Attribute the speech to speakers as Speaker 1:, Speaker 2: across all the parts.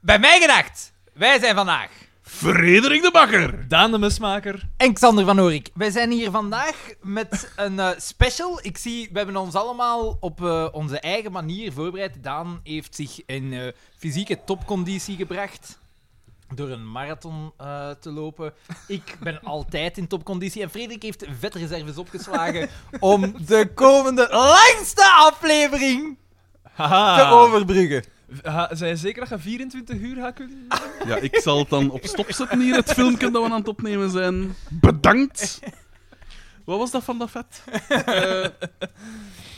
Speaker 1: Bij mij gedacht, wij zijn vandaag
Speaker 2: Frederik de Bakker.
Speaker 3: Daan de Mesmaker.
Speaker 1: en Xander van Oorik. Wij zijn hier vandaag met een eh, special. Ik zie, we hebben ons allemaal op eh, onze eigen manier voorbereid. Daan heeft zich in eh, fysieke topconditie gebracht door een marathon eh, te lopen. Ik ben altijd in topconditie. En Frederik heeft vetreserves opgeslagen om de komende langste aflevering
Speaker 3: Haha.
Speaker 1: te overbruggen.
Speaker 3: Ha, zijn je zeker dat je 24 uur gaat kunnen?
Speaker 2: Ja, ik zal het dan op stop zetten hier, het filmpje dat we aan het opnemen zijn. Bedankt. Wat was dat van dat vet? Eh,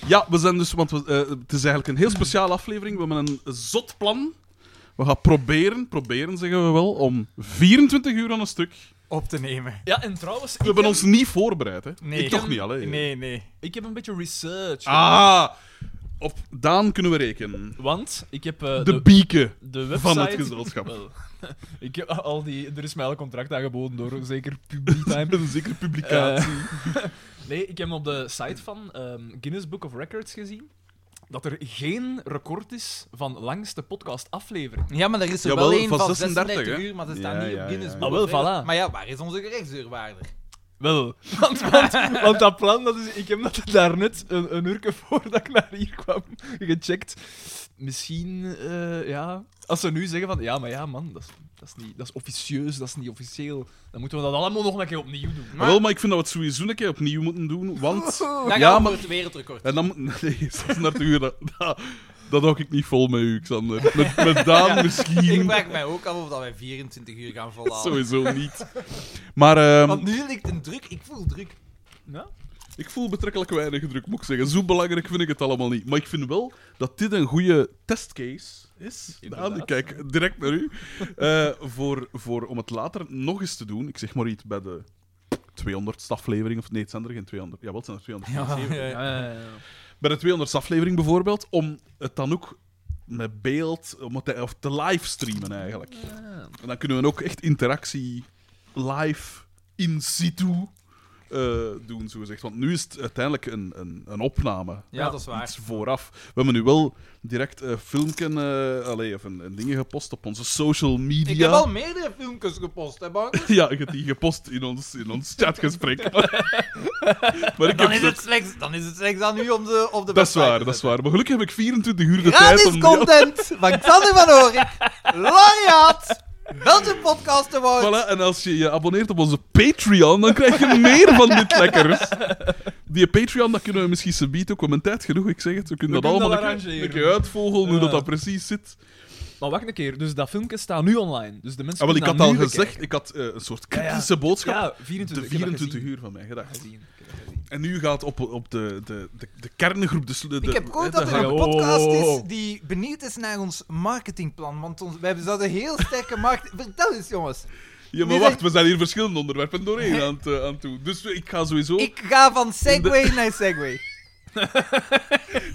Speaker 2: ja, we zijn dus, want we, eh, het is eigenlijk een heel speciale aflevering. We hebben een zot plan. We gaan proberen, proberen zeggen we wel, om 24 uur aan een stuk.
Speaker 1: Op te nemen.
Speaker 3: Ja, en trouwens,
Speaker 2: We
Speaker 3: ik,
Speaker 2: hebben
Speaker 3: heb,
Speaker 2: ons niet voorbereid, hè?
Speaker 1: Nee.
Speaker 2: Ik toch niet alleen.
Speaker 1: Nee, nee.
Speaker 3: ik heb een beetje research.
Speaker 2: Ah, op Daan kunnen we rekenen.
Speaker 3: Want ik heb eh,
Speaker 2: De
Speaker 3: de,
Speaker 2: bieken.
Speaker 3: de website...
Speaker 2: van het gezelschap.
Speaker 3: Wel, ik heb al die, er is mij al een contract aangeboden door zeker Publitime.
Speaker 2: Met een zekere publicatie.
Speaker 3: Eh, nee, ik heb op de site van ehm, Guinness Book of Records gezien dat er geen record is van langste podcastaflevering.
Speaker 1: Ja, maar er is er
Speaker 2: Jawel,
Speaker 1: wel een
Speaker 2: van
Speaker 1: van 36,
Speaker 2: 36, hè?
Speaker 1: uur, maar ze staan
Speaker 2: Ja,
Speaker 1: niet
Speaker 2: ja,
Speaker 1: op Guinness
Speaker 2: ja.
Speaker 1: Book
Speaker 3: Ah, wel,
Speaker 1: of Records.
Speaker 3: voilà.
Speaker 1: Maar ja, waar is onze gerechtsdeurwaarder?
Speaker 3: Wel, want, want, want dat plan, dat is, ik heb dat daarnet, een, een uurke voordat ik naar hier kwam, gecheckt. Misschien, eh, ja, als ze nu zeggen van, ja, maar ja, man, dat is, dat is, niet, dat is officieus, dat is niet officieel, dan moeten we dat allemaal nog een keer opnieuw doen.
Speaker 2: Maar... Wel, maar ik vind dat we het sowieso een keer opnieuw moeten doen, want...
Speaker 1: Dan gaan
Speaker 2: ja,
Speaker 1: we
Speaker 2: maar...
Speaker 1: voor het wereldrecord.
Speaker 2: En dan... moet- Nee, 36 uur, dat, dat, dat hou ik niet vol met u, Xander. Met, met Daan
Speaker 1: Ik
Speaker 2: misschien
Speaker 1: vraag mij ook af of dat wij 24 uur gaan volhouden.
Speaker 2: sowieso niet. Maar ehm,
Speaker 1: Want nu ligt een druk, ik voel druk.
Speaker 3: Ja?
Speaker 2: ik voel betrekkelijk weinig druk, moet ik zeggen. Zo belangrijk vind ik het allemaal niet. Maar ik vind wel dat dit een goede testcase is. Daan,
Speaker 3: Inderdaad.
Speaker 2: ik kijk direct naar u. Eh, voor, voor, om het later nog eens te doen, ik zeg maar iets bij de 200ste aflevering, of nee, het zijn er geen 200. Jawel, het zijn er 200. Bij de 200 aflevering bijvoorbeeld, om het dan ook met beeld om het te, of te livestreamen eigenlijk. En dan kunnen we ook echt interactie live in situ eh, doen, zogezegd. Want nu is het uiteindelijk een, een, een opname.
Speaker 1: Ja, dat is waar.
Speaker 2: Iets vooraf. We hebben nu wel direct een filmpje, eh, allee, of een, een dingen gepost op onze social media.
Speaker 1: Ik heb al meerdere filmpjes gepost, hè, Bank?
Speaker 2: Ja, ik heb die gepost in ons, in ons chatgesprek. maar ik heb
Speaker 1: Dan
Speaker 2: ze
Speaker 1: is het slechts, dan is het slechts aan u om de, op de
Speaker 2: dat is
Speaker 1: website
Speaker 2: waar,
Speaker 1: te
Speaker 2: dat is
Speaker 1: zetten.
Speaker 2: waar. Maar gelukkig heb ik 24 uur de tijd
Speaker 1: Gratis
Speaker 2: om... die-
Speaker 1: content van Xander van Oorik, laureaat, Belgium Podcast Award.
Speaker 2: Voilà, en als je je abonneert op onze Patreon, dan krijg je meer van dit lekkers. Die Patreon, dat kunnen we misschien subiet ook, want mijn tijd genoeg, ik zeg het. We kunnen
Speaker 3: We
Speaker 2: dat
Speaker 3: kunnen
Speaker 2: allemaal
Speaker 3: dat
Speaker 2: een keer- een
Speaker 3: arrangeren.
Speaker 2: keer uitvogelen, hoe
Speaker 3: Ja.
Speaker 2: dat, dat precies zit.
Speaker 3: Maar wacht een keer, dus dat filmpje staat nu online, dus de mensen
Speaker 2: Ah, wel, ik
Speaker 3: kunnen
Speaker 2: had
Speaker 3: dat
Speaker 2: al
Speaker 3: nu
Speaker 2: gezegd,
Speaker 3: bekijken.
Speaker 2: ik had eh, een soort
Speaker 3: Ja, ja.
Speaker 2: kritische boodschap.
Speaker 3: Ja, 24,
Speaker 2: de
Speaker 3: ik heb dat
Speaker 2: 24
Speaker 3: gezien.
Speaker 2: uur van mij gedacht.
Speaker 3: Gezien, ik heb dat gezien.
Speaker 2: En nu gaat op, op de, de, de, de kerngroep... De, slu- de,
Speaker 1: Ik heb
Speaker 2: hè,
Speaker 1: gehoord
Speaker 2: de
Speaker 1: dat er
Speaker 2: hang-
Speaker 1: een
Speaker 3: Wow, wow,
Speaker 1: podcast
Speaker 3: wow,
Speaker 1: is
Speaker 3: wow.
Speaker 1: die benieuwd is naar ons marketingplan. Want ons, wij hebben zo'n heel sterke markt. Vertel eens, jongens.
Speaker 2: Ja,
Speaker 1: die
Speaker 2: maar
Speaker 1: zijn-
Speaker 2: wacht, we zijn hier verschillende onderwerpen doorheen aan het, eh, aan het doen. Dus ik ga sowieso...
Speaker 1: Ik ga van Segway naar Segway.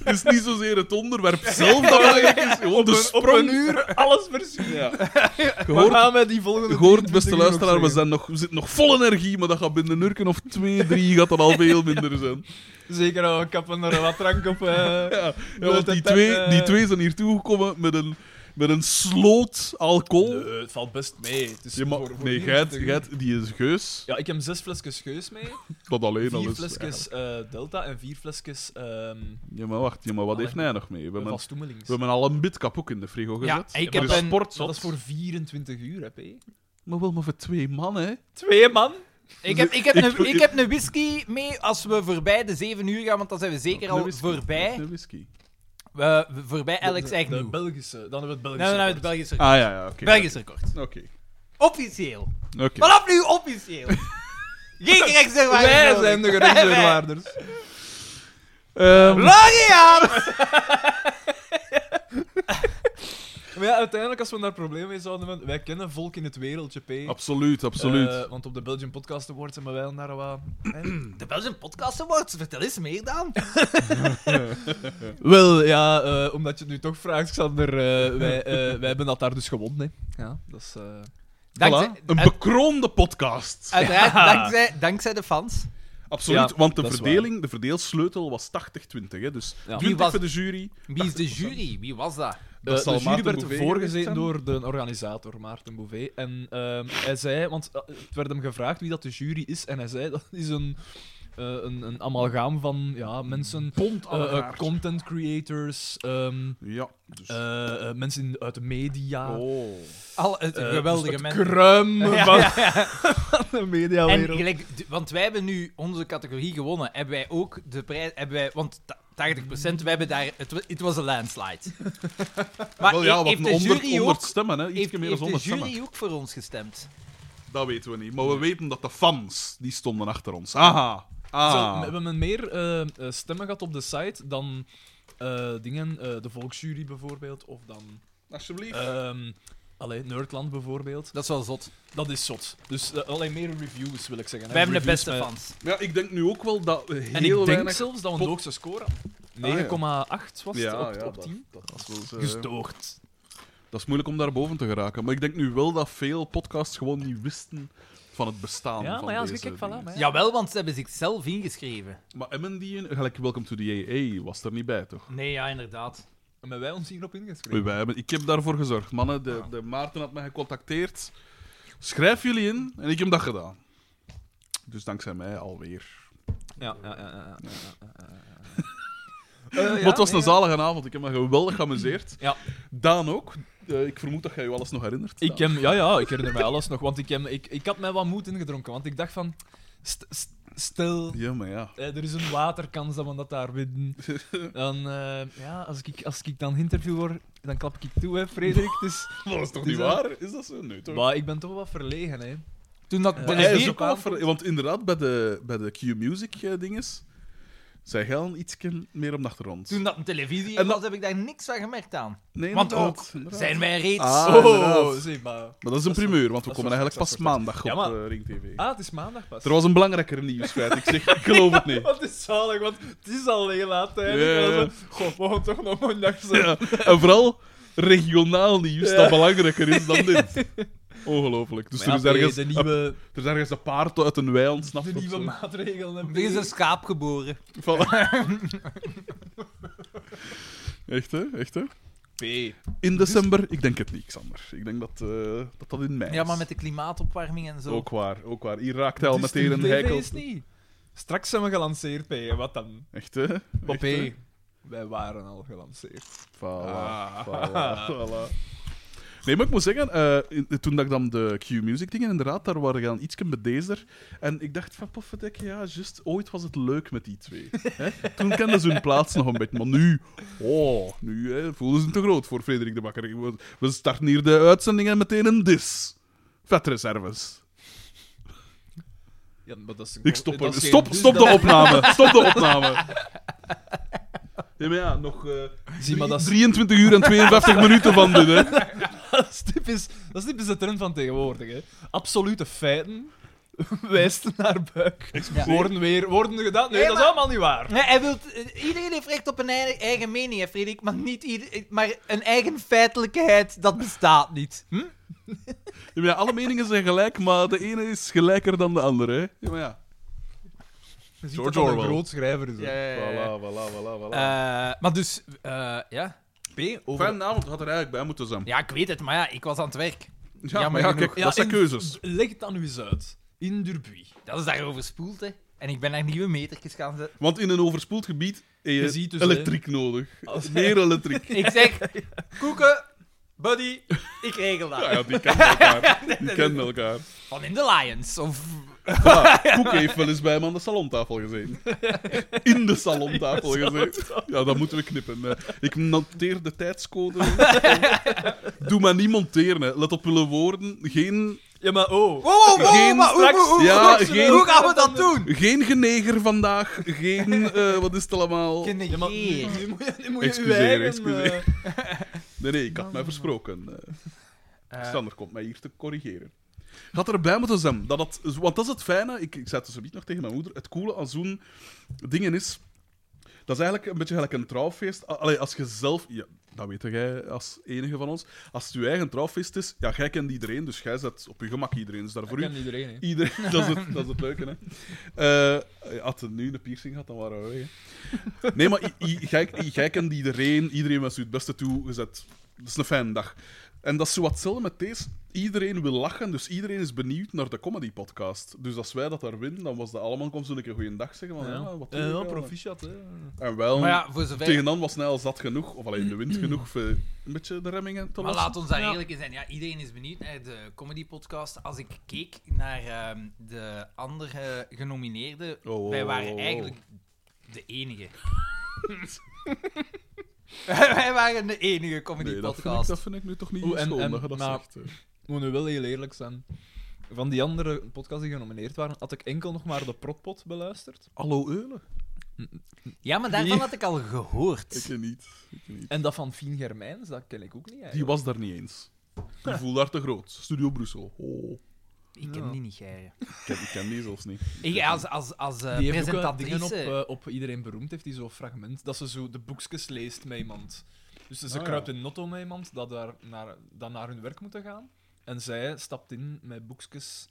Speaker 2: Het is niet zozeer het onderwerp zelf dat belangrijk is, gewoon de
Speaker 3: Op een
Speaker 2: sprong.
Speaker 3: uur, alles versie.
Speaker 2: Ja.
Speaker 3: Waar
Speaker 2: Gehoord,
Speaker 3: gaan we die volgende
Speaker 2: gehoord
Speaker 3: 24
Speaker 2: beste
Speaker 3: uur op
Speaker 2: luisteraar, we,
Speaker 3: zeggen?
Speaker 2: zijn nog, we zitten nog vol energie, maar dat gaat binnen een uur of twee, drie gaat dat al veel minder zijn.
Speaker 3: Zeker, oh, ik heb er wat drank op. eh.
Speaker 2: Ja, ja,
Speaker 3: Dat
Speaker 2: want
Speaker 3: het,
Speaker 2: die
Speaker 3: eh,
Speaker 2: twee, die twee zijn hier toegekomen met een, met een sloot alcohol.
Speaker 3: Nee, het valt best mee. Het is
Speaker 2: Ja, maar-
Speaker 3: voor- voor
Speaker 2: nee,
Speaker 3: 24
Speaker 2: geit, geit, die is geus.
Speaker 3: Ja, ik heb zes flesjes geus mee,
Speaker 2: Dat alleen al
Speaker 3: vier
Speaker 2: is.
Speaker 3: flesjes eh, Delta en vier flesjes ehm
Speaker 2: Ja, maar wacht, ja, maar wat heeft
Speaker 3: Allee.
Speaker 2: hij nog mee? We hebben,
Speaker 3: van Stoemelings.
Speaker 2: we hebben al een bitkap ook in de frigo
Speaker 1: Ja,
Speaker 2: gezet.
Speaker 1: ik
Speaker 3: heb
Speaker 2: dus
Speaker 3: een-
Speaker 2: sportzot.
Speaker 3: Maar dat is voor 24 uur, hè, P.
Speaker 2: Maar wel maar voor twee man, hè?
Speaker 3: Twee man?
Speaker 1: Ik heb, ik, heb
Speaker 2: Ik-
Speaker 1: een,
Speaker 2: ik-
Speaker 1: ik heb een whisky mee als we voorbij de 7 uur gaan, want dan zijn we zeker
Speaker 2: Een
Speaker 1: al
Speaker 2: whisky.
Speaker 1: voorbij.
Speaker 2: Een whisky.
Speaker 1: We- we- voorbij Alex
Speaker 3: De- de-
Speaker 1: eigenlijk.
Speaker 3: De Belgische, dan hebben we het Belgische.
Speaker 1: Nou, nou, het
Speaker 3: record.
Speaker 1: Belgisch record.
Speaker 2: Ah ja, ja, oké.
Speaker 1: Belgisch record.
Speaker 2: Oké.
Speaker 1: Officieel.
Speaker 2: Oké.
Speaker 1: Vanaf nu officieel. Geen gerechtsdeurwaarder.
Speaker 3: Wij
Speaker 1: nodig.
Speaker 3: zijn de gerechtsdeurwaarders.
Speaker 2: Ehm,
Speaker 1: Laureaat!
Speaker 3: maar ja, uiteindelijk, als we daar problemen mee zouden hebben, wij kennen volk in het wereldje, P.
Speaker 2: absoluut, absoluut.
Speaker 3: Eh, want op de Belgian Podcast Awards hebben wij al daar wat...
Speaker 1: De Belgian Podcast Awards, vertel eens meer dan.
Speaker 3: Wel, ja, eh, omdat je het nu toch vraagt, Xander, eh, wij, eh, wij hebben dat daar dus gewonnen, hè. Ja, dat is... eh,
Speaker 2: Voilà,
Speaker 1: Dankzij,
Speaker 2: Een bekroonde podcast.
Speaker 1: uiteraard, dankzij, dankzij de fans.
Speaker 2: Absoluut,
Speaker 3: Ja,
Speaker 2: want de
Speaker 3: dat is
Speaker 2: verdeling, de verdeelsleutel was 80-20. hè, Dus
Speaker 3: Ja.
Speaker 2: 20
Speaker 1: Wie was-
Speaker 2: voor de jury.
Speaker 1: Wie is de jury? Wie was dat?
Speaker 2: Dat
Speaker 3: Eh,
Speaker 2: zal
Speaker 3: de jury
Speaker 2: Maarten
Speaker 3: werd
Speaker 2: Bouvet geweest
Speaker 3: voorgezeten
Speaker 2: zijn.
Speaker 3: door de organisator, Maarten Bouvet. En ehm, hij zei, want eh, het werd hem gevraagd wie dat de jury is, en hij zei dat is een, eh, een, een amalgaam van ja, mensen,
Speaker 2: Bond
Speaker 3: eh, eh,
Speaker 2: allegaartje.
Speaker 3: content creators, ehm,
Speaker 2: Ja, dus...
Speaker 3: eh, eh, mensen in- uit de media.
Speaker 2: oh.
Speaker 1: Al het
Speaker 3: eh,
Speaker 1: geweldige
Speaker 3: dus het
Speaker 1: mensen.
Speaker 3: kruim
Speaker 1: Ja,
Speaker 3: van,
Speaker 1: ja, ja.
Speaker 3: de
Speaker 1: En
Speaker 3: mediawereld.
Speaker 1: gelijk, d- want wij hebben nu onze categorie gewonnen. Hebben wij ook de prijs... Hebben wij, want ta- 80% we hebben daar... Het, wa- het was een landslide. Maar
Speaker 2: Wel ja,
Speaker 1: he-
Speaker 2: wat
Speaker 1: heeft
Speaker 2: een
Speaker 1: de
Speaker 2: 100,
Speaker 1: jury
Speaker 2: 100
Speaker 1: ook...
Speaker 2: stemmen, hè? Iets
Speaker 1: Heeft,
Speaker 2: meer
Speaker 1: heeft
Speaker 2: dan
Speaker 1: de
Speaker 2: 100 stemmen.
Speaker 1: jury ook voor ons gestemd?
Speaker 2: Dat weten we niet. Maar we weten dat de fans, die stonden achter ons. Aha.
Speaker 3: Zo,
Speaker 2: Ah.
Speaker 3: we hebben meer eh, eh, stemmen gehad op de site dan eh, dingen, eh, de Volksjury bijvoorbeeld, of dan
Speaker 2: Alsjeblieft.
Speaker 3: ehm allee, Nerdland bijvoorbeeld.
Speaker 1: Eh, Dat is wel zot.
Speaker 3: Dat is zot. Dus eh, alleen meer reviews wil ik zeggen. hè.
Speaker 1: Wij hebben de
Speaker 3: Reviews
Speaker 1: beste
Speaker 3: met-
Speaker 1: fans.
Speaker 2: ja, ik denk nu ook wel dat we heel
Speaker 3: En ik denk
Speaker 2: weinig...
Speaker 3: zelfs dat we de
Speaker 2: pot-
Speaker 3: hoogste score
Speaker 2: ja.
Speaker 3: hadden. 9,8 was het
Speaker 2: Ja,
Speaker 3: op,
Speaker 2: ja,
Speaker 3: op
Speaker 2: dat-
Speaker 3: 10.
Speaker 2: Dat, is eh, wel zo-
Speaker 3: Gestoord.
Speaker 2: dat is moeilijk om daar boven te geraken. Maar ik denk nu wel dat veel podcasts gewoon niet wisten van het bestaan
Speaker 3: Ja,
Speaker 2: van
Speaker 3: maar ja, als
Speaker 2: deze
Speaker 3: ik kijk, voilà.
Speaker 2: dingen.
Speaker 3: maar ja.
Speaker 1: Jawel, want ze hebben zichzelf ingeschreven.
Speaker 2: Maar Emmen die... Gelijk Welcome to the AA was er niet bij, toch?
Speaker 1: Nee, ja, inderdaad.
Speaker 3: En hebben wij ons hierop ingeschreven?
Speaker 2: Wij- wij hebben- ik heb daarvoor gezorgd. Mannen, de, de Maarten had mij gecontacteerd. Schrijf jullie in. En ik heb dat gedaan. Dus dankzij mij alweer.
Speaker 3: Ja, ja, ja. ja, ja, ja, ja, ja.
Speaker 2: Wat
Speaker 3: Eh, ja,
Speaker 2: het was
Speaker 3: nee,
Speaker 2: een zalige avond. Ik heb me geweldig geamuseerd.
Speaker 3: Ja.
Speaker 2: Daan ook. Eh, ik vermoed dat jij je alles nog herinnert.
Speaker 3: Ik
Speaker 2: Daan.
Speaker 3: hem, ja, ja, ik herinner mij alles nog, want ik, hem, ik, ik had mij wat moed ingedronken, want ik dacht van, st- st- stel,
Speaker 2: Ja, maar ja.
Speaker 3: eh, er is een waterkans dat we dat daar winnen. Dan, eh, ja, als ik, als ik dan interview word, dan klap ik toe, hè, Frederik. Dus,
Speaker 2: Dat is toch
Speaker 3: Dus
Speaker 2: niet
Speaker 3: dat-
Speaker 2: waar? Is dat zo? Nee, toch?
Speaker 3: maar ik ben toch wat verlegen, hè.
Speaker 1: Toen dat...
Speaker 3: Eh,
Speaker 1: de
Speaker 2: Maar hij is
Speaker 1: vier-
Speaker 2: ook wel ver- Want inderdaad, bij de, bij de Q-Music-dinges... zij gaan iets meer op de achtergrond.
Speaker 1: Toen dat een televisie
Speaker 2: En
Speaker 1: was, heb ik daar niks van gemerkt aan.
Speaker 2: Nee,
Speaker 1: Want
Speaker 2: inderdaad,
Speaker 1: ook,
Speaker 2: inderdaad.
Speaker 1: zijn wij reeds...
Speaker 2: Ah,
Speaker 3: oh,
Speaker 2: inderdaad.
Speaker 3: zeg maar.
Speaker 2: Maar dat is een
Speaker 3: Dat is
Speaker 2: primeur, want we
Speaker 3: dat
Speaker 2: komen
Speaker 3: is wel
Speaker 2: eigenlijk pas
Speaker 3: succesvol.
Speaker 2: maandag op
Speaker 3: Ja, maar-
Speaker 2: eh, Ring TV.
Speaker 3: Ah, het is maandag pas.
Speaker 2: Er was een belangrijker nieuws, feit. Ik zeg, ik geloof het niet.
Speaker 3: Wat is zalig, want het is al heel laat
Speaker 2: Ja,
Speaker 3: eigenlijk.
Speaker 2: ja.
Speaker 3: Yeah. God, we gaan toch nog maandag zijn.
Speaker 2: Ja. En vooral regionaal nieuws
Speaker 3: Ja.
Speaker 2: dat belangrijker is dan dit. Ongelooflijk. Dus
Speaker 3: Maar
Speaker 2: er,
Speaker 3: ja,
Speaker 2: is ergens,
Speaker 3: de nieuwe,
Speaker 2: er is ergens een paard uit een wei ontsnapt.
Speaker 3: de
Speaker 2: of
Speaker 3: nieuwe
Speaker 2: zo.
Speaker 3: maatregelen. hebben
Speaker 1: Er is een schaap geboren.
Speaker 2: Voilà. Echt, hè? Echt, hè?
Speaker 3: P.
Speaker 2: In december? Ik denk het niet, Xander. Ik denk dat eh, dat, dat in mei
Speaker 1: Ja, maar
Speaker 2: is.
Speaker 1: met de klimaatopwarming en zo.
Speaker 2: Ook waar, ook waar. Hier raakt hij al
Speaker 3: Dus
Speaker 2: meteen
Speaker 3: die
Speaker 2: een
Speaker 3: TV
Speaker 2: heikel.
Speaker 3: is niet. Straks zijn we gelanceerd, P. En wat dan?
Speaker 2: Echt, hè? Echt,
Speaker 3: Maar P,
Speaker 2: hè?
Speaker 3: wij waren al gelanceerd.
Speaker 2: Voilà,
Speaker 3: Ah.
Speaker 2: voilà, voilà. Nee, maar ik moet zeggen, eh, in- toen dat ik dan de Q-music dingen inderdaad, daar waren we dan ietsje bedeesder. En ik dacht van, poffetek, ja, juist, ooit was het leuk met die twee. hè? Toen kenden ze hun plaats nog een beetje, maar nu, oh, nu hè, voelen ze te groot voor Frederik de Bakker. We- We starten hier de uitzending en meteen een dis. Vetreserves.
Speaker 3: Ja, maar dat is een
Speaker 2: Ik stop
Speaker 3: dat
Speaker 2: hem.
Speaker 3: is geen
Speaker 2: Stop,
Speaker 3: dus
Speaker 2: stop
Speaker 3: dat-
Speaker 2: de opname. Stop de opname. Ja, maar ja, nog eh,
Speaker 3: Zie maar, dat is,
Speaker 2: 23 uur en 52 minuten van dit, hè.
Speaker 3: dat, is typisch, dat is typisch de trend van tegenwoordig. Hè. Absolute feiten wijzen naar buik. Worden weer worden gedaan. Nee,
Speaker 1: Nee,
Speaker 3: dat is
Speaker 1: maar-
Speaker 3: allemaal niet waar.
Speaker 1: Nee, hij wilt, eh, iedereen heeft recht op een ei- eigen mening, hè, Frederik. Maar, niet ieder, eh, maar een eigen feitelijkheid, dat bestaat niet. Hm?
Speaker 2: Ja, maar ja, alle meningen zijn gelijk, maar de ene is gelijker dan de andere. Hè? Ja, maar ja.
Speaker 3: Je ziet
Speaker 2: George
Speaker 3: dat dat een
Speaker 2: Orwell.
Speaker 3: groot schrijver is. hè.
Speaker 2: Voilà, voilà, voilà. voilà.
Speaker 1: Eh, maar dus, eh, ja.
Speaker 3: P, over...
Speaker 2: Fijne avond, had er eigenlijk bij moeten zijn.
Speaker 1: Ja, ik weet het, maar ja, ik was aan het werk.
Speaker 2: Ja,
Speaker 1: jammer
Speaker 2: maar ja,
Speaker 1: genoeg.
Speaker 2: kijk, dat zijn
Speaker 3: in-
Speaker 2: keuzes.
Speaker 3: Leg het dan nu eens uit. In Durbuy.
Speaker 1: Dat is daarover spoeld, hè. En ik ben naar nieuwe metertjes gaan zetten.
Speaker 2: Want in een overspoeld gebied heb je,
Speaker 3: Je ziet dus,
Speaker 2: elektriek nodig.
Speaker 3: Als-
Speaker 2: Meer elektriek.
Speaker 1: Ik zeg, koeken, buddy, ik regel dat.
Speaker 2: Ja, ja, die kennen elkaar. Die kennen elkaar.
Speaker 1: Van in de Lions, of...
Speaker 2: Voilà, Koek heeft wel eens bij hem aan de salontafel gezeten. In de salontafel gezeten. Ja, dat moeten we knippen. hè. Ik noteer de tijdscode. Doe maar niet monteren. hè. Let op willen woorden. Geen,
Speaker 3: Ja, maar
Speaker 1: Wow,
Speaker 3: oh.
Speaker 1: wow, wow,
Speaker 2: Geen
Speaker 1: maar hoe-
Speaker 3: straks-
Speaker 1: hoe- hoe-
Speaker 2: Ja,
Speaker 1: hoe-
Speaker 2: geen-
Speaker 1: hoe gaan we dat doen?
Speaker 2: geen geneger vandaag. Geen... eh, wat is het allemaal?
Speaker 3: Ja, maar nu,
Speaker 1: Genegeer.
Speaker 3: nu moet je, nu moet je
Speaker 2: Excuseer,
Speaker 3: uw eigen...
Speaker 2: excuseer.
Speaker 3: eh,
Speaker 2: Nee, nee, ik had mij versproken. Eh, Sander komt mij hier te corrigeren. Had erbij moeten zijn. Dat het, want dat is het fijne. Ik, ik zei het dus nog tegen mijn moeder. Het coole aan zo'n dingen is Dat is eigenlijk een beetje gelijk een trouwfeest. A- Allee, als je zelf... Ja, dat weet jij als enige van ons. Als het je eigen trouwfeest is, ja, jij kent iedereen, dus jij zet op je gemak iedereen. Dus daar voor u...
Speaker 3: iedereen, hè.
Speaker 2: Iedereen, dat, is het, dat is het leuke, hè. Eh, had het nu een piercing gehad, dan waren we weg, hè. Nee, maar i- i- jij jij kent iedereen, iedereen was u het beste toegezet. Dat is een fijne dag. En dat is zo wat hetzelfde met deze. Iedereen wil lachen, dus iedereen is benieuwd naar de comedy-podcast. Dus als wij dat daar winnen, dan was dat allemaal... Kom, zullen een goeie dag zeggen? Van, ja. wat doe je
Speaker 3: Ja, Eh,
Speaker 2: daar?
Speaker 3: proficiat, hè.
Speaker 2: En wel,
Speaker 1: Maar ja, voor zover...
Speaker 2: tegen dan was Nijl zat genoeg, of alleen de wind genoeg, voor een beetje de remmingen te
Speaker 1: Maar
Speaker 2: lossen.
Speaker 1: laat ons daar eerlijk in zijn. Ja, iedereen is benieuwd naar de comedy podcast. Als ik keek naar ehm, de andere genomineerden,
Speaker 2: Oh, oh,
Speaker 1: wij
Speaker 2: oh,
Speaker 1: waren
Speaker 2: oh, oh.
Speaker 1: eigenlijk de enige. wij waren de enige comedy
Speaker 2: Nee, dat vind, ik,
Speaker 1: podcast.
Speaker 2: dat vind ik nu toch niet
Speaker 3: Oeh, en-
Speaker 2: schoon
Speaker 3: en-
Speaker 2: dat eh, je dat
Speaker 3: maar-
Speaker 2: zegt. hè.
Speaker 3: Ik moet nu wel heel eerlijk zijn. Van die andere podcasts die genomineerd waren, had ik enkel nog maar de Protpot beluisterd.
Speaker 2: Hallo Eulen?
Speaker 1: Ja, maar daarvan had ik al gehoord.
Speaker 2: Ik niet. Ik niet.
Speaker 3: En dat van Fien Germijns, dat ken ik ook niet.
Speaker 2: Die
Speaker 3: eigenlijk.
Speaker 2: was daar niet eens. Die voelde daar te groot. Studio Brussel. Oh, ik,
Speaker 1: Ik ken die niet, Geire.
Speaker 2: ken, ik ken die zelfs niet.
Speaker 1: Ik, als als, als eh,
Speaker 3: Die heeft ook wel dingen op,
Speaker 1: presentatrice...
Speaker 3: eh, op Iedereen Beroemd, heeft die zo'n fragment, dat ze zo de boekjes leest met iemand. Dus ze
Speaker 2: Ah, ja.
Speaker 3: kruipt in notto met iemand dat, daar naar, dat naar hun werk moeten gaan. En zij stapt in met boekjes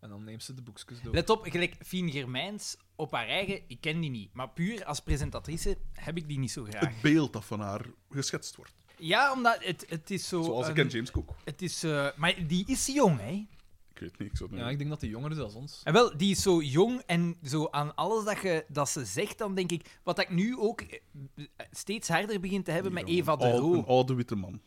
Speaker 3: en dan neemt ze de boekjes door.
Speaker 1: Let op, gelijk Fien Germijns op haar eigen, ik ken die niet. Maar puur als presentatrice heb ik die niet zo graag.
Speaker 2: Het beeld dat van haar geschetst wordt.
Speaker 1: Ja, omdat het, het is zo...
Speaker 2: Zoals ik
Speaker 1: een-
Speaker 2: ken James Cook.
Speaker 1: Het is, eh, maar die is jong, hè?
Speaker 2: Ik weet niet, ik zou het
Speaker 3: Ja,
Speaker 2: niet
Speaker 3: ik denk dat die jonger is dan ons.
Speaker 1: En wel, die is zo jong en zo aan alles dat, je, dat ze zegt, dan denk ik. Wat ik nu ook eh, steeds harder begin te hebben met
Speaker 2: Hier,
Speaker 1: Eva de
Speaker 2: een oude- Een
Speaker 1: Roo,
Speaker 2: oude witte man.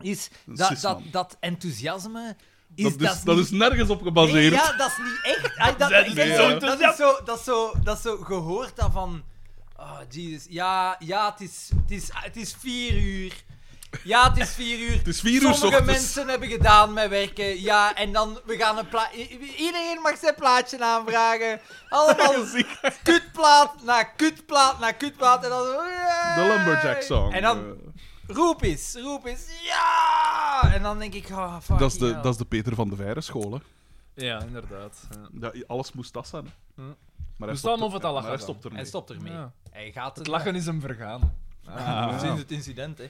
Speaker 1: is
Speaker 2: een
Speaker 1: dat, dat,
Speaker 2: cisman.
Speaker 1: dat enthousiasme. Is,
Speaker 2: Dat is, dat is,
Speaker 1: niet-
Speaker 2: nergens op
Speaker 1: Nee,
Speaker 2: gebaseerd.
Speaker 1: ja, dat is niet echt. Ah, dat,
Speaker 3: Zij
Speaker 1: ik
Speaker 3: is
Speaker 1: denk
Speaker 2: niet
Speaker 1: zo,
Speaker 2: zo
Speaker 1: dat is zo, dat is zo, dat is zo gehoord dat van. Oh, Jesus. Ja, ja, het is, het is, het is vier uur. Ja, het is vier uur.
Speaker 2: Het is vier uur
Speaker 1: Sommige
Speaker 2: ochtends.
Speaker 1: mensen hebben gedaan met werken. Ja, en dan, we gaan een plaat... Iedereen mag zijn plaatje aanvragen. Allemaal kutplaat na kutplaat na kutplaat. En dan...
Speaker 2: De Lumberjack song. eh.
Speaker 1: En dan roep eens, roep eens. Ja! En dan denk ik... Oh, fuck
Speaker 2: dat, is de, dat is de Peter van de Veire school. Hè.
Speaker 3: Ja, inderdaad. Ja.
Speaker 2: Ja, alles moest dat zijn.
Speaker 1: Hm.
Speaker 2: Hè.
Speaker 3: Ja.
Speaker 2: Maar
Speaker 3: Moest
Speaker 2: stopt
Speaker 3: allemaal
Speaker 2: er-
Speaker 3: voor het lachen
Speaker 2: maar hij
Speaker 3: dan.
Speaker 2: stopt ermee.
Speaker 1: Hij stopt ermee.
Speaker 3: Ja.
Speaker 1: Hij gaat
Speaker 3: Het lachen is hem vergaan.
Speaker 1: Ah.
Speaker 3: Ah.
Speaker 1: Sinds het incident, hè.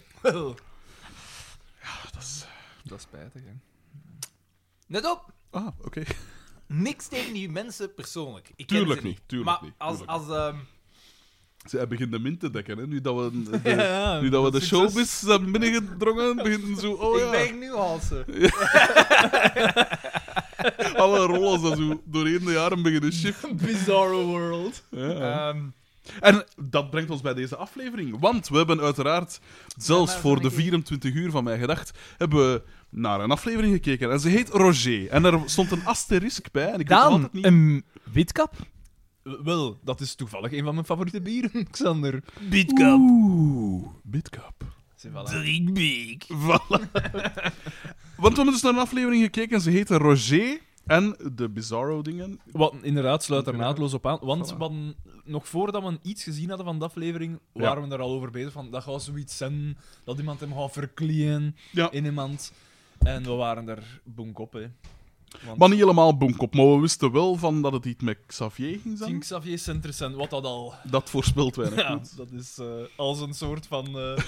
Speaker 3: Dat is spijtig, hè.
Speaker 1: Net op!
Speaker 2: Ah, oké.
Speaker 1: Niks tegen die mensen persoonlijk. Ik ken
Speaker 2: Tuurlijk
Speaker 1: ze
Speaker 2: niet, tuurlijk
Speaker 1: maar
Speaker 2: niet,
Speaker 1: als...
Speaker 2: tuurlijk
Speaker 1: als ehm,
Speaker 2: Ze- Hij begint de min te dekken. Hè. Nu dat we de,
Speaker 3: Ja,
Speaker 2: nu dat we de
Speaker 3: succes.
Speaker 2: showbiz hebben binnengedrongen, begint zo... Oh, ja.
Speaker 1: Ik ben nu eh, halsen.
Speaker 2: Alle rollen zijn zo doorheen de jaren beginnen shiften.
Speaker 3: Bizarro world.
Speaker 2: Ja.
Speaker 1: Ehm,
Speaker 2: En dat brengt ons bij deze aflevering. Want we hebben uiteraard, zelfs
Speaker 1: maar
Speaker 2: voor
Speaker 1: zo'n
Speaker 2: de
Speaker 1: keer-
Speaker 2: 24 uur van mij gedacht, hebben we naar een aflevering gekeken. En ze heet Roger. En er stond een asterisk bij. En ik weet nog
Speaker 1: Daan,
Speaker 2: altijd niet...
Speaker 1: een witkap?
Speaker 3: Wel, dat is toevallig een van mijn favoriete bieren, Xander.
Speaker 1: Witkap.
Speaker 2: Oeh, Bitcap.
Speaker 3: Zie, voilà.
Speaker 1: Drinkbeek.
Speaker 2: Voilà. Want we hebben dus naar een aflevering gekeken en ze heette Roger. En de bizarro dingen.
Speaker 3: Wat inderdaad sluit er naadloos op aan. Want
Speaker 2: Voilà.
Speaker 3: we hadden- nog voordat we iets gezien hadden van de aflevering,
Speaker 2: Ja.
Speaker 3: waren we er al over bezig. Van, dat gaat zoiets zijn, dat iemand hem gaat verklien
Speaker 2: Ja.
Speaker 3: in iemand. En we waren er bonk op, hè. Want
Speaker 2: Maar niet helemaal boemkop. Maar we wisten wel van dat het iets met Xavier ging
Speaker 3: Tien
Speaker 2: zijn.
Speaker 3: Xavier Centersen, wat dat al.
Speaker 2: Dat voorspelt weinig
Speaker 3: Ja,
Speaker 2: goed.
Speaker 3: dat is eh, als een soort van eh,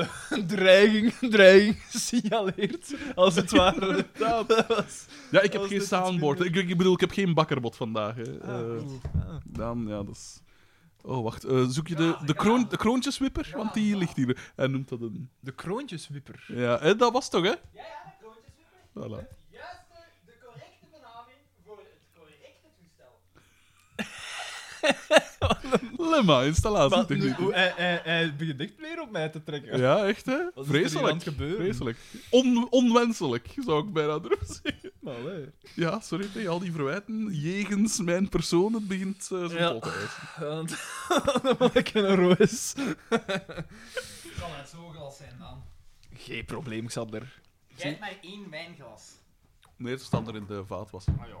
Speaker 3: eh, dreiging, dreiging gesignaleerd, als het ware. dat was...
Speaker 2: Ja,
Speaker 3: Dat was
Speaker 2: ik heb geen
Speaker 3: net iets
Speaker 2: soundboard. Ik,
Speaker 3: minder.
Speaker 2: ik bedoel, ik heb geen bakkerbot vandaag. Hè. Eh,
Speaker 3: Ah.
Speaker 2: dan, ja, dat is... Oh, wacht. Eh, zoek je de, de, kroon, de kroontjeswipper? Want die ligt hier. Hij noemt dat een...
Speaker 3: De kroontjeswipper.
Speaker 2: Ja, hè, dat was toch, hè?
Speaker 1: Ja, ja, de kroontjes wippen.
Speaker 2: Voilà.
Speaker 1: Het juiste, de correcte benaming voor het correcte toestel.
Speaker 2: Lemma, installatie.
Speaker 3: Maar nu,
Speaker 2: techniek.
Speaker 3: hoe- hij, hij, hij begint echt weer op mij te trekken.
Speaker 2: Ja, echt, hè?
Speaker 3: Wat is er hier aan
Speaker 2: Vreselijk.
Speaker 3: het gebeuren?
Speaker 2: Vreselijk. On, onwenselijk, zou ik bijna durven zeggen.
Speaker 3: Maar, hè.
Speaker 2: Ja, sorry, tegen al die verwijten. Jegens mijn persoon, het begint eh, zijn
Speaker 3: Ja.
Speaker 2: pot te eisen.
Speaker 3: Want- Dan maak ik een roos.
Speaker 1: Kan het zo'n glas zijn, Daan?
Speaker 3: Geen probleem, Xander.
Speaker 1: Jij hebt maar één wijnglas.
Speaker 2: Nee, het stond er in de vaatwasser.
Speaker 1: Ah,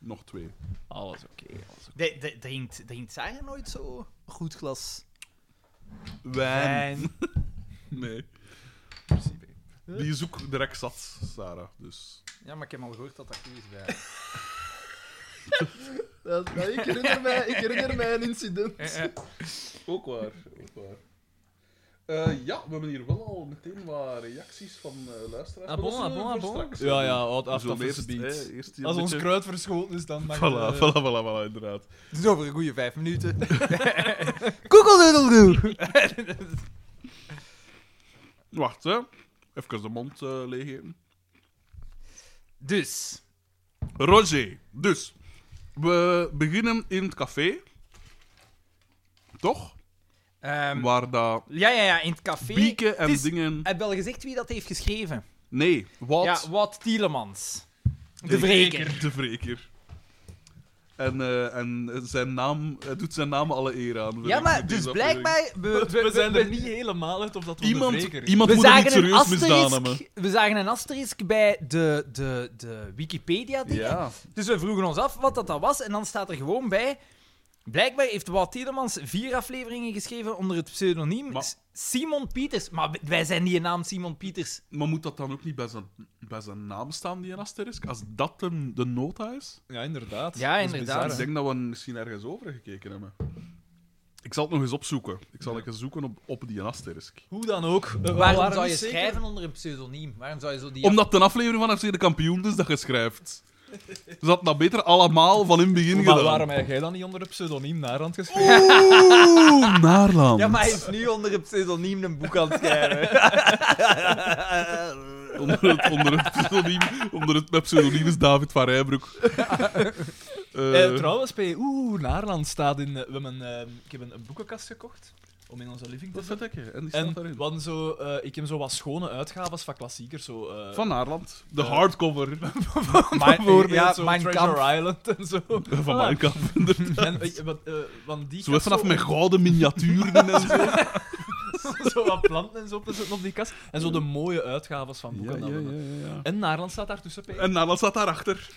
Speaker 2: Nog twee.
Speaker 3: Alles oké.
Speaker 1: De, de, drinkt, drinkt Sarah nooit zo goed glas?
Speaker 2: Wijn. Nee.
Speaker 3: principe.
Speaker 2: Die is ook direct zat, Sarah. Dus.
Speaker 1: Ja, maar ik heb al gehoord dat dat goed is bij
Speaker 3: ik, herinner mij, ik herinner mij een incident.
Speaker 2: Ook waar, ook waar. Eh, ja, we hebben hier wel al meteen wat reacties van eh, luisteraars.
Speaker 3: Ah bon,
Speaker 2: Maar dat
Speaker 3: ah
Speaker 2: zullen
Speaker 3: bon,
Speaker 2: we voor
Speaker 3: ah bon.
Speaker 2: straks
Speaker 3: Ja,
Speaker 2: doen.
Speaker 3: ja, wat
Speaker 2: We
Speaker 3: af
Speaker 2: zullen eerst,
Speaker 3: beat.
Speaker 2: eh, eerst hier
Speaker 3: Als
Speaker 2: een
Speaker 3: ons
Speaker 2: beetje-
Speaker 3: kruid verschoten is, dan mag eh,
Speaker 2: Voilà,
Speaker 3: je-
Speaker 2: voilà, voilà, voilà, inderdaad.
Speaker 4: Het is over een goede vijf minuten. Koekeldoedeldoe!
Speaker 2: Wacht, hè. Even de mond eh leeggeven.
Speaker 4: Dus,
Speaker 2: Roger, dus. We beginnen in het café. Toch?
Speaker 4: ehm,
Speaker 2: Waar dat
Speaker 4: ja, ja, ja, in het café.
Speaker 2: bieken en
Speaker 4: het is-
Speaker 2: dingen...
Speaker 4: Heb wel gezegd wie dat heeft geschreven?
Speaker 2: Nee, wat...
Speaker 4: Ja, Wout Tielemans. De
Speaker 2: Ik-
Speaker 4: Vreker.
Speaker 2: De wreker. En, eh, en zijn naam, hij doet zijn naam alle eer aan. vind
Speaker 4: Ja,
Speaker 2: ik,
Speaker 4: maar
Speaker 2: met deze
Speaker 4: dus
Speaker 2: aflevering.
Speaker 4: blijkbaar...
Speaker 3: We,
Speaker 4: We,
Speaker 3: we zijn er niet helemaal uit of dat we
Speaker 2: Iemand,
Speaker 3: de wreker-
Speaker 2: iemand
Speaker 4: We
Speaker 2: moet er niet
Speaker 4: zagen, een
Speaker 2: serieus misdaan hebben.
Speaker 4: asterisk, we zagen een asterisk bij de, de, de Wikipedia. dingen.
Speaker 2: Ja.
Speaker 4: Dus we vroegen ons af wat dat dan was. En dan staat er gewoon bij... Blijkbaar heeft Wout Tielemans vier afleveringen geschreven onder het pseudoniem
Speaker 2: Maar-
Speaker 4: S- Simon Pieters. Maar wij zijn die naam Simon Pieters.
Speaker 2: Maar moet dat dan ook niet bij zijn, bij zijn naam staan, die een asterisk? Als dat de, de nota is?
Speaker 3: Ja, inderdaad.
Speaker 4: Ja,
Speaker 3: Dat is
Speaker 4: inderdaad.
Speaker 3: bizar,
Speaker 2: Ik
Speaker 3: hè.
Speaker 2: denk dat we misschien ergens over gekeken hebben. Ik zal het nog eens opzoeken. Ik zal eens zoeken op, op die asterisk.
Speaker 3: Hoe dan ook. eh, we
Speaker 4: Waarom
Speaker 3: waren
Speaker 4: zou je
Speaker 3: niet zeker-
Speaker 4: schrijven onder een pseudoniem? Waarom zou je zo die...
Speaker 2: Omdat de aflevering van FC de kampioen is dat je schrijft. Dus dat dat beter allemaal van in het begin
Speaker 3: Maar
Speaker 2: gedaan.
Speaker 3: waarom heb jij dan niet onder het pseudoniem Narand geschreven?
Speaker 2: Oeh, Naarland.
Speaker 4: Ja, maar hij is nu onder het pseudoniem een boek aan het schrijven.
Speaker 2: Onder het, onder het pseudoniem, onder het mijn pseudoniem is David van Rijbroek. Eh,
Speaker 3: Eh, trouwens, P. Oeh, Naarland staat in. eh, We hebben, een, eh, ik heb een, een boekenkast gekocht om in onze living te
Speaker 2: dat
Speaker 3: zetten.
Speaker 2: zet ik, hè. en die staat
Speaker 3: En
Speaker 2: daarin.
Speaker 3: we hadden zo, eh, ik heb zo wat schone uitgaves van klassiekers. Zo, eh,
Speaker 2: Van Naarland, de
Speaker 3: eh,
Speaker 2: hardcover
Speaker 3: bijvoorbeeld
Speaker 4: ja,
Speaker 3: zo
Speaker 4: Mein
Speaker 3: Treasure Island en zo. Ah.
Speaker 2: van mijn kant.
Speaker 3: En, eh, wat, eh, want die
Speaker 2: Zo
Speaker 3: kast
Speaker 2: even vanaf met gouden miniaturen en zo.
Speaker 3: zo wat planten en zo op te zetten op die kast. En zo de mooie uitgaves van boeken. dan hebben. En Naarland staat daartussen, P.
Speaker 2: En Naarland staat daarachter.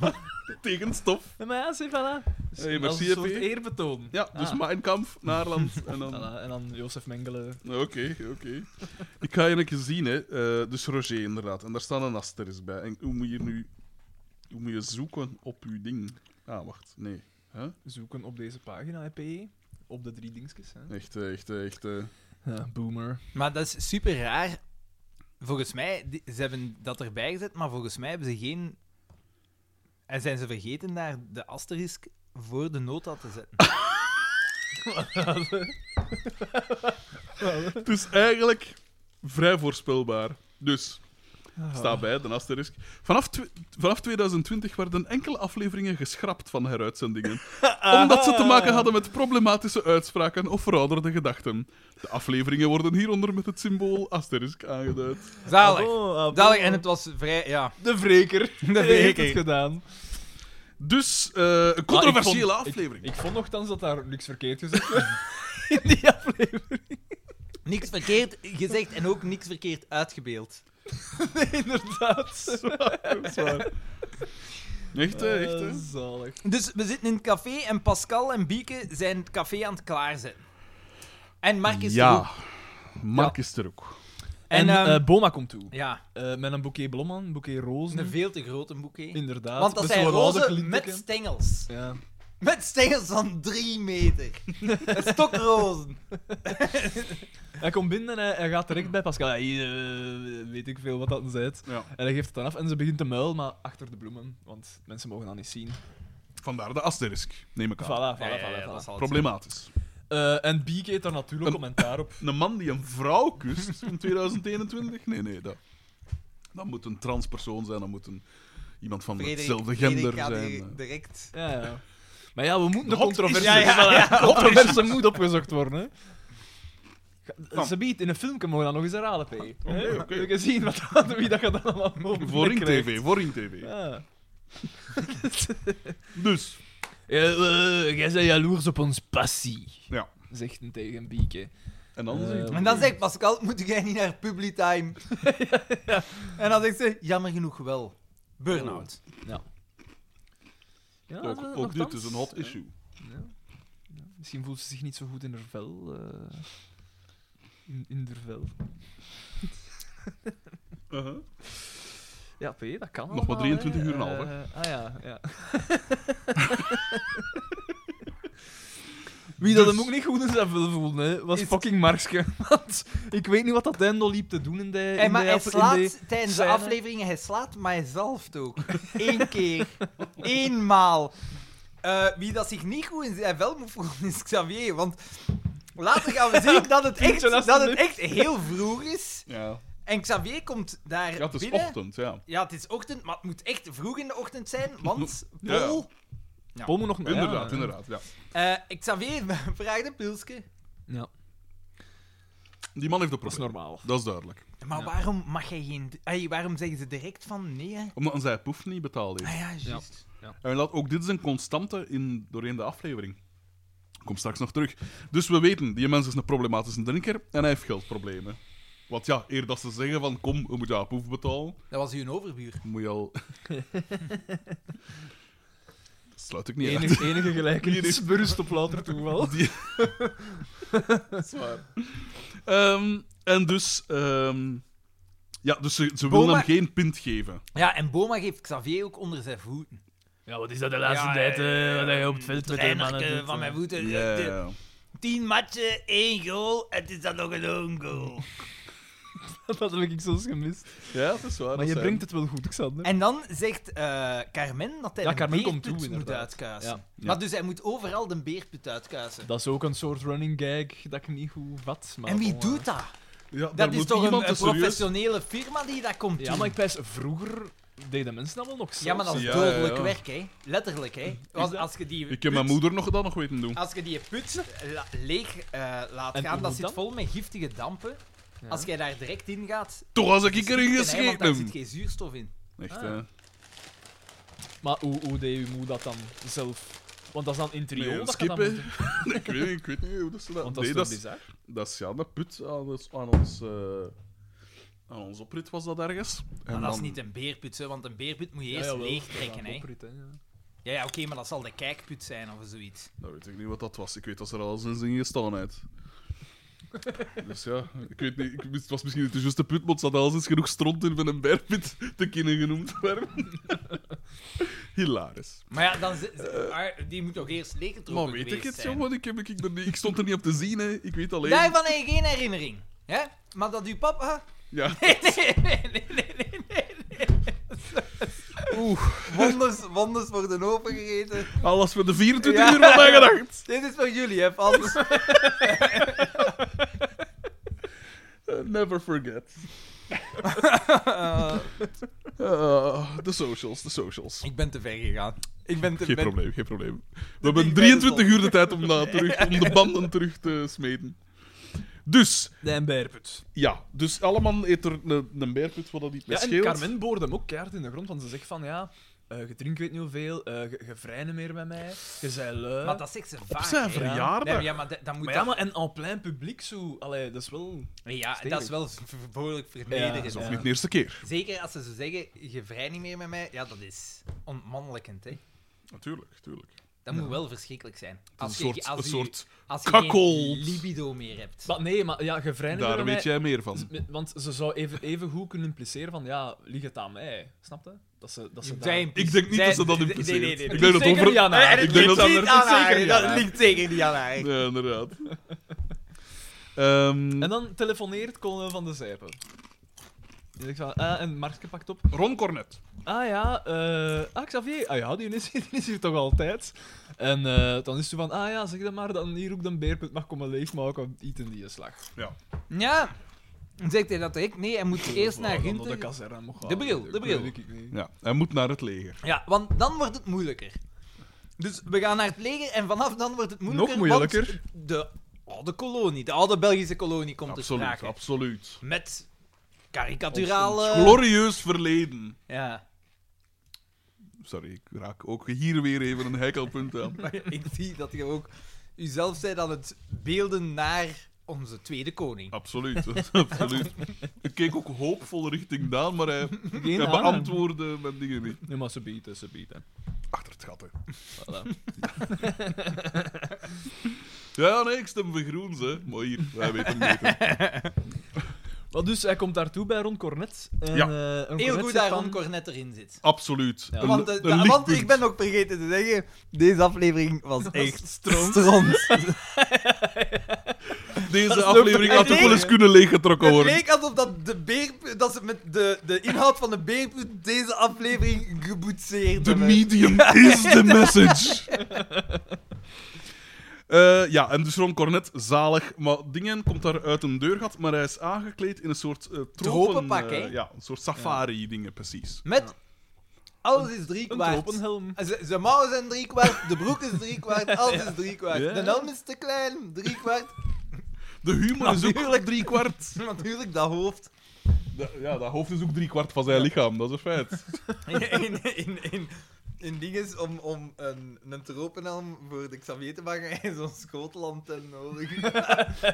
Speaker 2: Tegen stof.
Speaker 3: En maar ja, zeg voilà. Dus
Speaker 2: Hey,
Speaker 3: dat is
Speaker 2: merci,
Speaker 3: een soort
Speaker 2: P.
Speaker 3: eerbetoon.
Speaker 2: Ja, dus
Speaker 3: Ah.
Speaker 2: mijn kamp, Naarland en dan...
Speaker 3: Voilà, En dan Jozef Mengele.
Speaker 2: Oké, oké. Ik ga je een keer zien, hè. Eh, dus Roger, inderdaad. En daar staat een asterisk bij. En hoe moet je nu... Hoe moet je zoeken op je ding? Ah, wacht. Nee. Huh?
Speaker 3: Zoeken op deze pagina, hè, P. E. Op de drie dingetjes. Hè.
Speaker 2: Echt, eh, echt, eh, echt... eh.
Speaker 3: Ja, boomer.
Speaker 4: Maar dat is super raar. Volgens mij, die- ze hebben dat erbij gezet, maar volgens mij hebben ze geen... En zijn ze vergeten daar de asterisk voor de nota te zetten.
Speaker 2: Het is eigenlijk vrij voorspelbaar. Dus,
Speaker 4: Ah.
Speaker 2: staat bij, de asterisk. Vanaf, tw- vanaf 2020 werden enkele afleveringen geschrapt van heruitzendingen. Omdat ze te maken hadden met problematische uitspraken of verouderde gedachten. De afleveringen worden hieronder met het symbool asterisk aangeduid.
Speaker 4: Zalig.
Speaker 3: Abo, abo.
Speaker 4: Zalig, en het was vrij... Ja.
Speaker 3: oh, De wreker.
Speaker 4: De
Speaker 3: Hij heeft
Speaker 4: wreker.
Speaker 3: het gedaan.
Speaker 2: Dus, eh, een controversiële aflevering.
Speaker 3: Ik, ik vond nogthans dat daar niks verkeerd gezegd werd. In die aflevering.
Speaker 4: Niks verkeerd gezegd en ook niks verkeerd uitgebeeld.
Speaker 3: Inderdaad.
Speaker 2: Echt, hè, echt, hè.
Speaker 3: Eh, Zalig.
Speaker 4: Dus we zitten in het café en Pascal en Bieke zijn het café aan het klaarzetten. En Mark is er ook.
Speaker 2: Ja, Mark is er ook.
Speaker 4: En,
Speaker 3: En, eh,
Speaker 4: ehm,
Speaker 3: Boma komt toe.
Speaker 4: Ja,
Speaker 3: Eh, met een boeket blommen, een boeket rozen.
Speaker 4: een veel te grote boeket.
Speaker 3: Inderdaad.
Speaker 4: Want dat
Speaker 3: met
Speaker 4: zijn
Speaker 3: zo'n rode
Speaker 4: rozen
Speaker 3: glinteken.
Speaker 4: met stengels.
Speaker 3: Ja.
Speaker 4: Met stengels van drie meter. Stokrozen.
Speaker 3: Hij komt binnen en hij, hij gaat direct bij Pascal. Hij, eh, weet ik veel wat dat zei.
Speaker 2: Ja.
Speaker 3: En hij geeft het dan af en ze begint te muilen, maar achter de bloemen. Want mensen mogen dat niet zien.
Speaker 2: Vandaar de asterisk, neem ik aan.
Speaker 3: Voilà, voilà,
Speaker 4: Eh,
Speaker 3: voilà. voilà.
Speaker 2: Problematisch.
Speaker 3: Eh, en Bieke heeft daar natuurlijk
Speaker 2: Een-
Speaker 3: commentaar op.
Speaker 2: Een man die een vrouw kust in 2021? Nee, nee, dat, dat moet een transpersoon zijn, dat moet een, iemand van hetzelfde gender zijn. eh.
Speaker 4: direct.
Speaker 3: Ja, ja. Maar ja, we moeten de
Speaker 2: Hot
Speaker 3: controverse,
Speaker 4: issue. Ja, ja, ja.
Speaker 3: De controverse moet opgezocht worden. hè.
Speaker 2: Kom.
Speaker 3: Ze biedt in een filmpje mogen we dat nog eens herhalen, P. Hè?
Speaker 2: oké.
Speaker 3: We gaan zien wat, dat- wie dat je dan allemaal mogelijk
Speaker 2: Voor in
Speaker 3: krijgt.
Speaker 2: TV, voor in TV.
Speaker 3: Ja.
Speaker 2: Dus,
Speaker 3: Ja, eh, jij bent jaloers op ons passie,
Speaker 2: ja.
Speaker 3: zegt hij tegen Bieke.
Speaker 2: En dan
Speaker 3: Eh,
Speaker 2: zegt hij-
Speaker 4: En dan zegt Pascal, moet jij niet naar Publitime? En dan zegt ze, jammer genoeg wel. Burnout.
Speaker 3: Ja,
Speaker 2: ook,
Speaker 3: eh,
Speaker 2: ook dit
Speaker 3: nochtans.
Speaker 2: is een hot issue.
Speaker 3: Ja. Ja. Misschien voelt ze zich niet zo goed in haar vel. eh, in, in haar vel.
Speaker 2: Uh-huh.
Speaker 3: Ja, P, dat kan
Speaker 2: Nog maar
Speaker 3: allemaal,
Speaker 2: 23
Speaker 3: hè.
Speaker 2: uur en een half,
Speaker 3: Eh, ah ja, ja. Wie dat
Speaker 2: Dus-
Speaker 3: hem ook niet goed in zijn vel voelde, hè, was
Speaker 4: Is-
Speaker 3: fucking Markske. Want ik weet niet wat dat einde liep te doen in de... In
Speaker 4: Hey, maar
Speaker 3: de,
Speaker 4: hij
Speaker 3: in de-
Speaker 4: slaat tijdens de
Speaker 3: scène.
Speaker 4: afleveringen, hij slaat mijzelf ook. Eén keer. Eenmaal. Eh, wie dat zich niet goed in zijn vel moet voelen, is Xavier. Want later gaan we zien dat het echt,
Speaker 3: Eentje naast
Speaker 4: dat
Speaker 3: de
Speaker 4: het
Speaker 3: neus.
Speaker 4: echt heel vroeg is.
Speaker 2: Ja.
Speaker 4: En Xavier komt daar
Speaker 2: ja, het is
Speaker 4: binnen.
Speaker 2: ochtend, ja.
Speaker 4: Ja, het is ochtend, maar het moet echt vroeg in de ochtend zijn, want
Speaker 2: Ja, ja.
Speaker 4: Paul...
Speaker 3: Paul moet nog... ja,
Speaker 2: Inderdaad,
Speaker 3: ja.
Speaker 2: inderdaad. Ja.
Speaker 4: eh, Xavier vraagt een pilsje.
Speaker 3: Ja,
Speaker 2: Die man heeft een
Speaker 3: dat is
Speaker 2: probleem.
Speaker 3: normaal.
Speaker 2: Dat is duidelijk.
Speaker 4: Maar
Speaker 3: Ja.
Speaker 4: waarom mag hij geen... Ay, waarom zeggen ze direct van nee, hè?
Speaker 2: Omdat zij poef niet betaald heeft.
Speaker 4: Ah ja, juist.
Speaker 2: En dat, ook dit is een constante in, doorheen de aflevering. Kom straks nog terug. Dus we weten, die mens is een problematische drinker en hij heeft geldproblemen. Want ja, eer dat ze zeggen van kom, we moeten haar poef betalen,
Speaker 4: Dat was uw overbuur.
Speaker 2: moet je al... Dat sluit ik niet uit.
Speaker 3: Enige, enige gelijkenis berust op later toeval.
Speaker 2: Die- dat is waar. Ehm, en dus... ehm, ja, dus ze, ze willen
Speaker 4: Boma-
Speaker 2: hem geen pint geven.
Speaker 4: Ja, en Boma geeft Xavier ook onder zijn voeten.
Speaker 3: Ja, wat is dat de
Speaker 4: laatste tijd, eh, wat hij
Speaker 3: hij
Speaker 4: op het
Speaker 3: veld
Speaker 4: Trainerke van mijn voeten.
Speaker 2: Ja,
Speaker 4: eh,
Speaker 2: ja.
Speaker 4: de- Tien matchen, één goal, het is dan nog een own goal.
Speaker 3: Dat heb ik soms gemist.
Speaker 2: ja, dat is waar.
Speaker 3: Maar
Speaker 2: dat
Speaker 3: je
Speaker 2: zijn-
Speaker 3: brengt het wel goed, Xander.
Speaker 4: En dan zegt eh, Carmen dat hij
Speaker 3: Ja,
Speaker 4: de
Speaker 3: Carmen komt
Speaker 4: beerput
Speaker 3: toe,
Speaker 4: moet
Speaker 3: inderdaad.
Speaker 4: uitkuisen.
Speaker 3: Ja.
Speaker 2: Ja.
Speaker 4: Maar dus hij moet overal de beerput uitkuisen.
Speaker 3: Dat is ook een soort running gag dat ik niet goed vat. Maar
Speaker 4: en wie
Speaker 3: bon, eh.
Speaker 4: doet dat?
Speaker 2: Ja, daar
Speaker 4: Dat is
Speaker 2: moet
Speaker 4: toch een,
Speaker 2: iemand
Speaker 4: een
Speaker 2: een serieus-
Speaker 4: professionele firma die dat komt
Speaker 3: Ja,
Speaker 4: doen?
Speaker 3: maar ik pijs, vroeger deden mensen dat wel nog zo.
Speaker 4: Ja, maar dat is
Speaker 2: Ja,
Speaker 4: dodelijk
Speaker 2: ja, ja.
Speaker 4: werk, hè. Letterlijk, hè. Als, als je die
Speaker 2: Ik heb mijn
Speaker 4: put-
Speaker 2: moeder nog dat nog weten doen.
Speaker 4: Als je die put la- leeg eh, laat
Speaker 3: En hoe
Speaker 4: gaan, dat
Speaker 3: moet
Speaker 4: zit
Speaker 3: dat?
Speaker 4: vol met giftige dampen.
Speaker 3: Ja.
Speaker 4: Als jij daar direct in gaat,
Speaker 2: Toch als ik erin
Speaker 4: stinkt hij, want daar zit
Speaker 2: gescheten.
Speaker 4: geen zuurstof in.
Speaker 2: Echt,
Speaker 3: Ah.
Speaker 2: hè?
Speaker 3: Maar hoe, hoe deed je moe dat dan zelf? Want dat is dan in trio
Speaker 2: Nee,
Speaker 3: dat je
Speaker 2: skippen.
Speaker 3: dat moet doen.
Speaker 2: ik, weet, niet- ik weet niet hoe dat ze dat...
Speaker 3: Want dat
Speaker 2: nee,
Speaker 3: is toch
Speaker 2: dat, is,
Speaker 3: bizar?
Speaker 2: dat is ja, dat put aan ons... Aan ons, eh, aan ons oprit was dat ergens. En
Speaker 4: Maar dat is
Speaker 2: dan-
Speaker 4: niet een beerput, hè, want een beerput moet je eerst
Speaker 3: jawel.
Speaker 4: leegtrekken.
Speaker 3: Ja,
Speaker 4: hè.
Speaker 3: oprit, hè, ja.
Speaker 4: Ja, ja oké, maar dat zal de kijkput zijn of zoiets.
Speaker 2: Nou, weet ik niet wat dat was. Ik weet dat ze er al sinds in gestaan heeft. dus ja, ik weet niet... Ik, het was misschien niet de juiste put, maar ze had al sinds genoeg stront in van een bergput te kunnen genoemd worden. Hilarisch.
Speaker 4: Maar ja, dan ze- ze- maar die moet toch eerst leeggetrokken
Speaker 2: Maar Eh. weet ik
Speaker 4: geweest
Speaker 2: het,
Speaker 4: zijn.
Speaker 2: jongen? Ik, heb, ik, ik, ben niet- ik stond er niet op te zien, hè. Ik weet alleen...
Speaker 4: Daarvan heb je geen herinnering. Hè? Maar dat uw papa...
Speaker 2: Ja.
Speaker 4: Nee, nee, nee, nee, nee, nee, nee. Oeh. Wonders, wonders worden overgegeten.
Speaker 2: Alles voor de 24
Speaker 4: Ja.
Speaker 2: uur van mij gedacht.
Speaker 4: Dit is voor jullie, hè, anders.
Speaker 2: Uh, never forget. Eh, de socials, de socials.
Speaker 4: ik ben te ver gegaan. Ik ben te
Speaker 2: Geen
Speaker 4: ben-
Speaker 2: probleem, geen probleem. We hebben
Speaker 4: ding
Speaker 2: 23
Speaker 4: bij
Speaker 2: uur de tijd om, na terug, om de banden terug te smeden. Dus,
Speaker 3: De Emberput.
Speaker 2: ja. Dus allemaal eet er een, een beerput wat dat niet meer
Speaker 3: Ja, en
Speaker 2: scheelt.
Speaker 3: Carmen boorde hem ook keihard in de grond, want ze zegt van ja, eh je drinkt weet niet hoeveel, eh je, je vrij niet meer bij mij, je zei lui.
Speaker 4: Maar dat zegt ze vaak.
Speaker 2: Op zijn
Speaker 4: hè.
Speaker 2: verjaardag.
Speaker 4: Nee, maar ja, maar da- dan moet
Speaker 3: Maar ja,
Speaker 4: dat-
Speaker 3: maar en en plein publiek zo, allee, dat is wel...
Speaker 4: Ja,
Speaker 3: Stevig.
Speaker 4: dat is wel ver- behoorlijk vernederend.
Speaker 3: Ja,
Speaker 2: Dat is
Speaker 3: ja.
Speaker 2: niet de eerste keer.
Speaker 4: Zeker als ze zo zeggen, je vrij niet meer met mij. Ja, dat is ontmannelijkend, hè.
Speaker 2: Natuurlijk, natuurlijk.
Speaker 4: Dat moet wel verschrikkelijk zijn.
Speaker 2: Het
Speaker 4: Als
Speaker 2: is
Speaker 4: je,
Speaker 2: een soort,
Speaker 4: als
Speaker 2: een
Speaker 4: je,
Speaker 2: soort...
Speaker 4: als je
Speaker 2: kakoold.
Speaker 4: geen libido meer hebt.
Speaker 3: Maar nee, maar ja, je vrij niet meer
Speaker 2: Daar
Speaker 3: bij
Speaker 2: weet
Speaker 3: mij,
Speaker 2: jij meer van.
Speaker 3: Want ze zou even, even goed kunnen impliceren van ja, ligt het aan mij, snap je? Dat ze, dat ze daar-
Speaker 4: Zij- nou,
Speaker 2: Ik denk niet
Speaker 4: zij-
Speaker 2: dat ze dat
Speaker 4: nee, nee,
Speaker 2: impliceert.
Speaker 4: nee, nee.
Speaker 2: Ik denk dat
Speaker 3: Zeker
Speaker 2: over...
Speaker 3: niet aan haar.
Speaker 2: Ik denk dat-
Speaker 4: ligt
Speaker 3: dat ligt zeker
Speaker 4: haar,
Speaker 3: niet aan
Speaker 4: Dat
Speaker 3: haar.
Speaker 4: ligt zeker niet aan haar.
Speaker 2: Ja, inderdaad. Ehm,
Speaker 4: Hm.
Speaker 3: En dan telefoneert Colin van de Zijpen. Die zegt van, ah, en Markske pakt op.
Speaker 2: Ron Cornet.
Speaker 3: Ah ja, eh ah, Xavier, ah ja, die is, die is hier toch altijd. En eh, dan is ze van, ah ja, zeg dan maar dat hier ook de beerput mag komen leegmaken, want iets in die slag.
Speaker 4: Ja. Dan zegt hij dat ik. Nee, hij
Speaker 2: Oh,
Speaker 4: moet eerst naar
Speaker 3: Oh, Dan dat de
Speaker 4: Ginter.
Speaker 3: kazerne mocht
Speaker 4: De
Speaker 3: gaan,
Speaker 4: bril,
Speaker 3: weet
Speaker 4: de
Speaker 3: ik-
Speaker 4: bril.
Speaker 3: weet ik niet.
Speaker 2: Ja, hij moet naar het leger.
Speaker 4: Ja, want dan wordt het moeilijker. Dus we gaan naar het leger en vanaf dan wordt het moeilijker.
Speaker 3: Nog moeilijker.
Speaker 4: want De oude kolonie, de oude Belgische kolonie komt te
Speaker 2: absoluut,
Speaker 4: sprake.
Speaker 2: absoluut.
Speaker 4: Met
Speaker 2: Ons- ons
Speaker 4: karikaturale...
Speaker 2: glorieus verleden.
Speaker 4: Ja,
Speaker 2: Sorry, ik raak ook hier weer even een hekelpunt aan.
Speaker 4: ik zie dat je ook jezelf bent aan het beelden naar onze tweede koning.
Speaker 2: Absoluut, absoluut. Ik keek ook hoopvol richting Daan, maar hij,
Speaker 3: Geen
Speaker 2: hij
Speaker 3: aan, hè.
Speaker 2: beantwoordde mijn dingen niet.
Speaker 3: Nee, maar ze bieden, ze bieden.
Speaker 2: Achter het gat, hè.
Speaker 3: Voilà.
Speaker 2: Ja, nee, ik stem voor Groens, hè. Maar hier, wij weten het beter.
Speaker 3: Maar dus hij komt daartoe bij Ron Cornet. En,
Speaker 2: Ja.
Speaker 3: eh, Ron
Speaker 1: Heel
Speaker 3: Cornet
Speaker 1: goed
Speaker 3: zegt
Speaker 1: dat
Speaker 3: van-
Speaker 1: Ron Cornet erin zit.
Speaker 2: Absoluut.
Speaker 3: Ja.
Speaker 2: Een-
Speaker 4: Want, de-
Speaker 2: een
Speaker 4: de- want
Speaker 2: lichtpunt.
Speaker 4: ik ben ook vergeten te zeggen, deze aflevering was echt
Speaker 1: stront.
Speaker 4: stront.
Speaker 2: Deze
Speaker 1: ook
Speaker 2: aflevering had
Speaker 1: het
Speaker 2: ook wel eens
Speaker 1: enige.
Speaker 2: kunnen leeggetrokken
Speaker 4: Het
Speaker 2: worden.
Speaker 4: leek alsof dat de, beer, dat ze met de, de inhoud van de beerput deze aflevering geboetseerd
Speaker 2: The
Speaker 4: hebben.
Speaker 2: medium is the message. Eh, ja, en dus Ron Cornet, zalig. Maar Dingen komt daar uit een deurgat, maar hij is aangekleed in een soort eh tropen...
Speaker 4: Tropenpak,
Speaker 2: eh,
Speaker 4: hè?
Speaker 2: ja, een soort safari-dingen, precies.
Speaker 4: Met alles is drie
Speaker 3: Een
Speaker 4: kwart.
Speaker 1: Ehm,
Speaker 3: tropenhelm.
Speaker 4: Ze- Zijn mouwen zijn drie kwart, de broek is drie kwart, alles is drie kwart.
Speaker 2: Ja.
Speaker 4: De helm is te klein, drie kwart.
Speaker 2: De humor is ook
Speaker 4: Natuurlijk.
Speaker 2: drie kwart.
Speaker 4: Natuurlijk, dat hoofd.
Speaker 2: Da- Ja, dat hoofd is ook drie kwart van zijn lichaam, dat is een feit.
Speaker 4: In, in, in, in, in dinges om, om een, een tropenhelm voor de Xavier te maken en zo'n Schotland ten nodig.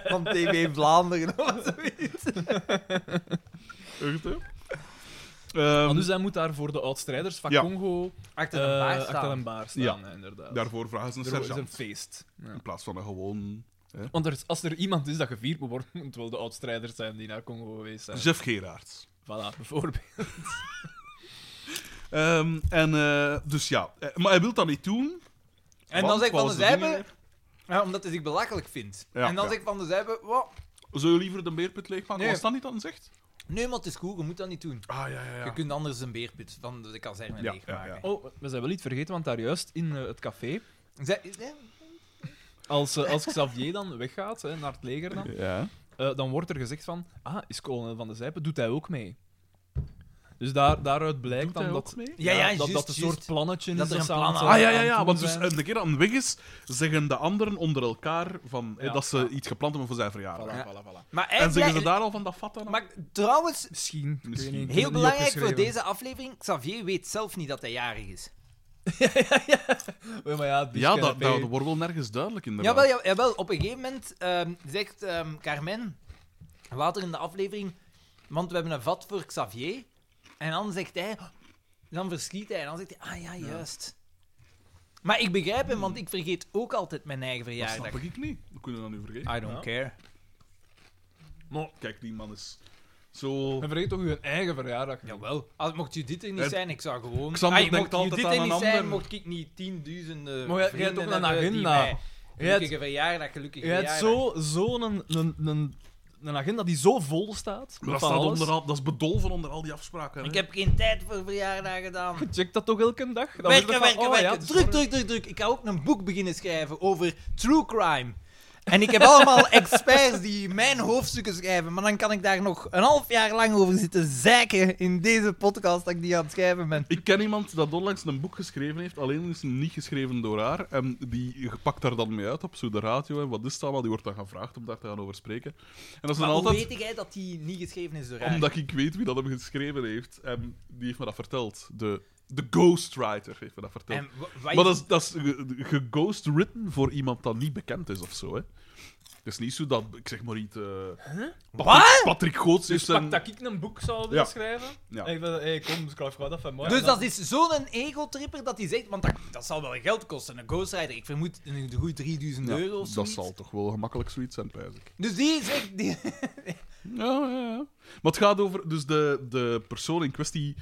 Speaker 4: Van TV Vlaanderen of zoiets.
Speaker 2: Echt, hè? Ehm,
Speaker 3: Maar dus hij moet daar voor de oudstrijders van
Speaker 2: Ja.
Speaker 3: Congo
Speaker 1: Achter een
Speaker 3: eh,
Speaker 1: baard
Speaker 3: achter
Speaker 1: staan.
Speaker 3: een baar staan.
Speaker 2: Ja.
Speaker 3: hè, inderdaad.
Speaker 2: Daarvoor vragen ze een
Speaker 3: er is een
Speaker 2: sergeant.
Speaker 3: feest. Ja.
Speaker 2: In plaats van een gewoon...
Speaker 3: Want er, is- als er iemand is dat gevierd moet worden, moet het wel de oudstrijders zijn die naar Congo geweest zijn.
Speaker 2: Jeff Gerards.
Speaker 3: Voilà, bijvoorbeeld.
Speaker 2: Ehm, en eh, dus ja, Eh, maar hij wil dat niet doen.
Speaker 4: En
Speaker 2: Want
Speaker 4: dan zegt Van de
Speaker 2: volgens de
Speaker 4: Zijpen, ja, omdat hij zich belachelijk vindt.
Speaker 2: Ja,
Speaker 4: en dan
Speaker 2: ja.
Speaker 4: zegt Van de Zijpen, wat?
Speaker 2: Zou je liever de beerput leegmaken?
Speaker 4: Nee.
Speaker 2: Was dat niet dan zegt?
Speaker 4: Nee, maar het is goed, je moet dat niet doen.
Speaker 2: Ah ja, ja,
Speaker 4: Je kunt anders een beerput van de kazerne
Speaker 2: Ja,
Speaker 4: leegmaken.
Speaker 2: ja,
Speaker 3: Oh, we zijn wel niet vergeten, want daar juist in eh, het café,
Speaker 4: Zij- eh,
Speaker 3: als, eh, als Xavier dan weggaat, hè, naar het leger dan,
Speaker 2: Ja.
Speaker 3: eh, dan wordt er gezegd van, ah, is kolonel van de Zijpen, doet hij ook mee? Dus daar, daaruit blijkt
Speaker 2: Doet
Speaker 3: dan
Speaker 2: hij
Speaker 3: dat,
Speaker 2: ook mee?
Speaker 4: Ja, ja,
Speaker 3: dat,
Speaker 4: juist,
Speaker 3: dat een
Speaker 4: juist.
Speaker 3: soort plannetje
Speaker 4: Dat
Speaker 3: is.
Speaker 4: er een
Speaker 3: ze
Speaker 4: plan
Speaker 3: aan het,
Speaker 4: aan-
Speaker 3: eh,
Speaker 2: Ah ja, ja,
Speaker 3: aan
Speaker 2: ja.
Speaker 3: het
Speaker 2: Want
Speaker 3: doen
Speaker 2: dus
Speaker 3: zijn.
Speaker 2: eh, de keer dat hij weg is, zeggen de anderen onder elkaar van, eh,
Speaker 3: Ja.
Speaker 2: dat ze iets gepland hebben voor zijn verjaardag.
Speaker 3: Voilà,
Speaker 4: Ja.
Speaker 3: voilà, voilà.
Speaker 4: Maar,
Speaker 2: En zeggen ze
Speaker 4: eigenlijk,
Speaker 2: daar al van dat vatten?
Speaker 4: maar trouwens,
Speaker 3: Misschien. ik weet
Speaker 2: Misschien.
Speaker 3: niet, ik heb het
Speaker 4: heel
Speaker 3: niet
Speaker 4: belangrijk voor
Speaker 3: opgeschreven.
Speaker 4: deze aflevering, Xavier weet zelf niet dat hij jarig is.
Speaker 3: Ja, maar ja,
Speaker 2: ja, dat,
Speaker 3: discrepé.
Speaker 2: dat wordt wel nergens duidelijk inderdaad.
Speaker 4: Jawel, ja- jawel, op een gegeven moment ehm, zegt ehm, Carmen, later in de aflevering, want we hebben een vat voor Xavier. En dan zegt hij, dan verschiet hij en dan zegt hij, ah ja, juist. Maar ik begrijp hem, want ik vergeet ook altijd mijn eigen
Speaker 2: dat snap
Speaker 4: verjaardag.
Speaker 2: ik niet. We kunnen dat nu vergeten.
Speaker 4: I don't care.
Speaker 3: Maar,
Speaker 2: Kijk, die man is zo...
Speaker 3: en vergeet toch uw eigen verjaardag. niet.
Speaker 4: Jawel. Als, mocht Judith er niet
Speaker 2: Het-
Speaker 4: zijn, ik zou gewoon...
Speaker 2: Xander
Speaker 4: Ai,
Speaker 2: denkt
Speaker 4: mocht
Speaker 2: altijd
Speaker 4: Judith
Speaker 2: aan
Speaker 4: er niet
Speaker 2: een
Speaker 4: zijn,
Speaker 2: ander.
Speaker 4: mocht ik niet tienduizenden
Speaker 3: Maar jij- jij
Speaker 4: Maar
Speaker 3: hebt ook een agenda. Jij hebt-
Speaker 4: Gelukkige verjaardag, gelukkige
Speaker 3: Je hebt
Speaker 4: verjaardag.
Speaker 3: zo'n zo een, een, een, een agenda die zo vol staat.
Speaker 2: Maar dat,
Speaker 3: van
Speaker 2: staat
Speaker 3: alles.
Speaker 2: onder al- dat is bedolven onder al die afspraken. hè.
Speaker 4: Ik heb geen tijd voor verjaardag gedaan.
Speaker 3: Check dat toch elke dag? Dan weet
Speaker 4: werken,
Speaker 3: je van,
Speaker 4: werken,
Speaker 3: oh, ja,
Speaker 4: werken.
Speaker 3: het is
Speaker 4: druk,
Speaker 3: morgen.
Speaker 4: druk, druk, druk. Ik ga ook een boek beginnen schrijven over true crime. En ik heb allemaal experts die mijn hoofdstukken schrijven. Maar dan kan ik daar nog een half jaar lang over zitten zeiken in deze podcast dat ik die aan het schrijven ben.
Speaker 2: Ik ken iemand dat onlangs een boek geschreven heeft, alleen is het niet geschreven door haar. En die pakt daar dan mee uit op zo de radio en wat is dat allemaal. Die wordt dan gevraagd om daar te gaan over spreken. En dat is
Speaker 4: Maar
Speaker 2: dan
Speaker 4: hoe
Speaker 2: altijd
Speaker 4: weet jij dat die niet geschreven is door haar?
Speaker 2: omdat ik weet wie dat hem geschreven heeft. En die heeft me dat verteld. De, de ghostwriter heeft me dat verteld.
Speaker 4: En wa- wat
Speaker 2: maar dat is, dat is ge- geghostwritten voor iemand dat niet bekend is of zo. Hè. Het is niet zo dat, ik zeg maar iets... eh, Patrick, Patrick Goots
Speaker 3: Dus
Speaker 2: heeft
Speaker 3: pak
Speaker 2: zijn...
Speaker 3: dat ik een boek zou willen
Speaker 2: Ja.
Speaker 3: schrijven.
Speaker 2: Ja.
Speaker 3: En ik ben, hey, kom, ik schrijf gewoon dat van morgen.
Speaker 4: Dus dat is zo'n ego-tripper dat hij zegt, want dat, dat zal wel geld kosten. Een ghostwriter, ik vermoed een goed 3000
Speaker 2: Ja,
Speaker 4: euro of zo.
Speaker 2: dat zal toch wel gemakkelijk zoiets zijn, prijs ik.
Speaker 4: Dus die zegt... Die...
Speaker 2: Ja, ja, ja. Maar het gaat over... Dus de, de persoon in kwestie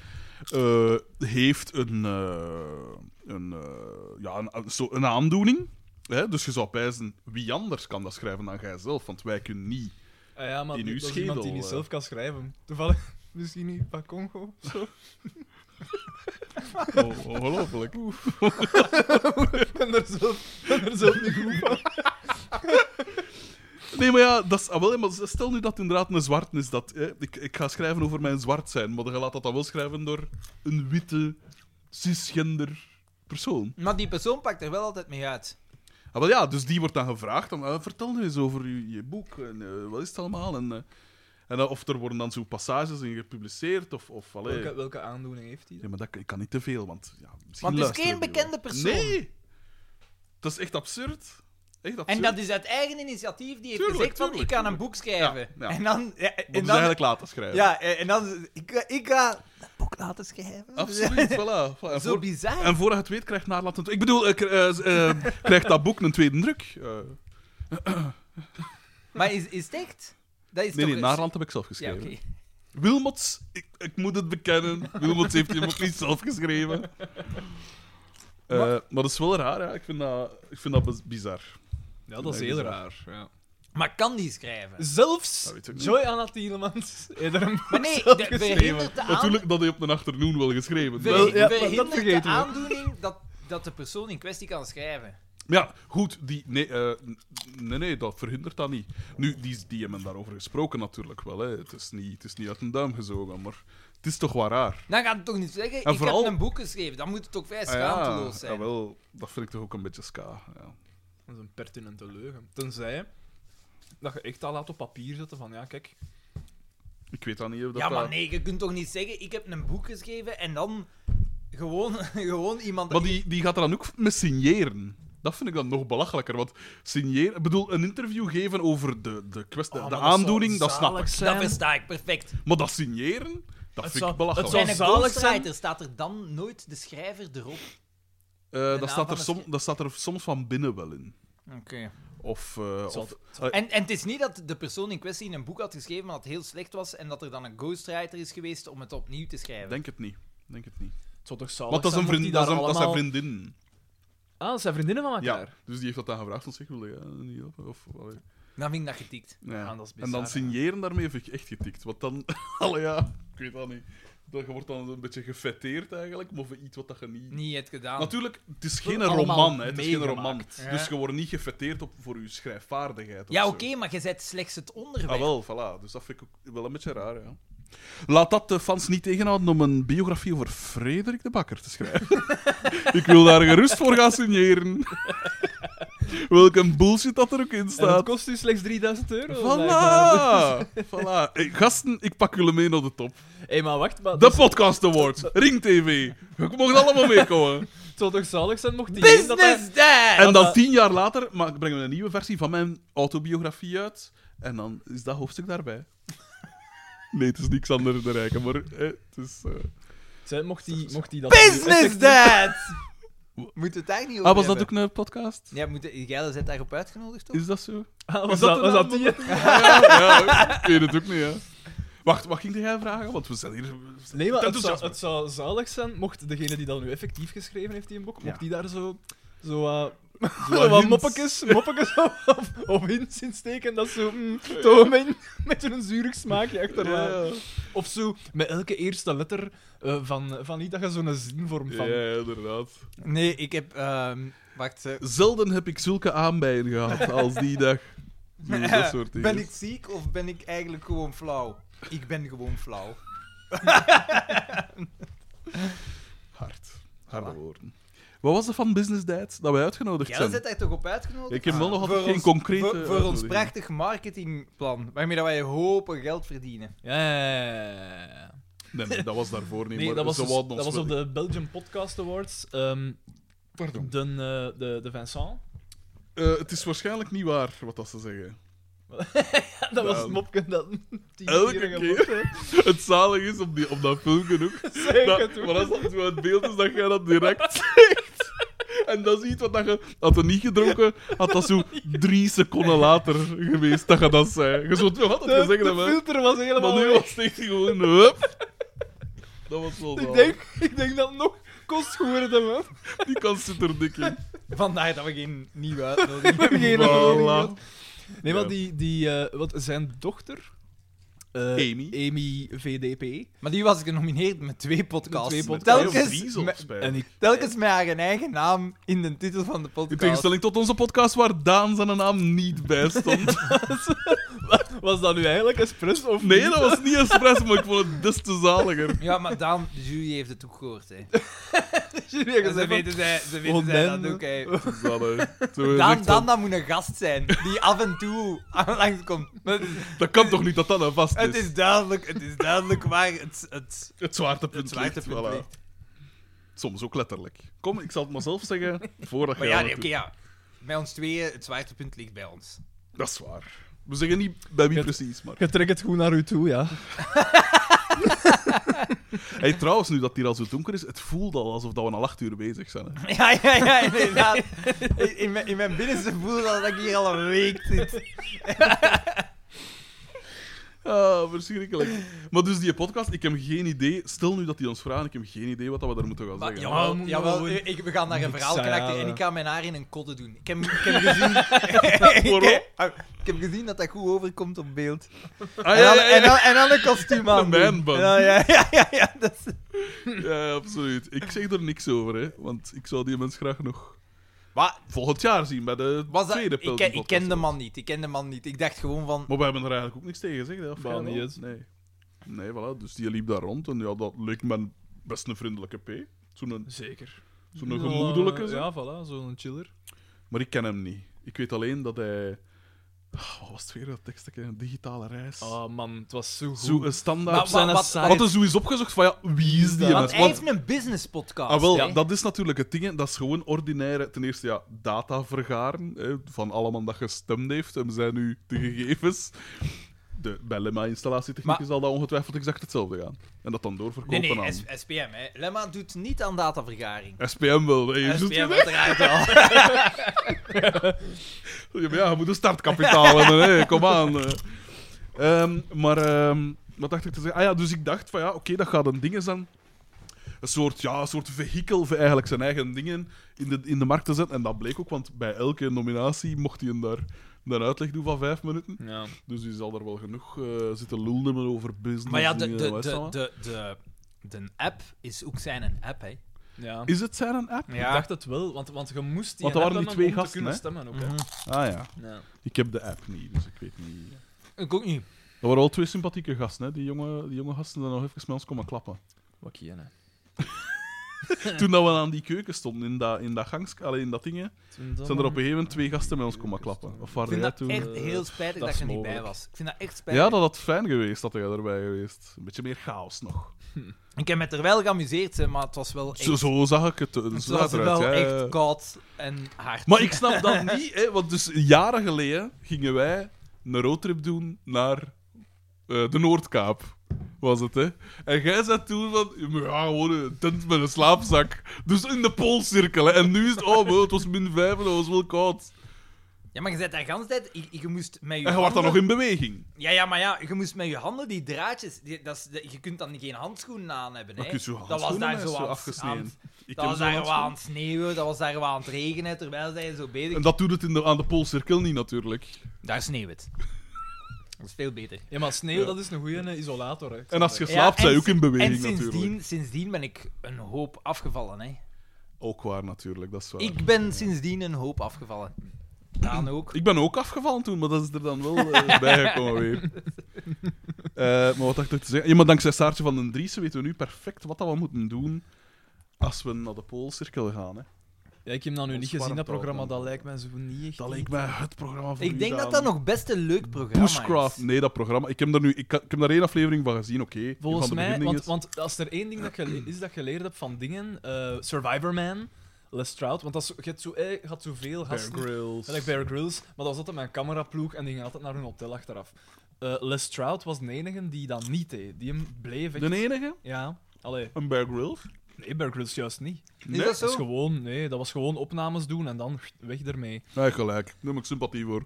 Speaker 2: eh, heeft een, eh, een, eh, ja, een, een, zo, een aandoening. Hè? Dus je zou pijzen, wie anders kan dat schrijven dan jijzelf? Want wij kunnen niet...
Speaker 3: Ah, ja, maar
Speaker 2: in
Speaker 3: dat
Speaker 2: uw
Speaker 3: is iemand die
Speaker 2: schedel,
Speaker 3: niet
Speaker 2: eh.
Speaker 3: zelf kan schrijven. Toevallig. Misschien niet van Congo of zo.
Speaker 2: Oh, ongelooflijk.
Speaker 3: Ik ben er zelf, ik ben er zelf niet goed van.
Speaker 2: Nee, maar ja, dat is, ah, wel, maar stel nu dat het inderdaad een zwart is. Dat, hè, ik, ik ga schrijven over mijn zwart zijn, maar je laat dat dan wel schrijven door een witte, cisgender persoon.
Speaker 4: Maar die persoon pakt er wel altijd mee uit.
Speaker 2: Ah, wel ja, dus die wordt dan gevraagd. Dan, eh, vertel nu eens over je, je boek. En, eh, wat is het allemaal? En, eh, en dan- of er worden dan zo passages in gepubliceerd. Of, of allee.
Speaker 3: Welke, welke aandoening heeft hij?
Speaker 2: Ja, maar dat ik kan niet te veel, want ja, misschien
Speaker 4: Want het is
Speaker 2: luisteren
Speaker 4: geen
Speaker 2: die
Speaker 4: bekende
Speaker 2: wel.
Speaker 4: persoon.
Speaker 2: Nee! Dat is echt absurd. Echt absurd.
Speaker 4: En dat is uit eigen initiatief die heeft
Speaker 2: Tuurlijk,
Speaker 4: gezegd van,
Speaker 2: tuurlijk,
Speaker 4: ik ga een boek schrijven.
Speaker 2: Ja, ja.
Speaker 4: En dan... Ja,
Speaker 2: Wat
Speaker 4: en
Speaker 2: ze
Speaker 4: dan,
Speaker 2: eigenlijk eh, laten schrijven.
Speaker 4: ja, eh, en dan... Ik, ga- ik ga een boek laten schrijven.
Speaker 2: Eh, Absoluut, voilà. En,
Speaker 4: Zo
Speaker 2: voor,
Speaker 4: bizar.
Speaker 2: en voordat je het weet, krijgt Naarland een... Ik bedoel, eh, k- eh, eh, krijgt dat boek een tweede druk. Eh,
Speaker 4: Maar is, is het echt? Dat
Speaker 2: Nee,
Speaker 4: is toch
Speaker 2: nee,
Speaker 4: een-
Speaker 2: Naarland heb ik zelf
Speaker 4: Ja,
Speaker 2: geschreven.
Speaker 4: oké.
Speaker 2: Wilmots, ik, ik moet het bekennen. Wilmots heeft hem ook niet zelf geschreven. Eh, maar dat is wel raar, ja. ik, vind dat, ik vind dat biz- bizar.
Speaker 3: Ja, dat is heel raar. Ja.
Speaker 4: Maar kan die schrijven?
Speaker 3: Zelfs
Speaker 2: Dat weet ik niet.
Speaker 3: Joy Anna Tielemans heeft er een
Speaker 4: Maar nee,
Speaker 3: zelf
Speaker 4: de-
Speaker 3: geschreven.
Speaker 4: verhindert de, aan,
Speaker 2: Natuurlijk dat hij op een achternoon wel geschreven.
Speaker 4: ver-
Speaker 2: maar-
Speaker 3: Wel, ja, maar dat
Speaker 4: verhindert de
Speaker 3: vergeten we.
Speaker 4: aandoening dat, dat de persoon in kwestie kan schrijven.
Speaker 2: Maar ja, goed, die, nee, eh, n- nee, nee, dat verhindert dat niet. Nu, die, die hebben daarover gesproken natuurlijk wel. Hè. Het, is niet, het is niet uit een duim gezogen, maar het is toch wel raar.
Speaker 4: Dan gaat het toch niet zeggen,
Speaker 2: En
Speaker 4: ik
Speaker 2: vooral-
Speaker 4: heb een boek geschreven. Dan moet het toch vrij
Speaker 2: Ah ja,
Speaker 4: schaamteloos zijn.
Speaker 2: jawel, dat vind ik toch ook een beetje ska. Ja.
Speaker 3: Dat is een pertinente leugen. Tenzij dat je echt al laat op papier zetten van ja, kijk.
Speaker 2: Ik weet dat niet. Of dat
Speaker 4: ja, maar
Speaker 2: dat-
Speaker 4: nee, je kunt toch niet zeggen, ik heb een boek geschreven en dan gewoon, gewoon iemand...
Speaker 2: Maar die, die gaat er dan ook mee signeren. Dat vind ik dan nog belachelijker. Want signeren, ik bedoel, een interview geven over de, de, kwestie-
Speaker 3: Oh,
Speaker 2: de
Speaker 3: maar zou
Speaker 2: aandoening, dat snap
Speaker 3: zalig
Speaker 2: ik.
Speaker 3: zijn.
Speaker 4: Dat versta ik perfect.
Speaker 2: Maar dat signeren,
Speaker 3: Het
Speaker 2: dat vind
Speaker 3: zou-
Speaker 2: ik belachelijk.
Speaker 3: het
Speaker 4: Bij een
Speaker 3: zalig zijn-
Speaker 4: ghostwriter staat er dan nooit de schrijver erop.
Speaker 2: Eh,
Speaker 4: naam
Speaker 2: dat, staat
Speaker 4: van
Speaker 2: er
Speaker 4: het
Speaker 2: som,
Speaker 4: schip.
Speaker 2: dat staat er soms van binnen wel in.
Speaker 4: Oké.
Speaker 2: Of, eh, of
Speaker 4: En, en het is niet dat de persoon in kwestie een boek had geschreven, maar dat het heel slecht was en dat er dan een ghostwriter is geweest om het opnieuw te schrijven.
Speaker 2: denk het niet. Denk het niet.
Speaker 3: Het zou toch zalig
Speaker 2: Want dat is, een
Speaker 3: zijn mocht die
Speaker 2: vriend, dat, is
Speaker 3: daar
Speaker 2: een- dat is zijn
Speaker 3: allemaal-
Speaker 2: vriendin.
Speaker 3: Ah, dat zijn vriendinnen van elkaar.
Speaker 2: Ja. Dus die heeft dat dan gevraagd. Ons zegt, wil je eh, niet op? Of, allee.
Speaker 4: Dan vind ik dat getikt.
Speaker 2: Ja.
Speaker 3: Ja, dat is
Speaker 2: en
Speaker 3: bizar,
Speaker 2: dan
Speaker 3: ja.
Speaker 2: signeren daarmee vind ik echt getikt. Want dan, allee, ja, ik weet dat niet. Dat je wordt dan een beetje gefetteerd eigenlijk, maar voor iets wat dat je niet...
Speaker 4: Niet het gedaan.
Speaker 2: Natuurlijk, het is geen
Speaker 3: Allemaal
Speaker 2: roman, hè. Het is geen roman.
Speaker 3: meegemaakt.
Speaker 4: Ja.
Speaker 2: Dus je wordt niet gefetteerd op, voor je schrijfvaardigheid. of
Speaker 4: ja,
Speaker 2: zo.
Speaker 4: oké, maar je zet slechts het onderwerp.
Speaker 2: Ah, wel, voilà. Dus dat vind ik ook wel een beetje raar, ja. Laat dat de fans niet tegenhouden om een biografie over Frederik de Bakker te schrijven. ik wil daar gerust voor gaan signeren. Welk een bullshit dat er ook in
Speaker 3: En het
Speaker 2: staat.
Speaker 3: kost u slechts 3000 euro. blijkbaar.
Speaker 2: Voilà! voilà. Hey, gasten, ik pak jullie mee naar de top.
Speaker 3: Hé, maar wacht, maar
Speaker 2: De
Speaker 3: dat
Speaker 2: Podcast Awards, Ring TV. Je mocht allemaal meekomen.
Speaker 3: zou toch zalig zijn mocht die één dat hij-
Speaker 4: Business that!
Speaker 2: En dan tien jaar later maar ik breng een nieuwe versie van mijn autobiografie uit. En dan is dat hoofdstuk daarbij. Nee, het is niks anders te Rijken, maar eh, het is... eh,
Speaker 3: Zij- mocht die, mocht die dat...
Speaker 4: Business that! Moet het daar niet over
Speaker 2: Ah, was dat
Speaker 4: hebben.
Speaker 2: ook een podcast?
Speaker 4: Ja, moet de- jij bent daarop uitgenodigd, toch?
Speaker 2: Is dat zo?
Speaker 3: Ah,
Speaker 2: Is
Speaker 3: was
Speaker 2: dat
Speaker 3: dat,
Speaker 2: de
Speaker 3: was
Speaker 2: naam
Speaker 3: dat die?
Speaker 2: ja, ja, ik weet het ook niet, ja. Wacht, wat ging jij vragen? Want we zijn hier...
Speaker 3: Nee, maar het zou,
Speaker 2: Enthousiasme.
Speaker 3: het zou zalig zijn mocht degene die dat nu effectief geschreven heeft, die een boek,
Speaker 2: Ja.
Speaker 3: mocht die daar zo... Zo, eh,
Speaker 2: Zo
Speaker 3: zo wat
Speaker 2: hints.
Speaker 3: moppetjes, moppetjes of, of- of hints in steken, dat zo... Mm, toch een- met zo'n zuurig smaakje achterlaat.
Speaker 2: Ja,
Speaker 3: Of zo, met elke eerste letter eh, van, van iets dat je zo'n zin vormt
Speaker 2: ja,
Speaker 3: van.
Speaker 2: ja, inderdaad.
Speaker 4: Nee, ik heb... ehm, wacht, eh,
Speaker 2: Zelden heb ik zulke aanbijen gehad als die dag. Zo, dat soort dingen.
Speaker 4: ben ik ziek of ben ik eigenlijk gewoon flauw? Ik ben gewoon flauw.
Speaker 2: Hard. Harde woorden. Wat was er van Business Diet dat wij uitgenodigd
Speaker 4: Jij
Speaker 2: zijn?
Speaker 4: bent daar toch op uitgenodigd? Ah.
Speaker 2: Ik heb wel nog altijd
Speaker 4: Voor
Speaker 2: geen
Speaker 4: ons-
Speaker 2: concrete...
Speaker 4: Voor, voor ons
Speaker 2: uitnodiging.
Speaker 4: prachtig marketingplan, waarmee dat wij hopen geld verdienen.
Speaker 3: Ja, ja, ja, ja, ja.
Speaker 2: Nee, nee, dat was daarvoor niet,
Speaker 3: Nee,
Speaker 2: maar
Speaker 3: dat was,
Speaker 2: ze
Speaker 3: dus-
Speaker 2: wouden
Speaker 3: dat
Speaker 2: ons
Speaker 3: was op
Speaker 2: wel-
Speaker 3: de Belgian Podcast Awards. ehm
Speaker 2: Pardon.
Speaker 3: de, eh, de, de Vincent.
Speaker 2: Eh, het is waarschijnlijk niet waar, wat dat ze zeggen.
Speaker 3: dat was het mopje dat tien
Speaker 2: Elke
Speaker 3: keer
Speaker 2: keer. Het zalig is op, die, op dat filmpje ook. dat, maar als dat zo uit beeld is, dan ga je dat direct zegt. En dat is iets wat dat je... Had je niet gedronken, had dat zo drie seconden later geweest dat je dat zei. Je zou het wel altijd
Speaker 3: De,
Speaker 2: gezegd
Speaker 3: de
Speaker 2: hebben.
Speaker 3: filter was helemaal
Speaker 2: Maar nu
Speaker 3: weg.
Speaker 2: was het echt gewoon... Hup. Dat was wel
Speaker 3: ik,
Speaker 2: zalig.
Speaker 3: denk, ik denk dat het nog kost geworden, man.
Speaker 2: Die kans zit er dik in.
Speaker 4: Vandaar dat we geen nieuwe uitnodiging
Speaker 3: Geen
Speaker 2: Voilà.
Speaker 3: idee. Nee,
Speaker 2: Ja.
Speaker 3: want die, die, eh, wat, zijn dochter... eh,
Speaker 2: Amy.
Speaker 3: Amy VDP.
Speaker 4: Maar die was genomineerd met twee podcasts.
Speaker 3: Met twee podcasts.
Speaker 2: Heel
Speaker 4: Telkens,
Speaker 2: vies op,
Speaker 4: me-
Speaker 2: spijt.
Speaker 3: En ik,
Speaker 4: telkens met haar eigen naam in de titel van de
Speaker 2: In
Speaker 4: podcast.
Speaker 2: tegenstelling tot onze podcast, waar Daan zijn naam niet bij stond.
Speaker 3: was dat nu eigenlijk espresso of
Speaker 2: Nee,
Speaker 3: niet?
Speaker 2: dat was niet expres, maar ik vond het des te zaliger.
Speaker 4: Ja, maar Daan, de jury heeft het ook gehoord. Hè.
Speaker 3: Jullie hebben
Speaker 4: En ze
Speaker 3: gezegd van-
Speaker 4: weten, zij, ze weten zij
Speaker 3: Onden.
Speaker 4: dat ook. Hè.
Speaker 2: Dat, hè. Zo gezegd
Speaker 4: Daan,
Speaker 2: van,
Speaker 4: Daan dat moet een gast zijn die af en toe langskomt. Maar Het,
Speaker 2: Dat kan toch niet dat dat een vast
Speaker 4: het,
Speaker 2: is?
Speaker 4: is duidelijk, het is duidelijk waar het, het,
Speaker 2: Het zwaartepunt,
Speaker 4: het zwaartepunt
Speaker 2: ligt, voilà.
Speaker 4: ligt.
Speaker 2: Soms ook letterlijk. Kom, ik zal het maar zelf zeggen, voordat
Speaker 4: Maar
Speaker 2: jij
Speaker 4: ja,
Speaker 2: aan
Speaker 4: nee,
Speaker 2: het
Speaker 4: oké, ja. Bij ons tweeën, het zwaartepunt ligt bij ons.
Speaker 2: doet. Dat is waar. We zeggen niet bij wie
Speaker 3: Het-
Speaker 2: precies, maar...
Speaker 3: Je trekt het goed naar u toe, ja.
Speaker 2: Hey, trouwens, nu dat het hier al zo donker is, het voelt al alsof dat we al acht uur bezig zijn. hè.
Speaker 4: Ja, ja, ja, inderdaad. In, in mijn, in mijn binnenste voel dat ik hier al een week zit.
Speaker 2: Ah, verschrikkelijk. Maar dus die podcast, ik heb geen idee. Stel nu dat die ons vragen, ik heb geen idee wat dat we daar moeten gaan
Speaker 4: Maar,
Speaker 2: zeggen.
Speaker 4: jawel,
Speaker 3: moet
Speaker 4: jawel,
Speaker 3: wel-
Speaker 4: ik, we gaan naar een
Speaker 3: Niks
Speaker 4: verhaal
Speaker 3: aan,
Speaker 2: eh.
Speaker 4: karakter en
Speaker 3: ja.
Speaker 4: ik ga mijn haar in een kodde doen. Ik heb, ik heb gezien...
Speaker 2: Waarom?
Speaker 4: ik heb gezien dat dat goed overkomt op beeld.
Speaker 2: Ah, ja, ja, ja,
Speaker 4: En, dan, en dan een kostuum aan.
Speaker 2: Een manbun.
Speaker 4: Ja, ja, ja, ja, ja, dat is-
Speaker 2: ja, ja, absoluut. Ik zeg er niks over, hè, want ik zou die mens graag nog volgend jaar zien bij de
Speaker 4: Was dat,
Speaker 2: tweede
Speaker 4: ik,
Speaker 2: Pelton
Speaker 4: ken- ik ken de
Speaker 2: podcast.
Speaker 4: man niet, ik ken de man niet. Ik dacht gewoon van...
Speaker 2: Maar we hebben er eigenlijk ook niks tegen gezegd, hè? of
Speaker 3: Bah,
Speaker 2: jij
Speaker 3: niet
Speaker 2: wel?
Speaker 3: eens.
Speaker 2: Nee. Nee, voilà. Dus die liep daar rond en ja, dat leek me een- best een vriendelijke P. Zo'n
Speaker 3: Zeker.
Speaker 2: zo'n gemoedelijke. zo.
Speaker 3: Ja, voilà, zo'n chiller.
Speaker 2: Maar ik ken hem niet. Ik weet alleen dat hij. Ah, wat was het weer dat tekstje? Een digitale reis.
Speaker 3: Oh man, het was zo goed.
Speaker 2: zo, een
Speaker 3: Maar
Speaker 2: standaard.
Speaker 3: op zijn
Speaker 4: wat- wat-
Speaker 3: site.
Speaker 2: Wat er zo is opgezocht van ja, wie is die
Speaker 3: Ja.
Speaker 4: Want
Speaker 2: mens?
Speaker 4: hij
Speaker 2: Want,
Speaker 4: heeft een business podcast.
Speaker 2: ah, wel,
Speaker 4: hè.
Speaker 2: dat is natuurlijk het ding. hè. Dat is gewoon ordinaire. Ten eerste, ja, data vergaren hè, van allemaal dat gestemd heeft. En zijn nu de gegevens. De, bij Lemma-installatietechnieken
Speaker 4: Maar-
Speaker 2: zal dat ongetwijfeld exact hetzelfde gaan. En dat dan
Speaker 4: Nee,
Speaker 2: doorverkopen
Speaker 4: nee,
Speaker 2: aan.
Speaker 4: S- SPM, hè. Lemma doet niet aan datavergaring.
Speaker 2: SPM wel. hè. Je,
Speaker 4: SPM
Speaker 2: doet-
Speaker 4: uiteraard wel.
Speaker 2: Ja, maar ja, je moet een startkapitaal hebben, hè. kom aan. eh. Ehm, maar ehm, wat dacht ik te zeggen? Ah ja, dus ik dacht van ja, oké, dat gaat een ding zijn. Een soort, ja, een soort vehikel voor eigenlijk zijn eigen dingen in de, in de markt te zetten. En dat bleek ook, want bij elke nominatie mocht hij een daar een uitleg doen van vijf minuten.
Speaker 3: Ja.
Speaker 2: Dus die zal er wel genoeg eh, zitten lullen over business.
Speaker 4: Maar ja, de,
Speaker 2: dingen
Speaker 4: de,
Speaker 2: en eh, wat
Speaker 4: de,
Speaker 2: is dat
Speaker 4: de,
Speaker 2: allemaal.
Speaker 4: de, de app is ook zijn een app, hè.
Speaker 3: ja.
Speaker 2: Is het zijn een app?
Speaker 3: Ik dacht het wel, want, want je moest die
Speaker 2: Want er
Speaker 3: app
Speaker 2: waren die
Speaker 3: hebben
Speaker 2: twee
Speaker 3: om te
Speaker 2: gasten,
Speaker 3: kunnen
Speaker 2: hè?
Speaker 3: stemmen ook. Hè.
Speaker 4: Mhm.
Speaker 2: Ah ja,
Speaker 3: Ja.
Speaker 2: ik heb de app niet, dus ik weet niet.
Speaker 4: Ik ook niet.
Speaker 2: Dat waren al twee sympathieke gasten, hè. Die jonge, die jonge gasten die nog even met ons komen klappen.
Speaker 3: Wat kiezen, hè.
Speaker 2: Toen dat we aan die keuken stonden, in dat, in dat gangsk, allee, in dat ding, hè,
Speaker 3: Toen dan-
Speaker 2: zijn er op een gegeven moment twee gasten met ons komen klappen. Of
Speaker 4: Ik
Speaker 2: waren
Speaker 4: vind
Speaker 2: jij
Speaker 4: dat
Speaker 2: toen...
Speaker 4: echt
Speaker 2: eh,
Speaker 4: heel spijtig
Speaker 3: dat
Speaker 4: dat
Speaker 3: is
Speaker 4: je er niet bij
Speaker 3: mogelijk.
Speaker 4: was. Ik vind dat echt spijtig.
Speaker 2: Ja, dat had fijn geweest dat jij erbij geweest. Een beetje meer chaos nog.
Speaker 4: Ik heb me er wel geamuseerd, hè, maar het was wel echt...
Speaker 2: Zo, zo zag ik het, eh,
Speaker 4: het
Speaker 2: zo zag
Speaker 4: was
Speaker 2: het eruit.
Speaker 4: wel
Speaker 2: ja, ja, ja.
Speaker 4: echt koud en hard.
Speaker 2: Maar ik snap dat niet, hè, want dus jaren geleden gingen wij een roadtrip doen naar eh, de Noordkaap. Was het, hè? En jij zei toen van, ja, gewoon een tent met een slaapzak. Dus in de poolcirkel, hè. En nu is het, oh, wow, het was min vijf en het was wel koud.
Speaker 4: Ja, maar je zit daar de hele tijd... Je, je moest met je
Speaker 2: En je was dan nog
Speaker 4: handen-
Speaker 2: in beweging.
Speaker 4: Ja, ja, maar ja, je moest met je handen die draadjes... Die, dat is, de- je kunt dan geen handschoenen aan hebben, hè.
Speaker 2: Maar kun je zo
Speaker 4: dat was
Speaker 2: handschoenen
Speaker 4: daar
Speaker 2: met
Speaker 4: zo
Speaker 2: zo
Speaker 4: aan-
Speaker 2: afgesneden?
Speaker 4: aan-
Speaker 2: Ik heb
Speaker 4: dat was
Speaker 2: zo'n
Speaker 4: daar wel
Speaker 2: handschoen.
Speaker 4: aan het sneeuwen, dat was daar wel aan het regenen, terwijl zij zo bezig...
Speaker 2: En dat doet het in de, aan de Poolcirkel niet, natuurlijk.
Speaker 4: Daar sneeuwt het. Dat is veel beter.
Speaker 3: Ja, maar sneeuw,
Speaker 2: Ja.
Speaker 3: dat is een goede isolator. Hè. Ik
Speaker 2: En
Speaker 3: snap
Speaker 2: als je
Speaker 3: dat.
Speaker 4: Ja,
Speaker 2: slaapt,
Speaker 4: en
Speaker 2: zij ook
Speaker 4: sin-
Speaker 2: in beweging,
Speaker 4: En
Speaker 2: natuurlijk.
Speaker 4: sindsdien, sindsdien ben ik een hoop afgevallen, hè.
Speaker 2: Ook waar, natuurlijk. Dat is waar.
Speaker 4: Ik ben sindsdien een hoop afgevallen. Daan ook.
Speaker 2: Ik ben ook afgevallen toen, maar dat is er dan wel eh, bijgekomen weer. Eh, maar wat dacht ik te zeggen? Ja, maar dankzij Saartje van den Driessen weten we nu perfect wat dat we moeten doen als we naar de Poolcirkel gaan. Hè.
Speaker 3: Ja, ik heb dat nu
Speaker 2: Ons
Speaker 3: niet gezien, dat
Speaker 2: warmt
Speaker 3: programma.
Speaker 2: al dan.
Speaker 3: Dat lijkt mij zo niet echt.
Speaker 2: Dat leek mij het programma voor
Speaker 4: Ik
Speaker 2: u
Speaker 4: denk dat
Speaker 2: aan.
Speaker 4: dat nog best een leuk programma
Speaker 2: Bushcraft.
Speaker 4: is.
Speaker 2: Nee, dat programma. Ik heb daar nu ik, ik heb daar één aflevering van gezien, oké. die
Speaker 3: Volgens
Speaker 2: van de
Speaker 3: mij,
Speaker 2: beginning
Speaker 3: want,
Speaker 2: is.
Speaker 3: want als er één ding dat gele- is dat je geleerd hebt van dingen, eh, Survivor Man, Les Stroud, want dat is, je hebt zo, eh, je had zoveel gasten.
Speaker 2: Bear Grylls.
Speaker 3: Ja, like Bear Grylls, maar dat was altijd mijn cameraploeg en die ging altijd naar hun hotel achteraf. Eh, Les Stroud was de enige die dat niet deed. Die hem bleef echt...
Speaker 2: De enige?
Speaker 3: Ja. Allee,
Speaker 2: Een Bear Grylls?
Speaker 3: nee, Bear Grylls juist niet.
Speaker 2: Nee.
Speaker 4: dat
Speaker 3: Dat is
Speaker 4: Zo?
Speaker 3: gewoon, nee, dat was gewoon opnames doen en dan weg ermee.
Speaker 2: Nee, gelijk. Daar heb ik sympathie voor.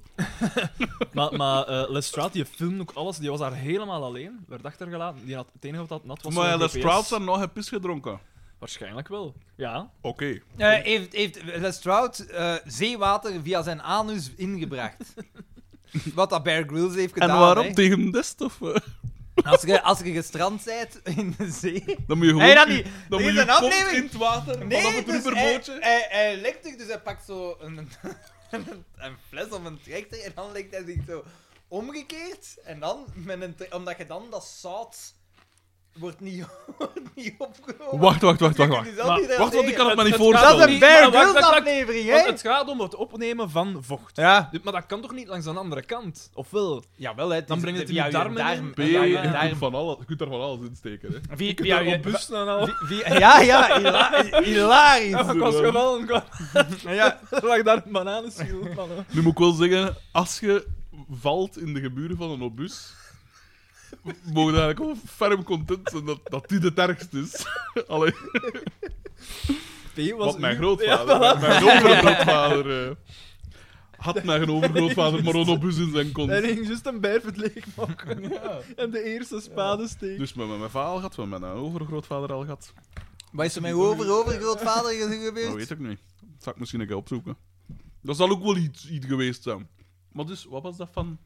Speaker 3: maar maar eh, Les Stroud, die filmde ook alles, die was daar helemaal alleen, werd achtergelaten. Die had, het enige wat dat nat was...
Speaker 2: maar ja,
Speaker 3: zo'n
Speaker 2: Les
Speaker 3: GPS.
Speaker 2: Stroud daar nog heb pis gedronken. Oké.
Speaker 3: Waarschijnlijk wel. Ja.
Speaker 4: Eh, heeft, heeft Lestroud eh, zeewater via zijn anus ingebracht? Wat dat Bear Grylls heeft
Speaker 2: En
Speaker 4: gedaan.
Speaker 2: waarom?
Speaker 4: hè.
Speaker 2: Tegen hem des? Of, eh?
Speaker 4: Als je, als je gestrand bent in de zee.
Speaker 2: Dan moet je gewoon...
Speaker 4: Nee, dat niet.
Speaker 2: Dan
Speaker 4: Er
Speaker 2: moet
Speaker 4: is
Speaker 2: je
Speaker 4: een
Speaker 2: kont
Speaker 4: aflevering.
Speaker 2: in het water.
Speaker 4: Nee,
Speaker 2: vanaf het
Speaker 4: dus
Speaker 2: rubberbootje.
Speaker 4: Hij, hij, hij legt zich, dus hij pakt zo een, een, een fles of een trechter en dan legt hij zich zo omgekeerd. En dan, met een tre- omdat je dan dat zout wordt niet, wordt niet opgenomen.
Speaker 2: Wacht, wacht, wacht, wacht. Wacht,
Speaker 4: Dus dat
Speaker 3: Maar-
Speaker 4: is er
Speaker 2: wacht want ik
Speaker 4: tegen.
Speaker 2: kan het me niet
Speaker 3: Het- het gaat
Speaker 4: Dat
Speaker 2: voorstellen.
Speaker 4: is een
Speaker 3: niet, maar
Speaker 4: Bear
Speaker 3: wacht,
Speaker 4: Grylls
Speaker 3: wacht, wacht.
Speaker 4: aflevering,
Speaker 3: Want
Speaker 4: hè?
Speaker 3: het gaat om het opnemen van vocht.
Speaker 4: Ja.
Speaker 3: Dit- Maar dat kan toch niet langs een andere kant? Ofwel?
Speaker 4: Jawel, hè. het
Speaker 3: Dan
Speaker 4: is-
Speaker 3: brengt het
Speaker 4: via
Speaker 3: in je darmen in.
Speaker 2: P,
Speaker 4: en dan-
Speaker 2: je
Speaker 3: Ja, ja,
Speaker 4: darm-
Speaker 2: kunt van alles- je kunt daar van alles in steken. Hè.
Speaker 4: via-
Speaker 3: Ik
Speaker 4: via
Speaker 3: heb
Speaker 4: je-
Speaker 3: op bus en al.
Speaker 4: via- Ja, ja, hila- hilarisch.
Speaker 3: Ik was gevallen.
Speaker 4: Ja,
Speaker 3: Er lag daar een bananenschil van. hè.
Speaker 2: Nu moet ik wel zeggen, als je valt in de geburen van een obus, mogen we eigenlijk wel ferm content zijn dat, dat dit het ergst is. Allee,
Speaker 3: P was
Speaker 2: wat mijn
Speaker 3: uw-
Speaker 2: grootvader, mijn overgrootvader... eh. had mijn overgrootvader maar een bus in zijn kont.
Speaker 3: Hij ging juist een bijvert leegmaken. En de eerste spade steek.
Speaker 2: Dus met mijn vader al gehad, met mijn overgrootvader al gehad.
Speaker 1: Wat is er met uw over, overgrootvader
Speaker 2: Dat
Speaker 1: gebeurd?
Speaker 2: weet ik niet. Dat zal ik misschien een keer opzoeken. Dat zal ook wel iets, iets geweest zijn. Maar dus, wat was dat van...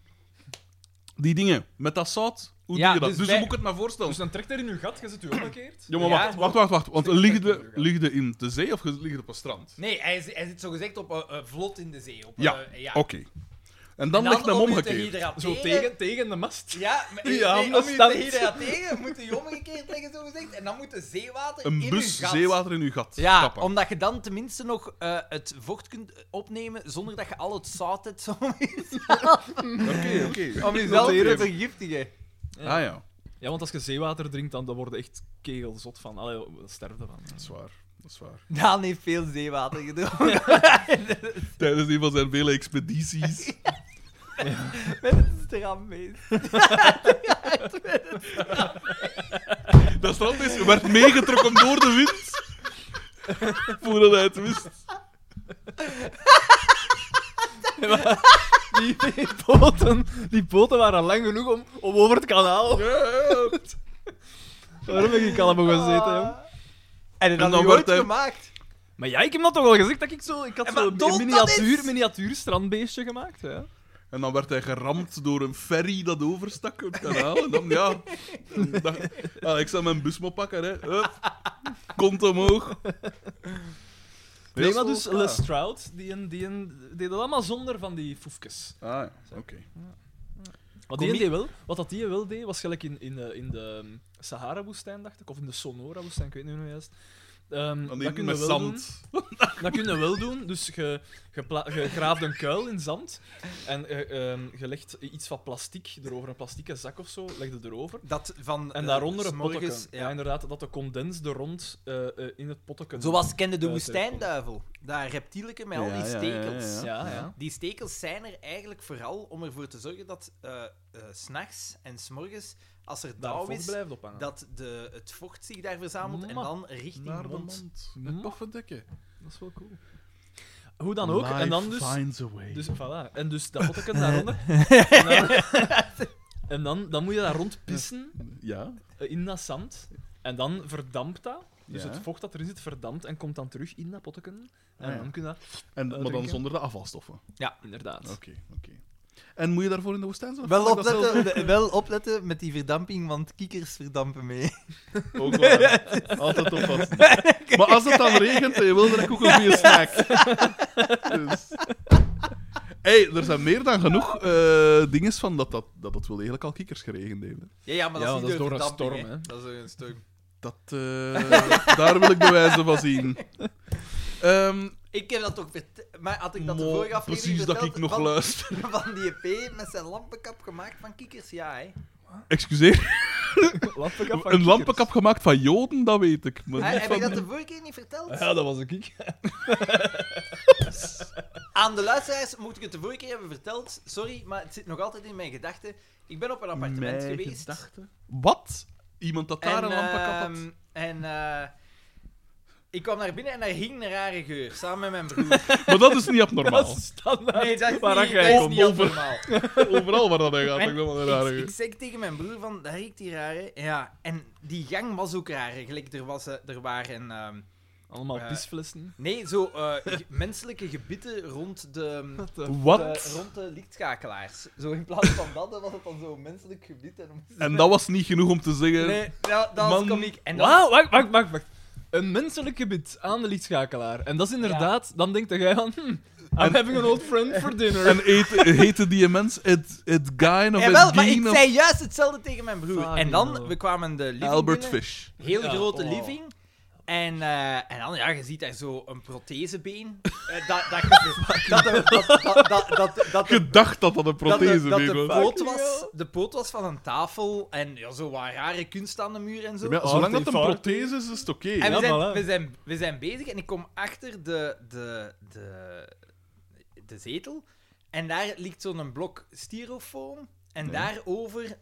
Speaker 2: Die dingen, met dat zout, hoe
Speaker 4: Ja,
Speaker 2: doe je dat?
Speaker 4: dus
Speaker 2: Dus,
Speaker 4: wij-
Speaker 2: dan moet ik het maar voorstellen.
Speaker 5: Dus dan trekt hij in uw gat, je zit u omgekeerd.
Speaker 2: Ja, maar
Speaker 4: Ja,
Speaker 2: wacht, wacht, wacht, wacht. Want ligde,
Speaker 5: Ja.
Speaker 2: ligde in de zee of ligde op een strand?
Speaker 4: Nee, hij, zi- hij zit zogezegd op eh, eh, vlot in de zee. Op,
Speaker 2: Ja,
Speaker 4: eh, ja.
Speaker 2: Oké. En dan ligt hem
Speaker 4: om je te
Speaker 2: omgekeerd.
Speaker 5: Zo
Speaker 4: hydrateren-
Speaker 5: tegen, tegen de mast.
Speaker 4: Ja, maar,
Speaker 3: Ja,
Speaker 4: nee, om je
Speaker 3: stand.
Speaker 4: te hydrateren moet je omgekeerd liggen, zo gezegd. En dan moet de zeewater in
Speaker 2: Een
Speaker 4: je
Speaker 2: bus
Speaker 4: gat.
Speaker 2: zeewater in uw gat
Speaker 4: Ja,
Speaker 2: kappen.
Speaker 4: Ah, omdat je dan tenminste nog eh, het vocht kunt opnemen zonder dat je al het zout hebt zo,
Speaker 2: Oké, oké.
Speaker 4: om jezelf te
Speaker 2: Noteren.
Speaker 4: vergiftigen.
Speaker 2: Ah ja,
Speaker 5: Ja, want als je zeewater drinkt, dan, dan word je echt kegelzot van. Allee, dan sterf je van.
Speaker 2: dat is waar. Dat is waar.
Speaker 4: Daan heeft veel zeewater gedronken.
Speaker 2: Tijdens een van zijn vele expedities.
Speaker 4: Met een stram mee.
Speaker 2: Dat strand is, werd meegetrokken door de wind. Voordat hij het wist.
Speaker 3: Die, die boten, die boten waren al lang genoeg om, om over het kanaal. Waarom heb ik allemaal gezeten, jong?
Speaker 4: Ah. En
Speaker 2: dan
Speaker 4: dan, dan
Speaker 2: wordt
Speaker 4: wordt
Speaker 2: hij-
Speaker 4: gemaakt.
Speaker 3: Maar ja, ik heb dat toch al gezegd dat ik zo. Ik had
Speaker 4: En maar
Speaker 3: zo'n
Speaker 4: dood dat
Speaker 3: miniatuur,
Speaker 4: is!
Speaker 3: miniatuur strandbeestje gemaakt. Ja.
Speaker 2: En dan werd hij geramd door een ferry dat overstak op het kanaal. En dan, ja... dan- ah, ik zal mijn bus maar pakken, hè. Hup. Kont omhoog.
Speaker 3: Nee, maar
Speaker 2: Heel
Speaker 3: dus
Speaker 2: schoon, ja.
Speaker 3: Les Stroud, die, een- die een- deed dat allemaal zonder van die foefjes.
Speaker 2: Ah, ja, oké.
Speaker 3: Wat die
Speaker 4: Comie-
Speaker 3: deed wel, wat dat die wel deed, was gelijk in, in, eh, in de ehm, Sahara-woestijn, dacht ik, of in de Sonora-woestijn, ik weet niet hoe juist. Ehm
Speaker 2: Dan
Speaker 3: dat
Speaker 2: eten
Speaker 3: kun je
Speaker 2: Oh, met
Speaker 3: wel doen.
Speaker 2: zand.
Speaker 3: Dat kun je wel doen. Dus je, je, pla- je graaft een kuil in zand en je, ehm, je legt iets van plastic erover, een plastieke zak of zo, leg je erover.
Speaker 4: Dat van,
Speaker 3: En
Speaker 4: eh,
Speaker 3: daaronder een
Speaker 4: s'morgens-
Speaker 3: potteken. Ja.
Speaker 4: ja.
Speaker 3: inderdaad, dat de condens er rond eh, eh, in het potteken...
Speaker 4: Zoals kende de
Speaker 3: Eh,
Speaker 4: woestijnduivel. Dat reptieleke met al
Speaker 2: Ja,
Speaker 4: die
Speaker 2: ja, ja,
Speaker 4: stekels.
Speaker 2: ja, ja.
Speaker 3: Ja, ja.
Speaker 4: Die stekels zijn er eigenlijk vooral om ervoor te zorgen dat eh eh, 's s'nachts en s'morgens, als er
Speaker 3: Daar
Speaker 4: dauw
Speaker 3: vocht
Speaker 4: is,
Speaker 3: blijft ophangen. Dat,
Speaker 4: dat de, het vocht zich daar verzamelt en
Speaker 3: Ma-
Speaker 4: dan richting
Speaker 2: Naar de
Speaker 4: mond.
Speaker 2: mond.
Speaker 3: Mm.
Speaker 2: Een toffe dikke.
Speaker 3: is wel cool. Hoe dan ook. en dan dus...
Speaker 2: finds a way.
Speaker 3: Dus voilà. En dus dat potteken daaronder. En, dan, en dan, dan moet je daar rondpissen
Speaker 2: ja.
Speaker 3: eh, in dat zand. En dan verdampt dat. Dus
Speaker 2: Ja.
Speaker 3: het vocht dat erin zit verdampt en komt dan terug in dat potteken. En
Speaker 2: Ah, ja.
Speaker 3: dan kun je dat...
Speaker 2: En, maar dan
Speaker 3: drinken.
Speaker 2: zonder de afvalstoffen. Oké,
Speaker 3: Inderdaad.
Speaker 2: oké. En moet je daarvoor in de woestijn zijn?
Speaker 4: Wel
Speaker 2: Of kan ik dat zelf
Speaker 4: opletten, de- wel opletten met die verdamping, want kikkers verdampen mee.
Speaker 2: Ook waar. Altijd oppassen. Maar als het dan regent en je wil, dan ook een goede snack. Dus. hey, er zijn meer dan genoeg eh dingen van dat, dat, dat het wel eigenlijk al kikkers geregend heeft. hè.
Speaker 4: Ja, ja maar
Speaker 3: Ja,
Speaker 4: dat
Speaker 3: want
Speaker 4: is niet
Speaker 3: dat
Speaker 4: door,
Speaker 3: is door een
Speaker 4: verdamping,
Speaker 3: storm, hè.
Speaker 4: Dat is door een storm.
Speaker 2: Dat, eh, daar wil ik bewijzen van zien. Ehm,
Speaker 4: Ik heb dat toch vert- Maar had ik dat de
Speaker 2: mo-
Speaker 4: vorige aflevering
Speaker 2: precies dat ik
Speaker 4: verteld
Speaker 2: nog
Speaker 4: van,
Speaker 2: luister.
Speaker 4: van die EP met zijn lampenkap gemaakt van kikkers? Ja, hè.
Speaker 2: Excuseer,
Speaker 3: Lampenkap van
Speaker 2: een
Speaker 3: kikkers.
Speaker 2: lampenkap gemaakt van joden, dat weet ik. Maar
Speaker 4: Hè,
Speaker 2: niet
Speaker 4: Heb ik
Speaker 2: van...
Speaker 4: dat de vorige keer niet verteld?
Speaker 3: Ja, dat was een kiek.
Speaker 4: Aan de luisteraars moet ik het de vorige keer hebben verteld. Sorry, maar het zit nog altijd in mijn gedachten. Ik ben op een appartement
Speaker 2: Mijn
Speaker 4: geweest.
Speaker 2: gedachten. Wat? Iemand dat daar
Speaker 4: en,
Speaker 2: een lampenkap had?
Speaker 4: ehm, En eh, ik kwam naar binnen en daar hing een rare geur, samen met mijn broer.
Speaker 2: Maar dat is niet abnormaal.
Speaker 3: Dat is standaard.
Speaker 4: Nee, dat is
Speaker 3: Waar
Speaker 4: niet,
Speaker 3: jij
Speaker 4: dat is
Speaker 2: komt
Speaker 4: niet
Speaker 2: over.
Speaker 4: abnormaal.
Speaker 2: Overal waar dat hij gaat,
Speaker 4: En
Speaker 2: ik ben wel een rare
Speaker 4: Ik, ik
Speaker 2: geur.
Speaker 4: zeg tegen mijn broer van, dat riekt hier raar, hè. Ja, en die gang was ook raar. hè. Gelijk, er, was, eh, er waren... ehm,
Speaker 3: Allemaal
Speaker 4: Eh,
Speaker 3: pisflessen.
Speaker 4: nee, zo eh, ge- menselijke gebitten rond de...
Speaker 2: Wat?
Speaker 4: eh, rond de lichtschakelaars. Zo in plaats van dat eh, was het dan zo menselijk gebit. En...
Speaker 2: En dat was niet genoeg om te zeggen.
Speaker 4: Nee, dat, dat was
Speaker 2: Man,
Speaker 4: komiek. En dat-
Speaker 3: Wauw, wacht, wacht, wacht, wacht. Een menselijk gebit aan de lichtschakelaar. En dat is inderdaad, dan denkt jij van, hm, I'm having an old friend for dinner.
Speaker 2: En eet, heette die mens Ed, Ed Gein of
Speaker 4: Eh, wel,
Speaker 2: Ed
Speaker 4: maar
Speaker 2: Gein
Speaker 4: ik
Speaker 2: of
Speaker 4: zei juist hetzelfde tegen mijn broer.
Speaker 3: Fucking
Speaker 4: en dan,
Speaker 3: hell.
Speaker 4: we kwamen de living
Speaker 2: Albert
Speaker 4: binnen.
Speaker 2: Fish?
Speaker 4: Heel
Speaker 3: Ja,
Speaker 4: grote
Speaker 3: oh.
Speaker 4: living. En, eh, en dan, ja, je ziet daar zo een prothesebeen. Eh, dat, dat, ge- dat, de- dat, dat, dat, dat, dat de-
Speaker 2: Je dacht dat dat een
Speaker 4: dat de-
Speaker 2: prothese
Speaker 4: dat
Speaker 2: weer
Speaker 4: de
Speaker 2: was.
Speaker 4: poot
Speaker 3: Fucking
Speaker 4: was.
Speaker 3: hell.
Speaker 4: De poot was van een tafel. En ja, zo wat rare kunst aan de muur en zo.
Speaker 2: Ja, zolang dat een
Speaker 3: Artefact.
Speaker 2: prothese is, is het oké.
Speaker 4: En
Speaker 3: Ja,
Speaker 4: we zijn,
Speaker 3: voilà.
Speaker 4: we, zijn, we zijn bezig en ik kom achter de, de, de, de zetel. En daar ligt zo'n blok styrofoam. En daarover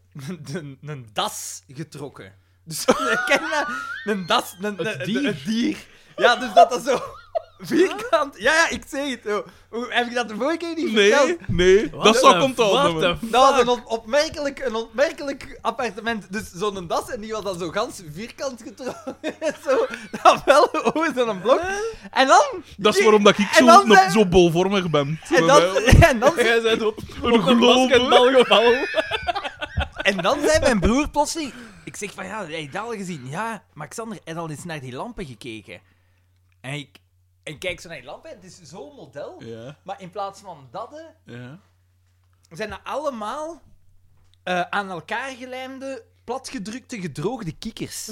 Speaker 4: een, een das getrokken. Dus ken je dat? Een das, een, een, een- een dier. Ja, dus dat dat zo Vierkant? Ja, ja, ik zeg het. Oh, hoe- Heb ik dat de vorige keer niet
Speaker 2: Nee,
Speaker 4: verteld?
Speaker 2: nee. dat zou komt al.
Speaker 3: Wat de
Speaker 4: Dat was een, on- opmerkelijk, een opmerkelijk appartement. Dus zo'n das, en die was dan zo gans vierkant getrokken. zo, dan wel over zo'n blok. En dan...
Speaker 2: Dat is waarom dat ik zo,
Speaker 4: En dan
Speaker 2: nog
Speaker 4: zijn-
Speaker 2: zo bolvormig ben.
Speaker 4: En dan, en dan,
Speaker 3: Jij bent op
Speaker 2: Een globe.
Speaker 3: basketbal gevallen.
Speaker 4: en dan zei mijn broer plotseling... Ik zeg van, ja, heb je dat al gezien? Ja, maar Xander, heb je al eens naar die lampen gekeken? En ik en ik kijk zo naar die lampen, het is zo'n model.
Speaker 2: Ja,
Speaker 4: Maar in plaats van dat... hè,
Speaker 2: ja.
Speaker 4: zijn dat allemaal eh, aan elkaar gelijmde, platgedrukte, gedroogde kikkers.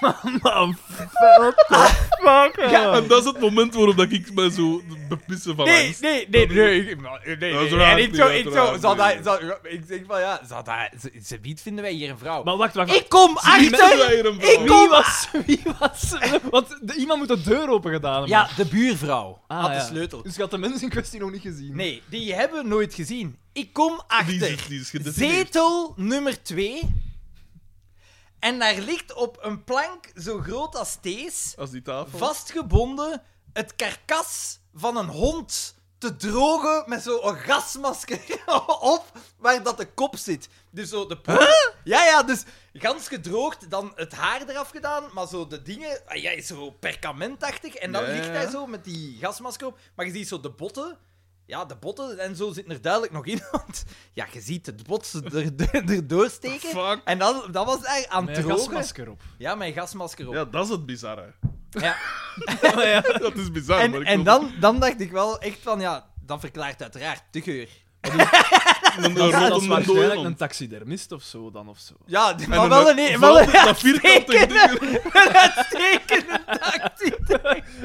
Speaker 3: Ah.
Speaker 2: En dat is het moment waarop dat ik me zo bepissen van
Speaker 4: Nee,
Speaker 2: angst.
Speaker 4: nee, nee, nee. ik- maar- nee, nee,
Speaker 2: Dat is
Speaker 4: nee,
Speaker 2: raar,
Speaker 4: en ik zo,
Speaker 2: nee,
Speaker 4: ik
Speaker 2: dat is
Speaker 4: zo,
Speaker 2: raar,
Speaker 4: zal
Speaker 2: nee.
Speaker 4: dat- zal- ik denk van ja, zal dat, ze, ze biedt vinden wij hier een vrouw.
Speaker 3: Maar wacht, wacht. wacht.
Speaker 4: ik kom
Speaker 2: Mensen
Speaker 4: achter!
Speaker 2: weigeren
Speaker 4: Ik
Speaker 2: vrouwen.
Speaker 4: kom
Speaker 3: Wie was... Wie was... Want de- iemand moet de deur open gedaan hebben.
Speaker 4: Ja, de buurvrouw
Speaker 3: Ah,
Speaker 4: had de
Speaker 3: ja.
Speaker 4: sleutel.
Speaker 3: Dus je had de mensen in kwestie nog niet gezien.
Speaker 4: Nee, die hebben we nooit gezien. Ik kom
Speaker 2: Die
Speaker 4: achter.
Speaker 2: is, die is gedetineerd.
Speaker 4: Zetel nummer 2. En daar ligt op een plank zo groot als deze
Speaker 2: Als die tafel.
Speaker 4: vastgebonden het karkas van een hond te drogen met zo'n gasmasker op waar dat de kop zit. Dus zo de poot. Ja, ja, dus gans gedroogd, dan het haar eraf gedaan, maar zo de dingen... ah Ja, is zo perkamentachtig. En dan
Speaker 2: Ja, ja,
Speaker 4: ligt hij
Speaker 2: ja.
Speaker 4: zo met die gasmasker op. Maar je ziet zo de botten. Ja, de botten en zo zit er duidelijk nog in. Want ja, je ziet het bot er, er, erdoor steken.
Speaker 2: Fuck.
Speaker 4: En dan, dat was hij aan
Speaker 3: Met
Speaker 4: het
Speaker 3: een
Speaker 4: drogen.
Speaker 3: gasmasker op.
Speaker 4: Ja, mijn gasmasker op.
Speaker 2: Ja, dat is het bizarre.
Speaker 4: Ja.
Speaker 2: Dat is bizar. maar
Speaker 4: En,
Speaker 2: ik
Speaker 4: en
Speaker 2: wil-
Speaker 4: dan, dan dacht ik wel echt van, ja, dat verklaart uiteraard de geur.
Speaker 2: Een
Speaker 3: Dat is-
Speaker 2: rotte
Speaker 3: dat is
Speaker 2: een
Speaker 3: waarschijnlijk
Speaker 2: dode
Speaker 3: een taxidermist of zo dan of zo.
Speaker 4: Ja,
Speaker 2: En
Speaker 4: maar
Speaker 2: dan
Speaker 4: wel
Speaker 2: dat-
Speaker 4: een, e-
Speaker 2: van
Speaker 4: wel een
Speaker 2: dat- dat vierkante
Speaker 4: uitstekende- een uitstekende tactiek.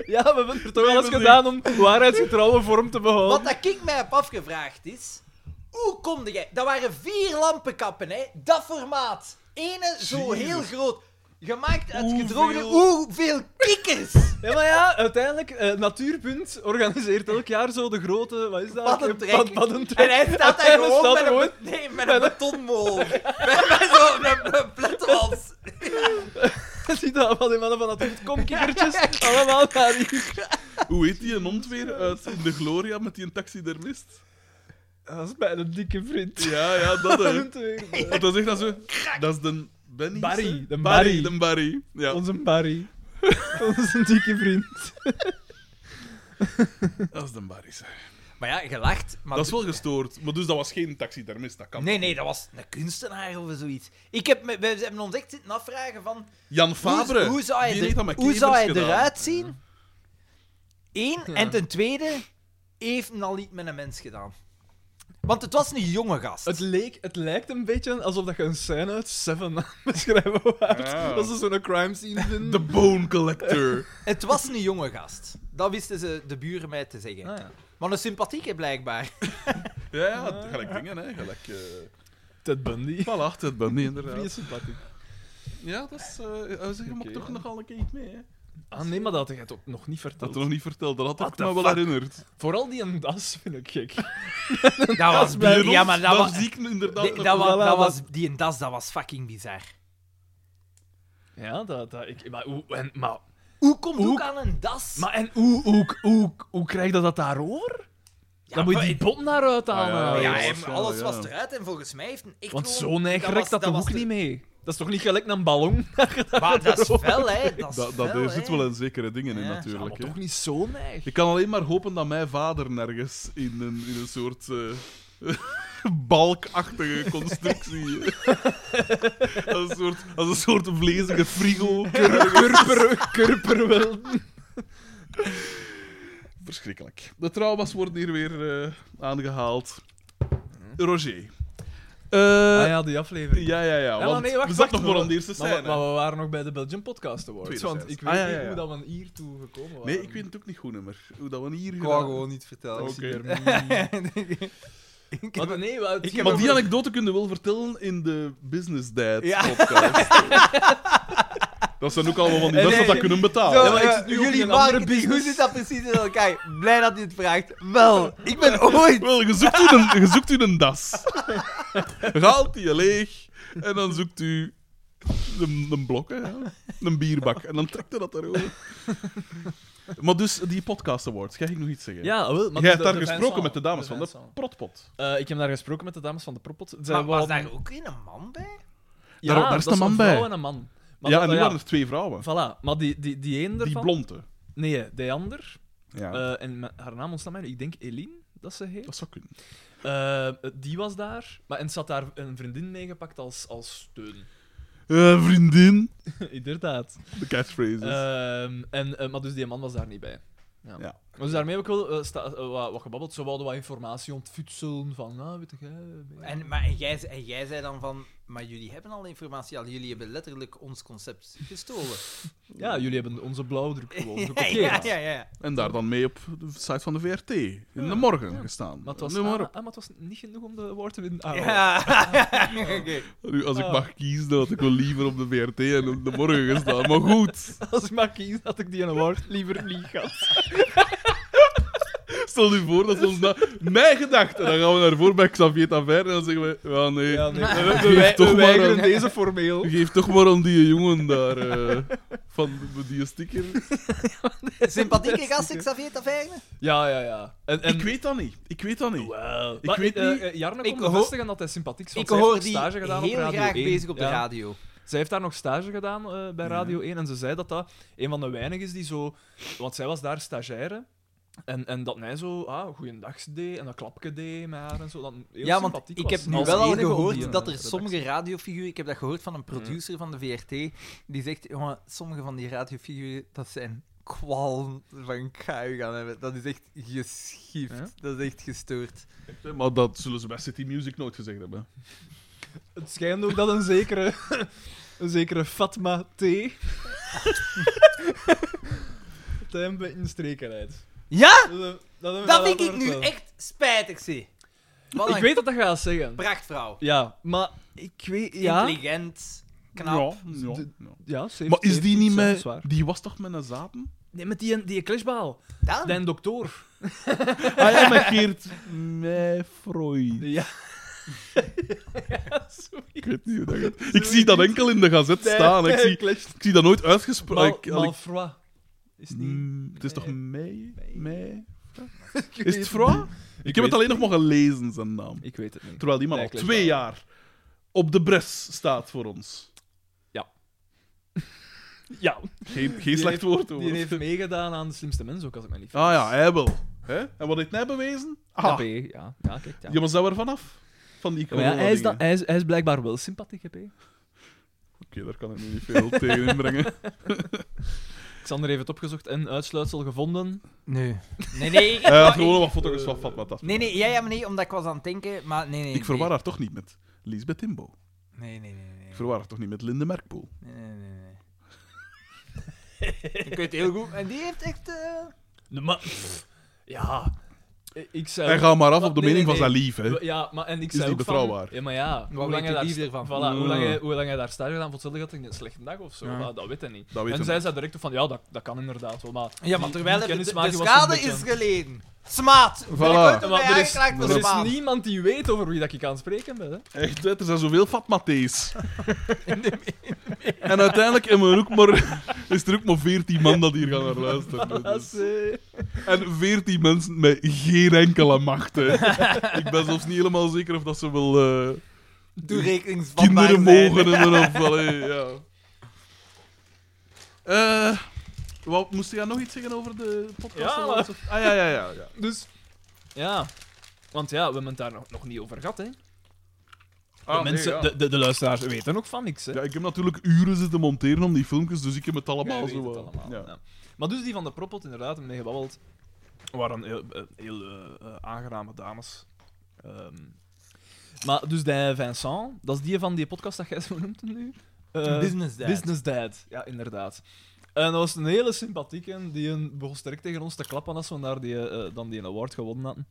Speaker 3: Ja, we hebben er toch alles
Speaker 2: hebben
Speaker 3: gedaan om waarheidsgetrouwe vorm te behouden.
Speaker 4: Wat dat ik mij heb afgevraagd is, hoe komde jij... Dat waren vier lampenkappen, hè. Dat formaat. Ene zo
Speaker 2: Jezus.
Speaker 4: heel groot. Gemaakt uit
Speaker 2: Hoeveel-
Speaker 4: gedroogde... Hoeveel kikkers!
Speaker 3: Ja, maar ja, uiteindelijk, eh, Natuurpunt organiseert elk jaar zo de grote, wat is dat?
Speaker 4: Paddentrek.
Speaker 3: Pad- paddentrek.
Speaker 4: En hij staat daar
Speaker 3: Uiteindelijk
Speaker 4: gewoon
Speaker 3: staat
Speaker 4: met
Speaker 3: er
Speaker 4: een, be- nee, met een betonmol. met met zo'n een- een plethans.
Speaker 3: Zie dat van die mannen van Natuurpunt, kom kikkertjes, allemaal naar hier.
Speaker 2: Hoe heet die een hond weer uit De Gloria met die taxidermist?
Speaker 3: Dat is bijna een dikke vriend.
Speaker 2: Ja, ja, dat hè.
Speaker 3: Natuurlijk.
Speaker 2: Want dan zegt dat zo... Dat is de... Benny?
Speaker 3: Barry,
Speaker 2: hè?
Speaker 3: de Barry.
Speaker 2: de Barry. Ja.
Speaker 3: Onze Barry. Onze dikke vriend.
Speaker 2: Dat is de Barry, zeg.
Speaker 4: Maar ja, gelacht. Maar
Speaker 2: Dat is wel gestoord. Maar dus dat was geen taxidermist, dat kan.
Speaker 4: Nee, nee, dat was een kunstenaar of zoiets. Ik heb, me- we hebben ons echt zitten afvragen van...
Speaker 2: Jan Fabre.
Speaker 4: Hoe, hoe zou
Speaker 2: die
Speaker 4: hij,
Speaker 2: heeft dat
Speaker 4: er,
Speaker 2: met
Speaker 4: hoe zou hij
Speaker 2: kevers gedaan.
Speaker 4: eruit zien? Eén. En ten tweede, heeft hem al niet met een mens gedaan. Want het was een jonge gast.
Speaker 3: Het, leek, het lijkt een beetje alsof dat je een scène uit Seven aan het beschrijven waart.
Speaker 2: Ja.
Speaker 3: Dat ze zo'n crime scene vinden.
Speaker 2: The Bone Collector.
Speaker 4: Het was een jonge gast. Dat wisten ze de buren mij te zeggen.
Speaker 3: Ah, ja.
Speaker 4: Maar een sympathieke blijkbaar.
Speaker 2: ja, ja, gelijk dingen, hè. Gelijk... eh
Speaker 3: Ted Bundy.
Speaker 2: Voilà, dat ben ik inderdaad.
Speaker 3: Vrij sympathiek.
Speaker 2: Ja, dat is... eh eh, zeg, je mag
Speaker 3: Oké,
Speaker 2: toch
Speaker 3: ja.
Speaker 2: nogal een keer iets mee, hè.
Speaker 3: Ah nee, maar dat had je toch nog niet
Speaker 2: Dat
Speaker 3: verteld.
Speaker 2: had nog niet verteld, dat had
Speaker 3: What
Speaker 2: ik
Speaker 3: the
Speaker 2: me wel
Speaker 3: fuck?
Speaker 2: herinnerd.
Speaker 3: Vooral die een das vind ik gek.
Speaker 4: Dat was...
Speaker 2: Die
Speaker 4: Ja,
Speaker 2: hond,
Speaker 4: maar dat was...
Speaker 2: zie ik nu inderdaad
Speaker 4: die-
Speaker 2: nog
Speaker 4: Dat
Speaker 2: wel.
Speaker 4: was, dat
Speaker 3: Voilà,
Speaker 4: was, die en das, dat was fucking bizar.
Speaker 3: Ja, dat... dat ik, maar hoe... En, maar,
Speaker 4: Hoe komt
Speaker 3: Hoe-
Speaker 4: ook aan een das?
Speaker 3: maar en hoe, hoe, hoe, hoe krijg je dat daarover?
Speaker 4: Ja,
Speaker 3: dan moet je
Speaker 4: maar-
Speaker 3: die bot naar uithalen.
Speaker 2: Ah, ja,
Speaker 4: Ja,
Speaker 2: ja,
Speaker 4: en
Speaker 2: waarschijnlijk,
Speaker 4: alles was
Speaker 2: ja.
Speaker 4: eruit en volgens mij heeft een echt
Speaker 3: Want
Speaker 4: gewoon-
Speaker 3: zo neig
Speaker 4: was-
Speaker 3: rekt dat toch
Speaker 4: was
Speaker 3: ook
Speaker 4: de-
Speaker 3: niet mee? Dat is toch niet gelijk naar een ballon?
Speaker 4: Maar dat is fel, hè? Dat, is
Speaker 2: Dat, dat
Speaker 4: fel,
Speaker 2: er
Speaker 4: hè.
Speaker 2: zit wel een zekere dingen in,
Speaker 4: Ja.
Speaker 3: maar
Speaker 2: natuurlijk. hè.
Speaker 3: toch niet zo neig.
Speaker 2: Ik kan alleen maar hopen dat mijn vader nergens in een, in een soort eh, balkachtige constructie. als, een soort, als een soort vlezige frigo.
Speaker 3: Kurper, kurper wel.
Speaker 2: Verschrikkelijk. De trauma's worden hier weer eh, aangehaald. Roger. Eh,
Speaker 3: Ah
Speaker 2: ja.
Speaker 3: ja, die aflevering.
Speaker 2: ja, ja,
Speaker 3: Ja, maar
Speaker 2: want
Speaker 3: nee, wacht,
Speaker 2: we zaten
Speaker 3: wacht,
Speaker 2: nog maar aan de eerste
Speaker 3: Maar, we-
Speaker 2: scène.
Speaker 3: maar we waren nog bij de Belgian Podcast Awards.
Speaker 2: Tweede
Speaker 3: want
Speaker 2: scène.
Speaker 3: ik
Speaker 2: Ah,
Speaker 3: weet
Speaker 2: ja, ja,
Speaker 3: niet
Speaker 2: ja.
Speaker 3: hoe dat we hier toe gekomen waren.
Speaker 2: Nee, ik weet het ook niet goed, nummer. Hoe dat we hier
Speaker 4: Ik wou
Speaker 2: gedaan-
Speaker 4: gewoon niet vertellen.
Speaker 2: Oké.
Speaker 3: Maar nee, we ik
Speaker 2: Maar die anekdote kunnen we wel vertellen in de Business Dad
Speaker 4: Ja.
Speaker 2: podcast. dat zijn ook allemaal van die
Speaker 3: En
Speaker 2: mensen
Speaker 3: nee,
Speaker 2: dat kunnen betalen.
Speaker 4: Zo,
Speaker 3: Ja, maar ik
Speaker 4: eh,
Speaker 3: zit nu ook in
Speaker 4: jullie
Speaker 3: een andere
Speaker 4: maken die, hoe
Speaker 3: business.
Speaker 4: zit dat precies in elkaar? Blij dat je het vraagt. Wel, ik ben ooit...
Speaker 2: Wel, je zoekt, u een, je zoekt u een das. Haalt die leeg en dan zoekt u Een, een blok, hè, ja. Een bierbak. En dan trekt hij dat erover. Maar dus, die podcast awards. Ga ik nog iets zeggen?
Speaker 3: Ja, wel. maar dus
Speaker 2: Jij
Speaker 3: de-
Speaker 2: hebt daar
Speaker 3: de
Speaker 2: gesproken
Speaker 3: fans
Speaker 2: met de dames van de,
Speaker 3: fans
Speaker 2: protpot.
Speaker 3: Eh, ik heb daar gesproken met de dames van de Propot. Zij
Speaker 4: Maar was
Speaker 3: wouden-
Speaker 4: daar ook geen man bij?
Speaker 3: Ja,
Speaker 2: Daar- daar is
Speaker 3: dat
Speaker 2: een man bij.
Speaker 3: Een vrouw en een man. Maar
Speaker 2: ja,
Speaker 3: dat-
Speaker 2: en nu
Speaker 3: ja,
Speaker 2: waren er twee vrouwen.
Speaker 3: Voilà, maar die, die, die een
Speaker 2: Die
Speaker 3: ervan...
Speaker 2: blonde.
Speaker 3: Nee, die ander.
Speaker 2: Ja,
Speaker 3: eh, en me- haar naam ontsnapt mij nu. Ik denk Eline, dat ze heet.
Speaker 2: dat zou kunnen.
Speaker 3: Eh, die was daar. Maar, en ze had daar een vriendin meegepakt als, als steun.
Speaker 2: Eh, vriendin.
Speaker 3: Inderdaad.
Speaker 2: De catchphrases.
Speaker 3: Ehm, en, eh, maar dus die man was daar niet bij. Ja.
Speaker 2: Ja.
Speaker 3: Dus daarmee heb ik wel eh, sta- eh, wat, wat gebabbeld. Ze wilden wat informatie ontfutselen van, nou, weet je... eh,
Speaker 4: En, maar, en, jij, en jij zei dan van... Maar jullie hebben al informatie, al jullie hebben letterlijk ons concept gestolen.
Speaker 3: Ja, jullie hebben onze blauwdruk gewoon
Speaker 4: Ja,
Speaker 3: gekopieerd.
Speaker 4: ja, ja. ja.
Speaker 2: En daar dan mee op de site van de VRT. In de morgen gestaan.
Speaker 3: Maar het, was,
Speaker 2: Noem maar op.
Speaker 3: ah, maar het was niet genoeg om de award te winnen. Ah, wel.
Speaker 4: Ja. Oh. Oké.
Speaker 3: Ah.
Speaker 2: Nu, als ik mag kiezen, dan had ik wel liever op de VRT en op de morgen gestaan. Maar goed,
Speaker 3: Als ik maar kies, had ik die award liever niet gehad.
Speaker 2: stel je voor dat ze ons na... Mijn gedachte. Dan gaan we naar voren bij Xavier Taverne en dan zeggen we... Ja, nee.
Speaker 3: Ja, nee. We,
Speaker 2: Geef toch maar
Speaker 3: weigeren
Speaker 2: een-
Speaker 3: deze formeel.
Speaker 2: Geef toch maar aan die jongen daar. eh, van die sticker.
Speaker 4: Sympathieke gast, Xavier Taverne.
Speaker 3: Ja, ja, ja. En, en...
Speaker 2: Ik weet dat niet. Ik weet dat niet.
Speaker 3: Wow.
Speaker 2: Ik weet
Speaker 3: eh,
Speaker 2: niet.
Speaker 3: eh, Jarne
Speaker 4: Ik
Speaker 3: kon
Speaker 4: hoor-
Speaker 3: bevestigen dat hij sympathiek is. want
Speaker 4: Ik
Speaker 3: zij heeft
Speaker 4: hoor
Speaker 3: nog
Speaker 4: die
Speaker 3: stage gedaan op
Speaker 4: heel
Speaker 3: Radio
Speaker 4: graag
Speaker 3: 1.
Speaker 4: bezig op de
Speaker 3: Ja.
Speaker 4: radio.
Speaker 3: Zij heeft daar nog stage gedaan eh, bij Radio 1 en ze zei dat dat een van de weinigen is die zo... Want zij was daar stagiaire. En, en dat hij zo, ah, goeiedag deed en dat klapje deed met haar en zo. Dat heel
Speaker 4: Ja, want
Speaker 3: sympathiek
Speaker 4: ik heb
Speaker 3: was.
Speaker 4: nu
Speaker 3: Als
Speaker 4: wel al
Speaker 3: enige op die,
Speaker 4: gehoord
Speaker 3: eh,
Speaker 4: dat er
Speaker 3: redactie.
Speaker 4: sommige radiofiguren... Ik heb dat gehoord van een producer van de VRT, die zegt, jongen, sommige van die radiofiguren, dat zijn kwal van kui gaan hebben. Dat is echt geschift.
Speaker 3: Ja?
Speaker 4: Dat is echt gestoord.
Speaker 2: Maar dat zullen ze bij City Music nooit gezegd hebben.
Speaker 3: Het schijnt ook dat een zekere, een zekere Fatma T. dat hij een beetje een streker rijdt.
Speaker 4: Ja,
Speaker 3: Dat, dat, dat-
Speaker 4: dat vind
Speaker 3: dat
Speaker 4: ik nu
Speaker 3: wel.
Speaker 4: echt spijtig, zie. Wat
Speaker 3: Ik
Speaker 4: een
Speaker 3: weet dat dat gaat zeggen.
Speaker 4: prachtvrouw.
Speaker 3: Ja, maar ik weet. Ja,
Speaker 4: Intelligent, knap.
Speaker 2: Ja, ja, ja.
Speaker 3: ja zeven-
Speaker 2: Maar is die
Speaker 3: zeven,
Speaker 2: niet
Speaker 3: ja,
Speaker 2: met...
Speaker 3: zwaar.
Speaker 2: Die was toch met een zapen?
Speaker 3: Nee, met die, die clashbal.
Speaker 4: Dan?
Speaker 3: Die dokter.
Speaker 2: Ah ja, met Geert... Mij Freud.
Speaker 3: Ja.
Speaker 2: Ik weet niet hoe dat gaat. Ik zie dat enkel in de gazet staan. Ik zie, ik zie dat nooit
Speaker 3: Mal,
Speaker 2: uitgesproken. Ik- al ik-
Speaker 3: Malfroid. Is het niet.
Speaker 2: Mm, het is toch mei? Mei?
Speaker 3: Ik
Speaker 2: Is
Speaker 3: weet
Speaker 2: het Fra? Ik, heb
Speaker 3: weet-
Speaker 2: het alleen nog mogen lezen, zijn naam.
Speaker 3: Ik weet het niet.
Speaker 2: Terwijl die man
Speaker 3: Nee,
Speaker 2: al
Speaker 3: ik lees
Speaker 2: twee
Speaker 3: wel.
Speaker 2: jaar op de bres staat voor ons.
Speaker 3: Ja,
Speaker 2: Geen, geen
Speaker 3: Die heeft-
Speaker 2: slecht woord, hoor.
Speaker 3: die heeft meegedaan aan de slimste mensen ook, als ik me niet
Speaker 2: Ah ja, hij wel. Hè? En wat heeft hij bewezen? Ah,
Speaker 3: vergis. Ja, ja. ja, kijk. Ja.
Speaker 2: je was daar vanaf. Van die
Speaker 3: Maar ja, hij, is dan-
Speaker 2: corona-dingen.
Speaker 3: hij, is, hij is blijkbaar wel sympathiek, hè, P.
Speaker 2: Oké, daar kan ik nu niet veel tegen inbrengen.
Speaker 3: Xander heeft het opgezocht en uitsluitsel gevonden.
Speaker 4: Nee. Nee, nee.
Speaker 2: Hij had gewoon wat foto's van Fatma Tas.
Speaker 4: Nee, nee, ja, ja, maar nee, omdat ik was aan het denken, maar nee, nee.
Speaker 2: Ik verwar
Speaker 4: nee.
Speaker 2: haar toch niet met Lisbeth Timbo.
Speaker 4: Nee, nee, nee. nee.
Speaker 2: Ik verwar haar toch niet met Linde Merkpoel.
Speaker 4: Nee, nee, nee. nee. ik weet heel goed. En die heeft echt. eh,
Speaker 3: Nee, maar... pff, Ja... I- Ik zei...
Speaker 2: Hij gaat maar af op de
Speaker 3: Nee,
Speaker 2: mening
Speaker 3: nee,
Speaker 2: van zijn
Speaker 3: nee.
Speaker 2: lief, hè.
Speaker 3: Ja, maar en ik
Speaker 2: Is
Speaker 3: zei
Speaker 2: niet
Speaker 3: ook
Speaker 2: betrouwbaar. Mm.
Speaker 3: Van, ja, maar ja... Hoe
Speaker 4: weet
Speaker 3: lang,
Speaker 4: de
Speaker 3: hij daar,
Speaker 4: liefde
Speaker 3: sta-
Speaker 4: ervan?
Speaker 3: voilà, hoe,
Speaker 2: Ja.
Speaker 3: lang hij, hoe lang hij daar stage gedaan, voor hetzelfde had hij een slechte dag of zo. maar dat weet hij niet.
Speaker 2: Dat weet
Speaker 3: en
Speaker 2: hij
Speaker 3: zei ze direct ook van, ja, dat, dat kan inderdaad wel, maar...
Speaker 4: Ja, maar
Speaker 3: die-
Speaker 4: terwijl
Speaker 3: die
Speaker 4: het- de,
Speaker 3: kennismaking was
Speaker 4: schade
Speaker 3: een beetje-
Speaker 4: is geleden. Smaad.
Speaker 2: Voilà.
Speaker 4: Voilà.
Speaker 3: Maar er is,
Speaker 2: door
Speaker 3: er is niemand die weet over wie dat ik aan het spreken ben, hè.
Speaker 2: Echt, hè, er zijn zoveel fatmatees. en uiteindelijk hebben we ook maar, is er ook maar veertien man dat hier gaan naar luisteren. Dus.
Speaker 3: eh,
Speaker 2: En veertien mensen met geen enkele macht. Hè. Ik ben zelfs niet helemaal zeker of dat ze wel eh, kinderen mogen hebben. Of, allee, ja. Eh, wat, moest je nog iets zeggen over de podcast?
Speaker 3: Ja,
Speaker 2: Of- Ah ja, ja, ja. ja.
Speaker 3: Dus... Ja... Want ja, we hebben het daar nog, nog niet over gehad, hè.
Speaker 2: Ah,
Speaker 3: de,
Speaker 2: nee,
Speaker 3: mensen,
Speaker 2: ja.
Speaker 3: de, de, de luisteraars weten ook van niks. Hè?
Speaker 2: Ja, ik heb natuurlijk uren zitten monteren om die filmpjes, dus ik heb het
Speaker 3: Jij
Speaker 2: allemaal
Speaker 3: weet
Speaker 2: zo.
Speaker 3: het
Speaker 2: eh,
Speaker 3: allemaal,
Speaker 2: ja.
Speaker 3: ja. Maar dus die van de Propot, inderdaad, mee gebabbeld, waren heel, eh, heel eh, eh, aangename dames. Ehm, maar dus die Vincent, dat is die van die podcast dat jij zo noemt hem nu? Eh,
Speaker 4: Business dad.
Speaker 3: Business Dad, ja, inderdaad. En dat was een hele sympathieke, die een, begon direct tegen ons te klappen als we daar die, eh, dan die award gewonnen hadden.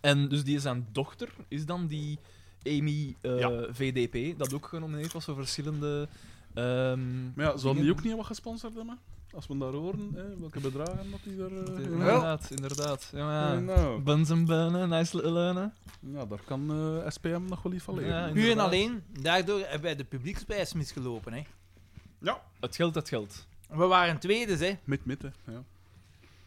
Speaker 3: En dus die zijn dochter is dan die Amy eh,
Speaker 2: Ja.
Speaker 3: VDP, dat ook genomineerd was voor verschillende... ehm,
Speaker 2: Maar ja, zouden die
Speaker 3: dingen.
Speaker 2: ook niet wat gesponsord hebben? Als we daar horen, hè, welke bedragen dat die daar... eh,
Speaker 3: Inderdaad, inderdaad. Ja, maar ja.
Speaker 2: Nou,
Speaker 3: Buns en beunen, nice little leunen.
Speaker 2: ja, daar kan eh, SPM nog wel iets van leren.
Speaker 3: Ja,
Speaker 4: Puur en
Speaker 3: inderdaad.
Speaker 4: alleen, daardoor hebben wij de publieksprijs misgelopen. Hè.
Speaker 3: Het geld, het geld.
Speaker 4: We waren tweede, hè.
Speaker 2: Met met, hè. Ja.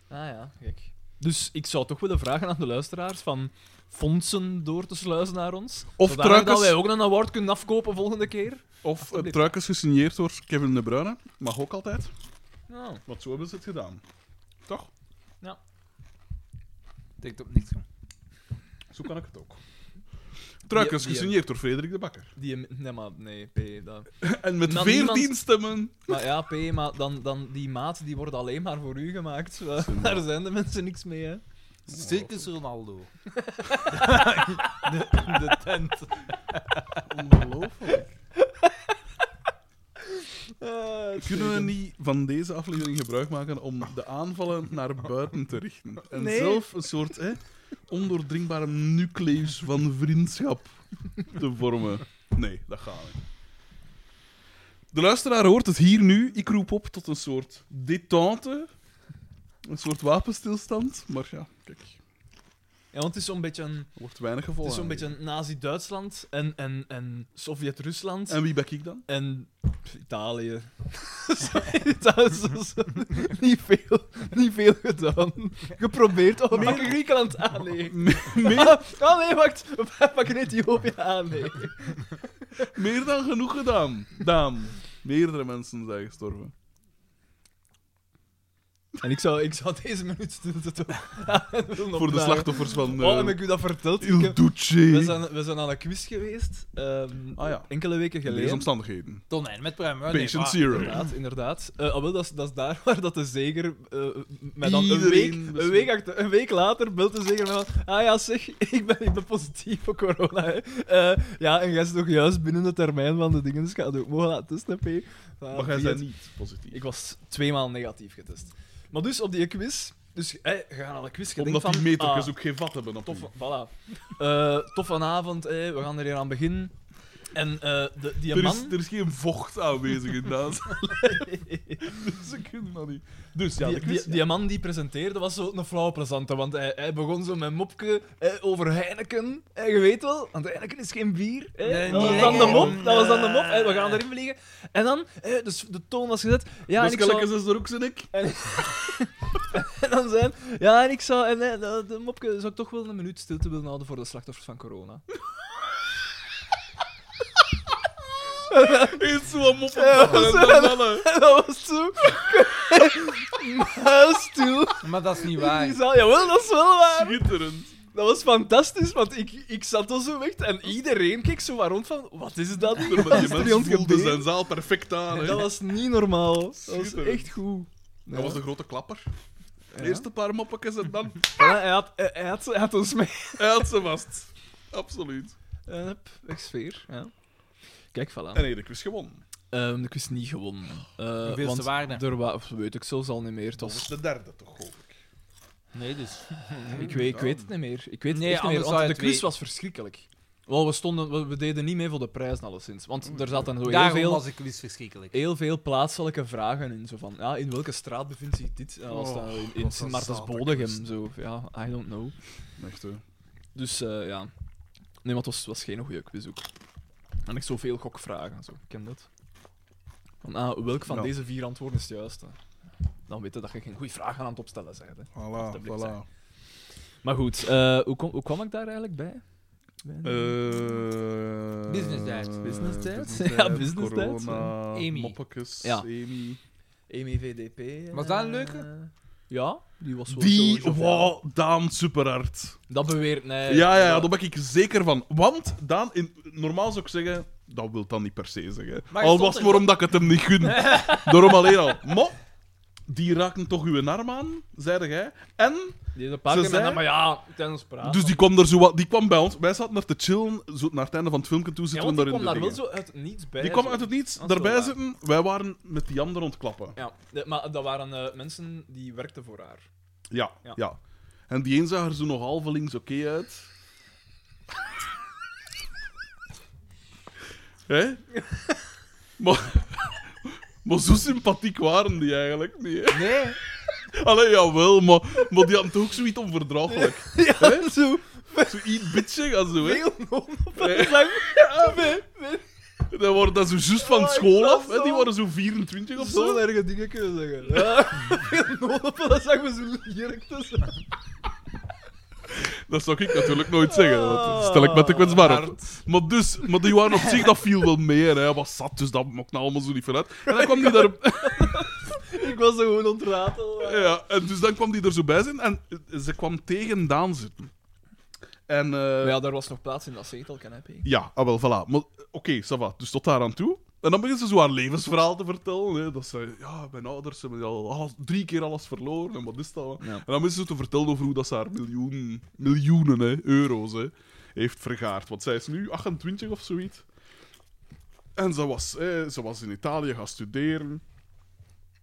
Speaker 3: Ah ja, gek. Dus ik zou toch willen vragen aan de luisteraars van fondsen door te sluizen naar ons.
Speaker 2: Of
Speaker 3: zodanig dat
Speaker 2: truikens.
Speaker 3: wij ook een award kunnen afkopen volgende keer.
Speaker 2: Of eh, truikens gesigneerd door Kevin De Bruyne. Mag ook altijd.
Speaker 3: Nou,
Speaker 2: Want zo hebben ze het gedaan. Toch?
Speaker 4: Denkt op niks van.
Speaker 2: Zo kan ik het ook. Truikens
Speaker 3: Die- die-
Speaker 2: gesigneerd door Frederik de Bakker.
Speaker 3: die... Nee, maar nee, P. Dat.
Speaker 2: En met
Speaker 3: Maar
Speaker 2: 14
Speaker 3: niemand-
Speaker 2: stemmen.
Speaker 3: Maar ja, P, maar dan, dan die maat die wordt alleen maar voor u gemaakt. Wa- Daar zijn de mensen niks mee, hè.
Speaker 4: Circus Ronaldo.
Speaker 2: Ongelooflijk.
Speaker 3: Eh,
Speaker 2: Kunnen we niet van deze aflevering gebruik maken om de aanvallen naar buiten te richten? En
Speaker 3: Nee.
Speaker 2: zelf een soort hè, ondoordringbare nucleus van vriendschap te vormen? Nee, dat gaat niet. De luisteraar hoort het hier nu. Ik roep op tot een soort détente. Een soort wapenstilstand. Maar ja, kijk, er
Speaker 3: Ja, want het is zo'n beetje, een-
Speaker 2: wordt weinig
Speaker 3: het
Speaker 2: gevolgd.
Speaker 3: is zo'n beetje Nazi-Duitsland en, en, en Sovjet-Rusland en,
Speaker 2: En wie ben ik dan?
Speaker 3: pff, Italië. Dat is zo- zo- niet, veel, niet veel gedaan. Geprobeerd om pakken Griekenland aan, nee. Ah, ah, nee, wacht. We pakken Ethiopië aan, nee.
Speaker 2: Meer dan genoeg gedaan. Daan. Meerdere mensen zijn gestorven.
Speaker 3: En ik zou, ik zou deze minuut stilte toch
Speaker 2: Voor de slachtoffers van...
Speaker 3: Oh,
Speaker 2: eh,
Speaker 3: heb ik u dat verteld? Ik
Speaker 2: Il
Speaker 3: heb- We
Speaker 2: Duce.
Speaker 3: zijn, we zijn aan een quiz geweest, ehm,
Speaker 2: Ah, ja.
Speaker 3: enkele weken
Speaker 2: Deze
Speaker 3: geleden.
Speaker 2: omstandigheden.
Speaker 4: Tonijn met Prime. hè. Nee,
Speaker 2: Patient
Speaker 4: waar.
Speaker 2: Zero.
Speaker 3: Oh, ah, Inderdaad, inderdaad. Eh, ah, wel, dat, is, dat is daar waar dat de zeger eh, mij dan een week,
Speaker 2: Iedereen
Speaker 3: een, week achter- een week later belt de zeger mij van ah ja zeg, ik ben, ik ben positief voor corona. Hè. Eh, ja, en jij is toch juist binnen de termijn van de dingen, dus ga het ook mogen laten testen, P. Ah,
Speaker 2: Maar jij
Speaker 3: via-
Speaker 2: bent niet positief.
Speaker 3: Ik was tweemaal negatief getest. Maar dus op die quiz, dus eh, je gaat aan de quiz, je
Speaker 2: Omdat
Speaker 3: denkt
Speaker 2: die
Speaker 3: van,
Speaker 2: metertjes
Speaker 3: ah,
Speaker 2: ook geen vat hebben op
Speaker 3: Tof,
Speaker 2: u.
Speaker 3: voilà. Eh, tof vanavond, eh, we gaan er hier aan beginnen. En eh, de, die
Speaker 2: Er
Speaker 3: man...
Speaker 2: is, er is geen vocht aanwezig in dat. dus ik kunnen dat niet. Dus ja,
Speaker 3: die,
Speaker 2: de quiz,
Speaker 3: die, die man die presenteerde was zo een flauw plezante, want hij, hij begon zo met mopje eh, over Heineken. En je weet wel, want Heineken is geen bier. hè.
Speaker 4: Nee,
Speaker 3: dat,
Speaker 4: nee,
Speaker 3: was dan de
Speaker 4: nee.
Speaker 3: mop, dat was dan de mop, hè, we gaan erin vliegen. En dan, eh, dus de toon was gezet. Ja,
Speaker 2: ja,
Speaker 3: en ik zou-
Speaker 2: Dus is er ook zijn ik.
Speaker 3: En dan zijn, ja, en ik zou, en eh, de, de mopke zou ik toch wel een minuut stilte willen houden voor de slachtoffers van corona.
Speaker 2: Is eh, zo'n mop op
Speaker 3: Ja,
Speaker 2: de
Speaker 3: zo-
Speaker 2: mannen.
Speaker 3: En dat was zo. Muisstil.
Speaker 4: Maar dat is niet
Speaker 3: Ja,
Speaker 4: waar.
Speaker 3: jawel, dat is wel waar.
Speaker 2: Schitterend.
Speaker 3: Dat was fantastisch, want ik, ik zat al zo weg en iedereen keek zo waar rond van, wat is dat? hier?
Speaker 2: Die
Speaker 3: Wat is er hier aan
Speaker 2: mensen
Speaker 3: het
Speaker 2: voelden
Speaker 3: gebeuren?
Speaker 2: zijn zaal perfect aan. hè.
Speaker 3: Dat was niet normaal. Dat was
Speaker 2: Schitterend.
Speaker 3: echt goed.
Speaker 2: Dat was de grote klapper. Eerst een paar moppetjes en dan
Speaker 3: Ja, hij, had, hij, hij had, hij had ons mee.
Speaker 2: hij had ze vast. Absoluut.
Speaker 3: En hup, weg sfeer. Ja. Kijk, voilà.
Speaker 2: En Erik is gewonnen.
Speaker 3: Ehm, ik wist niet gewonnen. Eh,
Speaker 4: Hoeveel
Speaker 3: want
Speaker 4: ze waren.
Speaker 3: Er wa- weet ik zelfs al niet meer. Het
Speaker 2: Dat
Speaker 3: was-
Speaker 2: was de derde toch, hoop ik.
Speaker 4: Nee, dus.
Speaker 3: ik, weet, ik weet het niet meer. Ik weet het
Speaker 4: Nee,
Speaker 3: echt niet meer,
Speaker 4: anders zou
Speaker 3: want
Speaker 4: je
Speaker 3: de
Speaker 4: het
Speaker 3: quiz
Speaker 4: weten.
Speaker 3: was verschrikkelijk. Wel, we, stonden, we, we deden niet mee voor de prijs, alleszins. Want
Speaker 2: Oh,
Speaker 3: er zaten zo heel
Speaker 4: Daarom
Speaker 3: veel,
Speaker 4: was ik quiz verschrikkelijk.
Speaker 3: heel veel plaatselijke vragen in. Zo van, ja, in welke straat bevindt zich dit? Ja,
Speaker 2: Oh.
Speaker 3: was dat in in
Speaker 2: wat
Speaker 3: Sint
Speaker 2: een
Speaker 3: Maartens-Bodegem.
Speaker 2: zalige
Speaker 3: Zo, ja, I don't know.
Speaker 2: Echt, hè.
Speaker 3: Dus eh, ja. Nee, maar het was, was geen goede quiz ook. En ik zoveel gokvragen en zo. Ik ken dat. Van, ah, welk van
Speaker 2: Ja.
Speaker 3: deze vier antwoorden is het juiste? Dan weten dat je geen goede vragen aan het opstellen bent. Hè.
Speaker 2: Voilà,
Speaker 3: Alsjeblieft,
Speaker 2: voilà.
Speaker 3: Maar goed, eh, hoe, kom, hoe kwam ik daar eigenlijk bij? Bij-
Speaker 2: Eh,
Speaker 4: Business tijd.
Speaker 3: Business tijd? Ja, business tijd.
Speaker 2: corona,
Speaker 4: Amy.
Speaker 2: Moppetjes,
Speaker 3: Ja.
Speaker 2: Amy.
Speaker 3: Amy VDP. eh,
Speaker 4: Was dat een leuke?
Speaker 3: ja, die was wel Eh,
Speaker 2: Die,
Speaker 3: sowieso-
Speaker 2: wow, Daan superhard.
Speaker 3: Dat beweert nee.
Speaker 2: ja, ja, ja, daar ben ik zeker van. Want, Daan, in, normaal zou ik zeggen, dat wil dan niet per se zeggen.
Speaker 4: Maar je
Speaker 2: al
Speaker 4: stond
Speaker 2: was het
Speaker 4: er-
Speaker 2: waarom dat ik het hem niet gun. Daarom alleen al. Mo, die raken toch uw arm aan, zeide jij. En,
Speaker 3: Die is een paar
Speaker 2: Ze
Speaker 3: keer met
Speaker 2: zei-
Speaker 3: dat, maar ja, tijdens praten.
Speaker 2: dus die kwam, er zo wat, die kwam bij ons. Wij zaten naar te chillen, zo naar het einde van het filmpje toe
Speaker 3: ja,
Speaker 2: zitten
Speaker 3: want
Speaker 2: we
Speaker 3: die
Speaker 2: daar in
Speaker 3: kwam
Speaker 2: de
Speaker 3: daar wel zo
Speaker 2: dingen.
Speaker 3: uit het niets bij.
Speaker 2: Die kwam
Speaker 3: zo.
Speaker 2: uit het
Speaker 3: Dat
Speaker 2: niets,
Speaker 3: is wel
Speaker 2: daarbij
Speaker 3: waar.
Speaker 2: zitten. Wij waren met die anderen ontklappen.
Speaker 3: Ja, de- maar dat waren eh, mensen die werkten voor haar.
Speaker 2: Ja, ja.
Speaker 3: Ja.
Speaker 2: En die een zag er zo nog halvelings oké uit. Hè? maar, Maar zo sympathiek waren die eigenlijk niet. hè.
Speaker 4: Nee.
Speaker 2: Allee, jawel, maar, maar die hadden toch ook zoiets onverdraaglijk.
Speaker 3: Ja, zo.
Speaker 2: Zo iets bitchig en zo, hè.
Speaker 3: Heel non op dat
Speaker 2: Nee.
Speaker 3: vlak.
Speaker 2: Dat waren Oh, dat zo juist van school af, hè. Die waren zo 24 of zo.
Speaker 3: Zo'n erge dingen kunnen zeggen. Ja. Heel non op dat zag me zo lelijk tussen.
Speaker 2: Dat zou ik natuurlijk nooit zeggen. Dat stel ik met de kwetsbaar op. Maar, dus, maar die waren op zich, dat viel wel mee. Hè. Hij was zat, dus dat maakt nou allemaal zo niet van uit. En dan kwam die daar...
Speaker 3: Ik was zo gewoon ontrafeld.
Speaker 2: Ja, en dus dan kwam die er zo bij zijn en ze kwam tegen Daan zitten. En... eh,
Speaker 3: Ja, daar was nog plaats in dat zetel, kan heb ik.
Speaker 2: Ja, ah, wel, voilà. Maar oké, ça va. Dus tot daar aan toe. En dan begint ze zo haar levensverhaal te vertellen. Hè. Dat ze, ja, mijn ouders hebben al alles- drie keer alles verloren. En wat is dat?
Speaker 3: Ja.
Speaker 2: En dan begint ze te vertellen over hoe dat ze haar miljoen, miljoenen hè, euro's hè, heeft vergaard. Want zij is nu 28 of zoiets. En ze was, hè, ze was in Italië gaan studeren.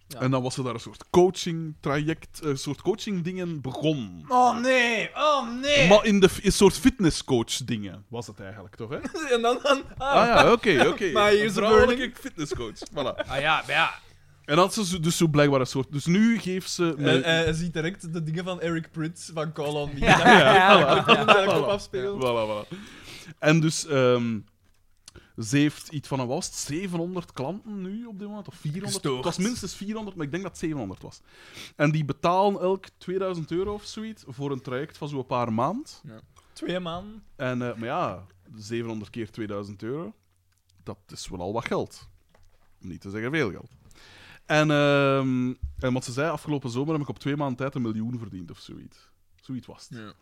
Speaker 3: Ja.
Speaker 2: En dan was ze daar een soort coaching traject, een soort coaching dingen begon.
Speaker 4: Oh nee, oh nee.
Speaker 2: Maar in de f- een soort fitnesscoach dingen was het eigenlijk toch? Hè?
Speaker 3: En dan, dan ah,
Speaker 2: Ah ja, oké, oké.
Speaker 3: Maar hier is
Speaker 2: Een
Speaker 3: de
Speaker 2: vrouwelijke fitnesscoach. Voilà.
Speaker 4: Ah ja, maar ja.
Speaker 2: En dat is dus zo blijkbaar een soort... Dus nu geeft ze...
Speaker 3: En
Speaker 2: mij-
Speaker 3: hij hij ziet direct de dingen van Eric Prydz van Call on Me.
Speaker 4: Ja,
Speaker 3: Ja,
Speaker 4: ja, ja.
Speaker 3: daar op
Speaker 2: voilà.
Speaker 3: afspelen.
Speaker 2: Voilà, voilà. En dus... ehm, ze heeft iets van een was 700 klanten nu op dit moment, of 400.
Speaker 6: Gestoord.
Speaker 2: Het was minstens 400, maar ik denk dat het 700 was. En die betalen elk 2000 euro of zoiets voor een traject van zo'n paar maand.
Speaker 3: Twee man.
Speaker 2: En, eh, maar ja, 700 keer 2000 euro, dat is wel al wat geld. Om niet te zeggen veel geld. En, ehm, en wat ze zei, afgelopen zomer heb ik op twee maanden tijd een miljoen verdiend of zoiets. Zoiets was het.
Speaker 6: Ja.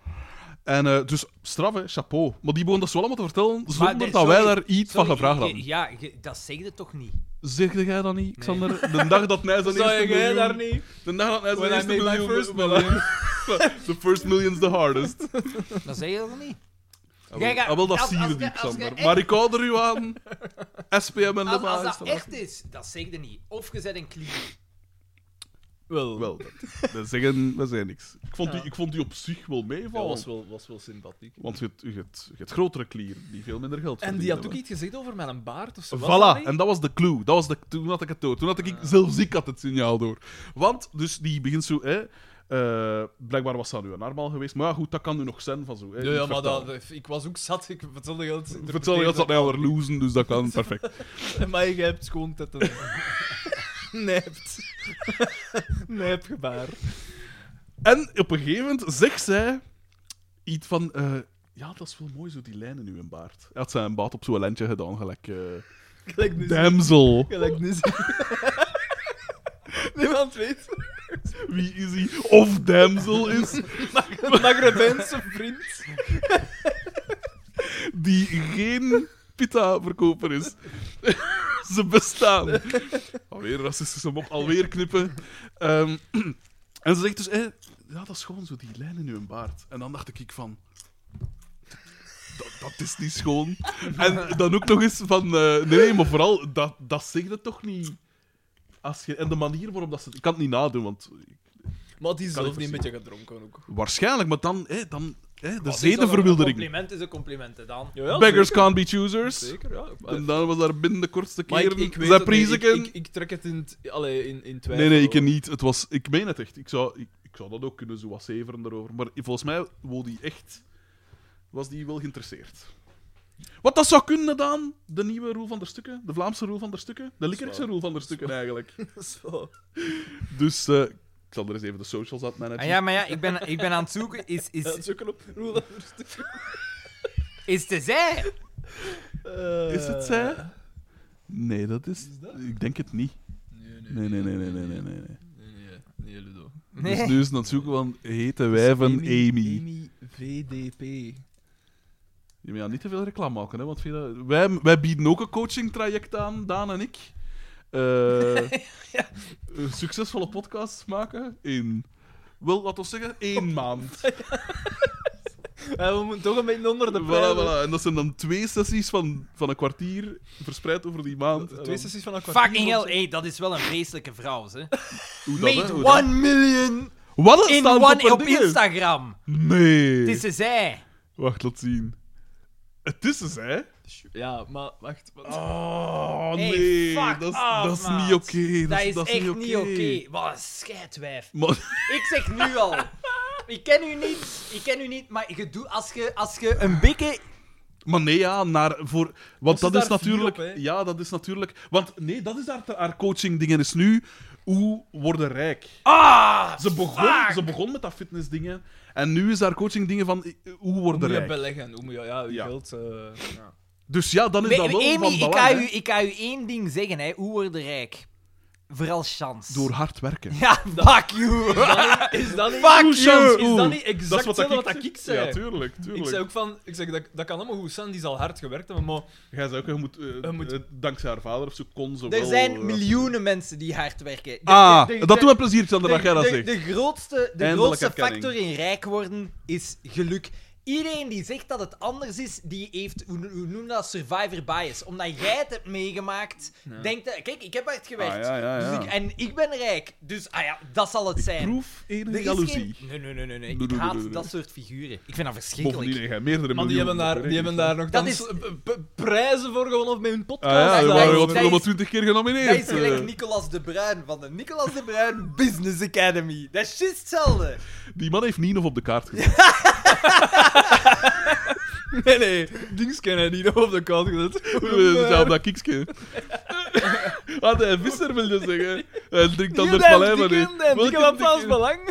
Speaker 2: En eh, dus straf, hè, chapeau. Maar die begon dat zo allemaal te vertellen zonder
Speaker 4: nee,
Speaker 2: dat wij
Speaker 4: sorry.
Speaker 2: daar iets
Speaker 4: Sorry,
Speaker 2: van gevraagd
Speaker 4: je-
Speaker 2: hadden.
Speaker 4: Ja, je- dat zeg je toch niet?
Speaker 2: Zegde jij dat niet, Xander? De dag dat hij zijn
Speaker 3: Zou jij
Speaker 2: eerste miljoen...
Speaker 3: daar niet?
Speaker 2: De dag dat hij
Speaker 3: When
Speaker 2: zijn
Speaker 3: I
Speaker 2: eerste
Speaker 3: made my
Speaker 2: miljoen...
Speaker 3: first
Speaker 2: the first million's the hardest.
Speaker 4: Dat zeg je toch niet?
Speaker 2: Ah, wel,
Speaker 4: Jij gaat-
Speaker 2: ah, wel, dat
Speaker 4: als-
Speaker 2: zie
Speaker 4: als
Speaker 2: je
Speaker 4: ge-
Speaker 2: diep,
Speaker 4: als ge
Speaker 2: Sander.
Speaker 4: echt-
Speaker 2: Maar ik hou er u aan. SPM en de
Speaker 4: Als, als
Speaker 2: baas.
Speaker 4: dat echt is, dat zeg je niet. Of je bent een klier.
Speaker 3: Wel,
Speaker 2: Wel, dat, dat, zeggen, dat zijn niks. Ik vond, die, ik vond die op zich wel meevallen.
Speaker 3: was wel, was wel sympathiek.
Speaker 2: Want je hebt- je hebt- je hebt grotere klieren die veel minder geld
Speaker 3: En
Speaker 2: verdienen.
Speaker 3: die had ook
Speaker 2: hè.
Speaker 3: iets gezegd over mijn baard of zo. was dat
Speaker 2: Voilà,
Speaker 3: niet?
Speaker 2: en dat was de clue. Dat was de, toen had ik het door. Toen had ik, zelfs ik had het signaal door. Want, dus die begint zo... Hè, eh, blijkbaar was dat nu een armaal geweest. Maar ja, goed, dat kan nu nog zijn van zo. Hè,
Speaker 3: Ja,
Speaker 2: niet
Speaker 3: ja, maar
Speaker 2: vertellen.
Speaker 3: dat, ik was ook zat. Ik vertelde heel het
Speaker 2: Vertel je dat ze dat losen, dus dat kan perfect.
Speaker 3: Maar je hebt gewoon tetten. Nept. Nep gebaar.
Speaker 2: En op een gegeven moment zegt zij iets van... eh, ja, dat is wel mooi, zo die lijnen nu in baard. Hij had zijn baard op zo'n lijntje gedaan, gelijk... eh,
Speaker 3: Gelijk nu.
Speaker 2: damsel,
Speaker 3: Gelijk nu. Niemand weet.
Speaker 2: wie is hij? Of damsel is,
Speaker 3: Een Magrebijnse vriend.
Speaker 2: die geen pita-verkoper is. Ze bestaan. Alweer racistische mop, alweer knippen. Ehm, en ze zegt dus... eh, ja, dat is gewoon zo, die lijnen nu in baard. En dan dacht ik van... Dat, dat is niet schoon. En dan ook nog eens van... eh, nee, nee, maar vooral, dat, dat zegt het toch niet. Als je, en de manier waarop dat ze... Ik kan het niet nadoen, want...
Speaker 3: Maar die is
Speaker 2: Kan
Speaker 3: zelf niet
Speaker 2: ik
Speaker 3: een
Speaker 2: voorzien.
Speaker 3: beetje gedronken ook.
Speaker 2: Waarschijnlijk, maar dan... eh, dan eh, de
Speaker 4: Een
Speaker 2: zedenverwildering.
Speaker 4: compliment is een compliment, hè, dan.
Speaker 3: Jawel,
Speaker 2: Beggars can't be choosers.
Speaker 3: Zeker, ja.
Speaker 2: En dan was daar binnen de kortste
Speaker 3: Maar ik,
Speaker 2: keer.
Speaker 3: ik weet het
Speaker 2: Zij
Speaker 3: niet.
Speaker 2: prijzen
Speaker 3: Ik, ik, ik trek het in, t- allee, in, in twijfel.
Speaker 2: Nee, nee, ik niet. Het was, ik meen het echt. Ik zou, ik, ik zou dat ook kunnen zo wat zeveren erover. Maar volgens mij wou die echt, was die wel geïnteresseerd. Wat dat zou kunnen dan, de nieuwe Roel van der Stukken, de Vlaamse Roel van der Stukken, de Likkerikse Roel van der Stukken eigenlijk.
Speaker 3: Zo.
Speaker 2: Dus eh, ik zal er eens even de socials aan managen.
Speaker 4: Ah ja, maar ja, ik ben, ik ben aan het zoeken. Is,
Speaker 3: Ja, het
Speaker 4: is,
Speaker 3: is ook een oproer.
Speaker 4: is te zij?
Speaker 3: Eh,
Speaker 2: Is het zij? Nee, dat is.
Speaker 3: Is dat?
Speaker 2: Ik denk het niet.
Speaker 3: Nee,
Speaker 2: Nee, nee, nee, nee, nee, nee. nee.
Speaker 3: Nee, nee, nee, Ludo.
Speaker 4: Nee.
Speaker 2: Dus nu is het aan het zoeken van hete wijven Amy.
Speaker 3: Dus Amy VDP.
Speaker 2: Je moet ja, niet te veel reclame maken, hè, want vind je dat- wij, wij bieden ook een coachingtraject aan, Daan en ik. Eh, een Succesvolle podcasts maken in, wel, laten we zeggen, één maand.
Speaker 3: Ja, Eh, we moeten toch een beetje onder de
Speaker 2: Voilà,
Speaker 3: pijl.
Speaker 2: voilà. En dat zijn dan twee sessies van, van een kwartier, verspreid over die maand. En
Speaker 3: Twee
Speaker 2: dan-
Speaker 3: sessies van een kwartier.
Speaker 4: Fucking hell, hey, dat is wel een vreselijke vrouw, hè.
Speaker 2: Hoe dat,
Speaker 4: Made
Speaker 2: hè, hoe dat.
Speaker 4: 1 million
Speaker 2: Wat?
Speaker 4: in
Speaker 2: Staan ze
Speaker 4: one
Speaker 2: een
Speaker 4: op
Speaker 2: ding?
Speaker 4: Instagram.
Speaker 2: Nee.
Speaker 4: Het is ze zij.
Speaker 2: Wacht, laat zien. Het is dus, een zij.
Speaker 3: Ja, maar wacht.
Speaker 2: Ah,
Speaker 3: wat-
Speaker 2: Oh,
Speaker 4: Hey,
Speaker 2: nee.
Speaker 4: fuck
Speaker 2: dat is,
Speaker 4: off,
Speaker 2: dat is
Speaker 4: maat.
Speaker 2: niet oké.
Speaker 4: Dat is
Speaker 2: dat
Speaker 4: echt niet oké.
Speaker 2: oké.
Speaker 4: Wat een scheidwijf.
Speaker 2: Maar
Speaker 4: Ik zeg nu al. Ik ken u niet, ik ken u niet, maar je doet, als je als je een bikke...
Speaker 2: Maar nee, ja, naar, voor, want
Speaker 3: ze
Speaker 2: dat is
Speaker 3: daar fier
Speaker 2: natuurlijk...
Speaker 3: op, hè?
Speaker 2: ja, dat is natuurlijk... Want nee, dat is haar, haar coaching-dingen is nu... Hoe worden rijk?
Speaker 4: Ah!
Speaker 2: Ze begon, ze begon met dat fitness-dingen. En nu is haar coaching-dingen van... eh, Hoe worden
Speaker 3: Hoe moet je
Speaker 2: rijk?
Speaker 3: beleggen? Hoe moet je, ja, je
Speaker 2: Ja.
Speaker 3: geld... eh, ja.
Speaker 2: Dus ja, dan is
Speaker 4: Nee,
Speaker 2: dat wel
Speaker 4: Amy,
Speaker 2: van
Speaker 4: ik
Speaker 2: belang.
Speaker 4: ga,
Speaker 2: hè.
Speaker 4: u, ik ga u één ding zeggen, hè. Hoe word je rijk? Vooral chance.
Speaker 2: Door hard werken.
Speaker 4: Ja, fuck you.
Speaker 3: Is dat niet,
Speaker 4: Fuck
Speaker 3: is
Speaker 2: you!
Speaker 3: dat niet exact
Speaker 2: Dat is wat,
Speaker 3: hetzelfde wat
Speaker 2: dat
Speaker 3: dat ik zei?
Speaker 2: Ja, tuurlijk, tuurlijk.
Speaker 3: ik zei ook van, ik zeg, dat, dat kan allemaal goed zijn, die zal hard gewerkt hebben, maar
Speaker 2: Jij zei ook, je moet, eh,
Speaker 3: Je moet-
Speaker 2: eh, dankzij haar vader of zo kon ze wel...
Speaker 4: Er zijn
Speaker 2: eh,
Speaker 4: miljoenen mensen die hard werken. De-
Speaker 2: Ah,
Speaker 4: de- de-
Speaker 2: dat doet me plezier, Sander,
Speaker 4: de,
Speaker 2: dat jij dat
Speaker 4: de-
Speaker 2: zegt.
Speaker 4: de grootste, de
Speaker 2: Eindelijk
Speaker 4: grootste
Speaker 2: erkenning.
Speaker 4: factor in rijk worden is geluk. Iedereen die zegt dat het anders is, die heeft, hoe, hoe noem je dat, survivor bias. Omdat jij het hebt meegemaakt, denkt dat, kijk, ik heb hard gewerkt.
Speaker 2: Ah, ja, ja, ja.
Speaker 4: Dus ik- en ik ben rijk, dus ah ja, dat zal het zijn.
Speaker 2: Proef
Speaker 4: Er
Speaker 2: enige
Speaker 4: is
Speaker 2: jaloezie.
Speaker 4: geen- Nee, nee, nee, nee, nee.
Speaker 2: Doe,
Speaker 4: Ik
Speaker 2: doe,
Speaker 4: haat
Speaker 2: doe, doe, doe.
Speaker 4: dat soort figuren. Ik vind dat verschrikkelijk.
Speaker 2: Bovendien heb jij meerdere
Speaker 3: maar Ah, die hebben
Speaker 2: miljoenen
Speaker 3: daar, die hebben daar nog
Speaker 4: Dat
Speaker 3: dan
Speaker 4: is-
Speaker 3: s- p- p- prijzen voor gewonnen of met hun
Speaker 2: Ah
Speaker 3: podcast.
Speaker 2: ja,
Speaker 4: dat
Speaker 2: we
Speaker 4: is-
Speaker 2: waren
Speaker 4: dat
Speaker 2: wat
Speaker 4: is-
Speaker 2: nog maar twintig keer
Speaker 4: Dat
Speaker 2: genomineerd.
Speaker 4: is gelijk
Speaker 2: eh.
Speaker 4: Nicolas de Bruin van de Nicolas de Bruin Business Academy. Dat is juist hetzelfde.
Speaker 2: Die man heeft Nino op de kaart gezet.
Speaker 3: Nee, nee, dings kennen die nog op de kant gezet.
Speaker 2: We zijn Eh, dus op dat kiksje. Wat een visser wil je zeggen. Hij drinkt anders van hem. hè. Welke
Speaker 3: Ik heb pas
Speaker 2: dikke-
Speaker 3: belang.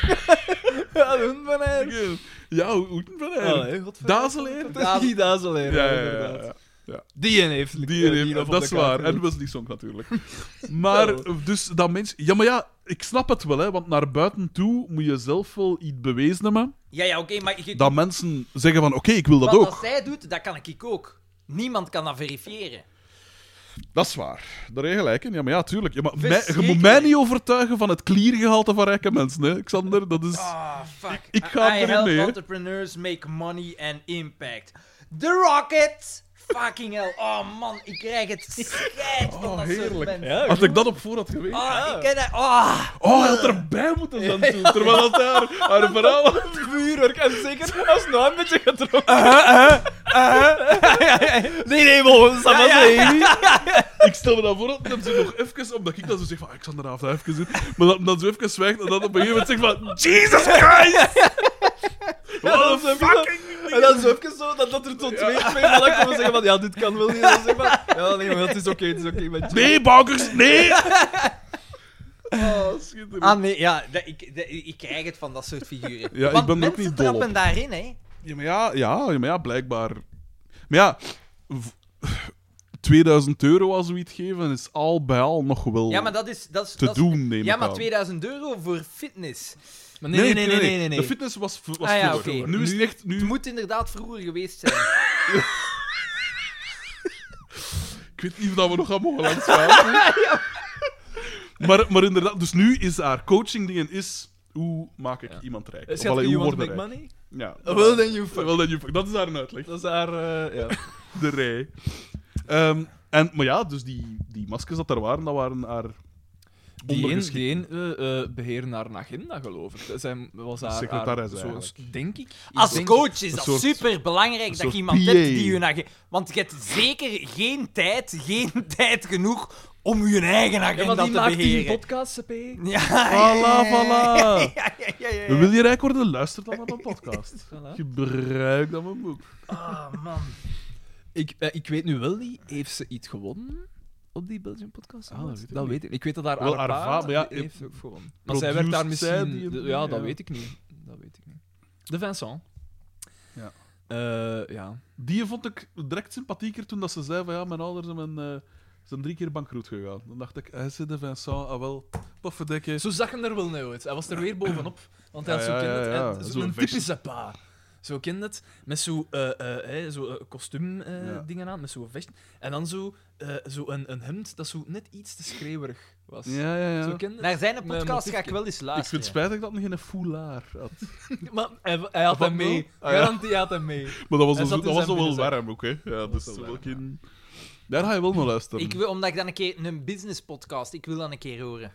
Speaker 3: Ja, hun van hem.
Speaker 2: dikke- Ja, hoe- hoe van hem?
Speaker 3: Allee, godver-
Speaker 2: Dazeleer?
Speaker 3: Dat is Die Dazeleer,
Speaker 2: Ja, ja, ja,
Speaker 3: inderdaad.
Speaker 2: ja.
Speaker 3: Die een heeft
Speaker 2: Die
Speaker 3: eh,
Speaker 2: heeft,
Speaker 3: nog op
Speaker 2: dat
Speaker 3: de
Speaker 2: is waar.
Speaker 3: kaart
Speaker 2: En Wesley Song natuurlijk. Maar, dus dat mensen... Ja, maar ja, ik snap het wel, hè. Want naar buiten toe moet je zelf wel iets bewezen hebben.
Speaker 4: Ja, ja, oké, maar je,
Speaker 2: Dat mensen zeggen van, oké, ik wil dat
Speaker 4: wat
Speaker 2: ook.
Speaker 4: als zij doet, dat kan ik ook. Niemand kan dat verifiëren.
Speaker 2: Dat is waar. Daar heb je gelijk in. Ja, maar ja, tuurlijk. Ja, maar mij, je moet
Speaker 4: Verschrikkelijk.
Speaker 2: mij niet overtuigen van het kliergehalte van rijke mensen, hè, Xander. Dat is...
Speaker 4: Ah, fuck.
Speaker 2: ik ga
Speaker 4: I
Speaker 2: erin
Speaker 4: help
Speaker 2: mee, hè.
Speaker 4: entrepreneurs make money and impact. The Rocket! Fucking hell. Oh man, ik krijg het scheid van
Speaker 2: Oh,
Speaker 4: dat soort
Speaker 2: heerlijk.
Speaker 4: mensen.
Speaker 2: Als ik dat op voorhad geweten...
Speaker 4: Ah,
Speaker 3: Ja.
Speaker 4: ik ken dat. Ah,
Speaker 2: Oh, hij had erbij moeten zijn toen, terwijl dat haar, haar verhaal...
Speaker 3: Vuurwerk, en Eh, zeker als nou een beetje getrokken. eh,
Speaker 4: nee, nee, volgens
Speaker 3: Dat was een-
Speaker 2: Ik stel me dan voor dat hem zo nog even... Omdat ik dan zo zeg van, "Ah, ik zal er af even zitten. Maar dat hem dan zo even zwijgt en dan op een gegeven moment zegt van... Jesus Christ! What the fucking...
Speaker 3: En dan zo even zo, dat, dat er tot twee, twee mannen komen zeggen van, ja, dit kan wel niet. Dan zeg maar, ja, nee, maar het is oké, het is oké. maar-
Speaker 2: Nee, Boukers, nee! Oh, schitterend.
Speaker 4: Ah nee, ja, dat- ik, dat- ik krijg het van dat soort figuren.
Speaker 2: Ja, ik
Speaker 4: Want
Speaker 2: ben er ook
Speaker 4: mensen
Speaker 2: niet dol op.
Speaker 4: trappen daarin, hè.
Speaker 2: Ja, maar ja, ja, ja, maar ja blijkbaar. Maar ja, v- 2000 euro als zoiets geven is al bij al nog wel
Speaker 4: Ja, maar dat is... Dat is
Speaker 2: te
Speaker 4: dat is-
Speaker 2: doen, neem
Speaker 4: Ja,
Speaker 2: ik
Speaker 4: maar
Speaker 2: aan.
Speaker 4: 2000 euro voor fitness.
Speaker 3: Maar nee, nee, nee, nee, nee, nee.
Speaker 2: De fitness was, v- was
Speaker 4: Ah, ja,
Speaker 2: vroeger.
Speaker 4: oké.
Speaker 2: Nu is het echt... Nu,
Speaker 4: Het moet inderdaad vroeger geweest zijn.
Speaker 2: Ik weet niet of dat we nog gaan mogen langsgaan. maar, maar inderdaad, dus nu is haar coaching dingen is... Hoe maak ik iemand rijk?
Speaker 3: Eh, Schat,
Speaker 2: Of allee,
Speaker 3: you
Speaker 2: hoe
Speaker 3: want to
Speaker 2: word ik
Speaker 3: make
Speaker 2: rijk?
Speaker 3: money?
Speaker 2: Ja. eh,
Speaker 3: Well, then you fuck.
Speaker 2: Wel, dat je- Dat is haar uitleg.
Speaker 3: Dat is haar, eh, ja.
Speaker 2: De rij. Ehm, en, maar ja, dus die, die maskers dat er waren, dat waren haar...
Speaker 3: Die een,
Speaker 2: ondergeschikt.
Speaker 3: die een eh, eh, beheerde haar agenda, geloof ik. Dat Zijn, was haar,
Speaker 2: Secretaris
Speaker 3: haar,
Speaker 2: eigenlijk.
Speaker 3: Denk ik. Ik
Speaker 4: Als
Speaker 3: denk-
Speaker 4: coach is dat
Speaker 2: soort-
Speaker 4: super belangrijk dat
Speaker 2: soort
Speaker 4: je iemand
Speaker 2: PA.
Speaker 4: hebt die je agenda. Want je hebt zeker geen tijd, geen tijd genoeg om je eigen
Speaker 3: Ja,
Speaker 4: agenda
Speaker 3: want die
Speaker 4: te
Speaker 3: maakt die
Speaker 4: beheren.
Speaker 3: podcast, CP.
Speaker 2: Ah.
Speaker 4: ja,
Speaker 2: Voilà, voilà.
Speaker 4: ja, ja, ja, ja.
Speaker 2: Wil je rijk worden? Luister dan naar mijn podcast.
Speaker 3: Voilà.
Speaker 2: Gebruik dan mijn boek.
Speaker 4: Ah, man.
Speaker 3: Ik, eh, ik weet nu wel niet, heeft ze iets gewonnen? Op die Belgian podcast?
Speaker 2: Ah, dat weet ik niet.
Speaker 3: weet ik. Ik weet dat haar
Speaker 2: Wel, haar
Speaker 3: Arpa
Speaker 2: va- maar ja,
Speaker 3: heeft ook gewonnen. Maar zij werd
Speaker 2: produced
Speaker 3: daar
Speaker 2: zij
Speaker 3: misschien...
Speaker 2: die-
Speaker 3: de- ja, dat
Speaker 2: ja.
Speaker 3: weet ik niet. Dat weet ik niet. De Vincent.
Speaker 2: Ja.
Speaker 3: Eh, ja.
Speaker 2: Die vond ik direct sympathieker toen dat ze zei van ja, mijn ouders en mijn, eh, zijn drie keer bankroet gegaan. Dan dacht ik, hij zit de Vincent, ah wel, poffedekke.
Speaker 3: Zo zag hem er wel nou uit. Hij was er weer bovenop. Want hij
Speaker 2: Ja,
Speaker 3: had zo
Speaker 2: ja,
Speaker 3: kind
Speaker 2: ja,
Speaker 3: het. en-
Speaker 2: ja. Zo'n
Speaker 3: Zo'n
Speaker 2: vestje.
Speaker 3: typische pa. Zo kind het. Met zo'n eh eh, eh, zo, eh, kostuum eh,
Speaker 2: Ja.
Speaker 3: dingen aan. Met zo'n vest. En dan zo, eh, zo een, een hemd dat zo net iets te schreeuwerig was.
Speaker 2: Ja, ja, ja.
Speaker 3: Zo
Speaker 2: Ik
Speaker 3: kind het.
Speaker 4: Naar zijn
Speaker 3: Met een
Speaker 4: podcast ga ik
Speaker 3: motiefje.
Speaker 4: wel eens
Speaker 2: vind het
Speaker 4: luisteren.
Speaker 2: spijtig dat hij geen foulaar had.
Speaker 3: Maar hij, hij had
Speaker 2: Wat
Speaker 3: hem mee.
Speaker 2: nou? Ah, ja.
Speaker 3: Garantie hij had hem mee.
Speaker 2: Maar dat was,
Speaker 3: Hij
Speaker 2: al zo-
Speaker 3: zat in
Speaker 2: dat was
Speaker 3: zijn
Speaker 2: al wel
Speaker 3: binnenzak.
Speaker 2: warm ook, hè. Ja, dus
Speaker 3: wel
Speaker 2: wel
Speaker 3: warm,
Speaker 2: geen- Daar ga je wel naar luisteren.
Speaker 4: Ik wil, omdat ik dan een keer een business podcast, ik wil dat een keer horen.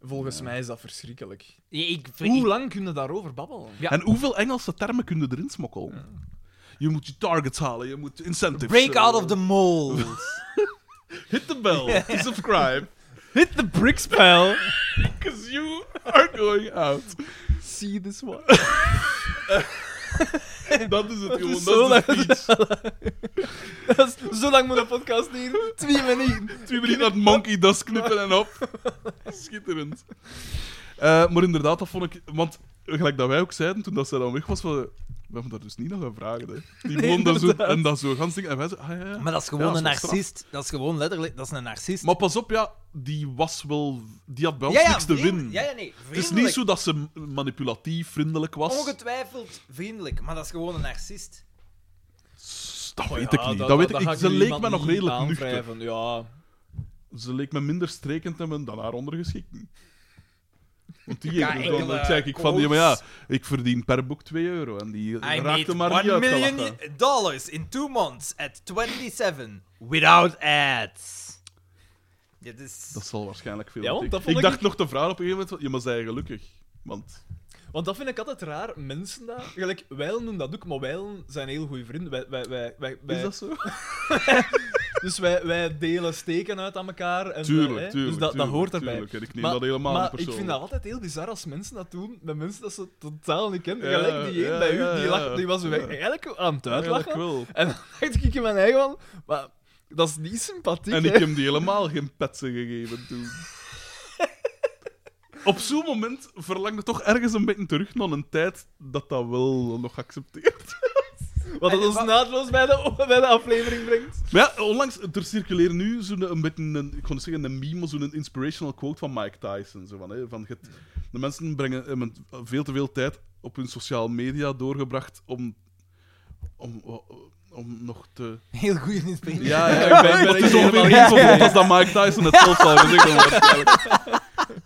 Speaker 3: Volgens mij is dat verschrikkelijk.
Speaker 4: Ja, Ik, ik,
Speaker 3: Hoe lang kun je daarover babbelen?
Speaker 4: Ja.
Speaker 2: En hoeveel Engelse termen kun je erin smokkelen? Je moet je targets halen, je moet incentives...
Speaker 4: Break out
Speaker 2: eh,
Speaker 4: of the mold.
Speaker 2: Hit the bell to subscribe,
Speaker 3: Hit the brick spell.
Speaker 2: because you are going out.
Speaker 3: See this one.
Speaker 2: Dat is het, jongen. Dat is,
Speaker 3: zo
Speaker 2: de speech.
Speaker 3: Dat is zo lang moet de podcast hier. Twee minuten.
Speaker 2: Twee minuten dat monkey dust knippen en op. Schitterend. Eh, maar inderdaad, dat vond ik... Want gelijk dat wij ook zeiden, toen dat zij dan weg was, we, we hebben daar dus niet naar gevraagd. Hè. Die woonde daar zo, en dat zo gans ding. En wij zo, ah, ja, ja.
Speaker 4: Maar dat is gewoon
Speaker 2: Ja, dat
Speaker 4: een
Speaker 2: is wel straf.
Speaker 4: narcist. Dat is gewoon letterlijk... Dat is een narcist.
Speaker 2: Maar pas op, ja, die was wel... Die had bij ons niks te
Speaker 4: vriend-
Speaker 2: winnen.
Speaker 4: Ja, ja, nee.
Speaker 2: Het is
Speaker 4: Vriendelijk.
Speaker 2: niet zo dat ze manipulatief, vriendelijk was.
Speaker 4: Ongetwijfeld vriendelijk, maar dat is gewoon een narcist.
Speaker 3: Oh
Speaker 2: Dat weet ik niet. Dat, weet ik. niet. Ze leek me nog redelijk nuchter.
Speaker 3: Ja.
Speaker 2: Ze leek me minder strekend en me dan haar ondergeschikten. Want die
Speaker 4: Ja,
Speaker 2: heeft dan,
Speaker 4: enkele
Speaker 2: ik zei ik van, ja, maar ja,
Speaker 4: quotes.
Speaker 2: ik verdien per boek 2 euro. En die
Speaker 4: I
Speaker 2: raakte
Speaker 4: made
Speaker 2: maar niet
Speaker 4: 1
Speaker 2: uitgelachen.
Speaker 4: million dollars in two months at 27 without ads. Dit is...
Speaker 2: Dat zal waarschijnlijk veel
Speaker 3: Ja, want dat
Speaker 2: betekenen.
Speaker 3: vond
Speaker 2: Ik,
Speaker 3: ik-
Speaker 2: dacht nog te vragen op een gegeven moment, je maar zij gelukkig. Want
Speaker 3: Want dat vind ik altijd raar, mensen daar. Gelijk, wijlen doen dat ook, maar wijlen zijn heel goede vrienden. Wij, wij, wij, wij, wij-
Speaker 2: is dat zo?
Speaker 3: Dus wij, wij delen steken uit aan elkaar. En, eh,
Speaker 2: Tuurlijk,
Speaker 3: hè,
Speaker 2: tuurlijk.
Speaker 3: dus dat, dat
Speaker 2: tuurlijk,
Speaker 3: hoort erbij.
Speaker 2: tuurlijk. En ik neem
Speaker 3: maar
Speaker 2: dat helemaal
Speaker 3: maar
Speaker 2: niet persoonlijk.
Speaker 3: ik vind dat altijd heel bizar als mensen dat doen met mensen dat ze totaal niet kennen.
Speaker 2: Ja,
Speaker 3: Gelijk die één
Speaker 2: ja,
Speaker 3: bij
Speaker 2: ja,
Speaker 3: u, die,
Speaker 2: ja.
Speaker 3: lag, die was
Speaker 2: Ja.
Speaker 3: weg, eigenlijk aan het uitlachen.
Speaker 2: Eigenlijk wel.
Speaker 3: En dan dacht ik in mijn eigen van, maar dat is niet sympathiek.
Speaker 2: En
Speaker 3: hè.
Speaker 2: ik heb die helemaal geen petsen gegeven toen. Op zo'n moment verlangde toch ergens een beetje terug naar een tijd dat dat wel nog geaccepteerd
Speaker 3: Wat dat ons naadloos bij de, bij de aflevering brengt.
Speaker 2: Maar ja, onlangs, er circuleert nu zo'n een beetje, een, ik kon zeggen een meme, maar zo'n inspirational quote van Mike Tyson. Zo van, hè, van het- de mensen brengen hebben veel te veel tijd op hun sociale media doorgebracht om, om, eh, om nog te...
Speaker 4: Heel goede inspiratie.
Speaker 2: Ja, ja, ik ben, het is ongeveer net zo vlot als dat Mike Tyson het zelf zou gezegd hebben, waarschijnlijk.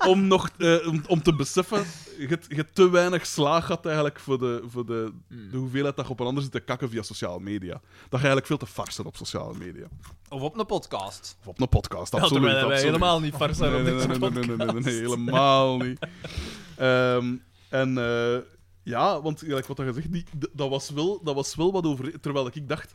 Speaker 2: Om, nog, eh, om, om te beseffen, je, je te weinig slaag had eigenlijk voor, de, voor de,
Speaker 3: Hmm.
Speaker 2: de hoeveelheid dat je op een ander zit te kakken via sociale media. Dat je eigenlijk veel te fars bent op sociale media.
Speaker 4: Of op een podcast.
Speaker 2: Of op een podcast,
Speaker 3: Dat
Speaker 2: absoluut.
Speaker 3: wij wij
Speaker 2: absoluut.
Speaker 3: helemaal niet fars zijn
Speaker 2: Nee,
Speaker 3: op
Speaker 2: nee,
Speaker 3: deze
Speaker 2: nee, nee, nee,
Speaker 3: podcast.
Speaker 2: nee, nee, nee, helemaal niet. Ehm, en eh, ja, want gelijk wat je zegt, die, d- dat, was wel, dat was wel wat over. Terwijl ik dacht,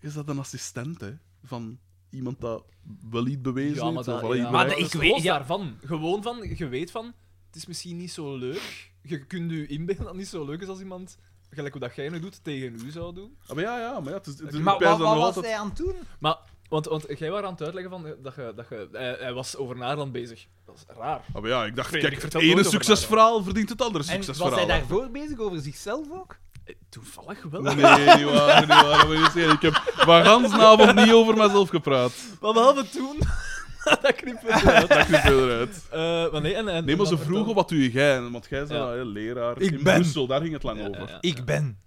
Speaker 2: is dat een assistent hè, van iemand dat wel iets bewezen
Speaker 3: Ja, maar
Speaker 2: heeft?
Speaker 3: dat,
Speaker 2: of wel iets
Speaker 3: ja.
Speaker 4: Maar
Speaker 2: bereikt
Speaker 4: ik
Speaker 3: ik
Speaker 4: weet-
Speaker 3: weet
Speaker 4: ja.
Speaker 3: daarvan. Gewoon van, je weet van, het is misschien niet zo leuk. Je kunt je inbeelden dat het niet zo leuk is als iemand, gelijk hoe dat jij nu doet, tegen u zou doen.
Speaker 2: Ah, maar ja, ja, maar ja, het is, het is
Speaker 4: Maar
Speaker 2: een
Speaker 4: wat,
Speaker 2: prijs
Speaker 4: wat
Speaker 2: dat nog
Speaker 4: was
Speaker 2: altijd...
Speaker 4: hij aan het doen?
Speaker 3: Maar, want, want jij was aan het uitleggen van, eh, dat je, dat je, hij, hij was over Naarland bezig. Dat is raar.
Speaker 2: Ah, maar ja, ik dacht,
Speaker 3: Vreemd,
Speaker 2: kijk,
Speaker 3: ik
Speaker 2: het
Speaker 3: vertel nooit
Speaker 2: ene
Speaker 3: over
Speaker 2: succesverhaal verdient het andere
Speaker 4: En was hij
Speaker 2: succesverhaal.
Speaker 4: daarvoor bezig over zichzelf ook?
Speaker 3: Eh, Toevallig wel.
Speaker 2: Nee, niet waar, niet waar. dat wil ik zeggen. Ik heb van gansnavond niet over mezelf gepraat.
Speaker 3: Maar behalve toen, dat knippen.
Speaker 2: Dat knip je eruit.
Speaker 3: Eh maar nee, en, en,
Speaker 2: Nee, maar ze
Speaker 3: en-
Speaker 2: vroegen wat doe jij? Want jij zei,
Speaker 3: Ja.
Speaker 2: ah, hè, leraar
Speaker 4: Ik
Speaker 2: in
Speaker 4: ben-
Speaker 2: Brussel, daar ging het lang over.
Speaker 3: ja.
Speaker 4: Ik ben.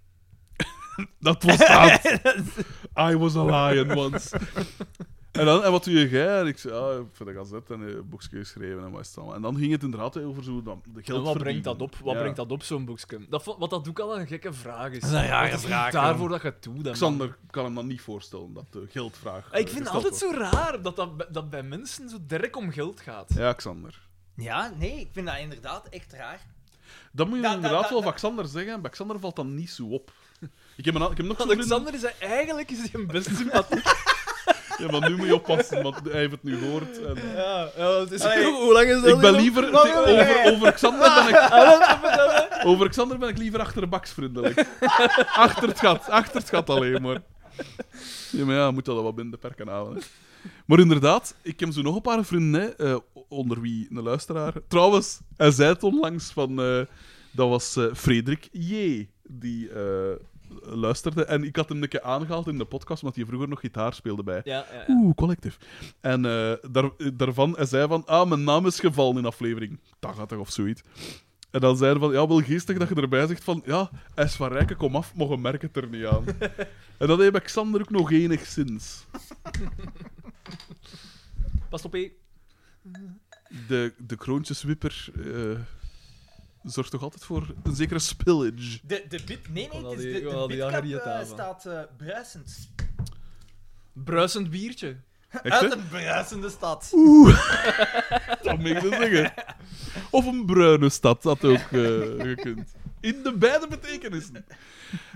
Speaker 2: Dat was dat. I was a lion once. en, dan, en wat doe jij? En ik zei, ah, ik heb voor de gazet en eh, een boekje geschreven en wat is het allemaal. En dan ging het inderdaad hè, over zo, dat, de geld
Speaker 3: En wat brengt
Speaker 2: verdienen.
Speaker 3: dat op? Wat
Speaker 2: Ja.
Speaker 3: brengt dat op, zo'n boekje? Dat, vo- wat dat ook al een gekke vraag is.
Speaker 4: Dat is een rare
Speaker 3: Wat is het
Speaker 4: vraag,
Speaker 3: daarvoor dat je het doet. dan?
Speaker 2: Xander kan hem dan niet voorstellen, dat de geldvraag
Speaker 3: Ik
Speaker 2: eh,
Speaker 3: vind het
Speaker 2: gesteld
Speaker 3: altijd zo raar dat, dat, bij- dat bij mensen zo direct om geld gaat.
Speaker 2: wordt. Ja, Xander.
Speaker 4: Ja, nee, ik vind dat inderdaad echt raar.
Speaker 2: Dat moet je
Speaker 4: Da- da-
Speaker 2: inderdaad
Speaker 4: da-
Speaker 2: wel
Speaker 4: da-
Speaker 2: van Xander zeggen. en Bij Xander valt dat niet zo op. Ik heb, een, ik heb nog zo'n vriendin-
Speaker 3: Alexander is eigenlijk is hij een best sympathiek.
Speaker 2: Ja, maar nu moet je oppassen, want hij heeft het nu gehoord. En...
Speaker 3: ja, ja, het is,
Speaker 4: Allee.
Speaker 3: hoe lang is dat? Oh,
Speaker 2: Ik ben
Speaker 3: hier
Speaker 2: liever... Over, over Xander ben ik...
Speaker 3: nog?
Speaker 2: Over Xander ben ik liever achter de baks vriendelijk. achter het gat, achter het gat alleen maar. Ja, maar ja, je moet dat wel wat binnen de perken houden. hè. Maar inderdaad, ik heb zo nog een paar vrienden, hè, eh, onder wie een luisteraar. Trouwens, hij zei het onlangs van. eh, dat was eh, Frederik J. die eh, luisterde. En ik had hem een keer aangehaald in de podcast, omdat hij vroeger nog gitaar speelde bij.
Speaker 3: Ja, ja, ja.
Speaker 2: Oeh, collectief. En eh, daar, daarvan hij zei van, ah, mijn naam is gevallen in aflevering 80 of zoiets. En dan zei hij van, ja, wel geestig dat je erbij zegt van, ja, hij is van Rijken, kom af, mogen merken het er niet aan. en dat heeft Xander ook nog enigszins.
Speaker 3: Pas op, hé.
Speaker 2: De, de kroontjeswipper eh, zorgt toch altijd voor een zekere spillage.
Speaker 4: De, de bit... Nee, nee,
Speaker 3: Kon al
Speaker 4: het is
Speaker 3: die-
Speaker 4: de,
Speaker 3: kon
Speaker 4: de
Speaker 3: al die
Speaker 4: bitkap
Speaker 3: jaren hier
Speaker 4: eh,
Speaker 3: aan.
Speaker 4: staat eh, bruisend.
Speaker 3: Bruisend biertje.
Speaker 2: Echt, hè?
Speaker 4: Uit een bruisende stad.
Speaker 2: Dat moet ik dus zeggen. Of een bruine stad, dat had ook eh, gekund. In de beide betekenissen.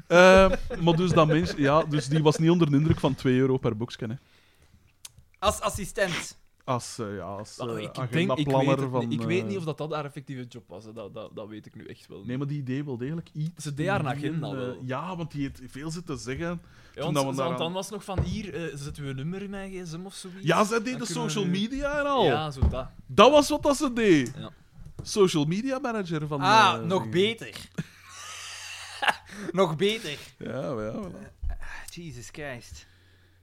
Speaker 2: Eh, maar dus dat mens, ja, dus die was niet onder de indruk van 2 euro per boeksken. Hè.
Speaker 4: Als assistent.
Speaker 2: Als, eh, ja, als eh,
Speaker 3: Oh, ik, denk, ik, weet,
Speaker 2: agendaplanner
Speaker 3: het
Speaker 2: van...
Speaker 3: niet. ik weet
Speaker 2: eh,
Speaker 3: niet of dat, dat haar effectieve job was. hè. Dat, dat, dat weet ik nu echt wel. niet.
Speaker 2: Nee, maar die idee wel degelijk iets.
Speaker 3: Ze deed haar
Speaker 2: doen,
Speaker 3: agenda
Speaker 2: eh,
Speaker 3: wel.
Speaker 2: Ja, want die heeft veel zitten zeggen.
Speaker 3: Ja,
Speaker 2: toen
Speaker 3: want,
Speaker 2: dat we
Speaker 3: want
Speaker 2: daaraan-
Speaker 3: dan was nog van hier, eh, zetten we een nummer in mijn gsm of zoiets.
Speaker 2: Ja, zij
Speaker 3: Dan
Speaker 2: deed de
Speaker 3: kunnen we
Speaker 2: social
Speaker 3: nu-
Speaker 2: media en al.
Speaker 3: Ja, zo dat.
Speaker 2: Dat was wat dat ze deed.
Speaker 3: Ja.
Speaker 2: Social media manager van...
Speaker 4: Ah,
Speaker 2: eh,
Speaker 4: nog
Speaker 2: dingen.
Speaker 4: beter. nog beter.
Speaker 2: Ja, maar ja, voilà.
Speaker 4: Jesus Christ.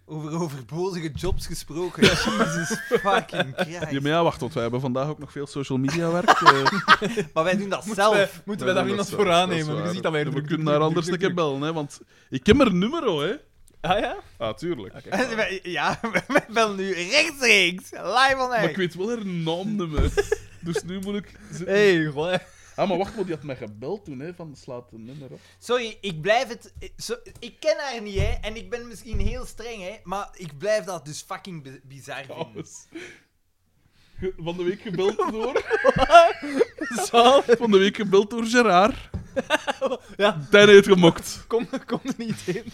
Speaker 4: Over overbozige jobs gesproken. Jesus fucking Christ.
Speaker 2: Ja, maar ja, wacht, want wij hebben vandaag ook nog veel social media werk. eh.
Speaker 4: Maar wij doen dat zelf.
Speaker 3: Moeten wij daar
Speaker 2: Ja, dat
Speaker 3: iemand
Speaker 2: is
Speaker 3: voor
Speaker 2: waar,
Speaker 3: aannemen?
Speaker 2: dat is
Speaker 3: Je
Speaker 2: waar.
Speaker 3: ziet dat wij
Speaker 2: Ja, We
Speaker 3: druk,
Speaker 2: kunnen
Speaker 3: druk, druk,
Speaker 2: daar anders een
Speaker 3: druk,
Speaker 2: keer bellen, hè, want ik heb mijn nummer, hè.
Speaker 3: druk. Ah ja?
Speaker 2: Ah, tuurlijk.
Speaker 4: Wij- Ja, wij bellen nu rechtstreeks. Live on
Speaker 2: Maar ik
Speaker 4: air.
Speaker 2: weet wel haar naamnummer. dus nu moet ik... ze-
Speaker 3: Hey, goh, hè.
Speaker 2: Ah, maar wacht, maar die had mij gebeld toen, hè, van slaat een nummer op.
Speaker 4: Sorry, ik blijf het... ik- zo- Ik ken haar niet, hè. En ik ben misschien heel streng, hè. Maar ik blijf dat dus fucking bi- bizar vinden.
Speaker 2: Trouwens. Ge- Van de week gebeld door...
Speaker 3: Zalig.
Speaker 2: Van de week gebeld door Gerard.
Speaker 3: Ja.
Speaker 2: Tijn heeft gemokt.
Speaker 3: Kom, kom er niet in.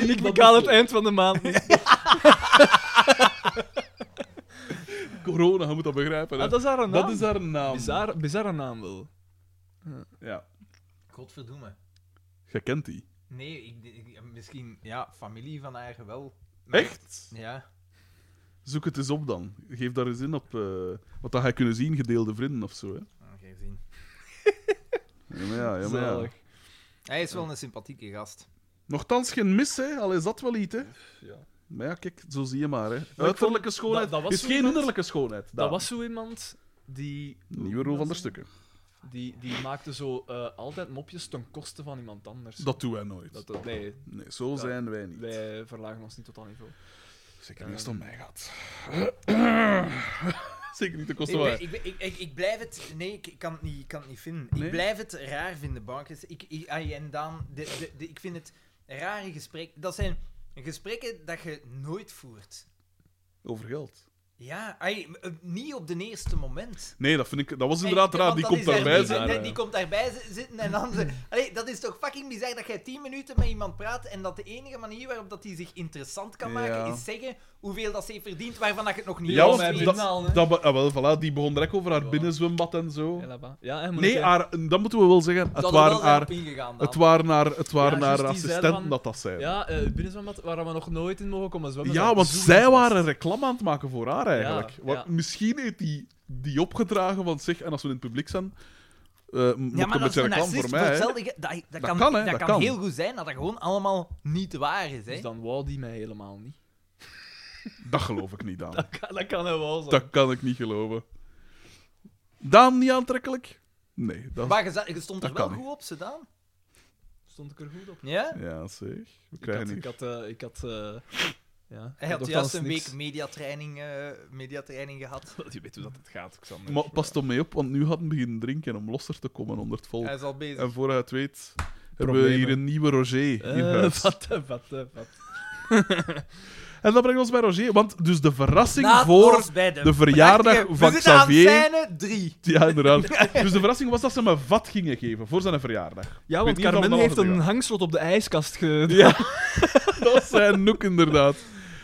Speaker 3: ik
Speaker 2: dat
Speaker 3: ik haal
Speaker 2: is
Speaker 3: het eind van de maand. niet.
Speaker 2: Corona, je moet dat begrijpen, hè.
Speaker 3: Ah, dat is haar naam.
Speaker 2: dat is haar naam.
Speaker 3: Bizar, bizarre naam wel.
Speaker 2: Ja,
Speaker 4: Godverdomme.
Speaker 2: jij kent die.
Speaker 4: Nee, ik, ik- misschien... Ja, familie van haar wel. Maar-
Speaker 2: Echt?
Speaker 4: Ja.
Speaker 2: Zoek het eens op dan. Geef daar eens in op. eh, wat dan ga je kunnen zien, gedeelde vrienden of zo. Hè?
Speaker 4: Oké, zien.
Speaker 2: Ja, maar ja, ja, maar ja.
Speaker 3: Zalig.
Speaker 4: Hij is wel een sympathieke gast.
Speaker 2: Nochtans geen mis, hè? al is dat wel iets. Hè?
Speaker 3: Ja.
Speaker 2: Maar ja, kijk, zo zie je maar. Hè. Uiterlijke schoonheid
Speaker 3: dat- dat was
Speaker 2: is
Speaker 3: zo
Speaker 2: geen
Speaker 3: iemand-
Speaker 2: innerlijke schoonheid.
Speaker 3: Dat
Speaker 2: Daan.
Speaker 3: was zo iemand die...
Speaker 2: Nieuwe rol van der Stukken.
Speaker 3: Die, die maakte zo eh, altijd mopjes ten koste van iemand anders.
Speaker 2: Dat doen wij nooit.
Speaker 3: Dat- dat- nee,
Speaker 2: Nee, zo
Speaker 3: Dat-
Speaker 2: zijn wij niet.
Speaker 3: wij verlagen ons niet tot dat niveau.
Speaker 2: Zeker niet als het om mij gaat. Zeker niet de kosten
Speaker 4: Ik,
Speaker 2: van mij.
Speaker 4: ben- ik, ben- ik, ik, ik blijf het... Nee, ik ik kan het niet, ik kan het niet vinden.
Speaker 2: Nee?
Speaker 4: Ik blijf het raar vinden, Barkes. Ik, ik, ai, en dan... De, de, de- ik vind het rare gesprek... Dat zijn gesprekken dat je nooit voert.
Speaker 2: Over geld.
Speaker 4: Ja, ai, m- eh, niet op de eerste moment.
Speaker 2: Nee, dat, vind ik, dat was
Speaker 4: Ai,
Speaker 2: inderdaad raar.
Speaker 4: want
Speaker 2: Die
Speaker 4: dat
Speaker 2: komt
Speaker 4: is daar
Speaker 2: daarbij.
Speaker 4: niet-
Speaker 2: zijn.
Speaker 4: die- Die, komt daarbij zi- zitten en dan... ze- Allee, dat is toch fucking bizar dat jij tien minuten met iemand praat en dat de enige manier waarop dat hij zich interessant kan maken
Speaker 2: Ja.
Speaker 4: is zeggen hoeveel dat ze heeft verdiend waarvan dat je het nog niet
Speaker 2: Ja,
Speaker 4: eens
Speaker 2: want
Speaker 4: weet.
Speaker 2: dat, dat, be- ah, wel, voilà, die begon direct over haar
Speaker 3: Ja.
Speaker 2: binnenzwembad en zo.
Speaker 3: Ja, dat- Ja, en moet
Speaker 2: Nee, ah,
Speaker 3: ik-
Speaker 2: haar, dat moeten we wel zeggen. Het
Speaker 4: Dat er wel
Speaker 2: waren
Speaker 4: zijn
Speaker 2: haar
Speaker 4: op ingegaan, dan. Ah
Speaker 2: Het waren naar, het waren
Speaker 3: Ja,
Speaker 2: naar
Speaker 3: juist, die zeiden
Speaker 2: assistenten
Speaker 3: van-
Speaker 2: dat dat zijn. Ja,
Speaker 3: Ja, eh binnenzwembad waar we nog nooit in mogen komen zwemmen.
Speaker 2: want zij waren reclame aan het maken voor haar eigenlijk.
Speaker 3: Ja,
Speaker 2: Want
Speaker 3: ja.
Speaker 2: Misschien heeft die, die opgedragen van zich, en als we in het publiek zijn, eh moet
Speaker 4: Ja,
Speaker 2: ik
Speaker 4: maar
Speaker 2: een
Speaker 4: dat is
Speaker 2: beetje
Speaker 4: een
Speaker 2: reclame voor
Speaker 4: narcist.
Speaker 2: mij.
Speaker 4: voor
Speaker 2: hè.
Speaker 4: hetzelfde ge- Dat, dat, kan,
Speaker 2: kan, hè,
Speaker 4: dat,
Speaker 2: dat
Speaker 4: kan,
Speaker 2: kan.
Speaker 4: heel goed zijn dat dat gewoon allemaal niet waar is. Hè?
Speaker 3: Dus dan wou die mij helemaal niet.
Speaker 2: Dat geloof ik niet, Daan. Dat,
Speaker 3: Dat kan, dat kan hij wel zijn.
Speaker 2: kan ik niet geloven. Daan, niet aantrekkelijk? Nee, dat
Speaker 4: maar je, za- je stond
Speaker 2: dat
Speaker 4: er wel
Speaker 2: kan niet.
Speaker 4: goed op, Sedan.
Speaker 3: Stond ik er goed op?
Speaker 4: Ja?
Speaker 2: Ja, zeg. We
Speaker 3: Ik had,
Speaker 2: krijgen
Speaker 3: ik
Speaker 2: hier...
Speaker 3: had, eh, ik had eh, ja.
Speaker 4: Hij had
Speaker 3: Nochtans
Speaker 4: juist een
Speaker 3: niks. Oh.
Speaker 4: week mediatraining, eh, mediatraining gehad.
Speaker 3: Je weet hoe dat het gaat, Xander.
Speaker 2: Maar pas toch mee op, want nu gaat hij beginnen drinken om losser te komen onder het volk.
Speaker 4: Hij is al bezig.
Speaker 2: En voor hij het weet, hebben we
Speaker 3: Problemen.
Speaker 2: hier een nieuwe Roger in
Speaker 3: Eh,
Speaker 2: huis.
Speaker 3: wat, eh, wat, eh, wat.
Speaker 2: En dat brengt ons bij Roger, want dus de verrassing
Speaker 4: Laat
Speaker 2: voor...
Speaker 4: ons bij de,
Speaker 2: de verjaardag
Speaker 4: prachtige-
Speaker 2: van
Speaker 4: We zitten aan
Speaker 2: Xavier.
Speaker 4: scène 3.
Speaker 2: Ja, inderdaad. Dus de verrassing was dat ze hem een vat gingen geven voor zijn verjaardag.
Speaker 3: Ja,
Speaker 2: Weet
Speaker 3: want
Speaker 2: niet of
Speaker 3: Carmen
Speaker 2: dat
Speaker 3: heeft
Speaker 2: wel
Speaker 3: een
Speaker 2: gedaan.
Speaker 3: hangslot op de ijskast ge...
Speaker 2: Dat zijn Noek, inderdaad.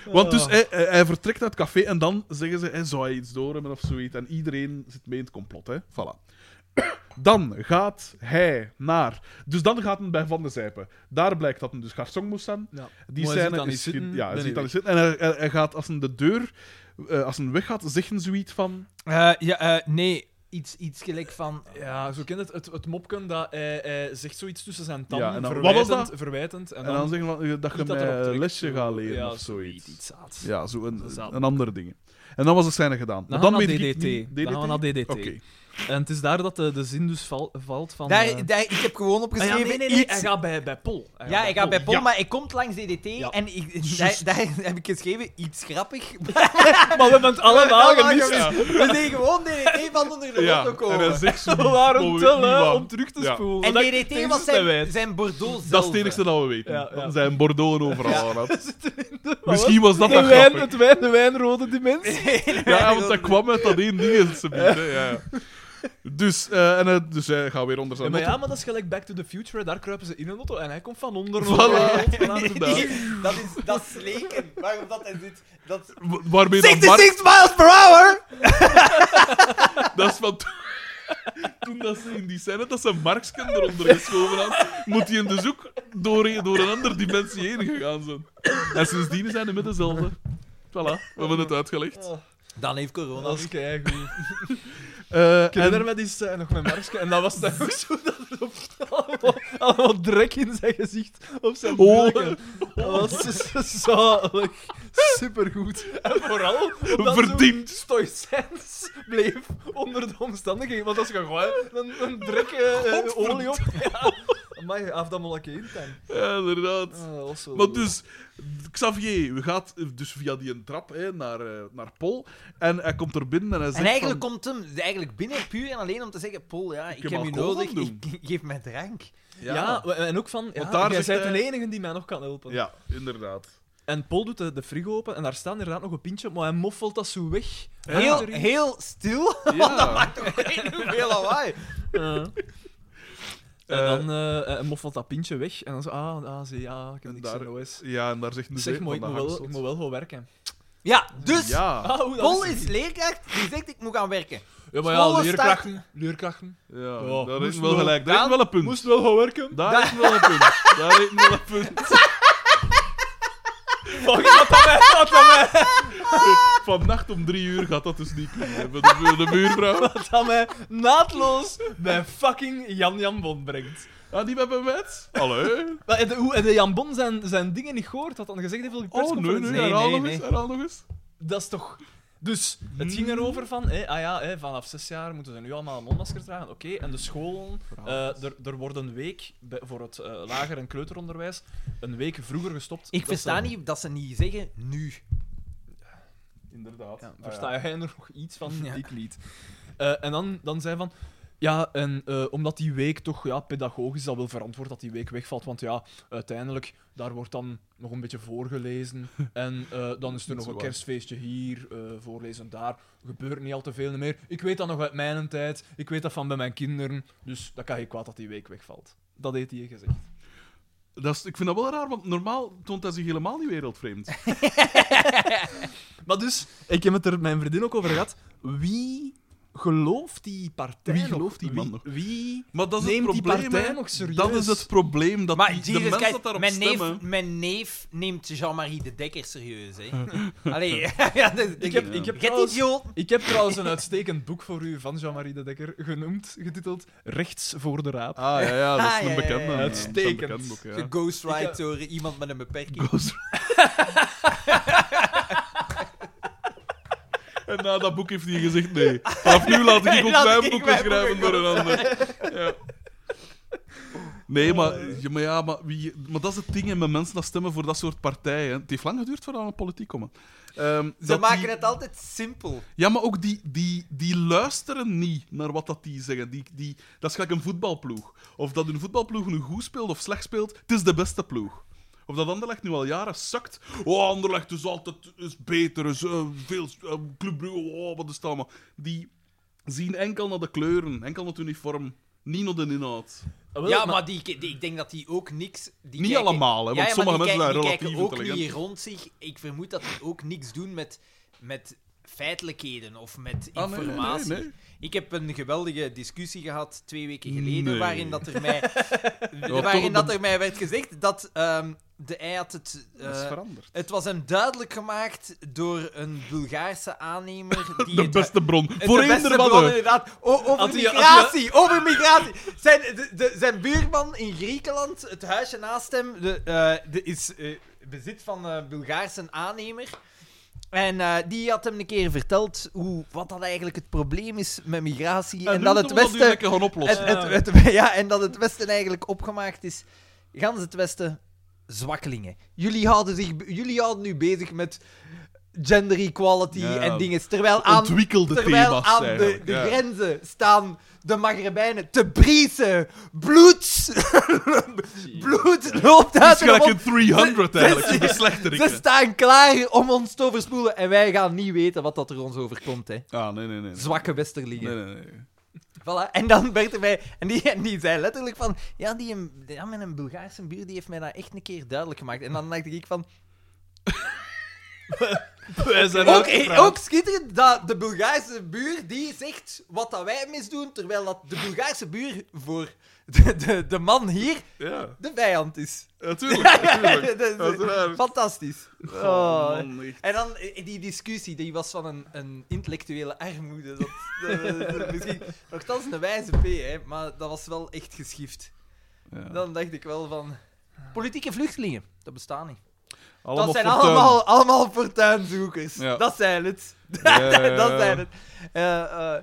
Speaker 2: Want
Speaker 3: Ah.
Speaker 2: dus hij, hij- hij vertrekt uit het café en dan zeggen ze, hij zou hij iets door hebben of zoiets. En iedereen zit mee in het complot, hè. Voilà. Dan gaat hij naar... Dus dan gaat hij bij Van de Zijpen. Daar blijkt dat hij dus garçon moest zijn.
Speaker 3: Ja.
Speaker 2: Die
Speaker 3: Maar hij ziet
Speaker 2: scène
Speaker 3: dat niet
Speaker 2: is... ge-
Speaker 3: zitten.
Speaker 2: Ja, hij
Speaker 3: Nee,
Speaker 2: ziet
Speaker 3: nee,
Speaker 2: dat niet zitten. En hij, hij- hij gaat, als hij de deur... eh, als hij weggaat, zeggen zoiets van...
Speaker 4: ja, nee. Iets, iets gelijk van...
Speaker 3: Ja, zo kent het, het, het mopken dat hij, hij zegt zoiets tussen zijn tanden,
Speaker 2: Ja, en dan- wat was
Speaker 3: verwijtend,
Speaker 2: dat?
Speaker 3: verwijtend, en
Speaker 2: En
Speaker 3: dan,
Speaker 2: dan, zeggen van, eh, dat je
Speaker 3: iets dat
Speaker 2: mij
Speaker 3: erop trekt.
Speaker 2: lesje gaat leren
Speaker 3: ja,
Speaker 2: of zoiets.
Speaker 3: iets zaads.
Speaker 2: Ja, zo een,
Speaker 3: Zaad.
Speaker 2: een andere dingen. En dan was de scène gedaan.
Speaker 3: Dan,
Speaker 2: Maar dan
Speaker 3: gaan we
Speaker 2: weet
Speaker 3: naar
Speaker 2: ik
Speaker 3: DDT.
Speaker 2: niet-
Speaker 3: Dan gaan we naar DDT.
Speaker 2: Oké.
Speaker 3: En het is daar dat de, de zin dus val- valt van... eh,
Speaker 4: Daar, daar, ik heb gewoon
Speaker 3: ah ja,
Speaker 4: opgeschreven...
Speaker 3: nee, nee, nee,
Speaker 4: iets-
Speaker 3: hij gaat bij, bij Pol.
Speaker 4: Ja, ik ga bij Paul,
Speaker 2: Ja.
Speaker 4: maar hij komt langs DDT
Speaker 3: Oh, Ja.
Speaker 4: en ik, daar,
Speaker 2: Juist.
Speaker 4: daar heb ik geschreven iets grappig.
Speaker 3: Maar we hebben het allemaal
Speaker 4: Allemaal
Speaker 3: gemist.
Speaker 4: gemist. Nou, We zijn gewoon DDT van onder de
Speaker 2: Ja,
Speaker 4: auto
Speaker 2: en
Speaker 4: komen.
Speaker 2: hij zegt zo...
Speaker 3: We waren
Speaker 2: Mooi,
Speaker 3: te
Speaker 2: niet
Speaker 3: lui
Speaker 2: waar.
Speaker 3: om terug te
Speaker 2: Ja.
Speaker 3: spoelen.
Speaker 4: En
Speaker 3: Dat-
Speaker 4: DDT
Speaker 3: dat is
Speaker 4: was
Speaker 3: het
Speaker 4: zijn,
Speaker 3: bewijs.
Speaker 4: zijn Bordeaux zelf.
Speaker 2: Dat is het enigste dat we weten.
Speaker 3: Ja, ja.
Speaker 2: Dan zijn Bordeaux overal aan het.
Speaker 3: Maar
Speaker 2: Misschien was dat
Speaker 3: De
Speaker 2: dan
Speaker 3: wijn,
Speaker 2: grappig.
Speaker 3: het wijn, de wijnrode dimensie.
Speaker 2: Ja, want dat kwam uit dat één ding. alsjeblieft, hè. Ja, ja. Dus, eh, en, eh, dus hij gaat weer onder
Speaker 3: Ja,
Speaker 2: zijn
Speaker 3: maar ja,
Speaker 2: auto.
Speaker 3: maar dat is gelijk Back to the Future. hè. Daar kruipen ze in een auto en hij komt van onder.
Speaker 2: Voilà.
Speaker 3: Inderdaad.
Speaker 4: dat is dat is sleken. Waarom dat en dit? Dat...
Speaker 2: Wa- Waarmee dan
Speaker 4: 66 miles per hour!
Speaker 2: Dat is van... Toen dat ze in die scène dat ze Marksken eronder geschoven had, moet hij in de zoek door, door een andere dimensie heen gegaan zijn. En sindsdien zijn hij met dezelfde. Voilà, we hebben het uitgelegd.
Speaker 4: Dan heeft corona.
Speaker 3: Dat is keigoed.
Speaker 2: Eh,
Speaker 3: Ik herinner me die scène nog met Marske. En dat was dan ook zo dat er op, allemaal, allemaal drek in zijn gezicht op zijn
Speaker 2: Oh.
Speaker 3: bril. Dat was zo- zo zalig. Supergoed. En vooral omdat
Speaker 2: Verdiend.
Speaker 3: zo stoïcijns bleef onder de omstandigheden. Want als je gewoon een, een drek eh, eh, olie op... Ja. Amai, af dat molletje in. dan.
Speaker 2: ja, inderdaad.
Speaker 3: Ah, dat was zo-
Speaker 2: Maar dus, Xavier gaat dus via die trap hè, naar, eh, naar Pol. En hij komt er binnen en hij zegt
Speaker 4: En eigenlijk
Speaker 2: van,
Speaker 4: komt hem eigenlijk binnen puur en alleen om te zeggen: Paul, ja, ik,
Speaker 2: heb
Speaker 4: heb je
Speaker 2: alcohol
Speaker 4: nodig,
Speaker 2: gaan
Speaker 4: ik, geef mij drank.
Speaker 3: Ja, en ook van... Ja,
Speaker 2: Want daar
Speaker 3: jij
Speaker 2: zegt
Speaker 3: bent de
Speaker 2: hij-
Speaker 3: enige die mij nog kan helpen.
Speaker 2: Ja, inderdaad.
Speaker 3: En Paul doet de, de frigo open en daar staat inderdaad nog een pintje op, maar hij moffelt dat zo weg.
Speaker 4: Heel, heel stil.
Speaker 2: Ja.
Speaker 4: Hoeveel lawaai.
Speaker 3: Eh.
Speaker 2: Eh,
Speaker 3: en dan eh, eh, moffelt dat pintje weg en dan zo, ah, ah zie, ja, ik heb
Speaker 2: En
Speaker 3: niks
Speaker 2: daar-
Speaker 3: in OS.
Speaker 2: ja, en daar zegt nu
Speaker 3: Zeg,
Speaker 2: van
Speaker 3: mooi, ik
Speaker 2: dat
Speaker 3: moet, wel, ik
Speaker 2: hangstond.
Speaker 3: moet wel gaan werken.
Speaker 4: Ja, dus.
Speaker 2: Ja,
Speaker 3: Ah, hoe, dat
Speaker 4: Paul
Speaker 3: wist ik
Speaker 4: is
Speaker 3: niet.
Speaker 4: leerkracht die zegt: Ik moet gaan werken.
Speaker 3: Ja, maar
Speaker 4: Smolle
Speaker 3: ja, leerkrachten. Leerkrachten.
Speaker 2: ja,
Speaker 3: Ja,
Speaker 2: daar
Speaker 3: Ah. moest
Speaker 2: is Oh, wel
Speaker 3: Oh, wel.
Speaker 2: gelijk. Daar is wel een punt.
Speaker 3: Moest wel gaan werken.
Speaker 2: Daar is wel een punt. Daar is wel een punt. Vannacht om drie uur gaat dat dus niet kunnen. hè, Voor de, voor de buurvrouw.
Speaker 3: Dat mij naadloos bij fucking Jan Jan Bon brengt.
Speaker 2: Ah, die hebben wet. Allee.
Speaker 3: Maar, en de, hoe, en de Jan Bon zijn, zijn dingen niet gehoord, had dan gezegd heeft op die
Speaker 2: Oh, nee,
Speaker 3: persconferentie.
Speaker 2: nee,
Speaker 4: Nee,
Speaker 2: herhaal
Speaker 4: nee,
Speaker 2: nog eens. Hmm.
Speaker 4: nee.
Speaker 2: Herhaal nog eens.
Speaker 3: Dat is toch. Dus het ging erover van, hé, ah ja, hé, vanaf zes jaar moeten ze nu allemaal een mondmasker dragen. Oké, en de scholen, eh, er, er wordt een week bij- voor het eh, lager en kleuteronderwijs een week vroeger gestopt.
Speaker 4: Ik
Speaker 3: Dat
Speaker 4: versta
Speaker 3: ze-
Speaker 4: niet dat ze niet zeggen nu.
Speaker 2: Inderdaad. Ah,
Speaker 3: Ja, versta jij er nog iets van dit lied? Eh, en dan, dan zei van. Ja, en eh, omdat die week toch ja, pedagogisch dat wel verantwoord dat die week wegvalt. Want ja, uiteindelijk, daar wordt dan nog een beetje voorgelezen. En eh, dan is er nog
Speaker 2: Zo
Speaker 3: een
Speaker 2: waar.
Speaker 3: kerstfeestje hier, eh, voorlezen daar. Gebeurt niet al te veel meer. Ik weet dat nog uit mijn tijd. Ik weet dat van bij mijn kinderen. Dus dat kan je kwaad dat die week wegvalt. Dat heeft hij gezegd.
Speaker 2: Dat is, ik vind dat wel raar, want normaal toont hij zich helemaal niet wereldvreemd.
Speaker 3: Maar dus, ik heb het er met mijn vriendin ook over gehad. Wie gelooft die partij
Speaker 2: Wie
Speaker 3: nog?
Speaker 2: gelooft die man
Speaker 3: Wie-
Speaker 2: nog?
Speaker 3: Wie
Speaker 2: Maar dat is
Speaker 3: Neem
Speaker 2: het
Speaker 3: die
Speaker 2: probleem.
Speaker 3: partij
Speaker 2: hè.
Speaker 3: nog serieus.
Speaker 2: Dat is het probleem. Dat
Speaker 4: Maar
Speaker 2: die, de
Speaker 4: Jesus
Speaker 2: mensen
Speaker 4: Christ,
Speaker 2: dat daarop
Speaker 4: mijn,
Speaker 2: stemmen.
Speaker 4: neef, mijn neef neemt Jean-Marie de Dekker serieus, hè. Allee, ja, dat-
Speaker 3: Ik heb, ik, heb
Speaker 4: Get
Speaker 3: trouwens,
Speaker 4: idioot.
Speaker 3: ik heb trouwens een uitstekend boek voor u van Jean-Marie de Dekker genoemd, getiteld Rechts voor de Raap.
Speaker 2: Ah, ja, ja, dat
Speaker 4: Ah,
Speaker 2: is
Speaker 4: ja,
Speaker 2: een
Speaker 4: ja,
Speaker 2: bekende.
Speaker 4: ja.
Speaker 2: dat is een bekend
Speaker 3: Uitstekend.
Speaker 2: boek, ja.
Speaker 4: Ge
Speaker 3: eh,
Speaker 4: ghostwrite door iemand met een beperking.
Speaker 2: Ghost- en na dat boek heeft hij gezegd: nee. Vanaf nu laat ik ook
Speaker 4: Laat
Speaker 2: mijn
Speaker 4: ik
Speaker 2: boeken
Speaker 4: mijn
Speaker 2: schrijven door een ander. Ja. Nee, maar, Oh, ja, maar, ja, maar, wie, maar dat is het ding hè, met mensen dat stemmen voor dat soort partijen. Het heeft lang geduurd voordat we aan de politiek komen. Ehm,
Speaker 4: Ze
Speaker 2: dat
Speaker 4: maken
Speaker 2: die-
Speaker 4: het altijd simpel.
Speaker 2: Ja, maar ook die, die, die luisteren niet naar wat dat die zeggen. Die, die, dat is gelijk een voetbalploeg. Of dat hun voetbalploeg nu goed speelt of slecht speelt, het is de beste ploeg. Of dat Anderlecht nu al jaren zakt. Oh, Anderlecht is altijd is beter, is eh, veel... eh, Club Brugge, oh, wat is het allemaal. Die zien enkel naar de kleuren, enkel naar het uniform. Niet naar de inhoud.
Speaker 3: Ah, wel,
Speaker 4: ja, maar die, die- ik denk dat die ook niks... Die
Speaker 2: Niet allemaal, hè, Eh, want
Speaker 4: maar
Speaker 2: sommige
Speaker 4: die
Speaker 2: mensen
Speaker 4: kijk-
Speaker 2: zijn
Speaker 4: die
Speaker 2: relatief
Speaker 4: kijken ook
Speaker 2: intelligent.
Speaker 4: niet rond zich. Ik vermoed dat die ook niks doen met, met feitelijkheden of met
Speaker 2: Ah, nee, nee,
Speaker 4: informatie.
Speaker 2: nee.
Speaker 4: Ik heb een geweldige discussie gehad twee weken geleden,
Speaker 2: Nee.
Speaker 4: waarin, dat er, mij,
Speaker 2: toch,
Speaker 4: waarin dat
Speaker 2: dat-
Speaker 4: er mij werd gezegd dat ehm, de ei had het...
Speaker 2: Dat is
Speaker 4: eh,
Speaker 2: veranderd.
Speaker 4: het was hem duidelijk gemaakt door een Bulgaarse aannemer die
Speaker 2: De
Speaker 4: het-
Speaker 2: beste bron.
Speaker 4: het
Speaker 2: Voor
Speaker 4: de beste
Speaker 2: eender
Speaker 4: bron,
Speaker 2: wat.
Speaker 4: inderdaad. O- over
Speaker 3: Had hij-
Speaker 4: migratie, over migratie. Zijn, de, de- zijn buurman in Griekenland, het huisje naast hem, de, eh, de, is eh, bezit van eh Bulgaarse aannemer. En eh, die had hem een keer verteld hoe, wat dat eigenlijk het probleem is met migratie. En, dat het Westen...
Speaker 2: gaan oplossen.
Speaker 4: het- het- het- ja, en dat het Westen eigenlijk opgemaakt is. Gans het Westen, zwakkelingen. Jullie houden, zich, jullie houden nu bezig met gender equality
Speaker 2: Ja.
Speaker 4: en dingen. Terwijl aan,
Speaker 2: Ontwikkelde
Speaker 4: terwijl
Speaker 2: thema's
Speaker 4: aan de,
Speaker 2: eigenlijk,
Speaker 4: de
Speaker 2: ja.
Speaker 4: grenzen staan de Magrebijnen te briesen. Bloed, bloed loopt
Speaker 2: Het
Speaker 4: uit
Speaker 2: is
Speaker 4: hun
Speaker 2: gelijk
Speaker 4: mond.
Speaker 2: in 300
Speaker 4: Ze-
Speaker 2: eigenlijk.
Speaker 4: ze-
Speaker 2: Ze verslechteren.
Speaker 4: Ze staan klaar om ons te overspoelen en wij gaan niet weten wat dat er ons overkomt. Hè.
Speaker 2: Ah, nee, nee, nee. nee.
Speaker 4: Zwakke Westerlingen.
Speaker 2: Nee, nee, nee.
Speaker 4: Voilà. En dan werd er mij... En die, en die zei letterlijk van... Ja, die, een- ja, mijn Bulgaarse buur die heeft mij dat echt een keer duidelijk gemaakt. En dan dacht ik van...
Speaker 3: Wij zijn
Speaker 4: Ook,
Speaker 3: uitgepraat.
Speaker 4: ook schitterend dat de Bulgaarse buur die zegt wat dat wij misdoen, terwijl dat de Bulgaarse buur voor de, de, de man hier
Speaker 2: Ja,
Speaker 4: de vijand is.
Speaker 2: natuurlijk.
Speaker 4: Dat is, eh,
Speaker 2: Uiteraard.
Speaker 4: fantastisch.
Speaker 2: Oh,
Speaker 4: Oh.
Speaker 2: man, echt.
Speaker 4: En dan eh, die discussie, die was van een, een intellectuele armoede. Dat, dat- dat- dat- misschien nogthans een wijze P, hè, maar dat was wel echt geschift.
Speaker 2: Ja.
Speaker 4: Dan dacht ik wel van. Politieke vluchtelingen, dat bestaan niet.
Speaker 2: Allemaal
Speaker 4: dat zijn
Speaker 2: fortuin.
Speaker 4: allemaal, allemaal fortuinzoekers.
Speaker 2: Ja.
Speaker 4: Dat zijn het.
Speaker 2: Ja.
Speaker 4: dat zijn het. Eh, eh,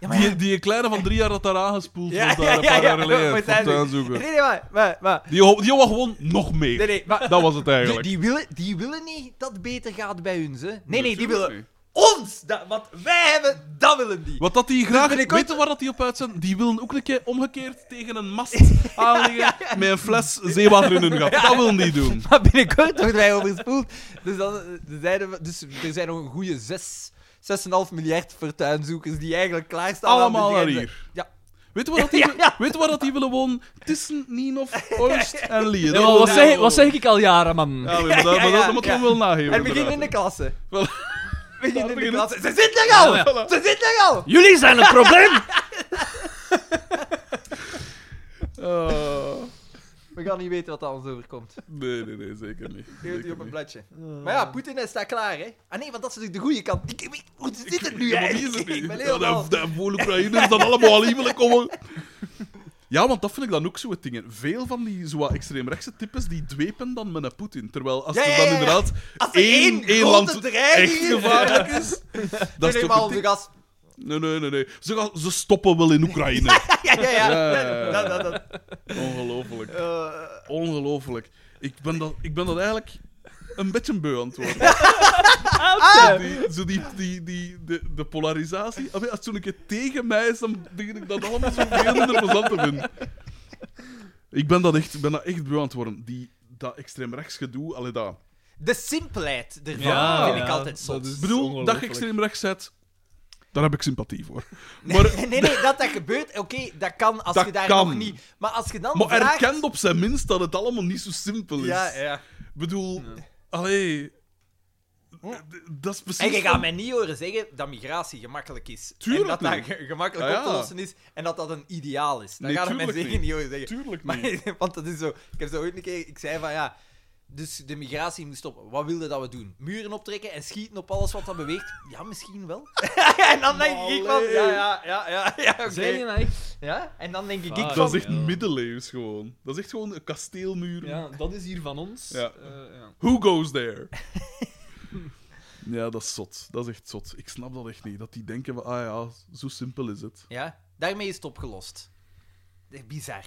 Speaker 4: ja, maar ja.
Speaker 2: Die, die kleine van drie jaar dat daar aangespoeld
Speaker 4: Ja,
Speaker 2: wordt,
Speaker 4: ja,
Speaker 2: daar een
Speaker 4: ja,
Speaker 2: paar
Speaker 4: ja,
Speaker 2: jaar geleden.
Speaker 4: maar zijn
Speaker 2: fortuin
Speaker 4: die-
Speaker 2: zoeken.
Speaker 4: Nee, nee, maar. maar, maar
Speaker 2: Die, jo- die jongen gewoon nog mee.
Speaker 4: nee, nee, maar
Speaker 2: Dat was het
Speaker 4: die,
Speaker 2: eigenlijk.
Speaker 4: die, willen, die willen niet dat het beter gaat bij hun. Hè. Nee, nee, die
Speaker 2: Natuurlijk
Speaker 4: willen
Speaker 2: niet.
Speaker 4: ons. Dat, wat wij hebben, dat willen die.
Speaker 2: Wat dat die graag...
Speaker 4: ben ik
Speaker 2: Weet je waar dat die op uit zijn? Die willen ook een keer omgekeerd tegen een mast aanleggen met een fles zeewater in hun gat. Dat willen die doen.
Speaker 4: Maar binnenkort worden wij overspoeld. Dus, dan, eh, zeiden we, dus er zijn nog een goede 6, 6,5 miljard fortuinzoekers die eigenlijk klaarstaan. aan de
Speaker 2: Allemaal naar
Speaker 4: grenzen.
Speaker 2: hier.
Speaker 4: Ja.
Speaker 2: Weet je waar dat die,
Speaker 4: Ja, ja.
Speaker 2: Weet je waar dat die willen wonen? Tussen Nienhof, Oost en Lier.
Speaker 3: Ja, maar wat, zeg, wat zeg ik al jaren, man?
Speaker 2: Ja, maar dat, maar dat
Speaker 4: ja,
Speaker 2: moet
Speaker 4: ja.
Speaker 2: je wel nageven.
Speaker 4: En we gingen in de
Speaker 2: inderdaad.
Speaker 4: klasse.
Speaker 2: Voilà.
Speaker 4: We gingen in de
Speaker 2: beginnen-
Speaker 4: klasse. Ze zitten er al!
Speaker 3: Ja,
Speaker 4: Ze zitten er al!
Speaker 3: Jullie zijn het probleem!
Speaker 2: Oh.
Speaker 4: We gaan niet weten wat er ons overkomt.
Speaker 2: Nee, nee, nee, zeker niet.
Speaker 4: Heel die
Speaker 2: Zeker
Speaker 4: op een
Speaker 2: niet.
Speaker 4: bladje. Maar ja, Poetin hij staat klaar, hè? Ah nee, want dat is natuurlijk de goede kant. Ik, ik- hoe zit het nu
Speaker 2: Ja, maar wie is
Speaker 4: eigenlijk?
Speaker 2: het
Speaker 4: Ik
Speaker 2: nu?
Speaker 4: ben
Speaker 2: Ja,
Speaker 4: helemaal...
Speaker 2: dat- dat voor Oekraïners dat allemaal aan willen komen. Ja, want dat vind ik dan ook zo'n dingen. Veel van die zo wat extreemrechtse types die dwepen dan met een Poetin. Terwijl als
Speaker 4: Ja,
Speaker 2: er
Speaker 4: ja,
Speaker 2: dan
Speaker 4: ja, ja.
Speaker 2: inderdaad
Speaker 4: Als er één
Speaker 2: één, één
Speaker 4: grote
Speaker 2: land
Speaker 4: dreiging
Speaker 2: echt
Speaker 4: is.
Speaker 2: gevaarlijk is,
Speaker 4: Nee,
Speaker 2: dat is
Speaker 4: nee,
Speaker 2: toch
Speaker 4: maar
Speaker 2: een
Speaker 4: onze
Speaker 2: tik-
Speaker 4: gast.
Speaker 2: Nee, nee, nee. nee. Ze, gaan- ze stoppen wel in Oekraïne.
Speaker 4: Ja, ja, ja.
Speaker 2: Ja, ja, ja.
Speaker 4: Dat, dat, dat.
Speaker 2: Ongelooflijk.
Speaker 4: Eh,
Speaker 2: Ongelooflijk. Ik ben dat, ik ben dat eigenlijk een beetje beu aan het worden. Zo die, zo die, die, die, de, de polarisatie. Allee, Als het zo'n keer tegen mij is, dan begin ik dat allemaal zo veel minder plezant te vinden. Ik ben dat echt, ik ben dat echt beu aan het worden. Die, dat extreemrechts gedoe, allee, dat...
Speaker 4: de simpelheid ervan
Speaker 3: Ja,
Speaker 4: vind ik
Speaker 3: ja.
Speaker 4: altijd zot.
Speaker 2: Ik bedoel, dat je extreemrechts zet, daar heb ik sympathie voor.
Speaker 4: Nee,
Speaker 2: Maar,
Speaker 4: nee, nee, dat dat gebeurt, oké, dat kan als
Speaker 2: Dat
Speaker 4: je daar
Speaker 2: kan.
Speaker 4: nog niet... Maar als je dan
Speaker 2: maar
Speaker 4: vraagt...
Speaker 2: erkend op zijn minst dat het allemaal niet zo simpel is.
Speaker 4: Ja, ja. Hm?
Speaker 2: Ik bedoel, allee... d- Dat is precies...
Speaker 4: En je gaat
Speaker 2: Dus van-
Speaker 4: mij niet horen zeggen dat migratie gemakkelijk is.
Speaker 2: Tuurlijk
Speaker 4: en dat dat
Speaker 2: niet. Ah,
Speaker 4: ge- gemakkelijk
Speaker 2: Ja,
Speaker 4: op te
Speaker 2: ja.
Speaker 4: lossen is en dat dat een ideaal is. Dat
Speaker 2: Nee,
Speaker 4: gaat mij
Speaker 2: tuurlijk
Speaker 4: zeker
Speaker 2: niet.
Speaker 4: niet horen zeggen.
Speaker 2: Tuurlijk niet.
Speaker 4: Maar, want dat is zo... Ik heb zo ooit een keer... Ik zei van ja... Dus de migratie moet stoppen. Wat wilde dat we doen? Muren optrekken en schieten op alles wat dat beweegt? Ja, misschien wel. en dan denk ik van... Ja, ja, ja, ja, ja oké.
Speaker 3: Zijn je nou echt?
Speaker 4: Ja? En dan denk ik...
Speaker 3: Ah,
Speaker 4: ik
Speaker 2: Dat
Speaker 4: van,
Speaker 2: is echt
Speaker 3: Ja.
Speaker 2: middeleeuws gewoon. Dat is echt gewoon een kasteelmuur.
Speaker 3: Ja, dat is hier van ons.
Speaker 2: Ja.
Speaker 3: Eh, ja.
Speaker 2: Who goes there? ja, dat is zot. Dat is echt zot. Ik snap dat echt niet. Dat die denken van, ah ja, zo simpel is het.
Speaker 4: Ja, daarmee is het opgelost. Echt Bizar.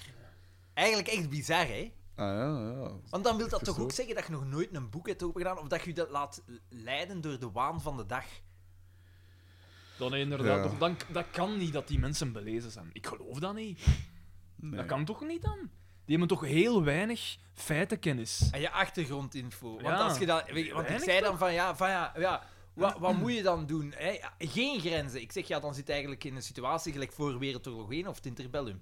Speaker 4: Eigenlijk echt bizar, hè?
Speaker 2: Ah ja, ja.
Speaker 4: Want dan wil dat toch
Speaker 2: zo.
Speaker 4: ook zeggen dat je nog nooit een boek hebt opengedaan of dat je je dat laat leiden door de waan van de dag.
Speaker 3: Dan inderdaad.
Speaker 2: Ja.
Speaker 3: Toch, dan, dat kan niet dat die mensen belezen zijn. Ik geloof dat niet.
Speaker 2: Nee.
Speaker 3: Dat kan toch niet dan? Die hebben toch heel weinig feitenkennis.
Speaker 4: En je achtergrondinfo. Want,
Speaker 3: Ja.
Speaker 4: als je dat, weet je, want ik
Speaker 3: Weinig
Speaker 4: zei dan van ja, van ja, ja wat, wat moet je dan doen? Hè? Ja, Geen grenzen. Ik zeg ja, dan zit je eigenlijk in een situatie gelijk voor Wereldoorlog 1 of het interbellum.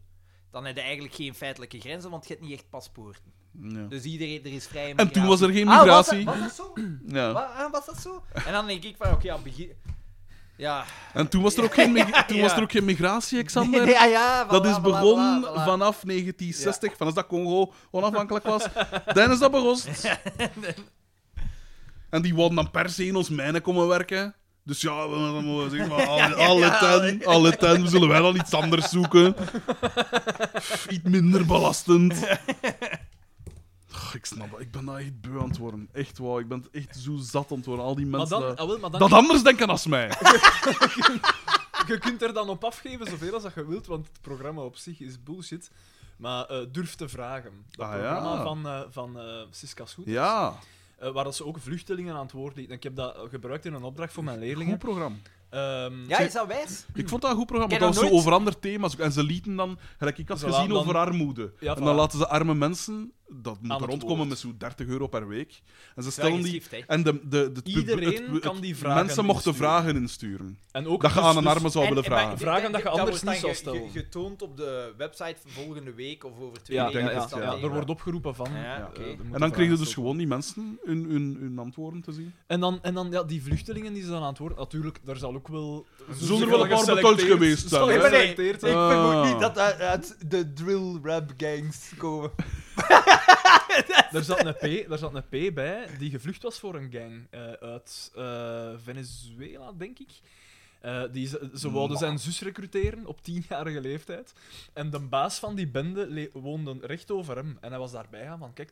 Speaker 4: Dan heb je eigenlijk geen feitelijke grenzen, want je hebt niet echt paspoorten.
Speaker 2: Ja.
Speaker 4: Dus iedereen, er is vrij
Speaker 2: En toen was er geen
Speaker 4: Ah, was dat,
Speaker 2: migratie.
Speaker 4: was dat zo?
Speaker 2: ja.
Speaker 4: Wa- ah, was dat zo? En dan denk ik van, oké, ja, begin... Ja.
Speaker 2: En toen was er ook geen, mig- toen
Speaker 4: Ja.
Speaker 2: was er ook geen migratie, Xander.
Speaker 4: ja, ah, ja,
Speaker 2: Dat
Speaker 4: voilà,
Speaker 2: is
Speaker 4: voilà,
Speaker 2: begonnen
Speaker 4: voilà, voilà.
Speaker 2: vanaf 1960, vanaf dat Congo onafhankelijk was. dan is dat begonnen. en die wilden dan per se in ons mijnen komen werken. Dus ja, we- dan moeten we zeggen van alle, alle ten, alle ten, zullen wij dan iets anders zoeken. Iets minder belastend. Ach, ik snap dat, ik ben daar echt beu aan het worden. Echt waar, ik ben het echt zo zat aan het worden. Al die
Speaker 3: Maar
Speaker 2: mensen
Speaker 3: dan,
Speaker 2: dat,
Speaker 3: ah, wel, maar dan
Speaker 2: dat anders denken als mij.
Speaker 3: je kunt er dan op afgeven zoveel als dat je wilt, want het programma op zich is bullshit. Maar eh, durf te vragen. Dat
Speaker 2: Ah, ja.
Speaker 3: programma van, eh van eh, Siska Schoet,
Speaker 2: Ja,
Speaker 3: eh, waar dat ze ook vluchtelingen aan het woord liet. En Ik heb dat eh, gebruikt in een opdracht voor mijn
Speaker 2: goed
Speaker 3: leerlingen.
Speaker 2: programma.
Speaker 3: Ehm,
Speaker 4: Ja, is dat wijs?
Speaker 2: Ik vond dat een goed programma,
Speaker 4: Ik
Speaker 2: want dat
Speaker 4: heb
Speaker 2: was
Speaker 4: dat
Speaker 2: zo over andere thema's. ook. En ze lieten dan, gelijk ik had
Speaker 3: Ze
Speaker 2: gezien,
Speaker 3: laten dan-
Speaker 2: over armoede.
Speaker 3: Ja,
Speaker 2: en dan
Speaker 3: voilà.
Speaker 2: laten ze arme mensen dat
Speaker 3: Aan
Speaker 2: moet
Speaker 3: het
Speaker 2: rondkomen
Speaker 3: woord.
Speaker 2: met zo'n 30 euro per week. En ze stellen die.
Speaker 4: Geschrift, hè.
Speaker 2: En de, de, de, het pub-
Speaker 3: Iedereen
Speaker 2: het- het-
Speaker 3: kan die vragen
Speaker 2: Mensen mochten
Speaker 3: insturen.
Speaker 2: vragen insturen.
Speaker 3: En ook
Speaker 2: Dat je
Speaker 3: dus-
Speaker 2: aan een
Speaker 3: dus-
Speaker 2: arme zou willen
Speaker 4: En- en- maar-
Speaker 2: vragen.
Speaker 3: Vragen dat je anders
Speaker 4: wordt
Speaker 3: niet zou
Speaker 4: dan ge- ge-
Speaker 3: stellen.
Speaker 4: getoond op de website van volgende week of over twee
Speaker 3: Ja,
Speaker 2: Ik
Speaker 3: ja,
Speaker 4: weken. Dus
Speaker 2: denk
Speaker 3: ja,
Speaker 4: is
Speaker 3: ja,
Speaker 2: het,
Speaker 4: dat
Speaker 2: ja.
Speaker 4: ding.
Speaker 3: er wordt opgeroepen van.
Speaker 4: Ja,
Speaker 3: eh,
Speaker 4: oké.
Speaker 3: er moeten
Speaker 2: En dan kregen
Speaker 3: vragen
Speaker 2: dus gewoon die mensen hun, hun, hun antwoorden te zien.
Speaker 3: En dan, en dan ja, die vluchtelingen die ze dan aan het woord, natuurlijk, daar zal ook wel.
Speaker 2: Zullen er wel een paar betons geweest zijn.
Speaker 4: Nee,
Speaker 2: hè?
Speaker 4: maar nee,
Speaker 3: Geselecteerd,
Speaker 4: ik
Speaker 2: hè?
Speaker 4: vermoed
Speaker 2: Ah.
Speaker 4: niet dat dat uit de drill rap gangs komen.
Speaker 3: Daar zat, een P, daar zat een P bij die gevlucht was voor een gang eh, uit eh, Venezuela, denk ik. Eh, die ze, ze wouden zijn zus recruteren op tienjarige leeftijd. En de baas van die bende le- woonde recht over hem. En hij was daarbij gaan van, kijk,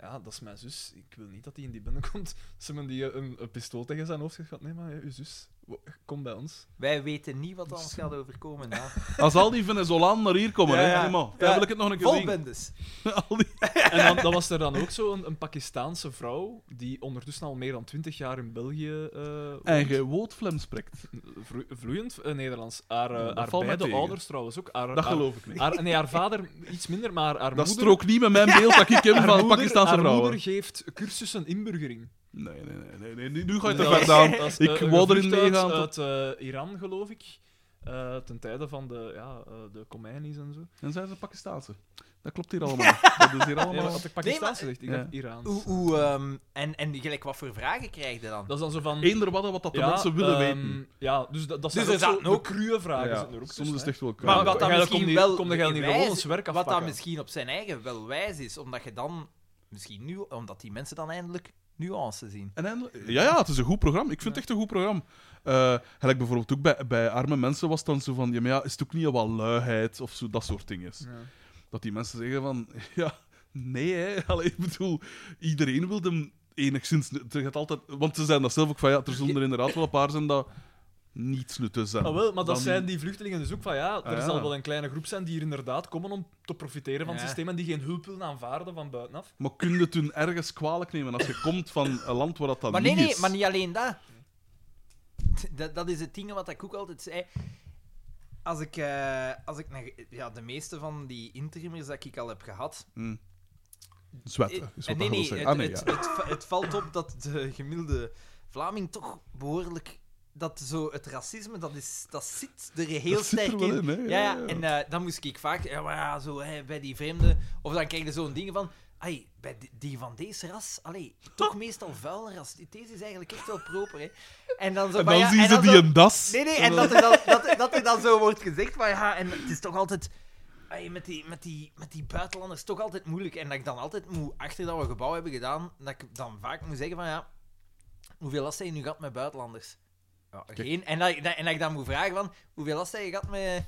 Speaker 3: ja, dat is mijn zus. Ik wil niet dat die in die bende komt. Ze hebben die eh, een, een pistool tegen zijn hoofd gezegd. Nee, maar eh, uw zus, wo- kom bij ons.
Speaker 4: Wij weten niet wat ons gaat overkomen. Ja.
Speaker 2: Als al die Venezolaan naar hier komen,
Speaker 4: Ja,
Speaker 2: hè,
Speaker 4: ja.
Speaker 2: helemaal.
Speaker 4: Ja.
Speaker 2: Daar wil ik het nog een keer
Speaker 4: Vol
Speaker 2: zien.
Speaker 4: bendes.
Speaker 2: Al die-
Speaker 3: En dan, dan was er dan ook zo'n een, Pakistaanse vrouw, die ondertussen al meer dan twintig jaar in België eh, woont.
Speaker 2: Eigen woordflem spreekt.
Speaker 3: Vlo- vloeiend eh, Nederlands. Haar, eh,
Speaker 2: Dat
Speaker 3: haar
Speaker 2: valt mij
Speaker 3: beide
Speaker 2: tegen.
Speaker 3: ouders trouwens ook. Haar,
Speaker 2: Dat
Speaker 3: haar-
Speaker 2: geloof ik niet.
Speaker 3: haar- nee, haar vader iets minder, maar haar
Speaker 2: Dat
Speaker 3: moeder...
Speaker 2: strookt niet met mijn beeld dat ik ken
Speaker 3: haar
Speaker 2: van
Speaker 3: moeder-
Speaker 2: Pakistanse
Speaker 3: haar
Speaker 2: vrouwen.
Speaker 3: moeder geeft cursussen inburgering.
Speaker 2: Nee, nee, nee, nee, nee, nu- nu ga je te
Speaker 3: Dat
Speaker 2: ver
Speaker 3: is-
Speaker 2: aan.
Speaker 3: dat is,
Speaker 2: Ik
Speaker 3: eh, een
Speaker 2: wou erin
Speaker 3: gevlucht
Speaker 2: meegaan
Speaker 3: Uit, uit eh, Iran, geloof ik. Eh, ten tijde van de, ja, eh, de Khomeinis en zo.
Speaker 2: Dan zijn ze Pakistaanse. Dat klopt hier allemaal. Dat is hier
Speaker 3: Nee, maar
Speaker 2: allemaal.
Speaker 3: had ik Pakistaanse zegt, ik
Speaker 2: Ja.
Speaker 3: dacht Iraans.
Speaker 4: Hoe, hoe, ehm, en, en gelijk, wat voor vragen krijg je dan?
Speaker 3: Dat is dan zo van...
Speaker 2: Eender wat, wat dat de
Speaker 3: ja,
Speaker 2: mensen willen
Speaker 3: ehm,
Speaker 2: weten.
Speaker 3: Ja, dus dat, dat
Speaker 4: Dus
Speaker 3: zijn
Speaker 4: er
Speaker 3: ook, zo
Speaker 4: zaten ook-
Speaker 3: de dus, cruwe vragen.
Speaker 2: Ja,
Speaker 3: zitten er ook
Speaker 2: soms is
Speaker 3: tussen,
Speaker 2: het echt wel
Speaker 4: Maar
Speaker 2: kwaad.
Speaker 4: wat dan
Speaker 3: Ja, dan
Speaker 4: misschien
Speaker 3: kom je-
Speaker 4: wel
Speaker 3: kom je niet gewoon
Speaker 4: wijs-
Speaker 3: ons werk
Speaker 4: Wat dan
Speaker 3: afpakken.
Speaker 4: misschien op zijn eigen wel wijs is, omdat je dan misschien nu, omdat die mensen dan eindelijk nuance zien.
Speaker 2: En eindelijk- ja, ja, het is een goed programma. Ik vind het echt een goed programma. Eh, gelijk bijvoorbeeld ook bij, bij arme mensen was het dan zo van... Ja, maar ja, is het ook niet wat luiheid of zo, dat soort dingen.
Speaker 3: Ja.
Speaker 2: Dat die mensen zeggen van... Ja, nee, hè. Allee, ik bedoel, iedereen wil hem enigszins... nut- Er gaat altijd, want ze zijn dat zelf ook van... Ja, er zullen er inderdaad wel een paar zijn dat niets nuttig zijn.
Speaker 3: Ah, wel, maar dat
Speaker 2: Dan-
Speaker 3: zijn die vluchtelingen dus ook van ja, er
Speaker 2: Ah, ja.
Speaker 3: zal wel een kleine groep zijn die hier inderdaad komen om te profiteren van het
Speaker 4: Ja.
Speaker 3: systeem en die geen hulp willen aanvaarden van buitenaf.
Speaker 2: Maar kun je het hun ergens kwalijk nemen als je komt van een land waar dat, dan
Speaker 4: maar nee,
Speaker 2: niet
Speaker 4: nee,
Speaker 2: is?
Speaker 4: maar niet alleen dat. dat. Dat is het ding wat ik ook altijd zei. Als ik, eh, als ik naar, ja, de meeste van die interimmers dat ik al heb gehad.
Speaker 2: Hm. Zwetten, is wat
Speaker 4: Eh, nee,
Speaker 2: dat wil
Speaker 4: nee,
Speaker 2: zeggen.
Speaker 4: het,
Speaker 2: Ah, nee,
Speaker 4: het,
Speaker 2: ja.
Speaker 4: het va- het valt op dat de gemiddelde Vlaming toch behoorlijk. Dat zo, het racisme, dat, is, dat zit er heel
Speaker 2: Dat zit er
Speaker 4: sterk
Speaker 2: wel
Speaker 4: in.
Speaker 2: in, hè?
Speaker 4: Ja,
Speaker 2: Ja,
Speaker 4: ja,
Speaker 2: ja.
Speaker 4: en eh, dan moest ik vaak ja, maar ja, zo, hè, bij die vreemden. Of dan krijg je zo'n dingen van. Ai, bij die, die van deze ras, allee, toch meestal vuil ras. Deze is eigenlijk echt wel proper. Hè. En dan, zo,
Speaker 2: En
Speaker 4: van,
Speaker 2: dan
Speaker 4: ja,
Speaker 2: zien
Speaker 4: en
Speaker 2: ze
Speaker 4: dan
Speaker 2: die
Speaker 4: zo-
Speaker 2: een das.
Speaker 4: Nee, nee, en dat er dan, dat, dat er dan zo wordt gezegd. Maar ja, en het is toch altijd. ai, met, die, met, die, met die buitenlanders toch altijd moeilijk. En dat ik dan altijd moet, achter dat we gebouw hebben gedaan, dat ik dan vaak moet zeggen van ja. Hoeveel last heb je nu gehad met buitenlanders? Ja, geen. En dat, ik- dat- en dat ik dan moet vragen van hoeveel last heb je gehad met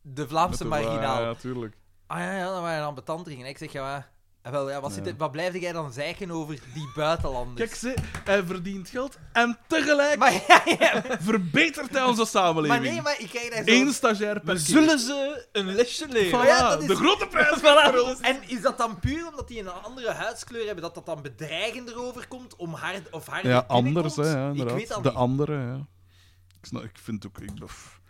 Speaker 4: de Vlaamse
Speaker 2: Met de-
Speaker 4: marginaal?
Speaker 2: Ja, tuurlijk.
Speaker 4: Ah ja, ja, dat waren ambetant ringen. Ik zeg ja, maar, ah, wel, ja, wat, zit
Speaker 2: Ja.
Speaker 4: er- wat blijf jij dan zeiken over die buitenlanders?
Speaker 2: Kijk, ze, hij verdient geld en tegelijk
Speaker 4: Dus- maar, ja, ja,
Speaker 2: verbetert hij onze samenleving.
Speaker 4: maar nee, maar ik krijg daar zo...
Speaker 2: Eén stagiair per
Speaker 3: We
Speaker 2: keer.
Speaker 3: zullen ze een lesje leren.
Speaker 2: Voilà,
Speaker 4: Ja, dat is-
Speaker 2: de grote prijs.
Speaker 4: En is dat dan puur omdat die een andere huidskleur hebben, dat dat dan bedreigender overkomt om hard of harder
Speaker 2: Ja,
Speaker 4: binnenkomt?
Speaker 2: anders, hè, ja,
Speaker 4: Ik
Speaker 2: inderdaad.
Speaker 4: weet dat
Speaker 2: de
Speaker 4: niet.
Speaker 2: andere, ja. Ik, snap, ik vind ook... Ik, pff.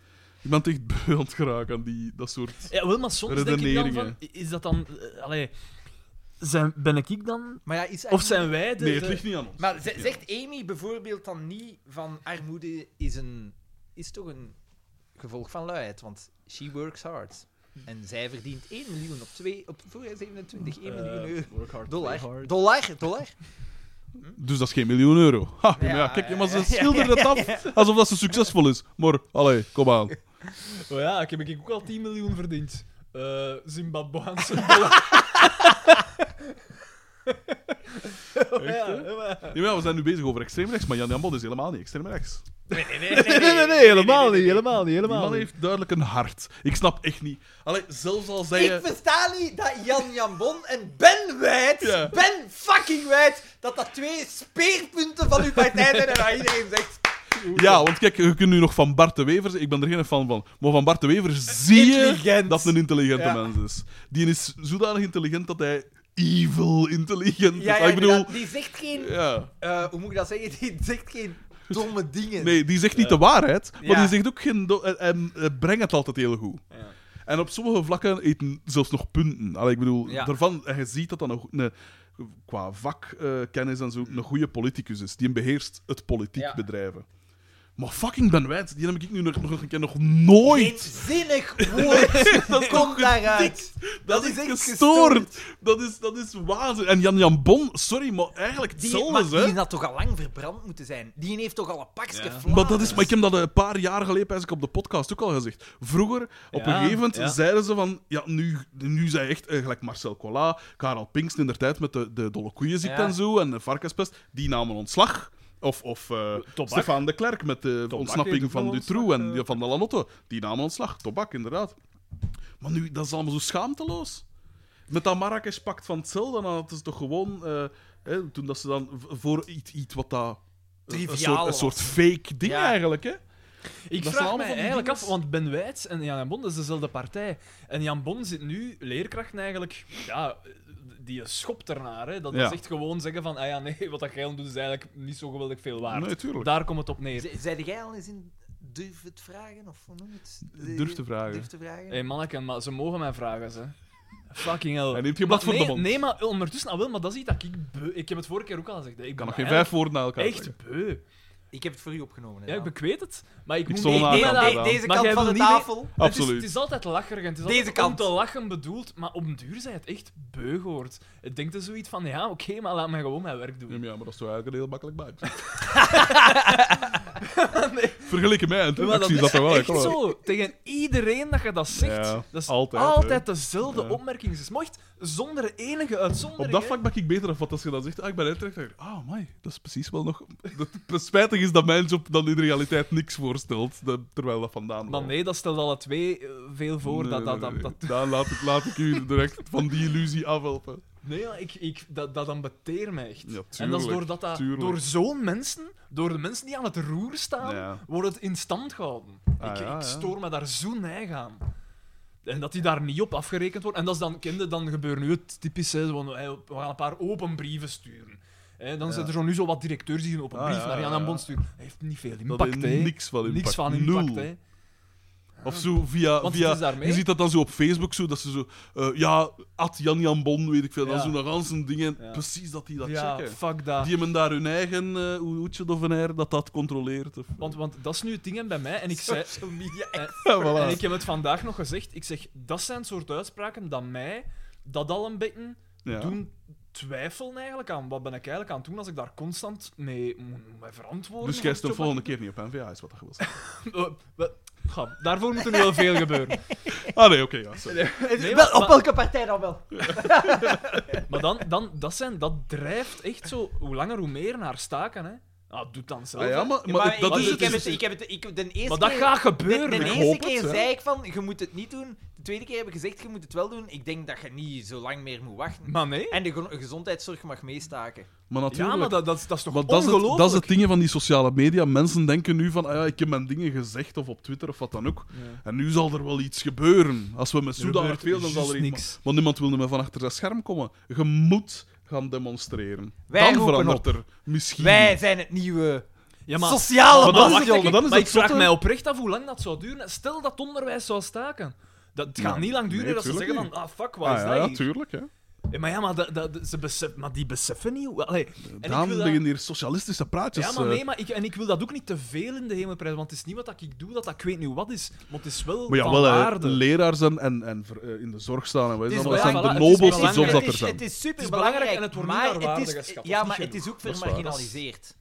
Speaker 2: ik ben echt beu aan het geraken aan die, dat soort...
Speaker 3: Ja, wel, maar soms denk ik dan van,
Speaker 2: Redeneringen.
Speaker 3: is dat dan, eh, allee, zijn, ben ik ik dan?
Speaker 4: Maar ja, is
Speaker 3: Of
Speaker 4: eigenlijk-
Speaker 3: zijn wij de...
Speaker 2: Nee, het
Speaker 3: de-
Speaker 2: ligt niet aan ons.
Speaker 4: dus, eh, Maar ze- zegt Amy bijvoorbeeld dan niet van armoede is een... is toch een gevolg van luiheid, want she works hard. En zij verdient 1 miljoen op, twee, op voor 27, 1 miljoen
Speaker 3: Eh,
Speaker 4: euro.
Speaker 3: work hard, play
Speaker 4: Dollar.
Speaker 3: hard.
Speaker 4: Dollar, dollar.
Speaker 2: Dus dat is geen miljoen euro. Ha, ja,
Speaker 4: Ja,
Speaker 2: maar ja, kijk, ja, maar ze
Speaker 4: ja, ja,
Speaker 2: schilderen het af alsof dat ze succesvol is. Maar, allee, kom aan.
Speaker 3: Oh ja, ik heb ik ook al 10 miljoen verdiend. Eh Zimbabweanse dollar. Oh ja, ja, maar-
Speaker 2: Ja, maar ja, we zijn nu bezig over extreemrechts, maar Jan Jan Bod is helemaal niet extreemrechts.
Speaker 3: Nee, nee, nee, helemaal niet, helemaal niet,
Speaker 2: Die
Speaker 3: helemaal
Speaker 2: man
Speaker 3: niet.
Speaker 2: heeft duidelijk een hart. Ik snap echt niet. Allee, zelfs al zei
Speaker 4: Ik
Speaker 2: je...
Speaker 4: versta niet dat Jan Jambon en Ben Wijd,
Speaker 2: Ja.
Speaker 4: Ben fucking Wijd, dat dat twee speerpunten van uw partij zijn en dat iedereen zegt...
Speaker 2: Ja, want kijk, je kunt nu nog van Bart de Wever... Ik ben er geen fan van. Maar van Bart de Wever zie je
Speaker 4: Intelligent.
Speaker 2: dat het een intelligente
Speaker 4: Ja.
Speaker 2: mens is. Die is zodanig intelligent dat hij evil intelligent is. Ah, ik bedoel...
Speaker 4: inderdaad, die zegt geen...
Speaker 2: Ja.
Speaker 4: eh, hoe moet ik dat zeggen? Die zegt geen domme dingen.
Speaker 2: Nee, die zegt niet de waarheid, maar
Speaker 4: Ja.
Speaker 2: die zegt ook geen... do- En, en, eh, brengt het altijd heel goed. En op sommige vlakken eten zelfs nog punten. Allee, ik bedoel,
Speaker 4: Ja.
Speaker 2: daarvan, en je ziet dat dat nog een, qua vakkennis en zo een goede politicus is. Die hem beheerst het politiek
Speaker 4: Ja.
Speaker 2: bedrijven. Maar fucking Ben Wijts, die heb ik nu nog, nog een keer nog nooit.
Speaker 4: Zinnig woord! dat komt daaruit.
Speaker 2: dat,
Speaker 4: is
Speaker 2: is
Speaker 4: echt
Speaker 2: gestoord. Dat is, dat is waanzin. En Jan Jan Bon, sorry, maar eigenlijk
Speaker 4: Die,
Speaker 2: hetzelfde,
Speaker 4: maar,
Speaker 2: hè?
Speaker 4: die had toch al lang verbrand moeten zijn. Die heeft toch al een pakje
Speaker 3: Ja.
Speaker 4: vlaanderen.
Speaker 2: Maar, dat is, maar ik heb dat een paar jaar geleden eigenlijk op de podcast ook al gezegd. Vroeger, op een
Speaker 3: Ja,
Speaker 2: gegeven moment,
Speaker 3: ja.
Speaker 2: zeiden ze van... Ja, nu, nu zijn echt, eh, gelijk Marcel Collat, Karel Pinksten in der tijd met de, de dolle koeienziekte
Speaker 4: Ja.
Speaker 2: en zo, en de varkenspest, die namen ontslag. Of, of eh, Stefan de Klerk met de ontsnapping
Speaker 3: heeft
Speaker 2: van
Speaker 3: ook wel
Speaker 2: Dutroux
Speaker 3: ontslag, eh.
Speaker 2: en die van de Lanotto. Die namen ontslag. Tobak, inderdaad. Maar nu, dat is allemaal zo schaamteloos. Met dat Marrakesh-pact van hetzelfde, dan hadden ze toch gewoon... eh, hè, toen dat ze dan v- voor iets, iets wat dat... eh, Een
Speaker 4: Triviaal
Speaker 2: soort, een
Speaker 4: was.
Speaker 2: soort fake ding
Speaker 4: Ja.
Speaker 2: eigenlijk, hè?
Speaker 3: Ik
Speaker 2: Dat zijn
Speaker 3: vraag
Speaker 2: allemaal
Speaker 3: me
Speaker 2: van die
Speaker 3: eigenlijk
Speaker 2: dinges.
Speaker 3: af, want Ben Wijts en Jan Bon, dat is dezelfde partij. En Jan Bon zit nu, leerkrachten eigenlijk, ja, die schopt ernaar. Hè. Dat
Speaker 2: Ja.
Speaker 3: is echt gewoon zeggen van, ah ja, nee, wat dat jij aan doet is eigenlijk niet zo geweldig veel waard.
Speaker 2: Nee, tuurlijk.
Speaker 3: Daar komt het op neer.
Speaker 4: Z- Zeide jij al eens in durf het vragen? Of hoe noem je het? De-
Speaker 2: Durf te vragen.
Speaker 4: Durf te vragen?
Speaker 3: Hé, hey, manneken, maar ze mogen mij vragen, ze. Fucking hell.
Speaker 2: Hij neemt je
Speaker 3: Maar
Speaker 2: blad voor
Speaker 3: nee,
Speaker 2: de mond.
Speaker 3: Nee, maar ondertussen al wel, maar dat is iets dat ik beu... Ik heb het vorige keer ook al gezegd. hè. Ik
Speaker 2: Ik
Speaker 3: ben
Speaker 2: kan nog geen vijf
Speaker 3: eigenlijk
Speaker 2: woorden naar elkaar
Speaker 3: Echt
Speaker 2: zeggen.
Speaker 3: beu.
Speaker 4: Ik heb het voor u opgenomen.
Speaker 3: Ja,
Speaker 4: hè,
Speaker 3: ik,
Speaker 4: Dan.
Speaker 3: ik weet het. Maar ik, moet...
Speaker 2: stond ernaar.
Speaker 3: Nee,
Speaker 4: De-
Speaker 3: nee, nee,
Speaker 4: de-
Speaker 2: gedaan.
Speaker 4: deze
Speaker 3: Maar
Speaker 4: kant
Speaker 3: jij
Speaker 4: van de
Speaker 3: wil niet-
Speaker 4: tafel.
Speaker 3: Het is,
Speaker 2: Absoluut.
Speaker 3: het is altijd lacherig en het is
Speaker 4: Deze
Speaker 3: altijd
Speaker 4: kant.
Speaker 3: om te lachen bedoeld, maar op den duur zijn het echt beu gehoord. Ik denk er zoiets van, ja, oké, maar laat mij gewoon mijn werk doen.
Speaker 2: Ja, maar dat is toch eigenlijk een heel makkelijk buik.
Speaker 3: Nee.
Speaker 2: Vergeleken mij en toen
Speaker 3: Maar dat
Speaker 2: actie
Speaker 3: is
Speaker 2: is dat er wel
Speaker 3: echt
Speaker 2: hè, kom maar.
Speaker 3: zo. Tegen iedereen dat je dat zegt,
Speaker 2: Ja,
Speaker 3: dat is
Speaker 2: altijd,
Speaker 3: altijd, dezelfde
Speaker 2: Ja.
Speaker 3: opmerking. Ze mocht zonder enige uitzondering.
Speaker 2: Op dat
Speaker 3: hè.
Speaker 2: vlak ben ik beter af, want als je dan zegt, ah, ik ben uitrecht, dan denk ik, ah, my, dat is precies wel nog... Het spijtig is dat mijn job dan in de realiteit niks voorstelt, de- terwijl dat vandaan
Speaker 3: Maar nee, dat stelt alle twee eh, veel voor.
Speaker 2: Nee,
Speaker 3: dat, dat,
Speaker 2: nee,
Speaker 3: dat,
Speaker 2: nee.
Speaker 3: dat,
Speaker 2: Daar laat ik, laat ik u direct van die illusie afhelpen.
Speaker 3: nee, maar ik, ik, dat, dat ambeteert mij echt.
Speaker 2: Ja,
Speaker 3: en dat is
Speaker 2: tuurlijk,
Speaker 3: doordat dat,
Speaker 2: tuurlijk.
Speaker 3: door zo'n mensen, door de mensen die aan het roer staan,
Speaker 2: Ja.
Speaker 3: wordt het in stand gehouden.
Speaker 2: Ah,
Speaker 3: ik,
Speaker 2: ja, ja.
Speaker 3: ik stoor me daar zo neig aan. En dat die daar niet op afgerekend wordt. En dat is dan, kende, dan gebeurt nu het typische, zo van, hey, we gaan een paar open brieven sturen. Hè, dan
Speaker 2: Ja.
Speaker 3: zijn er zo nu zo wat directeurs die een open
Speaker 2: Ah,
Speaker 3: brief
Speaker 2: ja,
Speaker 3: naar Jan
Speaker 2: ja,
Speaker 3: en
Speaker 2: ja.
Speaker 3: Bond sturen. Dat heeft niet veel
Speaker 2: Dat
Speaker 3: impact,
Speaker 2: heeft
Speaker 3: hè.
Speaker 2: niks van impact.
Speaker 3: Niks van impact,
Speaker 2: Nul.
Speaker 3: hè.
Speaker 2: Of zo via...
Speaker 3: Want
Speaker 2: via
Speaker 3: het is daarmee...
Speaker 2: Je ziet dat dan zo op Facebook, zo, dat ze zo... eh, ja, at Jan Jan Bon, weet ik veel.
Speaker 3: Ja.
Speaker 2: Dan zo'n ransen dingen.
Speaker 3: Ja.
Speaker 2: Precies dat die dat
Speaker 3: ja,
Speaker 2: checken.
Speaker 3: fuck dat.
Speaker 2: Die hebben daar hun eigen eh, hoe hoedje of een her, dat dat controleert. Of,
Speaker 3: Want, want dat is nu het ding hè, bij mij. En ik, zei, Eh,
Speaker 4: Social media.
Speaker 2: Ja, voilà.
Speaker 3: en ik heb het vandaag nog gezegd. Ik zeg, dat zijn soort uitspraken dat mij dat al een beetje
Speaker 2: Ja.
Speaker 3: doen twijfelen eigenlijk aan. Wat ben ik eigenlijk aan het doen als ik daar constant mee moet mij verantwoorden?
Speaker 2: Dus jij
Speaker 3: voor
Speaker 2: stond
Speaker 3: het job
Speaker 2: volgende keer niet op NVA, is wat dat wil zeggen.
Speaker 3: dat ik doe? Eh, wel, ga, daarvoor moet er nu wel veel gebeuren.
Speaker 2: Ah nee, oké, ja, sorry.
Speaker 3: Nee,
Speaker 4: Wel,
Speaker 3: maar-
Speaker 4: op welke partij dan wel?
Speaker 3: Maar dan, dan dat, zijn, dat drijft echt zo, hoe langer hoe meer, naar staken. Hè. Nou, doe het dan zelf.
Speaker 2: Ah, ja,
Speaker 3: hè.
Speaker 2: maar, maar,
Speaker 4: Maar
Speaker 2: dat
Speaker 4: ik,
Speaker 2: is,
Speaker 4: ik heb
Speaker 2: het dus.
Speaker 4: het, ik heb het, ik, de eerste
Speaker 3: maar dat
Speaker 4: keer-
Speaker 3: gaat
Speaker 4: De,
Speaker 3: gebeuren.
Speaker 4: de
Speaker 3: hè.
Speaker 2: hoop het,
Speaker 4: eerste keer
Speaker 2: hè.
Speaker 4: zei ik van, je moet het niet doen. De tweede keer heb ik gezegd, je moet het wel doen. Ik denk dat je niet zo lang meer moet wachten.
Speaker 3: Maar nee.
Speaker 4: En de gro- gezondheidszorg mag meestaken.
Speaker 2: Maar natuurlijk.
Speaker 3: Ja, maar dat, dat, is- dat is toch
Speaker 2: maar dat is, het, dat is
Speaker 3: ongelooflijk?
Speaker 2: het ding van die sociale media. Mensen denken nu van, ah, ja, ik heb mijn dingen gezegd of op Twitter of wat dan ook.
Speaker 3: Ja.
Speaker 2: En nu zal er wel iets gebeuren. Als we met Soeda
Speaker 3: gebeurt
Speaker 2: veel, dan zal er
Speaker 3: juist
Speaker 2: iets...
Speaker 3: niks.
Speaker 2: Want niemand wil meer van achter zijn scherm komen. Je moet gaan demonstreren.
Speaker 4: Wij
Speaker 2: dan
Speaker 4: roepen
Speaker 2: verandert er misschien...
Speaker 4: Wij zijn het nieuwe
Speaker 3: Ja, maar-
Speaker 4: sociale
Speaker 2: Maar dat is
Speaker 4: macht.
Speaker 2: het- maar dat is
Speaker 3: maar
Speaker 2: het
Speaker 3: ik vraag
Speaker 2: zotte.
Speaker 3: mij oprecht af hoe lang dat zou duren. Stel dat het onderwijs zou staken. Dat het gaat
Speaker 2: Ja,
Speaker 3: niet lang duren
Speaker 2: nee,
Speaker 3: dat ze
Speaker 2: tuurlijk
Speaker 3: zeggen van, ah fuck, wat
Speaker 2: Ah,
Speaker 3: is
Speaker 2: ja,
Speaker 3: dat
Speaker 2: ja,
Speaker 3: hier?
Speaker 2: tuurlijk, hè.
Speaker 3: Eh, maar ja, maar, dat, dat, ze besef, maar die beseffen niet. hoe- Allee, en ik
Speaker 2: Daan
Speaker 3: wil dat-
Speaker 2: beginnen hier socialistische praatjes.
Speaker 3: ja, maar
Speaker 2: eh.
Speaker 3: nee, maar ik, en ik wil dat ook niet te veel in de hemel prijzen, want het is niet wat ik doe, dat, dat ik weet nu wat is. Maar het is wel
Speaker 2: Maar ja,
Speaker 3: van
Speaker 2: wel, eh, hè,
Speaker 3: waarde.
Speaker 2: leraars en, en, en ver- eh, in de zorg staan en wij
Speaker 4: Het is
Speaker 2: zijn, dat zijn
Speaker 3: belangrijk.
Speaker 2: de
Speaker 3: Voilà, het is
Speaker 2: nobelste
Speaker 3: belangrijk.
Speaker 2: jobs dat
Speaker 4: het
Speaker 2: er
Speaker 4: is,
Speaker 2: zijn.
Speaker 4: het is super
Speaker 3: belangrijk
Speaker 4: belangrijk,
Speaker 3: en het wordt niet
Speaker 4: maar
Speaker 3: naar waarde
Speaker 4: het is,
Speaker 3: geschat,
Speaker 4: ja,
Speaker 3: dat is
Speaker 4: maar
Speaker 3: niet
Speaker 4: het is ook
Speaker 2: Dat is waar.
Speaker 4: vermarginaliseerd.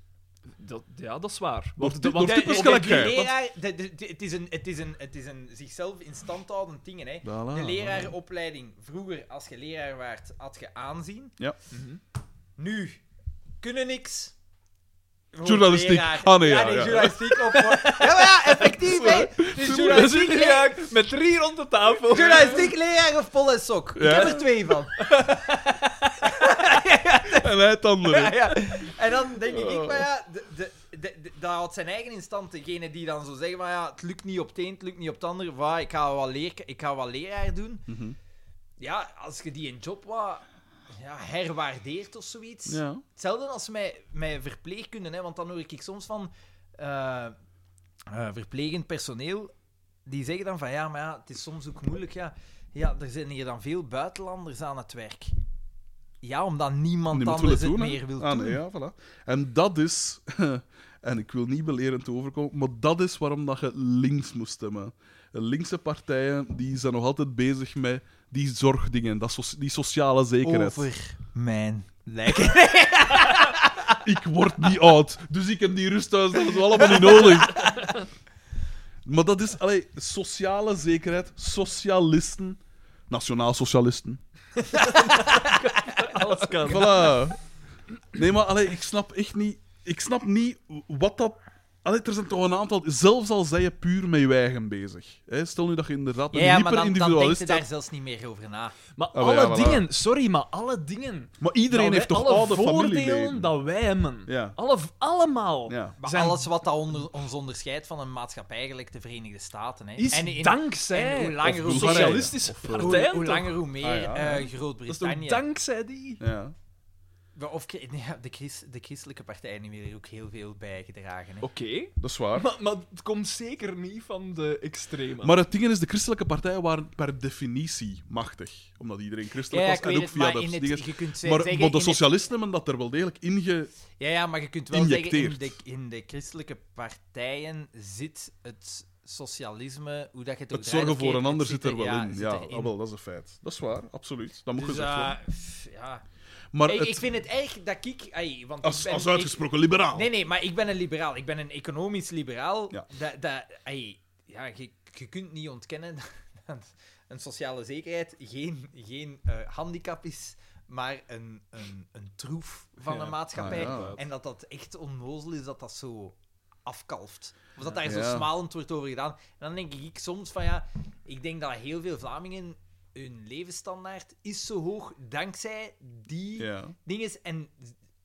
Speaker 3: Dat, ja, dat is waar.
Speaker 2: Door
Speaker 3: Want,
Speaker 2: ty-
Speaker 3: want-
Speaker 2: door
Speaker 3: de-
Speaker 2: typisch
Speaker 3: de-
Speaker 4: de-
Speaker 2: gelijk
Speaker 4: de
Speaker 2: jij, dat-
Speaker 4: leraar- de- de- de- Het is een- het is een- het is een zichzelf in stand houdend ding. Hè.
Speaker 2: Voilà,
Speaker 4: De
Speaker 2: voilà.
Speaker 4: lerarenopleiding, vroeger als je leraar waart, had je aanzien.
Speaker 2: Ja.
Speaker 3: Mhm.
Speaker 4: Nu kunnen niks. Wordt
Speaker 2: Journalistiek.
Speaker 4: leraar-
Speaker 2: Ah, nee, ja, ja.
Speaker 4: journalistiek op. Ja, maar ja, effectief, hè? Dus
Speaker 3: Dan zit
Speaker 4: journalistiek,
Speaker 3: je
Speaker 4: le-
Speaker 3: eigenlijk met drie rond de tafel.
Speaker 4: journalistiek leraar of pol en sok.
Speaker 2: Ja.
Speaker 4: Ik heb er twee van.
Speaker 2: En hij het andere.
Speaker 4: Ja, ja. En dan denk ik, ik maar ja,
Speaker 2: Oh.
Speaker 4: de, de, de, de- dat houdt zijn eigen instant. Degene die dan zo zeggen, maar ja, het lukt niet op het een, het lukt niet op het ander. Waar, ik, ga wel leer, ik ga wel leraar doen.
Speaker 2: Mhm.
Speaker 4: Ja, als je die een job wat ja, herwaardeert of zoiets.
Speaker 2: Ja.
Speaker 4: Hetzelfde als mij, mij verpleegkunde, hè, want dan hoor ik soms van eh, eh, verplegend personeel die zeggen dan van ja, maar ja, het is soms ook moeilijk. Ja, ja er zijn hier dan veel buitenlanders aan het werk. Ja, omdat niemand,
Speaker 2: Niemand wil
Speaker 4: anders
Speaker 2: het
Speaker 4: het,
Speaker 2: doen, hè?
Speaker 4: meer wil
Speaker 2: Ah,
Speaker 4: doen.
Speaker 2: nee, ja, voilà. En dat is, en ik wil niet belerend overkomen, maar dat is waarom dat je links moest stemmen. Linkse partijen die zijn nog altijd bezig met die zorgdingen, dat soci- die sociale zekerheid.
Speaker 4: Over mijn lijk.
Speaker 2: Ik word niet oud, dus ik heb die rusthuis, dat is allemaal niet nodig. Maar dat is allee, sociale zekerheid, socialisten, nationaal-socialisten.
Speaker 7: Alles kan.
Speaker 2: Voilà. Nee, maar allee, ik snap echt niet... Ik snap niet wat dat... Allee, er zijn toch een aantal... Zelfs al zij je puur met je eigen bezig. Hè, stel nu dat je inderdaad een
Speaker 4: Ja, ja, maar dan, dan denk
Speaker 2: hyperindividualist
Speaker 4: je
Speaker 2: bent.
Speaker 4: daar zelfs niet meer over na.
Speaker 7: Maar
Speaker 2: maar
Speaker 7: alle
Speaker 2: Ah, ja, voilà.
Speaker 7: dingen, sorry, maar alle dingen.
Speaker 2: Maar iedereen
Speaker 4: Nou,
Speaker 7: dat
Speaker 3: Nou,
Speaker 2: heeft
Speaker 7: wij-
Speaker 2: toch
Speaker 7: alle
Speaker 2: oude
Speaker 7: voordelen
Speaker 2: familieleden?
Speaker 7: dat wij hebben.
Speaker 2: Ja.
Speaker 7: Alle, allemaal.
Speaker 2: ja.
Speaker 4: Maar
Speaker 7: Zijn-
Speaker 4: alles wat dat onder, ons onderscheidt van een maatschappij gelijk de Verenigde Staten. Hè.
Speaker 7: Is
Speaker 4: en in-
Speaker 7: dankzij
Speaker 4: en hoe langer, hoe
Speaker 2: Bulgarije.
Speaker 7: socialistische
Speaker 2: Of, eh,
Speaker 7: partijen.
Speaker 4: hoe, hoe
Speaker 7: toch?
Speaker 4: langer hoe meer
Speaker 2: Ah, ja,
Speaker 4: eh,
Speaker 7: Dat is toch
Speaker 4: Groot-Brittannië.
Speaker 7: dankzij die?
Speaker 2: ja.
Speaker 4: Ja, Of nee, ja, de, chris, de christelijke partijen hebben hier ook heel veel bijgedragen. Hè.
Speaker 7: Oké.
Speaker 2: Dat is waar.
Speaker 7: Maar, maar het komt zeker niet van de extreme.
Speaker 2: Maar het ding is, de christelijke partijen waren per definitie machtig. Omdat iedereen
Speaker 4: Ja,
Speaker 2: christelijk
Speaker 4: ja,
Speaker 2: was
Speaker 4: ik weet
Speaker 2: en ook
Speaker 4: het,
Speaker 2: via
Speaker 4: maar
Speaker 2: dat
Speaker 4: in
Speaker 2: ding
Speaker 4: het,
Speaker 2: is-
Speaker 4: je kunt ze-
Speaker 2: Maar,
Speaker 4: zeggen...
Speaker 2: maar de
Speaker 4: in het-
Speaker 2: socialisten hebben dat er wel degelijk inge...
Speaker 4: ja, ja, maar je kunt wel
Speaker 2: injecteert.
Speaker 4: zeggen, in de, in de christelijke partijen zit het socialisme, hoe dat je het ook
Speaker 2: Het
Speaker 4: draait
Speaker 2: zorgen voor
Speaker 4: of keert,
Speaker 2: een ander
Speaker 4: het
Speaker 2: zit er wel
Speaker 4: ja,
Speaker 2: in.
Speaker 4: zit
Speaker 2: Ja,
Speaker 4: erin.
Speaker 2: ah, wel, dat is een feit. Dat is waar, absoluut. Dat moet
Speaker 4: Dus,
Speaker 2: gezegd worden.
Speaker 4: eh, pff, ja.
Speaker 2: Maar
Speaker 4: ik,
Speaker 2: het-
Speaker 4: ik vind het erg dat ik... ai, want ik
Speaker 2: als,
Speaker 4: ben-
Speaker 2: als
Speaker 4: ik-
Speaker 2: uitgesproken liberaal.
Speaker 4: Nee, nee, maar ik ben een liberaal. Ik ben een economisch liberaal.
Speaker 2: Ja.
Speaker 4: Dat, dat, ai, ja, je, je kunt niet ontkennen dat een sociale zekerheid geen, geen eh, handicap is, maar een, een, een troef van
Speaker 2: Ja.
Speaker 4: een maatschappij.
Speaker 2: Ah, ja.
Speaker 4: En dat dat echt onnozel is dat dat zo afkalft. Of dat daar
Speaker 2: Ja.
Speaker 4: zo smalend wordt over gedaan. En dan denk ik soms van ja, ik denk dat heel veel Vlamingen hun levensstandaard is zo hoog dankzij die
Speaker 2: Ja.
Speaker 4: ding is, en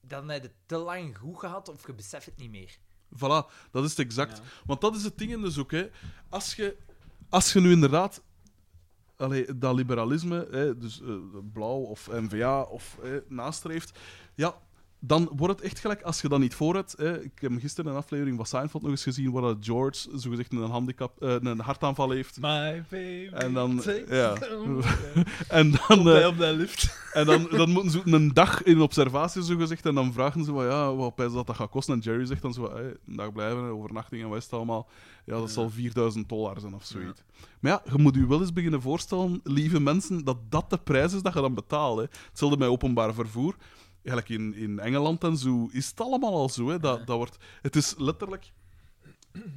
Speaker 4: dan heb je het te lang goed gehad of je beseft het niet meer.
Speaker 2: Voilà, dat is het exact. Want dat is het ding dus ook. Hè. Als, je, als je nu inderdaad allee, dat liberalisme, hè, dus eh, blauw of NVA of eh, nastreeft, ja, dan wordt het echt gelijk als je dat niet voor hebt. Hè. Ik heb gisteren een aflevering van Seinfeld nog eens gezien waar dat George zogezegd een, handicap, eh, een hartaanval heeft.
Speaker 7: My baby.
Speaker 2: En dan-
Speaker 7: takes
Speaker 2: ja.
Speaker 7: them.
Speaker 2: En dan, eh,
Speaker 7: Bij op dat lift.
Speaker 2: En dan, dan moeten ze een dag in observatie, zo gezegd. En dan vragen ze van ja, wat pijs dat dat gaat kosten. En Jerry zegt dan zo, "Hey, een dag blijven, een overnachting en wat is het allemaal. Ja, dat zal 4000 dollar zijn of zoiets. Maar ja, je moet je wel eens beginnen voorstellen, lieve mensen, dat dat de prijs is dat je dan betaalt. Hè. Hetzelfde met openbaar vervoer. Eigenlijk in, in Engeland en zo is het allemaal al zo. Hè. Dat, dat wordt, het is letterlijk.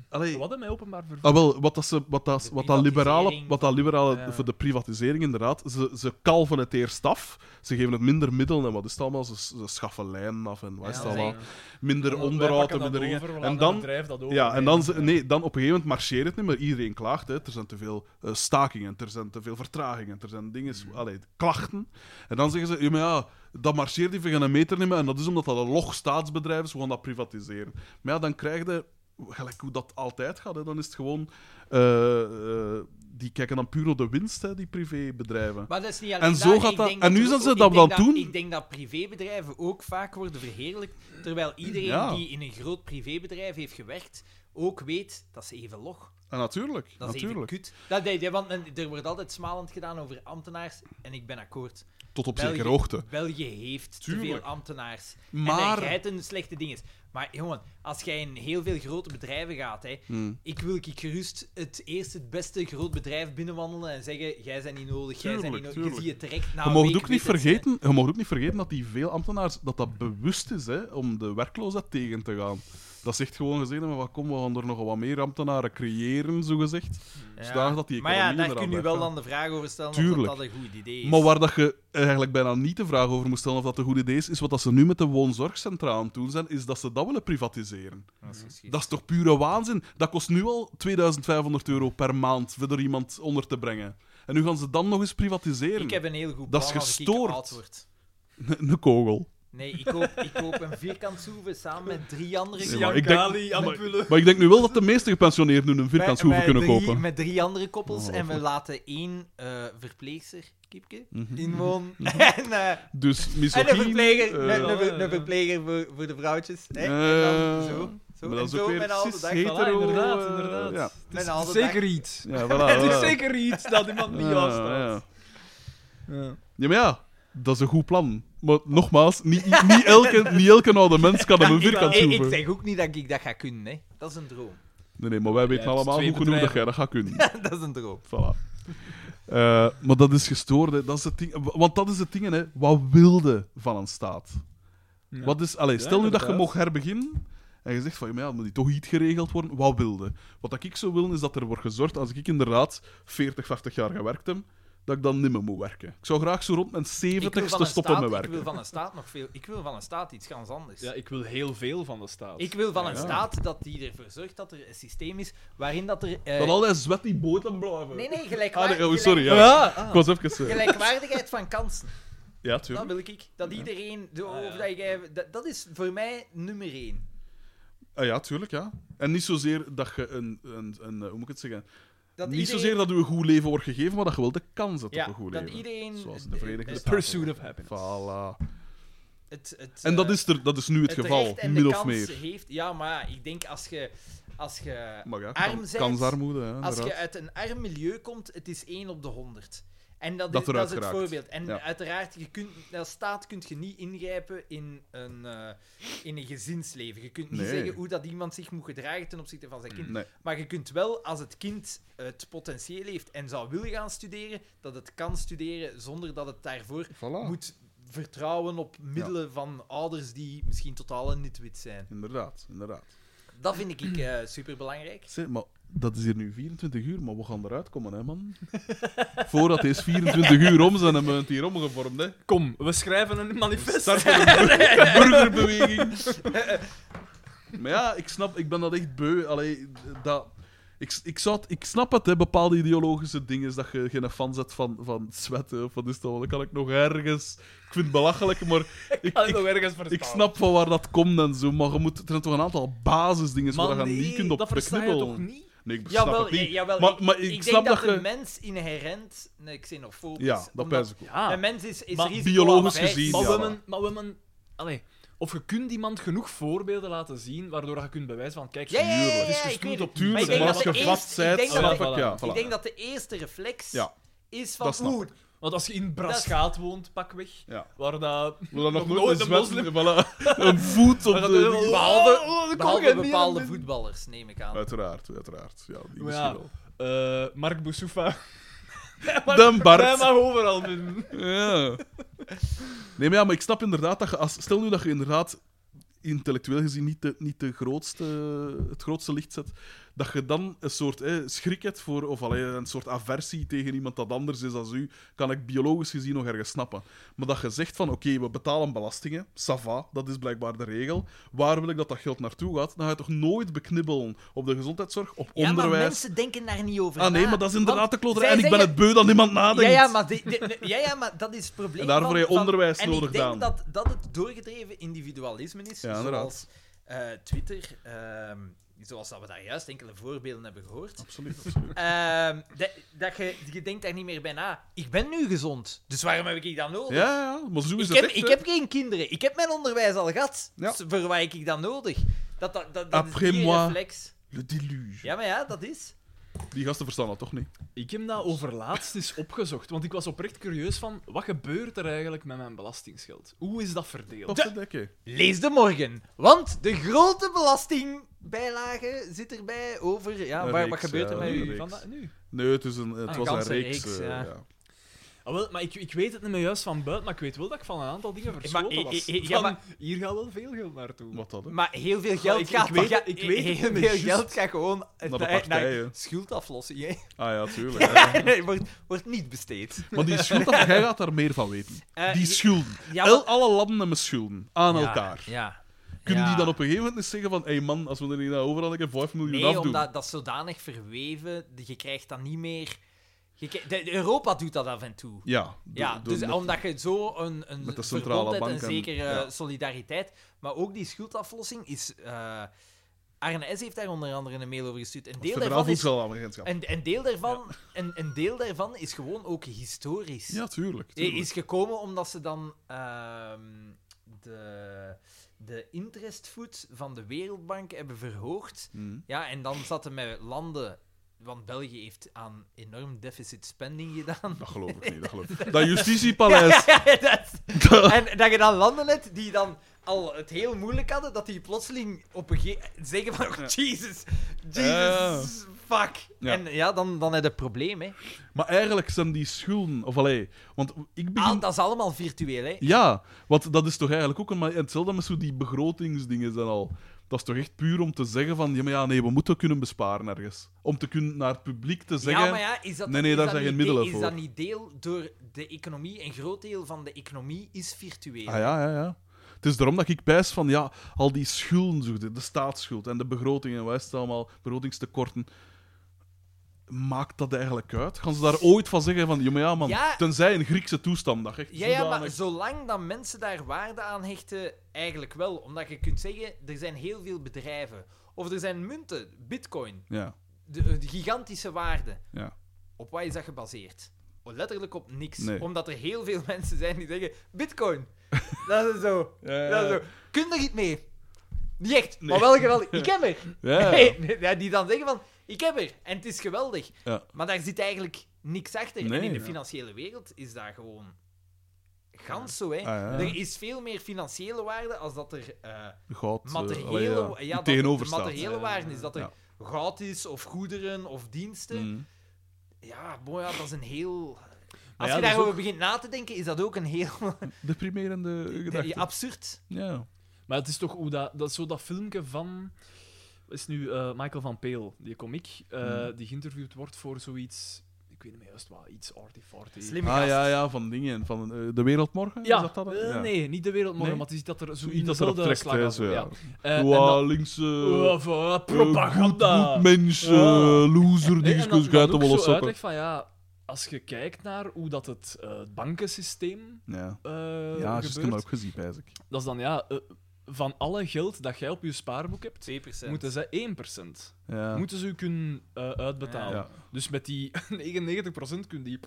Speaker 2: Allee,
Speaker 7: Wat mij openbaar vervoer.
Speaker 2: Ah, wel, wat, dat ze, wat, dat, wat, dat liberale,
Speaker 4: privatisering.
Speaker 2: wat dat liberale
Speaker 7: Ja.
Speaker 2: voor de privatisering inderdaad, ze, ze kalven het eerst af. Ze geven het minder middelen en wat is het allemaal? Ze, ze schaffen lijnen af en wat is het
Speaker 4: Ja,
Speaker 2: allemaal?
Speaker 7: zeker.
Speaker 2: Minder onderhoud en minder dingen. En dan, ja, en dan, ze- nee, dan op een gegeven moment marcheert het niet meer. Iedereen klaagt. Hè. Er zijn te veel eh, stakingen, er zijn te veel vertragingen, er zijn dingen,
Speaker 4: Mm.
Speaker 2: allee, klachten. En dan zeggen ze, ja, maar ja, dat marcheert even geen meter niet meer. En dat is omdat dat een log staatsbedrijf is, we gaan dat privatiseren. Maar ja, dan krijg je, gelijk hoe dat altijd gaat, hè, dan is het gewoon... eh, eh, die kijken dan puur naar de winst, hè, die privébedrijven.
Speaker 4: Maar dat is niet
Speaker 2: En
Speaker 4: alleen
Speaker 2: zo
Speaker 4: daar.
Speaker 2: gaat
Speaker 4: Ik
Speaker 2: dat-
Speaker 4: denk
Speaker 2: en nu
Speaker 4: er
Speaker 2: zijn ze
Speaker 4: ook-
Speaker 2: dat
Speaker 4: ik denk
Speaker 2: wel doen.
Speaker 4: Ik denk dat privébedrijven ook vaak worden verheerlijkt, terwijl iedereen
Speaker 2: Ja.
Speaker 4: die in een groot privébedrijf heeft gewerkt, ook weet dat ze even log.
Speaker 2: Ah, natuurlijk,
Speaker 4: Dat is
Speaker 2: natuurlijk.
Speaker 4: even kut. Dat, dat, dat- want men- er wordt altijd smalend gedaan over ambtenaars, en ik ben akkoord.
Speaker 2: Tot op
Speaker 4: België-
Speaker 2: zekere hoogte.
Speaker 4: België heeft te
Speaker 2: Tuurlijk.
Speaker 4: veel ambtenaars.
Speaker 2: Maar-
Speaker 4: En jij een slechte ding is. Maar jongen, als jij in heel veel grote bedrijven gaat, hè,
Speaker 2: Hmm.
Speaker 4: ik wil ik gerust het eerste, het beste groot bedrijf binnenwandelen en zeggen: jij bent niet nodig, jij bent
Speaker 2: Tuurlijk,
Speaker 4: niet nodig. Je
Speaker 2: tuurlijk.
Speaker 4: ziet het direct na
Speaker 2: Je
Speaker 4: een
Speaker 2: mag,
Speaker 4: week
Speaker 2: ook niet
Speaker 4: weten.
Speaker 2: vergeten, je mag ook niet vergeten dat die veel ambtenaars dat dat bewust is hè, om de werkloosheid tegen te gaan. Dat zegt gewoon gezegd, maar wat kom, we gaan er nog wat meer ambtenaren creëren, zo gezegd.
Speaker 4: Ja.
Speaker 2: Zodanig dat Dus die
Speaker 4: Maar ja,
Speaker 2: economie
Speaker 4: daar
Speaker 2: eraan
Speaker 4: kun je
Speaker 2: blijft
Speaker 4: wel
Speaker 2: gaan.
Speaker 4: dan de vraag over stellen
Speaker 2: Tuurlijk.
Speaker 4: of dat, dat een goed idee is.
Speaker 2: Maar waar dat je eigenlijk bijna niet de vraag over moet stellen of dat een goed idee is, is wat dat ze nu met de woonzorgcentra aan het doen zijn, is dat ze dat willen privatiseren.
Speaker 4: Dat is misschien-
Speaker 2: Dat is toch pure waanzin? Dat kost nu al 2500 euro per maand voor er iemand onder te brengen. En nu gaan ze dan nog eens privatiseren.
Speaker 4: ik heb een heel goed
Speaker 2: Dat
Speaker 4: plan
Speaker 2: is
Speaker 4: als ik
Speaker 2: gestoord.
Speaker 4: oud word.
Speaker 2: Een kogel.
Speaker 4: Nee, ik koop, ik koop een vierkant soeve samen met drie andere
Speaker 2: Nee, maar ik denk-
Speaker 7: Kali, ampullen.
Speaker 2: Maar ik denk nu wel dat de meeste gepensioneerden nu een vierkant
Speaker 4: Met-
Speaker 2: hoeven
Speaker 4: met
Speaker 2: kunnen
Speaker 4: drie-
Speaker 2: kopen. Oh,
Speaker 4: Met drie andere koppels en we
Speaker 2: Ongelooflijk.
Speaker 4: laten één eh verpleegster, Kiepke,
Speaker 2: Mhm.
Speaker 4: inwonen. en, eh,
Speaker 2: Dus
Speaker 4: en een
Speaker 2: misogyne...
Speaker 4: verpleger,
Speaker 2: eh,
Speaker 4: een, een ver- een verpleger voor, voor de vrouwtjes. Hè? en dan
Speaker 2: eh,
Speaker 4: zo.
Speaker 2: Maar dat
Speaker 4: en
Speaker 2: is ook weer
Speaker 4: met al de
Speaker 2: cis
Speaker 4: dag-
Speaker 2: hetero...
Speaker 3: Voilà, inderdaad,
Speaker 2: eh,
Speaker 3: inderdaad.
Speaker 2: Ja,
Speaker 4: met al de dag-
Speaker 3: Zeker iets.
Speaker 2: ja voilà.
Speaker 3: Het is
Speaker 2: voilà.
Speaker 3: zeker iets dat iemand niet
Speaker 2: Ja,
Speaker 3: afstaat. Ja.
Speaker 2: Ja, maar ja, dat is een goed plan. Maar nogmaals, niet, niet, elke, niet elke oude mens kan hem een
Speaker 4: Ik,
Speaker 2: vierkant
Speaker 4: ik, ik
Speaker 2: hoeven.
Speaker 4: zeg ook niet dat ik dat ga kunnen, hè. Dat is een droom.
Speaker 2: Nee, nee, maar wij
Speaker 3: Jij
Speaker 2: weten
Speaker 3: hebt
Speaker 2: allemaal
Speaker 3: twee
Speaker 2: hoe genoeg dat
Speaker 3: bedrijven.
Speaker 2: jij dat gaat kunnen.
Speaker 4: dat is een droom.
Speaker 2: Voilà. Eh, maar dat is gestoord, hè. Dat is het ding. Want dat is het ding, hè. Wat wilde van een staat?
Speaker 3: Ja.
Speaker 2: Wat is, allee,
Speaker 3: Ja,
Speaker 2: stel nu dat je
Speaker 3: inderdaad.
Speaker 2: mocht herbeginnen en je zegt van, ja, maar ja, moet die toch iets geregeld worden? Wat wilde? Wat dat ik zou willen, is dat er wordt gezorgd, als ik inderdaad 40, 50 jaar gewerkt heb, dat ik dan nimmer moet werken. Ik zou graag zo rond mijn
Speaker 4: Ik wil,
Speaker 2: 70ste
Speaker 4: van een
Speaker 2: stoppen met
Speaker 4: staat, ik
Speaker 2: werken.
Speaker 4: wil van een staat nog veel... Ik wil van een staat iets ganz anders.
Speaker 3: ja, ik wil heel veel van de staat.
Speaker 4: Ik wil van een
Speaker 2: Ja.
Speaker 4: staat dat die ervoor zorgt dat er een systeem is waarin dat er... eh,
Speaker 2: Dat al die zwet die boten blijven.
Speaker 4: Nee, nee,
Speaker 2: Ah,
Speaker 4: gelijkwaardig,
Speaker 2: nee, oh, sorry, ja. Ik was even... eh,
Speaker 4: gelijkwaardigheid van kansen.
Speaker 2: ja,
Speaker 4: Dat
Speaker 2: tuurlijk.
Speaker 4: wil ik. Dat iedereen... de-
Speaker 3: Ah, ja.
Speaker 4: of dat, jij, dat, dat is voor mij nummer één.
Speaker 2: Ah, ja, tuurlijk, ja. En niet zozeer dat je een... een, een eh, hoe moet ik het zeggen?
Speaker 4: Dat
Speaker 2: niet
Speaker 4: iedereen-
Speaker 2: zozeer dat u een goed leven wordt gegeven, maar dat je wel de kans hebt
Speaker 4: Ja,
Speaker 2: op een goed
Speaker 4: dat
Speaker 2: leven.
Speaker 4: iedereen-
Speaker 2: Zoals in de Verenigde
Speaker 4: The
Speaker 2: Staten.
Speaker 3: Pursuit of happiness.
Speaker 2: Voilà.
Speaker 4: het, het,
Speaker 2: En dat
Speaker 4: eh,
Speaker 2: is, er, dat is nu het, geval,
Speaker 4: recht en de
Speaker 2: min of
Speaker 4: kans
Speaker 2: meer.
Speaker 4: Heeft, ja, maar ja, ik denk als je... Als je
Speaker 2: Maar ja,
Speaker 4: arm
Speaker 2: kan-
Speaker 4: zijt,
Speaker 2: kansarmoede, ja,
Speaker 4: Als je
Speaker 2: inderdaad.
Speaker 4: uit een arm milieu komt, het is 1 op de 100. En dat,
Speaker 2: Dat
Speaker 4: is,
Speaker 2: eruit
Speaker 4: dat is het
Speaker 2: geraakt.
Speaker 4: voorbeeld. En
Speaker 2: Ja.
Speaker 4: uiteraard, je kunt, als staat kun je niet ingrijpen in een, eh, in een gezinsleven. Je kunt niet
Speaker 2: Nee.
Speaker 4: zeggen hoe dat iemand zich moet gedragen ten opzichte van zijn kind.
Speaker 2: Nee.
Speaker 4: Maar je kunt wel, als het kind het potentieel heeft en zou willen gaan studeren, dat het kan studeren zonder dat het daarvoor
Speaker 2: Ah.
Speaker 4: moet vertrouwen op middelen van ouders die misschien totaal een nitwit zijn.
Speaker 2: Inderdaad, inderdaad.
Speaker 4: Dat vind ik eh superbelangrijk.
Speaker 2: Zeg, maar dat is hier nu 24 uur, maar we gaan eruit komen, hè, man. Voordat deze 24 uur om zijn, hebben we het hier omgevormd, hè.
Speaker 3: Kom, we schrijven een manifest.
Speaker 2: Start van een bur- burgerbeweging. maar ja, ik snap, ik ben dat echt beu. Allee, dat... Ik, ik, zou het- ik snap het, hè, bepaalde ideologische dingen. Is dat je geen fan zet van, van zwetten of wat is dat? wel, Dat kan ik nog ergens. Ik vind het belachelijk, maar ik, ik,
Speaker 3: ergens
Speaker 2: ik snap van waar dat komt en zo. Maar je moet, er zijn toch een aantal basisdingen waar dus je niet kunt op
Speaker 3: dat versta je
Speaker 2: beknibbelen.
Speaker 3: toch niet?
Speaker 2: Nee, ik snap
Speaker 4: Jawel,
Speaker 2: het niet.
Speaker 4: ja, jawel.
Speaker 2: maar,
Speaker 4: ik,
Speaker 2: maar
Speaker 4: ik
Speaker 2: ik,
Speaker 4: denk
Speaker 2: snap
Speaker 4: dat,
Speaker 2: dat,
Speaker 4: de
Speaker 2: je...
Speaker 4: mens inherent een xenofoob is.
Speaker 2: Ja, dat
Speaker 4: omdat-
Speaker 2: pijs ik ook.
Speaker 3: Ja.
Speaker 4: Een mens is, is
Speaker 3: Maar
Speaker 4: risico
Speaker 2: biologisch
Speaker 4: aan
Speaker 2: gezien,
Speaker 3: Maar
Speaker 2: Ja.
Speaker 3: we hebben... Maar we hebben allee, of je kunt iemand genoeg voorbeelden laten zien, waardoor je kunt bewijzen van, kijk,
Speaker 4: Ja, ja, ja, ja,
Speaker 3: het is
Speaker 4: ja, ik weet
Speaker 3: gestoeld
Speaker 4: het.
Speaker 3: op
Speaker 4: Maar ik
Speaker 2: Tuurlijk,
Speaker 4: denk
Speaker 2: maar
Speaker 4: dat
Speaker 2: als je
Speaker 4: de
Speaker 2: vast
Speaker 4: eerste- ik
Speaker 2: zijt,
Speaker 4: denk dat
Speaker 2: snap
Speaker 3: de-
Speaker 2: ik, ja. Voilà.
Speaker 4: Ik denk dat de eerste reflex
Speaker 2: Ja.
Speaker 4: is
Speaker 2: Dat
Speaker 4: van
Speaker 2: snap
Speaker 4: oeh,
Speaker 3: Want als je in Braschaat woont, pakweg,
Speaker 2: Ja.
Speaker 3: waar dat...
Speaker 2: Wil dat nog
Speaker 3: Nog
Speaker 2: nooit
Speaker 3: nooit
Speaker 2: een
Speaker 3: een
Speaker 2: zwet- voilà, een voet op
Speaker 3: waar dat
Speaker 2: de...
Speaker 3: helemaal-
Speaker 4: Behalve-
Speaker 3: Oh, oh, dat kon
Speaker 4: behalve
Speaker 3: jij niet
Speaker 4: bepaalde
Speaker 3: aan doen.
Speaker 4: voetballers, neem ik
Speaker 2: Eh,
Speaker 4: aan.
Speaker 2: Uiteraard, uiteraard. Ja,
Speaker 3: Maar
Speaker 2: die misschien
Speaker 3: ja,
Speaker 2: wel.
Speaker 3: eh, Mark Boussoufa.
Speaker 2: Dan Bart.
Speaker 3: Hij mag overal binnen.
Speaker 2: Ja. Nee, maar, ja, maar ik snap inderdaad dat je... Als, stel nu dat je inderdaad intellectueel gezien niet, de, niet de grootste, het grootste licht zet, dat je dan een soort hè, schrik hebt voor... Of allee, een soort aversie tegen iemand dat anders is dan u, kan ik biologisch gezien nog ergens snappen. Maar dat je zegt van, oké, we betalen belastingen, sava, dat is blijkbaar de regel. Waar wil ik dat dat geld naartoe gaat? Dan ga je toch nooit beknibbelen op de gezondheidszorg, op
Speaker 4: Ja, maar
Speaker 2: onderwijs...
Speaker 4: mensen denken daar niet over
Speaker 2: Ah nee,
Speaker 4: na.
Speaker 2: maar dat is inderdaad
Speaker 4: Want
Speaker 2: de kloterij. En
Speaker 4: zij
Speaker 2: ik ben
Speaker 4: zeggen-
Speaker 2: het beu dat niemand nadenkt.
Speaker 4: Ja, ja, maar die- die- nee, ja, ja, maar dat is het probleem.
Speaker 2: En daarvoor
Speaker 4: van-
Speaker 2: heb je
Speaker 4: van-
Speaker 2: onderwijs
Speaker 4: en
Speaker 2: nodig,
Speaker 4: ik denk
Speaker 2: Daan.
Speaker 4: dat, dat het doorgedreven individualisme is,
Speaker 2: Ja, inderdaad.
Speaker 4: zoals eh, Twitter, ehm, zoals dat we daar juist enkele voorbeelden hebben gehoord.
Speaker 2: Absoluut, absoluut.
Speaker 4: Ehm, dat, dat je, je denkt daar niet meer bij na. Ik ben nu gezond, dus waarom heb ik dat nodig?
Speaker 2: Ja, ja, maar zo is
Speaker 4: ik,
Speaker 2: het
Speaker 4: heb,
Speaker 2: echt,
Speaker 4: ik
Speaker 2: hè.
Speaker 4: heb geen kinderen, ik heb mijn onderwijs al gehad.
Speaker 2: Ja.
Speaker 4: Dus voor wat heb ik dat nodig? Dat, dat, dat, dat
Speaker 2: Après
Speaker 4: is die
Speaker 2: moi.
Speaker 4: reflex.
Speaker 2: Le deluge.
Speaker 4: Ja, maar ja, dat is.
Speaker 2: Die gasten verstaan dat toch niet?
Speaker 3: Ik heb dat overlaatst eens opgezocht, want ik was oprecht curieus van, wat gebeurt er eigenlijk met mijn belastingsgeld? Hoe is dat verdeeld?
Speaker 2: Potverdikke.
Speaker 4: Lees de morgen, want de grote belastingbijlage zit erbij over... Ja,
Speaker 2: Een
Speaker 4: waar,
Speaker 2: reeks,
Speaker 4: wat gebeurt er
Speaker 2: ja,
Speaker 4: met
Speaker 2: een
Speaker 4: u?
Speaker 2: reeks.
Speaker 3: Vandaag, nu.
Speaker 2: Nee, het, is een, het
Speaker 4: Een
Speaker 2: was een
Speaker 4: ganse
Speaker 2: reeks.
Speaker 4: reeks,
Speaker 2: eh,
Speaker 4: ja.
Speaker 2: ja.
Speaker 3: Ah, wel, maar ik, ik weet het niet meer juist van buiten, maar ik weet wel dat ik van een aantal dingen verschoten
Speaker 4: eh,
Speaker 3: was.
Speaker 4: eh, eh, ja,
Speaker 3: Van,
Speaker 4: maar-
Speaker 3: hier gaat wel veel geld naartoe.
Speaker 2: Wat dat, hè?
Speaker 4: Maar heel veel geld
Speaker 3: ik- ik
Speaker 4: gaat...
Speaker 3: weet-
Speaker 4: ja,
Speaker 3: ik weet het
Speaker 4: heel
Speaker 3: niet,
Speaker 4: veel
Speaker 3: juist.
Speaker 4: geld gaat gewoon
Speaker 2: Naar de partijen.
Speaker 4: schuldaflossing. hè.
Speaker 2: Ah ja, tuurlijk. ja.
Speaker 4: Nee, wordt, wordt niet besteed.
Speaker 2: Maar die schuld, jij gaat daar meer van weten.
Speaker 4: Eh,
Speaker 2: Die
Speaker 4: je-
Speaker 2: schulden.
Speaker 4: Ja,
Speaker 2: El- alle landen hebben schulden aan elkaar.
Speaker 4: Ja.
Speaker 2: Kunnen
Speaker 4: Ja.
Speaker 2: die dan op een gegeven moment eens zeggen van hé hey man, als we er niet aan over hadden, ik heb 5 miljoen
Speaker 4: Nee,
Speaker 2: afdoen?
Speaker 4: omdat dat is zodanig verweven, de- je krijgt dat niet meer... je kri- de- de- Europa doet dat af en toe.
Speaker 2: Ja, do-
Speaker 4: Ja,
Speaker 2: doen
Speaker 4: dus
Speaker 2: met-
Speaker 4: omdat je zo een, een
Speaker 2: met de
Speaker 4: verbond
Speaker 2: centrale
Speaker 4: hebt,
Speaker 2: bank
Speaker 4: een
Speaker 2: en-
Speaker 4: zekere
Speaker 2: ja.
Speaker 4: solidariteit, maar ook die schuldaflossing is... eh Arne S. heeft daar onder andere een mail over gestuurd. Een
Speaker 2: het
Speaker 4: deel
Speaker 2: Federaal
Speaker 4: daarvan is, Eh,
Speaker 2: Voedselagentschap.
Speaker 4: een, een deel daarvan, een, een deel daarvan is gewoon ook historisch. Eh,
Speaker 2: Ja, tuurlijk.
Speaker 4: I-
Speaker 2: tuurlijk.
Speaker 4: Is gekomen omdat ze dan ehm, de de interestvoet van de Wereldbank hebben verhoogd.
Speaker 2: Mhm.
Speaker 4: Ja, en dan zaten met landen... Want België heeft aan enorm deficit spending gedaan.
Speaker 2: Dat geloof ik niet. Dat, geloof ik. dat justitiepaleis.
Speaker 4: Ja, ja, dat is-
Speaker 2: Dat-
Speaker 4: En dat je dan landen hebt die dan al het heel moeilijk hadden, dat die plotseling op een gegeven zeggen van, oh, Jesus, Jesus, fuck.
Speaker 2: Eh. Ja.
Speaker 4: En ja, dan, dan heb je een probleem, hè.
Speaker 2: Maar eigenlijk zijn die schulden. Of allee, want ik begin.
Speaker 4: Al, Ah, dat is allemaal virtueel, hè.
Speaker 2: Ja, want dat is toch eigenlijk ook een manier. Hetzelfde met zo die begrotingsdingen zijn al. Dat is toch echt puur om te zeggen van ja, maar ja, nee, we moeten kunnen besparen ergens. Om te kunnen naar het publiek te zeggen.
Speaker 4: ja, maar ja, is dat,
Speaker 2: nee, nee,
Speaker 4: is
Speaker 2: daar
Speaker 4: dat
Speaker 2: zijn geen
Speaker 4: niet de-
Speaker 2: middelen
Speaker 4: Is
Speaker 2: voor.
Speaker 4: dat niet deel door de economie? Een groot deel van de economie is virtueel.
Speaker 2: Ah ja, ja, ja. Het is daarom dat ik pijs van ja, al die schulden, zo, de, de staatsschuld en de begroting en wat is het allemaal, begrotingstekorten. Maakt dat eigenlijk uit? Gaan ze daar ooit van zeggen van ja, maar ja, man,
Speaker 4: Ja.
Speaker 2: tenzij in Griekse toestand, dat echt
Speaker 4: Ja, ja, maar
Speaker 2: zodanig-
Speaker 4: zolang dat mensen daar waarde aan hechten, eigenlijk wel. Omdat je kunt zeggen, er zijn heel veel bedrijven. Of er zijn munten, bitcoin,
Speaker 2: Ja,
Speaker 4: de, de gigantische waarde.
Speaker 2: ja.
Speaker 4: Op wat is dat gebaseerd? Oh, Letterlijk op niks.
Speaker 2: Nee.
Speaker 4: Omdat er heel veel mensen zijn die zeggen, bitcoin, dat is zo.
Speaker 2: Ja,
Speaker 4: Dat is zo. Kun er iets mee? Niet echt, maar wel geweldig. Ik heb er.
Speaker 2: Ja,
Speaker 4: Nee, nee, ja, die dan zeggen van, ik heb er en het is geweldig.
Speaker 2: Ja.
Speaker 4: Maar daar zit eigenlijk niks achter.
Speaker 2: Nee,
Speaker 4: en in de
Speaker 2: ja.
Speaker 4: financiële wereld is dat gewoon gans zo. Hè.
Speaker 2: Ah, ja.
Speaker 4: Er is veel meer financiële waarde als dat er eh
Speaker 2: Goud, eh,
Speaker 4: materiële,
Speaker 2: allee, ja,
Speaker 4: ja, dat er
Speaker 2: tegenover staat.
Speaker 4: materiële waarde is. Dat er
Speaker 2: Ja.
Speaker 4: goud is, of goederen, of diensten.
Speaker 2: Mm.
Speaker 3: eh,
Speaker 4: Ja, boy, ja, dat is een heel... Als
Speaker 3: ja,
Speaker 4: je
Speaker 3: dat is
Speaker 4: daarover begint na te denken, is dat ook een heel
Speaker 2: Deprimerende gedachte. Ja,
Speaker 4: absurd.
Speaker 2: ja.
Speaker 3: Maar het is toch hoe dat, dat is zo dat filmpje van. wat Is nu eh, Michael van Peel, die komiek, eh, die geïnterviewd wordt voor zoiets. Ik weet niet meer juist wat, iets arty-farty.
Speaker 4: Slim
Speaker 2: Ah, ja, ja, van dingen. Van eh, De Wereld Morgen?
Speaker 3: Ja,
Speaker 2: is dat dat?
Speaker 3: eh,
Speaker 2: Ja.
Speaker 3: nee, niet de wereldmorgen,
Speaker 2: Nee?
Speaker 3: maar het is dat er zo
Speaker 2: Zoiets
Speaker 3: in
Speaker 2: dat erop
Speaker 3: dezelfde
Speaker 2: trekt,
Speaker 3: slag
Speaker 2: hè,
Speaker 3: was.
Speaker 2: zo, ja.
Speaker 3: Eh, en
Speaker 2: Wow,
Speaker 3: dan-
Speaker 2: links... eh,
Speaker 3: Wow, voilà,
Speaker 2: eh,
Speaker 3: propaganda!
Speaker 2: Goed, goed mens, eh,
Speaker 3: Ja.
Speaker 2: loser,
Speaker 3: Nee,
Speaker 2: dinges,
Speaker 3: en dan-
Speaker 2: kus, guiten,
Speaker 3: dan ook
Speaker 2: wollen
Speaker 3: zo
Speaker 2: sokken.
Speaker 3: uitleg van ja, als je kijkt naar hoe dat het eh, het bankensysteem
Speaker 2: Ja,
Speaker 3: eh
Speaker 2: ja juist, ik heb
Speaker 3: gebeurt,
Speaker 2: dat ook gezien, pijs ik.
Speaker 3: dat is dan ja, eh, van alle geld dat jij op je spaarboek hebt,
Speaker 4: 2%.
Speaker 3: moeten zij 1%.
Speaker 2: Ja.
Speaker 3: Moeten ze u kunnen eh,
Speaker 2: ja.
Speaker 3: uitbetalen. Dus met die 99% kunnen die,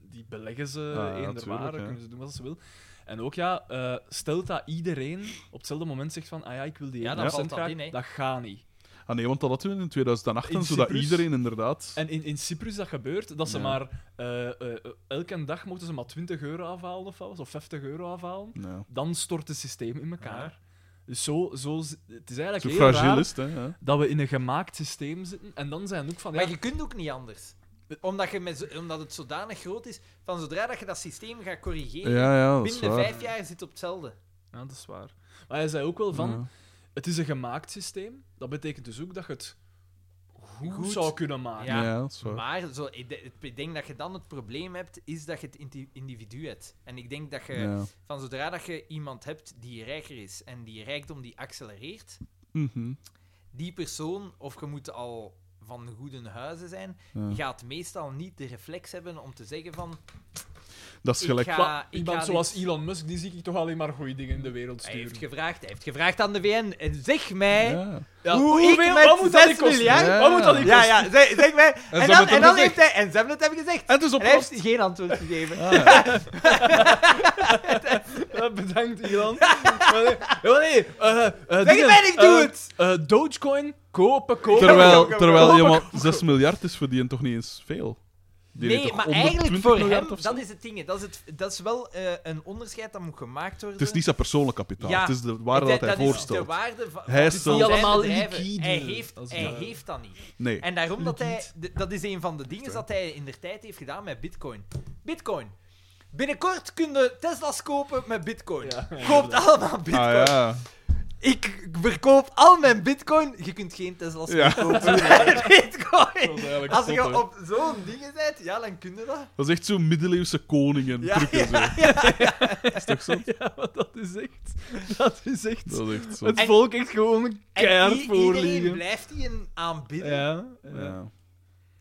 Speaker 3: die beleggen ze
Speaker 2: ja,
Speaker 3: in de
Speaker 2: tuurlijk,
Speaker 3: ware,
Speaker 2: ja.
Speaker 3: kunnen ze doen wat ze wil. En ook ja, eh, stelt dat iedereen op hetzelfde moment zegt van, ah ja, ik wil die
Speaker 4: Ja,
Speaker 3: 1%
Speaker 4: dan valt dat
Speaker 3: graag,
Speaker 4: in, hè.
Speaker 3: dat gaat niet.
Speaker 2: Ah nee, want dat hadden we in 2008,
Speaker 3: In
Speaker 2: zodat
Speaker 3: Cyprus.
Speaker 2: iedereen inderdaad...
Speaker 3: En in, in Cyprus is dat gebeurt, dat ze
Speaker 2: Ja.
Speaker 3: maar eh, eh, eh, elke dag mochten ze maar 20 euro afhalen of wat was, of 50 euro afhalen.
Speaker 2: Ja.
Speaker 3: Dan stort het systeem in elkaar. Dus zo, zo, z- het is eigenlijk
Speaker 2: Zo
Speaker 3: heel
Speaker 2: fragiel
Speaker 3: raar
Speaker 2: is het, hè. ja.
Speaker 3: dat we in een gemaakt systeem zitten. En dan zijn ook van, ja,
Speaker 4: Maar je kunt ook niet anders. Omdat, je met, zo- omdat het zodanig groot is, van zodra dat je dat systeem gaat corrigeren,
Speaker 2: Ja, ja, dat is
Speaker 4: binnen
Speaker 2: waar.
Speaker 4: vijf jaar zit het op hetzelfde.
Speaker 3: ja, dat is waar. Maar hij zei ook wel van,
Speaker 2: Ja.
Speaker 3: het is een gemaakt systeem. Dat betekent dus ook dat je het goed,
Speaker 4: Goed.
Speaker 3: zou kunnen maken.
Speaker 4: Ja.
Speaker 2: Ja, dat is waar.
Speaker 4: Maar zo, ik, de- ik denk dat je dan het probleem hebt, is dat je het indi- individu hebt. En ik denk dat
Speaker 3: eh,
Speaker 4: je,
Speaker 2: Ja.
Speaker 4: van zodra dat je iemand hebt die rijker is en die rijkdom die accelereert,
Speaker 2: Mhm.
Speaker 4: die persoon, of je moet al van goede huizen zijn,
Speaker 2: Ja.
Speaker 4: gaat meestal niet de reflex hebben om te zeggen van...
Speaker 2: Dat is
Speaker 4: Ik
Speaker 2: gelijk...
Speaker 4: ga-
Speaker 3: Maar
Speaker 4: ik
Speaker 3: iemand
Speaker 4: ga
Speaker 3: zoals
Speaker 4: dit-
Speaker 3: Elon Musk, die zie ik toch alleen maar goede dingen in de wereld
Speaker 4: Hij
Speaker 3: sturen.
Speaker 4: heeft gevraagd, hij heeft gevraagd aan de WN, en zeg mij...
Speaker 2: Ja.
Speaker 3: Ja,
Speaker 4: Hoe ik met
Speaker 3: wat moet dat
Speaker 4: 6
Speaker 3: niet kosten?
Speaker 4: miljard-
Speaker 3: Wat moet dat niet
Speaker 4: Ja, ja, zeg, zeg mij. En,
Speaker 2: Dus- hebben
Speaker 4: dan,
Speaker 2: het hem
Speaker 4: en dan
Speaker 2: gezegd.
Speaker 4: heeft hij, en ze hebben het hem gezegd.
Speaker 2: En het is
Speaker 4: En hij heeft
Speaker 2: opgelost.
Speaker 4: geen antwoord gegeven.
Speaker 2: Ah, ja.
Speaker 3: Eh, bedankt, Elon. Maar nee, maar nee, eh, eh,
Speaker 4: Zeg
Speaker 3: dingen,
Speaker 4: het mij, ik
Speaker 3: eh,
Speaker 4: doe het.
Speaker 3: eh, Dogecoin, kopen, kopen.
Speaker 2: Terwijl,
Speaker 3: kopen,
Speaker 2: terwijl
Speaker 3: kopen.
Speaker 2: ja, maar 6 miljard is voor die en toch niet eens veel. Die heeft
Speaker 4: Nee,
Speaker 2: toch
Speaker 4: maar
Speaker 2: 120
Speaker 4: eigenlijk voor
Speaker 2: miljard
Speaker 4: hem,
Speaker 2: of zo?
Speaker 4: dat is het ding. hè. Dat is, het, dat is wel eh, een onderscheid dat moet gemaakt worden.
Speaker 2: Het is niet zijn persoonlijk kapitaal,
Speaker 4: Ja.
Speaker 2: het is de waarde dat, hij
Speaker 4: is
Speaker 2: voorstelt.
Speaker 4: de waarde van,
Speaker 2: Hij
Speaker 4: van
Speaker 2: stelt-
Speaker 4: zijn
Speaker 3: Niet allemaal
Speaker 4: bedrijven.
Speaker 3: liquide.
Speaker 4: Hij, heeft,
Speaker 3: Dat is
Speaker 4: hij
Speaker 3: waar.
Speaker 4: heeft dat niet.
Speaker 2: Nee.
Speaker 4: En daarom dat hij...
Speaker 3: Liquide.
Speaker 4: d- Dat is een van de dingen dat hij in de tijd heeft gedaan met bitcoin. Bitcoin. Binnenkort kunnen Teslas kopen met bitcoin.
Speaker 3: Ja,
Speaker 4: Koopt allemaal bitcoin.
Speaker 2: Ah ja.
Speaker 4: Ik verkoop al mijn bitcoin. Je kunt geen Tesla's
Speaker 2: Ja.
Speaker 4: meer kopen met bitcoin.
Speaker 2: eigenlijk
Speaker 4: Als
Speaker 2: zot, hè.
Speaker 4: je op zo'n dingen bent, ja, dan kun je dat.
Speaker 2: Dat is echt zo'n middeleeuwse koningen
Speaker 4: Ja,
Speaker 2: trucken zo. Is toch zo?
Speaker 3: Ja, maar dat is echt... Dat is echt...
Speaker 2: Dat is echt zo.
Speaker 3: het volk heeft gewoon
Speaker 4: En
Speaker 3: keihard
Speaker 4: i- iedereen
Speaker 3: voorliegen.
Speaker 4: blijft die een aanbidden.
Speaker 3: Ja, ja.
Speaker 2: Ja.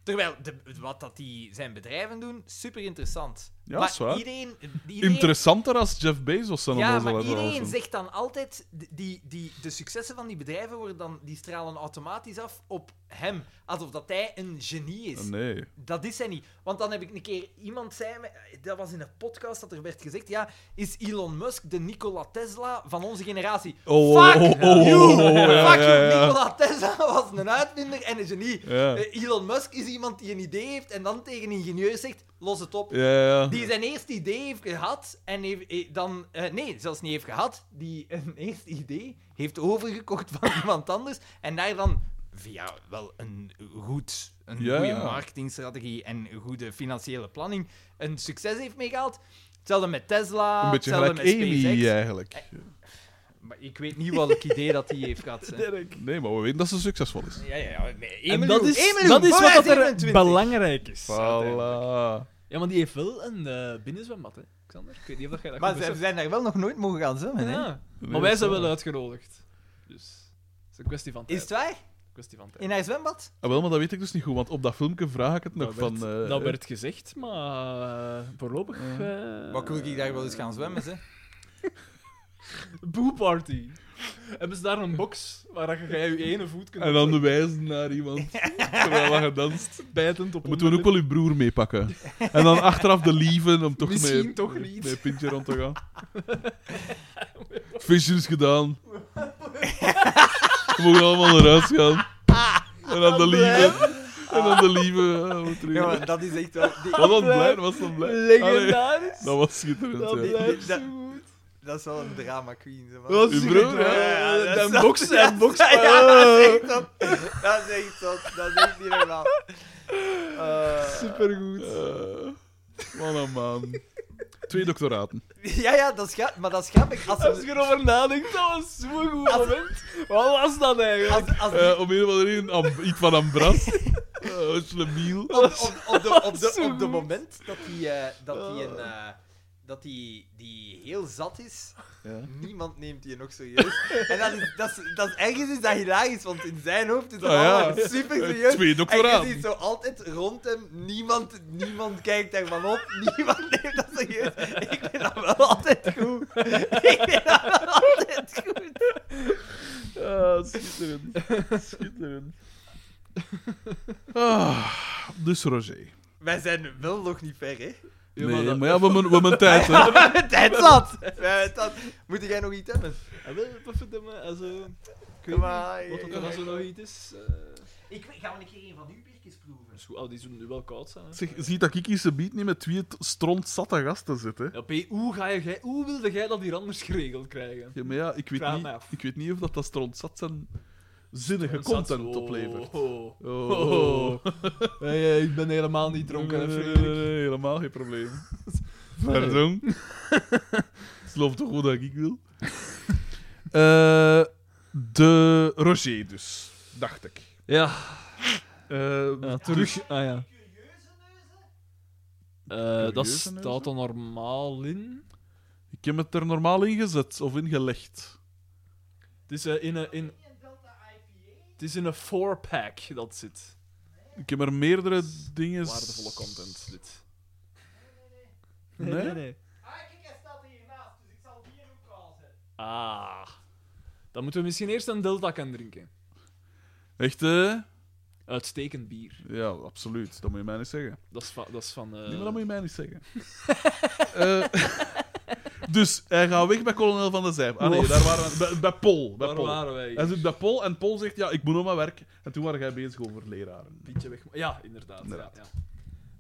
Speaker 4: Terwijl de, wat dat die zijn bedrijven doen, super interessant.
Speaker 2: Ja,
Speaker 4: maar
Speaker 2: dat is waar.
Speaker 4: iedereen... iedereen
Speaker 2: Interessanter als Jeff Bezos en
Speaker 4: ja,
Speaker 2: allemaal zal
Speaker 4: maar
Speaker 2: het wel
Speaker 4: iedereen
Speaker 2: zijn.
Speaker 4: zegt dan altijd... d- Die, die, de successen van die bedrijven worden dan, die stralen automatisch af op hem. Alsof dat hij een genie is.
Speaker 2: Nee.
Speaker 4: Dat is hij niet. Want dan heb ik een keer iemand zei, me- dat was in een podcast dat er werd gezegd, ja, is Elon Musk de Nikola Tesla van onze generatie?
Speaker 2: Oh, oh,
Speaker 4: Fuck
Speaker 2: oh, oh,
Speaker 4: you!
Speaker 2: oh, oh, oh, ja,
Speaker 4: Fuck
Speaker 2: ja,
Speaker 4: you!
Speaker 2: ja.
Speaker 4: Nikola Tesla was een uitvinder en een genie.
Speaker 2: Ja.
Speaker 4: Eh, Elon Musk is iemand die een idee heeft en dan tegen ingenieurs zegt, los het op.
Speaker 2: Ja, ja.
Speaker 4: Die zijn eerste idee heeft gehad en heeft, eh, dan... eh, nee, zelfs niet heeft gehad. Die een eerste idee heeft overgekocht van iemand anders en daar dan via wel een goed... Een
Speaker 2: Ja.
Speaker 4: goede marketingstrategie en een goede financiële planning een succes heeft meegehaald. Hetzelfde met Tesla,
Speaker 2: Een beetje
Speaker 4: hetzelfde
Speaker 2: gelijk
Speaker 4: met SpaceX.
Speaker 2: Amy eigenlijk.
Speaker 4: Maar ik weet niet welk idee dat die heeft gehad. hè.
Speaker 2: Nee, maar we weten dat ze succesvol is.
Speaker 4: Ja, ja, ja. nee,
Speaker 3: En
Speaker 4: Emilio-
Speaker 3: dat is,
Speaker 4: Emilio,
Speaker 3: dat is
Speaker 4: vooruit
Speaker 3: wat er
Speaker 4: 27.
Speaker 3: belangrijk is.
Speaker 2: Voilà.
Speaker 3: Ja, maar die heeft wel een eh binnenzwembad, hè, Xander? Ik weet niet of dat jij dat
Speaker 4: Maar
Speaker 3: goed
Speaker 4: ze
Speaker 3: beseft.
Speaker 4: zijn daar wel nog nooit mogen gaan zwemmen, hè?
Speaker 3: Ja.
Speaker 2: Nee,
Speaker 3: Maar wij zijn
Speaker 2: zo.
Speaker 3: wel uitgenodigd. Dus het is een kwestie van tijd.
Speaker 4: Is het waar?
Speaker 3: kwestie van tijd.
Speaker 4: In haar zwembad?
Speaker 2: Ah, wel, maar dat weet ik dus niet goed, want op dat filmpje vraag ik het nog
Speaker 3: dat Nou, werd,
Speaker 2: van... eh,
Speaker 3: dat werd gezegd, maar eh, voorlopig... eh,
Speaker 4: Wat wil ik daar wel eens gaan zwemmen, hè?
Speaker 3: Boo party. Hebben ze daar een box waar je je ene voet kunt
Speaker 2: En dan wijzen naar iemand terwijl je danst.
Speaker 3: bijtend op
Speaker 2: Dan moeten we ook wel uw broer meepakken. En dan achteraf de lieven om toch
Speaker 3: Misschien
Speaker 2: mee,
Speaker 3: toch niet.
Speaker 2: mee een pintje rond te gaan. Visje is gedaan. We mogen allemaal eruit gaan. En dan de lieven. En dan de lieven. eh, wat terug.
Speaker 4: Ja, maar dat is echt wel... die-
Speaker 2: Was dat blij? Was dat blij? Allee,
Speaker 3: Legendarisch.
Speaker 2: dat was schitterend.
Speaker 3: Dat
Speaker 2: ja.
Speaker 3: blijft
Speaker 4: Dat-
Speaker 3: zo goed.
Speaker 4: Dat is wel een drama queen, zeg maar.
Speaker 3: Dat
Speaker 2: Uw
Speaker 3: is
Speaker 2: broer,
Speaker 3: goed,
Speaker 2: hè?
Speaker 3: hè?
Speaker 4: Ja,
Speaker 3: Dan
Speaker 4: dat-
Speaker 3: boksen, dan boksen.
Speaker 4: Ja, dat is echt top. Dat is echt top. Dat is echt niet normaal. Eh,
Speaker 3: Supergoed.
Speaker 2: Eh, man, oh man. Twee doctoraten.
Speaker 4: ja, ja, dat is grappig. Maar dat is grappig. Als,
Speaker 3: Als
Speaker 4: als,
Speaker 3: je erover nadenkt, dat was zo'n goed moment. Wat was dat eigenlijk?
Speaker 4: als, als
Speaker 2: Eh, om een of andere reden, am- iets van Ambras. Uh, Slemiel.
Speaker 4: op, op, op, de, op,
Speaker 3: Dat is
Speaker 4: de,
Speaker 3: zo
Speaker 4: op de
Speaker 3: goed.
Speaker 4: moment dat hij eh, dat hij een... eh, dat die, die heel zat is. Niemand neemt die nog serieus. En dat is, dat is, dat is, ergens is dat hilarisch, want in zijn hoofd is dat
Speaker 2: Ah, ja.
Speaker 4: allemaal super serieus.
Speaker 2: Twee
Speaker 4: En je
Speaker 2: doctoraten.
Speaker 4: ziet zo altijd rond hem, niemand, niemand kijkt daarvan op, niemand neemt dat serieus. Ik vind dat wel altijd goed. Ik vind dat wel altijd goed.
Speaker 2: Ah, schitterend. Schitterend. Ah, dus Roger.
Speaker 4: Wij zijn wel nog niet ver, hè?
Speaker 2: Nee, maar, ja, we hebben- we hebben tijd, hè.
Speaker 4: We hebben tijd zat. We hebben tijd. Moet jij nog iets hebben?
Speaker 3: En Ah, wel, wat vindt hem, eh, also, ik weet
Speaker 4: Kom maar.
Speaker 3: niet wat dat er
Speaker 4: eh,
Speaker 3: als er nog iets is. eh,
Speaker 4: Ik weet- gaan we een keer een van uw biertjes proeven.
Speaker 3: is goed. Oh, die zullen nu wel koud zijn. hè.
Speaker 2: Zeg, ziet dat Kiki ze biedt niet met twee t- strontzatte gasten zit, hè.
Speaker 3: Ja, P, hoe, ga je, gij- hoe wilde jij dat hier anders geregeld krijgen?
Speaker 2: Ja, maar ja, ik weet,
Speaker 3: Vraag
Speaker 2: niet,
Speaker 3: mij af.
Speaker 2: ik weet niet of dat, dat strontzat zijn zinnige
Speaker 3: Zat-
Speaker 2: content oplevert.
Speaker 3: Oh,
Speaker 2: Oh.
Speaker 3: oh, oh. Hey, hey, ik ben helemaal niet dronken. hè,
Speaker 2: Nee, nee,
Speaker 3: Frederik.
Speaker 2: nee, nee, helemaal geen probleem. Pardon. Sloof toch goed dat ik wil. Eh, de Roger dus, dacht ik.
Speaker 3: Ja,
Speaker 2: Eh,
Speaker 3: ja, terug. Ah ja. Eh, dat
Speaker 2: Curieuze
Speaker 3: staat
Speaker 2: neuzen?
Speaker 3: er normaal in.
Speaker 2: Ik heb het er normaal in gezet of ingelegd.
Speaker 3: Het is eh, in een. In... Het is in een four-pack dat zit.
Speaker 2: Ik heb er meerdere dingen.
Speaker 3: Waardevolle content, dit.
Speaker 2: Nee?
Speaker 4: Ah, kijk, hij staat hiernaast, dus ik zal die hier ook al zetten.
Speaker 3: Ah. Dan moeten we misschien eerst een Delta gaan drinken.
Speaker 2: Echt, hè?
Speaker 3: Uitstekend bier.
Speaker 2: Ja, absoluut. Dat moet je mij niet zeggen.
Speaker 3: Dat is van. Dat is van eh,
Speaker 2: Nee, maar dat moet je mij niet zeggen. Eh, dus hij gaat weg bij kolonel van de Zijp. Ah nee, daar waren we. Bij, bij Pol. Bij
Speaker 3: waar
Speaker 2: Pol.
Speaker 3: waren wij?
Speaker 2: Hij zit bij Pol en Pol zegt, ja, ik moet nog maar werken. En toen waren jij bezig over leraren.
Speaker 3: Pietje weg. Ja, inderdaad.
Speaker 2: Inderdaad.
Speaker 3: Ja,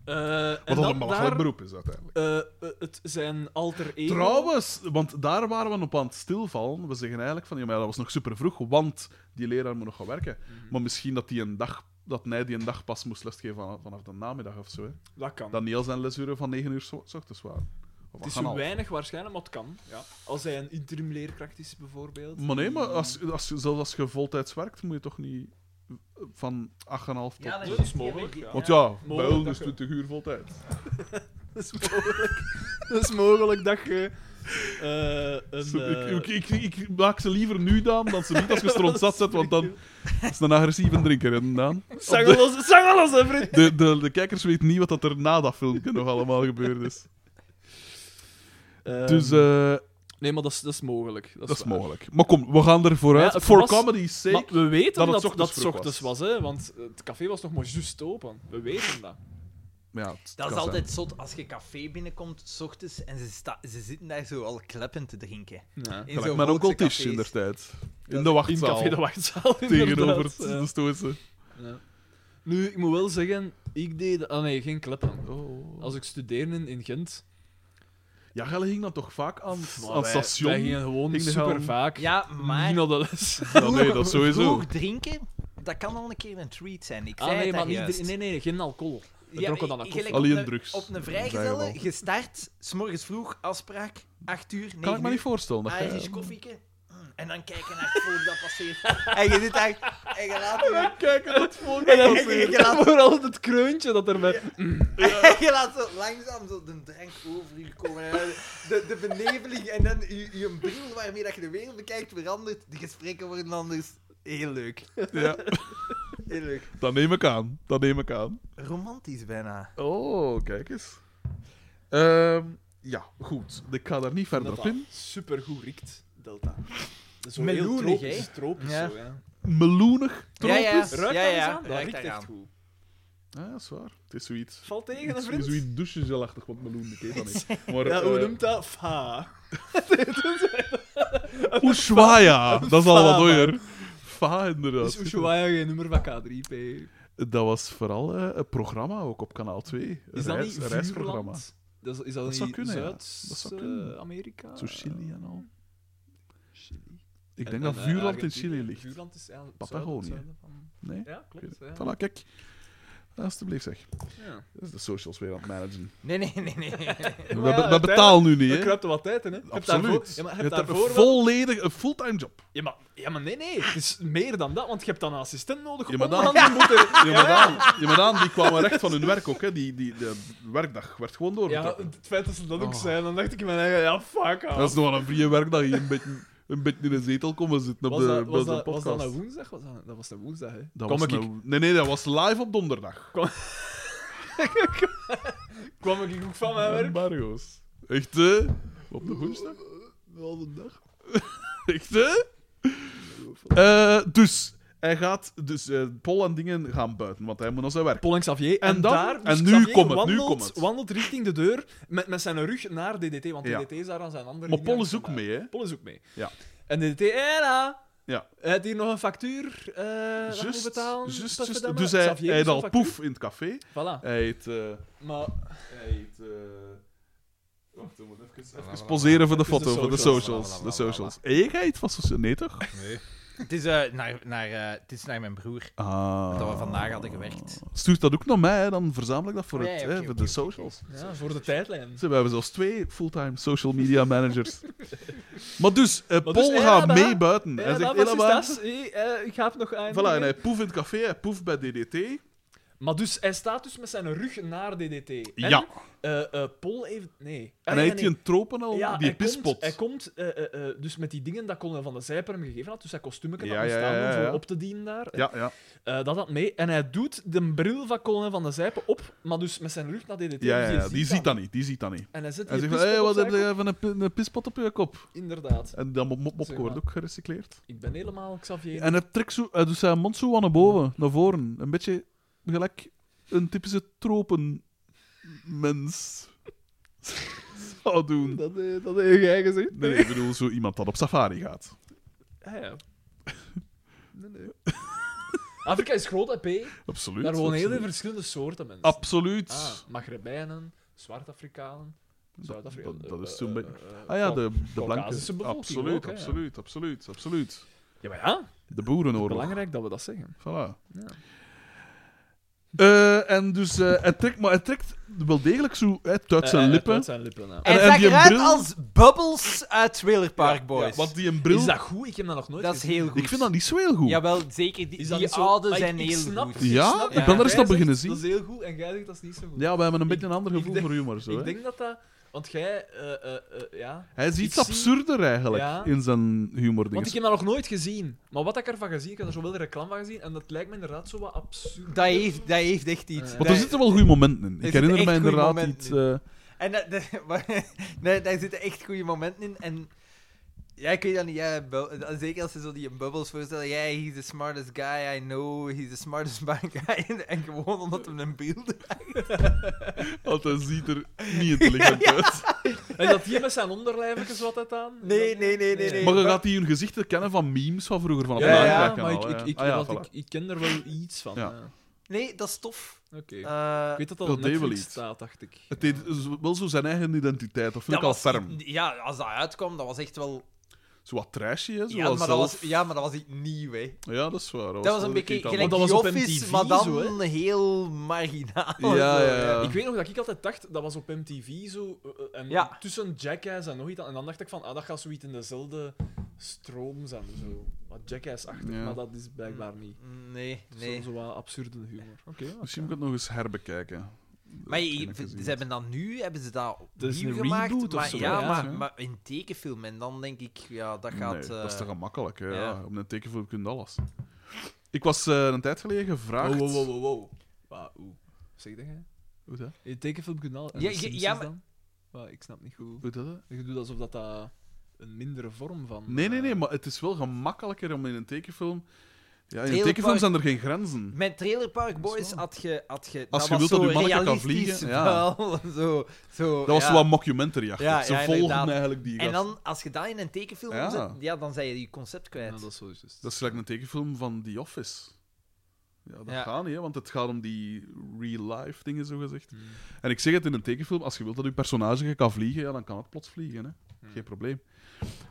Speaker 3: ja. Eh, en
Speaker 2: Wat een
Speaker 3: dan
Speaker 2: belachelijk
Speaker 3: daar,
Speaker 2: beroep is uiteindelijk.
Speaker 3: eh, eh, het zijn alter ego.
Speaker 2: Trouwens, want daar waren we op aan het stilvallen. We zeggen eigenlijk van, ja, maar dat was nog super vroeg, want die leraar moet nog gaan werken.
Speaker 3: Mhm.
Speaker 2: Maar misschien dat die een dag... Dat hij die een dag pas moest lesgeven vanaf, vanaf de namiddag of zo. Hè.
Speaker 3: Dat kan.
Speaker 2: Dat niet al zijn lesuren van 9 uur s s ochtends waren. Of
Speaker 3: het is
Speaker 2: 8,5.
Speaker 3: zo weinig waarschijnlijk, maar het kan. Ja. Als hij een interim leerkracht is, bijvoorbeeld.
Speaker 2: Maar nee, maar als, als, je- zelfs als je voltijds werkt, moet je toch niet van 8,5 tot...
Speaker 4: Ja, dat
Speaker 3: Dat
Speaker 4: is
Speaker 3: is
Speaker 4: mogelijk.
Speaker 3: mogelijk,
Speaker 4: Ja.
Speaker 3: ja.
Speaker 2: Want ja, bij
Speaker 3: mogelijk
Speaker 2: ons
Speaker 3: dat
Speaker 2: is
Speaker 3: je-
Speaker 2: 20 uur voltijd.
Speaker 3: Dat is mogelijk. dat is mogelijk dat je. eh, een,
Speaker 2: Zo,
Speaker 3: eh,
Speaker 2: Dus ik, ik, ik, ik maak ze liever nu, Daan, dan ze niet als je stront zat zet, want dan is het een agressieve drinker, hè, Daan.
Speaker 3: Zang al los, zang al los, hè, vriend.
Speaker 2: De, de, de kijkers weten niet wat dat er na dat filmpje nog allemaal gebeurd is.
Speaker 3: Ehm,
Speaker 2: Dus eh,
Speaker 3: Nee, maar dat is, dat is mogelijk. Dat is,
Speaker 2: dat is
Speaker 3: waar.
Speaker 2: mogelijk. Maar kom, we gaan er vooruit.
Speaker 3: Ja, het
Speaker 2: For
Speaker 3: was-
Speaker 2: comedy's sake.
Speaker 3: Maar we weten
Speaker 2: dat het
Speaker 3: dat dat,
Speaker 2: ochtends
Speaker 3: het
Speaker 2: vroeg
Speaker 3: ochtends was, hè, want het café was nog maar juist open. We weten dat.
Speaker 2: Ja, het
Speaker 4: Dat is
Speaker 2: kan
Speaker 4: altijd zot als je café binnenkomt, s ochtends, en ze, sta- ze zitten daar zo al kleppen te drinken.
Speaker 3: Ja.
Speaker 4: In
Speaker 2: zijn.
Speaker 4: zo'n
Speaker 2: Gelijk Mijn onkel
Speaker 4: Hollandse
Speaker 2: Tisch
Speaker 4: cafés.
Speaker 2: in der tijd. In de wachtzaal.
Speaker 3: In café de wachtzaal,
Speaker 2: Tegenover
Speaker 3: inderdaad.
Speaker 2: het,
Speaker 3: Ja.
Speaker 2: de Stoïsche.
Speaker 3: Ja. Nu, ik moet wel zeggen, ik deed... Ah nee, geen kleppen. Als ik studeerde in, in Gent...
Speaker 2: Ja, Gelle ging dan toch vaak aan,
Speaker 3: maar
Speaker 2: aan het
Speaker 3: wij-
Speaker 2: station?
Speaker 3: Wij gingen gewoon Ah,
Speaker 2: Ging de
Speaker 3: super
Speaker 2: gaan-
Speaker 3: vaak.
Speaker 4: Ja, maar
Speaker 3: Niet naar de les.
Speaker 2: Ja, nee, dat sowieso.
Speaker 4: vroeg drinken, dat kan al een keer een treat zijn. Ik
Speaker 3: Ah,
Speaker 4: zei
Speaker 3: nee,
Speaker 4: het
Speaker 3: maar
Speaker 4: daar
Speaker 3: niet,
Speaker 4: juist.
Speaker 3: dr- nee, nee, geen alcohol. We trokken dan
Speaker 4: maar
Speaker 3: een
Speaker 4: gelijk
Speaker 2: koffie.
Speaker 4: op
Speaker 2: Alleen
Speaker 4: een-
Speaker 2: drugs.
Speaker 4: Op een
Speaker 2: Vrijwel.
Speaker 4: vrijgezelle, gestart, s'morgens vroeg, afspraak, 8 uur, 9
Speaker 2: Kan ik me
Speaker 4: uur,
Speaker 2: niet voorstellen.
Speaker 3: Ah,
Speaker 2: Dat jij-
Speaker 4: Irish koffieke. Mm, En dan kijken naar het volk dat passeert. En je zit daar, en je laat je,
Speaker 3: Kijk, het volgende.
Speaker 4: en je, je laat,
Speaker 3: Vooral het kreuntje dat erbij...
Speaker 4: en je laat zo langzaam zo de drank over je komen. En dan De, de beneveling en dan je, je bril waarmee dat je de wereld bekijkt verandert. De gesprekken worden anders. Heel leuk.
Speaker 2: Ja,
Speaker 4: Heel leuk.
Speaker 2: dat neem ik aan. Dat neem ik aan.
Speaker 4: Romantisch bijna.
Speaker 2: Oh, kijk eens. Ehm, ja, goed. Ik ga daar niet verder op in.
Speaker 3: Super goed riekt, Delta. Zo
Speaker 4: Meloenig,
Speaker 3: heel
Speaker 4: hè?
Speaker 3: tropisch, tropisch
Speaker 4: Ja.
Speaker 3: zo, ja.
Speaker 2: Meloenig,
Speaker 4: Ja,
Speaker 2: tropisch.
Speaker 4: ja.
Speaker 3: Ruikt
Speaker 4: ja,
Speaker 3: dat
Speaker 4: ja.
Speaker 3: eens aan? Dat
Speaker 4: Ruikt
Speaker 3: riekt
Speaker 4: daaraan.
Speaker 3: echt goed.
Speaker 2: Ja, dat is waar. Het is zoiets.
Speaker 3: Valt tegen, een
Speaker 2: Iets,
Speaker 3: vriend?
Speaker 2: zoiets douchegelachtig, want meloen, ik weet dat niet. Maar,
Speaker 3: Ja,
Speaker 2: eh,
Speaker 3: hoe noemt dat? Fa.
Speaker 2: Ushuaia, dat is al wat
Speaker 3: Fa,
Speaker 2: hoger. Fa, inderdaad.
Speaker 3: Is Ushuaia geen nummer van K3P?
Speaker 2: Dat was vooral eh, een programma, ook op kanaal 2. Een
Speaker 3: Is dat
Speaker 2: reis-
Speaker 3: niet
Speaker 2: een reisprogramma.
Speaker 3: Vuurland? Dat is, is dat,
Speaker 2: Dat zou
Speaker 3: niet eh,
Speaker 2: kunnen, ja. Dat zou kunnen.
Speaker 3: Zuid-Amerika?
Speaker 2: Zo Chili en al.
Speaker 3: Chili.
Speaker 2: Ik
Speaker 3: En-
Speaker 2: denk
Speaker 3: en,
Speaker 2: dat
Speaker 3: eh,
Speaker 2: Vuurland in
Speaker 3: Argentinië.
Speaker 2: Chili ligt.
Speaker 3: Vuurland is eigenlijk
Speaker 2: Patagonië.
Speaker 3: zuiden- zuiden
Speaker 2: Nee?
Speaker 3: van- Ja,
Speaker 2: Ik weet
Speaker 3: klopt.
Speaker 2: het.
Speaker 3: Ja.
Speaker 2: Voilà, kijk. Alsjeblieft zeg.
Speaker 3: Ja.
Speaker 2: Dat is de socials weer aan het managen.
Speaker 4: Nee, nee, nee, nee.
Speaker 2: We,
Speaker 3: Maar ja,
Speaker 2: be- we betalen nu niet,
Speaker 3: Dat
Speaker 2: hè?
Speaker 3: kruipt er wat tijd in, hè? Je hebt daarvoor-
Speaker 2: Absoluut.
Speaker 3: Ja, maar je
Speaker 2: je
Speaker 3: hebt
Speaker 2: hebt
Speaker 3: daarvoor
Speaker 2: een
Speaker 3: wel-
Speaker 2: volledig een fulltime job.
Speaker 3: Ja, maar, ja, maar nee, nee. Het is meer dan dat, want je hebt dan een assistent nodig.
Speaker 2: Ja, maar
Speaker 3: om
Speaker 2: dan-
Speaker 3: aan die moeten-
Speaker 2: Ja, maar dan, ja, maar dan, die kwamen recht van hun werk ook. Hè. Die, die, de werkdag werd gewoon
Speaker 3: Ja,
Speaker 2: doorgetrokken.
Speaker 3: het feit dat ze dat ook zijn, dan dacht ik in mijn eigen, ja, fuck ah. off.
Speaker 2: Oh. dat is nog wel een vrije werkdag. Je een beetje, een beetje in een zetel komen zitten op
Speaker 3: was,
Speaker 2: de,
Speaker 3: dat,
Speaker 2: bij
Speaker 3: was,
Speaker 2: zo'n
Speaker 3: dat, was
Speaker 2: podcast.
Speaker 3: dat een woensdag? Was dat, dat was een woensdag, hè?
Speaker 2: Dat
Speaker 3: kwam,
Speaker 2: was
Speaker 3: ik,
Speaker 2: nou- Nee, nee, dat was live op donderdag.
Speaker 3: kwam ik ook van mijn werk?
Speaker 2: Embargo's. Echt, hè? Op de woensdag?
Speaker 3: Wel een dag.
Speaker 2: Echt, hè? Eh, dus, hij gaat... Dus eh, Paul en dingen gaan buiten, want hij moet naar zijn werk.
Speaker 3: Paul en Xavier. En,
Speaker 2: En dan-
Speaker 3: daar, dus
Speaker 2: en nu
Speaker 3: Xavier
Speaker 2: komt het, nu
Speaker 3: wandelt,
Speaker 2: komt het.
Speaker 3: wandelt richting de deur met, met zijn rug naar DDT, want
Speaker 2: Ja.
Speaker 3: DDT is daar aan zijn andere
Speaker 2: Maar Paul
Speaker 3: ingang
Speaker 2: is ook
Speaker 3: vandaan.
Speaker 2: mee, hè?
Speaker 3: Paul is ook mee.
Speaker 2: Ja.
Speaker 3: En DDT, hé daar.
Speaker 2: Ja.
Speaker 3: Hij heeft hier nog een factuur. eh dat moet betalen.
Speaker 2: just,
Speaker 3: Pas
Speaker 2: just-
Speaker 3: verdamme.
Speaker 2: dus hij,
Speaker 3: Xavier
Speaker 2: hij
Speaker 3: heeft
Speaker 2: eet
Speaker 3: zo'n
Speaker 2: al
Speaker 3: factuur.
Speaker 2: poef in het café.
Speaker 3: Voilà.
Speaker 2: Hij eet... eh,
Speaker 3: Maar
Speaker 2: hij eet eh, Wacht, we moeten even, even poseren voor de
Speaker 3: Even de
Speaker 2: foto, voor de
Speaker 3: socials.
Speaker 2: socials. De socials. Hey, jij eet van socials? Nee, toch?
Speaker 4: Het is, eh, naar, naar, eh, het is naar mijn broer
Speaker 2: Ah.
Speaker 4: dat we vandaag hadden gewerkt.
Speaker 2: Stuurt dat ook naar mij, hè, dan verzamel ik dat voor,
Speaker 4: Oh, ja,
Speaker 2: het,
Speaker 4: ja,
Speaker 2: hè,
Speaker 4: oké,
Speaker 2: voor
Speaker 4: oké,
Speaker 2: de
Speaker 4: oké, oké.
Speaker 2: socials.
Speaker 3: ja, voor de tijdlijn.
Speaker 2: Ze, we hebben zelfs twee fulltime social media managers. maar dus, eh,
Speaker 3: dus,
Speaker 2: Paul
Speaker 3: eh,
Speaker 2: gaat
Speaker 3: da-
Speaker 2: mee buiten.
Speaker 3: Ja,
Speaker 2: hij zegt,
Speaker 3: dat
Speaker 2: "Hela,
Speaker 3: was
Speaker 2: man."
Speaker 3: dat. Hé, eh, Ik ga het nog aan.
Speaker 2: Voilà, en hij poeft in het café, hij poeft bij DDT.
Speaker 3: Maar dus, hij staat dus met zijn rug naar DDT. En,
Speaker 2: Ja.
Speaker 3: eh, eh, Paul heeft... Nee.
Speaker 2: En
Speaker 3: Ah,
Speaker 2: hij
Speaker 3: nee,
Speaker 2: eet
Speaker 3: nee.
Speaker 2: die een tropen al,
Speaker 3: Ja,
Speaker 2: die
Speaker 3: hij
Speaker 2: pispot.
Speaker 3: Komt, hij komt eh, eh, eh, dus met die dingen dat Colin van de Zijper hem gegeven had, dus dat kostuum dat
Speaker 2: Ja,
Speaker 3: moest
Speaker 2: ja, ja,
Speaker 3: aan
Speaker 2: ja,
Speaker 3: voor
Speaker 2: ja.
Speaker 3: op te dienen daar.
Speaker 2: Ja, ja.
Speaker 3: Eh, dat had mee. En hij doet de bril van Colin van de Zijper op, maar dus met zijn rug naar DDT.
Speaker 2: Ja, ja,
Speaker 3: dus
Speaker 2: ja, die ziet
Speaker 3: dat.
Speaker 2: dat niet, die ziet dat niet.
Speaker 3: En hij zet
Speaker 2: Hij
Speaker 3: die
Speaker 2: zegt, hé,
Speaker 3: pispot op
Speaker 2: wat heb
Speaker 3: zijn
Speaker 2: je van een, pi- een pispot op je kop?
Speaker 3: kop. Inderdaad.
Speaker 2: En dat mop- mop- mopje
Speaker 3: Zeg maar.
Speaker 2: wordt ook gerecycleerd.
Speaker 3: Ik ben helemaal Xavier.
Speaker 2: En hij trekt zo, hij doet zijn mond zo aan naar boven, naar voren. Een beetje gelijk een typische tropenmens zou doen.
Speaker 3: Dat, eh, dat heb jij gezien.
Speaker 2: Nee, nee, ik bedoel zo iemand dat op safari gaat.
Speaker 3: Ah, ja. Nee, nee. Afrika is groot, hè, P.
Speaker 2: Absoluut.
Speaker 3: Daar wonen heel
Speaker 2: absoluut.
Speaker 3: veel verschillende soorten mensen.
Speaker 2: Absoluut.
Speaker 3: Ah, Magrebijnen, Zwart-Afrikanen, Zuid-Afrika.
Speaker 2: dat- dat
Speaker 3: eh,
Speaker 2: is zo'n
Speaker 3: eh,
Speaker 2: beetje-
Speaker 3: eh,
Speaker 2: Ah ja,
Speaker 3: Kau-
Speaker 2: de, de
Speaker 3: Caucasische
Speaker 2: blanke.
Speaker 3: bevolking
Speaker 2: Absoluut,
Speaker 3: ook, hè, ja.
Speaker 2: absoluut, absoluut, absoluut.
Speaker 3: Ja, maar ja,
Speaker 2: De boerenoorlog.
Speaker 3: belangrijk dat we dat zeggen.
Speaker 2: Voilà.
Speaker 3: Ja.
Speaker 2: Eh, en dus, eh, hij trekt, maar hij trekt wel degelijk zo hè, het uit zijn
Speaker 3: Eh, eh,
Speaker 2: lippen.
Speaker 3: uit zijn lippen, ja.
Speaker 2: En-
Speaker 4: Hij
Speaker 2: en
Speaker 4: zag
Speaker 2: die
Speaker 4: eruit
Speaker 2: bril-
Speaker 4: als Bubbles uit Trailer Park Boys.
Speaker 2: Ja, want die een bril.
Speaker 3: Is dat goed? Ik heb dat nog nooit
Speaker 4: dat is heel goed.
Speaker 2: Ik vind dat niet zo heel goed.
Speaker 4: Jawel, zeker. Die,
Speaker 3: Is dat
Speaker 4: die
Speaker 3: niet zo-
Speaker 4: oude
Speaker 3: Maar ik-
Speaker 4: zijn
Speaker 3: ik
Speaker 4: heel
Speaker 3: snap-
Speaker 4: goed.
Speaker 3: ik
Speaker 2: Ja,
Speaker 3: snap
Speaker 2: ik
Speaker 3: dat.
Speaker 2: ben daar
Speaker 3: Jij
Speaker 2: eens naar
Speaker 3: zegt,
Speaker 2: beginnen zien.
Speaker 3: Dat is heel goed en jij zegt dat is niet zo goed.
Speaker 2: Ja, wij hebben een
Speaker 3: Ik-
Speaker 2: beetje een ander
Speaker 3: ik
Speaker 2: gevoel
Speaker 3: denk-
Speaker 2: voor humor. Zo, hè.
Speaker 3: ik denk dat dat... Want jij... eh, eh, eh, ja.
Speaker 2: Hij is iets
Speaker 3: zie-
Speaker 2: absurder eigenlijk
Speaker 3: Ja.
Speaker 2: in zijn humor.
Speaker 3: Want ik heb dat nog nooit gezien. Maar wat ik ervan gezien, ik heb er zowel de reclame van gezien en dat lijkt me inderdaad zo wat absurd.
Speaker 4: Dat heeft, dat heeft echt iets.
Speaker 3: Ja.
Speaker 2: Want
Speaker 4: Dat-
Speaker 2: er zitten wel goede momenten in. Ik
Speaker 4: zitten
Speaker 2: herinner
Speaker 4: echt
Speaker 2: mij
Speaker 4: goeie
Speaker 2: inderdaad
Speaker 4: momenten
Speaker 2: iets. eh,
Speaker 4: En dat, dat- maar- nee, daar zitten echt goede momenten in. En ja, ik weet dat niet. Ja, bu- zeker als ze zo die bubbels voorstellen. Ja, he's the smartest guy I know. He's the smartest black guy. En, en gewoon omdat hem een beeld.
Speaker 2: eh, Want hij ziet er niet intelligent uit.
Speaker 3: En dat hier met zijn onderlijfjes wat het aan?
Speaker 4: Nee, nee, nee, nee. nee.
Speaker 2: Maar je gaat die hun gezichten kennen van memes van vroeger van op
Speaker 3: Ja,
Speaker 2: het
Speaker 3: ja,
Speaker 2: Naaiwerk
Speaker 3: maar ik,
Speaker 2: kanaal,
Speaker 3: ik,
Speaker 2: ja.
Speaker 3: ik,
Speaker 2: Ah, ja,
Speaker 3: want
Speaker 2: voilà.
Speaker 3: ik, ik ken er wel iets van.
Speaker 2: Ja.
Speaker 3: ja.
Speaker 4: Nee, dat is tof.
Speaker 3: Oké.
Speaker 4: Eh,
Speaker 3: ik weet dat dat
Speaker 2: Wel
Speaker 3: op Netflix
Speaker 2: degelijk.
Speaker 3: staat, dacht ik.
Speaker 2: Het deed z- wel zo zijn eigen identiteit, dat vind ik al
Speaker 4: was-
Speaker 2: ferm.
Speaker 4: Ja, als dat uitkwam, dat was echt wel...
Speaker 2: Zo wat trashy, hè? Zo
Speaker 4: Ja,
Speaker 2: wat
Speaker 4: maar dat was,
Speaker 2: zelf-
Speaker 4: ja, maar dat was iets nieuw, hè.
Speaker 2: Ja, dat is waar.
Speaker 4: Dat was
Speaker 2: wel
Speaker 4: een beetje
Speaker 2: iets
Speaker 4: gelijk
Speaker 2: anders.
Speaker 3: Want
Speaker 4: die
Speaker 3: dat was op
Speaker 4: Office,
Speaker 3: MTV
Speaker 4: maar dan
Speaker 3: zo,
Speaker 4: heel marginaal.
Speaker 2: Ja,
Speaker 4: zo,
Speaker 2: ja, ja.
Speaker 3: Ik weet nog dat ik altijd dacht, dat was op MTV zo. eh, eh, en
Speaker 4: Ja.
Speaker 3: Tussen Jackass en nog iets. aan- En dan dacht ik van, ah, dat gaat zoiets in dezelfde stroom zijn. Zo. Wat Jackass-achtig,
Speaker 2: Ja.
Speaker 3: maar dat is blijkbaar niet.
Speaker 4: Nee,
Speaker 3: Nee.
Speaker 4: nee.
Speaker 3: Zo, zo wat absurde humor. Oké.
Speaker 2: Misschien moet ik het nog eens herbekijken.
Speaker 4: Maar
Speaker 2: Dat
Speaker 4: je-
Speaker 2: heb ik
Speaker 4: ze
Speaker 2: gezien.
Speaker 4: hebben dat nu, hebben ze dat
Speaker 3: Dat is
Speaker 4: opnieuw
Speaker 3: een
Speaker 4: gemaakt.
Speaker 3: reboot of
Speaker 4: maar,
Speaker 3: zo,
Speaker 4: ja,
Speaker 3: ja.
Speaker 4: maar,
Speaker 2: Ja.
Speaker 4: maar in tekenfilm. En dan denk ik, ja, dat gaat...
Speaker 2: Nee, dat is te
Speaker 4: eh,
Speaker 2: gemakkelijk, hè? Ja.
Speaker 4: ja.
Speaker 2: Op een tekenfilm kun je alles. Ik was eh, een tijd geleden gevraagd.
Speaker 3: Oh, Wow, wow, wow, wow, wow. Wauw. Zeg dat jij?
Speaker 2: Hoe dat?
Speaker 3: In tekenfilm kunnen al. en
Speaker 4: Ja,
Speaker 3: de
Speaker 4: ja,
Speaker 3: Simpsons
Speaker 4: ja, maar-
Speaker 3: dan? Wauw, ik snap niet goed.
Speaker 2: Hoe dat? hè?
Speaker 3: Je doet alsof dat, dat een mindere vorm van.
Speaker 2: Nee, nee,
Speaker 3: eh,
Speaker 2: nee, maar het is wel gemakkelijker om in een tekenfilm. Ja, in een
Speaker 4: Heel
Speaker 2: tekenfilm
Speaker 4: vaak-
Speaker 2: zijn er geen grenzen.
Speaker 4: Met Trailer Park
Speaker 2: Dat is
Speaker 4: Boys
Speaker 2: waar.
Speaker 4: had je... Had je
Speaker 2: Als je
Speaker 4: was
Speaker 2: wilt dat
Speaker 4: zo
Speaker 2: uw manneke kan
Speaker 4: realistisch
Speaker 2: vliegen, ja.
Speaker 4: wel, zo, zo,
Speaker 2: Dat was
Speaker 4: ja.
Speaker 2: zo wat mockumentary achter.
Speaker 4: Ja,
Speaker 2: Ze
Speaker 4: ja,
Speaker 2: volgen
Speaker 4: inderdaad.
Speaker 2: eigenlijk die
Speaker 4: En
Speaker 2: gast.
Speaker 4: dan, als je dat in een tekenfilm
Speaker 2: Ja.
Speaker 4: omzet, ja, dan zijn je je concept
Speaker 3: ja,
Speaker 4: kwijt.
Speaker 3: dat is zo juist.
Speaker 2: Dat is gelijk een tekenfilm van The Office. Ja, dat
Speaker 4: Ja.
Speaker 2: gaat niet, hè, want het gaat om die real-life dingen, zogezegd.
Speaker 3: Hmm.
Speaker 2: En ik zeg het in een tekenfilm, als je wilt dat je personage kan vliegen, ja, dan kan het plots vliegen. Hè.
Speaker 4: Hmm.
Speaker 2: Geen probleem.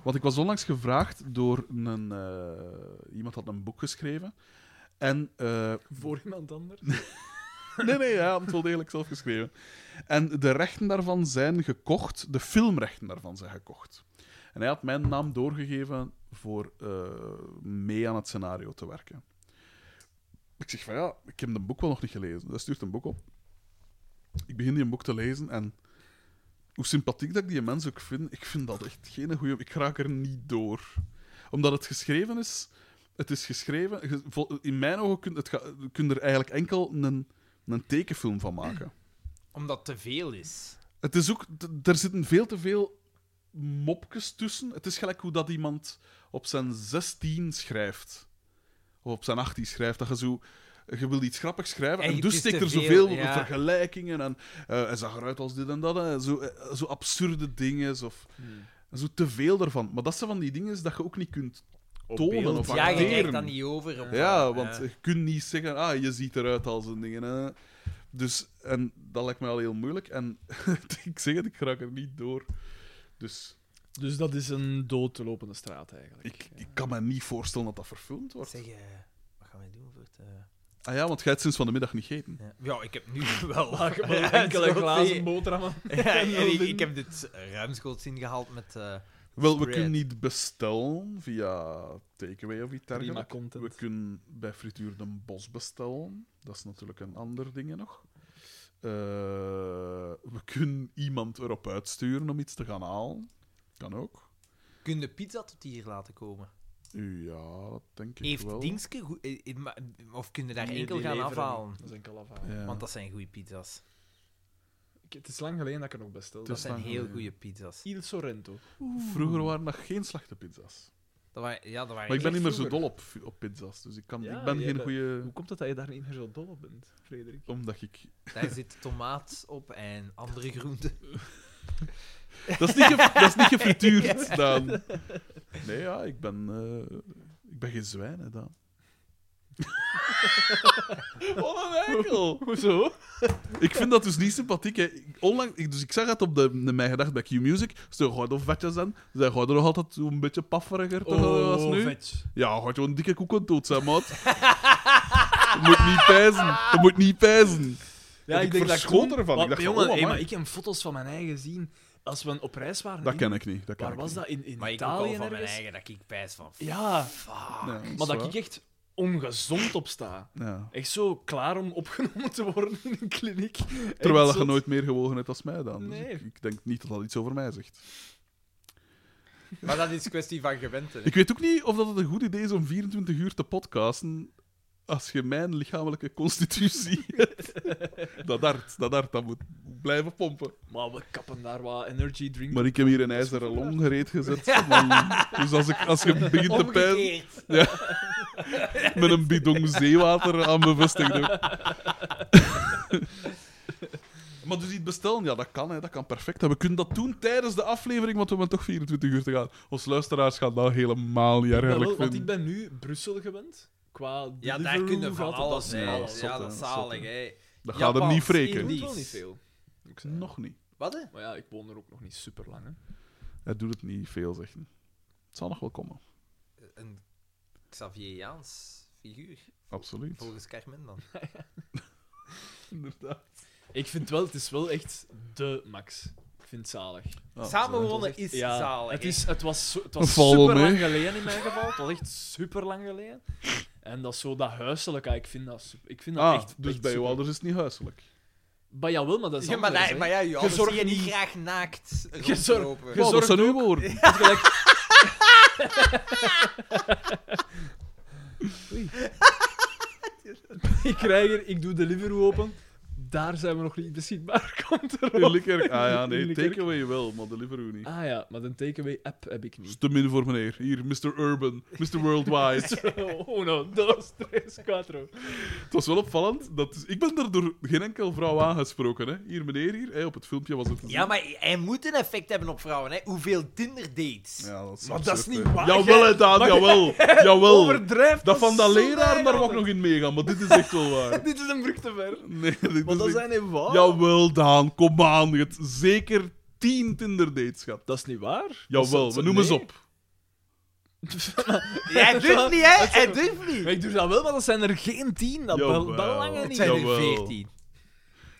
Speaker 2: Want ik was onlangs gevraagd door een... eh, iemand had een boek geschreven. En... eh,
Speaker 3: Voor iemand anders.
Speaker 2: nee, nee, ja, het wel degelijk zelf geschreven. En de rechten daarvan zijn gekocht, de filmrechten daarvan zijn gekocht. En hij had mijn naam doorgegeven voor eh, mee aan het scenario te werken. Ik zeg van ja, ik heb een boek wel nog niet gelezen. Dus Hij stuurt een boek op. Ik begin die een boek te lezen en hoe sympathiek dat ik die mensen ook vind, ik vind dat echt geen goede. Ik raak er niet door. Omdat het geschreven is. Het is geschreven. ge- vol- In mijn ogen kun, het ga- kun je er eigenlijk enkel een, een tekenfilm van maken.
Speaker 4: Omdat het te veel is.
Speaker 2: Het is ook, d- er zitten veel te veel mopjes tussen. Het is gelijk hoe dat iemand op zijn 16 schrijft. Of op zijn 18 schrijft. Dat je zo... Je wil iets grappigs schrijven en,
Speaker 4: En het
Speaker 2: dus
Speaker 4: is
Speaker 2: steekt
Speaker 4: te
Speaker 2: er
Speaker 4: veel,
Speaker 2: zoveel
Speaker 4: ja.
Speaker 2: vergelijkingen en... eh, hij zag eruit als dit en dat. hè. Zo, eh, zo absurde dingen. Of,
Speaker 4: Hmm.
Speaker 2: Zo te veel ervan. Maar dat zijn van die dingen dat je ook niet kunt tonen of
Speaker 4: Ja, je
Speaker 2: acteren.
Speaker 4: kijkt dat niet over. omdat-
Speaker 2: Ja, want je kunt niet zeggen, ah, je ziet eruit als een ding. hè. Dus, en dat lijkt mij al heel moeilijk. En ik zeg het, ik raak er niet door. Dus
Speaker 3: Dus dat is een dood te lopende straat eigenlijk.
Speaker 2: ik, ik kan me niet voorstellen dat dat verfilmd wordt.
Speaker 4: Zeg, eh, wat gaan we doen voor het... eh,
Speaker 2: Ah ja, want jij hebt sinds van de middag niet gegeten.
Speaker 4: Ja. Ja, ik heb nu wel
Speaker 3: Laag, maar
Speaker 4: Ja,
Speaker 3: enkele
Speaker 4: zo zie je.
Speaker 3: glazen boterhammen.
Speaker 4: Ja, en ik,
Speaker 3: Nulling.
Speaker 4: ik heb dit eh, ruimschoots ingehaald met... eh,
Speaker 2: Wel, we
Speaker 4: Spread.
Speaker 2: kunnen niet bestellen via takeaway of iets
Speaker 3: Prima
Speaker 2: dergelijks.
Speaker 3: content.
Speaker 2: We kunnen bij Frituur de Bos bestellen. Dat is natuurlijk een ander ding nog. Eh, we kunnen iemand erop uitsturen om iets te gaan halen. Kan ook.
Speaker 4: kun je pizza tot hier laten komen?
Speaker 2: Ja, dat denk ik
Speaker 4: Heeft
Speaker 2: wel.
Speaker 4: Dingske... goe- eh, eh, maar- Of kun je daar
Speaker 3: Nee,
Speaker 4: enkel
Speaker 3: die
Speaker 4: gaan
Speaker 3: leveren
Speaker 4: afhalen?
Speaker 3: niet. Dat is enkel afhalen.
Speaker 2: Ja.
Speaker 4: Want dat zijn goede pizza's.
Speaker 3: Ik- Het is lang geleden dat ik er nog bestel.
Speaker 4: Dat
Speaker 2: Dus-
Speaker 3: Dat
Speaker 4: zijn
Speaker 2: lang
Speaker 4: heel
Speaker 2: geleden.
Speaker 4: goede pizza's.
Speaker 3: Il Sorrento.
Speaker 2: Vroeger waren dat geen slechte pizza's.
Speaker 4: Dat waren, ja, dat
Speaker 2: Maar
Speaker 4: waren
Speaker 2: ik ben niet meer zo
Speaker 3: vroeger.
Speaker 2: dol op, op pizza's, dus ik, kan,
Speaker 3: Ja,
Speaker 2: ik ben
Speaker 3: jij
Speaker 2: geen
Speaker 3: bent-
Speaker 2: goede...
Speaker 3: Hoe komt het dat je daar niet meer zo dol op bent, Frederik?
Speaker 2: Omdat ik...
Speaker 4: Daar zit tomaat op en andere groenten.
Speaker 2: Dat is niet, ge- dat is niet gefrituurd, Daan. Nee, ja, ik ben... eh, Ik ben geen zwijn, hè, Daan. Wat een eikel!
Speaker 3: Hoezo?
Speaker 2: Ik vind dat dus niet sympathiek. Hè. Ik- Onlangs, ik, dus ik zag het op de, de mijn gedacht bij Q-Music. Ze gooiden vetjes aan. Ze gooiden nog altijd zo'n beetje pafferiger toch,
Speaker 4: Oh,
Speaker 2: als nu.
Speaker 3: Oh, vet.
Speaker 2: Ja, gaat je een dikke koek aan dood zijn, maat. Je moet niet pijzen. Je moet niet pijzen.
Speaker 3: Ja,
Speaker 2: ik
Speaker 3: ik denk dat
Speaker 2: verschoot
Speaker 3: toen-
Speaker 2: ervan.
Speaker 3: Want,
Speaker 2: Ik dacht van,
Speaker 3: jongen,
Speaker 2: oh,
Speaker 3: hé,
Speaker 2: amai.
Speaker 3: maar ik heb foto's van mijn eigen zien als we op reis waren.
Speaker 2: Dat
Speaker 3: in-
Speaker 2: ken ik niet. Dat ken
Speaker 3: Waar
Speaker 2: ik
Speaker 3: was
Speaker 2: niet.
Speaker 3: dat? In, in
Speaker 4: Maar ik ook
Speaker 3: Italië
Speaker 4: al van mijn
Speaker 3: ergens?
Speaker 4: eigen, dat ik pijs van...
Speaker 3: Ja,
Speaker 2: Nee, dat is
Speaker 3: maar dat
Speaker 2: waar.
Speaker 3: ik echt ongezond op sta.
Speaker 2: Ja.
Speaker 3: Echt zo klaar om opgenomen te worden in een kliniek. Echt
Speaker 2: Terwijl
Speaker 3: zot.
Speaker 2: je nooit meer gewogen hebt als mij dan. Dus
Speaker 3: Nee.
Speaker 2: ik, ik denk niet dat dat iets over mij zegt.
Speaker 4: Maar dat is kwestie van gewend. hè.
Speaker 2: Ik weet ook niet of dat het een goed idee is om 24 uur te podcasten Als je mijn lichamelijke constitutie hebt, dat hart, dat hart, dat moet blijven pompen.
Speaker 3: Maar we kappen daar wat energy drink.
Speaker 2: Maar ik heb hier een ijzeren long gereed gezet. man. Dus als, ik, als je begint te pijn met een bidon zeewater aan bevestigen. Maar dus iets bestellen, ja, dat kan, hè, dat kan perfect. En we kunnen dat doen tijdens de aflevering, want we hebben toch 24 uur te gaan. Ons luisteraars gaan dat helemaal niet erg
Speaker 3: Ja,
Speaker 2: erg
Speaker 3: wel, want ik
Speaker 2: vinden.
Speaker 3: ben nu Brussel gewend. Qua
Speaker 4: Ja, daar
Speaker 3: Deliveroo
Speaker 4: kunnen we
Speaker 3: gaat
Speaker 4: van
Speaker 3: dat
Speaker 4: alles
Speaker 3: allemaal.
Speaker 4: mee.
Speaker 2: dat is zot,
Speaker 4: Ja,
Speaker 2: hè,
Speaker 4: dat
Speaker 2: dat
Speaker 4: is
Speaker 2: is
Speaker 4: zalig, hè.
Speaker 2: Dat gaat hem
Speaker 4: Japans,
Speaker 2: niet
Speaker 3: Ik
Speaker 2: wreken.
Speaker 3: doe wel
Speaker 4: Indisch.
Speaker 3: niet veel. Ik zei,
Speaker 2: Nog niet.
Speaker 4: Wat, hè?
Speaker 3: Maar ja, ik woon er ook nog niet super lang. Hè.
Speaker 2: Hij doet het niet veel, zeg. Het zal nog wel komen.
Speaker 4: Een Xavieriaans figuur,
Speaker 2: Absoluut.
Speaker 3: Oh,
Speaker 4: volgens Carmen dan.
Speaker 2: Inderdaad.
Speaker 3: Ik vind wel, het is wel echt de max. Ik vind het zalig.
Speaker 2: Ah,
Speaker 4: Samenwonen is
Speaker 3: Oh, Ja,
Speaker 4: zalig.
Speaker 3: het,
Speaker 4: hè.
Speaker 3: is, het was, zo- het
Speaker 2: Een
Speaker 3: was
Speaker 2: val wel
Speaker 3: super lang
Speaker 2: mee.
Speaker 3: geleden in mijn geval. Het was echt super lang geleden. En dat is zo dat huiselijke. Ik vind dat, super- ik vind dat
Speaker 2: Ah,
Speaker 3: echt.
Speaker 2: dus
Speaker 3: echt
Speaker 2: bij jou
Speaker 3: super.
Speaker 2: ouders is het niet huiselijk.
Speaker 3: Bij jou wel, maar dat is
Speaker 4: Ja, maar,
Speaker 3: anders,
Speaker 4: daar-
Speaker 3: hè.
Speaker 4: maar ja, je ouders
Speaker 3: zorgt
Speaker 4: zie je niet
Speaker 3: niet-
Speaker 4: graag naakt
Speaker 3: Je zorgt-
Speaker 4: rondlopen.
Speaker 3: je
Speaker 2: Wow, dat
Speaker 3: zorgt
Speaker 2: zijn uw woorden.
Speaker 3: Dat is gelijk- Oei. ik krijg er, ik doe Deliveroo open. Daar zijn we nog niet beschikbaar. Komt er
Speaker 2: In Likkerk. Ah ja, nee,
Speaker 3: Likkerk.
Speaker 2: takeaway wel, maar delivery niet.
Speaker 3: Ah ja, maar een takeaway-app heb ik
Speaker 2: Dat is
Speaker 3: niet.
Speaker 2: Dus te min voor meneer. Hier, Mr. Urban, Mr. Worldwide.
Speaker 3: Uno, dos, tres, cuatro.
Speaker 2: het was wel opvallend. Dat is- ik ben daar door geen enkel vrouw aangesproken. Hè. Hier, meneer, hier. Hey, op het filmpje was het. te
Speaker 4: Ja, maar hij moet een effect hebben op vrouwen, hè. Hoeveel Tinder-dates.
Speaker 2: zien. Ja, dat is
Speaker 3: Maar dat is
Speaker 2: absurd,
Speaker 3: niet
Speaker 2: hè.
Speaker 3: waar,
Speaker 2: Jawel, hè, Daan, jawel. jawel.
Speaker 3: Overdrijft
Speaker 2: Dat van
Speaker 3: zo
Speaker 2: dat leraar, daar mag ik
Speaker 3: eigenlijk.
Speaker 2: nog in meegaan, maar dit is echt wel waar.
Speaker 3: Dit is een brug te ver.
Speaker 2: Nee,
Speaker 3: Want
Speaker 2: dit is
Speaker 3: dat
Speaker 2: echt-
Speaker 3: zijn Oh. niet waar.
Speaker 2: Jawel, Daan, kom aan. Je hebt zeker tien Tinder-dates gehad.
Speaker 3: Dat is niet waar.
Speaker 2: Jawel, we noemen ze op.
Speaker 4: Hij durft niet, hè? Hij durft niet.
Speaker 3: Maar ik doe dat wel, maar dat zijn er geen tien. Dat
Speaker 2: Jawel.
Speaker 3: bel- belangen
Speaker 4: Het
Speaker 3: niet.
Speaker 4: zijn er
Speaker 2: Jawel.
Speaker 4: veertien.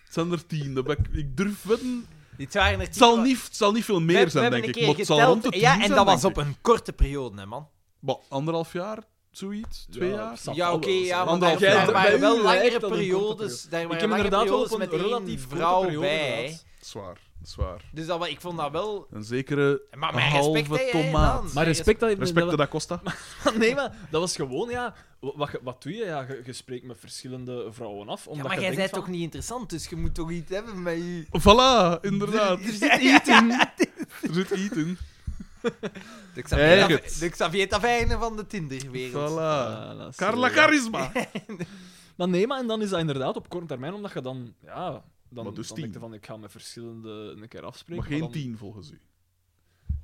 Speaker 2: Het zijn er tien. dat ben Ik, ik durf wedden.
Speaker 4: Dit waren er
Speaker 2: Het zal niet, het zal niet veel meer zijn, denk ik. Maar het zal rond de tien
Speaker 4: Ja, en
Speaker 2: zijn,
Speaker 4: dat
Speaker 2: denk
Speaker 4: was op
Speaker 2: ik.
Speaker 4: een korte periode, hè, man.
Speaker 2: Wat, anderhalf jaar? Zoiets? Twee
Speaker 3: Ja,
Speaker 2: jaar?
Speaker 3: snap Dat
Speaker 4: ja,
Speaker 3: zal
Speaker 4: oké,
Speaker 3: wel
Speaker 4: ja,
Speaker 3: zijn.
Speaker 4: maar
Speaker 2: Anderhalf
Speaker 4: daar, daar
Speaker 2: jaar.
Speaker 4: waren
Speaker 3: Bij
Speaker 4: wel
Speaker 3: u
Speaker 4: langere
Speaker 3: lijkt dat een korte
Speaker 4: periodes. Daar
Speaker 3: Ik
Speaker 4: waren
Speaker 3: heb
Speaker 4: langere
Speaker 3: inderdaad wel
Speaker 4: periodes
Speaker 3: op een
Speaker 4: met één
Speaker 3: relatief korte
Speaker 4: vrouw
Speaker 3: periode
Speaker 4: bij.
Speaker 3: gehad.
Speaker 4: hè.
Speaker 2: Zwaar, zwaar.
Speaker 4: Dus dat, wa- ik vond dat wel...
Speaker 2: Een zekere
Speaker 4: Maar mijn respect,
Speaker 2: halve
Speaker 4: hè, hè,
Speaker 2: tomaat.
Speaker 4: Hans.
Speaker 3: Maar respect dat je...
Speaker 2: Respect
Speaker 3: dat-
Speaker 2: dat Costa.
Speaker 3: Nee, maar dat was gewoon, ja... wa- Wat, ge- wat doe je? Ja, je, je spreekt met verschillende vrouwen af.
Speaker 4: Ja,
Speaker 3: Omdat
Speaker 4: maar
Speaker 3: je
Speaker 4: jij
Speaker 3: denkt
Speaker 4: bent
Speaker 3: van-
Speaker 4: toch niet interessant, dus je moet toch iets hebben met je...
Speaker 2: Voilà, inderdaad.
Speaker 4: Er zit iets in.
Speaker 2: Er zit iets in.
Speaker 4: De
Speaker 2: Ergens.
Speaker 4: Xavier- de Xavier Taverne van de Tinder-wereld.
Speaker 2: Voilà.
Speaker 3: Ah, dat is,
Speaker 2: Carla
Speaker 3: eh,
Speaker 2: Charisma.
Speaker 3: Maar nee, maar en dan is dat inderdaad op korte termijn, omdat je dan... Ja, dan,
Speaker 2: Maar dus
Speaker 3: dan
Speaker 2: tien.
Speaker 3: denk je van, ik ga met verschillende een keer afspreken.
Speaker 2: Maar geen
Speaker 3: dan-
Speaker 2: tien volgens u.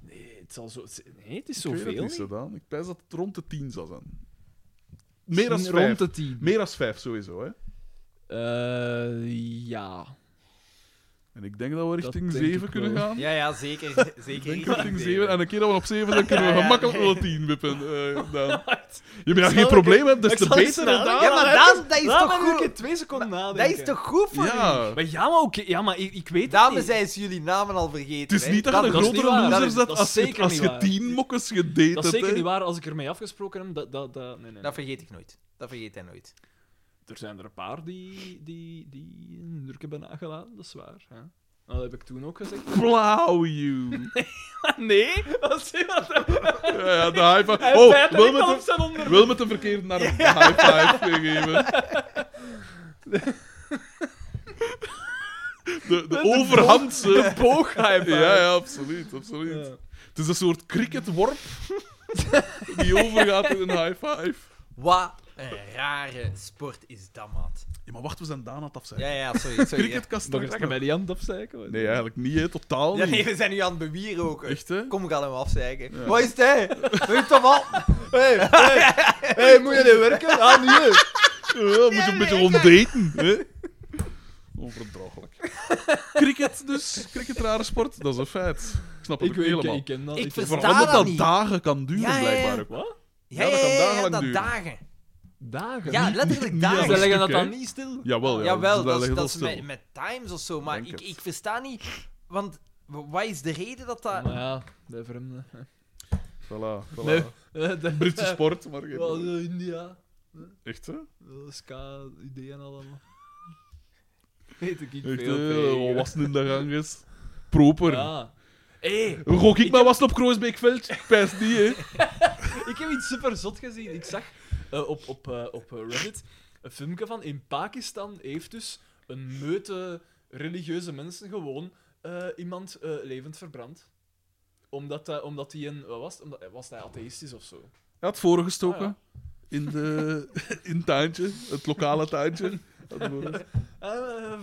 Speaker 3: Nee, het, zal zo, nee, het is
Speaker 2: Ik weet het
Speaker 3: zoveel
Speaker 2: niet,
Speaker 3: niet.
Speaker 2: Sedaan. Ik pijs dat het rond de tien zal zijn. Meer dan
Speaker 3: Misschien
Speaker 2: vijf.
Speaker 3: rond de tien.
Speaker 2: Meer dan vijf sowieso, hè.
Speaker 3: Eh, ja.
Speaker 2: En ik denk dat we richting
Speaker 3: denk
Speaker 2: zeven
Speaker 3: ik
Speaker 2: kunnen
Speaker 3: wel.
Speaker 2: gaan.
Speaker 4: Ja, ja, zeker. Zeker.
Speaker 2: Ik denk
Speaker 4: niet.
Speaker 2: richting zeven. En een keer dat we op zeven zijn, kunnen we
Speaker 4: Ja, ja.
Speaker 2: gemakkelijk wel tien wippen. eh, Daan. Je bent
Speaker 3: zal
Speaker 2: geen
Speaker 3: ik-
Speaker 2: probleem, hebt, des
Speaker 3: ik
Speaker 2: te
Speaker 3: zal het
Speaker 2: beter.
Speaker 3: snel doen.
Speaker 2: hè, Daan.
Speaker 4: Ja, maar Daan, dat is
Speaker 3: Laat
Speaker 4: toch
Speaker 3: mij nu een keer
Speaker 4: goed...
Speaker 3: twee seconden nadenken.
Speaker 4: Dat is toch goed voor u?
Speaker 2: Ja.
Speaker 3: Maar ja, maar oké. Ja, maar ik, ik weet het
Speaker 4: Dames,
Speaker 3: niet.
Speaker 4: hij is jullie namen al vergeten.
Speaker 2: Het is
Speaker 4: hè.
Speaker 2: niet dat je een
Speaker 3: dat is
Speaker 2: grotere
Speaker 3: niet waar.
Speaker 2: loser
Speaker 3: Dat is-
Speaker 2: zet
Speaker 3: dat is
Speaker 2: als je,
Speaker 3: zeker
Speaker 2: als
Speaker 3: niet
Speaker 2: je
Speaker 3: waar.
Speaker 2: tien mokkes gedate
Speaker 3: Dat
Speaker 2: hebt.
Speaker 3: is zeker
Speaker 2: hè.
Speaker 3: niet waar. Als ik ermee afgesproken heb, dat... dat, dat nee, nee, nee.
Speaker 4: Dat vergeet ik nooit. Dat vergeet hij nooit.
Speaker 3: Er zijn er een paar die, die, die een indruk hebben nagelaten, dat is waar. Hè? Dat heb ik toen ook gezegd.
Speaker 2: Blauw, you.
Speaker 3: nee, dat is iemand...
Speaker 2: ja, ja, de high five.
Speaker 3: Oh, wil
Speaker 2: Oh, wil
Speaker 3: met op
Speaker 2: met,
Speaker 3: zijn
Speaker 2: de,
Speaker 3: onder...
Speaker 2: wil met de verkeerde naar een high five gegeven. De, de overhandse.
Speaker 3: boog
Speaker 2: ja, ja, absoluut. absoluut. Het is een soort cricketworp die overgaat in een high five.
Speaker 4: Wat een rare sport is dat, maat.
Speaker 2: Ja, maar wacht, we zijn Daan aan het afzeggen.
Speaker 4: Ja, ja, sorry. sorry ja.
Speaker 2: Cricketkast
Speaker 3: Nog eens dat
Speaker 2: straks
Speaker 3: je
Speaker 2: nog.
Speaker 3: mij die hand afzeiken. hoor.
Speaker 2: Nee, eigenlijk niet, hè, totaal
Speaker 4: Ja,
Speaker 2: niet.
Speaker 4: nee, we zijn nu aan het bewieroken.
Speaker 2: Echt, hè?
Speaker 4: Kom, ik ga hem afzeiken.
Speaker 2: Ja.
Speaker 4: Wat is het, hè? Doe het toch al?
Speaker 3: Hey, hey, hey, moet je dit werken? Ah, nee.
Speaker 2: Ja, moet je een beetje ontdeten. Hè? Onverdraaglijk. Cricket dus. Cricket, rare sport. Dat is een feit. Ik snap het
Speaker 3: Ik
Speaker 2: ook
Speaker 3: weet
Speaker 2: helemaal.
Speaker 3: ik ken dat.
Speaker 4: Ik
Speaker 3: ken
Speaker 4: versta-
Speaker 2: Vooral dat
Speaker 4: dat
Speaker 2: dat
Speaker 4: niet.
Speaker 2: dagen kan duren,
Speaker 4: Ja, ja, ja.
Speaker 2: blijkbaar. ook.
Speaker 3: Wat?
Speaker 4: Ja,
Speaker 2: Ja, dat
Speaker 4: ja,
Speaker 2: kan
Speaker 4: ja, ja,
Speaker 2: dagen
Speaker 4: dat
Speaker 2: duren.
Speaker 4: dagen.
Speaker 3: Dagen?
Speaker 4: Ja,
Speaker 3: Niet-
Speaker 4: letterlijk
Speaker 2: niet
Speaker 4: dagen.
Speaker 2: als
Speaker 3: Ze leggen dat
Speaker 2: stuk,
Speaker 3: dan
Speaker 2: hè?
Speaker 3: niet stil.
Speaker 2: Jawel, ja.
Speaker 4: Jawel,
Speaker 2: ze
Speaker 4: dat,
Speaker 2: leggen
Speaker 4: is- dat is
Speaker 2: stil.
Speaker 4: met, met times of zo, maar
Speaker 2: Denk
Speaker 4: ik,
Speaker 2: het.
Speaker 4: ik versta niet... Want w- wat is de reden dat dat...
Speaker 3: Maar ja, de vreemde.
Speaker 2: Voilà, voilà.
Speaker 3: Nee. Eh, de-
Speaker 2: Britse sport, maar geen-
Speaker 3: Wel, eh, India.
Speaker 2: Echt, hè?
Speaker 3: Eh, Ska, ideeën allemaal. Weet ik niet
Speaker 2: Echt,
Speaker 3: veel.
Speaker 2: hè?
Speaker 3: tegen.
Speaker 2: Wat was het in de gang is? Proper.
Speaker 3: Ja. Hé, hey,
Speaker 2: Gok ik maar was het op Kroosbeekveld? Pijs niet, hè?
Speaker 3: ik heb iets super zot gezien. Ik zag eh, op, op, eh, op eh, Reddit een filmpje van. In Pakistan heeft dus een meute religieuze mensen gewoon eh, iemand eh, levend verbrand. Omdat, hij- omdat hij een. Wat was het? Omdat, eh, was hij atheïstisch of zo?
Speaker 2: Hij had voren gestoken
Speaker 3: Ah,
Speaker 2: in, de, in het tuintje, het lokale tuintje. Had voren.
Speaker 3: Eh,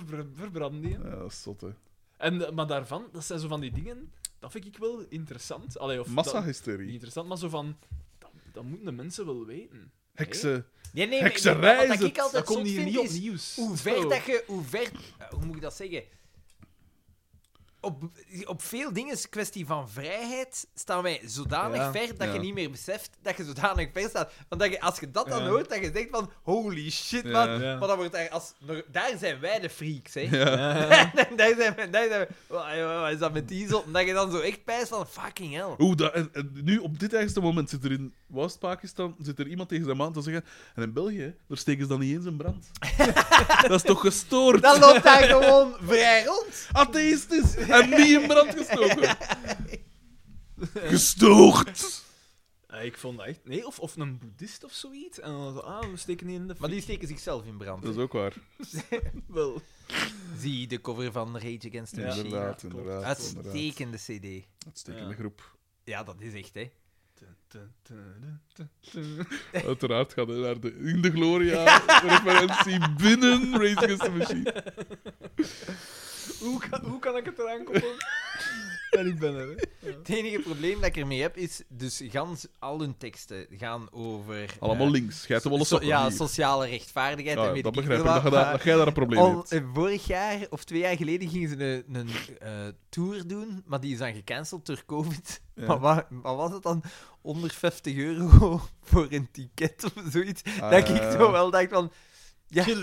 Speaker 3: ver- verbrand die. hè.
Speaker 2: Ja, dat is zot, hè.
Speaker 3: En, eh, maar daarvan, dat zijn zo van die dingen. Dat vind ik wel interessant. Allee, of dat- Niet
Speaker 2: Massahysterie.
Speaker 3: interessant, maar zo van. Dat, dat moeten de mensen wel weten.
Speaker 2: Heksen.
Speaker 4: Nee, nee, maar-
Speaker 2: Hekserij
Speaker 4: wat
Speaker 2: is
Speaker 4: ik
Speaker 2: het.
Speaker 4: altijd
Speaker 3: Dat komt
Speaker 4: zot
Speaker 3: hier
Speaker 4: vind
Speaker 3: niet
Speaker 4: is-
Speaker 3: op nieuws.
Speaker 4: hoe
Speaker 3: Zo.
Speaker 4: ver dat je, hoe ver, eh, hoe moet ik dat zeggen? Op, op veel dingen is het kwestie van vrijheid. Staan wij zodanig
Speaker 3: Ja.
Speaker 4: ver dat
Speaker 2: Ja.
Speaker 4: je niet meer beseft dat je zodanig ver staat. Want dat je, als je dat dan
Speaker 3: Ja.
Speaker 4: hoort, dat je denkt van holy shit
Speaker 2: Ja.
Speaker 4: man.
Speaker 3: Ja.
Speaker 4: Maar dan wordt daar, als, daar zijn wij de freaks, hè?
Speaker 2: Ja.
Speaker 4: daar zijn we, daar zijn we, wat, wat is dat met die zot? En dat je dan zo echt pijst van fucking hell.
Speaker 2: Oeh, dat, en, en nu op dit eigenste moment zit er in West-Pakistan zit er iemand tegen zijn man te zeggen. En in België, hè, daar steken ze dan niet eens in brand. dat is toch gestoord?
Speaker 4: Dan loopt hij gewoon vrij rond.
Speaker 2: Atheïstisch en niet in brand gestoken. Gestoord!
Speaker 3: Ja, Eh, ik vond dat echt. Nee, of, of een boeddhist of zoiets. En dan zo, ah, we steken die in de.
Speaker 4: Maar die steken zichzelf in brand.
Speaker 2: Dat is ook waar.
Speaker 3: wel.
Speaker 4: Zie de cover van Rage Against the Machine.
Speaker 2: Inderdaad,
Speaker 3: klopt.
Speaker 2: inderdaad. inderdaad.
Speaker 4: Uitstekende CD.
Speaker 2: Uitstekende
Speaker 3: Ja.
Speaker 2: groep.
Speaker 4: Ja, dat is echt, hè?
Speaker 2: Uiteraard gaat hij naar de In de Gloria-referentie binnen Race Against the Machine.
Speaker 3: Hoe kan, hoe kan ik het eraan koppelen? en ik ben er. Hè.
Speaker 4: Het enige probleem dat ik ermee heb is, dus gans al hun teksten gaan over.
Speaker 2: Allemaal
Speaker 4: eh,
Speaker 2: links. Gij hebt wel eens Ah,
Speaker 4: so- ja, sociale rechtvaardigheid. en weet
Speaker 2: dat
Speaker 4: ik
Speaker 2: begrijp ik,
Speaker 4: veel
Speaker 2: dat, je
Speaker 4: wat,
Speaker 2: daar-
Speaker 4: maar
Speaker 2: dat jij daar een probleem mee
Speaker 4: om-
Speaker 2: hebt.
Speaker 4: eh, vorig jaar of twee jaar geleden gingen ze een, een eh, tour doen, maar die is dan gecanceld door COVID.
Speaker 2: Ja.
Speaker 4: Maar wa- wat was het dan? 150 euro voor een ticket of zoiets. dat ik
Speaker 2: Ah.
Speaker 4: zo wel dacht van. Ja,
Speaker 3: in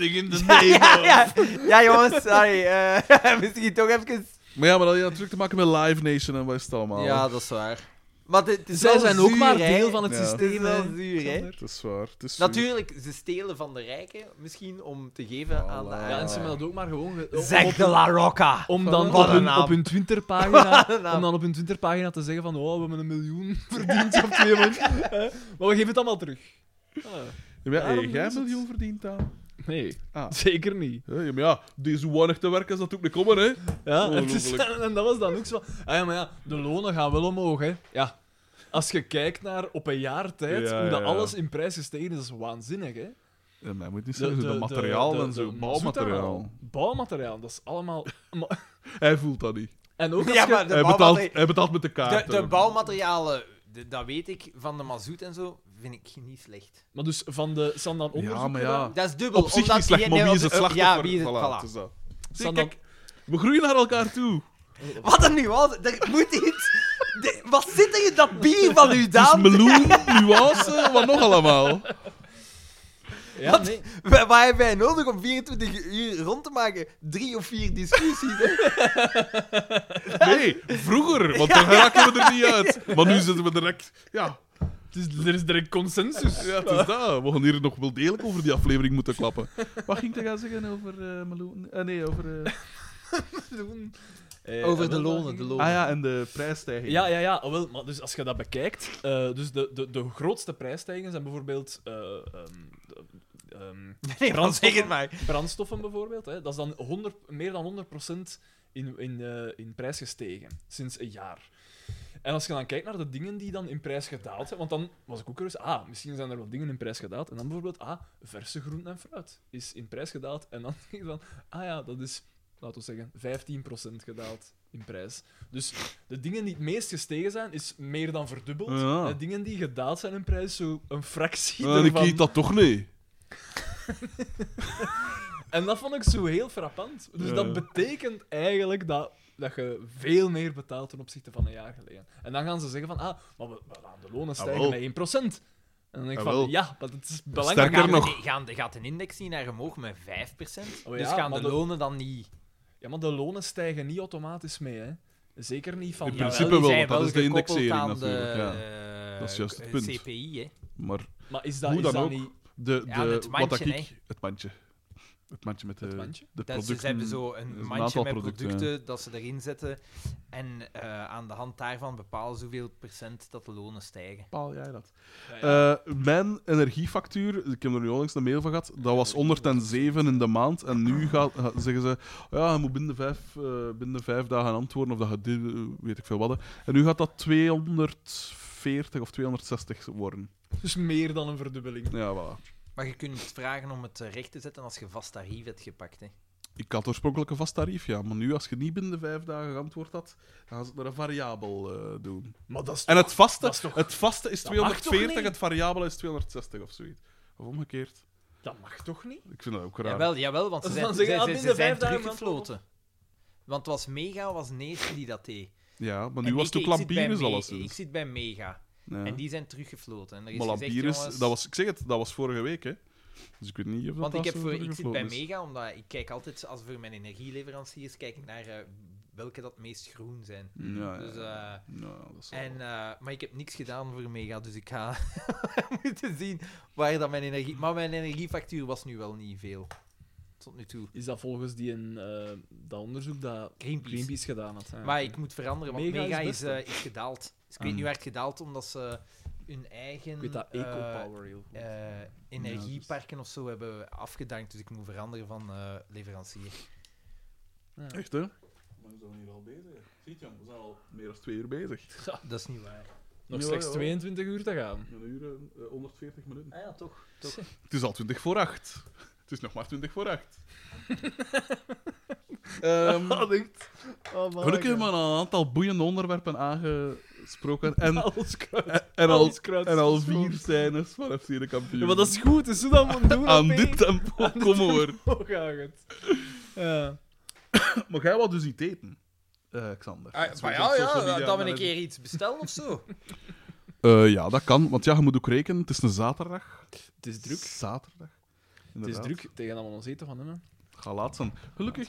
Speaker 4: ja, ja, ja, ja, jongens, sorry. eh, misschien toch even.
Speaker 2: Maar ja, maar dat heeft natuurlijk te maken met Live Nation en wat is het allemaal.
Speaker 4: Ja, dat is waar. Maar dit- het is
Speaker 3: Zij
Speaker 4: wel
Speaker 3: zijn ook
Speaker 4: zuur,
Speaker 3: maar
Speaker 4: hè.
Speaker 3: deel van het
Speaker 2: Ja.
Speaker 4: Het is
Speaker 3: systeem.
Speaker 4: wel
Speaker 3: hè.
Speaker 4: zuur, hè?
Speaker 2: Het is waar. Het is
Speaker 4: Natuurlijk, ze stelen van de rijken, misschien om te geven
Speaker 2: Voilà.
Speaker 4: aan de
Speaker 3: Ja, en ze
Speaker 4: armen.
Speaker 3: hebben dat ook maar gewoon. ge-
Speaker 4: Zeg de La Rocca!
Speaker 3: Om dan
Speaker 4: Wat
Speaker 3: op
Speaker 4: een
Speaker 3: hun,
Speaker 4: naam.
Speaker 3: op hun Twitterpagina,
Speaker 4: Wat een naam.
Speaker 3: om dan op hun Twitterpagina te zeggen van oh, we hebben een miljoen verdiend of twee miljoen. Hè? Maar we geven het allemaal terug. Ah,
Speaker 2: Ja, maar, hey,
Speaker 3: Daarom
Speaker 2: jij
Speaker 3: is het-
Speaker 2: miljoen verdiend aan.
Speaker 3: nee,
Speaker 2: Ah.
Speaker 3: zeker niet.
Speaker 2: Ja, ja, maar ja, die zo weinig te werken is natuurlijk niet komen, hè?
Speaker 3: Ja, en, het is-
Speaker 2: Ongelooflijk.
Speaker 3: en dat was dan ook zo. Ah, ja, maar ja, de lonen gaan wel omhoog, hè. Ja. Als je kijkt naar op een jaar tijd,
Speaker 2: Ja,
Speaker 3: hoe dat
Speaker 2: ja, ja.
Speaker 3: alles in prijs gestegen is, dat is waanzinnig, hè.
Speaker 2: Ja, maar je moet niet
Speaker 3: De-
Speaker 2: zeggen,
Speaker 3: de-
Speaker 2: zo
Speaker 3: de-
Speaker 2: dat materiaal
Speaker 3: de-
Speaker 2: en
Speaker 3: de
Speaker 2: zo,
Speaker 3: mazoet
Speaker 2: bouwmateriaal.
Speaker 3: daarvan. Bouwmateriaal, dat is allemaal... maar-
Speaker 2: Hij voelt dat niet.
Speaker 3: En ook als
Speaker 4: Ja,
Speaker 3: je-
Speaker 4: maar de
Speaker 2: Hij betaalt,
Speaker 4: bouwmaterialen,
Speaker 2: hij betaalt met de
Speaker 4: de,
Speaker 2: kaart.
Speaker 4: de
Speaker 2: hè.
Speaker 4: bouwmaterialen de- dat weet ik, van de mazoet en zo, vind ik niet slecht.
Speaker 3: Maar dus van de Sandan onderzoek
Speaker 2: Ja, maar ja.
Speaker 4: Dat is dubbel.
Speaker 2: Op zich
Speaker 4: omdat
Speaker 2: niet slecht,
Speaker 4: je-
Speaker 2: maar
Speaker 4: nee,
Speaker 2: wie is
Speaker 4: op-
Speaker 2: het
Speaker 4: op-
Speaker 2: slachtoffer?
Speaker 4: Ja, wie is het?
Speaker 2: Voilà,
Speaker 4: Voilà.
Speaker 2: het is dat. Zie,
Speaker 3: Sandan-
Speaker 2: kijk, we groeien naar elkaar toe.
Speaker 4: Wat een nuance. Er moet iets... De- wat zit er in dat bier van u,
Speaker 2: Dus
Speaker 4: Daan?
Speaker 2: meloen, nuance, wat nog allemaal.
Speaker 3: Ja,
Speaker 4: Wat?
Speaker 3: nee.
Speaker 4: Wa- Waar hebben wij nodig om 24 uur rond te maken? Drie of vier discussies. hè?
Speaker 2: Nee, vroeger, want dan raken we er niet uit. Maar nu zitten we direct... Ja,
Speaker 3: Het is, er is direct consensus.
Speaker 2: ja het is dat. We gaan hier nog wel degelijk over die aflevering moeten klappen. Wat ging ik daar gaan zeggen over eh meloen? Eh, nee, over... eh,
Speaker 3: Doen. Eh,
Speaker 4: Over
Speaker 3: en
Speaker 4: de
Speaker 3: wel,
Speaker 4: lonen,
Speaker 3: dan-
Speaker 4: de lonen.
Speaker 2: Ah ja, en de prijsstijging.
Speaker 3: Ja, ja, ja. Wel, maar dus als je dat bekijkt, eh, dus de, de, de grootste prijsstijgingen zijn bijvoorbeeld eh, ehm, de- ehm,
Speaker 4: Nee, man, zeg
Speaker 3: brandstoffen,
Speaker 4: het maar.
Speaker 3: brandstoffen bijvoorbeeld. Hè. Dat is dan 100, meer dan 100% in, in, eh, in prijs gestegen sinds een jaar. En als je dan kijkt naar de dingen die dan in prijs gedaald zijn, want dan was ik ook eens, ah, misschien zijn er wel dingen in prijs gedaald. En dan bijvoorbeeld, ah, verse groenten en fruit is in prijs gedaald. En dan denk je van, ah ja, dat is, laten we zeggen, 15% gedaald in prijs. Dus de dingen die het meest gestegen zijn, is meer dan verdubbeld.
Speaker 2: Ja.
Speaker 3: En De dingen die gedaald zijn in prijs, zo een fractie
Speaker 2: Eh, ik
Speaker 3: ervan.
Speaker 2: kiet dat toch niet.
Speaker 3: En dat vond ik zo heel frappant. Dus
Speaker 2: Ja.
Speaker 3: dat betekent eigenlijk dat, dat je veel meer betaalt ten opzichte van een jaar geleden. En dan gaan ze zeggen van, ah, maar we, we gaan de lonen
Speaker 2: Jawel.
Speaker 3: stijgen met 1%. En dan denk ik
Speaker 2: Jawel.
Speaker 3: van, ja, maar het is belangrijk.
Speaker 2: Sterker
Speaker 4: Gaan
Speaker 2: nog,
Speaker 4: we- nee, gaan, gaat een index niet naar omhoog met 5%?
Speaker 3: Oh ja,
Speaker 4: dus gaan de
Speaker 3: maar dat-
Speaker 4: lonen dan niet...
Speaker 3: Ja, maar de lonen stijgen niet automatisch mee, hè. Zeker niet van...
Speaker 2: In
Speaker 3: Jawel.
Speaker 2: principe
Speaker 4: die
Speaker 2: wel,
Speaker 4: zijn
Speaker 2: want dat is de
Speaker 4: gekoppeld
Speaker 2: indexering
Speaker 4: aan de,
Speaker 2: natuurlijk,
Speaker 4: eh,
Speaker 2: Dat is juist het
Speaker 4: eh,
Speaker 2: punt.
Speaker 4: CPI, hè.
Speaker 2: maar
Speaker 3: Maar is dat,
Speaker 2: Hoe
Speaker 3: is
Speaker 2: dan
Speaker 3: dat
Speaker 2: ook.
Speaker 3: niet...
Speaker 2: de, de,
Speaker 4: Ja, het
Speaker 2: wat dat
Speaker 4: mandje,
Speaker 2: ik, het mandje. Het mandje met de,
Speaker 3: Het mandje?
Speaker 2: de
Speaker 4: Dat
Speaker 2: producten.
Speaker 4: ze, ze hebben zo
Speaker 2: dus
Speaker 4: een
Speaker 2: een
Speaker 4: mandje
Speaker 2: aantal
Speaker 4: met
Speaker 2: producten.
Speaker 4: producten, dat ze erin zetten. En eh, aan de hand daarvan bepalen ze hoeveel procent dat de lonen stijgen.
Speaker 2: Bepaal jij dat?
Speaker 3: Ja,
Speaker 2: Eh, mijn energiefactuur, ik heb er nu onlangs een mail van gehad, dat was 107 in de maand. En nu gaat, ga- zeggen ze, ja, je moet binnen de vijf, eh, binnen de vijf dagen antwoorden of dat je dit, eh, weet ik veel wat. hè. En nu gaat dat 240 of 260 worden.
Speaker 3: Dus meer dan een verdubbeling.
Speaker 2: Ja, voilà.
Speaker 4: Maar je kunt vragen om het eh, recht te zetten als je vast tarief hebt gepakt. Hè.
Speaker 2: Ik had oorspronkelijk een vast tarief, ja. Maar nu, als je niet binnen de vijf dagen geantwoord had, dan gaan ze het naar een variabel eh, doen.
Speaker 3: Maar dat is
Speaker 2: En het vaste,
Speaker 3: dat is toch-
Speaker 2: het vaste is
Speaker 3: dat mag toch
Speaker 2: 240,
Speaker 3: niet?
Speaker 2: het variabele is 260 of zoiets. Of omgekeerd.
Speaker 3: Dat mag toch niet?
Speaker 2: Ik vind dat ook raar.
Speaker 4: Jawel, jawel, want ze
Speaker 3: Als ze
Speaker 4: zijn,
Speaker 3: dan
Speaker 4: ze,
Speaker 3: zeggen, ah,
Speaker 4: ze-
Speaker 3: binnen
Speaker 4: ze
Speaker 3: vijf
Speaker 4: zijn
Speaker 3: dagen
Speaker 4: teruggefloten. Want het was Mega was de eerste die dat deed.
Speaker 2: Ja, maar nu
Speaker 4: En
Speaker 2: was
Speaker 4: ik-
Speaker 2: het ook
Speaker 4: ik zit bij
Speaker 2: Lampires
Speaker 4: Me-
Speaker 2: alleszins.
Speaker 4: Ik zit bij Mega.
Speaker 2: dus. Ja.
Speaker 4: En die zijn teruggefloten. En er is
Speaker 2: Maar
Speaker 4: gezegd,
Speaker 2: Lampires,
Speaker 4: jongens-
Speaker 2: dat was, ik zeg het, dat was vorige week, hè. Dus ik weet niet of dat
Speaker 4: Want
Speaker 2: dat
Speaker 4: ik, heb
Speaker 2: zo
Speaker 4: voor, ik zit bij
Speaker 2: teruggevlogen is.
Speaker 4: Mega, omdat ik kijk altijd, als voor mijn energieleveranciers, kijk ik naar eh, welke dat het meest groen zijn.
Speaker 2: Ja, ja,
Speaker 4: Dus,
Speaker 2: ja.
Speaker 4: eh,
Speaker 2: Nou, dat is wel-
Speaker 4: En, eh, maar ik heb niks gedaan voor Mega, dus ik ga moeten zien waar dat mijn energie... Maar mijn energiefactuur was nu wel niet veel. Tot nu toe.
Speaker 3: Is dat volgens die een, eh, dat onderzoek dat
Speaker 4: Greenpeace.
Speaker 3: Greenpeace gedaan had? hè?
Speaker 4: Maar ik moet veranderen, want
Speaker 3: Ah, Mega
Speaker 4: Mega,
Speaker 3: is
Speaker 4: is,
Speaker 3: best, hè?
Speaker 4: eh, is gedaald. Dus ik weet
Speaker 2: Ah.
Speaker 4: niet waar het gedaald, omdat ze hun eigen...
Speaker 3: Ik weet dat
Speaker 4: eh,
Speaker 3: EcoPower dus. heel goed.
Speaker 4: eh, energieparken of zo hebben afgedankt, dus ik moet veranderen van eh, leverancier. eh,
Speaker 2: Echt, hè? Maar we zijn hier al bezig. Ziet je, we zijn al meer dan twee uur bezig.
Speaker 4: Dat is niet waar.
Speaker 3: Nog
Speaker 2: Ja,
Speaker 3: slechts
Speaker 2: ja.
Speaker 3: 22 uur te gaan.
Speaker 2: Een uur, eh, 140 minuten.
Speaker 4: Ah ja, toch. toch.
Speaker 2: Het is al 20 voor 8. Het is nog maar 20 voor 8. Ehm
Speaker 4: Oh,
Speaker 2: gelukkig hebben we al een aantal boeiende onderwerpen aangesproken. En,
Speaker 4: Oh,
Speaker 3: Alles kruid.
Speaker 2: en, en al,
Speaker 3: alles kruid.
Speaker 2: en al vier scènes van FC de kampioen.
Speaker 3: Ja, maar dat is goed, dus hoe dat moet doen.
Speaker 2: Aan
Speaker 3: dat
Speaker 2: dit tempo,
Speaker 3: dit
Speaker 2: kom hoor.
Speaker 3: Hoe gaat het? Ja.
Speaker 2: Maar jij wou dus niet eten, eh, Xander.
Speaker 3: Ah,
Speaker 2: Dat is
Speaker 4: maar
Speaker 2: wat op
Speaker 4: ja, Oh ja,
Speaker 2: social media
Speaker 4: dat we
Speaker 2: dan
Speaker 4: een
Speaker 2: is.
Speaker 4: keer iets bestellen of zo.
Speaker 2: Eh, ja, dat kan. Want ja, je moet ook rekenen. Het is een zaterdag.
Speaker 3: Het is druk.
Speaker 2: Zaterdag.
Speaker 3: Het is
Speaker 2: Inderdaad.
Speaker 3: druk tegen dat we ons eten van hem.
Speaker 2: Ga laat zijn. Gelukkig,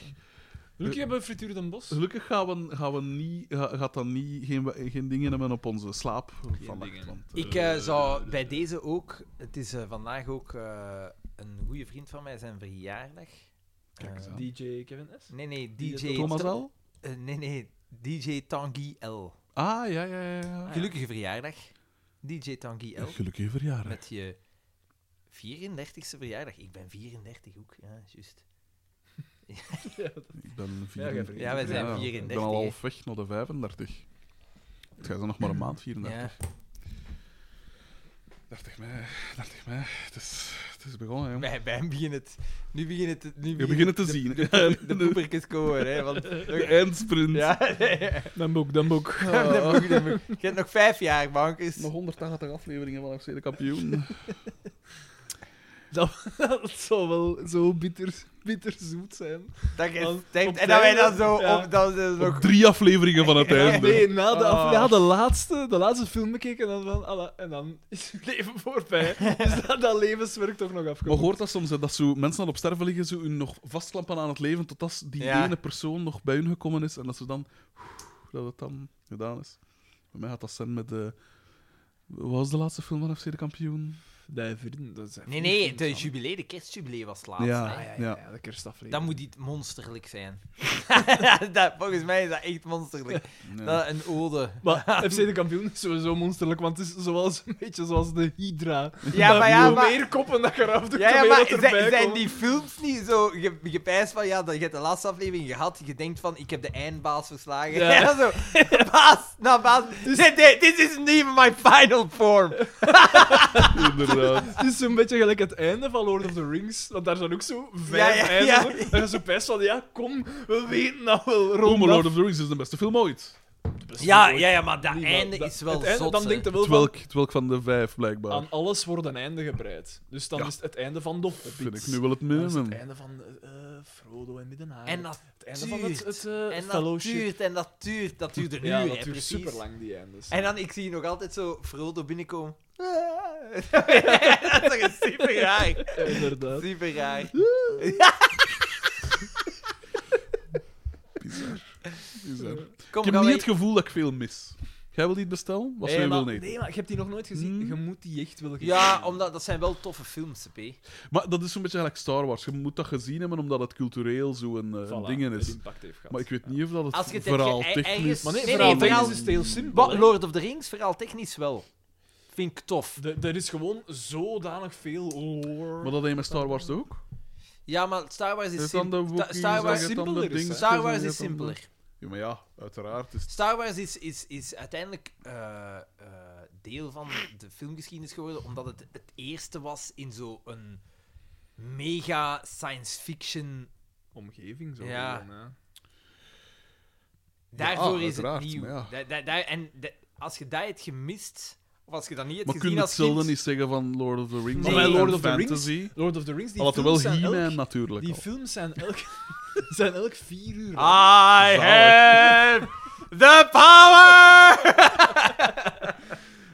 Speaker 3: Gelukkig hebben we frituur den bos.
Speaker 2: gelukkig gaan we, gaan we niet, ga- gaat dat niet, geen, geen dingen hebben op onze slaap vannacht.
Speaker 3: dingen.
Speaker 2: Want,
Speaker 4: Ik
Speaker 2: eh,
Speaker 4: eh, zou bij deze ook, het is eh, vandaag ook eh, een goede vriend van mij, zijn verjaardag.
Speaker 2: Kijk eens
Speaker 4: Eh,
Speaker 2: aan.
Speaker 3: DJ Kevin S.
Speaker 4: nee, nee,
Speaker 3: Die
Speaker 4: DJ.
Speaker 2: Thomas al?
Speaker 4: Eh, nee, nee, DJ Tanguy L.
Speaker 2: Ah, ja, ja, ja. ja.
Speaker 4: Gelukkige verjaardag, DJ Tanguy L.
Speaker 2: Gelukkige verjaardag.
Speaker 4: Met je 34ste verjaardag. Ik ben 34 ook, ja, juist.
Speaker 2: Ik ben
Speaker 3: Ja, jij
Speaker 2: 34.
Speaker 3: vergeet Ja, wij
Speaker 4: het. zijn
Speaker 2: Ik
Speaker 4: 34,
Speaker 2: ben al
Speaker 4: hè.
Speaker 2: half weg naar de 35. Het gaat nog maar een maand 34.
Speaker 4: Ja.
Speaker 2: 30 mei, 30 mei. Het is, het is begonnen, jongen.
Speaker 4: Bij, bij hem begint het, nu begint het, nu
Speaker 2: Je
Speaker 4: begint
Speaker 2: begint het te
Speaker 4: de-
Speaker 2: zien.
Speaker 4: De, poeper- de poepertjes komen, hè, want...
Speaker 2: De eindsprint. Ah.
Speaker 4: Ja,
Speaker 3: Dan boek, dan boek.
Speaker 4: Dan moet je- dan moet je- je hebt nog vijf jaar, bankers.
Speaker 2: Nog 180 afleveringen van FC de kampioen.
Speaker 3: Dat zou wel zo bitter, bitterzoet zijn.
Speaker 4: Dat is-
Speaker 3: Want
Speaker 4: denk-
Speaker 3: op
Speaker 4: en dat wij
Speaker 3: tijd,
Speaker 4: dan zo...
Speaker 3: ja.
Speaker 4: Op, dan, zo-
Speaker 2: Op drie afleveringen van het einde.
Speaker 3: Nee, na de, af-
Speaker 4: Ah.
Speaker 3: na de, laatste, de laatste film bekeken en dan, van, alla, en dan is het leven voorbij. Dus dat, dat levenswerk toch nog
Speaker 2: Maar
Speaker 3: afgekomen.
Speaker 2: hoort dat soms, hè, dat zo mensen al op sterven liggen, zo hun nog vastklampen aan het leven, totdat ze die
Speaker 4: Ja.
Speaker 2: ene persoon nog bij hun gekomen is en dat ze dan... oeh, Dat het dan gedaan is. Bij mij gaat dat zijn met... eh wat was de laatste film van FC de kampioen?
Speaker 3: Nee, vrienden, dat zijn
Speaker 4: Nee, nee,
Speaker 3: vrienden
Speaker 4: de
Speaker 3: van-
Speaker 4: jubilee, de kerstjubilee was laatst.
Speaker 2: Ja.
Speaker 4: hè.
Speaker 3: Ah, ja, ja, ja, de kerstaflevering.
Speaker 4: Dat moet iets monsterlijk zijn. dat, volgens mij is dat echt monsterlijk.
Speaker 2: Nee.
Speaker 4: Dat, een ode.
Speaker 3: Maar FC de kampioen is sowieso monsterlijk, want het is zoals, een beetje zoals de Hydra.
Speaker 4: Ja, maar ja,
Speaker 3: hoe
Speaker 4: maar...
Speaker 3: meer koppen dat je eraf doet,
Speaker 4: Ja, ja,
Speaker 3: hoe
Speaker 4: maar
Speaker 3: meer dat
Speaker 4: zijn,
Speaker 3: erbij
Speaker 4: zijn
Speaker 3: komt.
Speaker 4: die films niet zo ge- gepijst van, ja, dat je hebt de laatste aflevering gehad, je denkt van, ik heb de eindbaas verslagen.
Speaker 3: Ja. Dus-
Speaker 4: Ja, zo. Baas, nou baas, dit, dit, this isn't even my final form.
Speaker 2: Inderdaad.
Speaker 3: Het is zo'n beetje gelijk het einde van Lord of the Rings, want daar zijn ook zo vijf
Speaker 4: Ja, ja,
Speaker 3: einden.
Speaker 4: ja.
Speaker 3: voor. En dan zo best van, ja, kom, we weten dat wel,
Speaker 2: Rome,
Speaker 3: rond
Speaker 2: Lord of the Rings is de beste film ooit.
Speaker 4: Ja, ja, ja, maar dat
Speaker 3: Niet
Speaker 4: einde
Speaker 3: wel-
Speaker 4: is wel
Speaker 3: het einde,
Speaker 4: zot,
Speaker 3: Dan
Speaker 4: hè.
Speaker 3: denkt je wel van,
Speaker 2: Twelk, twelk van de vijf, blijkbaar.
Speaker 3: aan alles wordt een einde gebreid. Dus dan
Speaker 2: Ja.
Speaker 3: is het het einde van de Hobbit.
Speaker 2: Vind ik nu wel het
Speaker 3: Dan is het
Speaker 2: minimum.
Speaker 3: einde van eh, Frodo en Middenhaar.
Speaker 4: En dat
Speaker 3: het einde van het, het eh,
Speaker 4: En dat
Speaker 3: fellowship.
Speaker 4: duurt, en dat duurt, dat duurt er nu,
Speaker 3: ja,
Speaker 4: hè,
Speaker 3: dat duurt
Speaker 4: precies.
Speaker 3: super lang, die eindes.
Speaker 4: En dan, ik zie nog altijd zo Frodo binnenkomen. dat is super raar.
Speaker 3: Ja, inderdaad.
Speaker 4: Super raar.
Speaker 2: Bizar. Bizar. Ik heb
Speaker 4: Kom,
Speaker 2: niet
Speaker 4: gaan wij-
Speaker 2: het gevoel dat ik veel mis. Jij wil die bestellen? Wat
Speaker 3: nee,
Speaker 2: zou je
Speaker 3: maar,
Speaker 2: willen eten?
Speaker 3: nee, maar ik heb die nog nooit gezien.
Speaker 2: Hmm.
Speaker 3: Je moet die echt willen gezien
Speaker 4: Ja,
Speaker 3: hebben.
Speaker 4: omdat dat zijn wel toffe films, P.
Speaker 2: Maar dat is zo'n beetje gelijk Star Wars. Je moet dat gezien hebben omdat het cultureel zo'n eh, een
Speaker 3: Voilà,
Speaker 2: ding
Speaker 3: het
Speaker 2: is.
Speaker 3: impact heeft gehad.
Speaker 2: Maar ik weet niet of dat het,
Speaker 4: Als je het hebt
Speaker 2: verhaal
Speaker 4: ge-
Speaker 2: technisch...
Speaker 4: ergens-
Speaker 3: Maar nee,
Speaker 4: Nee, nee,
Speaker 3: verhaal
Speaker 4: verhaal-
Speaker 3: technisch is het heel simpel.
Speaker 4: Wat,
Speaker 3: hè.
Speaker 4: Lord of the Rings, verhaal technisch wel. Vind ik tof.
Speaker 3: D- Er is gewoon zodanig veel lore.
Speaker 2: Maar dat deed je met Star Wars toch ook?
Speaker 4: Ja, maar Star Wars
Speaker 2: Je
Speaker 4: is
Speaker 2: hebt dan de
Speaker 4: simpeler.
Speaker 2: Wookiees,
Speaker 4: Star
Speaker 2: en je
Speaker 4: Wars,
Speaker 2: hebt dan de
Speaker 3: simpeler is, hè.
Speaker 2: dingetjes en
Speaker 4: Star Wars
Speaker 2: je hebt
Speaker 4: is
Speaker 2: dan de-
Speaker 4: simpeler.
Speaker 2: Ja, maar ja, uiteraard. Is... het-
Speaker 4: Star Wars is, is, is uiteindelijk eh, eh, deel van de filmgeschiedenis geworden, omdat het het eerste was in zo'n mega science fiction.
Speaker 3: Omgeving zo.
Speaker 4: Ja.
Speaker 3: gewoon, hè.
Speaker 4: Daarvoor is het
Speaker 2: uiteraard,
Speaker 4: nieuw.
Speaker 2: maar ja.
Speaker 4: Da- da- da- en da- als je dat hebt gemist, of als je dat niet hebt
Speaker 2: Maar kun
Speaker 4: gezien
Speaker 2: je
Speaker 4: als
Speaker 2: hetzelfde
Speaker 4: kind,
Speaker 2: niet zeggen van Lord of the Rings
Speaker 4: Nee.
Speaker 2: en
Speaker 4: Maar bij
Speaker 3: Lord of the Rings-
Speaker 2: Fantasy?
Speaker 3: Lord of the Rings, die
Speaker 2: Alhoewel
Speaker 3: films zijn
Speaker 2: He-Man
Speaker 3: elk,
Speaker 2: natuurlijk
Speaker 3: Die
Speaker 2: al.
Speaker 3: films zijn elk, zijn elk vier uur.
Speaker 2: Ah,
Speaker 3: lang.
Speaker 4: I have the power!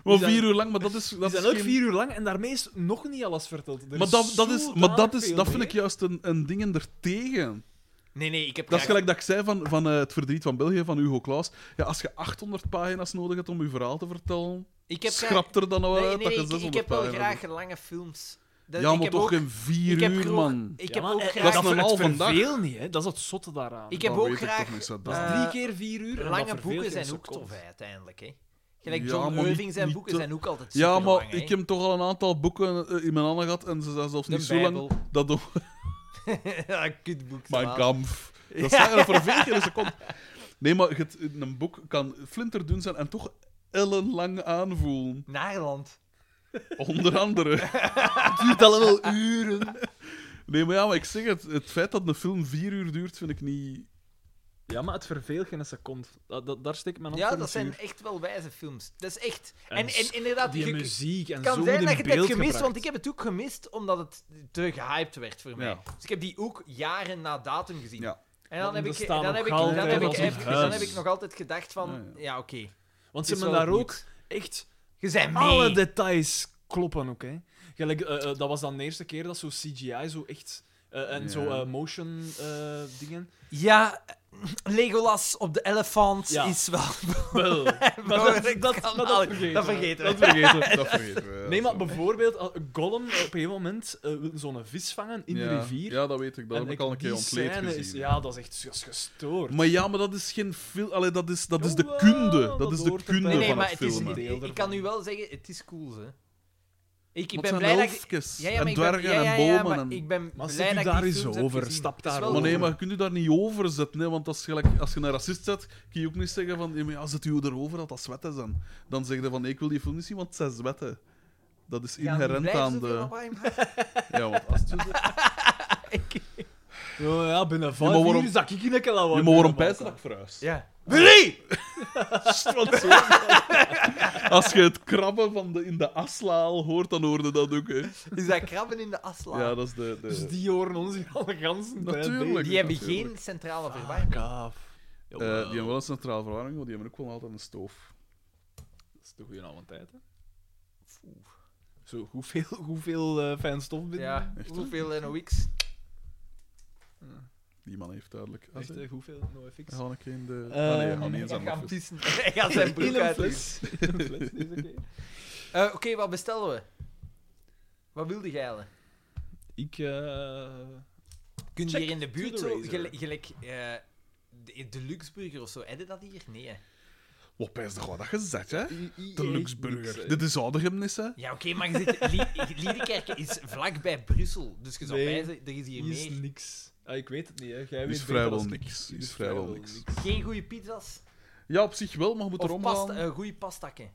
Speaker 2: Maar
Speaker 3: zijn-
Speaker 2: vier uur lang, maar dat is... Dat
Speaker 3: die
Speaker 2: is
Speaker 3: zijn ook
Speaker 2: geen-
Speaker 3: vier uur lang en daarmee is nog niet alles verteld. Er
Speaker 2: Maar dat, dat, is, maar dat,
Speaker 3: zodanig
Speaker 2: is,
Speaker 3: veel
Speaker 2: dat vind
Speaker 3: meer.
Speaker 2: ik juist een, een ding er tegen.
Speaker 4: Nee, nee, ik heb
Speaker 2: Dat is
Speaker 4: graag-
Speaker 2: gelijk dat ik zei van, van eh, het verdriet van België, van Hugo Claus. Ja, als je 800 pagina's nodig hebt om je verhaal te vertellen,
Speaker 4: ik heb graag-
Speaker 2: schrap er dan al
Speaker 4: Nee,
Speaker 2: uit
Speaker 4: nee,
Speaker 2: dat
Speaker 4: nee,
Speaker 2: je
Speaker 4: ik,
Speaker 2: 600
Speaker 4: ik heb wel
Speaker 2: pagina's
Speaker 4: graag lange films. Dat-
Speaker 2: hebt. Ja,
Speaker 4: ik
Speaker 2: maar
Speaker 4: heb
Speaker 2: toch
Speaker 4: ook,
Speaker 2: in vier
Speaker 4: ik heb
Speaker 2: uur,
Speaker 4: ook-
Speaker 2: man.
Speaker 4: Ik
Speaker 3: Ja,
Speaker 4: heb
Speaker 3: maar,
Speaker 4: ook
Speaker 3: eh,
Speaker 4: graag...
Speaker 2: Dat is
Speaker 3: ver-
Speaker 2: normaal
Speaker 3: het
Speaker 2: vandaag.
Speaker 3: verveelt niet, hè. Dat is het zotte daaraan.
Speaker 4: Ik heb
Speaker 2: Dat
Speaker 4: ook
Speaker 2: weet ik
Speaker 4: graag,
Speaker 2: toch niet zo. Dat is
Speaker 4: eh,
Speaker 3: Drie keer vier uur. en dat
Speaker 4: Lange
Speaker 3: verveelt
Speaker 4: boeken
Speaker 3: geen
Speaker 4: zijn ook
Speaker 3: seconde.
Speaker 4: tof, hè, uiteindelijk. Hè. Gelijk
Speaker 2: Ja,
Speaker 4: John
Speaker 2: maar niet-
Speaker 4: Irving zijn
Speaker 2: niet
Speaker 4: boeken
Speaker 2: te-
Speaker 4: zijn ook altijd
Speaker 2: Ja,
Speaker 4: superlang,
Speaker 2: maar
Speaker 4: hè.
Speaker 2: ik heb toch al een aantal boeken eh, in mijn handen gehad en ze zijn zelfs
Speaker 4: De
Speaker 2: niet zo lang.
Speaker 4: Bijbel.
Speaker 2: Dat doen
Speaker 4: ja, kutboek.
Speaker 2: mijn
Speaker 4: zowel.
Speaker 2: kampf. Dat staat er voor vier keer in een seconde. Nee, maar het, een boek kan flinterdun zijn en toch ellenlang aanvoelen.
Speaker 4: Naarland.
Speaker 2: Onder andere.
Speaker 3: duurt allemaal uren.
Speaker 2: Nee, maar ja, maar ik zeg het. Het feit dat een film vier uur duurt, vind ik niet...
Speaker 3: Ja, maar het verveelt geen seconde. Dat, dat, daar steek ik mijn hand
Speaker 4: Ja,
Speaker 3: voor
Speaker 4: dat
Speaker 3: het
Speaker 4: zijn
Speaker 3: vuur.
Speaker 4: echt wel wijze films. Dat is echt...
Speaker 3: En
Speaker 4: En,
Speaker 3: s-
Speaker 4: en inderdaad,
Speaker 3: Die
Speaker 4: je-
Speaker 3: muziek en
Speaker 4: het
Speaker 3: zo
Speaker 4: kan
Speaker 3: wordt
Speaker 4: zijn
Speaker 3: in
Speaker 4: dat je het hebt
Speaker 3: beeld
Speaker 4: gemist,
Speaker 3: gebracht.
Speaker 4: want ik heb het ook gemist omdat het te gehyped werd voor mij.
Speaker 2: Ja.
Speaker 4: Dus ik heb die ook jaren na datum gezien.
Speaker 2: Ja.
Speaker 4: En dan
Speaker 3: Want
Speaker 4: heb
Speaker 3: we
Speaker 4: ik,
Speaker 3: staan
Speaker 4: dan heb ik,
Speaker 3: nog
Speaker 4: dan
Speaker 3: altijd
Speaker 4: heb ik,
Speaker 3: als een
Speaker 4: heb- dan
Speaker 3: huis.
Speaker 4: heb ik nog altijd gedacht van, ja,
Speaker 2: Ja,
Speaker 4: oké.
Speaker 3: Want ze
Speaker 4: Het is
Speaker 3: hebben
Speaker 4: wel
Speaker 3: daar
Speaker 4: goed.
Speaker 3: ook echt
Speaker 4: Je bent mee.
Speaker 3: alle details kloppen ook, hè. Gelijk, eh, eh, dat was dan de eerste keer dat zo CGI zo echt... eh, en
Speaker 2: Ja.
Speaker 3: zo eh, motion eh, dingen.
Speaker 4: Ja, Legolas op de elefant
Speaker 3: Ja.
Speaker 4: is wel...
Speaker 3: Wel. maar dat, dat, dat, vergeten
Speaker 4: dat
Speaker 3: we.
Speaker 4: vergeten
Speaker 2: Dat vergeten we. Dat vergeten we. ja.
Speaker 3: Nee, maar bijvoorbeeld, eh, Gollum eh, op een gegeven moment eh, wil zo'n vis vangen in de
Speaker 2: Ja.
Speaker 3: rivier.
Speaker 2: Ja, dat weet ik. Dat heb ik al een keer
Speaker 3: die
Speaker 2: ontleed
Speaker 3: scène
Speaker 2: gezien.
Speaker 3: Is, ja, dat is echt dat is gestoord.
Speaker 2: Maar ja, maar dat is geen film. Allee, dat is, dat is de
Speaker 3: Jawel,
Speaker 2: kunde. Dat
Speaker 3: dat
Speaker 2: is de
Speaker 3: hoort erbij.
Speaker 2: kunde
Speaker 4: Nee, nee,
Speaker 2: van
Speaker 4: maar
Speaker 2: het
Speaker 4: het is,
Speaker 2: filmen.
Speaker 4: ik,
Speaker 3: Deel
Speaker 4: ik
Speaker 3: ervan.
Speaker 4: kan nu wel zeggen, het is cool, hè. Ik, ik
Speaker 2: Want
Speaker 4: ben
Speaker 2: het
Speaker 4: blij
Speaker 2: zijn
Speaker 4: dat... ik-
Speaker 2: elfjes
Speaker 4: Ja, ja, maar
Speaker 2: en
Speaker 4: ik ben-
Speaker 2: dwergen
Speaker 4: ja, ja,
Speaker 2: en
Speaker 4: ja,
Speaker 2: bomen.
Speaker 4: maar
Speaker 2: en-
Speaker 4: ik ben
Speaker 3: Maar zit
Speaker 4: blij
Speaker 3: u
Speaker 4: dat ik
Speaker 3: daar
Speaker 4: die
Speaker 3: eens
Speaker 4: films heb
Speaker 3: over,
Speaker 4: gezien.
Speaker 3: stap
Speaker 4: Het is wel
Speaker 3: daar
Speaker 2: Maar nee,
Speaker 3: over.
Speaker 2: maar je kunt je daar niet over zetten, hè, want dat is gelijk, als je een racist zet, kun je ook niet zeggen van, ja, maar ja, zet u erover dat dat zwetten zijn. Dan zeg je van, nee, ik wil die film niet zien, want het zijn zwetten. Dat is
Speaker 4: Ja, die
Speaker 2: inherent
Speaker 4: blijven
Speaker 2: aan
Speaker 4: zoveel
Speaker 2: de...
Speaker 4: op Prime.
Speaker 2: Ja, want als het zo-
Speaker 3: Ja, Oh, ja, binnen vijf
Speaker 2: maar waarom-
Speaker 3: uur zak ik in een klauwen.
Speaker 2: Ja, maar waarom pijs dat ik verhuis?
Speaker 4: Ja.
Speaker 2: Willy! Als je het krabben van de, in de aslaal hoort, dan hoorde dat ook. Hè.
Speaker 4: Is dat krabben in de asla?
Speaker 2: Ja, dat is de. de...
Speaker 3: Dus die horen ons hier al de ganzen tijd.
Speaker 2: Natuurlijk.
Speaker 4: die hebben
Speaker 2: natuurlijk.
Speaker 4: geen centrale
Speaker 3: bezig.
Speaker 4: verwarming.
Speaker 3: Kaaf.
Speaker 2: Eh, die hebben wel een centrale verwarming, maar die hebben ook wel altijd een stoof.
Speaker 3: Dat is de goede oude tijd, hè? Zo, hoeveel, hoeveel eh, fijn stof binnen?
Speaker 4: Ja, hoeveel NOx?
Speaker 2: Die man heeft duidelijk. Ah,
Speaker 3: Echt,
Speaker 2: zeg.
Speaker 3: eh, hoeveel? No
Speaker 2: Dan
Speaker 3: FX.
Speaker 2: ga ik in de.
Speaker 4: Eh,
Speaker 3: Ehm,
Speaker 2: ah, nee, ga niet
Speaker 3: ik
Speaker 2: eens
Speaker 4: Hij
Speaker 2: aan mijn
Speaker 4: gaat
Speaker 2: fles.
Speaker 4: pissen. Hij gaat zijn broek
Speaker 3: In een
Speaker 4: uit.
Speaker 3: fles. In een fles, deze keer.
Speaker 4: Eh, Oké, wat bestellen we? Wat wilde jij? Allen?
Speaker 3: Ik, eh...
Speaker 4: Kun je
Speaker 3: Check
Speaker 4: hier in de buurt
Speaker 3: to the
Speaker 4: zo,
Speaker 3: razor.
Speaker 4: gel- gelijk eh, de, de Luxburger of zo, heb je dat hier? Nee. hè.
Speaker 2: Wat pijs de god dat gezet, hè?
Speaker 3: I-
Speaker 2: De
Speaker 3: I-
Speaker 2: Luxburger.
Speaker 3: Lux,
Speaker 2: Dit is Oudegemnis, hè?
Speaker 4: Ja, oké, maar je zit, Lie- Liedekerk is vlakbij Brussel, dus je zou
Speaker 3: Nee.
Speaker 4: wijzen, er is hier
Speaker 3: Hier is
Speaker 4: meer.
Speaker 3: niks. Ah, ik weet het niet, hè. Jij weet
Speaker 2: Is
Speaker 3: beter
Speaker 2: vrijwel
Speaker 3: als ik.
Speaker 2: niks.
Speaker 3: Hier
Speaker 2: Is vrijwel niks.
Speaker 4: Geen goede pizza's
Speaker 2: Ja, op zich wel, maar je moet
Speaker 4: of
Speaker 2: erom
Speaker 4: pasta,
Speaker 2: gaan.
Speaker 4: eh, goede pastakken.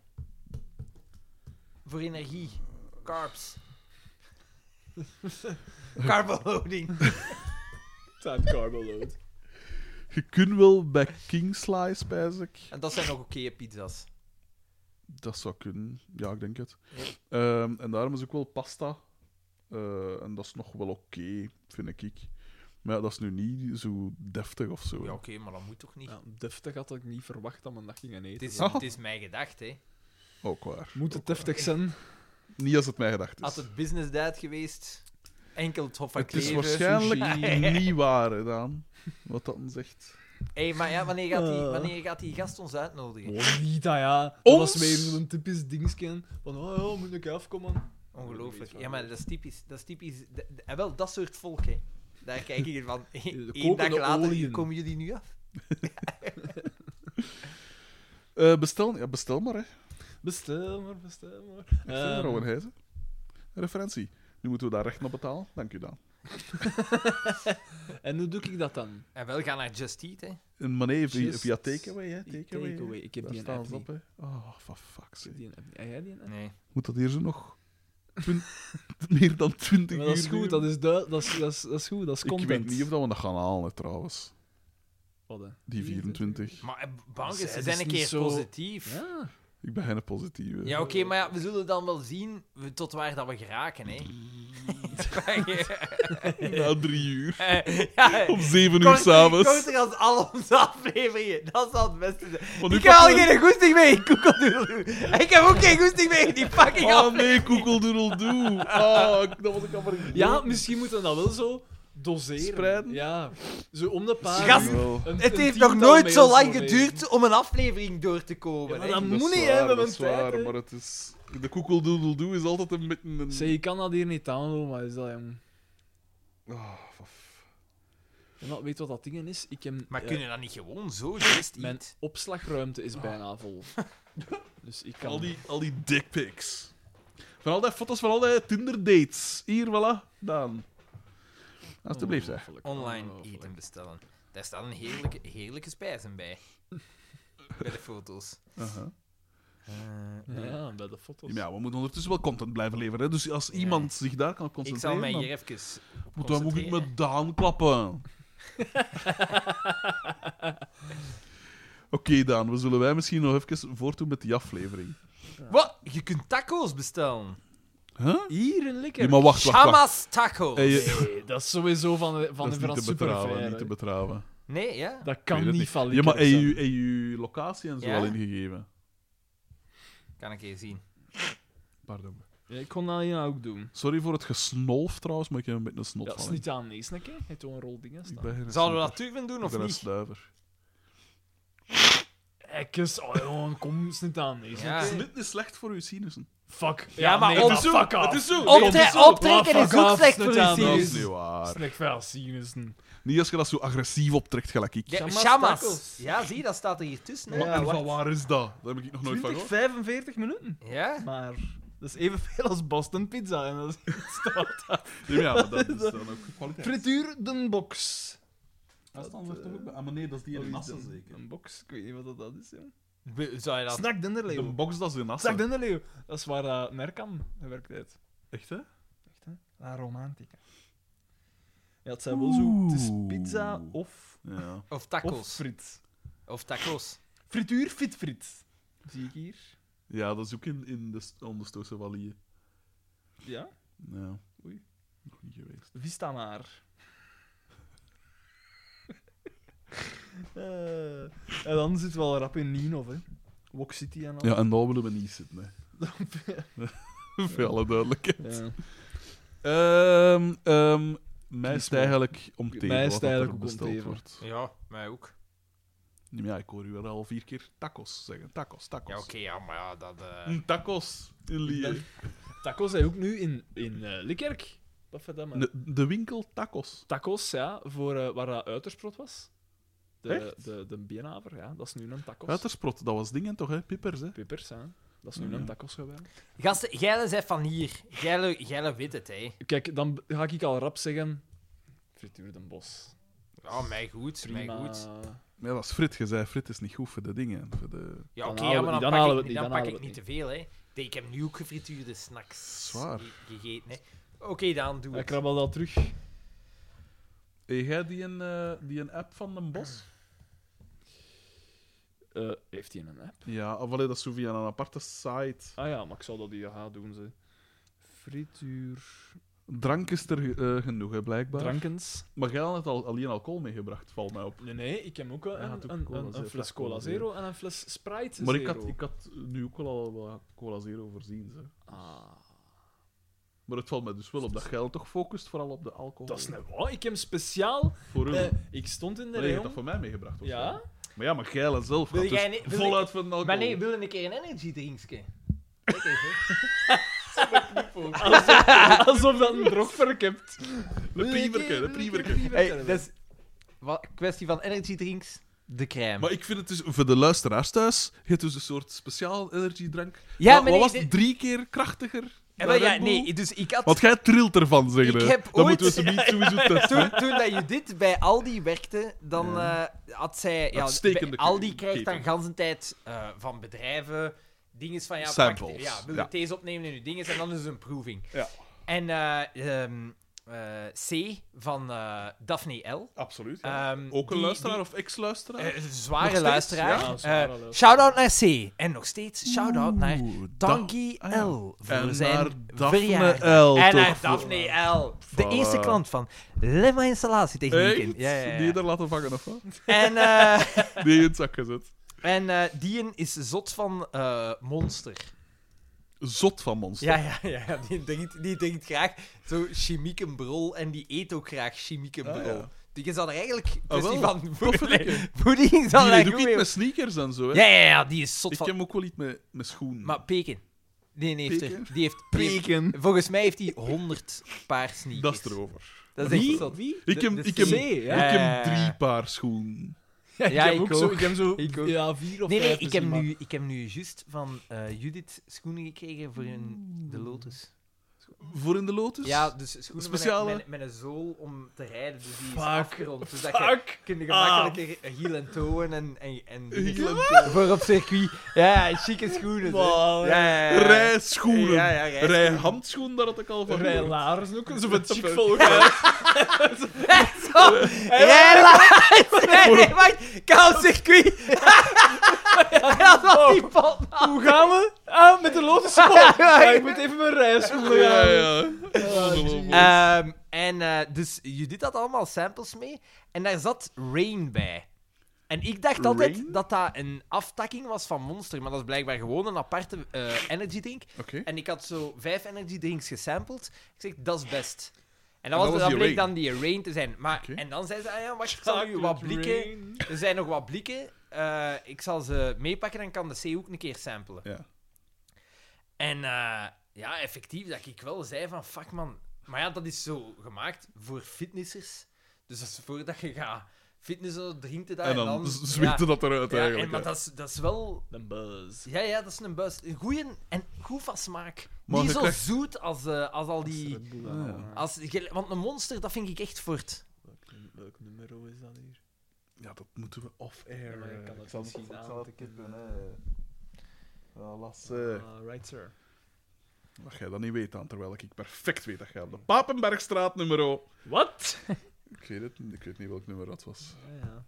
Speaker 4: Voor energie. Carbs. Carbohouding.
Speaker 3: Time carbo load.
Speaker 2: Je kunt wel bij King Slice, pijs ik.
Speaker 4: En dat zijn nog oké pizza's.
Speaker 2: Dat zou kunnen. Ja, ik denk het. Ehm, en daarom is ook wel pasta. Eh, en dat is nog wel oké, vind ik. Maar ja, dat is nu niet zo deftig of zo.
Speaker 4: Ja, oké, maar dat moet toch niet?
Speaker 3: Ja, deftig had ik niet verwacht dat mijn dag ging aan
Speaker 4: Ah. Het,
Speaker 3: eten.
Speaker 4: is,
Speaker 2: Oh.
Speaker 4: het is mij gedacht, hè.
Speaker 2: Ook waar.
Speaker 3: Moet het deftig zijn?
Speaker 2: Niet als het mij gedacht
Speaker 4: Had
Speaker 2: is.
Speaker 4: het business diet geweest, enkel Dus- het Hof van
Speaker 2: Het is
Speaker 4: Kleve.
Speaker 2: waarschijnlijk
Speaker 3: sushi.
Speaker 2: niet waar, hè, Daan. Wat dat dan zegt.
Speaker 4: Hey, maar ja, wanneer gaat, die, wanneer gaat die gast ons uitnodigen?
Speaker 3: Oh, niet dat, ja. Dat
Speaker 2: Ons?
Speaker 3: was weer een typisch dingetje. Van, oh ja, moet ik afkomen?
Speaker 4: Ongelooflijk. Ja, maar dat is typisch. Dat is typisch. de- de- en wel, dat soort volk, hè. Daar kijk ik ervan. Eén dag
Speaker 3: kokende
Speaker 4: later
Speaker 3: oliën.
Speaker 4: komen jullie nu af.
Speaker 2: Eh, bestel, ja, bestel maar, hè.
Speaker 3: Bestel maar, bestel maar.
Speaker 2: Bestel maar,
Speaker 3: Ehm,
Speaker 2: Owen Heijzen. Referentie. Nu moeten we daar recht naar betalen. Dank u, Daan.
Speaker 3: en hoe doe ik dat dan?
Speaker 4: En wel, gaan naar Just Eat, hè.
Speaker 2: En meneer, via,
Speaker 3: Just
Speaker 2: via takeaway, hè. Takeaway.
Speaker 3: Takeaway. Ik heb
Speaker 2: Daar
Speaker 3: die een
Speaker 2: staan
Speaker 3: app
Speaker 2: ze op,
Speaker 3: niet.
Speaker 2: hè. Oh, for fuck's
Speaker 3: Ik heb
Speaker 2: sake.
Speaker 3: die een app niet. Heb jij die een app?
Speaker 4: Nee.
Speaker 2: Moet dat hier zo nog... twin- meer dan 20 uur
Speaker 3: Maar dat is
Speaker 2: duren?
Speaker 3: goed, dat is, dui- dat, is, dat, is, dat is goed, dat is
Speaker 2: Ik
Speaker 3: content.
Speaker 2: weet niet of dat we dat gaan halen, hè, trouwens.
Speaker 3: Wat, hè?
Speaker 2: Die 24.
Speaker 4: Maar eh, bang
Speaker 3: Zij
Speaker 4: is, ze
Speaker 3: is
Speaker 4: zijn een
Speaker 3: niet
Speaker 4: keer
Speaker 3: zo-
Speaker 4: positief. Ja,
Speaker 3: Ja.
Speaker 2: Ik ben geen positieve.
Speaker 4: oké, maar ja, we zullen dan wel zien we- tot waar dat we geraken, hè.
Speaker 2: Na drie uur.
Speaker 4: ja,
Speaker 3: Eh,
Speaker 2: Om zeven uur s'avonds.
Speaker 4: Korter als al onze afleveringen. Dat zal het beste zijn.
Speaker 2: Want nu
Speaker 4: Ik heb al
Speaker 2: pakken we-
Speaker 4: geen goesting mee in koekeldoedeldoe. Ik heb ook geen goesting mee in die fucking
Speaker 2: Oh
Speaker 4: af.
Speaker 2: nee, koekeldoedeldoe. Ah, ik- dat was ik al vergeten.
Speaker 3: ja, misschien moeten we dat wel zo doseren.
Speaker 2: Spreiden?
Speaker 3: Ja. Zo om de paar
Speaker 4: Gast,
Speaker 3: uur
Speaker 2: Wel.
Speaker 3: een-
Speaker 4: Het
Speaker 3: een
Speaker 4: heeft nog
Speaker 3: tiental
Speaker 4: nooit zo
Speaker 3: mails
Speaker 4: lang
Speaker 3: doorlezen.
Speaker 4: geduurd om een aflevering door te
Speaker 3: Ja,
Speaker 4: komen.
Speaker 3: maar dat
Speaker 4: hè.
Speaker 2: Dat
Speaker 3: moet
Speaker 2: is
Speaker 3: niet, hè.
Speaker 2: waar,
Speaker 3: We
Speaker 2: Dat
Speaker 3: hebben
Speaker 2: is
Speaker 3: tijd,
Speaker 2: waar,
Speaker 3: hè.
Speaker 2: maar het is... De koekeldoedeldoe is altijd een beetje een...
Speaker 3: Zeg, je kan dat hier niet downloaden, maar is dat, jong?
Speaker 2: Ah, f-
Speaker 3: Ja, maar weet je wat dat ding is? Ik heb,
Speaker 4: Maar
Speaker 3: eh,
Speaker 4: kunnen we dat niet gewoon zo just eat?
Speaker 3: mijn opslagruimte is bijna vol. dus ik kan...
Speaker 2: al die, al die dickpics. Van al die foto's van al die Tinder-dates. Hier, voilà. Daan. Alsjeblieft, hè.
Speaker 3: Ongelooflijk,
Speaker 4: online
Speaker 3: ongelooflijk.
Speaker 4: eten bestellen. Daar staan een heerlijke, heerlijke spijzen bij. bij de foto's.
Speaker 2: Aha.
Speaker 3: Uh-huh. Ja, bij de foto's.
Speaker 2: Ja, we moeten ondertussen wel content blijven leveren. Hè? Dus als iemand zich daar kan
Speaker 4: Ik zal
Speaker 2: concentreren,
Speaker 4: mij
Speaker 2: dan
Speaker 4: hier even...
Speaker 2: moeten we ook niet
Speaker 4: concentreren.
Speaker 2: met Daan klappen. Oké, Daan, we zullen wij misschien nog even voortdoen met die aflevering.
Speaker 4: Wat? Je kunt taco's bestellen.
Speaker 2: Huh?
Speaker 3: Hier een lekker.
Speaker 2: Ja, maar wacht, wacht, wacht.
Speaker 4: Hamas tacos.
Speaker 2: Hey, je-
Speaker 3: Nee, dat is sowieso van, de- van
Speaker 2: dat is
Speaker 3: de
Speaker 2: niet te
Speaker 3: Frans
Speaker 2: betraven,
Speaker 3: Superfair.
Speaker 2: niet te
Speaker 3: hè.
Speaker 2: betraven.
Speaker 4: Nee, ja?
Speaker 3: Dat
Speaker 2: Ik
Speaker 3: kan
Speaker 2: weet het
Speaker 3: niet van
Speaker 2: Ja, maar heb je, heb je locatie en zo
Speaker 4: Ja?
Speaker 2: al ingegeven?
Speaker 4: Kan ik hier zien.
Speaker 2: Pardon.
Speaker 3: Ik kon dat hier ook doen.
Speaker 2: Sorry voor het gesnolf trouwens, maar ik heb een beetje een snot
Speaker 3: Dat is
Speaker 2: van.
Speaker 3: niet aan nees, hè? Hij heeft een rol dingen
Speaker 2: Ik
Speaker 3: staan.
Speaker 2: ben geen
Speaker 4: Zouden we
Speaker 2: snoeper.
Speaker 4: dat Turven doen
Speaker 2: Ik
Speaker 4: of
Speaker 2: ben een
Speaker 4: niet?
Speaker 2: snuiver.
Speaker 3: Ekkes, oh jongen, kom, is niet aan nees.
Speaker 4: Ja.
Speaker 2: Dit is slecht voor uw sinussen.
Speaker 3: Fuck. Ja,
Speaker 4: maar
Speaker 3: nee,
Speaker 4: om-
Speaker 3: dat- fuck off. Het is zo.
Speaker 4: Optre- optrekken is ook slecht voor uw
Speaker 2: Dat is
Speaker 4: sinus.
Speaker 2: niet waar.
Speaker 3: Slecht veel sinussen.
Speaker 2: Niet als je dat zo agressief optrekt, gelijk ik.
Speaker 4: De-
Speaker 3: Shamas
Speaker 4: Shamas.
Speaker 3: tacos.
Speaker 4: Ja, zie, dat staat er hier tussen. hè.
Speaker 2: Maar en
Speaker 4: Ja,
Speaker 2: van waar is dat? Dat heb ik nog nooit van
Speaker 3: 20,
Speaker 2: gehoord.
Speaker 3: 45 minuten.
Speaker 4: Ja?
Speaker 3: Maar dat is evenveel als Boston Pizza. En dat is
Speaker 2: Ja, ja, maar dat is dan ook kwaliteit.
Speaker 3: frituur de box.
Speaker 2: Dat is dan toch ook... Ah, maar nee, dat is die in Assen zeker.
Speaker 3: Een box, ik weet niet wat dat is. Jong.
Speaker 4: We- Zou je dat...
Speaker 3: Snack
Speaker 2: De
Speaker 3: Denderleeuw.
Speaker 2: box, dat is in
Speaker 3: Snack
Speaker 2: Assen.
Speaker 3: Denderleeuw. Dat is waar uh, Nerkan gewerkt heeft.
Speaker 2: Echt, hè?
Speaker 3: Echt, hè? La Romantica. Ja, het zijn wel zo. Het is pizza of,
Speaker 2: Ja.
Speaker 4: Of
Speaker 3: of
Speaker 4: tacos.
Speaker 3: friet.
Speaker 4: Of tacos.
Speaker 3: Frituur, fit, friet. Zie ik hier.
Speaker 2: Ja, dat is ook in, in de st- onderstootse Wallieën.
Speaker 3: Ja,
Speaker 2: Ja.
Speaker 3: Oei.
Speaker 2: Nog niet geweest.
Speaker 3: Vista maar. Eh, en dan zit wel rap in Ninov, hè. Wok City en al.
Speaker 2: Ja, en daar willen we niet zitten, hè. Voor alle duidelijkheid.
Speaker 3: Ja.
Speaker 2: Ehm ehm, mij is
Speaker 3: Kies
Speaker 2: het
Speaker 3: maar.
Speaker 2: eigenlijk om tegen
Speaker 3: Mij is het
Speaker 2: wat dat er
Speaker 3: eigenlijk ook om
Speaker 2: besteld
Speaker 3: tegen.
Speaker 2: wordt.
Speaker 4: Ja, mij ook.
Speaker 2: Ja, ik hoor u wel al vier keer tacos zeggen. Tacos, tacos.
Speaker 4: Ja, oké, ja, maar ja, dat... eh,
Speaker 2: Mm, Tacos in Lier.
Speaker 3: Tacos zijn ook nu in, in eh, Likkerk. Dat vet, hè, man.
Speaker 2: De, de winkel tacos.
Speaker 3: Tacos, ja, voor, eh, waar dat uitersprot was. De,
Speaker 2: Echt?
Speaker 3: de, de Bienaver, ja, dat is nu een tacos.
Speaker 2: Uitersprot, dat was dingen toch, hè? Pippers, hè?
Speaker 3: Pippers, ja. Dat is nu
Speaker 2: Oh, Ja.
Speaker 3: een tacos geworden.
Speaker 4: Gasten, gijle zijn van hier. Gijle, gijle weet het, hè.
Speaker 3: Kijk, dan ga ik al rap zeggen... Frituur den Bos.
Speaker 4: Ja, mij goed, mij
Speaker 3: Prima.
Speaker 4: goed.
Speaker 2: Ja, dat is Frit. Je zei, Frit is niet goed voor de dingen. Voor de...
Speaker 4: Ja,
Speaker 3: Dan
Speaker 4: oké,
Speaker 3: halen
Speaker 4: ja,
Speaker 3: we
Speaker 4: maar
Speaker 3: het
Speaker 4: dan,
Speaker 3: niet, dan
Speaker 4: pak
Speaker 3: halen
Speaker 4: ik,
Speaker 3: we het
Speaker 4: dan
Speaker 3: niet,
Speaker 4: pak
Speaker 3: dan
Speaker 4: ik niet te veel, hè. Nee, Ik heb nu ook gefrituurde snacks
Speaker 2: Zwaar.
Speaker 4: ge- gegeten, hè. Oké, dan doe
Speaker 3: Hij
Speaker 4: ik.
Speaker 3: krabbelt al terug.
Speaker 2: Heb jij die een, eh, die een app van een bos?
Speaker 3: Eh, heeft hij een app?
Speaker 2: Ja, of allee, dat is zo via een aparte site.
Speaker 3: Ah ja, maar ik zal dat hier gaan doen, ze. Frituur...
Speaker 2: Drank is er eh, genoeg, hè, blijkbaar.
Speaker 3: Drankens.
Speaker 2: Maar jij had het al, alleen alcohol meegebracht, valt mij op.
Speaker 3: Nee, nee, ik heb ook wel
Speaker 2: Hij
Speaker 3: een,
Speaker 2: had ook
Speaker 3: een,
Speaker 2: Ah, cola
Speaker 3: een- een
Speaker 2: zero,
Speaker 3: fles
Speaker 2: fles
Speaker 3: Cola
Speaker 2: cola
Speaker 3: Zero en een fles Sprite
Speaker 2: Maar ik
Speaker 3: Zero.
Speaker 2: had, ik had nu ook wel al wat cola zero voorzien. Ze.
Speaker 3: Ah.
Speaker 2: Maar het valt me dus wel op dat geld toch focust, vooral op de alcohol.
Speaker 3: Dat is net waar. Ik heb speciaal...
Speaker 2: Voor u.
Speaker 3: eh, ik stond in de
Speaker 2: Maar je hebt dat
Speaker 3: rayon.
Speaker 2: voor mij meegebracht, of
Speaker 3: Ja?
Speaker 2: zo? Maar ja, maar geil en zelf gaat
Speaker 4: Wil
Speaker 2: dus
Speaker 4: jij niet- wil
Speaker 2: voluit van alcohol.
Speaker 4: Maar nee, wilde een keer een energy drinkje. Lekker, hè?
Speaker 3: Alsof dat een drogwerk hebt.
Speaker 2: De prieverke, de prieverke.
Speaker 4: Hey, dat is wat, kwestie van energy drinks, de crème.
Speaker 2: Maar ik vind het dus, voor de luisteraars thuis, je hebt dus een soort speciaal energiedrank.
Speaker 4: Ja,
Speaker 2: Wat- Wat
Speaker 4: maar nee,
Speaker 2: was
Speaker 4: dit-
Speaker 2: het? Drie keer krachtiger? dan
Speaker 4: Eh, wel, ja,
Speaker 2: Red Bull?
Speaker 4: nee, dus ik had...
Speaker 2: Want jij trilt ervan, zeggen
Speaker 4: Ik
Speaker 2: hè.
Speaker 4: heb
Speaker 2: Dat
Speaker 4: ooit-
Speaker 2: moeten we ze niet sowieso testen. hè.
Speaker 4: Toen, toen dat je dit bij Aldi werkte, dan eh, had zij... Ja,
Speaker 2: Uitstekende
Speaker 4: bij Aldi
Speaker 2: keten.
Speaker 4: krijgt dan gans een tijd eh, van bedrijven dingen van... Ja, pak-
Speaker 2: Samples,
Speaker 4: ja, wil je
Speaker 2: ja.
Speaker 4: deze opnemen in je dingen? En dan is het een proeving.
Speaker 2: Ja.
Speaker 4: En eh, ehm, eh, C van eh, Daphne L.
Speaker 2: Absoluut. ja.
Speaker 4: Ehm,
Speaker 2: Ook een
Speaker 4: die-
Speaker 2: luisteraar of ex-luisteraar?
Speaker 4: die- eh, zware
Speaker 2: Nog steeds?
Speaker 4: luisteraar.
Speaker 3: Ja, zware
Speaker 4: Eh,
Speaker 3: luisteraar.
Speaker 4: shout-out naar C. En nog steeds shout-out naar
Speaker 2: Oeh,
Speaker 4: Tanguy
Speaker 2: Da- ah, ja.
Speaker 4: L. Voor
Speaker 2: En
Speaker 4: zijn
Speaker 2: naar Daphne
Speaker 4: verjaardag.
Speaker 2: L,
Speaker 4: En
Speaker 2: toch?
Speaker 4: naar Daphne L. De
Speaker 2: Voilà.
Speaker 4: eerste klant van Lemma
Speaker 2: Echt?
Speaker 4: Installatietechnieken. Ja, ja, ja.
Speaker 2: Die je er laten vangen, of wat?
Speaker 4: En, eh
Speaker 2: Die je in het zak gezet.
Speaker 4: en eh, die is zot van eh, Monster.
Speaker 2: Zot van monster.
Speaker 4: Ja, ja, ja. ja. Die, drinkt, die drinkt graag zo chimieke brol en die eet ook graag chimieke
Speaker 2: Ah,
Speaker 4: brol.
Speaker 2: ja.
Speaker 4: Die is dan eigenlijk
Speaker 2: Ah,
Speaker 4: kwestie
Speaker 2: wel.
Speaker 4: van
Speaker 2: Toffe
Speaker 4: voeding.
Speaker 2: dikke.
Speaker 4: Voeding is
Speaker 2: Die
Speaker 4: dan
Speaker 2: deed
Speaker 4: eigenlijk
Speaker 2: ook
Speaker 4: goed
Speaker 2: iets
Speaker 4: mee.
Speaker 2: met sneakers en zo, hè?
Speaker 4: Ja, ja, ja, die is zot
Speaker 2: ik
Speaker 4: van...
Speaker 2: ken hem ook wel iets met, met schoenen.
Speaker 4: Maar Pekin. Die heeft er...
Speaker 2: Pekin?
Speaker 4: Die heeft, die heeft-
Speaker 3: Peken.
Speaker 4: volgens mij heeft hij 100 paar sneakers.
Speaker 2: dat is erover.
Speaker 4: Dat is echt
Speaker 3: Wie?
Speaker 4: zot.
Speaker 3: Wie?
Speaker 2: Ik heb,
Speaker 4: de
Speaker 2: ik heb,
Speaker 3: C,
Speaker 2: ik
Speaker 3: ja.
Speaker 2: heb
Speaker 4: Ja.
Speaker 2: drie paar schoenen.
Speaker 3: Ja, ik,
Speaker 4: Ja,
Speaker 3: heb
Speaker 4: ik
Speaker 3: ook
Speaker 4: ook.
Speaker 3: Zo, ik heb zo...
Speaker 4: Ik ook.
Speaker 3: Ja, vier of
Speaker 4: Nee, nee,
Speaker 3: vijf dus
Speaker 4: ik heb,
Speaker 3: misschien,
Speaker 4: nu, ik heb nu juist van eh, Judith schoenen gekregen voor hun, de Lotus.
Speaker 2: Voor in de Lotus?
Speaker 4: Ja, dus schoenen
Speaker 2: Speciale?
Speaker 4: met, een- met, met een zool om te rijden. Dus die is
Speaker 3: Fuck.
Speaker 4: afgerond. Dus dat
Speaker 3: maar-
Speaker 4: je
Speaker 3: Fuck!
Speaker 4: kunt gemakkelijker hiel en toen en... en, en
Speaker 2: Hiel Ah. en
Speaker 4: voor op circuit. Ja, chique schoenen. hè.
Speaker 3: Wow.
Speaker 4: Ja, ja, ja.
Speaker 2: Rijschoenen.
Speaker 4: eh, Ja, ja, rijschoenen.
Speaker 2: Rijhandschoenen, daar had ik al van
Speaker 3: Rij
Speaker 2: gehoord.
Speaker 3: laars ook. Zo van chic volk. hè.
Speaker 4: Relax! Nee, nee, wacht! Koud circuit! Dat was die pot!
Speaker 3: Hoe gaan we? Ah, met de lotus Ja, ik moet even mijn rijschoenen
Speaker 2: Ja,
Speaker 3: gaan.
Speaker 2: ja. Ongelooflijk.
Speaker 4: Ehm, en eh, dus Judith had allemaal samples mee. En daar zat Rain bij. En ik dacht altijd
Speaker 2: Rain?
Speaker 4: dat dat een aftakking was van Monster. Maar dat is blijkbaar gewoon een aparte eh, energy drink.
Speaker 2: Oké.
Speaker 4: En ik had zo vijf energy drinks gesampled. Ik zeg, dat is best.
Speaker 2: En
Speaker 4: En dat,
Speaker 2: dat
Speaker 4: was,
Speaker 2: was
Speaker 4: dat
Speaker 2: die
Speaker 4: bleek
Speaker 2: Rain.
Speaker 4: dan die Rain te zijn. Maar,
Speaker 2: Oké.
Speaker 4: En dan zei ze, ah ja, wacht, ik zal u wat blikken... Er zijn nog wat blikken. eh, ik zal ze meepakken en kan de C ook een keer samplen.
Speaker 2: Ja.
Speaker 4: En eh, ja, effectief, dat ik wel zei van, fuck man. Maar ja, dat is zo gemaakt voor fitnessers. Dus dat is voordat je gaat fitnessen, drinkt het dat
Speaker 2: En dan z- zweette dat eruit
Speaker 4: ja, ja, en,
Speaker 2: eigenlijk.
Speaker 4: maar
Speaker 2: hè.
Speaker 4: dat is, dat is wel...
Speaker 3: De buzz.
Speaker 4: Ja, ja, dat is een buis. Een goeie en goed van smaak.
Speaker 2: Maar
Speaker 4: Niet
Speaker 2: je
Speaker 4: zo
Speaker 2: krijgt-
Speaker 4: zoet als, eh, als al die...
Speaker 3: Red Bull dan
Speaker 2: Ah, ja.
Speaker 3: allemaal.
Speaker 4: Als, gel- want een monster, dat vind ik echt voort.
Speaker 3: Welk, num- welk nummer is dat hier?
Speaker 2: Ja, dat moeten we
Speaker 3: Ja,
Speaker 2: off-air.
Speaker 3: maar je
Speaker 2: eh,
Speaker 3: kan het
Speaker 2: ik zal-
Speaker 3: misschien
Speaker 2: ik
Speaker 3: aan-
Speaker 2: zal het een keer doen, hè. Voilà,
Speaker 3: Ah, right, sir.
Speaker 2: eh. Wat jij dat niet weet, aan, terwijl ik perfect weet dat jij op de Papenbergstraat nummer...
Speaker 3: Wat?
Speaker 2: Ik weet het niet, ik weet niet welk nummer dat was.
Speaker 3: Ja,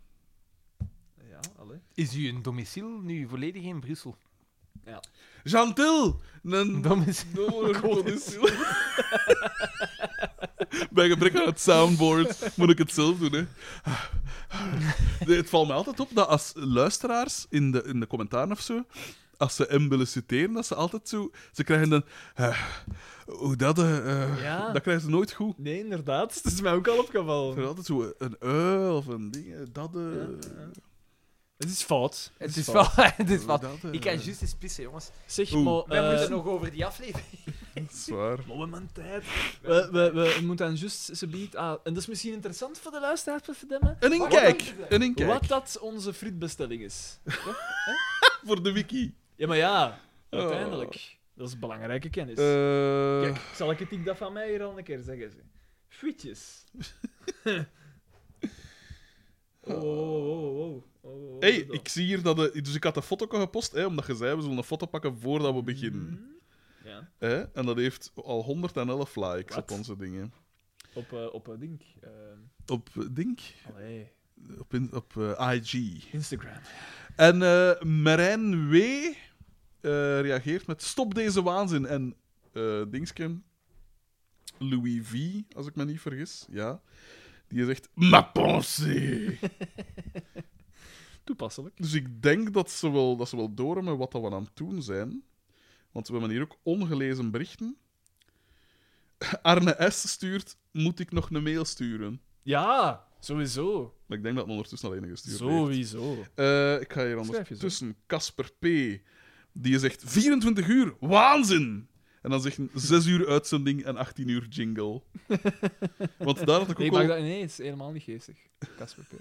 Speaker 3: ja. Ja, allee.
Speaker 4: Is uw domiciel nu volledig in Brussel?
Speaker 2: Gentil! Een...
Speaker 4: Domiciel.
Speaker 2: Domicil. Bij gebrek aan het soundboard moet ik het zelf doen, hè. Nee, het valt mij altijd op dat als luisteraars in de, in de commentaren of zo, als ze hem willen citeren, dat ze altijd zo... Ze krijgen dan... eh, hoe dat... eh, eh,
Speaker 3: Ja.
Speaker 2: Dat krijgen ze nooit goed.
Speaker 3: Nee, inderdaad. Het is mij ook al
Speaker 2: Ze hebben
Speaker 3: opgevallen.
Speaker 2: altijd zo een eh of een ding. eh, Dat... eh,
Speaker 3: Het is fout.
Speaker 4: Het
Speaker 2: is
Speaker 4: is wel... Het is
Speaker 2: hoe
Speaker 4: wel...
Speaker 2: dat, eh.
Speaker 4: Ik kan juist eens pissen, jongens.
Speaker 3: Zeg,
Speaker 2: Oeh.
Speaker 3: maar...
Speaker 4: We
Speaker 3: eh,
Speaker 4: moeten nog over die aflevering.
Speaker 2: Zwaar.
Speaker 3: Maar we hebben tijd. We, we, we moeten dan juist ze biedt aan. En dat is misschien interessant voor de luisteraars te verdemmen.
Speaker 2: Een inkijk! Een inkijk.
Speaker 3: Wat dat onze frietbestelling is.
Speaker 2: Voor de wiki.
Speaker 3: Ja, maar ja,
Speaker 2: Oh.
Speaker 3: uiteindelijk. Dat is belangrijke kennis.
Speaker 2: Eh,
Speaker 3: Kijk, zal ik het ik dat van mij hier al een keer zeggen? Ze. Frietjes. oh, oh, oh, oh, oh, oh.
Speaker 2: Hé, hey, ik zie hier dat... De, dus ik had de foto gepost, hè, omdat je zei, we zullen een foto pakken voordat we beginnen.
Speaker 3: Ja,
Speaker 2: Hè? En dat heeft al 111 likes
Speaker 3: Wat?
Speaker 2: op onze dingen.
Speaker 3: op, eh op eh, Dink. eh,
Speaker 2: Op, eh, Dink?
Speaker 3: allee,
Speaker 2: Op, in- op eh, IG.
Speaker 3: Instagram.
Speaker 2: En eh Marijn W. eh, reageert met stop deze waanzin. En eh Dingske, Louis V, als ik me niet vergis, ja, die zegt ma pensée.
Speaker 3: Toepasselijk.
Speaker 2: Dus ik denk dat ze wel, dat ze wel door hebben wat dat we aan het doen zijn. Want we hebben hier ook ongelezen berichten. Arne S. stuurt, moet ik nog een mail sturen?
Speaker 3: Ja, sowieso.
Speaker 2: Maar ik denk dat het ondertussen alleen gestuurd heeft.
Speaker 3: Sowieso.
Speaker 2: Eh, ik ga
Speaker 3: Schrijf
Speaker 2: hier
Speaker 3: je zo.
Speaker 2: ondertussen. Casper P. Die zegt 24 uur, waanzin! En dan zegt 6 uur uitzending en 18 uur jingle. Want daar had ik ook
Speaker 3: Ik
Speaker 2: al-
Speaker 3: maak dat ineens helemaal niet geestig. Casper P.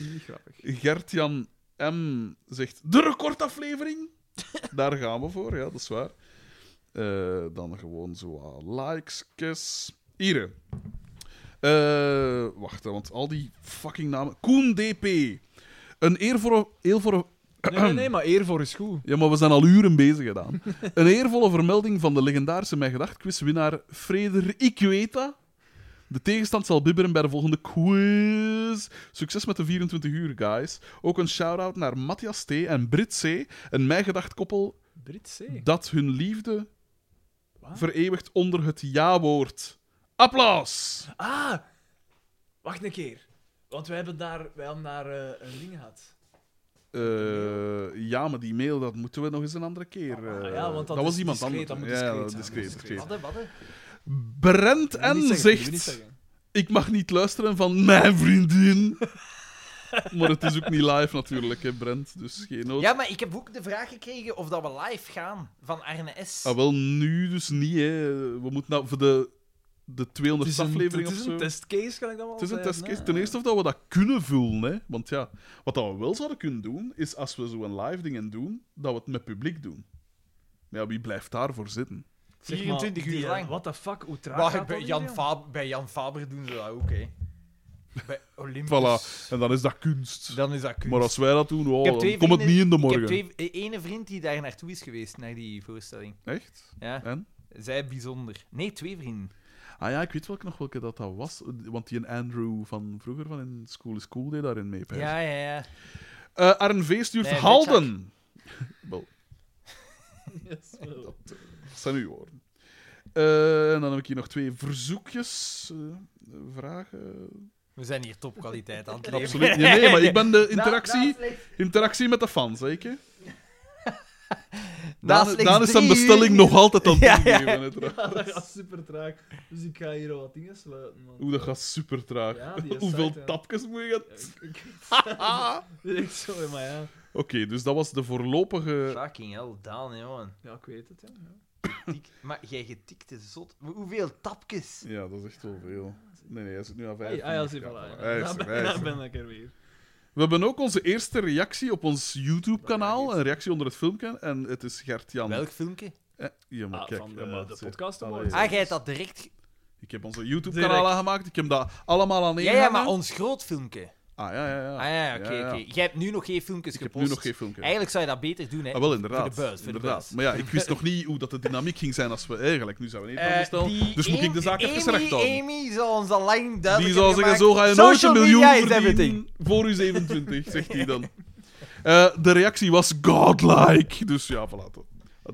Speaker 3: Niet grappig.
Speaker 2: Gertjan M. zegt de recordaflevering. Daar gaan we voor, ja, dat is waar. Eh, dan gewoon zo wat likes. Hier. Eh, wacht, hè, want al die fucking namen. Koen DP. Een eervolle... eervolle
Speaker 3: Nee, nee, nee, maar eer voor is goed.
Speaker 2: ja, maar we zijn al uren bezig gedaan. Een eervolle vermelding van de legendarische Mijn Gedacht quizwinnaar Frederik Weta. De tegenstand zal bibberen bij de volgende quiz. Succes met de 24 uur, guys. Ook een shout-out naar Matthias T. en Brit C. Een Mijn Gedacht koppel
Speaker 3: Brit C.
Speaker 2: dat hun liefde vereeuwigt onder het ja-woord. Applaus!
Speaker 3: Ah! Wacht een keer. Want wij hebben daar, wij hebben daar eh, een ding gehad.
Speaker 2: Eh, ja, maar die mail, dat moeten we nog eens een andere keer. eh,
Speaker 3: Ah, ja, want dat is
Speaker 2: was iemand
Speaker 3: discreet,
Speaker 2: anders.
Speaker 3: dat moet
Speaker 2: ja,
Speaker 3: discreet
Speaker 2: dat is
Speaker 3: zijn,
Speaker 2: discreet,
Speaker 3: dat is
Speaker 2: discreet.
Speaker 4: Wadden, wadden.
Speaker 2: Brent
Speaker 3: Dat moet
Speaker 2: N
Speaker 3: je niet zeggen, dat moet je niet
Speaker 2: zegt...
Speaker 3: zeggen.
Speaker 2: ik mag niet luisteren van mijn vriendin. maar het is ook niet live natuurlijk, hè, Brent. Dus geen nood.
Speaker 4: Ja, maar ik heb ook de vraag gekregen of dat we live gaan van Arne S.
Speaker 2: Ah, wel, nu dus niet, hè. We moeten nou voor de, de 200
Speaker 3: Het is een-
Speaker 2: aflevering
Speaker 3: het
Speaker 2: of
Speaker 3: is
Speaker 2: zo...
Speaker 3: een eh, testcase, kan ik dat wel
Speaker 2: Het is een
Speaker 3: zeggen,
Speaker 2: testcase.
Speaker 3: hè?
Speaker 2: Ten eerste of dat we dat kunnen vullen, hè. Want ja, wat dat we wel zouden kunnen doen, is als we zo'n live dingen doen, dat we het met publiek doen. Maar ja, wie blijft daarvoor zitten?
Speaker 3: Zeg maar,
Speaker 4: 24 uur
Speaker 3: die, eh,
Speaker 4: lang.
Speaker 3: What the fuck, hoe traag
Speaker 4: Maar
Speaker 3: gaat
Speaker 4: bij
Speaker 3: dat
Speaker 4: Jan,
Speaker 3: hier, joh?
Speaker 4: Fab- bij Jan Faber doen ze dat ook, hè. Bij
Speaker 3: Dus-
Speaker 4: Olympus.
Speaker 2: Voilà. En dan is dat kunst.
Speaker 4: Dan is dat kunst.
Speaker 2: Maar als wij dat doen, oh,
Speaker 4: Ik heb
Speaker 2: dan
Speaker 4: twee
Speaker 2: komt het
Speaker 4: vrienden-
Speaker 2: niet in de
Speaker 4: Ik
Speaker 2: morgen.
Speaker 4: heb twee, eh, ene vriend die daar naartoe is geweest, naar die voorstelling.
Speaker 2: Echt?
Speaker 4: Ja,
Speaker 2: En?
Speaker 4: zij bijzonder. Nee, twee vrienden.
Speaker 2: Ah ja, ik weet welke nog welke dat, dat was. Want die en Andrew van vroeger van in School is Cool deed daarin mee. pijs.
Speaker 4: Ja, ja, ja.
Speaker 2: Eh, RNV stuurt
Speaker 4: Nee,
Speaker 2: Halden. Wel. Dat eh, zijn uw woorden. Eh, en dan heb ik hier nog twee verzoekjes. eh, vragen.
Speaker 4: We zijn hier topkwaliteit aan het leveren.
Speaker 2: Absoluut. niet. Nee, maar ik ben de
Speaker 4: Na-
Speaker 2: interactie,
Speaker 4: na slechts-
Speaker 2: interactie met de fans, zeker.
Speaker 4: na
Speaker 2: Dan,
Speaker 4: slechts
Speaker 2: dan is zijn
Speaker 4: drie
Speaker 2: bestelling
Speaker 4: uur-
Speaker 2: nog altijd aan het
Speaker 4: Ja, ja.
Speaker 2: toegeven. hè, trouwens.
Speaker 3: dat gaat super traag. Dus ik ga hier al wat dingen sluiten, man.
Speaker 2: Oeh, dat gaat super traag.
Speaker 3: Ja, die is
Speaker 2: Hoeveel
Speaker 3: zacht, hè.
Speaker 2: tapjes moet je gaan?
Speaker 3: Ik- ik- Ik, sorry, maar ja.
Speaker 2: Oké, dus dat was de voorlopige
Speaker 4: Fucking hell, Daan, jongen.
Speaker 3: Ja, ik weet het, ja.
Speaker 4: Dik- Maar jij getikte zot. Hoe- Hoeveel tapjes?
Speaker 2: Ja, dat is echt wel veel. Nee, nee, hij zit nu aan
Speaker 3: Hey,
Speaker 2: 15.
Speaker 3: ah, ja, zie, voilà,
Speaker 2: Ja,
Speaker 3: ja.
Speaker 2: hij is
Speaker 3: Daar
Speaker 2: er,
Speaker 3: ben-
Speaker 2: hij is
Speaker 3: Daar
Speaker 2: er.
Speaker 3: ben ik er weer.
Speaker 2: We hebben ook onze eerste reactie op ons YouTube-kanaal. Een reactie onder het filmpje. En het is Gert-Jan.
Speaker 4: Welk filmpje?
Speaker 2: Eh, ja, maar
Speaker 3: Ah,
Speaker 2: kijk.
Speaker 3: van de-
Speaker 2: ja, maar
Speaker 3: de
Speaker 2: ze-
Speaker 3: podcast
Speaker 2: Allee.
Speaker 3: awards.
Speaker 4: Ah, jij hebt dat direct... ge-
Speaker 2: Ik heb onze YouTube-kanaal
Speaker 3: Direct.
Speaker 2: aangemaakt. Ik heb dat allemaal aan één
Speaker 4: Ja, ja,
Speaker 2: hangen.
Speaker 4: maar ons groot filmpje.
Speaker 2: Ah, ja, ja, ja.
Speaker 4: Ah ja, oké,
Speaker 2: Ja, ja.
Speaker 4: oké. Jij hebt nu nog geen filmpjes
Speaker 2: Ik heb
Speaker 4: gepost.
Speaker 2: nu nog geen filmpje.
Speaker 4: Eigenlijk zou je dat beter doen, hè.
Speaker 2: Ah, wel, inderdaad.
Speaker 4: Voor de buis, voor de
Speaker 2: inderdaad.
Speaker 4: buis.
Speaker 2: Maar ja, ik wist nog niet hoe dat de dynamiek ging zijn als we eigenlijk... Nu zijn we niet
Speaker 4: Eh,
Speaker 2: aan bestellen.
Speaker 4: die
Speaker 2: Dus moet ik de
Speaker 4: Amy-
Speaker 2: zaak even
Speaker 4: Amy,
Speaker 2: recht houden.
Speaker 4: Amy zal ons al lang duidelijk
Speaker 2: Die zou zeggen,
Speaker 4: hebben
Speaker 2: zo ga je
Speaker 4: gemaakt,
Speaker 2: nooit een
Speaker 4: "Social
Speaker 2: miljoen
Speaker 4: media is
Speaker 2: verdienen
Speaker 4: everything."
Speaker 2: voor je 27, zegt hij dan. Eh, de reactie was godlike. Dus ja, voilà. Dat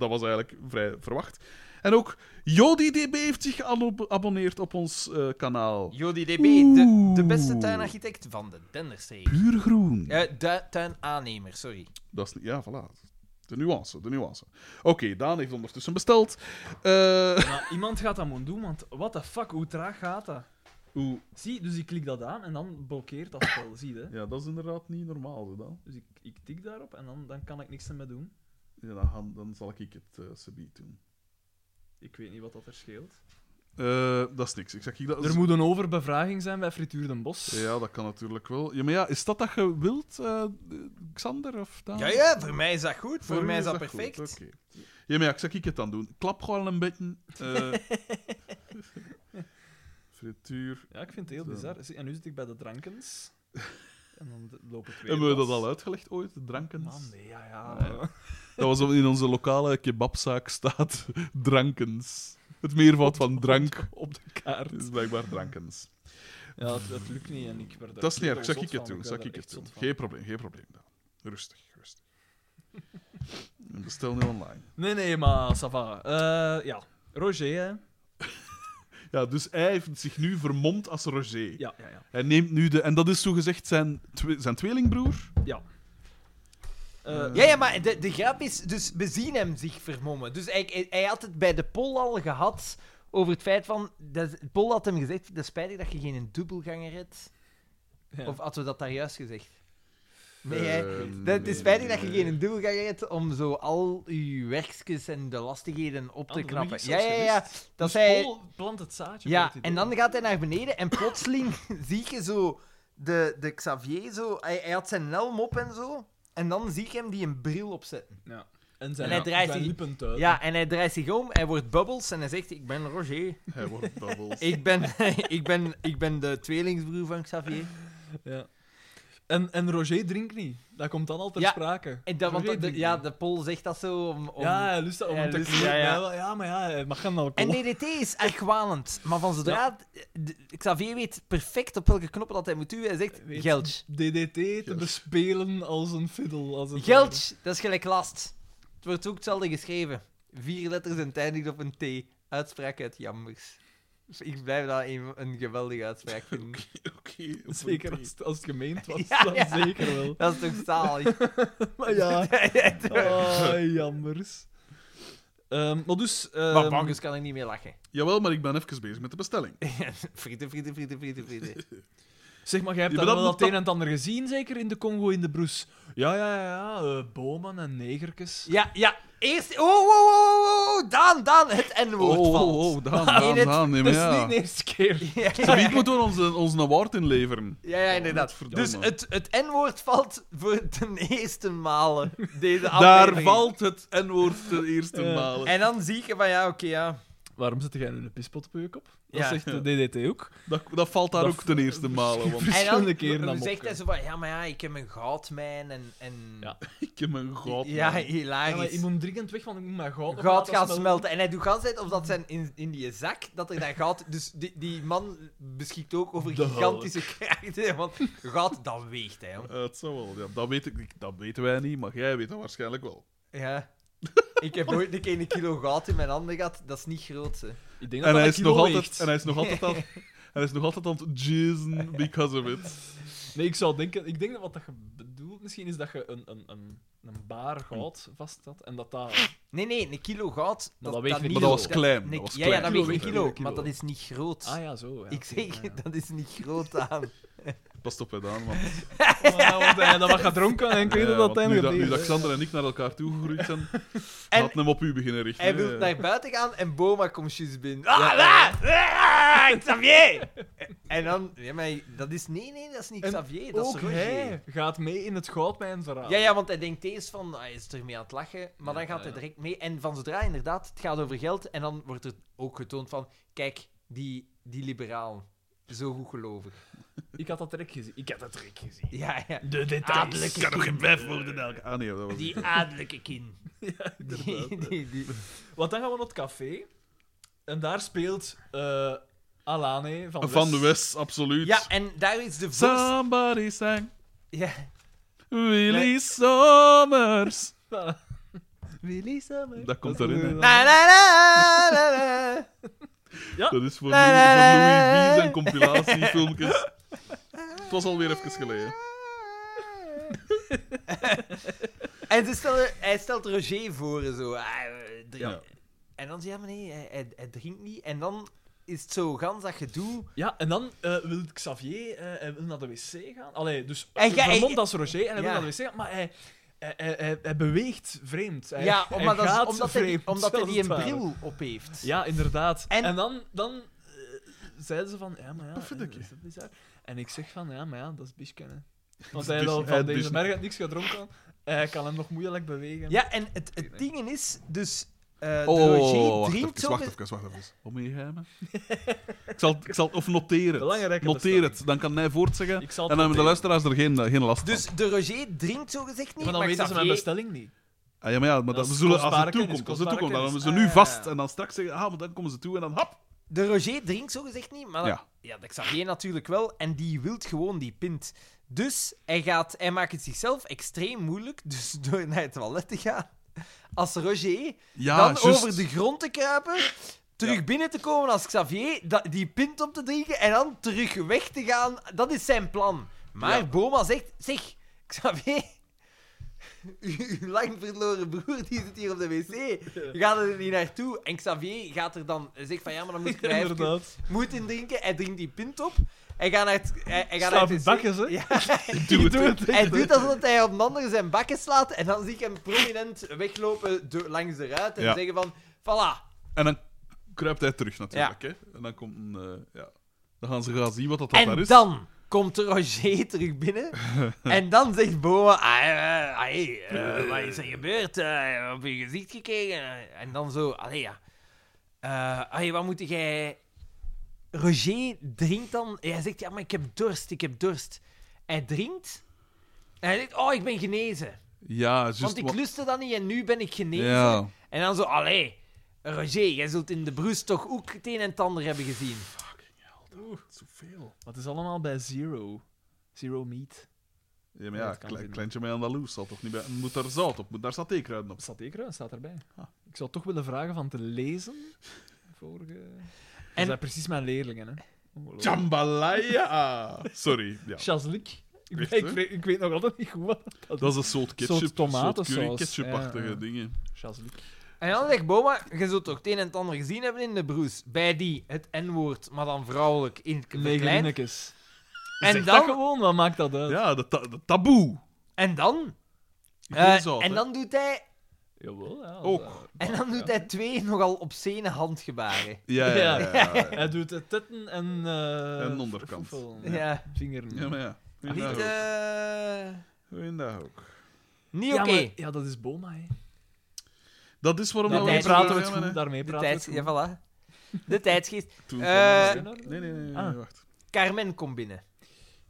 Speaker 2: dat was eigenlijk vrij verwacht. En ook JodiDB heeft zich geabonneerd op ons eh, kanaal.
Speaker 4: Jody DB, de, de beste
Speaker 2: Oeh.
Speaker 4: tuinarchitect van de Denderstreek.
Speaker 2: Puur groen.
Speaker 4: Eh du- tuinaannemer, sorry.
Speaker 2: Dat is niet, ja, voilà. De nuance, de nuance. Oké, Daan heeft ondertussen besteld. Eh,
Speaker 3: Maar iemand gaat dat moeten doen, want what the fuck, hoe traag gaat dat?
Speaker 2: oeh,
Speaker 3: Zie, dus ik klik dat aan en dan blokkeert dat spel, zie je? hè?
Speaker 2: ja, dat is inderdaad niet normaal, hè, Daan.
Speaker 3: Dus ik, ik tik daarop en dan, dan kan ik niks meer doen.
Speaker 2: Ja, dan, gaan- dan zal ik het eh subiet doen.
Speaker 3: Ik weet niet wat dat er scheelt.
Speaker 2: Eh, dat is niks. Ik zeg, hier, dat is-
Speaker 3: Er moet een overbevraging zijn bij Frituur den Bos.
Speaker 2: Ja, dat kan natuurlijk wel. Ja, maar ja, is dat dat je wilt, eh, Xander? Of Daan?
Speaker 4: Ja, ja, voor mij is dat goed. Voor,
Speaker 2: u
Speaker 4: mij is
Speaker 2: Ah. is
Speaker 4: dat
Speaker 2: goed,
Speaker 4: perfect.
Speaker 2: oké. Ja, maar ja, ik zeg ik het dan doen. Klap gewoon een beetje. eh. frituur.
Speaker 3: Ja, ik vind het heel
Speaker 2: Zo.
Speaker 3: bizar. Zie, en nu zit ik bij de drankens. En dan d- loop ik weer.
Speaker 2: Hebben we dat
Speaker 3: vast.
Speaker 2: al uitgelegd ooit, de drankens?
Speaker 3: Man, nee, ja, ja.
Speaker 2: Nee. Dat was in onze lokale kebabzaak staat drankens. Het meervoud van drank
Speaker 3: Op de
Speaker 2: is
Speaker 3: kaart.
Speaker 2: blijkbaar drankens.
Speaker 3: Ja, dat, dat lukt niet en ik werd daar
Speaker 2: Dat is niet erg,
Speaker 3: heel
Speaker 2: zeg
Speaker 3: zot
Speaker 2: ik het
Speaker 3: van.
Speaker 2: doen.
Speaker 3: werd
Speaker 2: Zeg
Speaker 3: daar
Speaker 2: ik
Speaker 3: echt
Speaker 2: het doen.
Speaker 3: zot van.
Speaker 2: Geen probleem, geen probleem. Daan. Rustig, rustig. En Bestel nu online.
Speaker 3: Nee, nee, maar ça va. Eh, ja, Roger, hè.
Speaker 2: Ja, dus hij heeft zich nu vermomd als Roger.
Speaker 3: Ja, ja, ja.
Speaker 2: Hij neemt nu de. En dat is zogezegd zijn, twe- zijn tweelingbroer.
Speaker 3: Eh,
Speaker 4: Ja, ja, maar de, de grap is, dus we zien hem zich vermommen. Dus hij, hij, hij had het bij de poll al gehad over het feit van... Dat, Paul had hem gezegd, dat is spijtig dat je geen dubbelganger hebt.
Speaker 3: Ja.
Speaker 4: Of hadden we dat daar juist gezegd? Nee,
Speaker 2: Eh,
Speaker 4: hè. Dat het is spijtig dat je geen dubbelganger hebt om zo al je werkjes en de lastigheden op te
Speaker 3: Ah, dat
Speaker 4: knappen.
Speaker 3: is
Speaker 4: Ja, ja, ja.
Speaker 3: socialist.
Speaker 4: Dat
Speaker 3: dus
Speaker 4: hij...
Speaker 3: Paul plant het zaadje.
Speaker 4: Ja,
Speaker 3: voor het
Speaker 4: en
Speaker 3: idee.
Speaker 4: dan gaat hij naar beneden en plotseling zie je zo de, de Xavier zo... Hij, hij had zijn helm op en zo. En dan zie ik hem die een bril opzetten.
Speaker 3: En zijn,
Speaker 4: en hij draait
Speaker 3: zijn
Speaker 4: die-
Speaker 3: lippen uit.
Speaker 4: Ja, en hij draait zich om, hij wordt Bubbles en hij zegt, ik ben Roger.
Speaker 2: Hij wordt bubbles.
Speaker 4: Ik ben, ik ben, ik ben de tweelingsbroer van Xavier.
Speaker 3: Ja. En, en Roger drinkt niet. Dat komt dan al ter
Speaker 4: Ja.
Speaker 3: sprake.
Speaker 4: En dat, want
Speaker 3: Roger
Speaker 4: de,
Speaker 3: drinkt
Speaker 4: ja,
Speaker 3: niet.
Speaker 4: de Pol zegt dat zo om... om...
Speaker 3: ja, hij lust dat om
Speaker 4: hij
Speaker 3: hem te
Speaker 4: lust-
Speaker 3: kleren.
Speaker 4: ja,
Speaker 3: Ja,
Speaker 4: ja.
Speaker 3: wel, ja, maar ja, hij mag geen alcohol.
Speaker 4: En DDT is argwanend, maar van zodra de- Xavier weet perfect op welke knoppen dat hij moet duwen, hij zegt
Speaker 3: Weet-
Speaker 4: Gelch.
Speaker 3: DDT te
Speaker 2: Yes.
Speaker 3: bespelen als een fiddle. Als een
Speaker 4: Gelch, dat is gelijk last. Het wordt ook hetzelfde geschreven. Vier letters en het eindigt op een T. Uitspraak uit Jambers. Ik blijf dat een, een geweldige uitspraak vinden.
Speaker 2: Oké, op
Speaker 3: Zeker
Speaker 2: een
Speaker 3: als, het- als het gemeend was,
Speaker 4: Ja,
Speaker 3: dan
Speaker 4: ja.
Speaker 3: zeker wel.
Speaker 4: Dat is toch zalig?
Speaker 3: Maar ja,
Speaker 4: Oh,
Speaker 3: ah, jammers. Ehm, maar dus... ehm,
Speaker 4: maar bankers kan ik niet meer lachen.
Speaker 2: Jawel, maar ik ben even bezig met de bestelling.
Speaker 4: Frieten, frieten, frieten, frieten, frieten.
Speaker 3: Zeg maar, jij hebt
Speaker 2: Ja,
Speaker 3: dat
Speaker 2: maar
Speaker 3: wel
Speaker 2: dat
Speaker 3: het
Speaker 2: moet
Speaker 3: een
Speaker 2: dan-
Speaker 3: en het ander gezien, zeker in de Congo, in de Broes. Ja, ja, ja, ja eh, bomen en negertjes.
Speaker 4: Ja, ja. Eerst... Oh, oh, oh, oh, oh. Daan, Daan. Het
Speaker 2: Oh,
Speaker 4: N-woord valt.
Speaker 2: Daan,
Speaker 4: In
Speaker 2: Daan,
Speaker 4: het-
Speaker 2: Daan. Nee, maar
Speaker 3: Dat is niet
Speaker 2: ja.
Speaker 3: de eerste keer.
Speaker 4: Ja,
Speaker 2: Ze wie moeten we onze, onze award inleveren.
Speaker 4: ja, ja,
Speaker 2: Oh,
Speaker 4: inderdaad.
Speaker 2: Godverdomme.
Speaker 4: Dus het, het N-woord valt voor ten eerste malen deze
Speaker 2: Daar
Speaker 4: aflevering.
Speaker 2: valt het N-woord de eerste
Speaker 3: Ja.
Speaker 2: malen.
Speaker 4: En dan zie je van, ja, oké, ja.
Speaker 3: Waarom zit jij nu een pispot op je kop? Dat
Speaker 4: Ja.
Speaker 3: zegt de DDT ook.
Speaker 2: Dat, dat valt daar
Speaker 3: Dat
Speaker 2: ook ten eerste malen. Want
Speaker 4: En
Speaker 3: verschillende
Speaker 4: dan
Speaker 3: keren aan
Speaker 4: zegt hij
Speaker 3: mopken.
Speaker 4: zo van, ja, maar ja, ik heb een goudmijn en... en...
Speaker 3: Ja.
Speaker 2: ik heb mijn god.
Speaker 4: Ja,
Speaker 2: man.
Speaker 3: Ja, maar
Speaker 4: hilarisch.
Speaker 3: ik moet dringend weg, want ik moet mijn goud
Speaker 4: goud gaan smelten. En hij doet gans tijd of dat zijn in, in die zak, dat er dan goud... Dus die, die man beschikt ook over
Speaker 3: De
Speaker 4: gigantische krachten, want goud, dat weegt, hè. jong.
Speaker 2: Eh, het zou wel. Ja, dat, weet ik, ik- dat weten wij niet, maar jij weet dat waarschijnlijk wel.
Speaker 4: Ja. Ik heb ooit een keer een kilo goud in mijn handen gehad, dat is niet groot, hè.
Speaker 3: Ik denk dat
Speaker 2: En
Speaker 3: dat
Speaker 2: hij,
Speaker 3: een
Speaker 2: is
Speaker 3: kilo
Speaker 2: nog altijd,
Speaker 3: weegt.
Speaker 2: en hij is nog altijd aan, en hij is nog altijd aan het jizzen because of it.
Speaker 3: Nee, ik zou denken... Ik denk dat wat dat je bedoelt misschien is dat je een, een, een, een baar goud vast had en dat daar...
Speaker 4: Nee, nee, een kilo goud,
Speaker 3: Maar
Speaker 4: dat,
Speaker 3: dat weegt een
Speaker 4: niet
Speaker 2: Maar dat
Speaker 4: groot.
Speaker 2: was klein.
Speaker 4: Een-
Speaker 2: Dat was
Speaker 4: ja, ja,
Speaker 2: klein.
Speaker 4: dat
Speaker 3: Kilo
Speaker 4: weegt een
Speaker 3: weegt
Speaker 4: kilo,
Speaker 3: een kilo.
Speaker 4: maar dat is niet groot.
Speaker 3: Ah ja, zo. Ja,
Speaker 4: Ik
Speaker 3: oké,
Speaker 4: zeg,
Speaker 3: ja, ja.
Speaker 4: dat is niet groot aan.
Speaker 2: Past op gedaan, man.
Speaker 3: Ja, want hij dat wat gaat dronken en ik weet
Speaker 2: Ja,
Speaker 3: dat dat
Speaker 2: eh, want nu, dat, nu
Speaker 3: einde
Speaker 2: dat Xander en ik naar elkaar toe gegroeid zijn,
Speaker 4: En-
Speaker 2: laten hem op u beginnen richten.
Speaker 4: Hij
Speaker 2: hè.
Speaker 3: Eh.
Speaker 4: wil naar buiten gaan en Boma komt juist binnen. Ah, daar! Ah, Xavier! En dan, ja, maar dat is, nee, nee, dat is niet
Speaker 3: En
Speaker 4: Xavier, dat
Speaker 3: Ook
Speaker 4: is Roger.
Speaker 3: hij gaat mee in het goudmijnverhaal.
Speaker 4: Ja, ja, want hij denkt eerst van, ah, hij is ermee aan het lachen, maar dan
Speaker 3: Oh. Ja,
Speaker 4: gaat hij
Speaker 3: ja.
Speaker 4: direct mee. En van zodra inderdaad, het gaat over geld, en dan wordt er ook getoond van, kijk, die, die liberalen, zo goed gelovig.
Speaker 3: Ik had dat trek gezien. Ik had dat trek gezien. Ah,
Speaker 4: Ja, ja.
Speaker 3: De details.
Speaker 4: Adellijke kind.
Speaker 2: Vijf woorden elke. Ah nee, dat was
Speaker 4: Die adellijke kind.
Speaker 3: inderdaad,
Speaker 4: Die, die, die.
Speaker 3: Want dan gaan we naar het café. En daar speelt eh, Alane van,
Speaker 2: Van de
Speaker 3: West.
Speaker 2: West, absoluut.
Speaker 4: Ja, en daar is de vorst...
Speaker 2: Somebody sang
Speaker 4: Ja.
Speaker 2: Willy Sommers.
Speaker 3: Willy Summer.
Speaker 2: Dat komt erin. hè.
Speaker 4: Na, na, na, na, na.
Speaker 2: Dat is voor
Speaker 4: La,
Speaker 2: Louis,
Speaker 4: la,
Speaker 2: voor
Speaker 4: la,
Speaker 2: Louis
Speaker 4: la, la.
Speaker 2: Vies en compilatiefilmpjes. Het was alweer even geleden.
Speaker 4: en ze stellen, hij stelt Roger voor en zo. Ah, eh, drink.
Speaker 2: Ja.
Speaker 4: En dan zegt hij, ja, maar nee, hij, hij, hij drinkt niet. En dan is het zo gans dat gedoe.
Speaker 3: Ja, en dan eh, wil Xavier eh, hij wil naar de wc gaan. Allee, dus
Speaker 4: Hij
Speaker 3: hij
Speaker 4: ga-
Speaker 3: vermomd als Roger en hij
Speaker 4: Ja.
Speaker 3: wil naar de wc gaan. Maar hij, hij, hij, hij- hij beweegt vreemd. Hij,
Speaker 4: ja,
Speaker 3: hij
Speaker 4: omdat, dat is-
Speaker 3: gaat
Speaker 4: omdat, hij, die-
Speaker 3: vreemd,
Speaker 4: omdat hij die een
Speaker 3: zelfs het ware.
Speaker 4: bril op heeft.
Speaker 3: Ja, inderdaad.
Speaker 4: En-
Speaker 3: En, dan, dan eh, zeiden ze van, ja, maar ja, eh, is dat bizar? En ik zeg van, ja, maar ja, dat is Bishken, hè. Want hij
Speaker 2: Dus-
Speaker 3: had
Speaker 2: hij
Speaker 3: van deze
Speaker 2: dus-
Speaker 3: merk niks gedronken. Hij kan hem nog moeilijk bewegen.
Speaker 4: Ja, en het, het ding is, dus eh
Speaker 2: Oh,
Speaker 4: Roger
Speaker 2: wacht
Speaker 4: drinkt
Speaker 2: even,
Speaker 4: zo...
Speaker 2: wacht even, wacht even. Om je geheimen. Ik zal, ik zal, of noteer het.
Speaker 3: Belangrijke
Speaker 2: Noteer
Speaker 3: bestelling.
Speaker 2: het, dan kan hij voortzeggen. En
Speaker 3: Ik zal
Speaker 2: dan
Speaker 3: het
Speaker 2: hebben de
Speaker 3: noteren.
Speaker 2: luisteraars er geen, eh, geen last van.
Speaker 4: Dus de Roger drinkt zo gezegd niet,
Speaker 3: Maar
Speaker 4: maar,
Speaker 3: dan weten ze mijn
Speaker 4: Xavier...
Speaker 3: bestelling niet.
Speaker 2: Ah, ja, maar ja, maar
Speaker 3: Dat
Speaker 2: dat, we
Speaker 3: is
Speaker 2: zullen, als
Speaker 3: kostbare
Speaker 2: het
Speaker 3: kennis,
Speaker 2: toekomt, als het
Speaker 3: kostbare
Speaker 2: toekomt, dan hebben ze
Speaker 4: kennis.
Speaker 2: nu
Speaker 4: Ah,
Speaker 2: vast.
Speaker 4: ja.
Speaker 2: En dan straks zeggen, ah, maar dan komen ze toe en dan hap.
Speaker 4: De Roger drinkt zo gezegd niet, maar
Speaker 2: Ja.
Speaker 4: Ja, de Xavier natuurlijk wel. En die wilt gewoon die pint. Dus hij, gaat, hij maakt het zichzelf extreem moeilijk. Dus door naar het toilet te gaan. Als Roger.
Speaker 2: Ja,
Speaker 4: dan
Speaker 2: juist.
Speaker 4: over de grond te kruipen. Terug binnen te komen als Xavier. da- die pint op te drinken. En dan terug weg te gaan. Dat is zijn plan. Maar Boma zegt: Zeg, Xavier. uw uw lang verloren broer die zit hier op de wc. Gaat er niet naartoe. En Xavier gaat er dan zegt van ja, maar dan moet ik mij even-
Speaker 8: Inderdaad.
Speaker 4: moet in drinken. Hij drinkt die pint op. Hij gaat naar het, hij, hij gaat
Speaker 8: Slaat
Speaker 4: naar het wc.
Speaker 8: bakken, hè?
Speaker 4: Ja,
Speaker 2: Doe het.
Speaker 4: hij doet alsof hij op een ander zijn bakken slaat. En dan zie ik hem prominent weglopen door- langs de ruit. En
Speaker 2: Ja.
Speaker 4: zeggen van, voilà.
Speaker 2: En dan kruipt hij terug natuurlijk. Hè? En dan komt een. eh, ja. Dan gaan ze gaan zien wat dat, dat daar
Speaker 4: en
Speaker 2: is.
Speaker 4: dan komt Roger terug binnen. en dan zegt Boma, ah, eh, ah, hey, eh, wat is er gebeurd? Eh, op je gezicht gekregen? En dan zo, allee ja. Eh, allee, wat moet jij... Roger drinkt dan... Hij zegt, ja, maar ik heb dorst, ik heb dorst. Hij drinkt. En hij zegt, oh, ik ben genezen.
Speaker 2: Ja, juist.
Speaker 4: Want ik
Speaker 2: Dus wat-
Speaker 4: lustte dat niet en nu ben ik genezen.
Speaker 2: Ja.
Speaker 4: En dan zo, allee, Roger, jij zult in de broes toch ook het een en het ander hebben gezien.
Speaker 8: Zoveel.
Speaker 3: Wat is allemaal bij Zero? Zero Meat.
Speaker 2: Ja, maar
Speaker 3: Ja,
Speaker 2: ja,
Speaker 3: dat kan
Speaker 2: kle-
Speaker 3: niet.
Speaker 2: kleintje met Andaloes zal toch niet bij. Moet daar zout op, moet daar satékruiden op.
Speaker 3: Satékruid staat erbij.
Speaker 2: Ah.
Speaker 3: Ik zou toch willen vragen van te lezen. Vorige...
Speaker 4: En-
Speaker 3: Dat zijn precies mijn leerlingen, hè.
Speaker 2: Jambalaya! Sorry. Ja.
Speaker 3: Chaslik. Ik, weet-
Speaker 2: Echt, hè?
Speaker 3: ik, weet- ik weet nog altijd niet goed wat dat
Speaker 2: Dat is een soort ketchup.
Speaker 3: Soort tomatensaus.
Speaker 2: soort curry ketchupachtige
Speaker 3: Ja, ja.
Speaker 2: dingen.
Speaker 3: Chaslik.
Speaker 4: En dan zegt Boma, je zult toch het een en het ander gezien hebben in de broes. Bij die, het N-woord, maar dan vrouwelijk in het verklein.
Speaker 3: Negerinnekes.
Speaker 4: En
Speaker 3: Zeg dat
Speaker 4: dan,
Speaker 3: gewoon, wat maakt dat uit?
Speaker 2: Ja, de, ta de taboe.
Speaker 4: en dan,
Speaker 2: Geen
Speaker 4: eh,
Speaker 2: zout,
Speaker 4: en
Speaker 2: hè. Oh,
Speaker 4: dan doet hij,
Speaker 3: Jawel, ja.
Speaker 2: Ook.
Speaker 3: dat-
Speaker 4: en dan doet hij twee nogal obscene handgebaren.
Speaker 2: Ja, ja, ja. ja, ja.
Speaker 3: Hij doet het tetten en... eh,
Speaker 2: En onderkant.
Speaker 3: voetel.
Speaker 4: Ja.
Speaker 3: Ja. Vingeren.
Speaker 2: Ja, maar ja.
Speaker 4: Ah, Niet,
Speaker 2: Goeiedag ook.
Speaker 4: eh,
Speaker 2: Goeiedag ook.
Speaker 4: niet
Speaker 3: Ja,
Speaker 4: oké.
Speaker 3: maar- ja, dat is Boma, hè.
Speaker 2: Dat is waarom
Speaker 4: Daarmee
Speaker 2: we
Speaker 4: praten we
Speaker 2: het
Speaker 3: Goed, daarmee
Speaker 4: De
Speaker 3: praten we
Speaker 4: tijd,
Speaker 3: het
Speaker 4: ja,
Speaker 3: goed.
Speaker 4: voilà. De tijdsgeest.
Speaker 2: Toen
Speaker 4: Eh,
Speaker 2: kwam
Speaker 3: Zijn
Speaker 2: er-
Speaker 3: er-
Speaker 2: Nee, nee, nee, nee,
Speaker 3: Ah.
Speaker 2: wacht.
Speaker 4: Carmen komt binnen.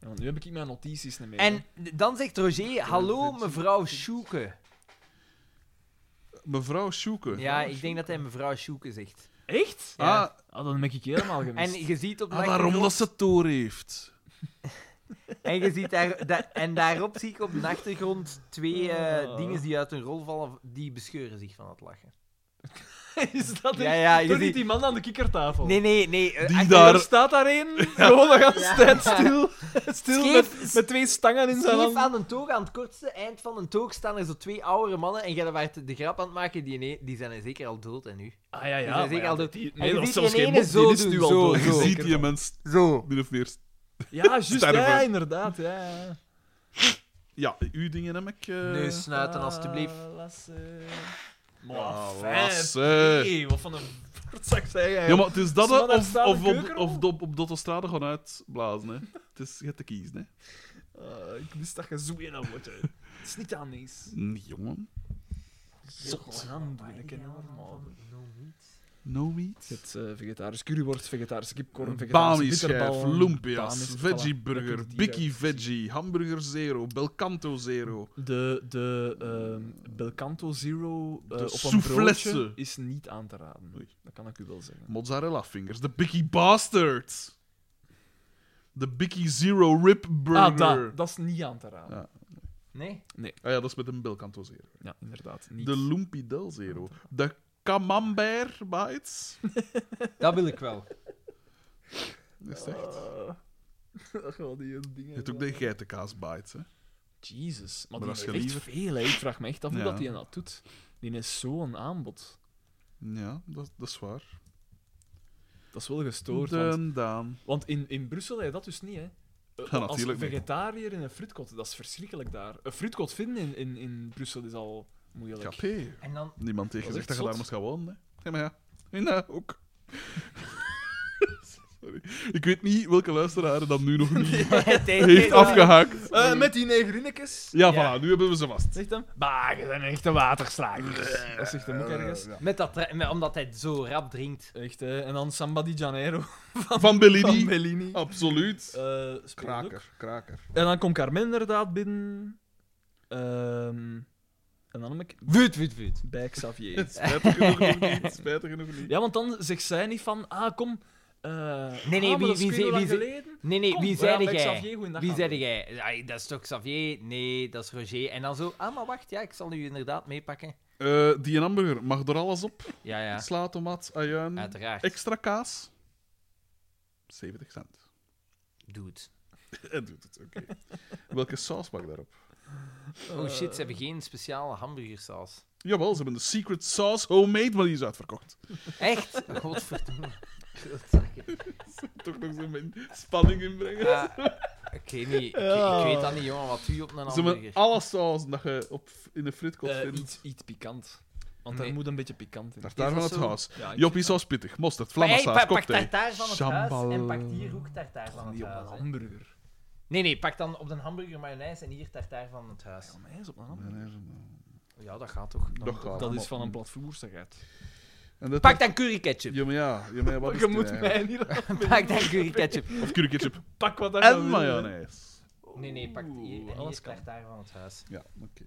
Speaker 3: Ja, want nu heb ik mijn notities niet meer. hè.
Speaker 4: En dan zegt Roger, hallo mevrouw Sjoeke.
Speaker 2: Mevrouw Sjoeke.
Speaker 4: Ja, ik denk dat hij mevrouw Sjoeke zegt.
Speaker 3: Echt?
Speaker 4: Ja.
Speaker 2: Ah,
Speaker 3: Ah, dan ben ik helemaal gemist.
Speaker 4: En je ziet op de
Speaker 2: ah, daarom dat
Speaker 4: achtergrond-
Speaker 2: ze het door heeft.
Speaker 4: En, je ziet daar, da- en daarop zie ik op de achtergrond twee eh,
Speaker 3: Oh.
Speaker 4: dingen die uit hun rol vallen, die bescheuren zich van het lachen.
Speaker 3: is dat
Speaker 4: Ja,
Speaker 3: echt-
Speaker 4: ja, je
Speaker 3: Toch niet
Speaker 4: ziet...
Speaker 3: die man aan de kikkertafel?
Speaker 4: Nee, nee, nee. eh,
Speaker 2: Die
Speaker 4: achter-
Speaker 2: daar-
Speaker 3: Er staat daar één, gewoon nog aan
Speaker 4: Ja.
Speaker 3: stand stil. Stil
Speaker 4: Scheef-
Speaker 3: met, met twee stangen in zijn
Speaker 4: Scheef
Speaker 3: hand.
Speaker 4: aan een toog, aan het kortste eind van een toog staan er zo twee oudere mannen en jij waart de grap aan het maken, die, ene- die zijn er zeker al dood en nu.
Speaker 3: Ah ja,
Speaker 4: Die
Speaker 3: ja.
Speaker 4: zijn
Speaker 3: maar
Speaker 4: zeker
Speaker 3: ja,
Speaker 4: al dood.
Speaker 3: die-
Speaker 4: En je
Speaker 3: Nee, dat is
Speaker 4: ziet
Speaker 3: zelfs
Speaker 4: die
Speaker 3: geen
Speaker 4: ene
Speaker 3: mop,
Speaker 4: zo
Speaker 3: die is
Speaker 4: doen,
Speaker 3: nu al
Speaker 4: zo,
Speaker 3: dood.
Speaker 2: Je
Speaker 4: zo.
Speaker 2: ziet die mens
Speaker 4: Zo.
Speaker 2: min of meer.
Speaker 3: Ja, juist.
Speaker 2: Sterven.
Speaker 3: Ja, inderdaad. Ja, ja.
Speaker 2: Ja, uw dingen heb ik. eh,
Speaker 4: Nee, snuiten alstublieft.
Speaker 3: Ah, lasse.
Speaker 2: Ah,
Speaker 3: Maar
Speaker 2: lasse.
Speaker 3: Nee, wat van een voortzak zei jij?
Speaker 2: Ja, maar het is dat hè,
Speaker 3: Zal daar
Speaker 2: of,
Speaker 3: staan
Speaker 2: of,
Speaker 3: de
Speaker 2: op,
Speaker 3: keuken
Speaker 2: of
Speaker 3: al?
Speaker 2: op, op Dottostrade gaan uitblazen. Hè. Het is je hebt te kiezen. Hè.
Speaker 3: Ah, ik wist dat je zo in dat wordt. hè. Het is niet aan niks.
Speaker 2: Nee, jongen.
Speaker 3: Zot. Aandoenlijke normaal.
Speaker 2: No meat.
Speaker 3: Je hebt eh, vegetarisch curryworst, vegetarisch kipkorn,
Speaker 2: Bami
Speaker 3: vegetarisch
Speaker 2: schijf,
Speaker 3: bitterbal,
Speaker 2: lumpia's,
Speaker 3: Bamis,
Speaker 2: veggie
Speaker 3: voilà. Dan
Speaker 2: burger,
Speaker 3: kun je die
Speaker 2: bikkie
Speaker 3: uit-
Speaker 2: veggie, hamburger zero, belcanto zero.
Speaker 3: De, de ehm, Belcanto Zero eh,
Speaker 2: De
Speaker 3: op een
Speaker 2: soufflesse.
Speaker 3: broodje is niet aan te raden.
Speaker 2: Oei.
Speaker 3: Dat kan ik u wel zeggen.
Speaker 2: Mozzarella fingers, de bikkie bastard. De bikkie zero rib
Speaker 3: Ah,
Speaker 2: burger.
Speaker 3: dat, dat is niet aan te raden.
Speaker 2: Ja.
Speaker 4: Nee?
Speaker 2: Ah ja, dat is met een belcanto zero.
Speaker 3: Ja, inderdaad. Niet.
Speaker 2: De Lumpy Del Zero. De Camembert Bites.
Speaker 4: Dat wil ik wel.
Speaker 2: Is
Speaker 3: Eh,
Speaker 2: het echt?
Speaker 3: Gewoon die
Speaker 2: Je
Speaker 3: dingen.
Speaker 2: hebt ook de geitenkaas bites, hè.
Speaker 3: Jesus, maar,
Speaker 2: Maar
Speaker 3: die
Speaker 2: als je
Speaker 3: heeft
Speaker 2: liever-
Speaker 3: echt veel. Hè. Ik vraag me echt af hoe
Speaker 2: Ja.
Speaker 3: dat hij dat doet. Die is zo'n aanbod.
Speaker 2: Ja, dat, dat is waar.
Speaker 3: Dat is wel gestoord. Want,
Speaker 2: Den Daan.
Speaker 3: want in, in Brussel heb je dat dus niet, hè? Eh,
Speaker 2: Ja,
Speaker 3: als
Speaker 2: natuurlijk niet.
Speaker 3: vegetariër in een fruitkot, dat is verschrikkelijk daar. Een fruitkot vinden in, in, in Brussel is al moeilijk.
Speaker 2: Capé.
Speaker 4: En dan...
Speaker 2: Niemand tegen
Speaker 3: Dat is echt
Speaker 2: zegt dat je daar
Speaker 3: zot.
Speaker 2: moest gaan wonen, hè. Ja, maar ja. En ja, ook. Sorry. Ik weet niet welke luisteraar dat nu nog niet heeft afgehaakt.
Speaker 3: Eh, met die negerinnetjes.
Speaker 2: Ja, voilà, nu hebben we ze vast.
Speaker 3: Zegt hem. Bah, je bent echt een
Speaker 2: Eh,
Speaker 3: waterslager. Dat zegt hem ook ergens.
Speaker 4: Met dat, tra- met- omdat hij zo rap drinkt.
Speaker 3: Echt, hè. En dan Samba di Janeiro
Speaker 2: Van Bellini. Oh.
Speaker 3: van Bellini.
Speaker 2: Absoluut.
Speaker 3: Eh, speelt ook.
Speaker 2: kraker.
Speaker 3: En dan komt Carmen inderdaad binnen. Ehm, en dan heb ik
Speaker 4: Vuut, vuut, vuut.
Speaker 3: bij Xavier.
Speaker 2: Spijtig genoeg nog niet. Spijtig genoeg niet.
Speaker 3: ja, want dan zegt zij niet van, ah, kom... eh, ah,
Speaker 4: nee,
Speaker 3: maar
Speaker 4: wie-
Speaker 3: dat is
Speaker 4: wie
Speaker 3: kei
Speaker 4: zei-
Speaker 3: lang
Speaker 4: wie zei-
Speaker 3: geleden.
Speaker 4: Nee, nee,
Speaker 3: Kom,
Speaker 4: wie
Speaker 3: we
Speaker 4: zei
Speaker 3: gaan bij
Speaker 4: jij?
Speaker 3: Xavier, goeiedag
Speaker 4: Wie
Speaker 3: aan
Speaker 4: zei
Speaker 3: doen.
Speaker 4: jij? Ai, dat is toch Xavier? Nee, dat is Roger. En dan zo, ah, maar wacht, ja, ik zal u inderdaad meepakken.
Speaker 2: Eh, die een hamburger mag er alles op.
Speaker 4: Ja, ja,
Speaker 2: Sla, tomaat, ajuin.
Speaker 4: uiteraard.
Speaker 2: Extra kaas. 70 cent.
Speaker 4: Doet.
Speaker 2: Hij doet het, oké. Welke saus mag daarop?
Speaker 3: Eh.
Speaker 4: Oh shit, ze hebben geen speciale hamburgersaus.
Speaker 2: Jawel, ze hebben de secret sauce homemade, maar die is uitverkocht.
Speaker 4: Echt? Godverdomme.
Speaker 2: Toch nog zo'n beetje spanning inbrengen.
Speaker 4: Ah, ik, weet niet, ik, ik weet dat niet, jongen, wat u op een
Speaker 2: Ze hebben
Speaker 4: hamburger.
Speaker 2: alle sausen dat je op, in de fritkot
Speaker 3: Eh,
Speaker 2: vindt.
Speaker 3: iets, iets pikant. Want
Speaker 4: Nee.
Speaker 3: daar moet een beetje pikant in.
Speaker 2: Daar daarvan
Speaker 4: dat
Speaker 2: het
Speaker 4: zo? Ah,
Speaker 2: huis.
Speaker 3: Ja, ik-
Speaker 2: Joppie saus pittig, mosterd,
Speaker 4: Maar hey,
Speaker 2: vlammensaus,
Speaker 4: pak
Speaker 2: cocktail.
Speaker 4: tartaar van het
Speaker 2: Shambhala.
Speaker 4: huis en pak hier ook tartaar van het
Speaker 3: Ah, Die op een
Speaker 4: huis. hè.
Speaker 3: hamburger.
Speaker 4: Nee, nee, pak dan op de hamburger mayonaise en hier tartaar van het huis.
Speaker 3: Ja, maar hij is op een hamburger.
Speaker 4: Ja, dat gaat toch.
Speaker 2: Dat gaat
Speaker 3: dat is
Speaker 2: allemaal.
Speaker 3: van een platvoerstigheid.
Speaker 2: En dat
Speaker 4: Pak dan curry ketchup.
Speaker 2: Ja, maar ja. ja, maar ja, wat is
Speaker 3: Je
Speaker 2: het
Speaker 3: moet
Speaker 2: eigenlijk?
Speaker 3: mij niet
Speaker 4: Pak dan curry ketchup.
Speaker 2: Of curryketchup
Speaker 3: Pak wat daar
Speaker 2: en mayonaise.
Speaker 4: Nee, nee, pak hier en
Speaker 3: alles
Speaker 4: hier
Speaker 3: kan.
Speaker 4: tartaar van het huis.
Speaker 2: Ja, oké.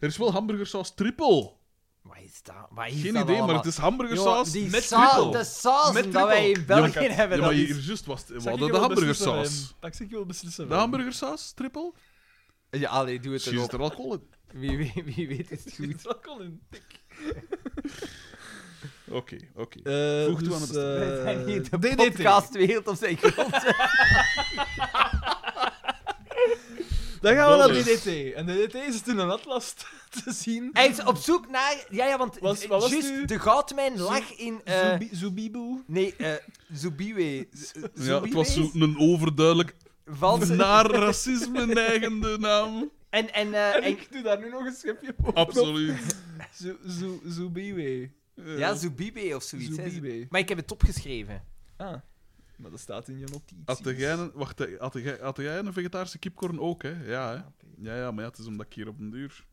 Speaker 2: Er is wel hamburgersaus triple.
Speaker 4: Wat is dat? Wat is
Speaker 2: Geen idee,
Speaker 4: dat
Speaker 2: maar
Speaker 4: allemaal?
Speaker 2: het is hamburgersaus
Speaker 4: Jongen, die
Speaker 2: met
Speaker 4: saus-
Speaker 2: triple.
Speaker 4: De saus
Speaker 3: Met
Speaker 4: dat wij in
Speaker 3: trippel.
Speaker 4: België
Speaker 2: Ja,
Speaker 4: hebben.
Speaker 2: Ja, maar
Speaker 4: dat is-
Speaker 2: hier juist was het. We hadden de hamburgersaus.
Speaker 3: Dat ik wel beslissen.
Speaker 2: De hamburgersaus triple?
Speaker 4: Ja, allee, doe het
Speaker 2: Misschien is
Speaker 4: erop.
Speaker 2: er alcohol in.
Speaker 4: Wie, wie, wie weet het goed.
Speaker 3: Goed. Dat kon in.
Speaker 2: Oké, oké.
Speaker 3: Voeg
Speaker 2: toe aan de
Speaker 3: eh,
Speaker 2: bestelling.
Speaker 4: Wij zijn hier de
Speaker 3: DDT.
Speaker 4: podcastwereld op zijn grond.
Speaker 3: Dan gaan we naar
Speaker 2: Wel dus.
Speaker 3: DDT. En DDT is toen een atlas te- te zien.
Speaker 4: Hij is op zoek naar... Ja, ja, want
Speaker 3: Was- wat was
Speaker 4: juist
Speaker 3: nu?
Speaker 4: de goudmijn lag in... eh,
Speaker 3: Zubi- Zubibu.
Speaker 4: nee, eh Zubiwe. Z-
Speaker 2: Ja, het was
Speaker 4: Zubiwe?
Speaker 2: zo een overduidelijk
Speaker 4: Valse-
Speaker 2: naar racisme neigende naam.
Speaker 4: En, en, eh,
Speaker 3: En
Speaker 4: en-
Speaker 3: ik doe daar nu nog een schepje op.
Speaker 2: Absoluut.
Speaker 3: Zu- Zu- Zubiwe.
Speaker 4: ja, Zubiwe of zoiets. hè.
Speaker 3: Zubiwe.
Speaker 4: Maar ik heb het opgeschreven.
Speaker 3: Ah. Maar dat staat in je dus notities.
Speaker 2: Had jij, een- wacht, hè, had, jij, had jij een vegetarische kipkorn ook, hè? Ja, hè? Ja, ja, maar ja, het is omdat ik hier op een duur...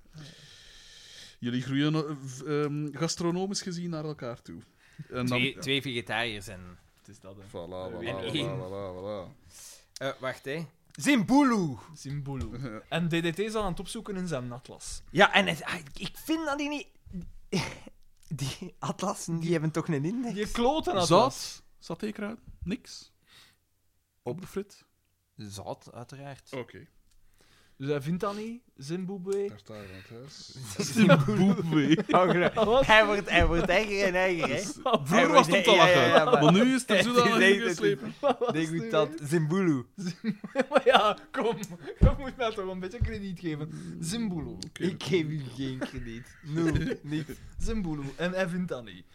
Speaker 2: Jullie groeien eh, v- ehm, gastronomisch gezien naar elkaar toe. En dan...
Speaker 4: Twee, twee vegetariërs en...
Speaker 3: Het is dat, hè.
Speaker 2: Voilà, voilà,
Speaker 3: En
Speaker 2: voilà,
Speaker 4: één.
Speaker 2: voilà, voilà.
Speaker 4: Eh, wacht, hè. Zimbulu.
Speaker 3: Zimbulu. En DDT is al aan het opzoeken in zijn atlas.
Speaker 4: Ja, en het- ah, ik vind dat die niet... Die atlassen, die hebben toch een index?
Speaker 3: Je kloten atlas.
Speaker 2: Zout? Satékruid? Niks? Op de frit?
Speaker 4: Zout, uiteraard.
Speaker 2: Oké.
Speaker 3: Dus hij vindt dat niet. Zimbabwe.
Speaker 2: Daar staan we aan het huis. Zimbabwe.
Speaker 4: Hij wordt, hij wordt erger en erger, hè.
Speaker 3: Ah,
Speaker 2: Vroeger was het om te
Speaker 4: Ja, ja,
Speaker 2: lachen.
Speaker 4: ja, maar-
Speaker 2: maar nu is het er zo
Speaker 4: Nee, nee,
Speaker 2: aan
Speaker 4: dat is
Speaker 2: geslepen.
Speaker 4: Degoutant. Zimbulu.
Speaker 3: maar ja, kom. Je moet mij toch een beetje krediet geven. Zimbulu.
Speaker 4: Ik geef u geen krediet. No, niet.
Speaker 3: Zimbulu. En hij vindt dat niet.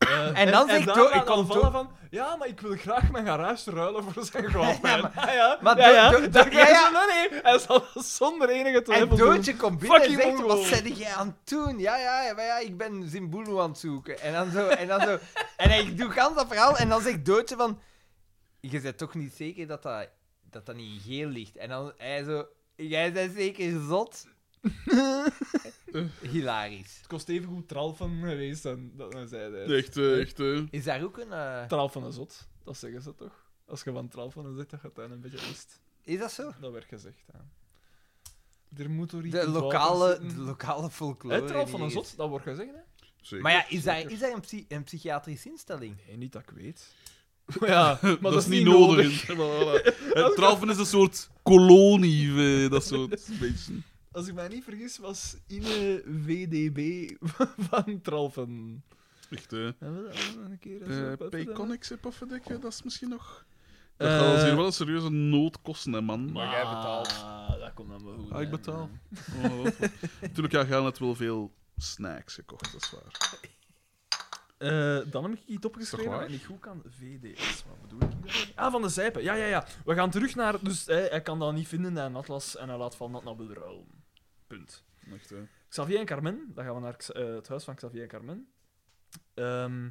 Speaker 3: Eh,
Speaker 4: En dan zeg ik
Speaker 3: daarna
Speaker 4: toch- ik kan
Speaker 3: dan
Speaker 4: toch-
Speaker 3: vallen van... Ja, maar ik wil graag mijn garage ruilen voor zijn grondpijn. Ja, ja. ja,
Speaker 4: maar
Speaker 3: ja, ja.
Speaker 4: do- do-
Speaker 3: Dan
Speaker 4: do-
Speaker 3: krijg je
Speaker 4: ja,
Speaker 3: zo, Nee, nee. Hij zal dat zonder enige
Speaker 4: En
Speaker 3: twijfel doen.
Speaker 4: Doodje komt binnen en
Speaker 3: Fucking
Speaker 4: zegt, wat
Speaker 3: Mongool.
Speaker 4: zet jij aan het doen? Ja, ja, ja, maar ja, ik ben Zimbulu aan het zoeken. En dan zo, en dan zo. En hij doet gans dat verhaal en dan zegt Doodje van, je bent toch niet zeker dat dat, dat, dat niet in geel ligt? En dan hij zo, jij bent zeker zot? Hilarisch.
Speaker 3: Het kost even goed tralfen geweest dan, dan zei hij.
Speaker 2: Echt, eh, echt. eh.
Speaker 4: Is daar ook een... eh,
Speaker 3: Tralfen is zot. Dat zeggen ze toch? Als je van tralfen zegt, dat gaat dan een beetje mist.
Speaker 4: is dat zo?
Speaker 3: Dat werd gezegd, ja. Er moet door iets
Speaker 4: De
Speaker 3: in het water
Speaker 4: lokale,
Speaker 3: zitten.
Speaker 4: de lokale
Speaker 3: Hè,
Speaker 4: folklore.
Speaker 3: trouw van een
Speaker 4: ergens.
Speaker 3: zot, dat wordt gezegd, hè?
Speaker 2: Zeker,
Speaker 4: Maar ja, is daar,
Speaker 2: zeker.
Speaker 4: is daar een, psy- een psychiatrische instelling?
Speaker 3: Nee, Eh, niet dat ik weet. Maar ja, maar
Speaker 2: dat, is niet nodig. Voilà, voilà. Het Tralfen is een soort kolonie, eh, dat soort beetje. eh,
Speaker 3: Als ik mij niet vergis, was Ine VDB van Tralfen.
Speaker 2: Echt, eh.
Speaker 3: Hebben we dat hebben we dat een keer? eens
Speaker 2: eh
Speaker 3: op- op-
Speaker 2: Payconics op afdekken, dat is misschien nog. Dat
Speaker 3: Eh,
Speaker 2: gaat ons hier wel een serieuze nood kosten, hè, man.
Speaker 3: Maar jij betaalt. Ah, dat komt dan wel goed.
Speaker 2: Ah, ik
Speaker 3: hè.
Speaker 2: betaal. Oh, wat goed. Natuurlijk, ja, gaan net wel veel snacks gekocht, dat is waar.
Speaker 3: Eh, dan heb ik iets
Speaker 2: Is toch
Speaker 3: opgeschreven
Speaker 2: waar?
Speaker 3: dat ik niet goed kan. VDS, wat bedoel ik hier? Ah, van de zijpen. Ja, ja, ja. We gaan terug naar... Dus hij, hij kan dat niet vinden in een atlas en hij laat van dat naar bedruilen. Punt.
Speaker 2: Echt, eh.
Speaker 3: Xavier en Carmen. Dan gaan we naar X- eh, het huis van Xavier en Carmen. Ehm,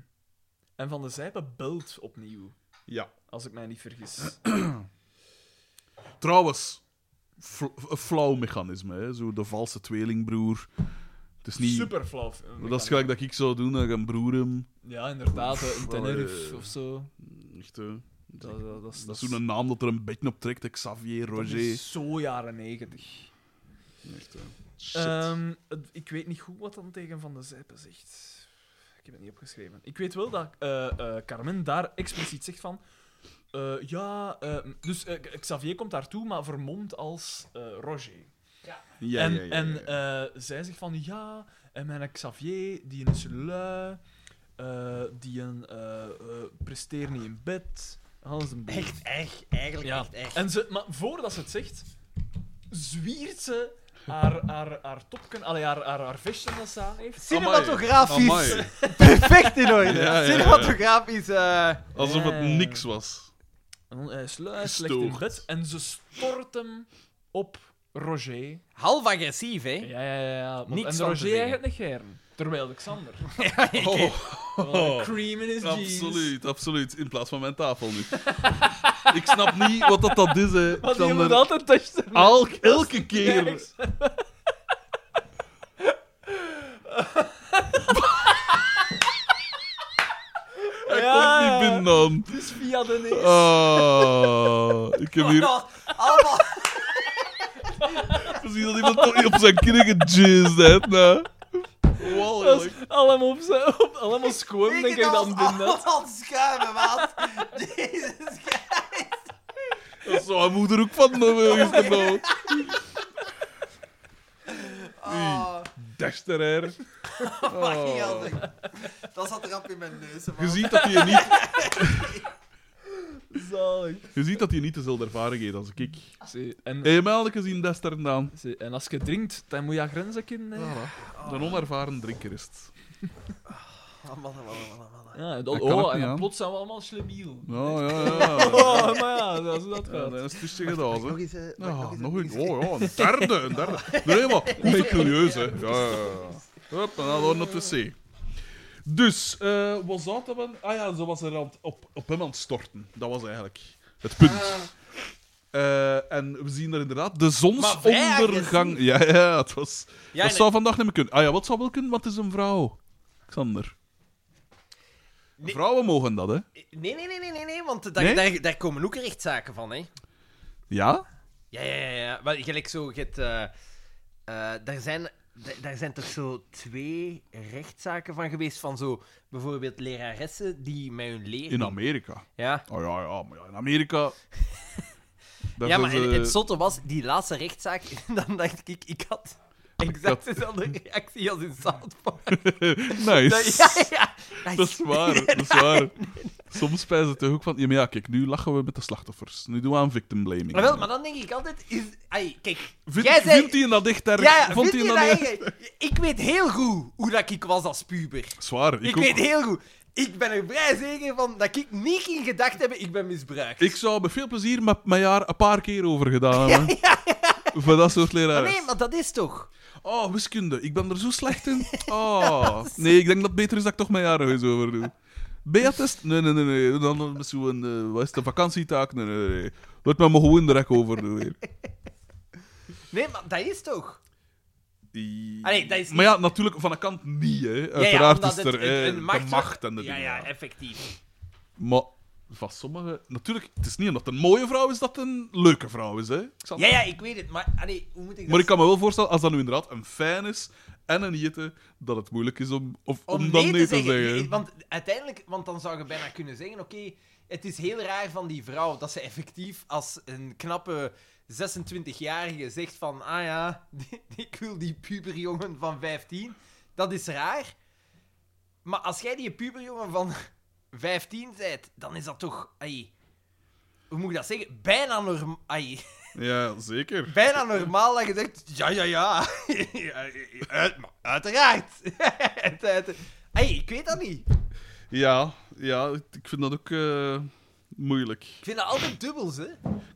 Speaker 3: en van de zijpen belt opnieuw,
Speaker 2: Ja.
Speaker 3: als ik mij niet vergis.
Speaker 2: Trouwens, fl- een flauw mechanisme, hè? zo de valse tweelingbroer. Het is niet.
Speaker 3: Super flauw.
Speaker 2: Dat is gelijk dat ik zou doen, dat ik een broer hem.
Speaker 3: Ja, inderdaad. hè,
Speaker 2: Pff,
Speaker 3: In Tenerife
Speaker 2: eh,
Speaker 3: of zo.
Speaker 2: Echt, eh.
Speaker 3: Dat, dat, dat, is-
Speaker 2: Dat is zo'n naam dat er een beetje op trekt, hè, Xavier,
Speaker 3: dat is
Speaker 2: Roger.
Speaker 3: zo jaren negentig.
Speaker 2: Echt, eh. Shit.
Speaker 3: Ehm, het- ik weet niet goed wat dan tegen Van de Zijpen zegt. Ik heb het niet opgeschreven. Ik weet wel dat eh, eh, Carmen daar expliciet zegt van... eh, ja, eh, dus eh, Xavier komt daartoe, maar vermomd als eh, Roger.
Speaker 2: ja,
Speaker 3: en
Speaker 2: ja, ja, ja,
Speaker 3: en
Speaker 2: ja.
Speaker 3: eh, zij zegt van ja, en mijn Xavier, die een lui, eh, die een eh, eh, presteert niet in bed. Hans een boel.
Speaker 4: Echt, echt, eigenlijk
Speaker 3: Ja.
Speaker 4: echt, echt.
Speaker 3: En ze, maar voordat ze het zegt, zwiert ze haar, haar, haar topken, allee, haar, haar, haar vestje dat ze aan heeft.
Speaker 4: Cinematografisch.
Speaker 2: Amai.
Speaker 4: Perfect in orde.
Speaker 2: Ja, ja, ja.
Speaker 4: Cinematografisch. eh,
Speaker 2: Alsof het niks was.
Speaker 3: En dan, Hij is lui, slecht in
Speaker 2: Gestoord.
Speaker 3: bed. En ze stort hem op Roger.
Speaker 4: half agressief, hè?
Speaker 3: Ja, ja, ja. ja. Want-
Speaker 4: Niks
Speaker 3: en
Speaker 4: van te
Speaker 3: Roger
Speaker 4: zeggen.
Speaker 3: eigenlijk niet gern. Terwijl Alexander.
Speaker 2: Oh,
Speaker 3: wel Cream in his jeans.
Speaker 2: absoluut, absoluut. In plaats van mijn tafel nu. Ik snap niet wat dat, dat is, hè.
Speaker 3: Want je
Speaker 2: Xander.
Speaker 3: moet altijd testen.
Speaker 2: Al- elke keer. Hij komt niet binnen dan.
Speaker 3: Dus via de neus.
Speaker 2: Ah, ik heb hier
Speaker 4: Allemaal.
Speaker 2: gezien dat iemand toch op zijn knie gejizd heeft. Nou.
Speaker 3: Dat
Speaker 2: Walgelijk.
Speaker 3: is allemaal op zijn- op- allemaal schoon, denk ik dan binnen.
Speaker 4: Allemaal aan het schuimen, maat. Jezus Christus.
Speaker 2: Dat zou mijn moeder ook van hebben genomen.
Speaker 4: Oh,
Speaker 2: Desterer.
Speaker 4: fucking
Speaker 3: Oh.
Speaker 4: hell, zeg. Dat zat rap in mijn neus, man.
Speaker 2: Je ziet dat hij niet,
Speaker 3: Zalig.
Speaker 2: je ziet dat hij niet dezelfde ervaring heeft als ik.
Speaker 3: Zie, En,
Speaker 2: Eenmaal gezien Dester gedaan.
Speaker 3: zie, en als je drinkt, dan moet je grenzen kennen.
Speaker 2: Oh.
Speaker 3: hè.
Speaker 2: Een onervaren drinker is het.
Speaker 4: Oh, man, man, man, man, man.
Speaker 3: Ja,
Speaker 2: Dat
Speaker 3: dan,
Speaker 2: kan ook
Speaker 3: oh, en
Speaker 2: niet, hè.
Speaker 3: dan plots zijn we allemaal slemiel.
Speaker 2: Ja, ja, ja.
Speaker 3: Oh, maar ja, dat is hoe dat
Speaker 2: Ja,
Speaker 3: gaat.
Speaker 2: dat is tussen gedaan, hè.
Speaker 4: Nog eens, eh,
Speaker 2: Ja,
Speaker 4: nog eens.
Speaker 2: nog een. Oh ja, een derde, een derde. Nee, maar meticuleus, hè. Ja, ja, ja. Hup, en dan door naar de C. Dus, eh was dat dan? Ah ja, ze was er aan het- op, op hem aan het storten. Dat was eigenlijk het punt.
Speaker 4: Ah.
Speaker 2: Eh, en we zien er inderdaad de zonsondergang. Ja, ja, het was...
Speaker 4: Ja,
Speaker 2: dat zou vandaag niet meer kunnen. Ah ja, wat zou wel kunnen? Wat is een vrouw? Xander.
Speaker 4: Nee.
Speaker 2: Vrouwen mogen dat, hè?
Speaker 4: Nee, nee, nee, nee, nee, nee, want daar,
Speaker 2: Nee?
Speaker 4: Daar, daar komen ook rechtszaken van, hè.
Speaker 2: Ja?
Speaker 4: Ja, ja, ja. ja. Maar gelijk zo, je hebt, eh, eh, daar, zijn, da- daar zijn toch zo twee rechtszaken van geweest. Van zo, bijvoorbeeld leraressen die met hun leerling...
Speaker 2: In Amerika.
Speaker 4: Ja,
Speaker 2: Oh ja, ja, maar ja, in Amerika. eh, Daar
Speaker 4: ja
Speaker 2: zijn
Speaker 4: maar
Speaker 2: ze-
Speaker 4: en, het zotte was, die laatste rechtszaak, dan dacht ik, ik had exact dezelfde reactie als in South Park.
Speaker 2: nice.
Speaker 4: Dat- Ja, ja.
Speaker 2: Dat is waar, dat is waar. Soms spijzen ze toch ook van... Ja, maar ja, kijk, nu lachen we met de slachtoffers. Nu doen we aan victim blaming.
Speaker 4: Maar wel, maar dan denk ik altijd... Is, ai, kijk,
Speaker 2: Vind,
Speaker 4: jij zei...
Speaker 2: Vindt hij dat echt erg?
Speaker 4: ja, ja,
Speaker 2: Vond
Speaker 4: vind
Speaker 2: hij
Speaker 4: je dat
Speaker 2: niet-
Speaker 4: erg? Ik weet heel goed hoe dat ik was als puber.
Speaker 2: Zwaar, ik,
Speaker 4: Ik,
Speaker 2: ook.
Speaker 4: weet heel goed. Ik ben er vrij zeker van dat ik niet in gedacht heb, ik ben misbruikt.
Speaker 2: Ik zou met veel plezier met mijn jaar een paar keer over gedaan hebben. Voor dat soort
Speaker 4: Maar
Speaker 2: leraren.
Speaker 4: nee, maar dat is toch...
Speaker 2: Oh, wiskunde. Ik ben er zo slecht in. Oh. Nee, ik denk dat het beter is dat ik toch mijn jaarhuis over doe. BA-test? Nee, nee, nee, nee. Dan met zo'n... eh, wat is het, een vakantietaak? Nee, nee, nee. Laat mij maar gewoon direct over doen weer.
Speaker 4: Nee, maar dat is toch... Allee, Ah, dat is
Speaker 2: Maar ja, natuurlijk van de kant niet, hè.
Speaker 4: Ja, ja,
Speaker 2: Uiteraard is
Speaker 4: omdat
Speaker 2: er
Speaker 4: het- het-
Speaker 2: hè,
Speaker 4: een macht-
Speaker 2: de macht en de
Speaker 4: Ja,
Speaker 2: dingen.
Speaker 4: ja,
Speaker 2: ja.
Speaker 4: effectief.
Speaker 2: Maar van sommigen... Natuurlijk, het is niet omdat het een mooie vrouw is dat het een leuke vrouw is, hè. Ik zal-
Speaker 4: Ja, ja, ik weet het, maar... Allee, hoe moet ik dat...
Speaker 2: Maar ik kan me wel voorstellen, als dat nu inderdaad een fijn is en een jette, dat het moeilijk is om, of, om, dan nee te zeggen.
Speaker 4: Nee, want uiteindelijk... Want dan zou je bijna kunnen zeggen, oké... het is heel raar van die vrouw dat ze effectief als een knappe 26-jarige zegt van... Ah ja, ik wil die puberjongen van 15. Dat is raar. Maar als jij die puberjongen van 15 bent, dan is dat toch... ai, hoe moet ik dat zeggen? Bijna, norm ai,
Speaker 2: Ja, zeker.
Speaker 4: bijna normaal dat je denkt... Ja, ja, ja. Ja, uit- maar uiteraard. Uit- uit- Ai, ik weet dat niet.
Speaker 2: Ja, ja, ik vind dat ook eh, moeilijk.
Speaker 4: Ik vind dat altijd dubbels, hè.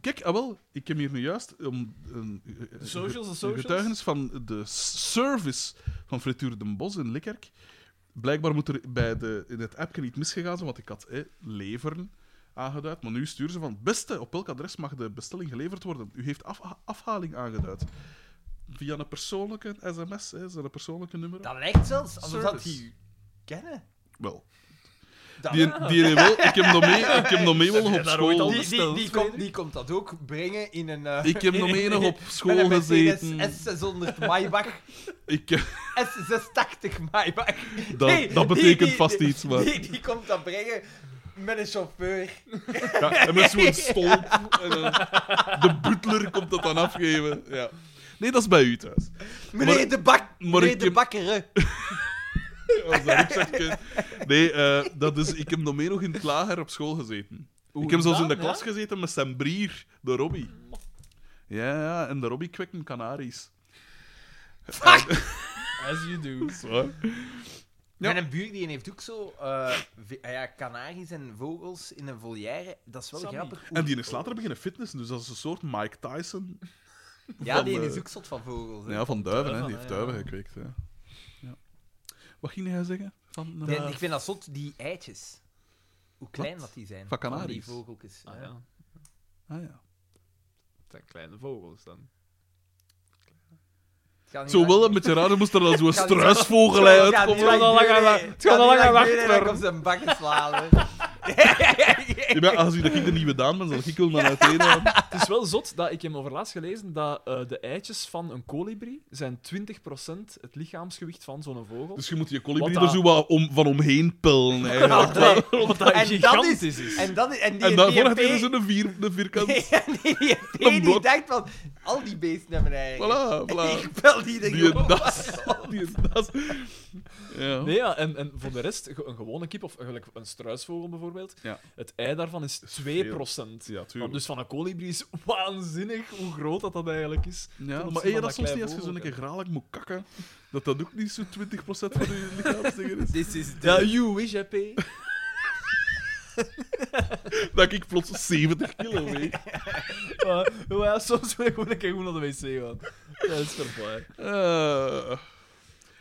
Speaker 2: Kijk, ah wel, ik heb hier nu juist om een, een
Speaker 3: Socials, de
Speaker 2: een
Speaker 3: socials.
Speaker 2: getuigenis van de s- service van Frituur Den Bos in Likkerk. Blijkbaar moet er bij de, in het appje niet misgegaan zijn, want ik had hè, leveren aangeduid. Maar nu sturen ze van, beste, op welk adres mag de bestelling geleverd worden? U heeft afha- afhaling aangeduid. Via een persoonlijke sms, hè, zijn een persoonlijke nummer.
Speaker 4: Dat lijkt zelfs alsof dat
Speaker 2: Service.
Speaker 4: die kennen.
Speaker 2: Wel,
Speaker 4: Dat-
Speaker 2: die, die heeft wel, ik heb nog mee, ik heb nog mee wel nog op
Speaker 3: daar ooit
Speaker 2: school...
Speaker 3: al
Speaker 4: die, die,
Speaker 3: besteld,
Speaker 4: die, komt, die komt dat ook brengen in een... eh,
Speaker 2: Ik heb nog
Speaker 4: in-
Speaker 2: menig op
Speaker 4: in-
Speaker 2: school
Speaker 4: met een
Speaker 2: gezeten.
Speaker 4: Mercedes S600 Maybach.
Speaker 2: Ik, eh,
Speaker 4: S680 Maybach.
Speaker 2: dat,
Speaker 4: Nee,
Speaker 2: dat
Speaker 4: die-
Speaker 2: betekent
Speaker 4: die-
Speaker 2: vast
Speaker 4: die-
Speaker 2: iets, maar...
Speaker 4: Die, die komt dat brengen met een chauffeur.
Speaker 2: Ja, en met zo'n stolp. En dan, de butler komt dat dan afgeven. Ja. Nee, dat is bij u thuis.
Speaker 4: Meneer
Speaker 2: Maar-
Speaker 4: de bak...
Speaker 2: ik
Speaker 4: Meneer de
Speaker 2: heb-
Speaker 4: bakker, hè.
Speaker 2: Als dat ik zeg, kun- nee, eh, dat is, ik heb nog meer nog in het lager op school gezeten. ik heb zelfs in de klas gezeten met zijn brier, de Robbie. Ja, ja, en de Robbie kwekken Canaries.
Speaker 3: As you do.
Speaker 2: Dat is waar. Ja.
Speaker 4: Mijn buur die heeft ook zo eh, vi- ah ja, kanaries en vogels in een volière. Dat is wel
Speaker 3: Sammy.
Speaker 4: grappig. hoe-
Speaker 2: En die is later beginnen fitnessen, dus dat is een soort Mike Tyson.
Speaker 4: Ja,
Speaker 2: van,
Speaker 4: die
Speaker 2: eh,
Speaker 4: is ook zot van vogels. hè.
Speaker 2: Ja, van duiven, hè.
Speaker 3: Duiven,
Speaker 2: Die heeft
Speaker 3: ja.
Speaker 2: duiven gekweekt, hè. Ja. Wat ging jij zeggen? Van, eh,
Speaker 4: Nee, ik vind dat zot, die eitjes. Hoe klein dat die zijn.
Speaker 2: Van
Speaker 4: die
Speaker 2: kanaries?
Speaker 4: vogeltjes.
Speaker 3: Ah,
Speaker 4: ja.
Speaker 3: ja.
Speaker 2: Ah, ja.
Speaker 3: Het zijn kleine vogels dan.
Speaker 4: Het gaat niet
Speaker 2: Zo
Speaker 4: lang-
Speaker 2: wel een beetje raar, er moest er dan zo'n
Speaker 4: Ga die-
Speaker 2: struisvogel
Speaker 4: Het
Speaker 2: uit.
Speaker 4: gaat niet lang
Speaker 3: al lang
Speaker 4: duren,
Speaker 3: aan-
Speaker 4: hè.
Speaker 3: het gaat al lang aan
Speaker 4: niet
Speaker 3: wachten.
Speaker 4: duren dat ik op zijn bakken slaan.
Speaker 2: Ja, maar als ik dat ik de nieuwe Daan ben, zal ik wel naar uiteen gaan.
Speaker 3: Het is wel zot dat ik hem overlaatst gelezen dat eh, de eitjes van een kolibrie zijn 20% het lichaamsgewicht van zo'n vogel.
Speaker 2: Dus je moet je colibri
Speaker 3: Wat
Speaker 2: er zo wat om, van omheen pillen, eigenlijk.
Speaker 3: Wat dat
Speaker 4: En dat is, en dat is, en die,
Speaker 2: En daarvoor
Speaker 4: die
Speaker 2: had hij
Speaker 4: EP
Speaker 2: dus een, vier, een vierkant.
Speaker 4: en die, EP
Speaker 2: Een
Speaker 4: die
Speaker 2: blok.
Speaker 4: denkt van, al die beesten hebben eigenlijk.
Speaker 2: Voilà, voilà.
Speaker 4: Ik bel die denk
Speaker 2: Die
Speaker 4: ik,
Speaker 2: een das. Die een das. Ja.
Speaker 3: Nee, ja, en, en voor de rest, ge- een gewone kip of gelijk een struisvogel bijvoorbeeld,
Speaker 2: Ja.
Speaker 3: het ei daarvan is 2%.
Speaker 2: Ja,
Speaker 3: Want
Speaker 2: tuurlijk.
Speaker 3: Dus van een kolibrie is waanzinnig hoe groot dat, dat eigenlijk is.
Speaker 2: Ja,
Speaker 3: Ten
Speaker 2: maar
Speaker 3: opzichte
Speaker 2: eer dat,
Speaker 3: van dat
Speaker 2: soms niet
Speaker 3: klein
Speaker 2: als je zo'n
Speaker 3: vogeltje.
Speaker 2: keer gralig moet kakken, dat dat ook niet zo'n 20% van je lichaamsdinger is.
Speaker 4: This is
Speaker 3: Ja, you wish, hè, P.
Speaker 2: Dat ik plots 70 kilo weeg.
Speaker 3: Maar, maar ja, soms wil ik gewoon een keer goed naar de wc gaan. Dat is verbaasd.
Speaker 2: Eh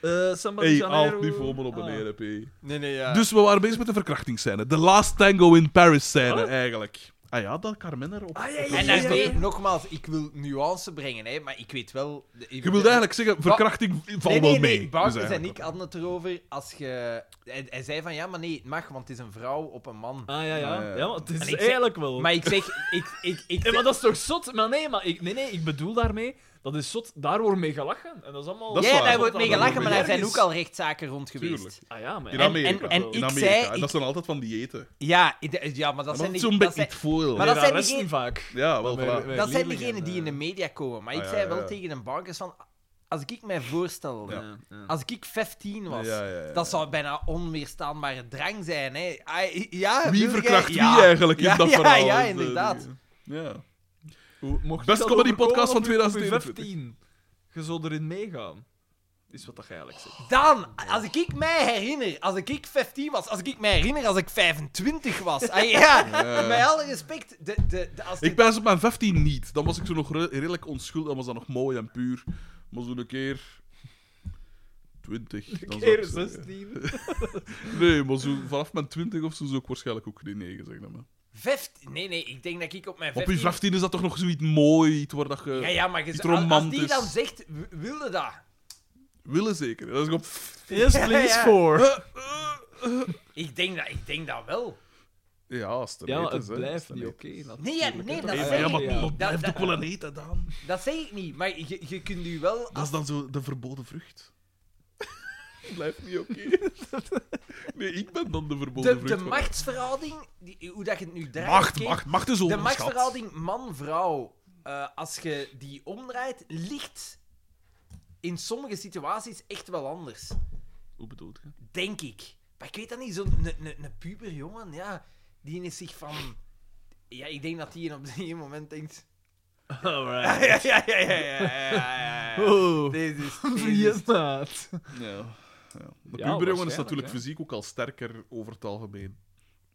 Speaker 3: Eh Samba de
Speaker 2: hey,
Speaker 3: Janeiro.
Speaker 2: haalt niveau maar op
Speaker 3: Ah.
Speaker 2: een RP.
Speaker 4: Nee, nee, ja.
Speaker 2: Dus we waren bezig met de verkrachtingsscène. De Last Tango in Paris scène,
Speaker 4: Oh.
Speaker 2: eigenlijk. Ah ja, dat Carmen erop.
Speaker 3: Ah, ja, ja,
Speaker 4: En
Speaker 3: ja, ja,
Speaker 4: daarmee,
Speaker 3: ja.
Speaker 4: nogmaals, ik wil nuance brengen, hè, maar ik weet wel... de-
Speaker 2: Je wilt eigenlijk zeggen, verkrachting valt
Speaker 4: nee, nee,
Speaker 2: wel mee.
Speaker 4: nee, Bartels
Speaker 2: Dus
Speaker 4: en
Speaker 2: eigenlijk
Speaker 4: ik hadden het erover als je... Hij, hij zei van, ja, maar nee, het mag, want het is een vrouw op een man.
Speaker 3: Ah, ja,
Speaker 2: Ah, ja.
Speaker 3: ja. Ja, maar het
Speaker 4: En
Speaker 3: is
Speaker 4: ik zeg-
Speaker 3: eigenlijk wel...
Speaker 4: Maar ik zeg... Ik, ik, ik,
Speaker 3: Ja, maar dat is toch zot? Maar nee, maar ik, nee, nee, ik bedoel daarmee, dat is zot, daar wordt mee gelachen. En dat is allemaal...
Speaker 2: Dat is
Speaker 4: ja,
Speaker 2: waar.
Speaker 4: daar wordt mee
Speaker 2: Dat
Speaker 4: gelachen,
Speaker 2: wordt
Speaker 4: maar daar
Speaker 2: mee
Speaker 4: zijn ook
Speaker 2: gelachen.
Speaker 4: al rechtszaken rond geweest.
Speaker 2: Tuurlijk.
Speaker 3: Ah ja, maar...
Speaker 2: In
Speaker 3: ja.
Speaker 2: Amerika.
Speaker 4: en- en
Speaker 2: wel.
Speaker 4: ik
Speaker 2: in Amerika.
Speaker 4: zei-
Speaker 2: En
Speaker 4: ik-
Speaker 2: dat zijn altijd van die eten.
Speaker 4: Ja, ik- ja, maar dat zijn...
Speaker 2: dat is zo'n
Speaker 4: die- dat
Speaker 2: beetje
Speaker 4: zijn-
Speaker 2: niet veel.
Speaker 4: Maar dat
Speaker 3: Nee,
Speaker 4: zijn
Speaker 3: resten
Speaker 4: die-
Speaker 3: vaak.
Speaker 2: Ja, wel,
Speaker 3: Maar
Speaker 2: voilà.
Speaker 3: wij-
Speaker 4: Dat zijn
Speaker 3: leerlingen,
Speaker 4: degenen die
Speaker 3: eh.
Speaker 4: in de media komen. Maar ik
Speaker 2: Ah, ja,
Speaker 4: zei
Speaker 2: ja,
Speaker 4: wel
Speaker 2: ja.
Speaker 4: tegen een bankers van... Als ik mij voorstel,
Speaker 2: Ja.
Speaker 4: als ik 15 was,
Speaker 2: Ja, ja, ja.
Speaker 4: dat zou bijna onweerstaanbare drang zijn. Hè. Ah, ja,
Speaker 2: Wie
Speaker 4: wil jij-
Speaker 2: verkracht wie
Speaker 4: Ja.
Speaker 2: eigenlijk in
Speaker 4: Ja,
Speaker 2: dat
Speaker 4: ja,
Speaker 2: verhaal?
Speaker 4: ja,
Speaker 2: Dat is, eh,
Speaker 4: inderdaad.
Speaker 2: Ja.
Speaker 3: Hoe, mocht
Speaker 2: Best
Speaker 3: dat
Speaker 2: comedy
Speaker 3: overkomen
Speaker 2: podcast van
Speaker 3: op je- op je
Speaker 2: 2021.
Speaker 3: 15? Je zou erin meegaan. Is wat dat je eigenlijk zegt.
Speaker 4: Dan, als ik mij herinner, als ik 15 was, als ik mij herinner als ik 25 was. Ah, ja,
Speaker 2: Ja.
Speaker 4: met alle respect. De, de, de, als
Speaker 2: Ik ben op mijn 15 niet. Dan was ik zo nog re- redelijk onschuldig. Dan was dat nog mooi en puur. Maar zo'n keer... 20. dan zou ik
Speaker 3: Keer
Speaker 2: zeggen.
Speaker 3: 16.
Speaker 2: Nee, maar zo, vanaf mijn 20 of zo zou ik waarschijnlijk ook geen nee zeggen. Maar.
Speaker 4: Vijft- Nee, nee, ik denk dat ik op mijn
Speaker 2: Op je
Speaker 4: 15...
Speaker 2: 15 is dat toch nog zoiets mooi, iets waar dat je...
Speaker 4: Ja, ja, maar je-
Speaker 2: Iets
Speaker 4: als- als die
Speaker 2: romantisch.
Speaker 4: dan zegt, w- wilde dat?
Speaker 2: Willen zeker. Dat is gewoon...
Speaker 3: Yes,
Speaker 4: Ja,
Speaker 3: please,
Speaker 4: ja.
Speaker 3: for.
Speaker 4: Ik denk dat, ik denk dat wel.
Speaker 2: Ja, als het
Speaker 3: Ja, maar
Speaker 2: eten
Speaker 3: het
Speaker 2: is, hè. Als
Speaker 3: blijft
Speaker 2: het
Speaker 3: niet
Speaker 2: eten
Speaker 3: oké. dat-
Speaker 4: Nee, ja, nee dat
Speaker 2: is.
Speaker 3: Ja,
Speaker 4: zeg
Speaker 2: Ja,
Speaker 4: ik
Speaker 2: maar
Speaker 4: niet.
Speaker 3: ja.
Speaker 2: dat blijft
Speaker 4: Dat-
Speaker 2: ook wel een eten, dan.
Speaker 4: Dat zeg ik niet, maar je, je kunt nu wel...
Speaker 2: Dat is dan zo de verboden vrucht. blijft niet oké. Nee, ik ben dan de verboden
Speaker 4: De, de
Speaker 2: vrucht. van-
Speaker 4: machtsverhouding, die, hoe dat je het nu draait...
Speaker 2: Macht,
Speaker 4: oké,
Speaker 2: macht, macht is
Speaker 4: De
Speaker 2: onderschat.
Speaker 4: machtsverhouding man-vrouw, eh, als je die omdraait, ligt in sommige situaties echt wel anders.
Speaker 3: Hoe bedoelt je?
Speaker 4: Denk ik. Maar ik weet dat niet, zo'n ne- ne- een puber jongen, ja, die is zich van... Ja, ik denk dat die op een moment denkt...
Speaker 3: Alright.
Speaker 4: Ja, ja, ja, ja, ja, ja, ja, ja.
Speaker 3: Oh,
Speaker 4: Deze is... deze is-
Speaker 3: vriendmaat.
Speaker 2: Ja. ja. De
Speaker 3: Ja,
Speaker 2: puberjongen is
Speaker 3: waarschijnlijk,
Speaker 2: natuurlijk
Speaker 3: hè.
Speaker 2: fysiek ook al sterker over het algemeen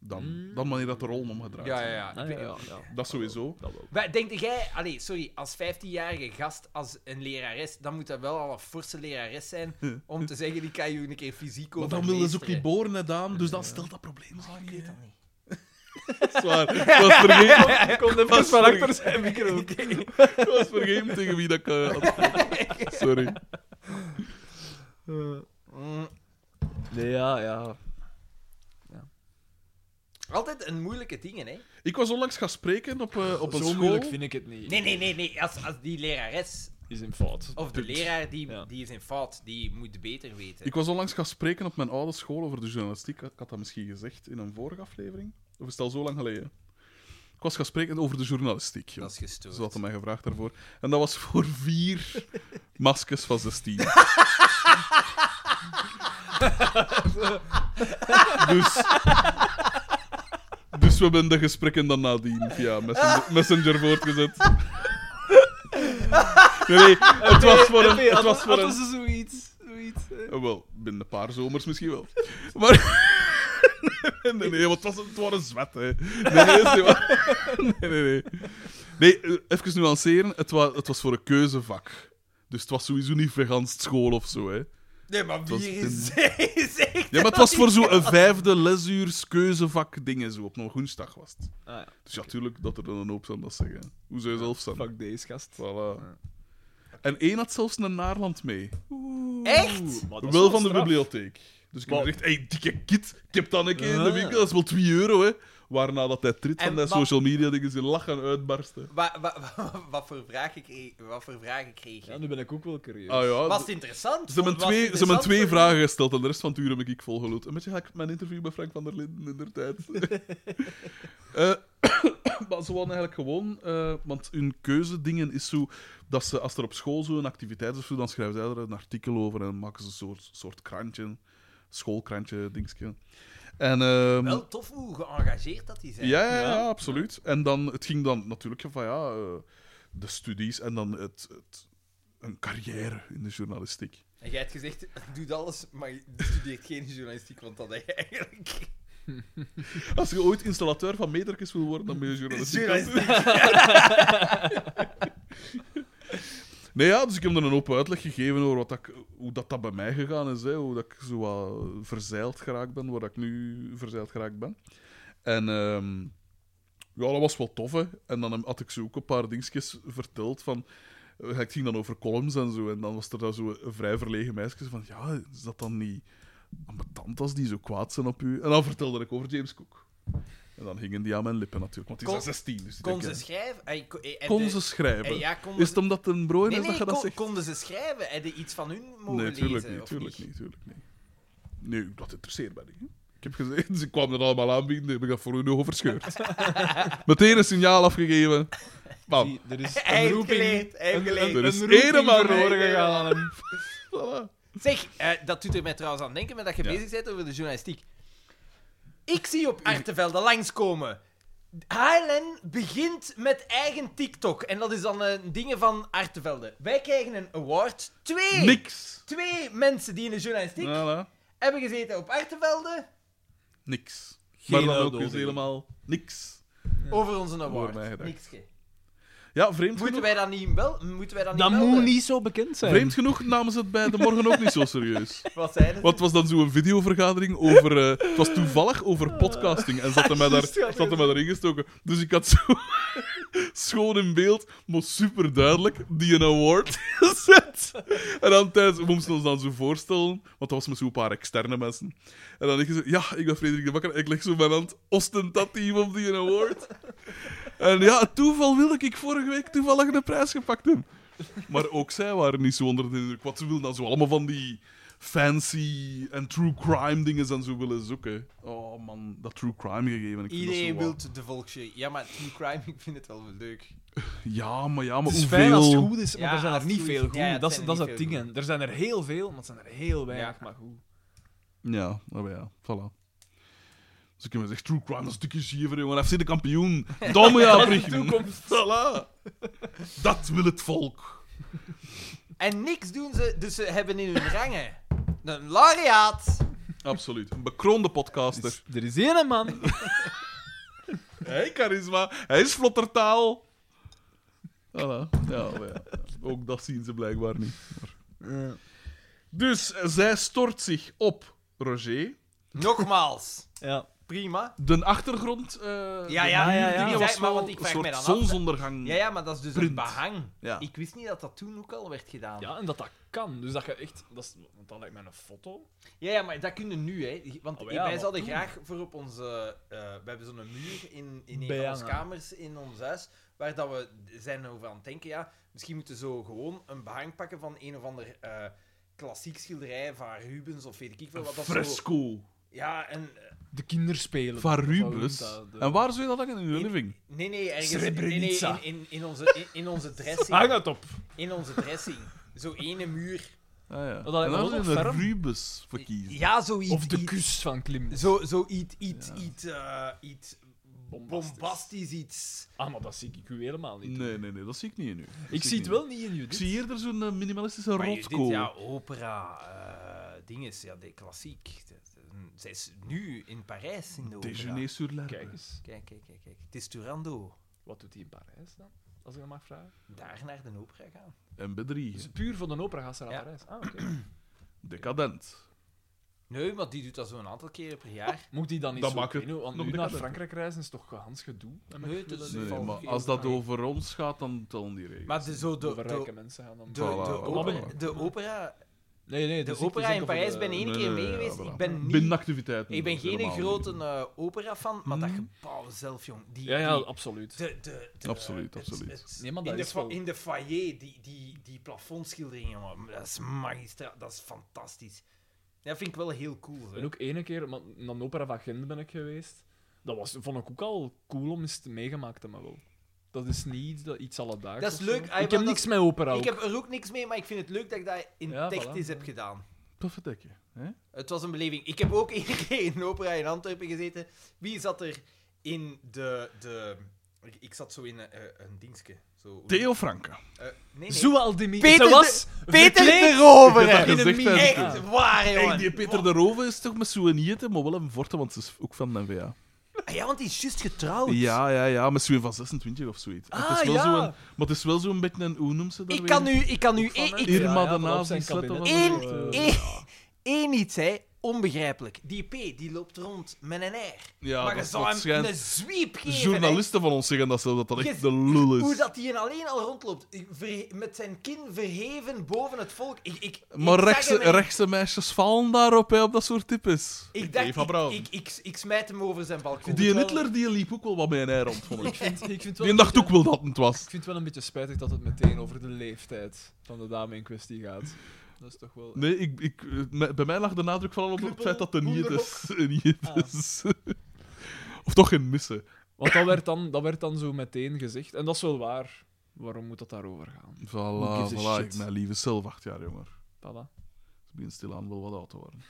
Speaker 2: dan,
Speaker 3: Mm.
Speaker 2: dan wanneer dat de rol omgedraaid
Speaker 4: Ja, ja,
Speaker 2: is.
Speaker 4: ja.
Speaker 3: Ah, ja, ja, ja.
Speaker 2: Dat sowieso.
Speaker 3: Dat wel.
Speaker 4: Maar denk jij, allee, sorry, als 15-jarige gast, als een lerares, dan moet dat wel al een forse lerares zijn om te zeggen, die kan je een keer fysiek
Speaker 2: Maar
Speaker 4: over.
Speaker 2: dan willen ze ook niet boren, hè, Daan. Dus dat stelt dat probleem zo
Speaker 4: Ik
Speaker 2: niet.
Speaker 4: weet
Speaker 2: hè.
Speaker 4: dat niet.
Speaker 2: Zwaar. Ik was vergeten,
Speaker 3: Komt even
Speaker 2: was
Speaker 3: van
Speaker 2: terug.
Speaker 3: achter zijn micro.
Speaker 2: ik was vergeten tegen wie dat ik... eh, had gesproken. Sorry.
Speaker 3: Eh,
Speaker 4: Mm,
Speaker 3: Nee, ja, ja.
Speaker 4: altijd een moeilijke dingen, hè?
Speaker 2: Ik was onlangs gaan spreken op, eh, op een
Speaker 3: Zo
Speaker 2: school.
Speaker 3: moeilijk vind ik het niet.
Speaker 4: Nee, nee, nee, nee. Als, als die lerares
Speaker 3: Is in fout.
Speaker 4: of de leraar, die,
Speaker 3: Ja.
Speaker 4: die is in fout, die moet beter weten.
Speaker 2: Ik was onlangs gaan spreken op mijn oude school over de journalistiek. Ik had dat misschien gezegd in een vorige aflevering. Of is het al zo lang geleden? Ik was gaan spreken over de journalistiek. joh.
Speaker 4: Dat is gestoord.
Speaker 2: Ze hadden mij gevraagd daarvoor. En dat was voor vier maskers van 16. dus... Dus we hebben de gesprekken dan nadien via Messenger, messenger voortgezet. Nee, nee, het was voor een... Het was voor
Speaker 3: Hadden
Speaker 2: een...
Speaker 3: ze zoiets? zoiets eh.
Speaker 2: Eh, Wel, binnen een paar zomers misschien wel. Maar... Nee, nee, nee, want het, was, het waren zwet, hè. Nee, nee, is niet waar. Nee, nee, nee. Nee, eh, even nuanceren. Het was, het was voor een keuzevak. Dus het was sowieso niet veganst school of zo, hè.
Speaker 4: Nee, maar
Speaker 2: was
Speaker 4: wie
Speaker 2: een-
Speaker 4: is zegt
Speaker 2: Ja, maar het was voor zo'n vijfde lesuurs keuzevak dingen zo. Op een woensdag was het.
Speaker 3: Ah, ja.
Speaker 2: Dus ja, tuurlijk dat er dan een hoop zou dat zeggen. Hoe zou je zelf staan?
Speaker 3: Fuck deze gast.
Speaker 2: Voilà. En één had zelfs een Naarland mee.
Speaker 4: Echt?
Speaker 2: wel van de bibliotheek. Dus ik heb gezegd, hey, dikke kid, ik heb dan een keer in de winkel, dat is wel 2 euro, hè. Waarna dat hij trit van
Speaker 4: Ah. En
Speaker 2: dat
Speaker 4: wat-
Speaker 2: social media dingen ze lachen uitbarsten.
Speaker 4: Wa- wa- wa- Wat voor vragen kreeg, wat voor vragen kreeg je?
Speaker 3: Ja, nu ben ik ook wel curieus.
Speaker 2: Ah ja,
Speaker 4: Was
Speaker 2: d-
Speaker 4: het interessant?
Speaker 2: ze hebben
Speaker 4: Was het
Speaker 2: twee, ze hebben
Speaker 4: interessant
Speaker 2: twee
Speaker 4: voor u?
Speaker 2: vragen gesteld en de rest van het uur heb ik volgeloot. Een beetje ga ik mijn interview met Frank van der Linden in der tijd. Eh, maar ze wonen eigenlijk gewoon, eh, want hun keuzedingen is zo dat ze, als er op school zo'n activiteit is, of zo, dan schrijven zij er een artikel over en dan maken ze een soort, soort krantje, schoolkrantje, dingetje. En, ehm,
Speaker 4: Wel tof hoe geëngageerd dat die zijn.
Speaker 2: ja, ja, ja, absoluut. En dan, het ging dan natuurlijk van ja, eh, de studies en dan het, het, een carrière in de journalistiek.
Speaker 4: En jij hebt gezegd, doe alles, maar je studeert geen journalistiek, want dat heb je eigenlijk...
Speaker 2: Als je ooit installateur van meterkens wil worden, dan ben je journalistiek. aan het doen. Nee, ja, dus ik heb er een open uitleg gegeven over wat dat, ik- hoe dat, dat bij mij gegaan is. Hè, hoe dat ik zo wat verzeild geraakt ben, waar dat ik nu verzeild geraakt ben. En ehm, ja, dat was wel tof, hè. En dan had ik zo ook een paar dingetjes verteld van... eh, Het ging dan over columns en zo. En dan was er daar zo een vrij verlegen meisje van... Ja, is dat dan niet ambetant als die zo kwaad zijn op u? En dan vertelde ik over James Cook. En dan hingen die aan mijn lippen natuurlijk, want die
Speaker 4: Kon-
Speaker 2: zijn 16. Dus die
Speaker 4: Kon ze
Speaker 2: denken,
Speaker 4: schrijven? Ay, ko- eh, heb
Speaker 2: kon
Speaker 4: je-
Speaker 2: ze schrijven?
Speaker 4: eh, ja, kon
Speaker 2: Is het omdat het een broer is
Speaker 4: Nee,
Speaker 2: dat
Speaker 4: nee,
Speaker 2: je dat
Speaker 4: kon-
Speaker 2: zegt?
Speaker 4: konden ze schrijven? Heb je iets van hun mogen
Speaker 2: Nee, tuurlijk
Speaker 4: lezen?
Speaker 2: niet,
Speaker 4: of
Speaker 2: tuurlijk niet, tuurlijk niet. Nee, dat interesseert mij niet. Ik heb gezegd, ze kwamen er allemaal aanbieden, heb ik dat voor hun ogen verscheurd. Meteen een signaal afgegeven. Bam,
Speaker 3: Zie, er is
Speaker 4: Hij heeft
Speaker 3: een roeping,
Speaker 4: geleerd, hij heeft
Speaker 3: een- een-
Speaker 4: geleerd.
Speaker 2: Er is
Speaker 3: een roeping
Speaker 2: helemaal
Speaker 3: verloren
Speaker 4: geen-
Speaker 3: gegaan aan hem.
Speaker 2: voilà.
Speaker 4: Zeg, eh, dat doet er mij trouwens aan denken, maar dat je
Speaker 2: Ja.
Speaker 4: bezig bent over de journalistiek. Ik zie op Artevelde langskomen. HLN begint met eigen TikTok. En dat is dan een dingen van Artevelde. Wij krijgen een award. Twee,
Speaker 2: Niks.
Speaker 4: twee mensen die in de journalistiek
Speaker 2: Voilà.
Speaker 4: hebben gezeten op Artevelde
Speaker 2: Niks.
Speaker 3: Geen
Speaker 2: maar dan ook
Speaker 3: uitnodiging.
Speaker 2: eens helemaal niks.
Speaker 4: over onze award.
Speaker 2: mij gedacht.
Speaker 4: Nikske.
Speaker 2: Ja, vreemd
Speaker 4: Moeten
Speaker 2: genoeg,
Speaker 4: wij dat niet wel? Moeten wij dat niet
Speaker 3: Dat
Speaker 4: melden?
Speaker 3: moet niet zo bekend zijn.
Speaker 2: vreemd genoeg namen ze het bij de morgen ook niet zo serieus.
Speaker 4: Wat zeiden ze?
Speaker 2: Want het was dan zo'n videovergadering over... eh, het was toevallig over podcasting. En zat er mij daar, zat er mij daar ingestoken. Dus ik had zo... schoon in beeld, maar super duidelijk, die een award gezet. En dan tijdens... We moesten ons dan zo voorstellen, want dat was met zo'n paar externe mensen. En dan denk ik zo... Ja, ik ben Frederik de Bakker. Ik leg zo mijn hand ostentatief op die een award. En ja, het toeval wilde ik vorige week toevallig de prijs gepakt hebben. Maar ook zij waren niet zo onder de indruk. Wat ze wilden dan zo allemaal van die fancy en true crime dingen en zo willen zoeken. Oh man, dat true crime gegeven. Ik vind dat
Speaker 4: Iedereen
Speaker 2: zo
Speaker 4: wil
Speaker 2: wat-
Speaker 4: de volksje. Ja, maar true crime, ik vind het wel leuk.
Speaker 2: Ja, maar ja, maar
Speaker 3: Het is
Speaker 2: hoeveel...
Speaker 3: fijn als het goed is, maar
Speaker 4: Ja,
Speaker 3: er zijn
Speaker 4: als
Speaker 3: er niet
Speaker 4: het goed is.
Speaker 3: veel goed.
Speaker 4: Ja, het
Speaker 3: dat is
Speaker 4: zijn
Speaker 3: dat is
Speaker 4: er
Speaker 3: het
Speaker 4: niet
Speaker 3: ding. hè. Er zijn er heel veel, maar het zijn er heel weinig.
Speaker 4: Ja.
Speaker 3: Maar goed.
Speaker 2: Ja, nou ja, voilà. Dus ik heb gezegd, true crime, dat is dikke schiever, jongen. FC de kampioen. Domme ja, toekomst. Voilà. Dat wil het volk.
Speaker 4: En niks doen ze, dus ze hebben in hun rangen een laureaat.
Speaker 2: Absoluut. Een bekroonde podcaster.
Speaker 3: Er is één man.
Speaker 2: Hij charisma, hij is vlottertaal. Voilà. Ja, maar ja, ook dat zien ze blijkbaar niet. Dus eh, zij stort zich op Roger.
Speaker 4: Nogmaals,
Speaker 3: Ja.
Speaker 4: prima.
Speaker 2: De achtergrond... eh,
Speaker 4: Ja,
Speaker 2: de
Speaker 4: ja,
Speaker 3: ja,
Speaker 2: muurdingen
Speaker 3: ja.
Speaker 4: Ik
Speaker 2: was
Speaker 4: zei- maar
Speaker 2: wel
Speaker 4: want ik vraag
Speaker 2: een
Speaker 4: mij
Speaker 2: soort
Speaker 4: dan af, hè.
Speaker 2: zonsondergang.
Speaker 4: Ja, ja, maar dat is dus
Speaker 2: Print.
Speaker 4: een behang.
Speaker 2: Ja.
Speaker 4: Ik wist niet dat dat toen ook al werd gedaan. Ja,
Speaker 3: Ja, en dat dat kan. Dus dat je echt... Dat is, want dan lijkt mij een foto.
Speaker 4: ja, maar dat kunnen nu, hè. Want
Speaker 3: Oh ja,
Speaker 4: wij
Speaker 3: maar
Speaker 4: zouden
Speaker 3: toen.
Speaker 4: graag voor op onze... eh, we hebben zo'n muur in, in een van
Speaker 3: Bijna.
Speaker 4: onze kamers in ons huis, waar dat we zijn over aan het denken, ja. Misschien moeten we zo gewoon een behang pakken van een of ander... eh, klassiek schilderij van Rubens of weet ik veel wat dat zo-
Speaker 2: Fresco.
Speaker 4: Ja, en
Speaker 3: De kinderspelen.
Speaker 2: Van
Speaker 3: Of hoe
Speaker 2: Rubens.
Speaker 3: noemt dat? eh, De-
Speaker 2: En waar zou je dat dan in uw living?
Speaker 4: Nee, nee, ergens nee, nee,
Speaker 3: Srebrenica.
Speaker 4: in, in, in, onze, in, in onze
Speaker 3: Hang
Speaker 4: dressing.
Speaker 3: het op.
Speaker 4: In onze dressing. Zo ene muur.
Speaker 2: Ah, ja.
Speaker 3: Dat had ik
Speaker 2: En
Speaker 3: nog nooit
Speaker 2: dan zou je een
Speaker 3: opgeverfd.
Speaker 2: Rubens verkiezen.
Speaker 4: Ja, zoiets.
Speaker 3: Of de
Speaker 4: iets-
Speaker 3: kus van Klim.
Speaker 4: Zo, zo iets, iets, iets, eh, iets
Speaker 3: bombastisch.
Speaker 4: bombastisch iets.
Speaker 3: Ah, maar dat zie ik u helemaal niet.
Speaker 2: Nee, nee, nee, dat zie ik niet in u. Dat
Speaker 3: Ik zie het
Speaker 2: niet in u.
Speaker 3: wel niet in u.
Speaker 2: Ik zie eerder zo'n eh, minimalistische
Speaker 4: Maar je-
Speaker 2: rotkool.
Speaker 4: dit, ja, oh, opera, eh dinges, ja, de klassiek. De- de- Zij is nu in Parijs in de opera.
Speaker 2: Déjeuner sur l'herbe.
Speaker 3: Kijk eens.
Speaker 4: Kijk, kijk, kijk, kijk. Het is Turando.
Speaker 3: Wat doet hij in Parijs dan? Als ik dat mag vragen.
Speaker 4: Daar naar de opera gaan.
Speaker 2: En bedriegen.
Speaker 3: Dus puur van de opera gaat ze naar
Speaker 4: Ja.
Speaker 3: Parijs. Ah, oké.
Speaker 2: Decadent.
Speaker 4: Nee, maar die doet dat zo'n aantal keren per jaar.
Speaker 3: Moet die dan niet
Speaker 2: Dat
Speaker 3: zo
Speaker 2: maakt het
Speaker 3: pinnen? Want
Speaker 2: nog
Speaker 3: nu naar
Speaker 2: decadenter.
Speaker 3: Frankrijk reizen is toch gehans gedoe? En met
Speaker 4: Nee,
Speaker 3: spullen
Speaker 4: dat is-
Speaker 3: die
Speaker 2: Nee,
Speaker 4: valt
Speaker 2: maar
Speaker 4: geen
Speaker 2: als dat
Speaker 4: vraag.
Speaker 2: over ons gaat, dan tellen die regels.
Speaker 4: Maar de, zo de,
Speaker 3: over rijke
Speaker 4: de,
Speaker 3: mensen gaan dan...
Speaker 4: de,
Speaker 2: Voilà,
Speaker 4: de
Speaker 2: voilà.
Speaker 4: opera, de opera,
Speaker 3: Nee, nee,
Speaker 4: de opera in Parijs ben
Speaker 3: ik.
Speaker 4: één
Speaker 2: Nee,
Speaker 4: keer
Speaker 2: nee,
Speaker 4: mee
Speaker 2: ja,
Speaker 4: geweest.
Speaker 2: voilà.
Speaker 4: Ik ben niet
Speaker 2: Binnenactiviteiten.
Speaker 4: Ik ben
Speaker 2: dat is
Speaker 4: geen
Speaker 2: helemaal
Speaker 4: grote
Speaker 2: niet. Hmm.
Speaker 4: eh, opera-fan, maar dat gebouw zelf, jong. Die,
Speaker 3: Ja, ja,
Speaker 4: die-
Speaker 3: absoluut.
Speaker 4: de, de, de-
Speaker 2: Absoluut,
Speaker 4: het-
Speaker 2: absoluut.
Speaker 4: het-
Speaker 3: Nee, maar dat
Speaker 4: in, de
Speaker 3: is
Speaker 4: fa-
Speaker 3: wel-
Speaker 4: in de foyer, die, die, die plafondschildering, jongen, dat is magistra, dat is fantastisch. Dat vind ik wel heel cool. Hè.
Speaker 3: En ook ene keer maar naar de opera van Gent ben ik geweest. Dat was, vond ik ook al cool om eens te- meegemaakt te hebben. Wel. Dat is niet iets, dat, iets alledaags.
Speaker 4: Dat is
Speaker 3: of
Speaker 4: leuk,
Speaker 3: zo.
Speaker 4: ah,
Speaker 3: Ik
Speaker 4: maar
Speaker 3: heb
Speaker 4: dat-
Speaker 3: niks met opera.
Speaker 4: ik
Speaker 3: ook.
Speaker 4: heb er ook niks mee, maar ik vind het leuk dat ik dat in
Speaker 3: Ja,
Speaker 4: Techtis
Speaker 3: voilà.
Speaker 4: heb gedaan.
Speaker 2: Toffe dekje. hè?
Speaker 4: Het was een beleving. Ik heb ook één keer in een opera in Antwerpen gezeten. Wie zat er in de... de... ik- Ik zat zo in een, eh, een dingske. Zo,
Speaker 2: Theo Franca.
Speaker 4: Eh, nee, nee.
Speaker 3: Zoal Dimitri.
Speaker 4: Peter
Speaker 3: Ze was
Speaker 4: Peter de
Speaker 3: verkleed
Speaker 2: Ik heb
Speaker 4: Rover!
Speaker 2: dat
Speaker 3: in een
Speaker 2: gezegd, hè.
Speaker 3: mini-
Speaker 4: Echt waar, jongen.
Speaker 2: Hey, die Peter de Rove is toch met zo'n nieten, maar wel een vorte, want ze is ook van de NVA.
Speaker 4: Ah Ja, want die is juist getrouwd.
Speaker 2: Ja, ja, ja, met zo'n van 26 of zoiets. En
Speaker 3: Ah,
Speaker 2: het is wel
Speaker 3: ja.
Speaker 2: zo'n, maar het is wel zo'n beetje een, hoe noem ze dat
Speaker 4: Ik
Speaker 2: weer?
Speaker 4: kan nu, ik kan nu één,
Speaker 3: van, hè.
Speaker 4: ik,
Speaker 2: Irma
Speaker 3: Ja, ja,
Speaker 2: de
Speaker 3: van op
Speaker 2: Nazi,
Speaker 3: zijn
Speaker 2: Sletten
Speaker 3: kabinet.
Speaker 2: was
Speaker 4: Eén-
Speaker 2: ook, eh,
Speaker 4: één- één iets, hè. Onbegrijpelijk. Die P, die loopt rond met een R.
Speaker 2: Ja,
Speaker 4: maar je
Speaker 2: dat,
Speaker 4: zou
Speaker 2: dat
Speaker 4: hem een
Speaker 2: schijnt...
Speaker 4: zwiep geven,
Speaker 2: Journalisten van ons zeggen dat ze, dat, dat
Speaker 4: Je-
Speaker 2: echt de lul
Speaker 4: hè.
Speaker 2: is.
Speaker 4: Hoe dat hij alleen al rondloopt. Verhe- Met zijn kin verheven boven het volk. Ik, ik,
Speaker 2: Maar
Speaker 4: ik zag
Speaker 2: rechtse,
Speaker 4: hem en-
Speaker 2: rechtse meisjes vallen daarop, hè, op dat soort types.
Speaker 4: Ik
Speaker 2: Eva
Speaker 4: dacht,
Speaker 2: Braun.
Speaker 4: ik, ik, ik, ik smijt hem over zijn balkon.
Speaker 2: Die Hitler die liep ook wel wat bij een ei rond, vond ik.
Speaker 3: Ik vind het wel
Speaker 2: Die
Speaker 3: een
Speaker 2: dacht
Speaker 3: beetje-
Speaker 2: ook wel dat het was.
Speaker 3: Ik vind het wel een beetje spijtig dat het meteen over de leeftijd van de dame in kwestie gaat. Dat is toch wel...
Speaker 2: Nee, ik, ik, eh, me- bij mij lag de nadruk vooral op het
Speaker 3: Knuppel,
Speaker 2: feit dat het niet is. Niet
Speaker 3: Ah.
Speaker 2: is. of toch geen missen.
Speaker 3: Want dat werd, dan, dat werd dan zo meteen gezegd. En dat is wel waar. Waarom moet dat daarover gaan? Who
Speaker 2: Voilà,
Speaker 3: gives a
Speaker 2: voilà.
Speaker 3: shit?
Speaker 2: Ik, mijn lieve zelf, acht jaar jonger.
Speaker 3: Voilà.
Speaker 2: Ze begint stilaan wel wat oud te worden.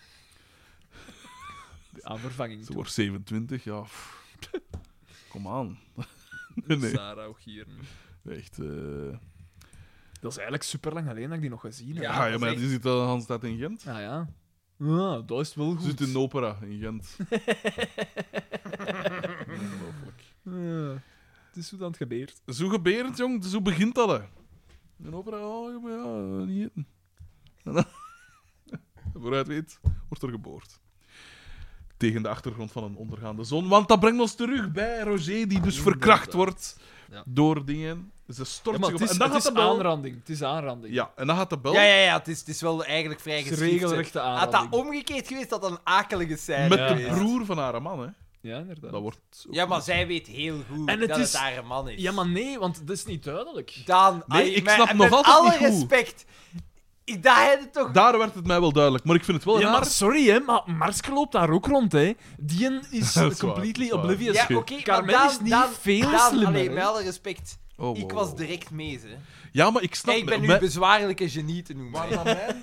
Speaker 3: Aan vervanging.
Speaker 2: Ze
Speaker 3: toe.
Speaker 2: wordt 27, ja. pff. Kom aan. nee, nee.
Speaker 3: Sarah Ogieren.
Speaker 2: Echt. eh. Ah,
Speaker 3: Dat is eigenlijk super lang geleden dat ik die nog gezien heb.
Speaker 4: Ja,
Speaker 2: Ja, ja,
Speaker 4: dat
Speaker 2: maar
Speaker 4: is
Speaker 2: die zit al de hele tijd in Gent.
Speaker 3: Ah ja. Ja, dat is wel
Speaker 2: Ze
Speaker 3: goed.
Speaker 2: zit in de opera in Gent. Ongelooflijk.
Speaker 3: Ja. Het is hoe dat het gebeurt.
Speaker 2: Zo gebeurt, jong. Zo begint dat, hè. Een opera, oh, ja, maar ja, niet eten. En dan- Vooruit weet, wordt er geboord. Tegen de achtergrond van een ondergaande zon. Want dat brengt ons terug bij Roger, die dus verkracht wordt
Speaker 3: Ja.
Speaker 2: door dingen. Ze stort
Speaker 3: maar
Speaker 2: zich
Speaker 3: het
Speaker 2: op-
Speaker 3: is,
Speaker 2: en dan
Speaker 3: het
Speaker 2: gaat
Speaker 3: is
Speaker 2: de bel...
Speaker 3: aanranding. Het is aanranding.
Speaker 2: Ja, en dan gaat de bel
Speaker 4: Ja, ja, ja. Het is, het is wel eigenlijk vrij
Speaker 3: Het is
Speaker 4: geschikt. hè.
Speaker 3: regelrechte
Speaker 4: Had dat
Speaker 3: aanranding.
Speaker 4: omgekeerd geweest, dat een akelige scène
Speaker 2: met
Speaker 3: Ja.
Speaker 2: de
Speaker 4: geweest.
Speaker 2: broer van haar man, hè.
Speaker 3: Ja, inderdaad.
Speaker 2: Dat wordt... ook-
Speaker 4: Ja, maar zij weet heel goed
Speaker 3: En het
Speaker 4: dat
Speaker 3: is-
Speaker 4: het haar man is.
Speaker 3: Ja, maar nee, want dat is niet duidelijk.
Speaker 4: Daan,
Speaker 2: Nee,
Speaker 4: ai,
Speaker 2: ik
Speaker 4: met-
Speaker 2: snap
Speaker 4: met
Speaker 2: nog altijd
Speaker 4: alle
Speaker 2: niet hoe.
Speaker 4: respect. Ik- Dat heb je toch...
Speaker 2: Daar werd het mij wel duidelijk. Maar ik vind het wel
Speaker 3: Ja,
Speaker 2: raar.
Speaker 3: maar sorry, hè, maar Marske loopt daar ook rond, hè. Die is,
Speaker 2: Dat is waar,
Speaker 3: completely
Speaker 2: dat is waar.
Speaker 3: oblivious.
Speaker 4: ja,
Speaker 2: schip.
Speaker 4: oké,
Speaker 3: Carmen
Speaker 4: maar Daan,
Speaker 3: is niet
Speaker 4: Daan-
Speaker 3: veel
Speaker 4: Daan,
Speaker 3: slimmer,
Speaker 4: allee,
Speaker 3: hè.
Speaker 4: met alle respect.
Speaker 2: Oh,
Speaker 4: Ik
Speaker 2: wow,
Speaker 4: was
Speaker 2: wow.
Speaker 4: direct mee, ze.
Speaker 2: Ja, maar ik snap...
Speaker 4: Nee, ik ben nu
Speaker 2: Mij-
Speaker 4: bezwaarlijke genie te noemen.
Speaker 2: Waar dan mijn...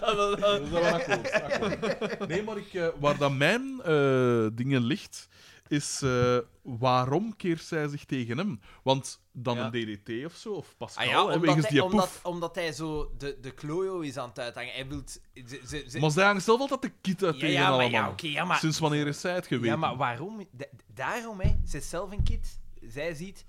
Speaker 2: Dat is wel een akkoord, akkoord. Nee, maar ik, eh, waar dat mijn eh, dingen ligt, is eh, waarom keert zij zich tegen hem? Want dan
Speaker 3: Ja.
Speaker 2: een DDT of zo, of Pascal,
Speaker 4: Ah ja,
Speaker 2: hè,
Speaker 4: omdat
Speaker 2: Oh, wegens
Speaker 4: hij,
Speaker 2: die
Speaker 4: omdat,
Speaker 2: poef.
Speaker 4: omdat hij zo de, de klojo is aan het uithangen. Hij wil... Ze, ze, ze-
Speaker 2: Maar zij hangt zelf altijd de kit uit
Speaker 4: ja,
Speaker 2: tegen
Speaker 4: ja, maar,
Speaker 2: allemaal.
Speaker 4: ja, oké, ja, maar,
Speaker 2: Sinds wanneer is zij het geweest?
Speaker 4: ja, maar waarom? Da- daarom, hè. Ze is zelf een kid. Zij ziet...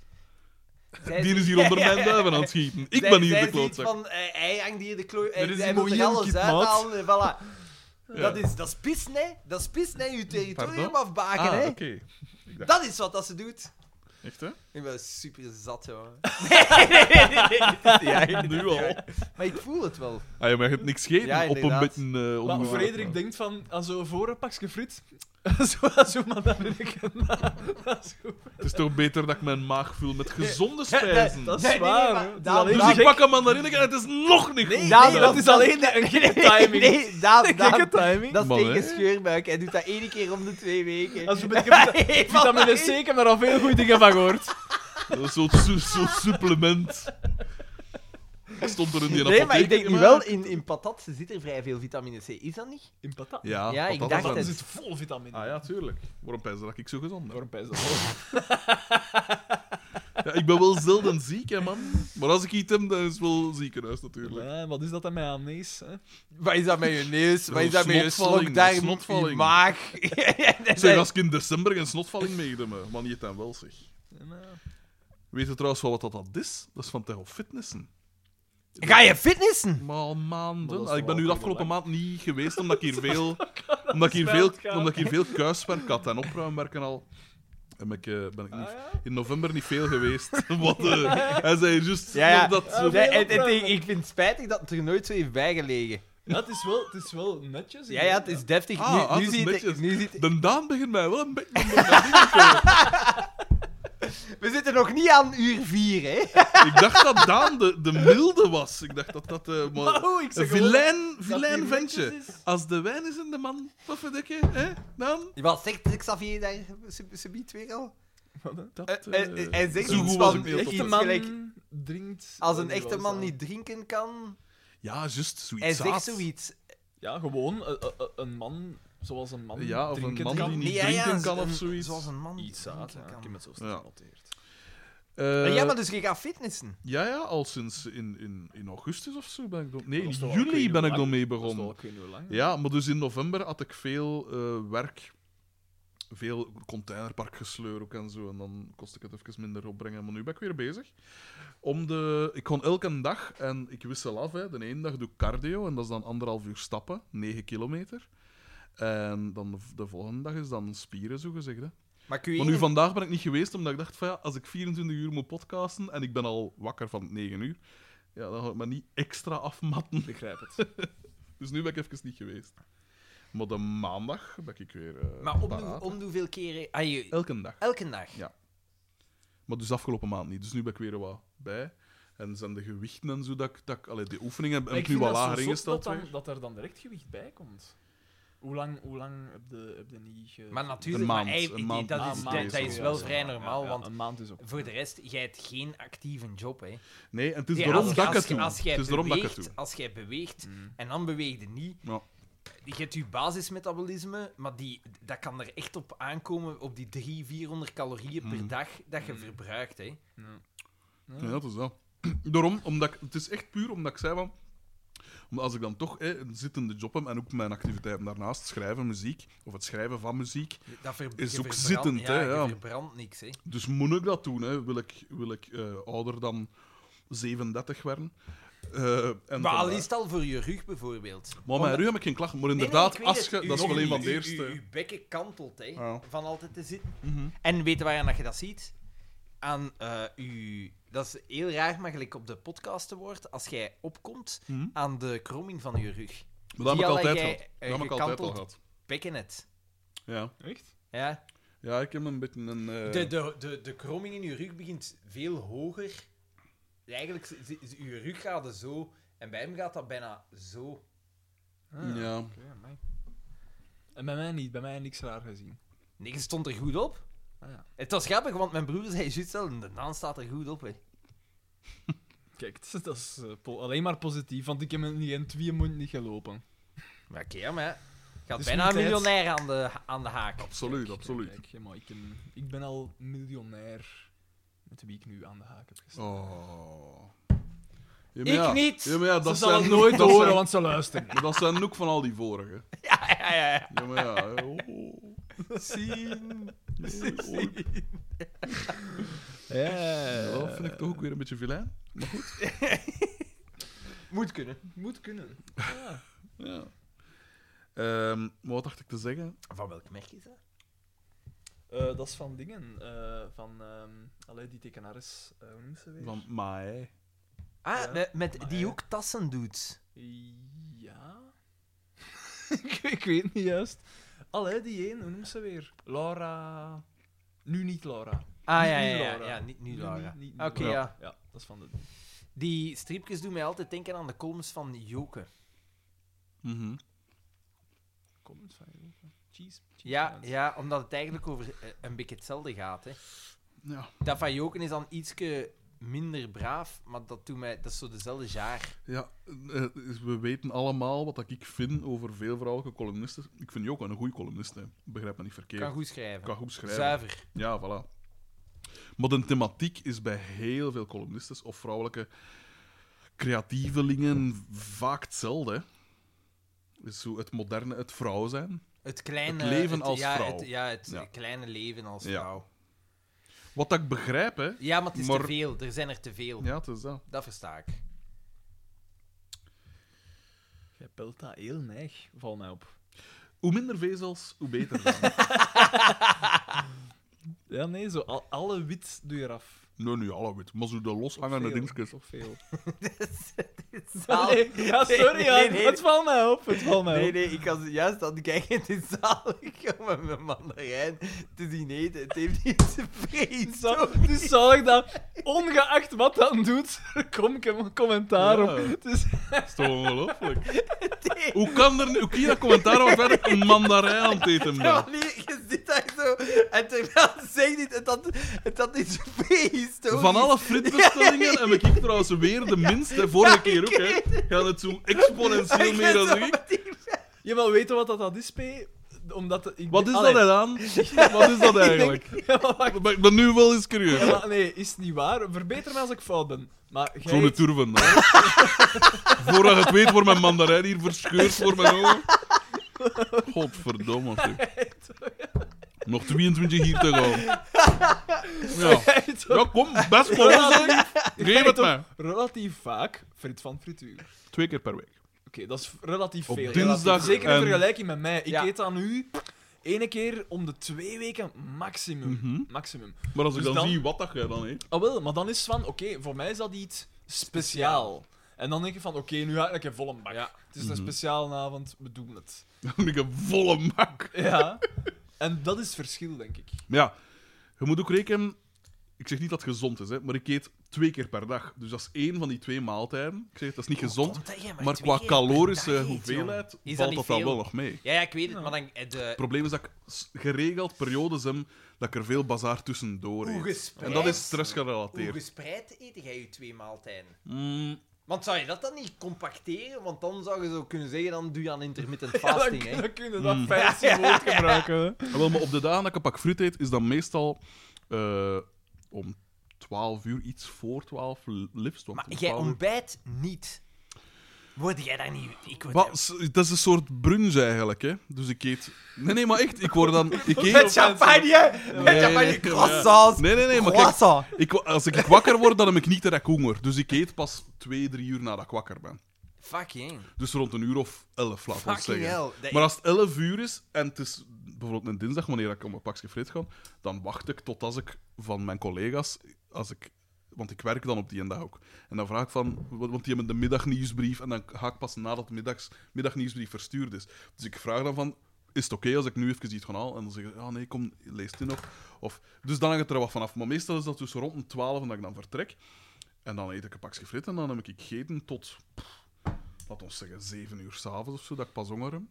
Speaker 4: Zij
Speaker 2: Die
Speaker 4: ziet-
Speaker 2: is hier onder mijn duiven aan het schieten. Ik
Speaker 4: Zij-
Speaker 2: ben hier
Speaker 4: zij
Speaker 2: de
Speaker 4: ziet
Speaker 2: klootzak.
Speaker 4: Van, eh, hij hangt hier de klooi. Hij,
Speaker 2: Er is hier
Speaker 4: hij wil
Speaker 2: nog
Speaker 4: er
Speaker 2: één
Speaker 4: alles
Speaker 2: kid, maat.
Speaker 4: uithalen. en Voilà.
Speaker 2: Ja.
Speaker 4: Dat is, dat is pis, nee. Dat is pis, nee. Je territorium
Speaker 2: Pardon?
Speaker 4: afbaken,
Speaker 2: Ah,
Speaker 4: hè.
Speaker 2: oké.
Speaker 4: Dat is wat dat ze doet.
Speaker 2: Echt, hè?
Speaker 4: Ik ben super zat, hoor.
Speaker 2: Ja, nu al.
Speaker 4: Maar ik voel het wel.
Speaker 2: Ah, ja, maar je hebt niks gegeten
Speaker 4: Ja,
Speaker 2: op een
Speaker 4: inderdaad.
Speaker 2: beetje... eh,
Speaker 3: Maar
Speaker 2: onbewerkt,
Speaker 3: Frederik
Speaker 2: hè.
Speaker 3: denkt van, als zo voor een pakje friet, zo, zo maar naar de kanaal. Dat is goed.
Speaker 2: Het is toch beter dat ik mijn maag vul met gezonde spijzen?
Speaker 3: Dat is
Speaker 4: Nee, nee,
Speaker 3: waar,
Speaker 4: maar
Speaker 3: hè. Het is
Speaker 4: Daan-
Speaker 3: alleen
Speaker 2: Dus ik
Speaker 3: gek-
Speaker 2: pak een mandarineke en het is nog niet goed.
Speaker 4: Daan,
Speaker 3: nee,
Speaker 4: dat-
Speaker 3: dat is alleen een gekke timing.
Speaker 4: Nee, Daan,
Speaker 3: Een
Speaker 4: Daan,
Speaker 3: gekke timing.
Speaker 4: Dat is
Speaker 2: Man,
Speaker 4: tegen
Speaker 2: hè?
Speaker 4: scheurbuik. Hij doet dat één keer om de twee weken.
Speaker 3: Als we met vita-
Speaker 4: Hij heeft al-
Speaker 3: vitamine C, ik heb daar al veel goede dingen van gehoord.
Speaker 2: Dat is zo'n su- zo'n supplement. Stond er in die
Speaker 4: Nee,
Speaker 2: apotheek.
Speaker 4: maar ik denk nu
Speaker 2: maar-
Speaker 4: wel, in, in patat zit er vrij veel vitamine C. Is dat niet?
Speaker 3: In patat.
Speaker 2: Ja,
Speaker 4: Ja, ik
Speaker 2: patat
Speaker 4: dacht
Speaker 2: en-
Speaker 4: het.
Speaker 3: Er zit vol vitamine.
Speaker 2: Ah ja, tuurlijk. Waarom pijs dat ik zo gezond ben?
Speaker 3: Waarom pijs dat wel?
Speaker 2: Ja, ik ben wel zelden ziek, hè, man. Maar als ik iets heb, dan is het wel ziekenhuis, natuurlijk.
Speaker 3: Ja, wat is dat dan met amnees? Hè?
Speaker 4: Wat is dat met je neus? Wat is dat met je
Speaker 2: Snotvalling,
Speaker 4: slokdarm?
Speaker 2: snotvalling.
Speaker 4: Je maag?
Speaker 2: Zeg, als ik in december geen snotvalling meegedem, man, je dan wel, zeg.
Speaker 3: Ja, nou.
Speaker 2: Weet je trouwens wel wat dat, dat is? Dat is van Terror Fitnessen.
Speaker 4: Ga je fitnessen?
Speaker 2: Maar
Speaker 3: Maar dat
Speaker 2: maanden.
Speaker 3: is
Speaker 2: Ah, ik ben
Speaker 3: wel
Speaker 2: nu de afgelopen maand niet geweest, omdat ik hier veel, omdat ik hier
Speaker 3: spijt
Speaker 2: veel,
Speaker 3: gaan.
Speaker 2: omdat ik hier veel kuiswerk had en opruimwerken al. En ben ik, eh, ben
Speaker 3: Ah,
Speaker 2: ik niet, in november niet veel geweest. Wat, eh, hij zei juist
Speaker 4: Ja, ja.
Speaker 2: dat...
Speaker 4: Nee, en- en- ik- ik vind het spijtig dat het er nooit zo heeft bijgelegen.
Speaker 3: Ja, het is wel, het is wel netjes.
Speaker 4: Ja, ja, het is deftig.
Speaker 2: Ah,
Speaker 4: Nu-
Speaker 2: ah,
Speaker 4: nu
Speaker 2: het is
Speaker 4: zie je het-
Speaker 2: netjes.
Speaker 4: nu zie je het-
Speaker 2: De Daan begint mij wel een beetje...
Speaker 4: We zitten nog niet aan uur 4, hè?
Speaker 2: Ik dacht dat Daan de, de milde was. Ik dacht dat dat... eh, maar-
Speaker 3: Oh, ik
Speaker 2: Een
Speaker 3: zeg gewoon
Speaker 2: vilijn, vilijn
Speaker 3: die
Speaker 2: ventje.
Speaker 3: netjes is.
Speaker 2: Als de wijn is in de man, pofferdikke, hè, dan...
Speaker 4: Wat zegt Xavier daar? Ze, ze biedt weer al.
Speaker 2: Dat,
Speaker 4: Eh, eh,
Speaker 2: eh,
Speaker 4: hij zegt
Speaker 2: zo goed
Speaker 4: iets
Speaker 2: was
Speaker 4: van
Speaker 2: ik niet op
Speaker 4: echt
Speaker 2: het
Speaker 3: echte
Speaker 4: iets
Speaker 3: man
Speaker 4: gelijk-
Speaker 3: drinkt.
Speaker 4: Als een
Speaker 3: eh,
Speaker 4: echte
Speaker 3: wel
Speaker 4: man
Speaker 3: aan.
Speaker 4: niet drinken kan,
Speaker 2: Ja, juist, zoiets
Speaker 4: hij zegt
Speaker 2: zaads.
Speaker 4: zoiets.
Speaker 3: Ja, gewoon eh, eh, eh, een man zoals een man.
Speaker 2: Ja, of een
Speaker 3: drinken
Speaker 2: man
Speaker 3: kan.
Speaker 2: die niet-
Speaker 4: Nee, ja, ja,
Speaker 2: drinken kan
Speaker 4: een-
Speaker 2: of zoiets.
Speaker 4: Zoals een man
Speaker 7: Iets uit,
Speaker 4: drinken
Speaker 7: ja. Ik
Speaker 4: kan.
Speaker 7: heb het zo snel
Speaker 2: Ja.
Speaker 7: genoteerd.
Speaker 2: Eh,
Speaker 4: Maar ja, maar dus je gaat fitnessen.
Speaker 2: Ja, ja, al sinds in, in, in augustus of zo ben ik dan... Nee,
Speaker 3: Dat
Speaker 2: in
Speaker 3: is toch al ik weet
Speaker 2: juli
Speaker 3: niet
Speaker 2: ben
Speaker 3: hoe
Speaker 2: ik dan
Speaker 3: lang.
Speaker 2: mee
Speaker 3: Dat is
Speaker 2: begonnen.
Speaker 3: wel, ik weet niet hoe lang.
Speaker 2: Ja, maar dus in november had ik veel eh, werk. Veel containerpark gesleur ook en zo. En dan kost ik het even minder opbrengen. Maar nu ben ik weer bezig. Om de... Ik kon elke dag, en ik wissel af, hè. de ene dag doe ik cardio, en dat is dan anderhalf uur stappen, 9 kilometer. En dan de, de volgende dag is dan spieren, zo gezegd. Hè.
Speaker 4: Maar kun je
Speaker 2: Maar nu
Speaker 4: iemand-
Speaker 2: vandaag ben ik niet geweest, omdat ik dacht van ja, als ik 24 uur moet podcasten en ik ben al wakker van 9 uur, ja, dan ga ik me niet extra afmatten.
Speaker 3: Ik begrijp het.
Speaker 2: Dus nu ben ik even niet geweest. Maar de maandag ben ik weer. eh,
Speaker 4: Maar om, de-
Speaker 2: paraat.
Speaker 4: om de hoeveel keren... Ah, je-
Speaker 2: Elke dag.
Speaker 4: elke dag.
Speaker 2: Maar dus afgelopen maand niet. Dus nu ben ik weer wat bij. En zijn de gewichten en zo dat ik. Dat ik allee, de oefeningen heb
Speaker 3: Maar
Speaker 2: heb ik nu
Speaker 3: vind
Speaker 2: wat
Speaker 3: dat zo
Speaker 2: lager
Speaker 3: zot
Speaker 2: ingesteld.
Speaker 3: Dat,
Speaker 2: weer.
Speaker 3: dan, dat er dan direct gewicht bij komt. Hoe lang, hoe lang heb je heb je niet... ge-
Speaker 4: Maar
Speaker 2: Een
Speaker 4: natuurlijk,
Speaker 2: maand,
Speaker 4: maar hij-
Speaker 2: een maand
Speaker 3: Ah,
Speaker 4: dat,
Speaker 3: een
Speaker 4: is,
Speaker 3: maand
Speaker 4: dat, dat is
Speaker 3: ook,
Speaker 4: wel
Speaker 3: ja,
Speaker 4: vrij
Speaker 3: ja,
Speaker 4: normaal,
Speaker 3: ja,
Speaker 4: want
Speaker 3: Een maand is ook.
Speaker 4: voor de rest, jij hebt geen actieve job, hè.
Speaker 2: Nee, en het is
Speaker 4: Nee,
Speaker 2: daarom
Speaker 4: als-
Speaker 2: dat ik
Speaker 4: als
Speaker 2: het
Speaker 4: je-
Speaker 2: doe.
Speaker 4: Als jij
Speaker 2: Het is daarom dat ik het doe. Mm.
Speaker 4: beweegt, als jij beweegt en dan beweegde niet.
Speaker 2: Ja.
Speaker 4: Je hebt je basismetabolisme, maar die, dat kan er echt op aankomen op die 300, 400 calorieën per
Speaker 2: Mhm.
Speaker 4: dag dat je verbruikt. Hè.
Speaker 2: Ja, dat is dat. Daarom, omdat ik, het is echt puur omdat ik zei van... Omdat als ik dan toch hè, een zittende job heb en ook mijn activiteiten daarnaast, schrijven muziek, of het schrijven van muziek,
Speaker 4: Dat ver-
Speaker 2: Is
Speaker 4: je
Speaker 2: ook
Speaker 4: verbrandt-
Speaker 2: zittend,
Speaker 4: ja,
Speaker 2: hè, ja.
Speaker 4: Je verbrandt niks. Hè.
Speaker 2: dus moet ik dat doen. Hè? Wil ik, wil ik eh, ouder dan 37 worden? Eh, en
Speaker 4: Maar al
Speaker 2: vandaar.
Speaker 4: is het al voor je rug bijvoorbeeld.
Speaker 2: Maar mijn rug heb ik geen klacht, maar inderdaad,
Speaker 4: Nee, nee,
Speaker 2: als
Speaker 4: ik weet
Speaker 2: je-
Speaker 4: het.
Speaker 2: dat is
Speaker 4: Uw-
Speaker 2: wel een van de
Speaker 4: uw-
Speaker 2: eerste. Mhm.
Speaker 4: uw- Uw bekken kantelt, hè,
Speaker 2: Ja.
Speaker 4: van altijd te zitten. En weet je waaraan dat je dat ziet? Aan eh uw... Dat is heel raar, maar gelijk op de podcast te wordt, als jij opkomt,
Speaker 2: Mhm.
Speaker 4: aan de kromming van je rug.
Speaker 2: maar dat heb ik
Speaker 4: al
Speaker 2: altijd
Speaker 4: jij,
Speaker 2: gehad.
Speaker 4: eh,
Speaker 2: Dat heb ik altijd al
Speaker 4: gekanteld-
Speaker 2: gehad.
Speaker 4: Bekken het.
Speaker 2: Ja.
Speaker 3: Echt?
Speaker 4: Ja.
Speaker 2: ja, ik heb een beetje een... eh,
Speaker 4: De, de, de, de kromming in je rug begint veel hoger. Eigenlijk, z- z- z- je rug gaat er zo... En bij hem gaat dat bijna zo. Ah,
Speaker 2: ja.
Speaker 3: Oké, amai. En bij mij niet. Bij mij niks raar gezien.
Speaker 4: Nee, je stond er goed op.
Speaker 3: Ah, ja.
Speaker 4: Het was grappig, want mijn broer zei juist al, de naam staat er goed op, hè.
Speaker 3: Kijk, dat is, dat is, eh, po- alleen maar positief, want ik heb in die twee maanden niet gelopen.
Speaker 4: Maar oké, ja, maar ja. Gaat
Speaker 3: Dus
Speaker 4: bijna
Speaker 3: moet
Speaker 4: een
Speaker 3: hij het-
Speaker 4: miljonair aan de, aan de haak.
Speaker 2: Absoluut,
Speaker 3: Kijk,
Speaker 2: absoluut.
Speaker 3: Kijk, ja, maar ik, ben- ik ben al miljonair met wie ik nu aan de haak heb gestaan.
Speaker 2: Oh. Ja, maar
Speaker 4: Ik
Speaker 2: ja.
Speaker 4: niet!
Speaker 2: Ja, maar ja,
Speaker 3: dat
Speaker 2: Oh, dat
Speaker 3: ze zal
Speaker 2: zijn
Speaker 3: het nooit
Speaker 2: dat
Speaker 3: horen,
Speaker 2: zijn-
Speaker 3: want ze luisteren.
Speaker 2: Maar dat zijn ook van al die vorige.
Speaker 4: Ja, ja, ja. ja.
Speaker 2: Ja, maar ja. hè. Oh.
Speaker 4: Zien.
Speaker 2: Oh. Ja, dat vind ik toch ook weer een beetje vilijn.
Speaker 4: Moet kunnen.
Speaker 3: Moet kunnen.
Speaker 2: Ja. Ehm, maar wat dacht ik te zeggen?
Speaker 4: Van welk merk is dat?
Speaker 3: Eh, dat is van dingen. eh, van ehm allee, die tekenares. eh, hoe noemt ze weer?
Speaker 2: Van Mai.
Speaker 4: Ah,
Speaker 3: Ja.
Speaker 4: met, met
Speaker 3: Maar
Speaker 4: die
Speaker 3: ja.
Speaker 4: ook tassen doet.
Speaker 3: Ja. ik, ik weet het niet juist. Allee, die één, hoe noemt ze weer? Laura. Nu niet Laura.
Speaker 4: Ah,
Speaker 3: Niet
Speaker 4: ja,
Speaker 3: nu
Speaker 4: ja, ja,
Speaker 3: Laura.
Speaker 4: ja. Niet nu,
Speaker 3: Nu
Speaker 4: Laura.
Speaker 3: niet- niet nu
Speaker 4: Oké,
Speaker 3: Laura.
Speaker 4: ja.
Speaker 3: Ja, dat is van de.
Speaker 4: Die stripjes doen mij altijd denken aan de columns van Joke.
Speaker 2: Mhm.
Speaker 3: Comment van Cheese. cheese
Speaker 4: Ja,
Speaker 3: fans.
Speaker 4: ja, omdat het eigenlijk over eh, een beetje hetzelfde gaat, hè.
Speaker 2: Ja.
Speaker 4: Dat van Joken is dan ietske minder braaf, maar dat doet mij... Dat is zo dezelfde jaar.
Speaker 2: Ja, eh, we weten allemaal wat dat ik vind over veel vrouwelijke columnisten. Ik vind je ook wel een goede columnist, hè. begrijp me niet verkeerd.
Speaker 4: Kan goed schrijven.
Speaker 2: kan goed schrijven.
Speaker 4: Zuiver.
Speaker 2: Ja, voilà. Maar de thematiek is bij heel veel columnistes of vrouwelijke creatievelingen vaak hetzelfde. hè. Dus zo het moderne, het vrouw zijn.
Speaker 4: Het kleine...
Speaker 2: Het leven
Speaker 4: het-
Speaker 2: als
Speaker 4: ja,
Speaker 2: vrouw.
Speaker 4: Het, ja, het
Speaker 2: Ja.
Speaker 4: kleine leven als
Speaker 2: Ja.
Speaker 4: vrouw.
Speaker 2: Wat dat ik begrijp, hè.
Speaker 4: Ja, maar het is
Speaker 2: Maar-
Speaker 4: te veel. Er zijn er te veel.
Speaker 2: Ja, het is dat.
Speaker 4: Dat versta ik.
Speaker 3: Jij pelt dat heel neig, valt mij op.
Speaker 2: Hoe minder vezels, hoe beter. dan.
Speaker 3: Ja, nee, zo al- alle wit doe je eraf.
Speaker 2: nee, nu alle wit. Maar zo de loshangende
Speaker 3: Veel,
Speaker 2: dingetjes.
Speaker 3: Toch veel.
Speaker 4: Zalig.
Speaker 3: Nee, ja, sorry,
Speaker 4: Nee,
Speaker 3: ja,
Speaker 4: nee, nee.
Speaker 3: het valt mij op, het valt mij
Speaker 4: Nee,
Speaker 3: op.
Speaker 4: nee, ik was juist aan het kijken. Het is zalig om met mijn mandarijn te zien eten. Het heeft niet te vrees.
Speaker 3: Zo, dus zal ik dat, ongeacht wat dat doet, er kom ik een commentaar
Speaker 2: Ja.
Speaker 3: op. Het is
Speaker 2: Dat is toch ongelooflijk? Hoe kan er nu... Hoe kun je dat commentaar op verder een mandarijn aan het eten
Speaker 4: Ja,
Speaker 2: ben?
Speaker 4: maar niet, je zit daar zo. En terwijl zeg niet, het had, het had iets
Speaker 3: Oh,
Speaker 4: prehistorisch.
Speaker 2: Van alle fritbestellingen heb ik trouwens weer de minste. Vorige keer ook, hè. Gaan het zo exponentieel
Speaker 4: Ik
Speaker 2: meer
Speaker 4: ben zo
Speaker 2: dan ik.
Speaker 4: met die-
Speaker 3: Je wil weten wat dat, dat is, P? Omdat ik...
Speaker 2: Wat is
Speaker 3: Allee,
Speaker 2: dat dan? Wat is dat eigenlijk?
Speaker 3: Ja, maar wacht.
Speaker 2: Maar ik ben nu wel eens curieus.
Speaker 3: Ja, maar nee, is niet waar. Verbeter me als ik fout ben. Maar jij...
Speaker 2: Zo'n turven. hè. Voordat je het weet, wordt mijn mandarijn hier verscheurd voor mijn ogen. Godverdomme. zeg. Nog 22 hier te gaan. Ja,
Speaker 3: jij eet ook
Speaker 2: ja kom, best voor ons. hè. Geef het mij.
Speaker 3: relatief vaak frit van frituur. Oké,
Speaker 2: Twee keer per week.
Speaker 3: dat is relatief
Speaker 2: Op
Speaker 3: veel.
Speaker 2: dinsdag
Speaker 3: Relatief. Zeker in
Speaker 2: en-
Speaker 3: vergelijking met mij. Ik
Speaker 4: Ja.
Speaker 3: eet aan nu ene keer om de twee weken maximum.
Speaker 2: Mhm.
Speaker 3: Maximum.
Speaker 2: Maar als ik
Speaker 3: Dus
Speaker 2: dan,
Speaker 3: dan-
Speaker 2: zie wat dat jij dan eet...
Speaker 3: Ah wel, maar dan is het van, oké, voor mij is dat iets speciaal. En dan denk je van, oké, nu ga ik een volle bak. Het is een
Speaker 2: Mhm.
Speaker 3: speciale avond, we doen het.
Speaker 2: Dan heb ik een volle mak.
Speaker 3: Ja. en dat is het verschil, denk ik.
Speaker 2: Maar ja, je moet ook rekenen. Ik zeg niet dat het gezond is, hè, maar ik eet twee keer per dag. Dus dat is één van die twee maaltijden. Ik zeg, dat is niet gezond.
Speaker 4: Komt dat, jij
Speaker 2: Maar
Speaker 4: twee
Speaker 2: qua
Speaker 4: keer per
Speaker 2: calorische
Speaker 4: dag eet, jongen.
Speaker 2: hoeveelheid
Speaker 4: Is dat
Speaker 2: valt
Speaker 4: niet
Speaker 2: dat dan
Speaker 4: veel?
Speaker 2: wel nog mee.
Speaker 4: Ja, ja, ik weet het, maar dan... eh, De,
Speaker 2: Het probleem is dat ik s- geregeld periodes heb dat ik er veel bazaar tussendoor
Speaker 4: hoe
Speaker 2: eet.
Speaker 4: gespreid,
Speaker 2: En dat is
Speaker 4: hoe
Speaker 2: stressgerelateerd.
Speaker 4: gespreid eet jij je twee maaltijden?
Speaker 2: Mm,
Speaker 4: Want zou je dat dan niet compacteren? Want dan zou je zo kunnen zeggen, dan doe je aan intermittent
Speaker 3: Ja, dan,
Speaker 4: fasting, hè.
Speaker 3: dan kun je dat
Speaker 2: Mm.
Speaker 3: fancy woord gebruiken. hè.
Speaker 2: Ah, wel, maar op de dagen dat ik een pak fruit eet, is dat meestal eh, om 12 uur, iets voor 12, li- liefst. want
Speaker 4: Maar
Speaker 2: om
Speaker 4: jij
Speaker 2: 12 uur-
Speaker 4: ontbijt niet. Word jij daar niet... Ik word
Speaker 2: Wat? S- Dat is een soort brunch eigenlijk, hè? Dus ik eet. Nee, nee, maar echt, ik word dan. Ik eet...
Speaker 4: Met champagne! Met champagne,
Speaker 2: nee,
Speaker 4: croissants!
Speaker 2: Nee, nee, nee, maar kijk,
Speaker 4: croissant.
Speaker 2: ik, als ik wakker word, dan heb ik niet direct honger. Dus ik eet pas twee, drie uur nadat ik wakker ben.
Speaker 4: Fucking.
Speaker 2: Dus rond een uur of elf, laat ons
Speaker 4: Fucking
Speaker 2: zeggen.
Speaker 4: hell. Dat-
Speaker 2: Maar als het 11 uur is en het is bijvoorbeeld een dinsdag, wanneer ik om een pakje frit ga, dan wacht ik tot als ik van mijn collega's, als ik, want ik werk dan op die ene dag ook. En dan vraag ik van, want die hebben de middagnieuwsbrief en dan ga ik pas nadat de middags, middagnieuwsbrief verstuurd is. Dus ik vraag dan van, is het oké als ik nu even iets ga halen? En dan zeggen ze, ja nee, kom, lees dit nog. Of, dus dan hangt het er wat vanaf. Maar meestal is dat dus rond een 12 en dat ik dan vertrek. En dan eet ik een pakje frit en dan heb ik gegeten tot, pff, laat ons zeggen, 7 uur s'avonds of zo, dat ik pas honger heb.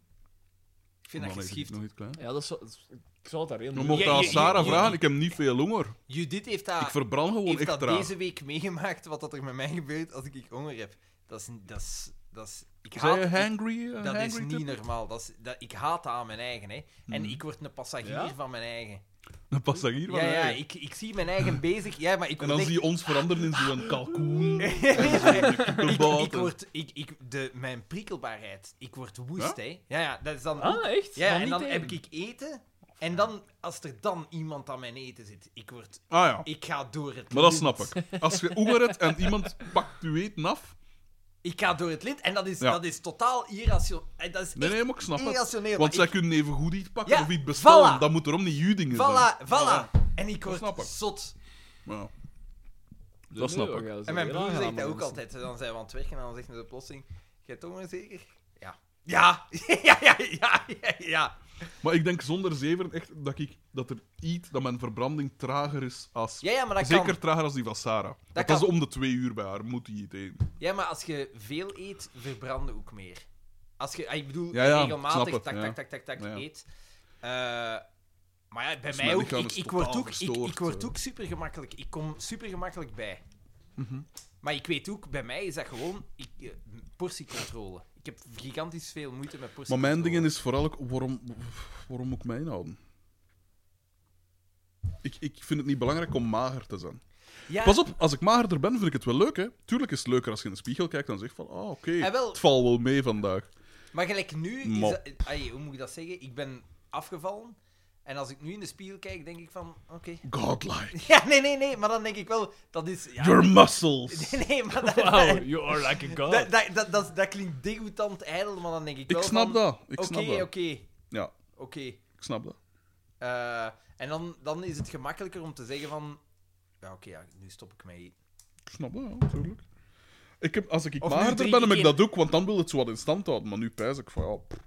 Speaker 4: Ik vind dat
Speaker 2: Dan eet ik
Speaker 4: geschift.
Speaker 2: nog iets klein.
Speaker 3: Ja, dat is zo- dat is- ik zal het daar heel
Speaker 2: Je
Speaker 3: moeilijk
Speaker 2: mocht
Speaker 4: Ja,
Speaker 2: aan
Speaker 4: ja,
Speaker 2: Sarah
Speaker 4: ja, ja.
Speaker 2: vragen, ik heb niet veel honger.
Speaker 4: Judith heeft
Speaker 2: Ik
Speaker 4: dat,
Speaker 2: verbrand gewoon
Speaker 4: heeft
Speaker 2: echt
Speaker 4: dat
Speaker 2: traag.
Speaker 4: deze week meegemaakt, wat dat er met mij gebeurt als ik, ik honger heb. Dat is... Dat is, dat is ik haat,
Speaker 2: Zijn je hangry? eh,
Speaker 4: dat is
Speaker 2: hangry
Speaker 4: niet
Speaker 2: tip?
Speaker 4: normaal. Dat is, dat, ik haat dat aan mijn eigen, hè. En ik word een passagier
Speaker 3: Ja?
Speaker 4: van mijn eigen.
Speaker 2: Dan pas dat hier
Speaker 4: Ja,
Speaker 2: wel
Speaker 4: ja,
Speaker 2: bij.
Speaker 4: ik, ik zie mijn eigen bezig. Ja, maar ik
Speaker 2: En
Speaker 4: word
Speaker 2: dan
Speaker 4: echt-
Speaker 2: zie je ons veranderen in zo'n kalkoen. Ah en
Speaker 4: ik,
Speaker 2: zo'n
Speaker 4: ik word, ik, ik, de, mijn prikkelbaarheid, ik word woest, hè. Ja, ja, dat is dan...
Speaker 3: Ah, echt?
Speaker 4: ja,
Speaker 3: Van
Speaker 4: en
Speaker 3: niet
Speaker 4: dan
Speaker 3: één.
Speaker 4: heb ik eten, en dan, als er dan iemand aan mijn eten zit, ik word...
Speaker 2: Ah ja,
Speaker 4: Ik ga door het
Speaker 2: maar dat
Speaker 4: lint.
Speaker 2: snap ik. Als je honger hebt en iemand pakt je eten af...
Speaker 4: Ik ga door het lint, en dat is,
Speaker 2: Ja.
Speaker 4: dat is totaal irrationeel. Eh, Dat is
Speaker 2: Nee,
Speaker 4: echt
Speaker 2: nee, maar ik snap het.
Speaker 4: irrationeel.
Speaker 2: Want zij
Speaker 4: maar ik-
Speaker 2: kunnen even goed iets pakken
Speaker 4: Ja,
Speaker 2: of iets bestellen.
Speaker 4: voilà.
Speaker 2: Dat moet erom niet je dingen zijn.
Speaker 4: Voilà, voilà. En ik
Speaker 2: snap ik.
Speaker 4: word zot.
Speaker 2: Ja.
Speaker 3: doen.
Speaker 2: dat snap
Speaker 3: Nee,
Speaker 2: ik.
Speaker 3: we gaan zo
Speaker 4: En mijn
Speaker 3: heel
Speaker 4: broer zegt
Speaker 3: aangename
Speaker 4: dat ook
Speaker 3: mensen.
Speaker 4: altijd. Dan zijn we aan het werken en dan zegt hij de oplossing... Jij toch maar zeker? Ja. Ja, ja, ja, ja, ja, ja.
Speaker 2: Maar ik denk zonder zeven echt dat, ik, dat er iets... Dat mijn verbranding trager is als...
Speaker 4: Ja, ja, maar dat
Speaker 2: Zeker
Speaker 4: kan.
Speaker 2: trager als die van Sarah. Dat, dat
Speaker 4: kan.
Speaker 2: is om de twee uur bij haar. Moet die het eten.
Speaker 4: Ja, maar als je veel eet, verbrand je ook meer. Als je, ah, ik bedoel,
Speaker 2: Ja, ja, snap
Speaker 4: regelmatig
Speaker 2: het,
Speaker 4: tak, tak,
Speaker 2: ja.
Speaker 4: tak, tak, tak
Speaker 2: Ja.
Speaker 4: eet. Eh, maar ja, bij
Speaker 2: Dus
Speaker 4: mij
Speaker 2: mijn
Speaker 4: ook.
Speaker 2: lichaam
Speaker 4: Ik,
Speaker 2: is
Speaker 4: ik word
Speaker 2: totaal
Speaker 4: ook ik, ik
Speaker 2: verstoord,
Speaker 4: word
Speaker 2: eh.
Speaker 4: ook super gemakkelijk. Ik kom super gemakkelijk bij.
Speaker 2: Mhm.
Speaker 4: Maar ik weet ook, bij mij is dat gewoon ik, eh, portiecontrole. Ik heb gigantisch veel moeite met
Speaker 2: Maar
Speaker 4: portiecontrole.
Speaker 2: mijn dingen is vooral ook, waarom, waarom moet ik mij inhouden? Ik, ik vind het niet belangrijk om mager te zijn.
Speaker 4: Ja,
Speaker 2: Pas op, als ik magerder ben, vind ik het wel leuk, hè. Tuurlijk is het leuker als je in de spiegel kijkt en zegt van, ah, oké,
Speaker 4: Ah, wel.
Speaker 2: het valt wel mee vandaag.
Speaker 4: Maar gelijk nu, is
Speaker 2: Mop.
Speaker 4: dat, ai, hoe moet ik dat zeggen? Ik ben afgevallen. En als ik nu in de spiegel kijk, denk ik van, oké.
Speaker 2: Godlike.
Speaker 4: Ja, nee, nee, nee. Maar dan denk ik wel, dat is... Ja,
Speaker 2: Your muscles.
Speaker 4: Nee, nee, maar dat,
Speaker 9: Wow, you are like a god.
Speaker 4: dat, dat, dat, dat, dat klinkt degoutant ijdel, maar dan denk ik wel
Speaker 2: Ik snap
Speaker 4: van,
Speaker 2: dat. Ik
Speaker 4: Oké,
Speaker 2: snap
Speaker 4: oké,
Speaker 2: dat. Ja,
Speaker 4: oké.
Speaker 2: ik snap dat.
Speaker 4: Eh, en dan, dan is het gemakkelijker om te zeggen van... Ja, oké, ja, nu stop ik mee.
Speaker 2: Ik snap dat, ja, natuurlijk. Ik heb, als ik
Speaker 4: Of nu
Speaker 2: magerder
Speaker 4: drink
Speaker 2: ben, heb
Speaker 4: ik
Speaker 2: ik
Speaker 4: geen-
Speaker 2: dat ook, want dan wil het zo wat in stand houden. Maar nu pijs ik van, ja, pff,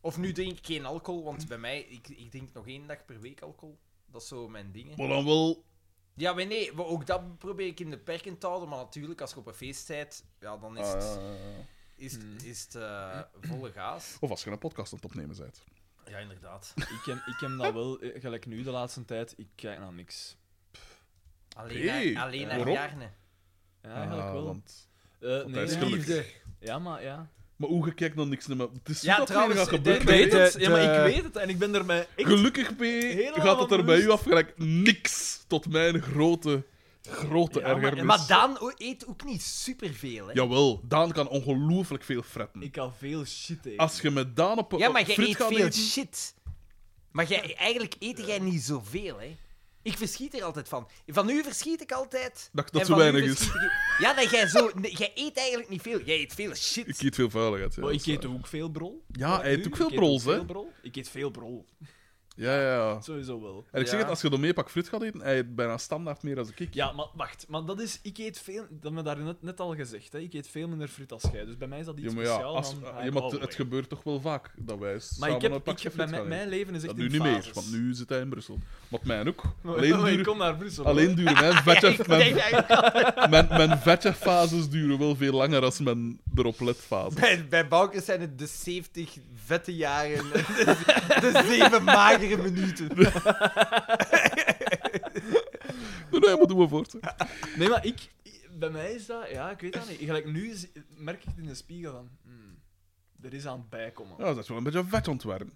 Speaker 4: Of nu drink ik geen alcohol, want bij mij... Ik, ik drink nog één dag per week alcohol. Dat is zo mijn ding. hè.
Speaker 2: maar dan wel...
Speaker 4: Ja, maar nee, maar ook dat probeer ik in de perken te houden. Maar natuurlijk, als je op een feest bent, ja, dan is
Speaker 2: ah,
Speaker 4: het,
Speaker 2: ja, Hmm. ja, ja.
Speaker 4: is, het- is het eh, volle gaas.
Speaker 2: Of als je een podcast aan het opnemen bent.
Speaker 4: Ja, inderdaad.
Speaker 3: Ik heb, ik heb dat wel, eh, gelijk nu de laatste tijd, ik kijk naar niks.
Speaker 4: Alleen,
Speaker 2: Hey,
Speaker 4: naar, alleen naar
Speaker 2: waarom?
Speaker 4: Jarne.
Speaker 3: Ja, eigenlijk
Speaker 2: Ah,
Speaker 3: wel.
Speaker 2: want-
Speaker 3: Eh, nee,
Speaker 2: hij is
Speaker 3: ja.
Speaker 2: gelukkig.
Speaker 3: Ja, maar ja.
Speaker 2: Maar hoe gekeken dan niks meer. Het is zo
Speaker 4: Ja,
Speaker 2: dat
Speaker 4: trouwens,
Speaker 2: hier gaat
Speaker 4: de-
Speaker 2: gebeuren.
Speaker 4: de-
Speaker 2: hè.
Speaker 4: de-
Speaker 3: ja, maar
Speaker 2: eh,
Speaker 3: ik weet het en ik ben er mij echt...
Speaker 2: Gelukkig mee
Speaker 3: Helemaal
Speaker 2: gaat het er bij u
Speaker 3: bewust.
Speaker 2: af gelijk niks. Tot mijn grote, grote
Speaker 3: Ja, maar-
Speaker 2: ergernis.
Speaker 4: Maar Daan o- eet ook niet superveel, hè?
Speaker 2: Jawel, Daan kan ongelooflijk veel fretten.
Speaker 3: Ik kan veel shit tegen.
Speaker 2: Als je met Daan op een
Speaker 4: Ja, maar jij
Speaker 2: friet
Speaker 4: eet
Speaker 2: gaat
Speaker 4: veel
Speaker 2: eten-
Speaker 4: shit. Maar jij, eigenlijk eet jij niet zoveel, hè? Ik verschiet er altijd van. Van u verschiet ik altijd.
Speaker 2: Dat- dat
Speaker 4: en
Speaker 2: zo
Speaker 4: van u
Speaker 2: weinig is.
Speaker 4: verschiet ik- Ja, dat jij zo... nee, jij eet eigenlijk niet veel. Jij eet veel shit.
Speaker 2: Ik eet veel vuiligheid. Ja,
Speaker 3: Maar
Speaker 2: dat
Speaker 3: ik
Speaker 2: is
Speaker 3: eet
Speaker 2: waar.
Speaker 3: ook veel brol.
Speaker 2: Ja, hij
Speaker 3: Nu,
Speaker 2: eet ook veel
Speaker 3: ik
Speaker 2: brols, hè?
Speaker 3: veel brol. Ik eet veel brol.
Speaker 2: Ja, ja, ja.
Speaker 3: Sowieso wel.
Speaker 2: En ik zeg
Speaker 4: Ja.
Speaker 2: het, als je door mee pak fruit gaat eten, hij eet bijna standaard meer dan ik.
Speaker 3: Ja, maar wacht. Maar dat is... Ik eet veel... Dat hebben we daar net, net al gezegd. Hè. Ik eet veel minder fruit als jij. Dus bij mij is dat iets
Speaker 2: Ja, maar ja,
Speaker 3: speciaals.
Speaker 2: als,
Speaker 3: dan-
Speaker 2: ja, maar het,
Speaker 3: Oh,
Speaker 2: het
Speaker 3: ja.
Speaker 2: gebeurt toch wel vaak dat wij
Speaker 3: Maar
Speaker 2: samen
Speaker 3: ik heb...
Speaker 2: een
Speaker 3: Ik
Speaker 2: pakje
Speaker 3: heb
Speaker 2: fruit
Speaker 3: mijn,
Speaker 2: gaan eten.
Speaker 3: mijn leven is echt
Speaker 2: Dat nu
Speaker 3: in
Speaker 2: niet meer,
Speaker 3: fases.
Speaker 2: want nu zit hij in Brussel. Want mijn ook.
Speaker 3: Alleen
Speaker 2: Alleen
Speaker 3: maar ik
Speaker 2: duren,
Speaker 3: kom naar Brussel.
Speaker 2: alleen duren mijn vetje...
Speaker 4: Ik
Speaker 2: Mijn,
Speaker 4: denk eigenlijk-
Speaker 2: mijn, mijn vetjefases duren wel veel langer als mijn erop letfases.
Speaker 4: Bij, bij Boukens zijn het de 70 vette jaren. De, de 7 magere minuten.
Speaker 2: Nee, nee, maar doen we voort. hè.
Speaker 3: Nee, maar ik, ik- bij mij is dat, ja, ik weet dat niet. Gelijk nu is- merk ik het in de spiegel van, hmm, er is aan het bijkomen.
Speaker 2: Ja, dat is wel een beetje vet ontwerpen.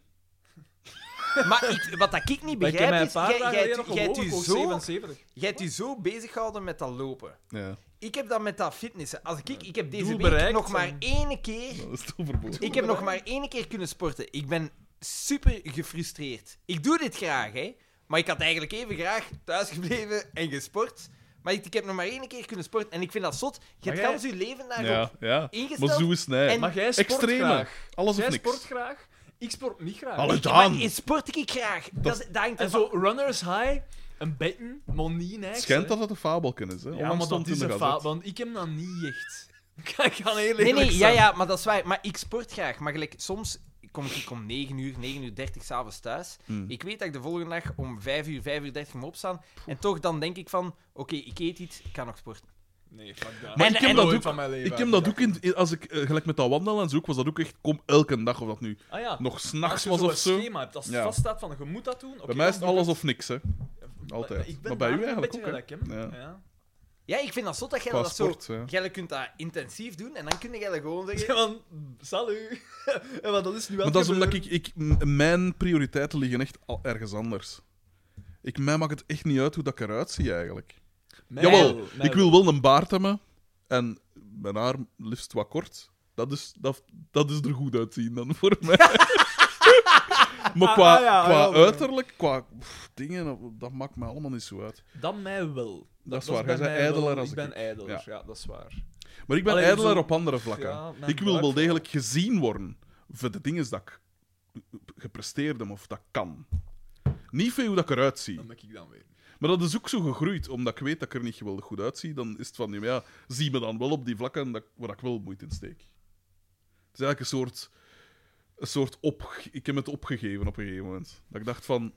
Speaker 4: Maar ik, wat dat ik niet
Speaker 3: Maar ik heb
Speaker 4: begrijp
Speaker 3: mij een
Speaker 4: is,
Speaker 3: paar
Speaker 4: jij-
Speaker 3: dagen
Speaker 4: jij
Speaker 3: geleden nog
Speaker 4: hebt- jij hebt u
Speaker 3: gewogen, koos
Speaker 4: zo-
Speaker 3: 77.
Speaker 4: jij hebt u zo bezig gehouden met dat lopen.
Speaker 2: Ja,
Speaker 4: Ik heb dat met dat fitnessen. Als ik, ik heb deze
Speaker 3: Doel
Speaker 4: week
Speaker 3: bereikt,
Speaker 4: nog maar
Speaker 3: en-
Speaker 4: één keer...
Speaker 2: dat is toch verboden.
Speaker 4: Ik heb nog maar één keer kunnen sporten. Ik ben super gefrustreerd. Ik doe dit graag, hè. Maar ik had eigenlijk even graag thuisgebleven en gesport. Maar ik, ik heb nog maar één keer kunnen sporten. En ik vind dat zot. Je hebt
Speaker 3: jij-
Speaker 4: gans je leven daarop
Speaker 2: Ja, ja. Maar
Speaker 4: ingesteld.
Speaker 2: zo is het, nee.
Speaker 4: En-
Speaker 3: Maar jij sport
Speaker 2: Extreme.
Speaker 3: graag.
Speaker 2: Alles of
Speaker 3: Jij
Speaker 2: niks.
Speaker 3: sport graag, ik sport niet graag.
Speaker 2: Alle
Speaker 4: Ja, maar
Speaker 2: Daan.
Speaker 4: in sport ik graag. Dat, dat hangt
Speaker 3: En
Speaker 4: ervan-
Speaker 3: zo runners high, een betten, maar niet niks.
Speaker 2: Schijnt dat het een fabelken is, hè?
Speaker 3: Ja,
Speaker 2: Onlangs
Speaker 3: maar
Speaker 2: stond
Speaker 3: dat
Speaker 2: in
Speaker 3: is
Speaker 2: de
Speaker 3: een fout,
Speaker 2: gazet.
Speaker 3: want ik heb dat niet echt. Ik ga heel eerlijk
Speaker 4: Nee, nee, ja,
Speaker 3: zijn.
Speaker 4: ja, maar dat is waar. Maar ik sport graag. Maar gelijk, soms kom ik, ik om 9 uur, 9 uur 30 s'avonds thuis.
Speaker 2: Hmm.
Speaker 4: Ik weet dat ik de volgende dag om 5 uur, 5 uur 30 moet opstaan. En toch dan denk ik van, oké, ik eet iets, ik kan nog sporten.
Speaker 3: Nee, fuck dat.
Speaker 2: Maar ik heb dat
Speaker 3: Nooit
Speaker 2: ook-
Speaker 3: van mijn leven
Speaker 2: Ik heb dat ook,
Speaker 3: uitgedacht.
Speaker 2: in, in- als ik eh, gelijk met dat wandelen en zo, ook, was dat ook echt, kom elke dag, of dat nu
Speaker 3: Ah ja,
Speaker 2: nog
Speaker 3: als
Speaker 2: s'nachts
Speaker 3: je
Speaker 2: was
Speaker 3: zo'n
Speaker 2: of zo.
Speaker 3: schema hebt, als het
Speaker 2: Ja.
Speaker 3: vaststaat van, je moet dat doen... oké,
Speaker 2: Bij mij is
Speaker 3: dan
Speaker 2: het
Speaker 3: doe ik
Speaker 2: alles of niks, hè. Altijd.
Speaker 3: Ik ben
Speaker 2: Maar bij u
Speaker 3: daar een
Speaker 2: eigenlijk
Speaker 3: beetje
Speaker 2: ook, hè.
Speaker 3: gelijk in.
Speaker 2: Ja.
Speaker 3: Ja.
Speaker 4: Ja, ik vind dat zot dat jij
Speaker 2: Qua
Speaker 4: dat zo...
Speaker 2: sport, ja.
Speaker 4: Jij kunt dat intensief doen en dan kun je dat gewoon zeggen...
Speaker 3: Ja, want, salut. Ja, maar dat is nu wel
Speaker 2: Maar dat is omdat ik,
Speaker 3: gebeurd.
Speaker 2: ik... m- Mijn prioriteiten liggen echt al ergens anders. Ik, mij maakt het echt niet uit hoe dat ik eruit zie, eigenlijk.
Speaker 3: Mij
Speaker 2: Jawel,
Speaker 3: wel, mij
Speaker 2: ik wil wel een baard hebben en mijn haar liefst wat kort. Dat is, dat, dat is er goed uitzien dan voor mij. maar qua,
Speaker 3: Ah, ah, ja,
Speaker 2: qua
Speaker 3: ja, wel.
Speaker 2: uiterlijk, qua pff, dingen, dat- dat maakt mij allemaal niet zo uit.
Speaker 3: Dat mij wel. Dat,
Speaker 2: is waar,
Speaker 3: bij
Speaker 2: jij bent
Speaker 3: mij wel.
Speaker 2: ijdeler als
Speaker 3: ik.
Speaker 2: ik.
Speaker 3: ben ijdeler,
Speaker 2: Ja.
Speaker 3: ja. dat is waar.
Speaker 2: Maar ik ben
Speaker 3: Allee,
Speaker 2: ijdeler
Speaker 3: zo-
Speaker 2: op andere vlakken.
Speaker 3: ja, mijn
Speaker 2: ik wil wel
Speaker 3: buik
Speaker 2: degelijk gezien worden voor de dingen dat ik gepresteerd heb of dat ik kan. Niet veel hoe dat ik eruit zie.
Speaker 3: Dat ben ik dan weer.
Speaker 2: Maar dat is ook zo gegroeid, omdat ik weet dat ik er niet geweldig goed uitzie. Dan is het van, ja, maar ja zie me dan wel op die vlakken dat, waar ik wel moeite in steek. Het is eigenlijk een soort... Een soort op, ik heb het opgegeven op een gegeven moment. Dat ik dacht van...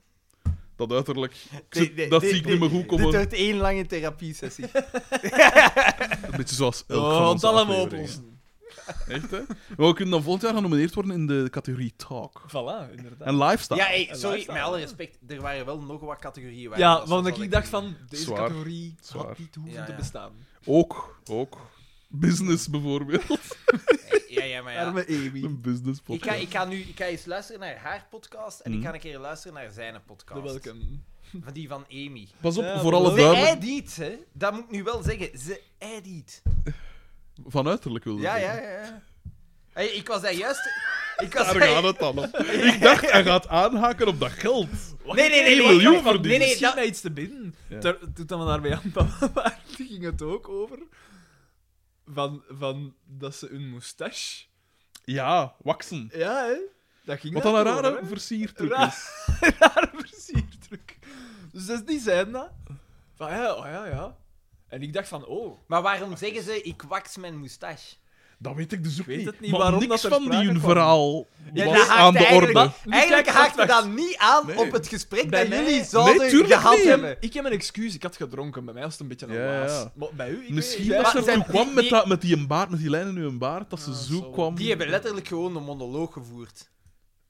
Speaker 2: Dat uiterlijk... ik zit-
Speaker 4: Nee, nee,
Speaker 2: dat
Speaker 4: dit-
Speaker 2: zie ik niet meer goed
Speaker 4: Dit
Speaker 2: komen.
Speaker 4: wordt één lange therapiesessie.
Speaker 2: Een beetje zoals elk
Speaker 3: Oh,
Speaker 2: van
Speaker 3: want
Speaker 2: onze
Speaker 3: allemaal
Speaker 2: afleveringen.
Speaker 3: oplossen.
Speaker 2: Echt, hè? Maar we kunnen dan volgend jaar genomineerd worden in de categorie talk.
Speaker 3: Voilà, inderdaad.
Speaker 2: En lifestyle.
Speaker 4: Ja, hey, sorry,
Speaker 3: lifestyle,
Speaker 4: met alle respect, er waren wel nog wat categorieën waar
Speaker 3: ja,
Speaker 4: dat
Speaker 3: want
Speaker 4: zat,
Speaker 3: ik
Speaker 4: dat
Speaker 3: dacht van, deze
Speaker 2: Zwaar.
Speaker 3: categorie
Speaker 2: Zwaar.
Speaker 3: had niet hoeven
Speaker 4: Ja,
Speaker 3: te
Speaker 4: ja.
Speaker 3: bestaan.
Speaker 2: Ook, ook. Business bijvoorbeeld.
Speaker 4: Ja, ja, maar ja.
Speaker 3: Arme Amy.
Speaker 2: Een business
Speaker 4: Ik
Speaker 2: podcast.
Speaker 4: ga, ik ga nu ik ga eens luisteren naar haar podcast en
Speaker 2: Mhm.
Speaker 4: ik ga een keer luisteren naar zijn podcast.
Speaker 3: De welke?
Speaker 4: Van die van Amy.
Speaker 2: Pas op,
Speaker 3: Ja,
Speaker 2: voor alle
Speaker 3: wel.
Speaker 4: Ze
Speaker 2: duimen.
Speaker 4: edit, hè? Dat moet ik nu wel zeggen. Ze edit.
Speaker 2: Van uiterlijk wilde
Speaker 4: Ja,
Speaker 2: zeggen.
Speaker 4: ja, ja. ja. Hey, ik was daar juist. Ik was
Speaker 2: Daar
Speaker 4: daar-
Speaker 2: gaat het dan op. Ik dacht, hij gaat aanhaken op dat geld.
Speaker 4: Nee, nee, nee.
Speaker 2: 1
Speaker 4: nee,
Speaker 2: miljoen
Speaker 4: nee,
Speaker 2: verdienen.
Speaker 4: Nee, nee,
Speaker 3: Misschien
Speaker 4: dat...
Speaker 3: mij iets te binnen.
Speaker 2: Ja.
Speaker 3: Ter- Toen dan we daarbij aankwamen, waar ging het ook over. Van, van dat ze hun moustache...
Speaker 2: Ja, waksen.
Speaker 3: Ja, hè? Dat ging
Speaker 2: Wat dan een
Speaker 3: daarover,
Speaker 2: rare
Speaker 3: hè?
Speaker 2: versiertruc
Speaker 3: Raar.
Speaker 2: is.
Speaker 3: rare versierdruk. Dus dat is die zijn dat. Van ja, oh ja, ja. En ik dacht van, oh,
Speaker 4: Maar waarom zeggen ze ik wax mijn moustache?
Speaker 2: Dat weet ik dus ook
Speaker 3: weet
Speaker 2: niet.
Speaker 3: het niet
Speaker 2: maar
Speaker 3: waarom
Speaker 2: niks
Speaker 3: dat er
Speaker 2: van die
Speaker 3: sprake
Speaker 2: hun
Speaker 3: kwam.
Speaker 2: verhaal
Speaker 4: Ja,
Speaker 2: was
Speaker 4: dat haakt
Speaker 2: aan de orde.
Speaker 4: eigenlijk- Eigenlijk
Speaker 3: kijk, wacht,
Speaker 4: haakt we
Speaker 3: wacht.
Speaker 4: dat niet aan
Speaker 2: Nee.
Speaker 4: op het gesprek
Speaker 3: Bij
Speaker 4: dat
Speaker 3: mij-
Speaker 4: jullie
Speaker 2: Nee,
Speaker 4: zouden
Speaker 2: tuurlijk
Speaker 4: gehad
Speaker 2: niet.
Speaker 4: hebben.
Speaker 3: ik heb een excuus, ik had gedronken. Bij mij was het een beetje een
Speaker 2: Ja, ja,
Speaker 3: waas.
Speaker 2: ja.
Speaker 3: Maar bij u, ik
Speaker 2: Misschien
Speaker 3: weet,
Speaker 2: dat
Speaker 3: niet,
Speaker 2: ze
Speaker 4: Maar zijn
Speaker 2: ertoe kwam
Speaker 4: die-
Speaker 2: met, dat, met die baard, met die lijn in hun baard, dat ze zo
Speaker 3: zo.
Speaker 2: kwam.
Speaker 4: Die hebben letterlijk gewoon een monoloog gevoerd.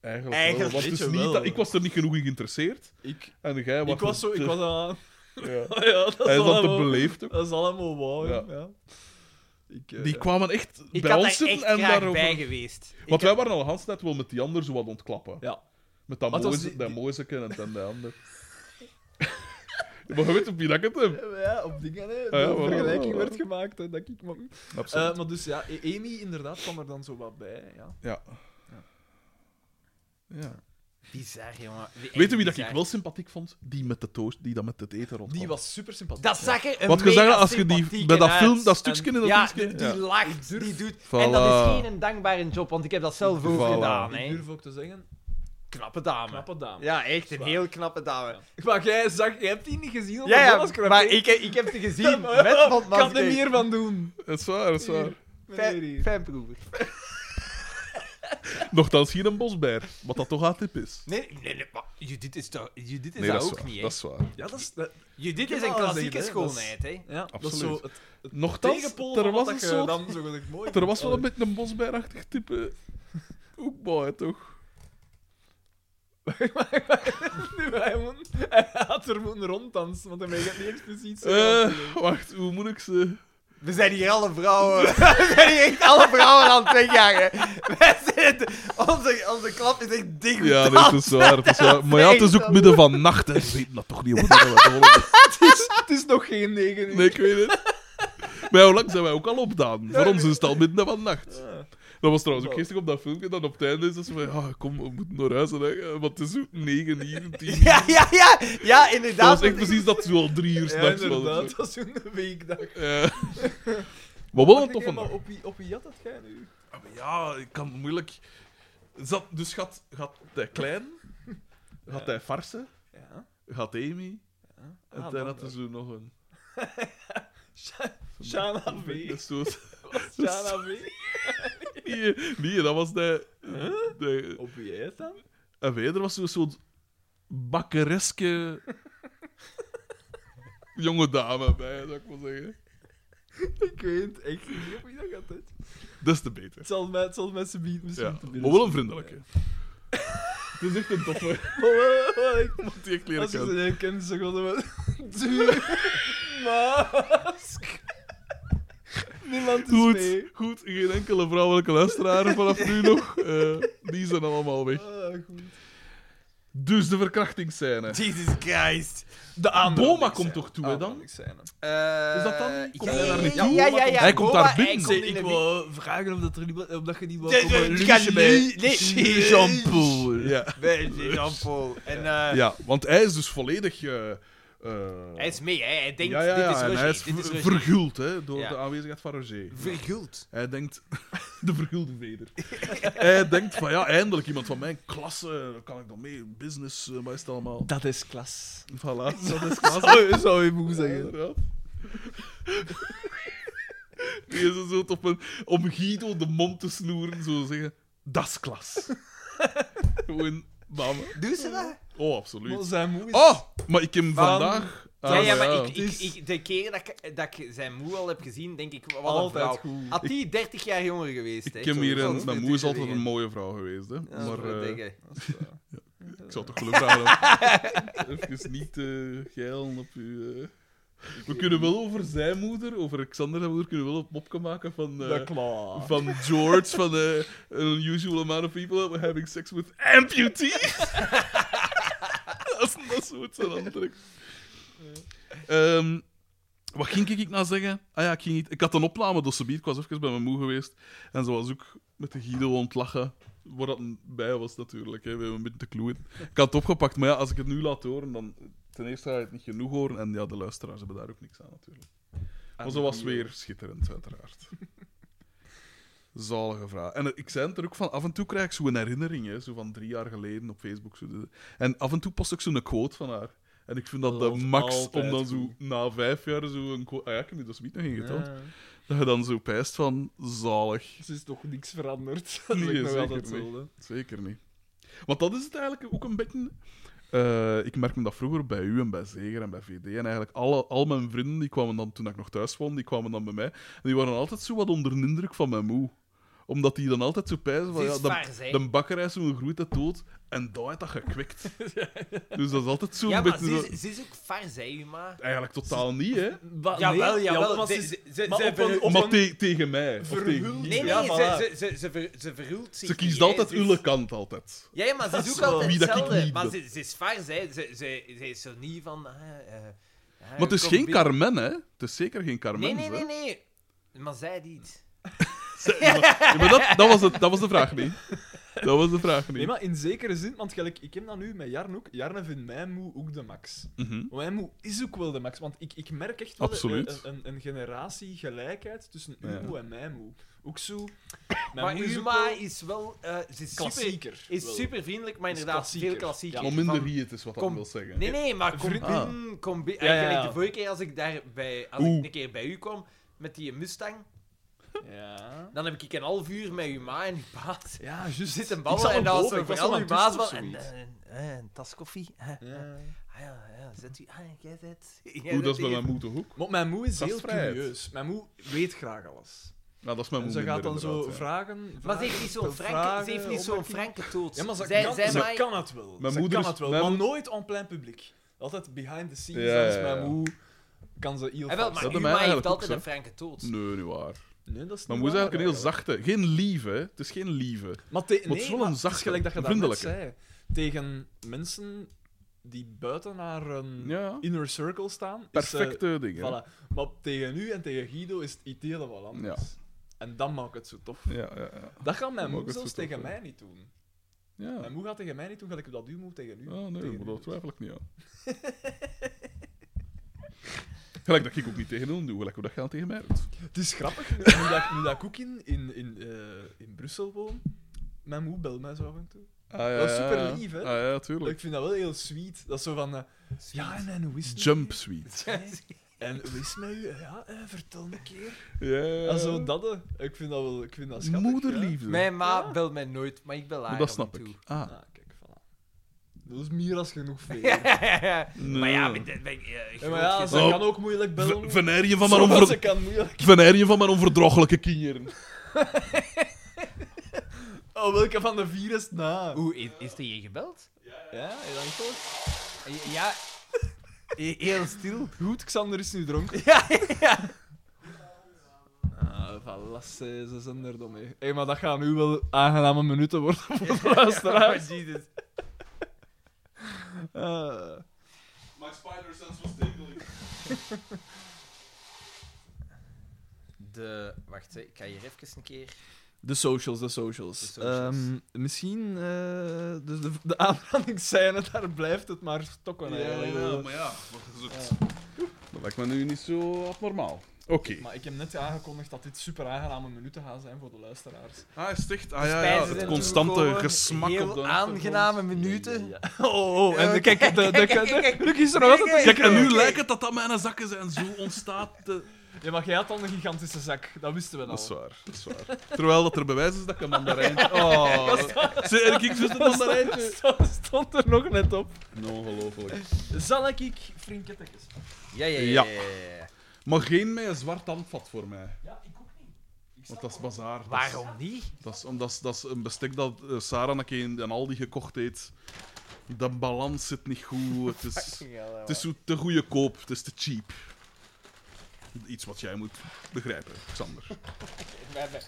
Speaker 2: Eigenlijk,
Speaker 4: Eigenlijk
Speaker 2: wel, want
Speaker 3: weet
Speaker 2: het is
Speaker 3: je
Speaker 2: niet
Speaker 3: wel.
Speaker 2: dat, ik was er niet genoeg in geïnteresseerd.
Speaker 3: ik,
Speaker 2: En jij was
Speaker 3: ik was zo, ik was aan...
Speaker 2: ja.
Speaker 3: Ja, dat
Speaker 2: Hij
Speaker 3: is
Speaker 2: is dan te
Speaker 3: allemaal...
Speaker 2: beleefd ook.
Speaker 3: Dat is allemaal waar,
Speaker 2: Ja.
Speaker 3: ja. Ik, eh,
Speaker 2: Die kwamen echt
Speaker 4: Ik
Speaker 2: bij
Speaker 4: had
Speaker 2: ons
Speaker 4: daar echt
Speaker 2: zitten en
Speaker 4: graag
Speaker 2: daarover...
Speaker 4: bij geweest.
Speaker 2: Want
Speaker 4: Ik
Speaker 2: wij waren al de hele tijd wel met die ander zo wat ontklappen.
Speaker 3: Ja.
Speaker 2: Met dat
Speaker 3: Wat was
Speaker 2: mooise,
Speaker 3: die-
Speaker 2: dat mooise en dat en de ander. maar je weet op wie dat ik het heb.
Speaker 3: Ja, op dingen, hè.
Speaker 2: ja,
Speaker 3: de
Speaker 2: voilà,
Speaker 3: vergelijking
Speaker 2: voilà.
Speaker 3: werd gemaakt, hè, dat ik... Maar,
Speaker 2: Absoluut.
Speaker 3: Eh, maar dus ja, E- Amy inderdaad kwam er dan zo wat bij, ja.
Speaker 2: ja. ja.
Speaker 4: heb- Bizar, jongen. Echt
Speaker 2: Weet je wie dat ik
Speaker 4: bizar.
Speaker 2: wel sympathiek vond? Die met de toast, die dat met het eten rond.
Speaker 3: Die was super sympathiek.
Speaker 4: Dat zag er een
Speaker 2: Wat je zegt,
Speaker 4: mega
Speaker 2: als je die,
Speaker 4: sympathieke
Speaker 2: bij dat
Speaker 4: uit.
Speaker 2: film, dat stukje in dat
Speaker 4: ja,
Speaker 2: filmpje-
Speaker 4: die, die
Speaker 2: ja.
Speaker 4: lacht, die doet...
Speaker 2: Voilà.
Speaker 4: En dat is geen dankbare job, want ik heb dat zelf ook
Speaker 2: Voilà.
Speaker 4: gedaan.
Speaker 3: Ik
Speaker 4: Hè.
Speaker 3: durf ook te zeggen,
Speaker 4: Knappe dame.
Speaker 3: knappe dame.
Speaker 4: Ja, echt, een
Speaker 3: Zwaar.
Speaker 4: heel knappe dame.
Speaker 3: Maar jij zag, jij hebt die niet gezien, want
Speaker 4: Ja,
Speaker 3: dat
Speaker 4: ja,
Speaker 3: was krap,
Speaker 4: maar
Speaker 3: hè?
Speaker 4: ik, ik heb ze gezien
Speaker 3: Ja, maar-
Speaker 4: met van
Speaker 3: Ik kan er meer van doen.
Speaker 2: Dat is waar, dat is waar.
Speaker 3: Meneer.
Speaker 4: Fanproever.
Speaker 2: Nochtans geen een bosbeer, wat dat toch atip is.
Speaker 4: Nee, nee, nee, maar Judith is, toch, Judith is
Speaker 2: Nee,
Speaker 4: dat,
Speaker 2: is
Speaker 4: ook
Speaker 2: waar,
Speaker 4: niet, hè?
Speaker 2: Dat is waar.
Speaker 3: Ja, dat is, dat,
Speaker 4: Judith
Speaker 3: Ik
Speaker 4: is
Speaker 3: heb
Speaker 4: een
Speaker 3: al
Speaker 4: klassieke
Speaker 3: gezegd, hè, dat is-
Speaker 4: schoonheid, hè?
Speaker 3: ja, dat is
Speaker 2: Absoluut.
Speaker 3: zo het
Speaker 2: Nochtans,
Speaker 3: tegenpool
Speaker 2: er
Speaker 3: van
Speaker 2: was
Speaker 3: wat
Speaker 2: een
Speaker 3: je
Speaker 2: soort...
Speaker 3: dan zo gezegd mooi
Speaker 2: Er was wel een
Speaker 3: vindt.
Speaker 2: beetje een bosbeerachtig type. Ook mooi, toch?
Speaker 3: Nu, hij, moet, hij gaat er moeten ronddansen, want hij mag niet expliciet zeggen.
Speaker 2: Eh, wacht, hoe moet ik ze...
Speaker 4: We zijn hier alle vrouwen. We zijn hier echt alle vrouwen aan het wegjagen. Wij zitten- Onze, onze klap is echt dik.
Speaker 2: Ja, nee, het is waar, het is waar. Maar ja, het is ook midden van nacht, hè. Ze weten dat toch niet. hoe dat we willen.
Speaker 3: Het is nog geen negen uur.
Speaker 2: Nee, ik weet het. Maar ja, hoe lang zijn wij ook al opdaan? Voor ons is het al midden van nacht. Dat was trouwens ook gisteren op dat filmpje, dat op het einde is dat ze van, ja, kom, we moeten naar huis, hè. Want het is ook negen uur, tien uur.
Speaker 4: Ja, ja, ja. Ja,
Speaker 2: Dat
Speaker 4: inderdaad.
Speaker 2: was echt precies dat ze al drie uur
Speaker 3: Ja,
Speaker 2: s'nachts was.
Speaker 3: inderdaad, dat is een weekdag.
Speaker 2: Eh, maar wel een
Speaker 3: Wacht,
Speaker 2: toffe
Speaker 3: maar
Speaker 2: dag.
Speaker 3: op wie, op wie had dat jij nu?
Speaker 2: Ah, maar Ja, ik kan moeilijk. Zat, dus gaat, gaat hij klein, gaat hij farsen,
Speaker 3: Ja.
Speaker 2: gaat Amy, en
Speaker 3: Ah,
Speaker 2: dan
Speaker 3: dat
Speaker 2: had
Speaker 3: wel.
Speaker 2: hij zo nog een.
Speaker 3: Shana
Speaker 2: Dat
Speaker 3: V.
Speaker 2: is zo-
Speaker 3: Shana V.
Speaker 2: nee, nee, dat was de. de
Speaker 3: Op wie heet dan?
Speaker 2: en verder was zo'n soort bakkereske. jonge dame bij, zou ik wel zeggen.
Speaker 3: Ik weet echt niet op wie dat gaat. hè.
Speaker 2: Des te beter.
Speaker 3: Het zal, mij, het zal mensen bieden misschien
Speaker 2: Ja,
Speaker 3: te
Speaker 2: maar
Speaker 3: binnen.
Speaker 2: wel een vriendelijke. Het is echt een toffe.
Speaker 3: Oh,
Speaker 2: Moet die kleren
Speaker 3: Als je ze
Speaker 2: kennen.
Speaker 3: niet kent, zeg wel Duur mask. Niemand is
Speaker 2: Goed,
Speaker 3: mee.
Speaker 2: goed, geen enkele vrouwelijke luisteraar vanaf nu nog. Eh, die zijn allemaal weg.
Speaker 3: Ah, goed.
Speaker 2: Dus de verkrachtingsscène.
Speaker 4: Jesus Christ.
Speaker 3: De
Speaker 2: Boma komt toch toe,
Speaker 3: Oh,
Speaker 2: hè dan?
Speaker 3: Zijn,
Speaker 4: Eh,
Speaker 2: Is dat dan niet? Komt
Speaker 4: ja,
Speaker 2: hij daar
Speaker 4: ja,
Speaker 2: niet
Speaker 4: ja,
Speaker 2: toe?
Speaker 4: Ja, ja, ja.
Speaker 2: Hij komt
Speaker 4: Boba,
Speaker 2: daar binnen.
Speaker 4: hij
Speaker 3: Zeg,
Speaker 4: komt in
Speaker 3: ik
Speaker 4: de
Speaker 3: wou vragen of dat, er niet, of dat je niet
Speaker 4: Ja,
Speaker 3: wou
Speaker 4: ja,
Speaker 3: komen
Speaker 4: ik
Speaker 3: lunchen
Speaker 4: kan
Speaker 3: bij
Speaker 4: niet- nee.
Speaker 3: Jean-Paul.
Speaker 2: Ja.
Speaker 4: Bij Jean-Paul. En eh,
Speaker 2: ja, want hij is dus volledig. eh, eh,
Speaker 4: hij is mee, hè. Hij denkt,
Speaker 2: ja, ja, ja,
Speaker 4: dit is
Speaker 2: en
Speaker 4: Roger.
Speaker 2: hij is
Speaker 4: dit is
Speaker 2: ver-
Speaker 4: Roger.
Speaker 2: verguld hè, door
Speaker 4: Ja.
Speaker 2: de aanwezigheid van Roger.
Speaker 4: Verguld.
Speaker 2: Hij denkt, de vergulde veder. hij denkt van ja, eindelijk iemand van mijn klasse, daar kan ik dan mee, business, eh, wat is het allemaal?
Speaker 3: Dat is klas.
Speaker 2: Voilà.
Speaker 3: Dat is klas. Zou, zou je mogen zeggen.
Speaker 2: Inderdaad. Die is een soort op een, om Guido de mond te snoeren, zo zeggen. Dat is klas. Gewoon, bam.
Speaker 4: Doe ze dat?
Speaker 2: Oh,
Speaker 3: Maar
Speaker 2: absoluut.
Speaker 3: zijn moe is...
Speaker 2: Oh, maar ik heb
Speaker 3: Van-
Speaker 2: vandaag Ah,
Speaker 1: ja, ja, maar ik, ik, ik- de keren dat ik, dat ik zijn moe al heb gezien, denk ik, wat een vrouw.
Speaker 3: Altijd goed.
Speaker 1: Had die 30 jaar jonger geweest,
Speaker 2: Ik
Speaker 1: hè?
Speaker 2: ken hier
Speaker 1: Zo-
Speaker 2: een...
Speaker 1: zo-
Speaker 2: Mijn moe is altijd een mooie vrouw geweest, hè.
Speaker 1: Ja,
Speaker 2: maar
Speaker 1: zo
Speaker 2: eh,
Speaker 1: denk ik.
Speaker 2: ik zou toch geluk hebben. Even niet eh geilen op u. eh. We kunnen wel over zijn moeder, over Xander zijn moeder, kunnen we wel een mopje maken van... eh,
Speaker 3: klaar.
Speaker 2: van George van de An Unusual Amount of People That Were Having Sex with Amputees. dat is dat soort van andere. Ehm, wat ging ik nou zeggen? Ah ja, ik, ging niet, ik had een opname, dus ze ik was even bij mijn moe geweest. En ze was ook met de Guido aan het lachen. Waar dat bij was natuurlijk, hè. we hebben een beetje te kloeien. Ik had het opgepakt, maar ja, als ik het nu laat horen, dan ten eerste ga je het niet genoeg horen. En ja, de luisteraars hebben daar ook niks aan natuurlijk. Maar ze was weer schitterend, uiteraard. Zalige vraag. En eh, ik zei het er ook van, af en toe krijg ik zo'n herinnering, hè, zo van drie jaar geleden op Facebook. Zo de- en af en toe post ik zo'n quote van haar. En ik vind dat,
Speaker 3: Dat
Speaker 2: de
Speaker 3: is
Speaker 2: max
Speaker 3: altijd
Speaker 2: om dan
Speaker 3: goed.
Speaker 2: zo na vijf jaar zo een quote... Ah ja, ik heb je dat niet nog ingetoond.
Speaker 3: Ja.
Speaker 2: Dat je dan zo pijst van, zalig.
Speaker 3: Dus is toch niks veranderd.
Speaker 2: Nee,
Speaker 3: Dat is nog
Speaker 2: zeker
Speaker 3: altijd
Speaker 2: niet.
Speaker 3: hetzelfde.
Speaker 2: Zeker niet. Want dat is het eigenlijk ook een beetje... eh, ik merk me dat vroeger bij u en bij Zeger en bij VD. En eigenlijk alle, al mijn vrienden, die kwamen dan, toen ik nog thuis woonde, die kwamen dan bij mij. En die waren altijd zo wat onder de indruk van mijn moe. Omdat die dan altijd zo pijzen van...
Speaker 4: Ze
Speaker 2: Ja,
Speaker 4: is
Speaker 2: de,
Speaker 4: vaars, hè.
Speaker 2: de bakkerij is zo'n groeit dood. En dat heeft dat gekwikt. dus dat is altijd zo'n
Speaker 4: Ja, maar
Speaker 2: beetje...
Speaker 4: ze
Speaker 2: zo-
Speaker 4: is, ze is ook vaars, hè, Uma.
Speaker 2: Eigenlijk totaal niet, hè.
Speaker 4: Jawel, jawel.
Speaker 3: maar
Speaker 4: ze-
Speaker 3: ze is-
Speaker 4: ze- ze-
Speaker 3: maar
Speaker 4: ze
Speaker 3: op een-
Speaker 4: verhult-
Speaker 3: op-
Speaker 2: maar te- tegen mij. Of
Speaker 3: verhult-
Speaker 2: tegen
Speaker 4: Nee, nee,
Speaker 3: Ja, voilà.
Speaker 4: ze, ze, ze, ze, ver, ze verhult zich
Speaker 2: Ze kiest
Speaker 4: niet,
Speaker 2: altijd
Speaker 4: hè. Ze is-
Speaker 2: uw kant, altijd.
Speaker 4: Ja, ja, maar ze
Speaker 3: Dat
Speaker 4: is
Speaker 3: is
Speaker 4: ook
Speaker 3: wel
Speaker 4: altijd
Speaker 2: wie dat ik
Speaker 4: hetzelfde.
Speaker 2: niet
Speaker 4: Maar
Speaker 2: ben.
Speaker 4: ze, ze is vaars, hè. Ze, ze, ze is zo niet van... ah, eh, eh,
Speaker 2: Maar het is
Speaker 4: kom
Speaker 2: geen
Speaker 4: binnen.
Speaker 2: Carmen, hè. Het is zeker geen Carmen,
Speaker 4: Nee, nee, nee, nee. Maar zij niet.
Speaker 2: Ja, maar dat, dat, was het, dat was de vraag niet. Dat was de vraag niet.
Speaker 3: Nee, maar in zekere zin, want gelijk, ik heb dat nu met Jarn ook. Jarne vindt mijn moe ook de max.
Speaker 2: Mhm.
Speaker 3: Maar Mijn moe is ook wel de max, want ik, ik merk echt wel eh,
Speaker 2: Absoluut.
Speaker 3: Een, een, een generatie gelijkheid tussen uw
Speaker 2: Ja.
Speaker 3: moe en mijn moe. Ook zo... Mijn
Speaker 4: Maar
Speaker 3: moe is ook
Speaker 4: Uma
Speaker 3: wel
Speaker 4: is wel... eh, ze is super,
Speaker 3: klassieker.
Speaker 4: is
Speaker 3: wel.
Speaker 4: super vriendelijk, maar
Speaker 3: Is
Speaker 4: inderdaad veel
Speaker 3: klassieker. Ah.
Speaker 4: klassieker.
Speaker 2: Maar
Speaker 4: Van-
Speaker 2: minder riet is wat dat
Speaker 4: Kom.
Speaker 2: wil zeggen.
Speaker 4: Nee, nee, maar kom
Speaker 3: Vriend-
Speaker 4: binnen, kom binnen.
Speaker 3: Ja,
Speaker 4: En
Speaker 3: ja,
Speaker 4: gelijk
Speaker 3: ja.
Speaker 4: de vorige keer als ik daar bij, als
Speaker 2: Oeh.
Speaker 4: ik een keer bij u kwam met die Mustang,
Speaker 3: Ja,
Speaker 4: dan heb ik een half uur met uw ma en uw baas
Speaker 3: ja juist.
Speaker 4: zitten
Speaker 3: Ik zat
Speaker 4: ballen en
Speaker 3: erboven,
Speaker 4: dan was er
Speaker 3: ik was
Speaker 4: vooral
Speaker 3: al
Speaker 4: uw
Speaker 3: aan het
Speaker 4: baas
Speaker 3: toetsen
Speaker 4: van
Speaker 3: of
Speaker 4: en,
Speaker 3: zoiets.
Speaker 4: eh, eh, een tas koffie. eh, eh,
Speaker 3: Ja.
Speaker 4: Ah ja, ja, zet u, ah, jij zet. jij
Speaker 2: Hoe,
Speaker 4: zet
Speaker 2: dat is bij
Speaker 4: hier.
Speaker 2: mijn moe toch ook?
Speaker 3: Maar mijn moe is heel
Speaker 2: Gastvrijheid.
Speaker 3: curieus. Mijn moe weet graag alles.
Speaker 2: Nou, dat is mijn
Speaker 3: En
Speaker 2: moe
Speaker 3: ze
Speaker 2: minder,
Speaker 3: gaat dan zo
Speaker 2: inderdaad, ja.
Speaker 3: vragen,
Speaker 4: Maar ze
Speaker 3: vragen,
Speaker 4: heeft niet zo'n
Speaker 3: stelt
Speaker 4: franke, ze heeft
Speaker 3: vragen,
Speaker 4: niet zo'n
Speaker 3: opmerkingen.
Speaker 4: franke toets.
Speaker 3: Ja, maar ze,
Speaker 4: Zij-
Speaker 3: kan,
Speaker 4: zij
Speaker 3: ze
Speaker 4: mij-
Speaker 3: kan het wel.
Speaker 2: Mijn
Speaker 3: ze
Speaker 2: moeder
Speaker 3: kan
Speaker 2: is-
Speaker 3: het wel,
Speaker 2: mijn
Speaker 3: maar
Speaker 2: moe-
Speaker 3: nooit on plein publiek. Altijd behind the scenes.
Speaker 2: Ja, ja,
Speaker 3: dus
Speaker 2: ja.
Speaker 3: mijn moe kan ze heel
Speaker 4: Ah, wel,
Speaker 3: vast-
Speaker 4: maar
Speaker 2: Dat bij
Speaker 4: uw ma
Speaker 2: mij
Speaker 4: heeft
Speaker 2: eigenlijk
Speaker 4: altijd
Speaker 2: ook
Speaker 4: een franke toets.
Speaker 2: Nee, niet waar.
Speaker 3: Nee, dat is
Speaker 2: Mijn
Speaker 3: niet
Speaker 2: moe is
Speaker 3: waar,
Speaker 2: eigenlijk een heel
Speaker 3: eigenlijk.
Speaker 2: zachte. Geen lieve, hè. Het is geen lieve.
Speaker 3: Maar, te,
Speaker 2: Maar
Speaker 3: nee,
Speaker 2: het is wel
Speaker 3: maar
Speaker 2: een
Speaker 3: het is
Speaker 2: zachte,
Speaker 3: gelijk dat je dat net
Speaker 2: vriendelijke.
Speaker 3: zei. Tegen mensen die buiten haar een
Speaker 2: Ja.
Speaker 3: inner circle staan. is, eh,
Speaker 2: Perfecte dingen.
Speaker 3: voilà. Maar tegen u en tegen Guido is het iets helemaal anders. En dan maakt het zo tof.
Speaker 2: Ja, ja, ja.
Speaker 3: Dat gaat mijn
Speaker 2: Dan maakt
Speaker 3: moe
Speaker 2: het
Speaker 3: zelfs
Speaker 2: zo tof,
Speaker 3: tegen
Speaker 2: ja.
Speaker 3: mij niet doen.
Speaker 2: ja.
Speaker 3: Mijn moe gaat tegen mij niet doen, gelijk dat u moe tegen u.
Speaker 2: Ah, nee,
Speaker 3: tegen
Speaker 2: maar
Speaker 3: u
Speaker 2: dat
Speaker 3: doet.
Speaker 2: twijfel ik niet aan. Gelijk dat ik ook niet tegen hun doe, gelijk hoe dat gaan tegen mij doet.
Speaker 3: Het is grappig, nu, nu dat, nu dat ik ook in, in, in, eh, in Brussel woon, mijn moe belt mij zo af en toe.
Speaker 2: Ah, ja,
Speaker 3: Dat is
Speaker 2: ja,
Speaker 3: super
Speaker 2: ja.
Speaker 3: lief, hè?
Speaker 2: Ah, ja, tuurlijk.
Speaker 3: Ik vind dat wel heel sweet. Dat is zo van, eh, ja, en, en hoe is het? met
Speaker 2: Jump
Speaker 3: u?
Speaker 2: sweet.
Speaker 3: En hoe is het met u? Ja, eh, vertel een keer.
Speaker 2: Ja, ja, ja.
Speaker 3: En zo dat, eh. ik vind dat wel, ik vind dat schattig. ja.
Speaker 2: Moederliefde.
Speaker 4: Mijn ma belt mij nooit, maar ik bel haar
Speaker 2: Maar dat
Speaker 4: af en
Speaker 2: snap
Speaker 4: toe.
Speaker 2: ik. Ah,
Speaker 3: Ah, kijk, voilà. Dat is meer als genoeg veel.
Speaker 2: nee.
Speaker 4: Maar ja, ben, ben, eh,
Speaker 3: Ja, maar ja, ze
Speaker 2: Oh.
Speaker 3: kan ook moeilijk bellen.
Speaker 2: V- veneer je van mijn,
Speaker 3: Soms ze
Speaker 2: onver...
Speaker 3: kan moeilijk.
Speaker 2: veneer je van mijn onverdrochelijke kinderen.
Speaker 3: Oh, welke van de vier is het na?
Speaker 4: Hoe is, is er je gebeld?
Speaker 3: Ja, heel lang toch?
Speaker 4: Eh, Ja, eh, heel stil.
Speaker 3: Goed, Xander is nu dronken.
Speaker 4: Ja, ja.
Speaker 3: Ah, voilà, ze ze zijn er dan mee. Hé, maar dat gaan nu wel aangename minuten worden voor de luisteraars.
Speaker 4: Jesus.
Speaker 3: Ah.
Speaker 2: My spider sense was tingling.
Speaker 4: De. Wacht, hè, ik ga hier even een keer.
Speaker 3: De socials, de socials.
Speaker 4: De socials.
Speaker 3: Ehm, misschien, eh, dus de, de aanrandingsscène, daar blijft het maar stokken. eigenlijk.
Speaker 2: maar ja, wat is het? Dat lijkt me nu niet zo abnormaal. Oké.
Speaker 3: Maar ik heb net aangekondigd dat dit super aangename minuten gaan zijn voor de luisteraars.
Speaker 2: Ah, is het echt? Ah ja, ja
Speaker 4: Spijzen
Speaker 2: het
Speaker 4: zijn
Speaker 2: constante
Speaker 4: toegekomen.
Speaker 2: gesmak op
Speaker 4: Heel
Speaker 2: de...
Speaker 4: aangename minuten.
Speaker 3: Oh, oh, en
Speaker 4: Ja,
Speaker 3: kijk, de, de, de,
Speaker 4: kijk, kijk,
Speaker 3: Luc is er nog altijd.
Speaker 2: Kijk, en nu
Speaker 4: Oké.
Speaker 2: lijkt het dat dat mijn zakken zijn. Zo ontstaat de...
Speaker 3: Ja, maar jij had dan een gigantische zak. Dat wisten we al.
Speaker 2: Dat is waar, dat is waar. Terwijl dat er bewijs is dat ik een mandarijntje... Oh, Zie, en ik zo'n mandarijntje.
Speaker 3: Dat stond er nog net op.
Speaker 2: Ongelooflijk.
Speaker 3: Zal ik ik frinkettekens?
Speaker 4: Ja, ja,
Speaker 2: ja,
Speaker 4: ja.
Speaker 2: ja, Maar geen met een zwart handvat voor mij.
Speaker 3: Ja, ik ook niet. Ik
Speaker 2: Want dat is bazaar. Dat is-
Speaker 4: Waarom niet?
Speaker 2: Dat is, omdat, dat is een bestek dat eh, Sarah een keer in een Aldi gekocht heeft. De balans zit niet goed. Het is, het is zo te goede koop. Het is te cheap. Iets wat jij moet begrijpen, Xander.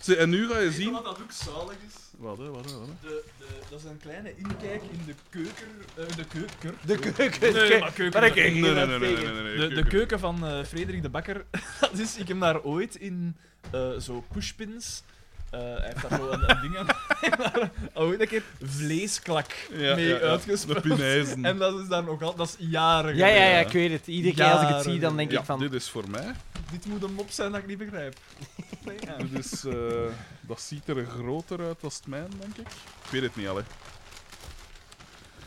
Speaker 2: Zie, En nu ga je zien...
Speaker 3: Wat dat ook zalig is,
Speaker 2: Wat, hè, wat, hè, wat, hè.
Speaker 3: de, de, dat is een kleine inkijk in de keuken. eh, de keuken.
Speaker 4: De keuken.
Speaker 3: Nee, maar keuken.
Speaker 4: Maar ik-
Speaker 2: Nee, nee, nee, nee, nee, nee, nee,
Speaker 3: De, de
Speaker 2: keuken.
Speaker 3: keuken van eh, Frederik de Bakker. dat is, ik heb daar ooit in eh, zo pushpins. eh, hij heeft daar zo een, een ding aan. hij heeft daar ooit een keer vleesklak
Speaker 2: Ja,
Speaker 3: mee
Speaker 2: ja, ja.
Speaker 3: uitgespeeld.
Speaker 2: De pinijzen.
Speaker 3: En dat is daar nog al, dat is jaren
Speaker 4: Ja, ja, ja,
Speaker 3: geleden.
Speaker 4: ik weet het. Iedere keer als ik het zie, dan denk
Speaker 2: Ja,
Speaker 4: ik van...
Speaker 2: dit is voor mij.
Speaker 3: Dit moet een mop zijn dat ik niet begrijp. Nee, ja.
Speaker 2: Dit is, eh, dat ziet er groter uit dan het mijn, denk ik. Ik weet het niet, alle.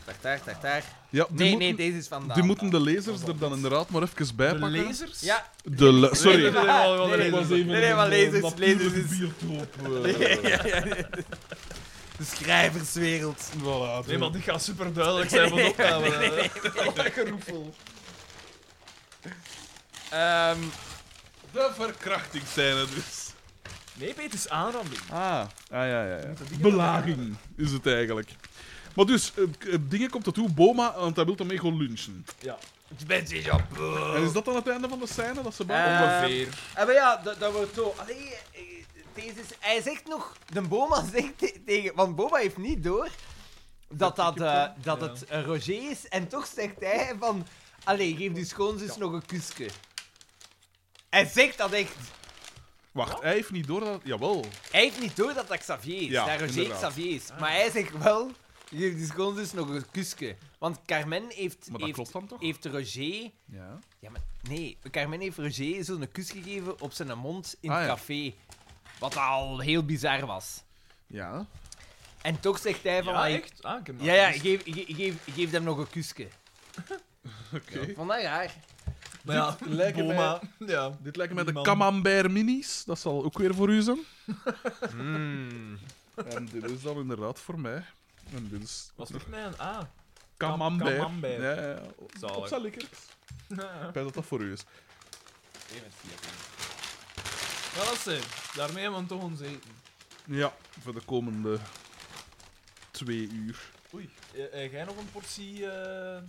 Speaker 4: Daar, daar, daar, daar.
Speaker 2: Ja, die
Speaker 4: Nee,
Speaker 2: moeten,
Speaker 4: nee, deze is van
Speaker 2: die moeten de lezers er dan inderdaad maar even bij
Speaker 3: De
Speaker 2: pakken.
Speaker 3: lezers?
Speaker 4: Ja,
Speaker 2: De le- Sorry.
Speaker 3: Nee, nee, nee, wel- wel de
Speaker 4: Nee,
Speaker 3: lezers.
Speaker 4: nee, nee, maar lezers, lezers is-
Speaker 2: biertop.
Speaker 4: de schrijverswereld.
Speaker 2: Voilà.
Speaker 3: Nee, maar die gaat super duidelijk zijn van opname. Lekker roepel.
Speaker 4: Ehm,
Speaker 2: De verkrachting zijn het dus.
Speaker 3: Nee, Peet, het is aanranding.
Speaker 2: Ah, ah ja, ja, ja. Belaging is het eigenlijk. Maar dus, eh, k- eh, dingen komt er toe, Boma, want hij wil ermee gewoon lunchen.
Speaker 4: ik ben zo op.
Speaker 2: En is dat dan het einde van de scène dat ze bij?
Speaker 4: Eh, Ah, maar ja, dat, dat wordt zo. Allee, eh, deze is, hij zegt nog, de Boma zegt te- tegen, want Boma heeft niet door dat, dat, eh, dat het eh, Roger is. En toch zegt hij van, allee, geef die schoonzus nog een kusje. Hij zegt dat echt.
Speaker 2: Wacht, hij heeft niet door dat. Jawel.
Speaker 4: Hij heeft niet door dat dat Xavier is,
Speaker 2: Ja,
Speaker 4: dat Roger
Speaker 2: inderdaad.
Speaker 4: Xavier is. Maar hij zegt wel, geef die schoonzus nog een kusje. Want Carmen heeft,
Speaker 2: Maar dat
Speaker 4: heeft,
Speaker 2: klopt dan toch?
Speaker 4: heeft Roger...
Speaker 2: Ja.
Speaker 4: Ja, maar nee, Carmen heeft Roger zo'n kus gegeven op zijn mond in
Speaker 2: Ah,
Speaker 4: het
Speaker 2: ja.
Speaker 4: café. Wat al heel bizar was.
Speaker 2: Ja.
Speaker 4: En toch zegt hij van...
Speaker 3: Ja,
Speaker 4: ik-
Speaker 3: echt? Ah, ik heb dat
Speaker 4: Ja, ja,
Speaker 3: gemist.
Speaker 4: geef, ge- geef, geef hem nog een kusje.
Speaker 2: Oké.
Speaker 4: Ik Vond dat raar.
Speaker 3: Maar ja,
Speaker 2: lijken
Speaker 3: Boma. Ja.
Speaker 2: Dit lijkt me de
Speaker 3: Man.
Speaker 2: camembert minis. Dat zal ook weer voor u zijn. Hmm. En dit is dan inderdaad voor mij. En dit is
Speaker 3: Was nog mijn Ah, A.
Speaker 2: camembert.
Speaker 3: camembert.
Speaker 2: Ja, ja, ja.
Speaker 3: Zalig.
Speaker 2: Op zijn likkers. Ik weet dat dat voor u is.
Speaker 3: Ja, dat is het. Daarmee hebben we toch ons eten.
Speaker 2: Ja, voor de komende twee uur.
Speaker 3: Oei. Eh, eh, jij nog een portie... eh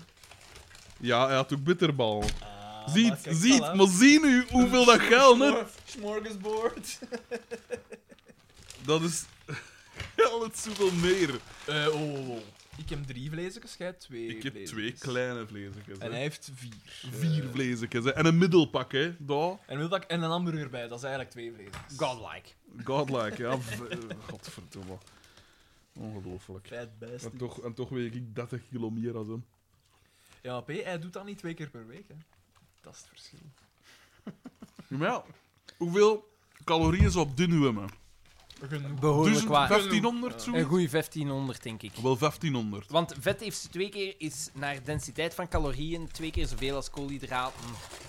Speaker 2: Ja, hij had ook bitterbal.
Speaker 3: Ah,
Speaker 2: ziet,
Speaker 3: maar kijk,
Speaker 2: ziet,
Speaker 3: voilà.
Speaker 2: maar zie nu hoeveel dat geld net.
Speaker 3: Smorgasbord.
Speaker 2: Dat is geld het zoveel meer.
Speaker 3: Eh, oh, oh, oh. Ik heb drie vleesjes, jij hebt twee
Speaker 2: Ik heb twee
Speaker 3: vleesjes.
Speaker 2: kleine vleesjes.
Speaker 3: En
Speaker 2: hè.
Speaker 3: hij heeft vier.
Speaker 2: Vier vleesjes. hè. En een middelpak, hè. Daar.
Speaker 3: En, wil dat ik, en een hamburger bij, dat is eigenlijk twee vleesjes.
Speaker 4: Godlike.
Speaker 2: Godlike, ja. V- eh, Godverdomme. Ongelooflijk.
Speaker 3: Fat best.
Speaker 2: En toch, en toch weeg ik 30 kilo meer als hem.
Speaker 3: Ja, maar P, hij doet dat niet twee keer per week, hè. Dat is het verschil.
Speaker 2: Ja, Maar ja, hoeveel calorieën zou op dun hebben?
Speaker 3: Genoeg.
Speaker 4: Behoorlijk
Speaker 2: 1000,
Speaker 4: waar.
Speaker 2: 1500,
Speaker 4: Een
Speaker 2: zoiets?
Speaker 4: goeie 1500, denk ik.
Speaker 2: Wel 1500.
Speaker 4: Want vet heeft twee keer is naar densiteit van calorieën twee keer zoveel als koolhydraten.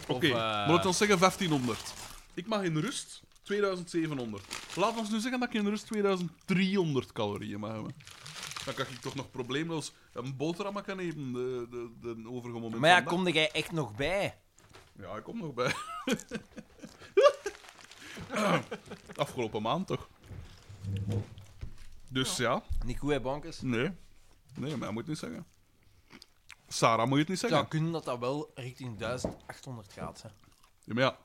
Speaker 2: Oké,
Speaker 4: Of, eh,
Speaker 2: maar laat ons zeggen 1500. Ik mag in rust 2700. Laat ons nu zeggen dat ik in rust 2300 calorieën mag hebben. Dan kan ik toch nog probleemloos een boterham kan eten de, de, de overige momenten.
Speaker 4: Maar ja,
Speaker 2: van de
Speaker 4: kom jij echt nog bij?
Speaker 2: dag. Ja, ik kom nog bij. Afgelopen maand toch? Dus ja,
Speaker 4: Niet goed, hè, bonkers?
Speaker 2: nee. Nee, maar hij moet niet zeggen. Sarah moet je het niet
Speaker 4: Het
Speaker 2: zeggen.
Speaker 4: zou kunnen dat dat wel richting 1800 gaat. Hè.
Speaker 2: Ja, maar ja,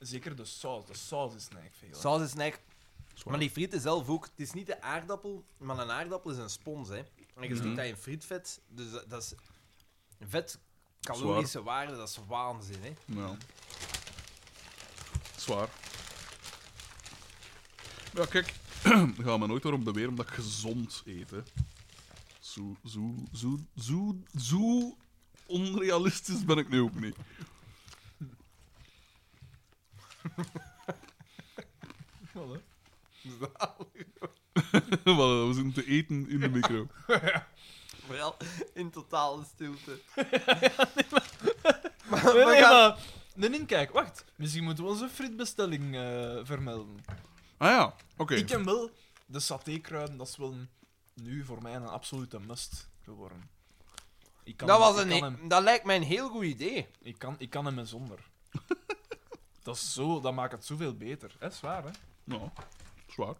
Speaker 3: Zeker de saus. De saus is eigenlijk veel. hè.
Speaker 4: Saus is eigenlijk... Maar die frieten zelf ook. Het is niet de aardappel, maar een aardappel is een spons. Hè. En je
Speaker 2: Mhm.
Speaker 4: ziet dat in frietvet. Dus dat, dat is... Vet, calorische waarde, dat is waanzin. Hè.
Speaker 2: Ja. Zwaar. Ja, kijk. Ik ga me nooit daarom beweren omdat ik gezond eet. Hè. Zo, zo, zo, zo, zo onrealistisch ben ik nu ook niet.
Speaker 3: Wel, hè.
Speaker 2: Voilà, we zitten te eten in de micro.
Speaker 4: Vooral in totale stilte.
Speaker 3: Eh, Nee, nee, maar... een inkijk. Wacht, misschien moeten we onze frietbestelling eh, vermelden.
Speaker 2: Ah ja, oké.
Speaker 3: Ik ken wel de satékruiden, dat is wel een- nu voor mij een absolute must geworden. Ik kan
Speaker 4: Dat,
Speaker 3: hem-
Speaker 4: was
Speaker 3: ik
Speaker 4: een, e-
Speaker 3: kan hem-
Speaker 4: he- dat lijkt mij een heel goed idee.
Speaker 3: Ik kan, ik kan hem en zonder. dat, is zo, dat maakt het zoveel beter. Dat is waar, hè?
Speaker 2: Nou, zwaar.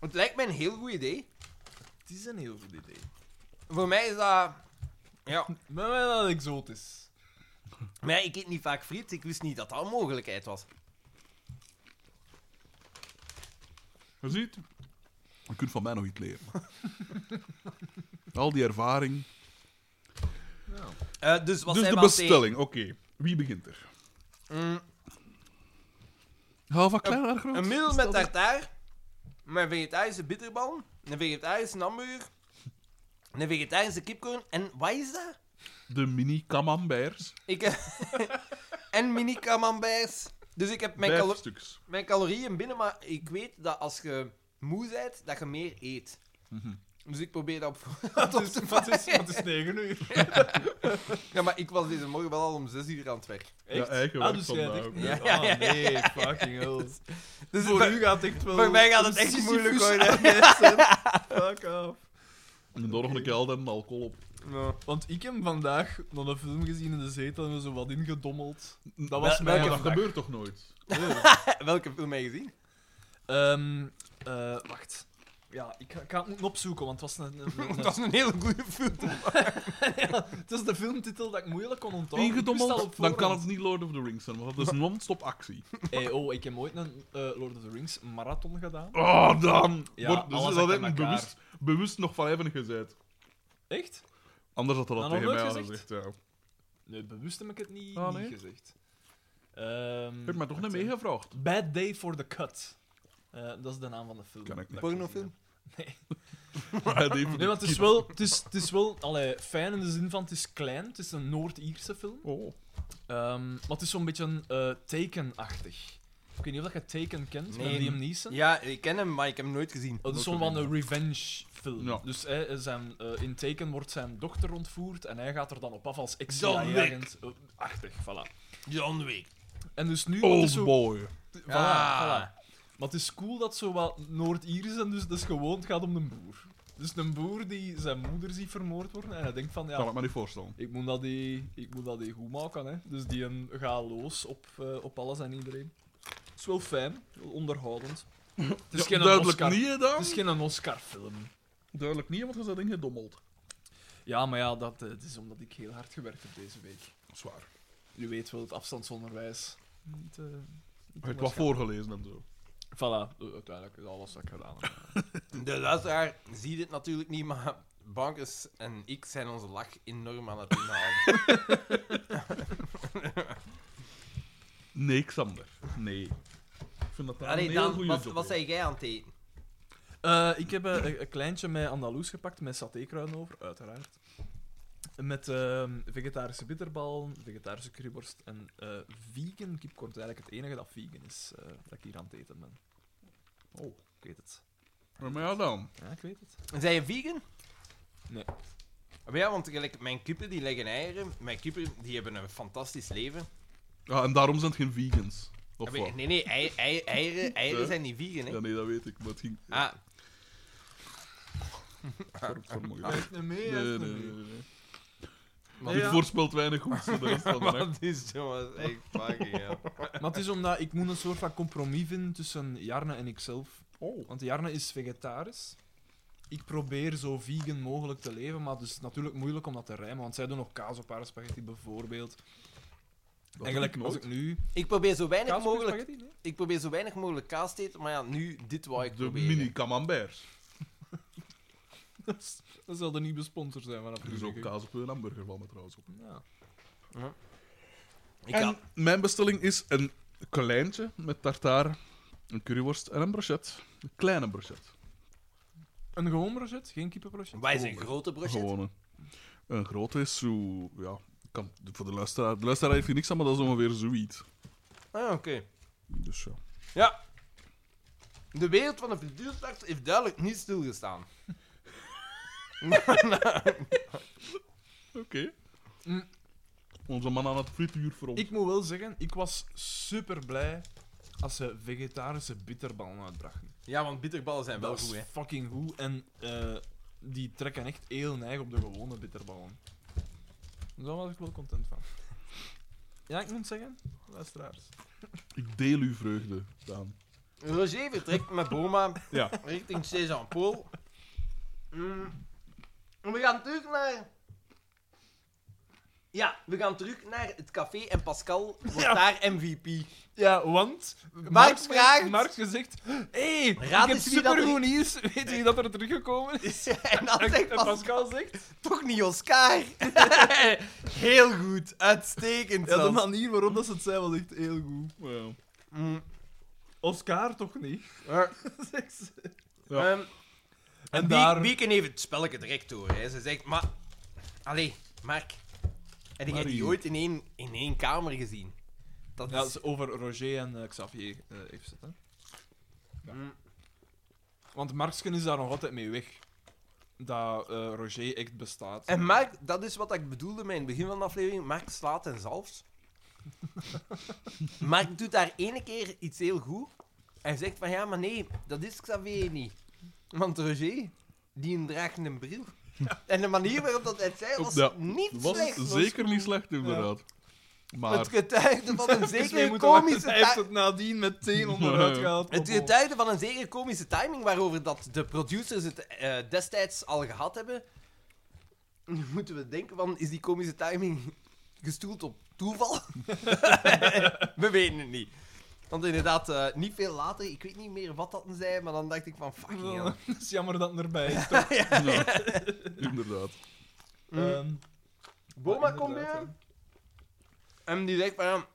Speaker 4: Het lijkt mij een heel goed idee.
Speaker 3: Het is een heel goed idee.
Speaker 4: Voor mij is dat... Ja,
Speaker 3: Maar wel wel exotisch.
Speaker 4: maar ja, ik eet niet vaak friet. Ik wist niet dat dat een mogelijkheid was.
Speaker 2: Je ziet, je kunt van mij nog iets leren. Al die ervaring.
Speaker 4: Eh, dus wat
Speaker 2: dus de
Speaker 4: zijn we aan het eten?
Speaker 2: bestelling, oké. Wie begint er?
Speaker 4: Mm,
Speaker 2: Hou van klein naar groot.
Speaker 4: een middel
Speaker 2: Stel
Speaker 4: met
Speaker 2: dat-
Speaker 4: tartaar, met vegetarische bitterballen, een vegetarische hamburger, een vegetarische kipcorn en wat is dat?
Speaker 2: De mini camemberts.
Speaker 4: Ik heb... en mini camemberts. Dus ik heb mijn,
Speaker 2: Vijf
Speaker 4: calo-
Speaker 2: stuks.
Speaker 4: mijn calorieën binnen, maar ik weet dat als je moe bent, dat je meer eet.
Speaker 2: Mhm.
Speaker 4: Dus ik probeer dat op
Speaker 3: Wat is, wat is, wat is 9 uur?
Speaker 4: Ja, maar ik was deze morgen wel al om 6 uur aan het werk.
Speaker 2: Ja,
Speaker 3: Echt?
Speaker 2: eigen
Speaker 3: ah, dus
Speaker 2: werk
Speaker 3: jij
Speaker 2: vandaag
Speaker 3: hebt echt...
Speaker 2: ook,
Speaker 3: Ja,
Speaker 4: hè. Ja, ja, ja,
Speaker 3: nee, fucking hell.
Speaker 4: Dus
Speaker 3: voor
Speaker 4: voor,
Speaker 3: u gaat het echt wel...
Speaker 4: voor mij gaat het
Speaker 3: een
Speaker 4: echt
Speaker 3: Sisyphus
Speaker 4: moeilijk worden.
Speaker 3: aanwezig zijn. Fuck off.
Speaker 2: En dan nog een keer al dat alcohol op.
Speaker 3: Want ik heb vandaag nog een film gezien in de zetel en we zo wat ingedommeld. Dat was
Speaker 4: Wel-
Speaker 3: mijn
Speaker 4: welke
Speaker 2: dat
Speaker 3: dag.
Speaker 2: gebeurt toch nooit?
Speaker 4: Welke film heb je gezien?
Speaker 3: Ehm, eh, wacht. Ja, ik ga, ik ga het moeten opzoeken, want het was een... een- een-
Speaker 4: Dat is een hele goede film.
Speaker 3: ja, het is de filmtitel dat ik moeilijk kon onthouden. Ik wist al op
Speaker 2: Ingedommeld, dan kan
Speaker 3: voorhand.
Speaker 2: het niet Lord of the Rings zijn, want dat is non-stop actie.
Speaker 3: Hey, oh, ik heb ooit een eh, Lord of the Rings marathon gedaan.
Speaker 2: Oh, dan!
Speaker 3: Ja,
Speaker 2: Wordt- dus
Speaker 3: alles
Speaker 2: dat
Speaker 3: achter
Speaker 2: heb ik
Speaker 3: elkaar.
Speaker 2: bewust, bewust nog van even gezet.
Speaker 3: Echt?
Speaker 2: Anders had hij dat
Speaker 3: Dat nog
Speaker 2: tegen mij al
Speaker 3: nooit Mm,
Speaker 2: gezegd. Ja.
Speaker 3: Nee, bewust heb ik het niet,
Speaker 2: Ah, nee?
Speaker 3: niet gezegd. Ehm,
Speaker 2: Heb je mij toch niet
Speaker 3: wacht,
Speaker 2: meegevraagd?
Speaker 3: hè. Bad Day for the Cut. Eh, dat is de naam van de film.
Speaker 2: Kan ik niet.
Speaker 3: Dat
Speaker 4: Pornofilm?
Speaker 3: gezien heb.
Speaker 2: Hij deed voor
Speaker 3: Nee,
Speaker 2: de
Speaker 3: want het is
Speaker 2: kiezer.
Speaker 3: wel, het is, het is wel allee, fijn in de zin van het is klein. Het is een Noord-Ierse film.
Speaker 2: Oh.
Speaker 3: Ehm, maar het is zo'n beetje eh Taken-achtig. Ik weet niet of dat je Taken kent,
Speaker 4: Nee.
Speaker 3: met Liam Neeson.
Speaker 4: Ja, ik ken hem, maar ik heb hem nooit gezien.
Speaker 3: Het is zo'n van een revenge film.
Speaker 2: Ja.
Speaker 3: Dus hij, zijn, eh, in Taken wordt zijn dochter ontvoerd en hij gaat er dan op af als ex
Speaker 4: John Wick.
Speaker 3: agent Achtig, voilà.
Speaker 4: John Wick.
Speaker 3: En dus nu... het is
Speaker 2: Old
Speaker 3: zo-
Speaker 2: Oh, boy.
Speaker 3: Voilà,
Speaker 4: Ah.
Speaker 3: voilà. Maar het is cool dat zo wat Noord-Iers en dus, dus gewoon het gaat om een boer. Dus een boer die zijn moeder ziet vermoord worden en hij denkt van,
Speaker 2: Kan
Speaker 3: ja,
Speaker 2: ik me niet voorstellen.
Speaker 3: ik moet dat die, ik moet dat die goed maken, hè. Dus die hem gaat los op, eh, op alles en iedereen. Het is wel fijn, wel onderhoudend. Het is
Speaker 2: Ja,
Speaker 3: geen
Speaker 2: duidelijk
Speaker 3: Oscar.
Speaker 2: niet, hè, dan?
Speaker 3: Het is geen Oscar-film.
Speaker 2: Duidelijk niet, want je is dat ding gedommeld.
Speaker 3: Ja, maar ja, dat, eh, het is omdat ik heel hard gewerkt heb deze week.
Speaker 2: Zwaar.
Speaker 3: U weet wel, het afstandsonderwijs. Niet, eh,
Speaker 2: Je
Speaker 3: niet
Speaker 2: hebt wat voorgelezen en zo.
Speaker 3: Voilà, eh, uiteindelijk is alles wat ik gedaan heb.
Speaker 4: De luisteraar ziet dit natuurlijk niet, maar Bankers en ik zijn onze lach enorm aan het inhalen.
Speaker 2: Nee, Xander. Nee. Ik vind dat daar
Speaker 4: Allee,
Speaker 2: een heel
Speaker 4: dan,
Speaker 2: goede
Speaker 4: wat,
Speaker 2: job
Speaker 4: wat
Speaker 2: is.
Speaker 4: zei jij aan het eten?
Speaker 3: Eh, ik heb eh, een, een kleintje met Andaloes gepakt, met satékruiden over, uiteraard. Met eh, vegetarische bitterballen, vegetarische curryworst en eh, vegan kipkorn. Het is Eigenlijk het enige dat vegan is, eh, dat ik hier aan het eten ben.
Speaker 2: Oh.
Speaker 3: Ik weet het.
Speaker 2: Ja, Maar ja, dan.
Speaker 3: Ja, ik weet het.
Speaker 4: Zijn je vegan?
Speaker 3: Nee.
Speaker 4: Maar ja, want gelijk, mijn kippen die leggen eieren. Mijn kippen die hebben een fantastisch leven.
Speaker 2: Ja, en daarom zijn het geen vegans. Of
Speaker 4: Maar
Speaker 2: wat?
Speaker 4: Nee, nee, ei- ei- eieren, eieren
Speaker 2: Ja.
Speaker 4: zijn niet vegan, hè?
Speaker 2: Ja, nee, dat weet ik. Maar het ging...
Speaker 4: Ah,
Speaker 2: voor- voor mogelijk.
Speaker 3: niet mee,
Speaker 2: Nee, nee, nee. nee, nee.
Speaker 4: maar
Speaker 2: Dit voorspelt weinig goed voor de rest van de nacht.
Speaker 4: Wat is jongens echt fucking hell.
Speaker 3: Maar het is omdat ik moet een soort van compromis vinden tussen Jarne en ikzelf.
Speaker 2: Oh.
Speaker 3: Want Jarne is vegetarisch. Ik probeer zo vegan mogelijk te leven, maar het is natuurlijk moeilijk om dat te rijmen. Want zij doen nog kaas op haar spaghetti bijvoorbeeld.
Speaker 2: Dat
Speaker 3: Eigenlijk
Speaker 2: doe ik
Speaker 3: als
Speaker 2: nooit.
Speaker 3: ik nu...
Speaker 4: Ik probeer zo weinig
Speaker 3: Kaas op je
Speaker 4: mogelijk,
Speaker 3: spaghetti? Nee?
Speaker 4: ik probeer zo weinig mogelijk kaas te eten, maar ja, nu dit wou ik
Speaker 2: De
Speaker 4: proberen.
Speaker 2: mini camembert.
Speaker 3: Dat is- Dat zal de nieuwe sponsor zijn vanaf
Speaker 2: Er
Speaker 4: Dus
Speaker 3: nu.
Speaker 2: is
Speaker 3: denk
Speaker 2: ook
Speaker 3: ik.
Speaker 2: kaas op een hamburger van me trouwens op.
Speaker 3: Ja.
Speaker 4: Ik
Speaker 2: en
Speaker 4: had-
Speaker 2: mijn bestelling is een kleintje met tartaar, een curryworst en een brochet. Een kleine brochet.
Speaker 3: Een gewoon brochet, geen kippenbrochet.
Speaker 4: Wij
Speaker 2: Oh,
Speaker 4: zijn grote brochet.
Speaker 2: Gewone. Een grote is zo... Ja, ik kan, voor de luisteraar... De luisteraar heeft hier niks aan, maar dat is ongeveer zoiets.
Speaker 4: Ah, oké.
Speaker 2: Dus ja.
Speaker 4: Ja. De wereld van de figuurstart heeft duidelijk niet stilgestaan.
Speaker 2: Oké.
Speaker 3: Mm.
Speaker 2: Onze man aan het frituurfront.
Speaker 3: Ik moet wel zeggen, ik was super blij als ze vegetarische bitterballen uitbrachten.
Speaker 4: Ja, want bitterballen zijn wel
Speaker 3: dat
Speaker 4: goed,
Speaker 3: is
Speaker 4: hè.
Speaker 3: fucking goed. En eh, die trekken echt heel neig op de gewone bitterballen. Daar was ik wel content van. Ja, ik moet zeggen, luisteraars.
Speaker 2: Ik deel uw vreugde, Daan.
Speaker 4: Roger vertrekt met Boma
Speaker 2: Ja.
Speaker 4: richting Cézanne-Paul. Mm. En We gaan terug naar... Ja, we gaan terug naar het café en Pascal wordt daar MVP.
Speaker 3: Ja, want...
Speaker 4: Marx
Speaker 3: Marx
Speaker 4: vraagt-
Speaker 3: Marx gezegd... Hé, hey,
Speaker 4: Raad
Speaker 3: ik heb
Speaker 4: eens wie dat er-
Speaker 3: supergoed nieuws. Weet je wie dat er teruggekomen is?
Speaker 4: en dan zegt
Speaker 3: En
Speaker 4: Pascal,
Speaker 3: Pascal zegt...
Speaker 4: toch niet Oscar. Heel goed, uitstekend
Speaker 3: Ja, de
Speaker 4: zelfs.
Speaker 3: manier waarop dat ze het zei was echt heel goed.
Speaker 2: Ja.
Speaker 4: Mm.
Speaker 3: Oscar toch niet?
Speaker 4: Ja.
Speaker 3: Zegt ze.
Speaker 2: Ja.
Speaker 4: Ehm, en Bie-
Speaker 3: daar-
Speaker 4: Bieken heeft het spelletje direct door. Hè. Ze zegt, maar... Allee, Mark. Heb jij die
Speaker 2: Marie.
Speaker 4: ooit in één, in één kamer gezien? Dat
Speaker 3: Ja,
Speaker 4: is...
Speaker 3: dat is over Roger en eh, Xavier eh, heeft het, hè.
Speaker 4: Mm.
Speaker 3: Want Marksken is daar nog altijd mee weg. Dat eh, Roger echt bestaat.
Speaker 4: En Mark, dat is wat ik bedoelde met in het begin van de aflevering. Mark slaat en zalfs. Mark doet daar ene keer iets heel goed. En zegt van, ja, maar nee, dat is Xavier niet. Want Roger, die draagt een bril. En de manier waarop dat hij het zei, was
Speaker 2: Ja.
Speaker 4: niet
Speaker 2: Was
Speaker 4: slecht. was
Speaker 2: zeker niet slecht, inderdaad. Maar...
Speaker 4: Het getuigde van een
Speaker 3: Even
Speaker 4: zekere
Speaker 3: moeten wachten.
Speaker 4: komische
Speaker 3: Hij heeft
Speaker 4: ti-
Speaker 3: het nadien meteen onderuit
Speaker 2: Ja.
Speaker 3: gehaald.
Speaker 4: Het
Speaker 3: Hoppel.
Speaker 4: getuigde van een zekere komische timing waarover dat de producers het eh, destijds al gehad hebben. Nu moeten we denken van, is die komische timing gestoeld op toeval? we weten het niet. Want inderdaad, eh, niet veel later, ik weet niet meer wat dat zei, maar dan dacht ik van, fucking hell.
Speaker 3: Het is jammer dat het erbij is.
Speaker 2: Ja. Inderdaad.
Speaker 3: Ehm,
Speaker 4: Boma
Speaker 3: Ja,
Speaker 4: komt
Speaker 3: inderdaad,
Speaker 4: binnen. En die zegt van... ja,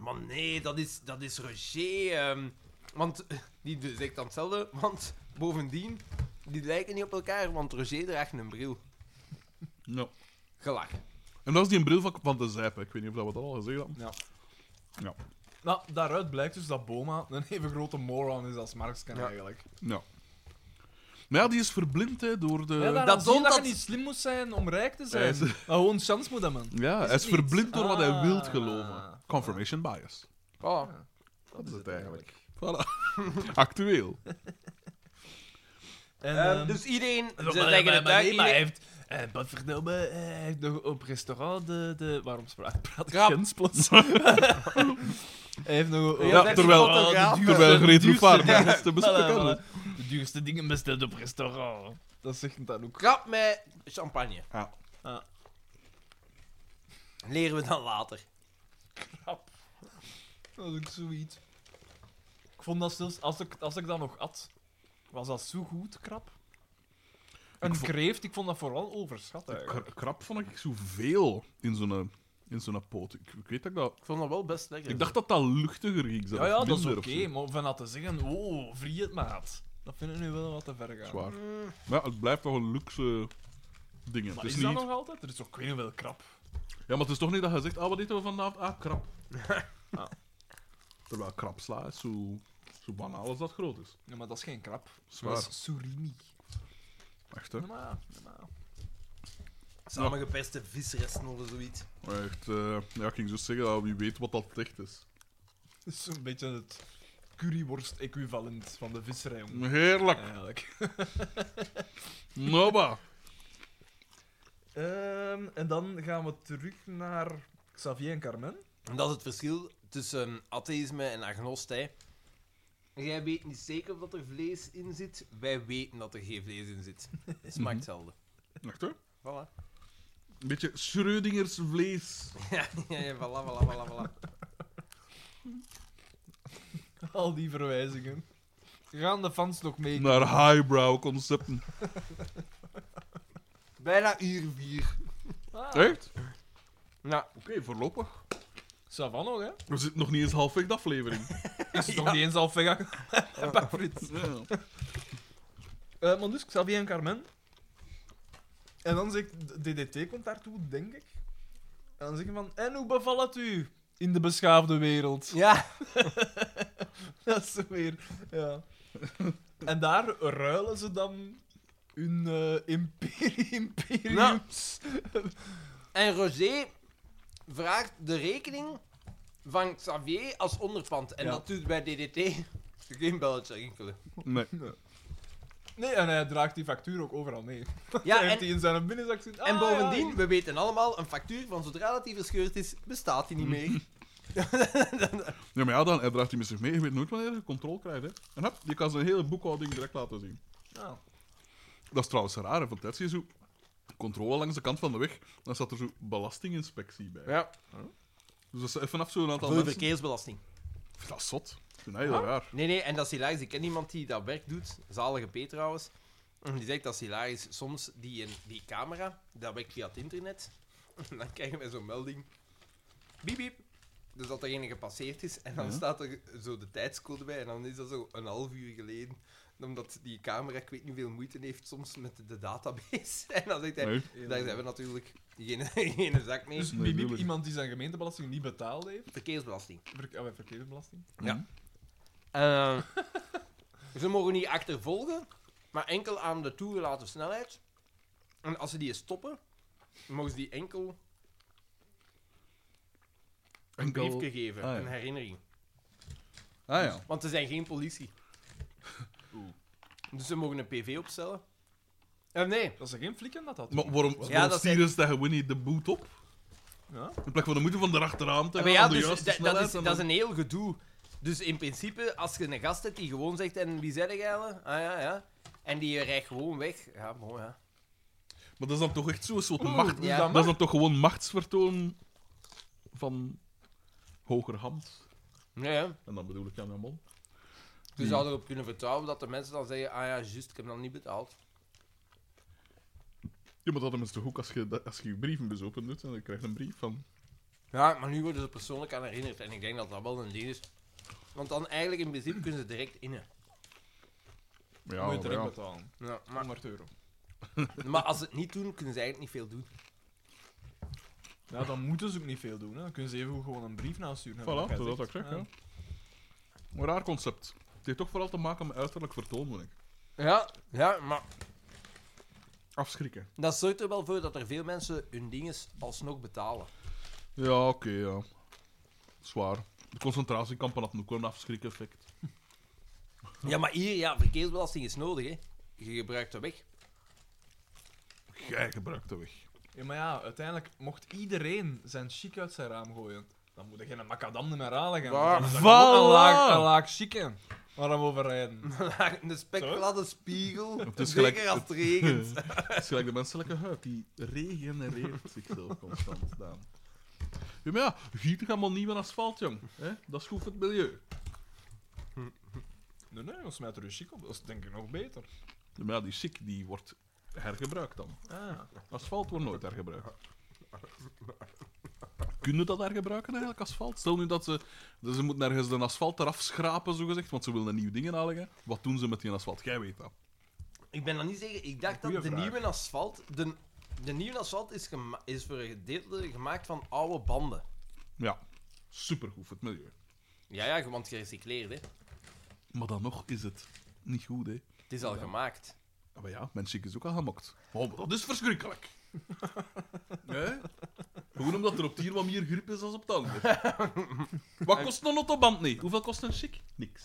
Speaker 4: Maar nee, dat is, dat is Roger. ehm." want die zegt dan hetzelfde. Want bovendien, die lijken niet op elkaar. Want Roger draagt een bril.
Speaker 2: Ja.
Speaker 4: Gelachen.
Speaker 2: En dat is die een bril van, van de zijp. hè. Ik weet niet of dat we dat al gezegd hadden.
Speaker 3: nou, daaruit blijkt dus dat Boma een even grote moron is als Marksken
Speaker 4: Ja.
Speaker 3: eigenlijk.
Speaker 2: Ja. Maar ja, die is verblind hè, door de...
Speaker 3: Ja, Eh, dat
Speaker 4: dat
Speaker 3: dat,
Speaker 4: Don
Speaker 3: dat je
Speaker 4: dat-
Speaker 3: niet slim moet zijn om rijk te
Speaker 2: Hij
Speaker 3: zijn.
Speaker 2: is-
Speaker 3: Maar gewoon chance moet hebben.
Speaker 2: Ja, hij
Speaker 3: het
Speaker 2: is
Speaker 3: niet?
Speaker 2: verblind door wat hij
Speaker 3: Ah.
Speaker 2: wilt geloven. Confirmation bias.
Speaker 4: Oh.
Speaker 2: Dat is het eigenlijk. Voilà. Actueel.
Speaker 3: En,
Speaker 4: Ehm,
Speaker 3: ehm,
Speaker 4: dus iedereen... Ze
Speaker 3: Maar,
Speaker 4: leggen
Speaker 3: maar-
Speaker 4: het
Speaker 3: maar
Speaker 4: uit,
Speaker 3: nee, maar hij
Speaker 4: iedereen-
Speaker 3: heeft... Eh, wat verdomme, eh, hij heeft nog op restaurant de... de waarom spraak, praat ik
Speaker 4: Krap.
Speaker 3: Gens plots? hij heeft nog...
Speaker 4: Ja,
Speaker 3: op-
Speaker 2: Ja,
Speaker 4: dat is
Speaker 2: terwijl,
Speaker 4: een fotograaf.
Speaker 2: de terwijl Greet
Speaker 3: duurste-
Speaker 2: Roepaard
Speaker 3: ja,
Speaker 2: nergens te
Speaker 3: voilà,
Speaker 2: bespikken
Speaker 3: voilà. De duurste dingen besteld op restaurant. Dat zegt hem dan ook.
Speaker 4: Krap met champagne.
Speaker 2: Ja.
Speaker 3: Ah.
Speaker 4: Leren we dan later.
Speaker 3: Dat is ook zoiets. Ik vond dat zelfs... Als ik, als ik dat nog at, was dat zo goed, krap. Een
Speaker 2: vond-
Speaker 3: kreeft, ik vond dat vooral overschat eigenlijk.
Speaker 2: Kra- Krap vond ik zoveel in zo'n, eh, in zo'n poot. Ik, ik weet dat ik dat...
Speaker 4: Ik vond dat wel best lekker.
Speaker 2: Ik dacht dat dat luchtiger ging zelfs.
Speaker 3: Ja, ja, dat is oké,
Speaker 2: minder of zo.
Speaker 3: maar van dat te zeggen, oh, vrie het maat. Dat vind ik nu wel wat te ver gaan.
Speaker 2: Zwaar. Maar ja, het blijft toch een luxe eh, ding. hè.
Speaker 3: Maar
Speaker 2: Het is
Speaker 3: is dat
Speaker 2: Dus niet-
Speaker 3: nog altijd? Er is ook heel veel krap.
Speaker 2: Ja, maar het is toch niet dat je zegt, ah, wat eten we vanavond? Ah, krap. Ah. Terwijl krap sla is zo, zo banaal als dat groot is.
Speaker 3: Ja, maar dat is geen krap.
Speaker 2: Zwaar.
Speaker 3: Dat is surimi.
Speaker 2: Echt, hè?
Speaker 3: Ja, maar, ja, maar.
Speaker 4: Samengeperste visresten of zoiets.
Speaker 2: Echt, eh, ja, ik ging zo zeggen, ah, wie weet wat dat echt is.
Speaker 3: Dat is een beetje het curryworst-equivalent van de visserij. om-
Speaker 2: Heerlijk.
Speaker 3: Eigenlijk.
Speaker 2: Noba.
Speaker 3: Ehm, en dan gaan we terug naar Xavier en Carmen.
Speaker 4: En dat is het verschil tussen atheïsme en agnost. Hè. Jij weet niet zeker of dat er vlees in zit. Wij weten dat er geen vlees in zit. Het smaakt hetzelfde.
Speaker 2: Echt, hè?
Speaker 4: Voilà.
Speaker 2: Een beetje Schrödingers vlees.
Speaker 4: Ja,
Speaker 2: Mhm.
Speaker 4: ja, ja, voilà, voilà, voilà, voilà.
Speaker 3: Al die verwijzingen. Gaan de fans nog mee?
Speaker 2: Naar highbrow concepten.
Speaker 3: Oh.
Speaker 4: Bijna uur vier.
Speaker 3: Ah,
Speaker 2: Echt?
Speaker 4: Nou,
Speaker 2: Oké, voorlopig.
Speaker 3: Savan nog, hè?
Speaker 2: We zitten nog niet eens halfweg de aflevering.
Speaker 3: Is het nog niet eens al vegan? Pak Frits.
Speaker 2: Ja.
Speaker 3: Eh, maar dus Xavier en Carmen. En dan zegt DDT komt daartoe, denk ik. En dan zeggen van, en hoe bevalt het u in de beschaafde wereld?
Speaker 4: ja.
Speaker 3: Dat is weer, ja. en daar ruilen ze dan hun
Speaker 4: Nou.
Speaker 3: eh, imperi- imperiums.
Speaker 4: En Roger vraagt de rekening van Xavier als onderpand. En
Speaker 3: Ja.
Speaker 4: dat doet bij DDT geen belletje rinkelen.
Speaker 2: Nee.
Speaker 3: Nee, en hij draagt die factuur ook overal mee.
Speaker 4: Ja,
Speaker 3: hij heeft
Speaker 4: en,
Speaker 3: die in zijn binnenzak zitten.
Speaker 4: en
Speaker 3: Ah,
Speaker 4: bovendien,
Speaker 3: ja.
Speaker 4: we weten allemaal, een factuur van zodra dat die verscheurd is, bestaat die niet meer.
Speaker 2: Ja, maar ja, dan, hij draagt die met zich mee. Je weet nooit wanneer je controle krijgt. Hè. En hop, je kan zijn hele boekhouding direct laten zien.
Speaker 3: Ja.
Speaker 2: Dat is trouwens raar, hè, want daar zie je zo controle langs de kant van de weg. Dan staat er zo belastinginspectie bij.
Speaker 4: Ja.
Speaker 2: Dus dat is vanaf zo'n aantal
Speaker 4: Voor de
Speaker 2: mensen... Ik
Speaker 4: verkeersbelasting.
Speaker 2: vind dat zot. Ik vind dat
Speaker 4: Ah.
Speaker 2: heel raar.
Speaker 4: Nee, nee, en dat is hilarisch. Ik ken iemand die dat werk doet, zalige P trouwens. En die zegt dat is hilarisch. Soms die, in- die camera, dat werkt via het internet. En dan krijgen wij zo'n melding. Biep, biep. Dus dat er ene gepasseerd is. En dan
Speaker 2: Ja.
Speaker 4: staat er zo de tijdscode bij. En dan is dat zo een half uur geleden. Omdat die camera, ik weet niet veel moeite heeft soms met de database. En dan zegt hij,
Speaker 2: Nee.
Speaker 4: daar zijn we natuurlijk geen, geen zak mee.
Speaker 3: Dus
Speaker 2: Nee,
Speaker 3: Biep, biep,
Speaker 2: tuurlijk.
Speaker 3: iemand die zijn gemeentebelasting niet betaald heeft.
Speaker 4: Verkeersbelasting.
Speaker 3: Ver oh, verkeersbelasting.
Speaker 4: Eh, ze mogen niet achtervolgen, maar enkel aan de toegelaten snelheid. En als ze die stoppen, mogen ze die enkel een
Speaker 2: Enkel-
Speaker 4: briefje geven,
Speaker 2: Ah, ja.
Speaker 4: een herinnering.
Speaker 2: Ah ja.
Speaker 4: Want ze zijn geen politie. Dus ze mogen een PV opstellen. Eh, nee,
Speaker 3: Dat is er geen flikken dat dat
Speaker 2: Maar waarom, waarom
Speaker 4: dat
Speaker 2: stieren ze tegen Winnie de boot op?
Speaker 3: Ja.
Speaker 2: In plaats van de moeite van erachteraan te
Speaker 4: Maar
Speaker 2: gaan,
Speaker 4: ja,
Speaker 2: de
Speaker 4: dus
Speaker 2: juiste
Speaker 4: da- dat,
Speaker 2: snelheid
Speaker 4: is,
Speaker 2: en
Speaker 4: dat is
Speaker 2: dan-
Speaker 4: een heel gedoe. Dus in principe, als je een gast hebt die gewoon zegt, en wie zei jij? Ah ja, ja. En die rijdt gewoon weg. Ja, mooi, ja.
Speaker 2: Maar dat is dan toch echt zo'n soort macht...
Speaker 4: ja.
Speaker 2: Dat is dan toch gewoon machtsvertoon van hoger hand?
Speaker 4: Ja, ja.
Speaker 2: En dan bedoel ik Jan Jamon.
Speaker 4: Je
Speaker 2: Hmm.
Speaker 4: zou erop kunnen vertrouwen dat de mensen dan zeggen: Ah ja, juist, ik heb dat niet betaald.
Speaker 2: Ja, maar dat is toch ook als je, dat- als je je brievenbus open doet en dan krijg je een brief van...
Speaker 4: Ja, maar nu worden ze persoonlijk aan herinnerd. En ik denk dat dat wel een ding is. Want dan eigenlijk in principe kunnen ze direct innen.
Speaker 2: Ja,
Speaker 3: moet je
Speaker 2: maar
Speaker 3: direct
Speaker 2: ja.
Speaker 3: betalen.
Speaker 4: Ja, maar,
Speaker 3: 100 euro.
Speaker 4: maar als ze het niet doen, kunnen ze eigenlijk niet veel doen.
Speaker 3: Ja, dan moeten ze ook niet veel doen. Hè. Dan kunnen ze even gewoon een brief nasturen.
Speaker 2: Voilà, dat is wat ik zeg, ja. Een raar concept. Het heeft toch vooral te maken met uiterlijk vertoon, moet ik.
Speaker 4: Ja, ja, maar
Speaker 2: Afschrikken.
Speaker 4: dat zorgt er wel voor dat er veel mensen hun dinges alsnog betalen.
Speaker 2: Ja, oké, ja. Zwaar. De concentratiekampen hadden ook wel een afschrik-effect.
Speaker 4: Ja, maar hier, ja, verkeersbelasting is nodig, hè? Je gebruikt dat weg.
Speaker 2: Jij gebruikt de weg.
Speaker 3: Ja, maar ja, uiteindelijk mocht iedereen zijn chic uit zijn raam gooien. Dan moet je geen macadam meer halen gaan.
Speaker 4: Waar-
Speaker 3: Dan is dat
Speaker 2: Voilà!
Speaker 3: gewoon Een laag, een laag chique. Waarom overrijden?
Speaker 4: een spekgladde spiegel.
Speaker 2: Het is
Speaker 4: zeker
Speaker 2: gelijk-
Speaker 4: als het regent.
Speaker 2: Het is gelijk de menselijke huid, die regenereert zichzelf constant, Daan. Ja, maar ja, giet toch allemaal nieuw in asfalt, jong. Hè? Dat is goed voor het milieu.
Speaker 3: Nee, nee, dan smijt er een chic op. Dat is denk ik nog beter.
Speaker 2: Ja, maar ja, die chic, die wordt hergebruikt dan.
Speaker 3: Ah.
Speaker 2: Asfalt wordt nooit hergebruikt. Kunnen dat hergebruiken eigenlijk, asfalt? Stel nu dat ze, dat ze moeten ergens de asfalt eraf schrapen, zogezegd, want ze willen nieuwe dingen aanleggen. Wat doen ze met die asfalt? Jij weet dat.
Speaker 4: Ik ben dat niet zeker. Ik dacht dat
Speaker 3: Goeie
Speaker 4: de
Speaker 3: vraag.
Speaker 4: nieuwe asfalt. De, de nieuwe asfalt is, gema- is voor een gedeelte gemaakt van oude banden.
Speaker 2: Ja, supergoed voor het milieu.
Speaker 4: Ja, ja, want gerecycleerd, hè.
Speaker 2: Maar dan nog is het niet goed, hè.
Speaker 4: Het is al gemaakt.
Speaker 2: Ah, Maar ja, mijn chic is ook al gemokt. Oh, maar dat is verschrikkelijk. Hè? Gewoon omdat er op het hier wat meer grip is dan op het andere. Wat kost een autoband niet? Hoeveel kost een chic? Niks.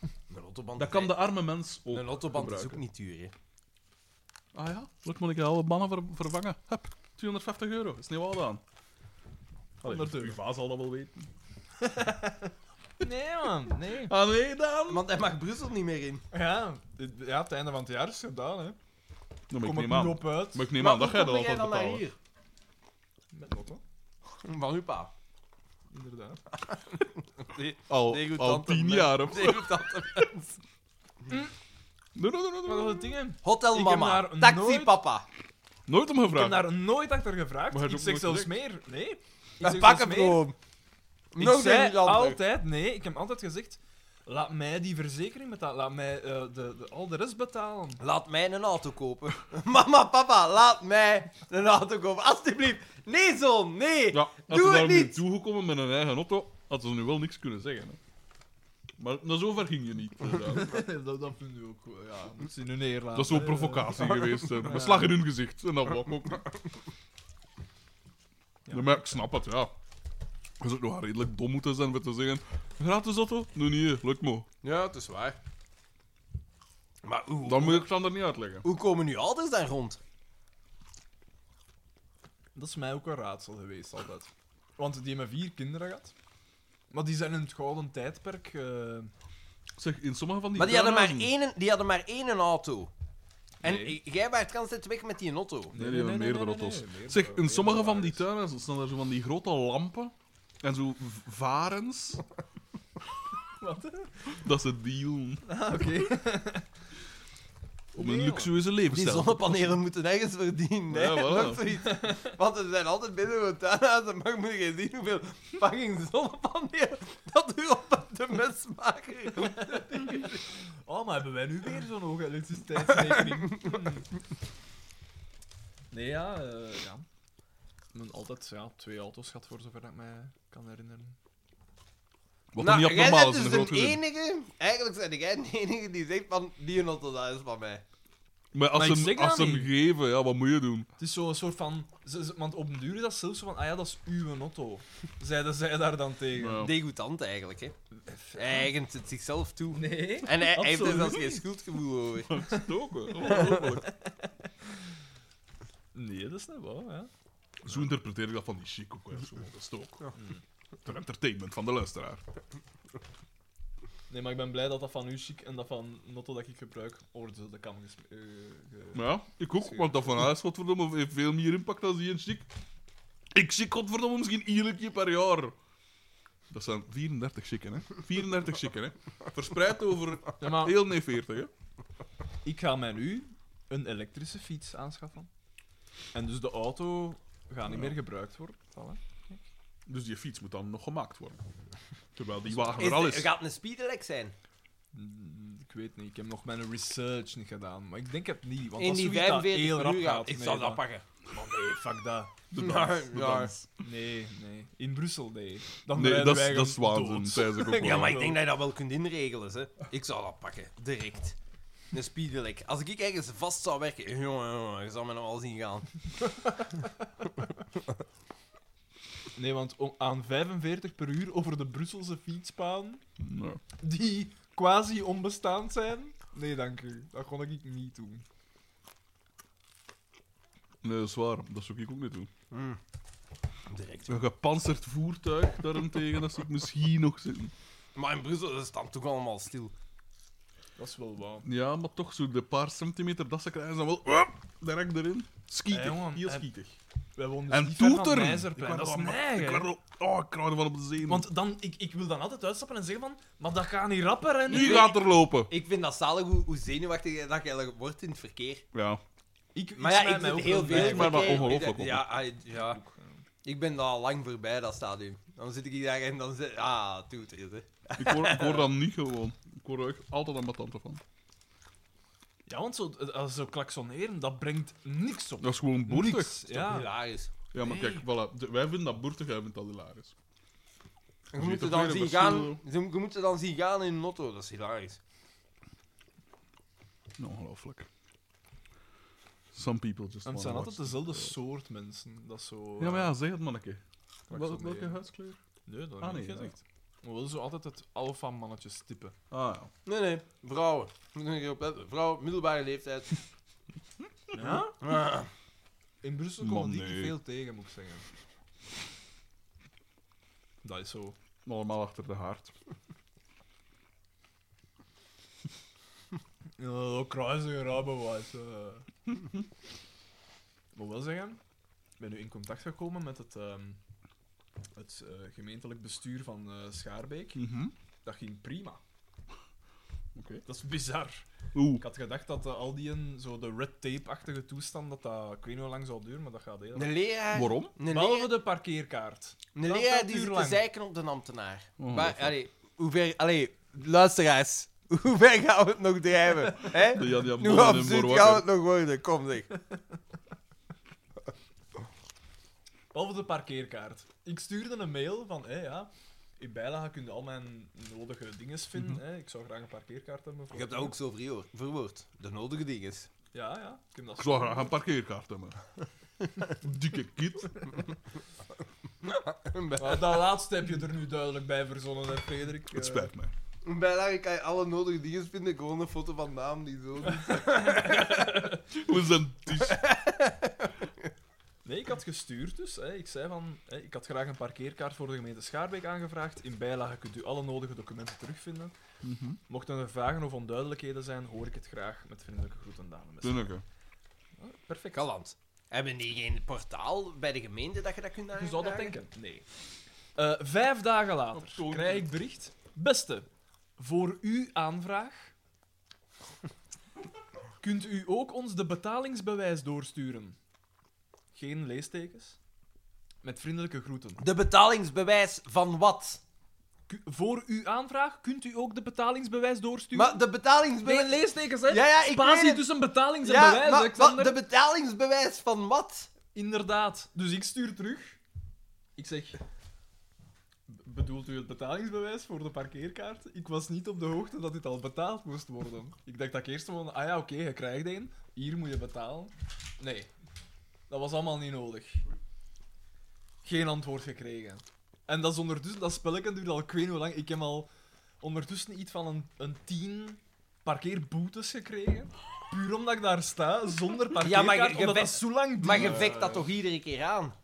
Speaker 4: Een autoband,
Speaker 2: Dat
Speaker 4: is
Speaker 2: kan de
Speaker 4: eigenlijk-
Speaker 2: arme mens ook
Speaker 4: een autoband is ook
Speaker 2: gebruiken.
Speaker 4: niet duur, hè.
Speaker 2: Ah ja, wat moet ik alle bannen ver- vervangen? Hup, 250 euro, is niet wat aan.
Speaker 3: Honderd euro.
Speaker 2: uw vaas zal dat wel weten.
Speaker 3: Nee, man. Nee.
Speaker 2: Ah nee, dan?
Speaker 4: Want hij mag Brussel niet meer in.
Speaker 3: Ja, dit- ja, het einde van het jaar is gedaan, hè.
Speaker 2: Nou, maar ik
Speaker 3: Kom er
Speaker 2: neem
Speaker 3: niet
Speaker 2: aan.
Speaker 3: op uit.
Speaker 2: Maar ik neem aan dat
Speaker 4: hoe
Speaker 2: jij dat
Speaker 4: kom
Speaker 2: altijd
Speaker 4: dan naar
Speaker 2: betalen.
Speaker 4: hier?
Speaker 3: Met motto,
Speaker 4: Van uw pa.
Speaker 3: inderdaad.
Speaker 2: Al,
Speaker 4: Nee, goed,
Speaker 2: al
Speaker 4: tante,
Speaker 2: tien
Speaker 4: nee.
Speaker 2: jaar of zo.
Speaker 4: Nee, goed, dat-
Speaker 2: Nee, nee, nee, nee,
Speaker 3: Maar
Speaker 2: nee.
Speaker 3: dat is dingen.
Speaker 4: Hotel
Speaker 3: Ik
Speaker 4: mama.
Speaker 3: heb daar
Speaker 4: Taxi
Speaker 3: nooit-
Speaker 4: papa.
Speaker 2: Nooit om
Speaker 3: Ik heb
Speaker 2: gevraagd.
Speaker 3: daar nooit achter gevraagd.
Speaker 2: Maar hij
Speaker 3: Ik
Speaker 2: heeft
Speaker 3: zeg
Speaker 2: ook
Speaker 3: zelfs
Speaker 2: nooit
Speaker 3: meer. Nee. Ik
Speaker 4: Ja,
Speaker 3: zeg
Speaker 4: pak
Speaker 3: zelfs
Speaker 4: hem
Speaker 3: meer.
Speaker 4: gewoon.
Speaker 3: Ik
Speaker 4: Nog
Speaker 3: zei
Speaker 4: niet anders.
Speaker 3: altijd nee. Ik heb altijd gezegd, laat mij die verzekering betalen. Laat mij eh, de, de, al de rest betalen.
Speaker 4: Laat mij een auto kopen. Mama, papa, laat mij een auto kopen. Alsjeblieft. Nee, zoon, nee.
Speaker 2: Ja, als
Speaker 4: Doe
Speaker 2: ze
Speaker 4: het
Speaker 2: daar nu
Speaker 4: niet.
Speaker 2: toegekomen met een eigen auto, hadden ze nu wel niks kunnen zeggen. Hè. Maar naar zover ging je niet. inderdaad.
Speaker 3: dat, dat vind ik ook. eh, Ja, moet ze in hun eer laten.
Speaker 2: Dat is zo'n provocatie geweest. hè. Een slag in hun gezicht. En dat wou ik ook niet. Ja, maar ik snap het, ja. Je zou nog redelijk dom moeten zijn om te zeggen: gratis auto? Nee, nee, lukt me.
Speaker 4: Ja, het is waar. Maar hoe,
Speaker 2: Dan moet ik het er niet uitleggen.
Speaker 4: hoe komen nu ouders daar rond?
Speaker 3: Dat is mij ook een raadsel geweest altijd. Want die hebben vier kinderen gehad. Maar die zijn in het gouden tijdperk. eh,
Speaker 2: Zeg, in sommige van die.
Speaker 4: Maar die hadden maar
Speaker 2: tuinhuizen-
Speaker 4: één, die hadden maar één auto. En
Speaker 3: Nee.
Speaker 4: j- jij waart kans weg met die auto.
Speaker 2: Nee, die hebben meerdere auto's. Zeg, in sommige van die tuinhuizen staan er zo van die grote lampen en zo v- varens. Wat? Dat ze dealen. Om een
Speaker 4: Nee,
Speaker 2: luxueuze
Speaker 4: Die
Speaker 2: levensstijl.
Speaker 4: zonnepanelen moeten ergens verdienen, hè?
Speaker 2: Ja, voilà.
Speaker 4: Nog zoiets. Want er zijn altijd binnen mijn tuinhuizen, maar je moet je zien hoeveel fucking zonnepanelen dat u op de mens maken.
Speaker 3: Oh, maar hebben wij nu weer zo'n hoge elektriciteitsrekening? Hmm. nee, ja, eh ja. Ik ben altijd ja, twee auto's gehad, voor zover dat ik mij kan herinneren.
Speaker 2: Wat dan
Speaker 4: Nou,
Speaker 2: niet
Speaker 4: jij
Speaker 2: abnormaal
Speaker 4: bent
Speaker 2: is in een
Speaker 4: dus
Speaker 2: groot
Speaker 4: de
Speaker 2: gezin.
Speaker 4: enige, eigenlijk ben jij de enige die zegt van, die auto dat is van mij.
Speaker 2: Maar als
Speaker 3: Maar
Speaker 2: ze
Speaker 3: ik
Speaker 2: hem,
Speaker 3: zeg
Speaker 2: als
Speaker 3: dat
Speaker 2: ze hem
Speaker 3: niet.
Speaker 2: geven, ja, wat moet je doen?
Speaker 3: Het is zo'n soort van... ze- ze- Want op een duur is dat zelfs zo van, ah ja, dat is uw auto. Zeiden zij daar dan tegen?
Speaker 2: Ja.
Speaker 4: Degoutant eigenlijk, hè. Hij eigent het zichzelf toe.
Speaker 3: Nee.
Speaker 4: En hij, hij heeft er
Speaker 3: Absoluut
Speaker 4: zelfs geen schuldgevoel over.
Speaker 2: Stoken. Ongelooflijk.
Speaker 3: Nee, dat is niet waar, ja.
Speaker 2: Zo interpreteer ik dat van die chic ook. hè. Zo, Dat is het ook. Ter entertainment van de luisteraar.
Speaker 3: Nee, maar ik ben blij dat dat van u chic en dat van Notto dat ik gebruik over de kam gesmeerd.
Speaker 2: Maar ja, ik ook, want dat van huis, godverdomme, heeft veel meer impact dan die een chic. Ik chic, godverdomme, misschien iedere keer per jaar. Dat zijn 34 chicken, hè? 34 chicken, hè? Verspreid over
Speaker 3: ja, maar
Speaker 2: heel nee 40, hè?
Speaker 3: ik ga mij nu een elektrische fiets aanschaffen. En dus de auto gaat niet meer gebruikt worden. Voilà.
Speaker 2: Dus die fiets moet dan nog gemaakt worden. Terwijl die wagen
Speaker 4: Is,
Speaker 2: er al
Speaker 4: het
Speaker 2: is.
Speaker 4: gaat een speedelec zijn.
Speaker 3: Mm, Ik weet niet, ik heb nog mijn research niet gedaan. Maar ik denk het niet, want
Speaker 4: In
Speaker 3: als
Speaker 4: die
Speaker 3: zoiets dat
Speaker 4: 45
Speaker 3: heel rap
Speaker 4: uur
Speaker 3: gaat.
Speaker 4: gaat. Ik
Speaker 3: nee,
Speaker 4: zou dat
Speaker 3: dan-
Speaker 4: pakken.
Speaker 3: Nee, fuck dat.
Speaker 2: De dans, de
Speaker 4: ja.
Speaker 2: dans.
Speaker 3: Nee, nee. In Brussel, nee. Dan
Speaker 2: Nee,
Speaker 3: rijden
Speaker 2: dat is,
Speaker 3: wij
Speaker 2: dat is
Speaker 3: gewoon
Speaker 2: waanzin.
Speaker 3: dood.
Speaker 2: zei ze ook wel.
Speaker 4: Ja, maar ik denk dat je dat wel kunt inregelen, hè. Ik zou dat pakken. Direct. Een speedelec. Als ik ergens vast zou werken... Jongen, jongen, je zou me nou al zien gaan.
Speaker 3: Nee, want om- aan 45 per uur over de Brusselse fietspaan
Speaker 2: Ja.
Speaker 3: die quasi onbestaand zijn? Nee, dank u. Dat kon ik niet doen.
Speaker 2: Nee, dat is waar. Dat zou ik ook niet doen.
Speaker 4: Direct.
Speaker 2: Een gepantserd voertuig daarentegen, dat zou ik misschien nog zitten.
Speaker 4: Maar in Brussel is het dan toch allemaal stil.
Speaker 3: Dat is wel waar.
Speaker 2: Ja, maar toch, zo de paar centimeter dat ze krijgen, ze dan wel... Wap, direct erin. Skietig,
Speaker 3: Eh, jongen,
Speaker 2: heel
Speaker 3: eh,
Speaker 2: skietig.
Speaker 3: Wij wonen
Speaker 2: En
Speaker 3: dus niet ver van
Speaker 2: toeteren!
Speaker 3: Meizerplein. Dat is
Speaker 2: Ik
Speaker 3: neig,
Speaker 2: werd
Speaker 3: hè.
Speaker 2: er- Oh, ik kwam ervan op de zenuw.
Speaker 3: Want dan, ik, ik wil dan altijd uitstappen en zeggen van... Maar dat gaat niet rapper, hè?
Speaker 2: nu
Speaker 3: nu."
Speaker 2: gaat er lopen.
Speaker 4: Ik vind dat zalig hoe, hoe zenuwachtig dat je eigenlijk wordt in het verkeer.
Speaker 2: Ja.
Speaker 3: Ik, ik
Speaker 4: Maar ja,
Speaker 3: smijt
Speaker 4: ik
Speaker 3: mij
Speaker 4: zit
Speaker 3: ook wel
Speaker 4: heel veel
Speaker 3: bij.
Speaker 4: in het
Speaker 2: maar
Speaker 4: verkeer.
Speaker 2: ongelooflijk
Speaker 4: Ik- Ja, ah, ja. Ik ben daar al lang voorbij, dat stadium. Dan zit ik hier daar en dan zeg Ah, toeter, hè.
Speaker 2: Ik hoor, ik hoor dat niet gewoon. Ik hoor er echt altijd aan mijn tante van.
Speaker 3: Ja, want zo, eh, als zo klaksoneren, dat brengt niks op.
Speaker 2: Dat is gewoon boertig.
Speaker 3: Niks, ja.
Speaker 4: Hilarisch.
Speaker 2: Ja, maar kijk, voilà. De- wij vinden dat boertig, jij vindt dat hilarisch.
Speaker 4: Je
Speaker 2: ziet
Speaker 4: moet
Speaker 2: toch
Speaker 4: het dan
Speaker 2: weer
Speaker 4: zien
Speaker 2: een
Speaker 4: gaan...
Speaker 2: verschil,
Speaker 4: Je je moet het dan zien gaan in een auto, dat is hilarisch.
Speaker 2: Ongelooflijk. Some people just
Speaker 3: En het
Speaker 2: wanna
Speaker 3: zijn
Speaker 2: watch
Speaker 3: altijd dezelfde
Speaker 2: it.
Speaker 3: soort mensen. Dat is zo...
Speaker 2: Ja, maar
Speaker 3: eh,
Speaker 2: ja, zeg het manneke. Wel,
Speaker 3: klaksoneren.
Speaker 2: welke huidskleur?
Speaker 3: Nee, dat heb
Speaker 2: Ah,
Speaker 3: ik
Speaker 2: nee,
Speaker 3: niet
Speaker 2: ja.
Speaker 3: gezegd. Maar wel zo altijd het alfa-mannetje typen.
Speaker 2: Ah, ja.
Speaker 4: Nee, nee, vrouwen. Moet er niet op letten. Vrouwen, middelbare leeftijd.
Speaker 3: Ja?
Speaker 4: Ah.
Speaker 3: In Brussel
Speaker 2: Man,
Speaker 3: komen die
Speaker 2: nee.
Speaker 3: niet veel tegen, moet ik zeggen. Dat is zo.
Speaker 2: Allemaal achter de haard.
Speaker 3: Ja, kruising rabenwijs. Ik moet eh. wel zeggen, ik ben nu in contact gekomen met het, ehm, het eh, gemeentelijk bestuur van eh, Schaarbeek.
Speaker 2: Mhm.
Speaker 3: Dat ging prima.
Speaker 2: Oké.
Speaker 3: Dat is bizar.
Speaker 2: Oeh.
Speaker 3: Ik had gedacht dat eh, al die een, zo de red tape-achtige toestand, dat dat ik weet niet hoe lang zou duren, maar dat gaat heel lang.
Speaker 4: Een leraar...
Speaker 2: Waarom?
Speaker 4: Een
Speaker 3: Behalve
Speaker 4: leraar,
Speaker 3: de parkeerkaart.
Speaker 4: een
Speaker 3: dat
Speaker 4: leraar
Speaker 3: duurt
Speaker 4: die zit te
Speaker 3: lang.
Speaker 4: zeiken op de ambtenaar.
Speaker 2: Oh,
Speaker 4: maar,
Speaker 2: fuck.
Speaker 4: allee, hoe ver... Allee, luisteraars. Hoe ver gaan we het nog drijven? Hè?
Speaker 2: Ja, die hebben
Speaker 4: Nu
Speaker 2: nog een
Speaker 4: absurd
Speaker 2: nummer
Speaker 4: gaan we
Speaker 2: wakker.
Speaker 4: het nog worden? Kom zeg.
Speaker 3: Behalve de parkeerkaart. Ik stuurde een mail van, hé ja, in bijlage kun je al mijn nodige dingen vinden. hè. Ik zou graag een parkeerkaart hebben. voor-
Speaker 4: Ik heb dat ook zo verwoord. De nodige dingen.
Speaker 3: Ja, ja. Ik heb dat
Speaker 2: Ik zou graag een parkeerkaart hebben. Dikke kit.
Speaker 3: dat laatste heb je er nu duidelijk bij verzonnen, hè, Frederik. Eh,
Speaker 2: Het spijt me.
Speaker 4: Bijna kan je alle nodige dingen vinden, gewoon een foto van naam die zo.
Speaker 2: We zijn tis.
Speaker 3: Nee, ik had gestuurd dus. Hè. Ik zei van, hè, ik had graag een parkeerkaart voor de gemeente Schaarbeek aangevraagd. In bijlage kunt u alle nodige documenten terugvinden. Mochten er vragen of onduidelijkheden zijn, hoor ik het graag. Met vriendelijke groeten, dames.
Speaker 2: Doe nog, hè.
Speaker 3: Perfect.
Speaker 4: Galant. Hebben die geen portaal bij de gemeente dat je dat kunt
Speaker 3: Je
Speaker 4: aanvragen?
Speaker 3: zou dat denken? Nee. Eh, vijf dagen later krijg ik bericht. Beste, voor uw aanvraag kunt u ook ons de betalingsbewijs doorsturen. Geen leestekens. Met vriendelijke groeten.
Speaker 4: De betalingsbewijs van wat?
Speaker 3: Ku- voor uw aanvraag kunt u ook de betalingsbewijs doorsturen.
Speaker 4: Maar de betalingsbewijs...
Speaker 3: Geen leestekens, hè?
Speaker 4: Ja, ja, ik weet
Speaker 3: Spatie
Speaker 4: het.
Speaker 3: tussen betalings- en
Speaker 4: Ja,
Speaker 3: bewijs,
Speaker 4: maar
Speaker 3: Alexander.
Speaker 4: wat- de betalingsbewijs van wat?
Speaker 3: Inderdaad. Dus ik stuur terug. Ik zeg... "B- Bedoelt u het betalingsbewijs voor de parkeerkaart? Ik was niet op de hoogte dat dit al betaald moest worden. Ik dacht dat ik eerst van... Ah ja, oké, je krijgt een. Hier moet je betalen. Nee. Dat was allemaal niet nodig. Geen antwoord gekregen. En dat is ondertussen... Dat spelletje duurt al ik weet niet hoe lang. Ik heb al ondertussen iets van een, een tien parkeerboetes gekregen. Puur omdat ik daar sta, zonder parkeerkaart.
Speaker 4: je
Speaker 3: omdat
Speaker 4: bent-
Speaker 3: dat zo lang duurt.
Speaker 4: Maar je vekt
Speaker 3: Eh.
Speaker 4: dat toch iedere keer aan?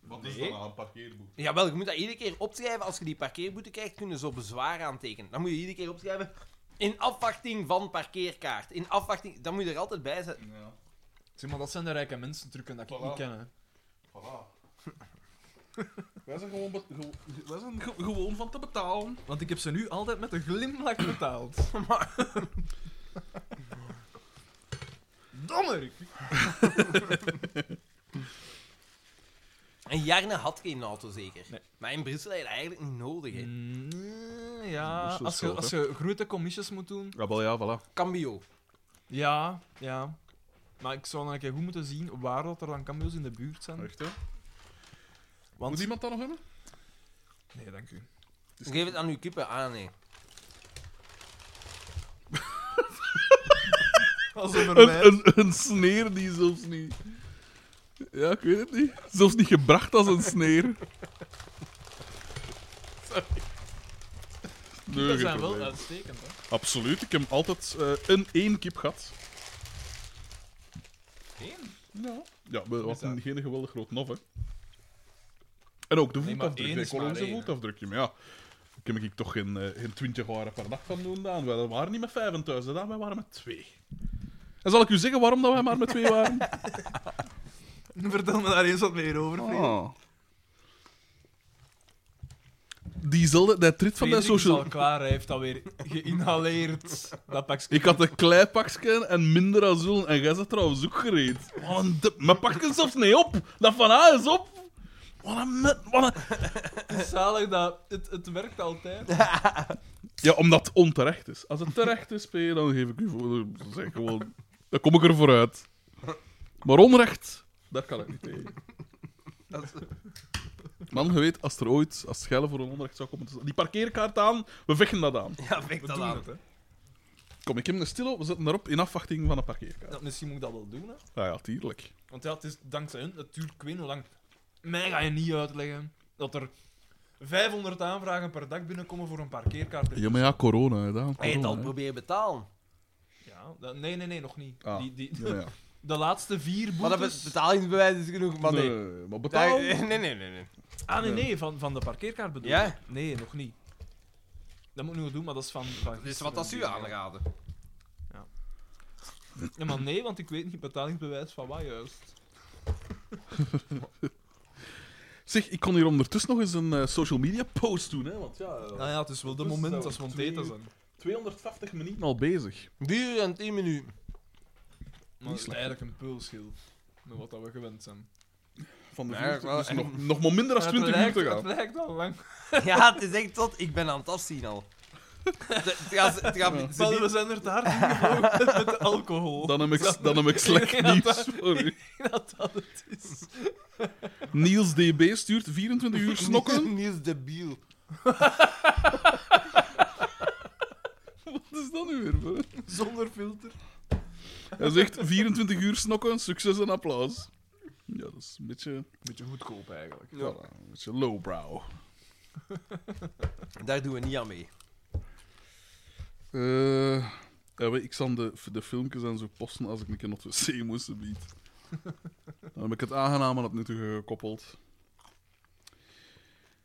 Speaker 2: Wat is dat nou, een parkeerboek?
Speaker 4: Jawel, je moet dat iedere keer opschrijven. Als je die parkeerboete krijgt, kun je zo bezwaar aantekenen. Dan moet je iedere keer opschrijven. In afwachting van parkeerkaart. In afwachting... Dan moet je er altijd bij zetten.
Speaker 2: Ja,
Speaker 3: Zeg maar, dat zijn de rijke mensen trucken dat ik
Speaker 2: Voilà.
Speaker 3: niet ken. hè.
Speaker 2: voilà. Wij zijn, gewoon be- ge- wij zijn ge- gewoon van te betalen.
Speaker 3: Want ik heb ze nu altijd met een glimlach betaald. Dommer!
Speaker 4: En Jarne had geen auto, zeker.
Speaker 3: Nee. Mm.
Speaker 4: Maar in Brussel heb je dat eigenlijk niet nodig, hè.
Speaker 3: eh, Ja,
Speaker 2: Dat is
Speaker 3: als je,
Speaker 2: zo,
Speaker 3: als je grote commissies moet doen.
Speaker 2: Ja, wel ja, voilà.
Speaker 4: Cambio.
Speaker 3: Ja, ja. Maar ik zou dan een keer goed moeten zien waar dat er dan cameo's in de buurt zijn.
Speaker 2: Echt, hè? Moet
Speaker 3: Want...
Speaker 2: iemand dat nog hebben?
Speaker 3: Nee, dank u.
Speaker 4: Geef het aan uw kippen. Ah, nee.
Speaker 3: Als er
Speaker 2: Een, een, een sneer die zelfs niet... Ja, ik weet het niet. Zelfs niet gebracht als een sneer. Sorry.
Speaker 3: dat zijn wel uitstekend, hè.
Speaker 2: Absoluut. Ik heb altijd eh, een één kip gehad.
Speaker 3: Eén?
Speaker 2: Ja. Ja, we hadden geen geweldig groot nof, hè. En ook de
Speaker 3: Nee, maar
Speaker 2: voetafdruk.
Speaker 3: één
Speaker 2: Nee,
Speaker 3: is maar
Speaker 2: Colomse
Speaker 3: één, hè.
Speaker 2: voetafdrukje. Maar ja, daar heb ik toch geen, eh, geen 20 waren per dag van doen, Daan. Wij waren niet met 25, Daan. Wij waren met twee. En zal ik u zeggen waarom dat wij maar met twee waren?
Speaker 3: Vertel me daar eens wat meer over, vriend.
Speaker 2: Ah. Diezelfde, dat trit van dat
Speaker 3: Frederik is
Speaker 2: social...
Speaker 3: al klaar, hij heeft dat weer geïnhaleerd. Dat pakje.
Speaker 2: Ik had een kleipakje en minder azul en jij zat trouwens ook gereed. Wat een dip. Mijn pakje zelfs niet op. Dat van haar is op. Wat een... met- Wat een...
Speaker 3: Zalig dat... Het, het werkt altijd.
Speaker 2: Ja, omdat het onterecht is. Als het terecht is, P, dan geef ik u voor. dan Zeg ik gewoon, dan kom ik er vooruit. Maar onrecht, daar kan ik niet tegen. Man, je weet, als er ooit, als het schellen voor een onrecht zou komen, te staan- die parkeerkaart aan, we vechten dat aan.
Speaker 4: Ja, vek dat aan.
Speaker 2: Kom, ik heb een stilo, we zetten daarop in afwachting van een parkeerkaart. Ah
Speaker 3: Ja, misschien moet ik dat wel doen, hè.
Speaker 2: Ja, ja, tuurlijk.
Speaker 3: Want ja, het is dankzij hun, natuurlijk, ik weet niet hoe lang. Mij ga je niet uitleggen dat er 500 aanvragen per dag binnenkomen voor een parkeerkaart.
Speaker 2: Ja, maar ja, corona, hè, Daan.
Speaker 4: Hij heeft
Speaker 2: corona,
Speaker 4: al
Speaker 2: hè.
Speaker 4: proberen betalen.
Speaker 3: Ja, dat- nee, nee, nee, nog niet.
Speaker 2: Ah,
Speaker 3: Die, die,
Speaker 2: Ja, maar ja.
Speaker 3: De laatste vier
Speaker 4: Maar dat
Speaker 3: boetes...
Speaker 4: be- betalingsbewijs is genoeg, man.
Speaker 2: nee,
Speaker 4: Nee.
Speaker 2: nee, maar
Speaker 4: Ja,
Speaker 2: betaal.
Speaker 4: eh, nee, nee, nee, nee.
Speaker 3: Ah, nee, nee, van, van de parkeerkaart bedoel
Speaker 4: Ja?
Speaker 3: ik. Nee, nog niet. Dat moet ik nog doen, maar dat is van... van
Speaker 4: Dus wat dat u
Speaker 3: gisteren.
Speaker 4: aanraden?
Speaker 3: Ja, maar nee, want ik weet niet betalingsbewijs van wat juist.
Speaker 2: Zeg, ik kon hier ondertussen nog eens een eh, social media post doen, hè, want ja, eh,
Speaker 3: Nou ja, het is wel de
Speaker 2: Dus
Speaker 3: moment
Speaker 2: dat
Speaker 3: als we aan het
Speaker 2: twee
Speaker 3: eten
Speaker 2: uur-
Speaker 3: zijn.
Speaker 2: 250 minuten al bezig.
Speaker 4: 4 uur en 10 minuten.
Speaker 3: Maar het is
Speaker 2: slecht.
Speaker 3: eigenlijk een peulschil. Met wat dat we gewend zijn.
Speaker 2: Van de
Speaker 4: Ja,
Speaker 2: vuurtocht,
Speaker 4: wel,
Speaker 2: dus
Speaker 4: en-
Speaker 2: nog, nog maar minder dan
Speaker 3: Maar het
Speaker 2: 20 uur
Speaker 3: lijkt-
Speaker 2: te
Speaker 3: Het
Speaker 2: gaan.
Speaker 3: lijkt al lang.
Speaker 4: Ja, het is echt tot. Ik ben aan het afzien al. Het gaat, het gaat, ze
Speaker 3: Wel, we zijn er te hard ingevlogen met alcohol.
Speaker 2: Dan heb ik, dan heb ik slecht nieuws voor u.
Speaker 3: Dat dat het is.
Speaker 2: Niels DB stuurt 24 uur snokken.
Speaker 4: Niels debiel.
Speaker 2: Wat is dat nu weer? bro?
Speaker 3: Zonder filter.
Speaker 2: Hij zegt 24 uur snokken, succes en applaus. Ja, dat is een beetje,
Speaker 3: Beetje goedkoop eigenlijk.
Speaker 2: voilà, een beetje lowbrow.
Speaker 4: Daar doen we niet aan mee.
Speaker 2: Eh, ja, weet, ik zal de, de filmpjes en zo posten als ik een keer naar het wc moest. Bied. Dan heb ik het aangenaam aan het nuttige gekoppeld.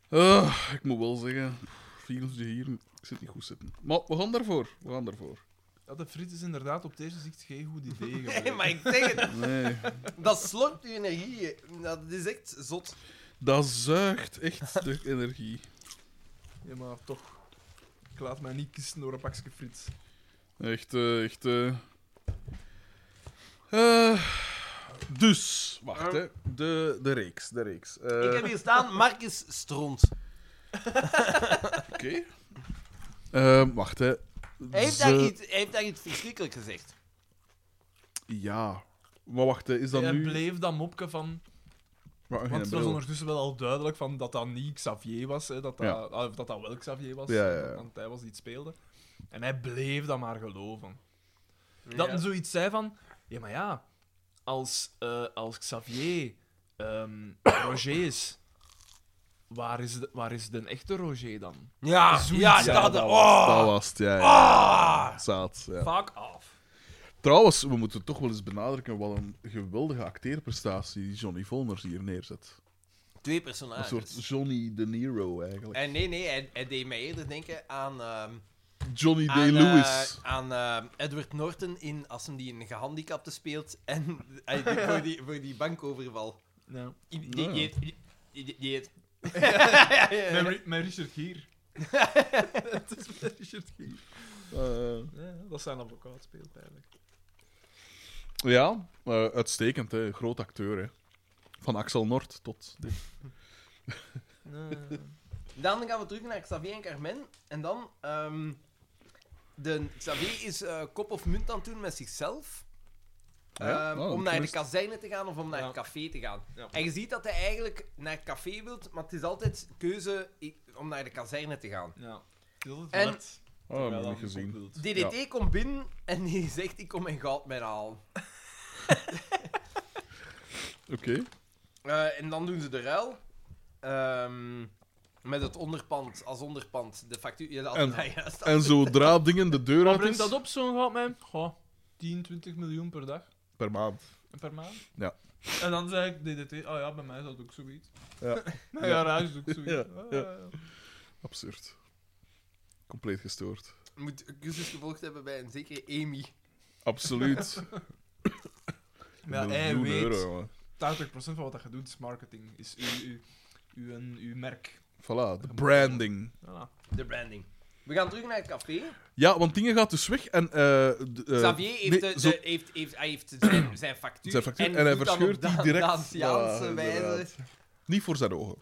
Speaker 2: Eh, ik moet wel zeggen, 24 hier, ik zit niet goed zitten. Maar we gaan daarvoor, we gaan daarvoor.
Speaker 3: Ja, de friet is inderdaad op deze zicht geen goed idee.
Speaker 4: Nee,
Speaker 3: gebleven.
Speaker 4: maar ik zeg het,
Speaker 2: Nee,
Speaker 4: dat slorpt je energie. Dat is echt zot.
Speaker 2: dat zuigt echt de energie.
Speaker 3: Ja, maar toch. Ik laat mij niet kiezen door een pakje friet.
Speaker 2: Echt, eh, echt. eh. Eh, dus, wacht hè. De, de reeks, de reeks. Eh,
Speaker 4: Ik heb hier staan, Marcus Stront.
Speaker 2: Oké. Ehm, wacht, hè.
Speaker 4: Hij heeft,
Speaker 2: Ze-
Speaker 4: daar iets, hij heeft daar iets verschrikkelijk gezegd.
Speaker 2: Ja. Maar wacht, hè, is dat
Speaker 3: En
Speaker 2: nu...
Speaker 3: bleef dat mopje van...
Speaker 2: Maar, geen
Speaker 3: Want het was
Speaker 2: bril.
Speaker 3: ondertussen wel al duidelijk van dat dat niet Xavier was. Hè, dat, dat,
Speaker 2: Ja.
Speaker 3: ah, of dat dat wel Xavier was.
Speaker 2: Ja, ja, ja.
Speaker 3: Want hij was die het speelde. En hij bleef dat maar geloven. Dat hij zoiets zei van... Ja, maar ja. Als, eh, als Xavier ehm Roger is... Waar is, de, waar is de echte Roger dan?
Speaker 4: Ja,
Speaker 3: Zoiets,
Speaker 4: ja,
Speaker 3: ja,
Speaker 4: dat,
Speaker 3: dat
Speaker 2: Dat
Speaker 4: oh.
Speaker 2: was het, ja. ja.
Speaker 4: Ah!
Speaker 2: Zaad, ja.
Speaker 3: Fuck off.
Speaker 2: Trouwens, we moeten toch wel eens benadrukken wat een geweldige acteerprestatie die Johnny Volmers hier neerzet.
Speaker 4: Twee
Speaker 2: Een
Speaker 3: Ah,
Speaker 4: personages.
Speaker 2: soort Johnny De Niro, eigenlijk.
Speaker 4: En nee, nee, hij, hij deed mij eerder denken aan... ehm,
Speaker 2: Johnny
Speaker 3: Ah,
Speaker 4: aan,
Speaker 2: Day-Lewis.
Speaker 4: eh, aan eh, Edward Norton in, als hem die een gehandicapte speelt. En hij die- voor, die, voor die bankoverval.
Speaker 3: Ja.
Speaker 4: Die, die,
Speaker 2: Ja.
Speaker 4: die heeft... Die, die- die heeft...
Speaker 3: Mijn, Ri- mijn Richard hier. Eh, Het is mijn Richard hier.
Speaker 2: Eh,
Speaker 3: Ja, dat zijn advocaat speelt eigenlijk.
Speaker 2: ja, eh, uitstekend, hè. Groot acteur, hè. Van Axel Noord tot...
Speaker 4: Dan gaan we terug naar Xavier en Carmen. En dan... ehm, de, Xavier is eh, kop of munt aan het doen met zichzelf.
Speaker 2: Ja?
Speaker 4: Ehm,
Speaker 2: Oh,
Speaker 4: om naar de
Speaker 2: gemist.
Speaker 4: kazijnen te gaan of om naar
Speaker 3: Ja.
Speaker 4: het café te gaan.
Speaker 3: Ja.
Speaker 4: En je ziet dat hij eigenlijk naar het café wilt, maar het is altijd keuze i- om naar de kazerne te gaan.
Speaker 3: Ja.
Speaker 4: En-
Speaker 2: Oh, dat heb ik niet gezien.
Speaker 4: DDT komt binnen en die zegt: Ik kom mijn goudmijn halen.
Speaker 2: Oké.
Speaker 4: Eh, en dan doen ze de ruil. Ehm, met het onderpand, als onderpand, de factuur. Ja, dat had
Speaker 2: En-
Speaker 4: ik daar juist al.
Speaker 2: En zodra dingen de deur
Speaker 3: Wat
Speaker 2: uit
Speaker 3: brengt
Speaker 2: is...
Speaker 3: dat op, zo'n gat, man? Goh, 10, 20 miljoen per dag.
Speaker 2: Per maand.
Speaker 3: en Per maand.
Speaker 2: Ja.
Speaker 3: En dan zeg ik DDT, oh ja, bij mij is dat ook zoiets.
Speaker 2: Ja.
Speaker 3: Mijn garage is ook zoiets.
Speaker 2: Ja,
Speaker 3: Ah,
Speaker 2: ja.
Speaker 3: ja.
Speaker 2: Absurd. Compleet gestoord.
Speaker 4: Moet cursus gevolgd hebben bij een zekere Amy.
Speaker 2: Absoluut.
Speaker 3: Maar hij
Speaker 2: Miljoen
Speaker 3: weet,
Speaker 2: euro, jongen.
Speaker 3: 80% van wat je doet is marketing, is uw, uw, uw, uw, merk.
Speaker 2: Voilà, de branding.
Speaker 3: Voilà.
Speaker 4: De branding. We gaan terug naar het café.
Speaker 2: Ja, want dingen gaat dus weg en... eh, de- eh,
Speaker 4: Xavier heeft,
Speaker 2: nee,
Speaker 4: de- de-
Speaker 2: zo-
Speaker 4: heeft, heeft, hij heeft zijn, zijn factuur.
Speaker 2: Zijn factuur, en hij
Speaker 4: doet dat op
Speaker 2: verscheurt die
Speaker 4: Da-
Speaker 2: direct.
Speaker 4: Daciaanse
Speaker 2: Ja,
Speaker 4: wijze.
Speaker 2: inderdaad. Eh, Niet voor zijn ogen.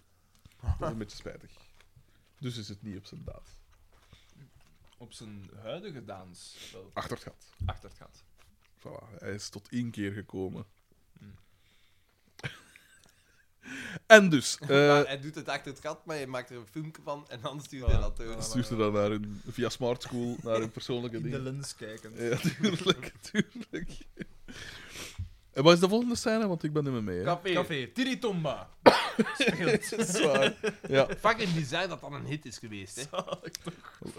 Speaker 2: Dat is een beetje spijtig. Dus is het niet op zijn daad.
Speaker 3: Op zijn huidige dans wel
Speaker 2: Achter het gat.
Speaker 3: achter het gat.
Speaker 2: Voilà, hij is tot één keer gekomen.
Speaker 3: Hmm.
Speaker 2: en dus,
Speaker 4: Maar
Speaker 2: eh
Speaker 4: hij doet het achter het gat, maar hij maakt er een filmpje van en dan stuurt hij
Speaker 3: Voilà.
Speaker 4: dat door.
Speaker 2: stuurt ze dan naar hun, via Smart School naar hun persoonlijke
Speaker 3: In de
Speaker 2: dingen.
Speaker 3: lens kijken.
Speaker 2: Ja, tuurlijk, tuurlijk. En wat is de volgende scène? Want ik ben er maar mee. Hè.
Speaker 4: Café.
Speaker 3: Café Tiritomba.
Speaker 2: Zwaar. Ja,
Speaker 4: Fucking bizar dat dat een hit is geweest, hè?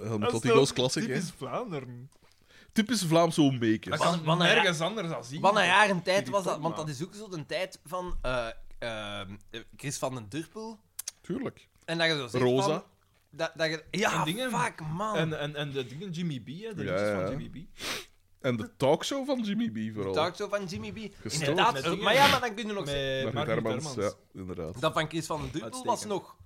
Speaker 2: Helmut Ottigo's klassiek,
Speaker 3: Ah,
Speaker 2: hè.
Speaker 3: Dit is Vlaanderen.
Speaker 2: Typisch Vlaamse
Speaker 3: Dat
Speaker 2: homemakers.
Speaker 3: kan
Speaker 4: Wat een
Speaker 3: nergens anders dan zien.
Speaker 4: Wat een jaren tijd was dat,
Speaker 3: Tiritomba.
Speaker 4: want dat is ook zo'n tijd van eh, ehm, eh, Chris van den Durpel.
Speaker 2: Tuurlijk.
Speaker 4: En dat je zo zegt
Speaker 2: Rosa.
Speaker 4: van- dat, dat je, ja,
Speaker 3: En dingen.
Speaker 4: fuck, man.
Speaker 3: En, en, en de dingen Jimmy B, hè, de
Speaker 2: Ja,
Speaker 3: liedjes
Speaker 2: ja.
Speaker 3: van Jimmy B.
Speaker 2: En de talkshow van Jimmy B vooral.
Speaker 4: Talk zo van Jimmy B.
Speaker 2: Gestoord.
Speaker 4: Inderdaad.
Speaker 3: Met
Speaker 4: eh,
Speaker 3: dingen.
Speaker 4: Maar ja, maar dan kun je nog zeggen...
Speaker 3: Met
Speaker 2: Margriet
Speaker 3: Margriet
Speaker 2: Hermans,
Speaker 3: Hermans.
Speaker 2: ja, inderdaad.
Speaker 4: Dat van Chris van den Durpel was
Speaker 3: Uitstekend.
Speaker 4: nog...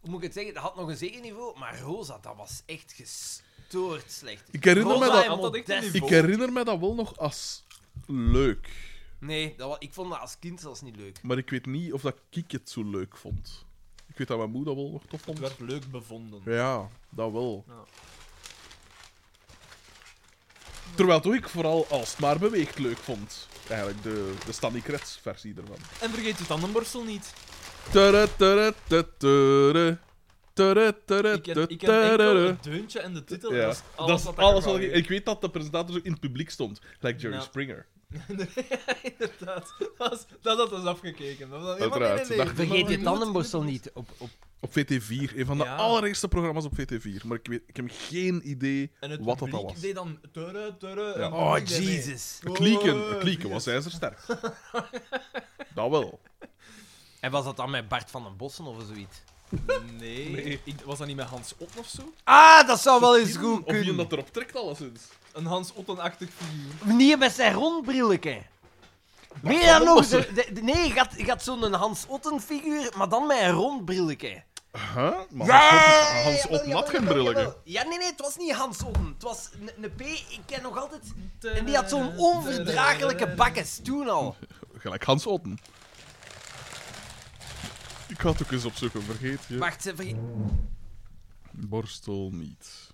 Speaker 4: Hoe moet ik het zeggen? Dat had nog een zeker niveau, maar Rosa, dat was echt gestoord slecht.
Speaker 2: Ik herinner
Speaker 4: Rosa
Speaker 2: me dat-
Speaker 4: en
Speaker 3: had dat echt een
Speaker 4: Modest.
Speaker 2: Ik herinner me dat wel nog als leuk.
Speaker 4: Nee, dat wa- ik vond dat als kind zelfs niet leuk.
Speaker 2: Maar ik weet niet of dat ik het zo leuk vond. Ik weet dat mijn moeder wel nog tof
Speaker 3: Het
Speaker 2: vond.
Speaker 3: werd leuk bevonden.
Speaker 2: Ja, dat wel.
Speaker 3: Ja.
Speaker 2: Terwijl toch ik vooral als het maar beweegt leuk vond. Eigenlijk de, de Stanley Kretz versie ervan.
Speaker 3: En vergeet je tandenborstel niet.
Speaker 2: Tere, tere, tere, tere. Tudu, tudu,
Speaker 3: Ik ken, ik ken
Speaker 2: tudu,
Speaker 3: enkel
Speaker 2: tudu.
Speaker 3: het deuntje en de titel.
Speaker 2: Ja.
Speaker 3: Dat is alles
Speaker 2: dat is
Speaker 3: wat
Speaker 2: alles
Speaker 3: ik
Speaker 2: wat ik...
Speaker 3: ervan
Speaker 2: Ik weet dat de presentator zo in het publiek stond. Like Jerry
Speaker 3: Ja.
Speaker 2: Springer.
Speaker 3: weet. Inderdaad. Dat was- dat had ons afgekeken. Dat was helemaal nee,
Speaker 2: Uiteraard.
Speaker 3: nee, nee.
Speaker 2: Dag.
Speaker 4: Vergeet je tandenborstel niet. Op, op.
Speaker 2: Op VT4. Een van de
Speaker 3: Ja.
Speaker 2: allereerste programma's op VT4. Maar ik, weet, ik heb geen idee
Speaker 3: En het
Speaker 2: wat dat
Speaker 3: publiek
Speaker 2: dan was.
Speaker 3: deed dan... Turre, turre,
Speaker 2: Ja.
Speaker 3: en
Speaker 4: Oh,
Speaker 3: iedereen mee.
Speaker 4: Jesus.
Speaker 2: Het lieken,
Speaker 3: Oh,
Speaker 2: het lieken was ijzersterk. dat wel.
Speaker 10: En was dat dan met Bart van den Bossen of zoiets?
Speaker 3: Nee. Ik, was dat niet met Hans Otten of zo?
Speaker 4: Ah, dat zou wel eens goed
Speaker 2: Of je
Speaker 4: kunnen.
Speaker 2: dat erop trekt, alleszins.
Speaker 3: Een Hans Otten-achtig figuur.
Speaker 4: Meneer met zijn rondbrilletje. Meer dan nog. de- de- de- nee, je had, je had zo'n Hans Otten figuur, maar dan met een rond brilletje.
Speaker 2: Huh? Maar
Speaker 4: Ja,
Speaker 2: Hans op nat geen brilletje.
Speaker 4: Ja, nee, nee, het was niet Hans Otten. Het was een- een P, ik ken nog altijd... En die had zo'n onverdraaglijke bakkes, toen al.
Speaker 2: Gelijk Hans Otten. Ik had ook eens opzoeken, vergeet je.
Speaker 4: Wacht, ze verge-
Speaker 2: Borstel niet.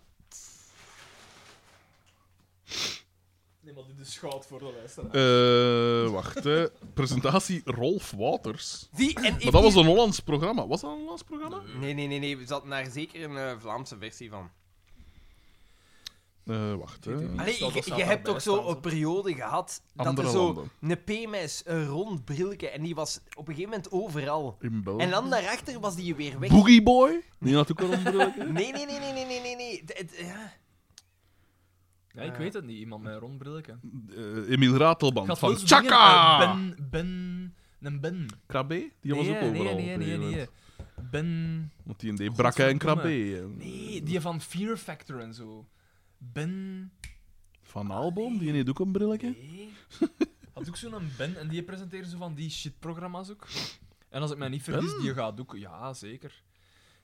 Speaker 3: Nee, maar dit is goud voor de lijst.
Speaker 2: Eh, wacht, hè. Presentatie Rolf Waters.
Speaker 4: Die, en
Speaker 2: Maar dat was een Hollands programma. Was dat een Hollands programma?
Speaker 10: Nee, nee, nee, nee. We zaten daar zeker een eh, Vlaamse versie van.
Speaker 2: Eh, wacht, hè.
Speaker 4: Allee,
Speaker 3: Dat
Speaker 4: je,
Speaker 3: staat
Speaker 4: je hebt
Speaker 3: daarbij
Speaker 4: ook zo
Speaker 3: staan,
Speaker 4: een periode gehad dat
Speaker 2: Andere
Speaker 4: er zo
Speaker 2: landen.
Speaker 4: een P-mes, een rond brilletje, en die was op een gegeven moment overal.
Speaker 2: In België.
Speaker 4: En dan daarachter was die weer weg.
Speaker 2: Boogie Boy? Die had ook een Hollands brilletje.
Speaker 4: Nee, nee, nee, nee, nee, nee, nee, nee. Het- het- ja.
Speaker 3: Ja, ik weet het niet. Iemand met een rond brilletje.
Speaker 2: Eh, Emiel Ratelband van Chaka!
Speaker 3: Chaka! Eh, ben... Ben... Een Ben.
Speaker 2: Krabbe? Die was ook overal.
Speaker 3: Nee, nee,
Speaker 2: op een
Speaker 3: nee,
Speaker 2: gegeven
Speaker 3: nee.
Speaker 2: moment.
Speaker 3: Ben...
Speaker 2: Want die deed Brakke en Krabbe. en-
Speaker 3: Nee, die van Fear Factor en zo. Ben...
Speaker 2: Van Albon? Die deed ook een brilletje.
Speaker 3: Nee. Had ook zo'n Ben en die presenteerde zo van die shitprogramma's ook. En als ik mij niet vergis, die gaat ook... Ja, zeker.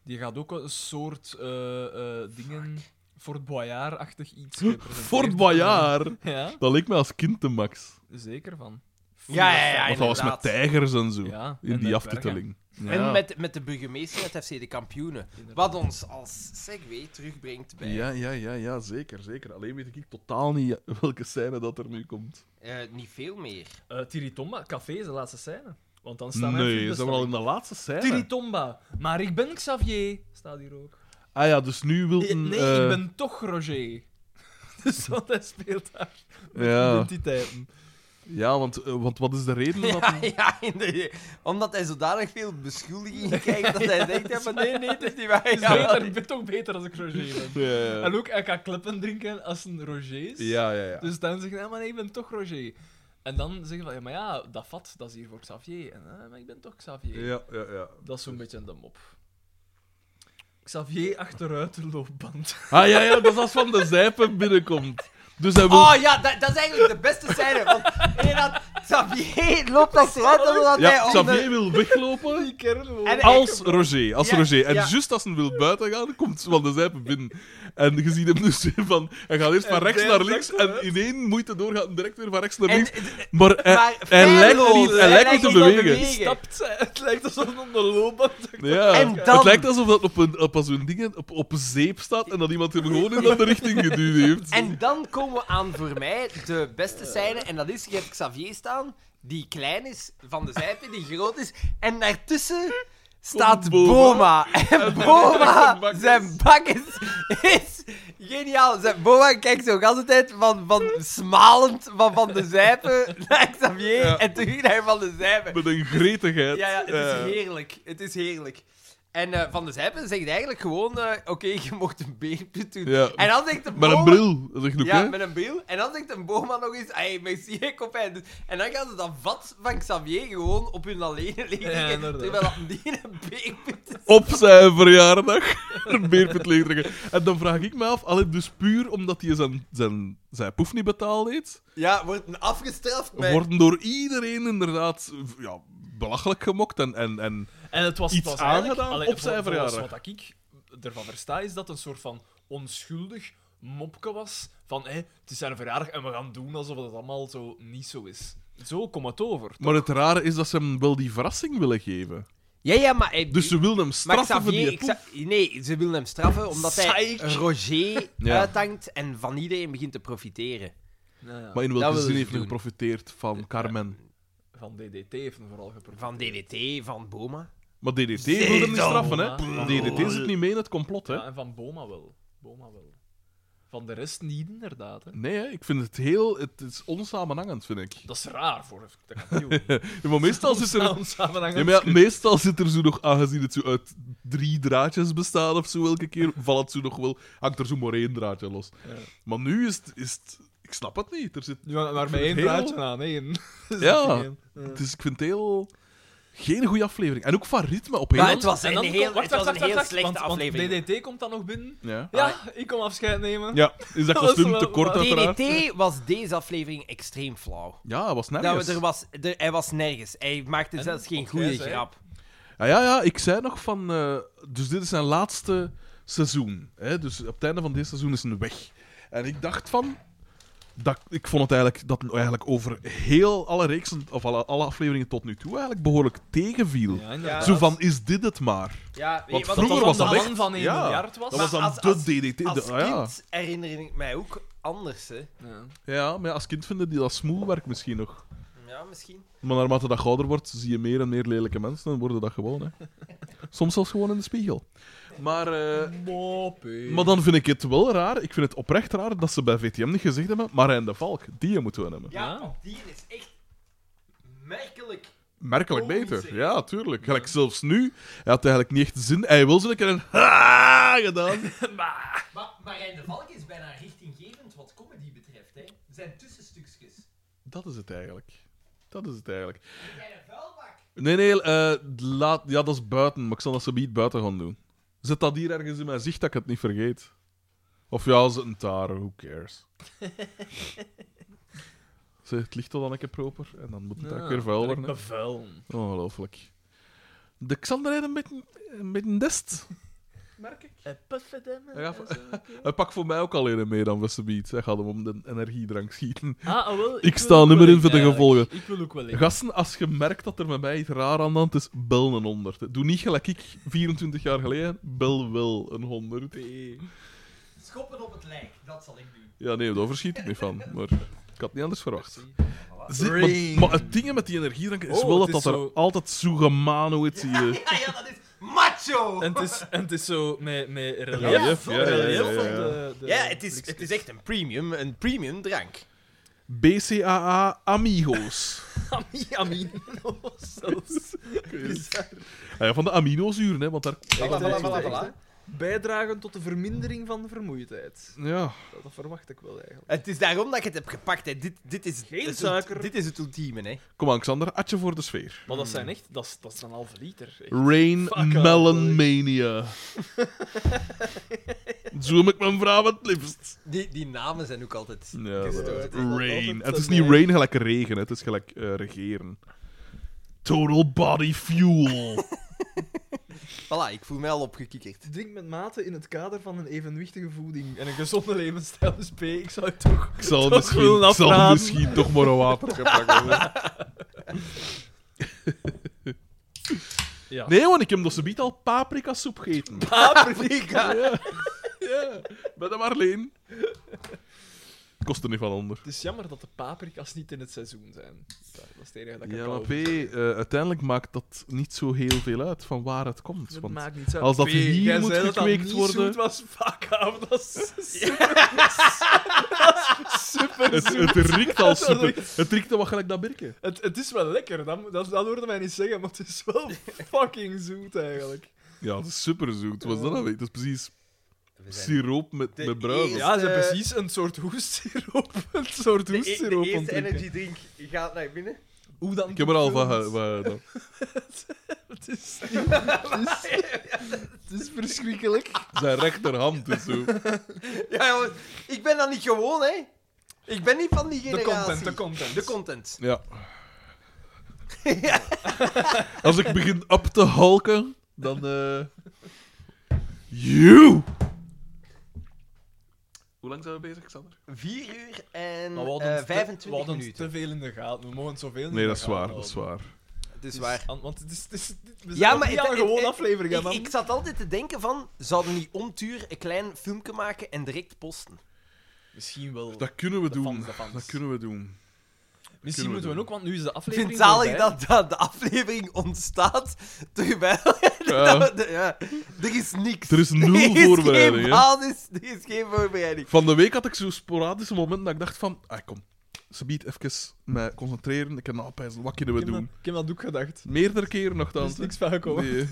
Speaker 3: Die gaat ook een soort eh, eh, dingen... Fort Boyard-achtig iets gepresenteerd.
Speaker 2: Fort Boyard!
Speaker 3: Ja,
Speaker 2: Dat leek me als kind de max.
Speaker 3: zeker van.
Speaker 4: Ja, ja, ja,
Speaker 2: Want dat was met
Speaker 4: inderdaad.
Speaker 2: tijgers en zo.
Speaker 3: Ja,
Speaker 2: in
Speaker 3: en
Speaker 2: die
Speaker 3: met
Speaker 2: aftiteling. Ja.
Speaker 10: En met, met de burgemeester uit FC de kampioenen. Wat ons als segue terugbrengt bij
Speaker 2: Ja, ja, ja, ja, zeker, zeker. Alleen weet ik totaal niet welke scène dat er nu komt.
Speaker 10: eh, niet veel meer.
Speaker 3: Eh, Tiritomba, café is de laatste scène. Want dan staan wij
Speaker 2: Nee, zijn we al in de laatste scène?
Speaker 3: Tiritomba, maar ik ben Xavier, staat hier ook.
Speaker 2: Ah ja, dus nu wil
Speaker 3: Eh,
Speaker 2: een...
Speaker 3: nee,
Speaker 2: eh,
Speaker 3: ik ben toch Roger. Dus wat hij speelt daar.
Speaker 2: Ja,
Speaker 3: Identiteiten.
Speaker 2: ja want, eh, want wat is de reden dat...
Speaker 10: Ja, ja in de- omdat hij zodanig veel beschuldigingen krijgt dat hij denkt: ja, maar nee, nee, het is niet waar.
Speaker 3: Dus
Speaker 10: Ja,
Speaker 3: beter, ik ben toch beter als ik Roger ben.
Speaker 2: Ja,
Speaker 3: En ook, hij gaat kleppen drinken als een Roger is.
Speaker 2: ja, ja. ja.
Speaker 3: Dus dan zeggen hij, maar nee, ik ben toch Roger. En dan zeggen van, ja, maar ja, dat vat, dat is hier voor Xavier. En, eh, maar ik ben toch Xavier.
Speaker 2: Ja, ja, ja.
Speaker 3: Dat is zo'n beetje de mop. Xavier achteruit de loopband.
Speaker 2: Ah ja, ja, dat is als Van de Zijpen binnenkomt. Dus hij wil...
Speaker 10: Oh ja, dat, dat is eigenlijk de beste scène. Want inderdaad, Xavier loopt achteruit omdat hij...
Speaker 2: ja,
Speaker 10: onder-
Speaker 2: Xavier wil weglopen
Speaker 3: Die kerel.
Speaker 10: En-
Speaker 2: als Roger. Als
Speaker 10: Ja,
Speaker 2: Roger. En
Speaker 10: ja.
Speaker 2: juist als hij wil buiten gaan, komt Van de Zijpen binnen. En je ziet hem dus weer van... Hij gaat eerst van rechts naar links en in één moeite door gaat hij direct weer van rechts naar
Speaker 10: En,
Speaker 2: links. Maar hij,
Speaker 10: maar
Speaker 2: hij lijkt
Speaker 10: feilloos,
Speaker 2: er niet, hij
Speaker 10: hij
Speaker 2: lijkt
Speaker 10: lijkt
Speaker 2: niet te
Speaker 10: niet aan te
Speaker 2: bewegen.
Speaker 10: bewegen.
Speaker 3: Stapt, eh, het lijkt alsof het onder de loopband.
Speaker 2: Ja.
Speaker 10: En dan-
Speaker 2: Het lijkt alsof dat op, een, op zo'n ding op, op zeep staat en dat iemand hem gewoon in een andere richting geduwd heeft.
Speaker 10: en dan komen we aan voor mij de beste scène. En dat is, je hebt Xavier staan, die klein is, van de zijpen, die groot is. En daartussen staat
Speaker 2: Boma.
Speaker 10: Boma. En Boma,
Speaker 2: bakkes.
Speaker 10: zijn bakkes is geniaal. Zijn, Boma kijkt zo de hele tijd van, van smalend van Van de Zijpen naar Xavier
Speaker 2: Ja.
Speaker 10: en terug naar Van de Zijpen.
Speaker 2: Met een gretigheid.
Speaker 10: Ja, ja, het
Speaker 2: Eh,
Speaker 10: is heerlijk. Het is heerlijk. En eh, Van de Zijpen zegt eigenlijk gewoon, eh, oké, je mocht een beerpje doen.
Speaker 2: Ja.
Speaker 10: En dan zegt de
Speaker 2: Met een
Speaker 10: boom-
Speaker 2: bril, dat is genoeg,
Speaker 10: Ja,
Speaker 2: hè?
Speaker 10: met een bril. En dan zegt een booma nog eens, hey, merci, ik op En dan gaan ze dat vat van Xavier gewoon op hun alleen liggen.
Speaker 3: Ja, inderdaad.
Speaker 10: terwijl dat die een beerput is.
Speaker 2: Op zijn verjaardag. een beerput leegdrukken. En dan vraag ik me af, allee, dus puur omdat hij zijn, zijn, zijn poef niet betaald heeft,
Speaker 10: Ja, wordt een afgestraft bij...
Speaker 2: worden door iedereen inderdaad v- ja, belachelijk gemokt en... en, en
Speaker 3: En het was
Speaker 2: Iets
Speaker 3: het was eigenlijk-
Speaker 2: aangedaan
Speaker 3: allee,
Speaker 2: op zijn
Speaker 3: vol- volgens
Speaker 2: verjaardag.
Speaker 3: Wat ik ervan versta is dat het een soort van onschuldig mopke was. Van hé, het is zijn verjaardag en we gaan doen alsof het allemaal zo niet zo is. Zo komt het over.
Speaker 2: maar het rare is dat ze hem wel die verrassing willen geven.
Speaker 10: Ja, ja, maar... eh,
Speaker 2: Dus ze wilden hem
Speaker 10: maar
Speaker 2: straffen voor
Speaker 10: Xavier,
Speaker 2: die poef.
Speaker 10: Xa- nee, ze willen hem straffen omdat hij
Speaker 3: Psych.
Speaker 10: Roger
Speaker 2: Ja.
Speaker 10: uithangt en van iedereen begint te profiteren.
Speaker 3: Ja, ja.
Speaker 2: Maar in
Speaker 10: Dat
Speaker 2: welke
Speaker 10: willen
Speaker 2: zin
Speaker 10: ze
Speaker 2: heeft hij
Speaker 10: doen.
Speaker 2: geprofiteerd van Carmen?
Speaker 3: Van DDT heeft hem vooral geprobeerd.
Speaker 10: Van DDT, van Boma.
Speaker 2: Maar DDT wilde hem niet straffen, hè? DDT zit niet mee in het complot, hè?
Speaker 3: Ja, en van Boma wel. Boma wel. Van de rest niet, inderdaad. Hè.
Speaker 2: Nee, hè? ik vind het heel. Het is onsamenhangend, vind ik.
Speaker 3: Dat is raar voor de kampioen.
Speaker 2: Ja, maar meestal zit er.
Speaker 3: Onsamenhangend
Speaker 2: Ja, maar ja, meestal zit er zo nog, aangezien het zo uit drie draadjes bestaat of zo elke keer, valt het zo nog wel, hangt er zo maar één draadje los. Maar nu is het, is het- ik snap het niet. Er zit,
Speaker 3: Ja, maar met
Speaker 2: Ik
Speaker 3: één
Speaker 2: vind het heel-
Speaker 3: draadje aan, één. Dat is
Speaker 2: Ja.
Speaker 3: echt één.
Speaker 2: het is, ik vind het heel, geen goede aflevering. En ook van ritme op
Speaker 4: Maar
Speaker 2: een
Speaker 4: het was
Speaker 3: En
Speaker 4: een
Speaker 3: dan
Speaker 4: heel,
Speaker 3: komt- wacht,
Speaker 4: het was
Speaker 3: wacht,
Speaker 4: een
Speaker 3: wacht,
Speaker 4: heel
Speaker 3: wacht,
Speaker 4: slechte
Speaker 3: want- want
Speaker 4: aflevering. Ah.
Speaker 3: DDT komt dan nog binnen.
Speaker 2: Ja.
Speaker 3: Ja, ik kom afscheid nemen.
Speaker 2: ja, is dat
Speaker 3: Dat was
Speaker 2: kostuum
Speaker 3: wel-
Speaker 2: te kort
Speaker 3: DDT
Speaker 2: uiteraard?
Speaker 4: DDT was deze aflevering extreem flauw.
Speaker 2: Ja, hij was
Speaker 10: Nou,
Speaker 4: Dat
Speaker 2: nergens.
Speaker 4: we, er was, er, hij was nergens. Hij maakte
Speaker 3: En?
Speaker 4: zelfs geen
Speaker 3: Want
Speaker 4: goede
Speaker 3: jij zei-
Speaker 4: grap.
Speaker 2: Ja, ja, ja, ik zei nog van... eh, dus dit is zijn laatste seizoen. Hè? Dus op het einde van dit seizoen is hij weg. En ik dacht van... Dat, ik vond het eigenlijk, dat het eigenlijk over heel alle reeksen, of alle, alle afleveringen tot nu toe, eigenlijk behoorlijk tegenviel.
Speaker 3: Ja, inderdaad.
Speaker 2: Zo van, is dit het maar?
Speaker 4: Ja,
Speaker 2: Want
Speaker 4: want
Speaker 2: vroeger
Speaker 3: dat
Speaker 2: was
Speaker 3: dan
Speaker 2: dat
Speaker 3: de
Speaker 2: echt...
Speaker 3: man van één
Speaker 2: ja,
Speaker 3: miljard was?
Speaker 2: Dat was dan
Speaker 4: Maar als-
Speaker 2: de
Speaker 4: als-
Speaker 2: DDT. de-
Speaker 4: als
Speaker 3: oh
Speaker 2: ah, ja.
Speaker 4: kind herinner ik mij ook anders. Hè.
Speaker 3: Ja.
Speaker 2: ja, maar ja, als kind vinden die dat smoelwerk misschien nog.
Speaker 4: Ja, misschien.
Speaker 2: Maar naarmate dat je ouder wordt, zie je meer en meer lelijke mensen en worden dat gewoon. Hè. Soms zelfs gewoon in de spiegel. Maar, eh, maar dan vind ik het wel raar, ik vind het oprecht raar dat ze bij VTM niet gezegd hebben, Marijn de Valk, die moeten we hebben.
Speaker 4: Ja,
Speaker 3: Ja.
Speaker 4: want die is echt merkelijk.
Speaker 2: Merkelijk
Speaker 4: Oh,
Speaker 2: beter,
Speaker 4: zeg.
Speaker 2: ja, tuurlijk. Gelijk zelfs nu, hij had eigenlijk niet echt zin, hij wil zo lekker een ha gedaan.
Speaker 4: Maar Marijn de Valk is bijna richtinggevend wat comedy betreft. Hè. Er zijn tussenstukjes.
Speaker 2: Dat is het eigenlijk. Dat is het eigenlijk.
Speaker 4: Jij een vuilbak.
Speaker 2: Nee, nee, eh, laat, ja, dat is buiten, maar ik zal dat zo niet buiten gaan doen. Zet dat hier ergens in mijn zicht dat ik het niet vergeet. Of ja, ze een daar, who cares. Zeg, het ligt al dan een keer proper en dan moet het ook weer vuil worden. hè.
Speaker 3: Bevuilen.
Speaker 2: Ongelooflijk. De Xander heeft een beetje, een beetje dest.
Speaker 10: Eh,
Speaker 2: Hij, gaat- hij pakt voor mij ook alleen een mee dan Westebeat. Hij gaat hem om de energiedrank schieten.
Speaker 3: Ah, ah, wel,
Speaker 2: Ik
Speaker 3: wil
Speaker 2: sta
Speaker 3: ook
Speaker 2: nummer
Speaker 3: wel
Speaker 2: in voor de
Speaker 3: eigenlijk.
Speaker 2: gevolgen.
Speaker 3: Ik wil ook wel in.
Speaker 2: Gasten, als je merkt dat er met mij iets raar aan de hand is, bel een 100. Doe niet gelijk ik 24 jaar geleden, bel wel een 100.
Speaker 4: Schoppen op het lijk, dat zal ik doen.
Speaker 2: Ja, nee, daar verschiet ik niet van. Maar ik had niet anders verwacht. Zit, maar, maar het ding met die energiedrank is
Speaker 3: Oh,
Speaker 2: wel dat,
Speaker 3: het
Speaker 2: dat
Speaker 3: is
Speaker 2: er
Speaker 3: zo-
Speaker 2: altijd zoegemano iets hier.
Speaker 4: Ja, ja, dat is macho!
Speaker 3: En het is, en het is zo met, met relief.
Speaker 2: Relief, ja, ja, ja,
Speaker 3: relief
Speaker 2: ja, ja.
Speaker 3: van de, de
Speaker 10: Ja, het is, het is echt een premium, een premium drank.
Speaker 2: BCAA Amigos.
Speaker 3: amino's Oh, zelfs.
Speaker 2: Ah ja, van de aminozuren, hè, want daar...
Speaker 3: Bijdragen tot de vermindering van vermoeidheid.
Speaker 2: Ja.
Speaker 3: Dat, dat verwacht ik wel eigenlijk.
Speaker 10: Het is daarom dat ik het heb gepakt. Hè. Dit, dit, is,
Speaker 3: Geen
Speaker 10: het,
Speaker 3: suiker.
Speaker 10: dit is het ultieme. Hè.
Speaker 2: Kom aan, Xander, atje voor de sfeer.
Speaker 3: Maar dat zijn echt, dat is, dat is een halve liter. echt.
Speaker 2: Rain
Speaker 3: Fuck
Speaker 2: Melon
Speaker 3: off,
Speaker 2: Mania. Zoom ik mijn vrouw het liefst.
Speaker 10: Die, die namen zijn ook altijd.
Speaker 2: Ja, dat
Speaker 3: het
Speaker 2: is
Speaker 3: is altijd
Speaker 2: rain.
Speaker 3: zo
Speaker 2: Het is niet
Speaker 3: neer.
Speaker 2: rain gelijk regen, hè, het is gelijk eh, regeren. Total body fuel.
Speaker 10: Voilà, ik voel mij al opgekikkerd.
Speaker 3: Drink met mate in het kader van een evenwichtige voeding en een gezonde levensstijl. Dus P, ik zou het toch...
Speaker 2: Ik zal,
Speaker 3: Dat wil
Speaker 2: misschien,
Speaker 3: een
Speaker 2: ik zal
Speaker 3: afraden.
Speaker 2: misschien toch maar een water gaan pakken.
Speaker 3: Ja.
Speaker 2: Nee, want ik heb dat ze al paprikasoep gegeten.
Speaker 3: Paprika!
Speaker 2: Ja, bij de Marleen. Kost er niet van onder.
Speaker 3: Het is jammer dat de paprika's niet in het seizoen zijn. Daar- Dat is het enige dat ik
Speaker 2: Ja,
Speaker 3: kan
Speaker 2: maar P,
Speaker 3: over-
Speaker 2: eh, uiteindelijk maakt dat niet zo heel veel uit van waar het komt.
Speaker 3: Dat
Speaker 2: want
Speaker 3: maakt niets uit.
Speaker 2: als dat
Speaker 3: P,
Speaker 2: hier
Speaker 3: jij
Speaker 2: moet
Speaker 3: zei dat dat
Speaker 2: gekweekt
Speaker 3: niet
Speaker 2: worden-
Speaker 3: zoet was fuck af. Dat is super, dat is super
Speaker 2: het,
Speaker 3: zoet.
Speaker 2: het riekt al
Speaker 3: Dat is wel
Speaker 2: super. Het riekt al wat gelijk dat birken.
Speaker 3: Het, het is wel lekker, dat, moet- dat, dat hoorde mij niet zeggen, maar het is wel fucking zoet eigenlijk.
Speaker 2: Ja, het is super zoet. Was dat nou weer? Dat is precies siroop met, met bruiven.
Speaker 3: Ja, ze hebben precies een soort hoestsiroop. Een soort
Speaker 2: e-
Speaker 3: hoestsiroop ontwikkeld.
Speaker 10: drink gaat naar binnen.
Speaker 3: Hoe dan?
Speaker 2: Ik heb er al van ge- van gedaan.
Speaker 3: Het is, niet- het is, het is verschrikkelijk.
Speaker 2: Zijn rechterhand is zo.
Speaker 10: Ja, jongens, ik ben dat niet gewoon, hè? Ik ben niet van die
Speaker 3: De
Speaker 10: generatie.
Speaker 3: content, de content.
Speaker 10: De content.
Speaker 2: Ja. Als ik begin op te halken, dan. eh You! Hoe lang zijn we bezig, Xander?
Speaker 10: 4 uur en
Speaker 3: Maar we
Speaker 10: eh,
Speaker 3: hadden het te-
Speaker 10: 25
Speaker 3: we hadden het
Speaker 10: minuten.
Speaker 3: te veel in de gaten. We mogen het zoveel in de
Speaker 2: Nee, dat is
Speaker 3: gaten
Speaker 2: waar,
Speaker 3: houden.
Speaker 2: dat is waar.
Speaker 10: Het is waar.
Speaker 3: An- Want het is, het is, we zijn
Speaker 10: Ja,
Speaker 3: nog
Speaker 10: maar
Speaker 3: niet
Speaker 10: het-
Speaker 3: aan een
Speaker 10: het-
Speaker 3: gewone
Speaker 10: het-
Speaker 3: aflevering, hè,
Speaker 10: Ik,
Speaker 3: man.
Speaker 10: ik zat altijd te denken van, zouden die omtuur een klein filmpje maken en direct posten?
Speaker 3: Misschien wel.
Speaker 2: Dat kunnen we
Speaker 3: De
Speaker 2: doen.
Speaker 3: fans, de fans.
Speaker 2: Dat kunnen we doen. Dat
Speaker 3: Misschien
Speaker 2: Kunnen we
Speaker 3: moeten we
Speaker 2: doen.
Speaker 3: ook, want nu is de
Speaker 4: Ik vind
Speaker 3: aflevering.
Speaker 4: het zalig
Speaker 3: voorbij.
Speaker 4: dat, dat de aflevering ontstaat terwijl...
Speaker 2: Ja.
Speaker 4: dat we de- ja. Er is niks.
Speaker 2: Er is nul
Speaker 4: er is
Speaker 2: voorbereiding,
Speaker 4: Geen
Speaker 2: hè.
Speaker 4: basis, er is geen voorbereiding.
Speaker 2: Van de week had ik zo sporadische momenten dat ik dacht van... Ah, kom. Ze biedt even me concentreren. Ik kan napijzen. Wat kunnen we
Speaker 3: Ik heb, dat,
Speaker 2: doen?
Speaker 3: ik heb dat ook gedacht.
Speaker 2: Meerdere keren nog
Speaker 3: Er
Speaker 2: dan.
Speaker 3: is niks van gekomen.
Speaker 2: Nee.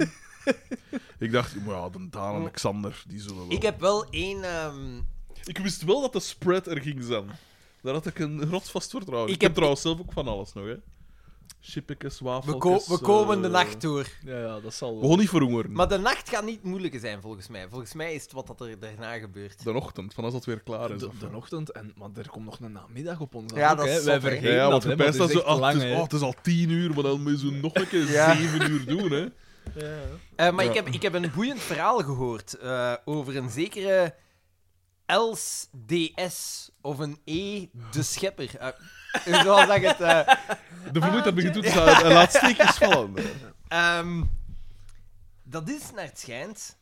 Speaker 2: ik dacht, maar ja, dan Daan en Xander, die zullen wel...
Speaker 4: Ik heb wel één... ehm,
Speaker 2: Ik wist wel dat de spread er ging zijn. Daar had ik een rotsvast vertrouwen. Ik,
Speaker 4: Ik
Speaker 2: heb
Speaker 4: heb-
Speaker 2: trouwens zelf ook van alles nog, hè. Chippekes,
Speaker 4: we,
Speaker 2: wafeltjes...
Speaker 4: ko- we komen de
Speaker 2: eh,
Speaker 4: nacht door.
Speaker 3: Ja, ja, dat zal
Speaker 2: We
Speaker 3: wel.
Speaker 2: gaan niet verhongeren.
Speaker 4: Maar de nacht gaat niet moeilijker zijn, volgens mij. Volgens mij is het wat dat er daarna gebeurt.
Speaker 2: De ochtend, van als dat weer klaar is.
Speaker 3: De,
Speaker 2: of-
Speaker 3: de ochtend, en, maar er komt nog een namiddag op ons. af
Speaker 4: Ja,
Speaker 3: ook,
Speaker 4: dat is
Speaker 3: hè.
Speaker 4: zot,
Speaker 3: Wij
Speaker 4: hè.
Speaker 3: vergeten
Speaker 2: Ja, ja,
Speaker 3: dat,
Speaker 2: want je
Speaker 3: hè, maar
Speaker 2: pijst
Speaker 3: dat
Speaker 2: dat
Speaker 3: is
Speaker 2: zo...
Speaker 3: echt
Speaker 2: ah,
Speaker 3: lang,
Speaker 2: het, is,
Speaker 3: hè.
Speaker 2: oh, het is al tien uur, maar dan moet je zo nog een keer
Speaker 4: Ja.
Speaker 2: zeven uur doen, hè.
Speaker 3: Ja, ja.
Speaker 4: Eh, maar
Speaker 2: Ja.
Speaker 4: ik, heb, ik heb een boeiend verhaal gehoord eh, over een zekere Els DS of een E de Schepper. Eh, zoals dat je het. eh,
Speaker 2: De vermoeidheid begint toe te staan en laat steekjes vallen.
Speaker 4: ehm, dat is naar het schijnt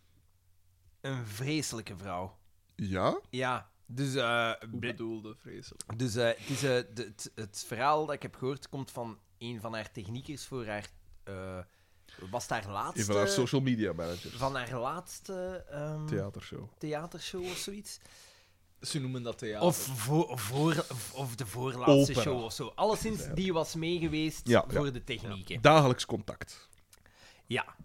Speaker 4: een vreselijke vrouw.
Speaker 2: Ja?
Speaker 4: Ja, dus. eh,
Speaker 3: Hoe bedoelde, vreselijk.
Speaker 4: dus eh, het, is, eh, de- het, het verhaal dat ik heb gehoord komt van een van haar techniekers voor haar. eh, was haar
Speaker 2: Een
Speaker 4: laatste.
Speaker 2: van haar social media managers.
Speaker 4: van haar laatste ehm,
Speaker 2: Theatershow.
Speaker 4: theatershow of zoiets.
Speaker 3: Ze noemen dat theater.
Speaker 4: Of, voor, voor, of de voorlaatste
Speaker 2: Opera.
Speaker 4: show of zo. Alleszins, die was meegeweest
Speaker 2: Ja, ja.
Speaker 4: voor de technieken.
Speaker 2: Dagelijks contact.
Speaker 4: Ja.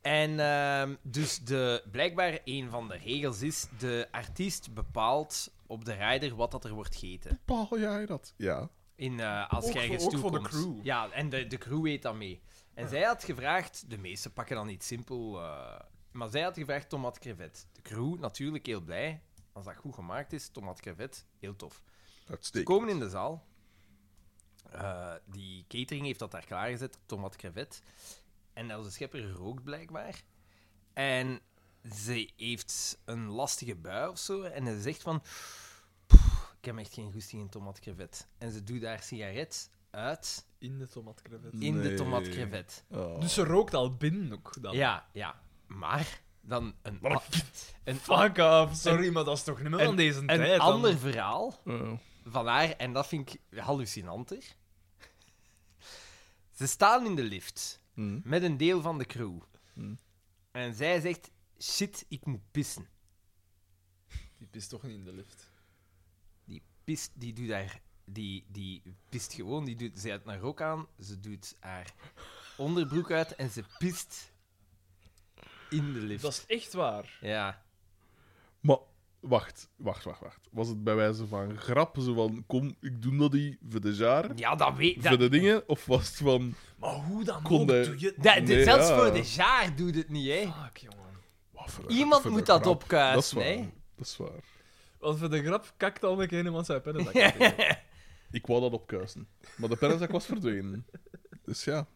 Speaker 4: En ehm, dus de, blijkbaar een van de regels is, de artiest bepaalt op de rider wat dat er wordt gegeten.
Speaker 2: Paal jij dat? Ja.
Speaker 4: In, eh, als
Speaker 3: Ook
Speaker 4: je
Speaker 3: voor-
Speaker 4: ergens
Speaker 3: ook
Speaker 4: toe
Speaker 3: voor de
Speaker 4: komt.
Speaker 3: crew.
Speaker 4: Ja, en de, de crew eet dan mee. En zij had gevraagd, de meesten pakken dan iets simpel, eh, maar zij had gevraagd tomat crevet. De crew natuurlijk heel blij. Als dat goed gemaakt is, tomat crevet, heel tof. Ze
Speaker 2: Uitstekend.
Speaker 4: komen in de zaal. Eh, die catering heeft dat daar klaargezet, tomat crevet. En Els de Schepper rookt blijkbaar. En ze heeft een lastige bui of zo. En ze zegt van... "Pff, Ik heb echt geen goesting in tomat crevet. En ze doet haar sigaret uit
Speaker 3: In de tomatcrevet.
Speaker 4: in de
Speaker 2: Nee.
Speaker 4: tomat crevet.
Speaker 2: Oh.
Speaker 3: Dus ze rookt al binnen ook dan.
Speaker 4: Ja, ja. Maar dan een, a- een,
Speaker 3: Fuck off, sorry, maar dat is toch niet meer
Speaker 4: en-
Speaker 3: van deze tijd.
Speaker 4: een
Speaker 3: dan.
Speaker 4: ander verhaal.
Speaker 2: Oh.
Speaker 4: van haar, en dat vind ik hallucinanter. Ze staan in de lift
Speaker 2: Mhm.
Speaker 4: met een deel van de crew.
Speaker 2: Hmm.
Speaker 4: En zij zegt: shit, ik moet pissen.
Speaker 3: Die is toch niet in de lift.
Speaker 4: Die pist, die doet haar, die, die pist gewoon, die doet, zij had haar rok aan, ze doet haar onderbroek uit en ze pist in de lift.
Speaker 3: Dat is echt waar.
Speaker 4: Ja.
Speaker 2: Maar wacht, wacht, wacht, wacht. Was het bij wijze van grap, zo van kom, ik doe dat die voor de jaar,
Speaker 4: Ja, dat weet
Speaker 2: voor
Speaker 4: dat,
Speaker 2: de dingen? Of was het van
Speaker 3: Maar hoe dan
Speaker 2: Kon
Speaker 3: ook,
Speaker 2: hij-
Speaker 3: Ah, doe je...
Speaker 4: dat-
Speaker 2: Nee,
Speaker 4: Zelfs
Speaker 2: ja.
Speaker 4: voor de jaar doet het niet, hè?
Speaker 3: Fuck, jongen.
Speaker 2: wat voor-
Speaker 4: Iemand
Speaker 2: voor de
Speaker 4: moet dat
Speaker 2: grap?
Speaker 4: opkuisen,
Speaker 2: Dat is waar.
Speaker 4: hè?
Speaker 2: Dat is waar.
Speaker 3: Want voor de grap kakt al een keer iemand zijn pennenbak. uit.
Speaker 2: Ik wou dat opkuisen. Maar de pennenzak was verdwenen. Dus ja.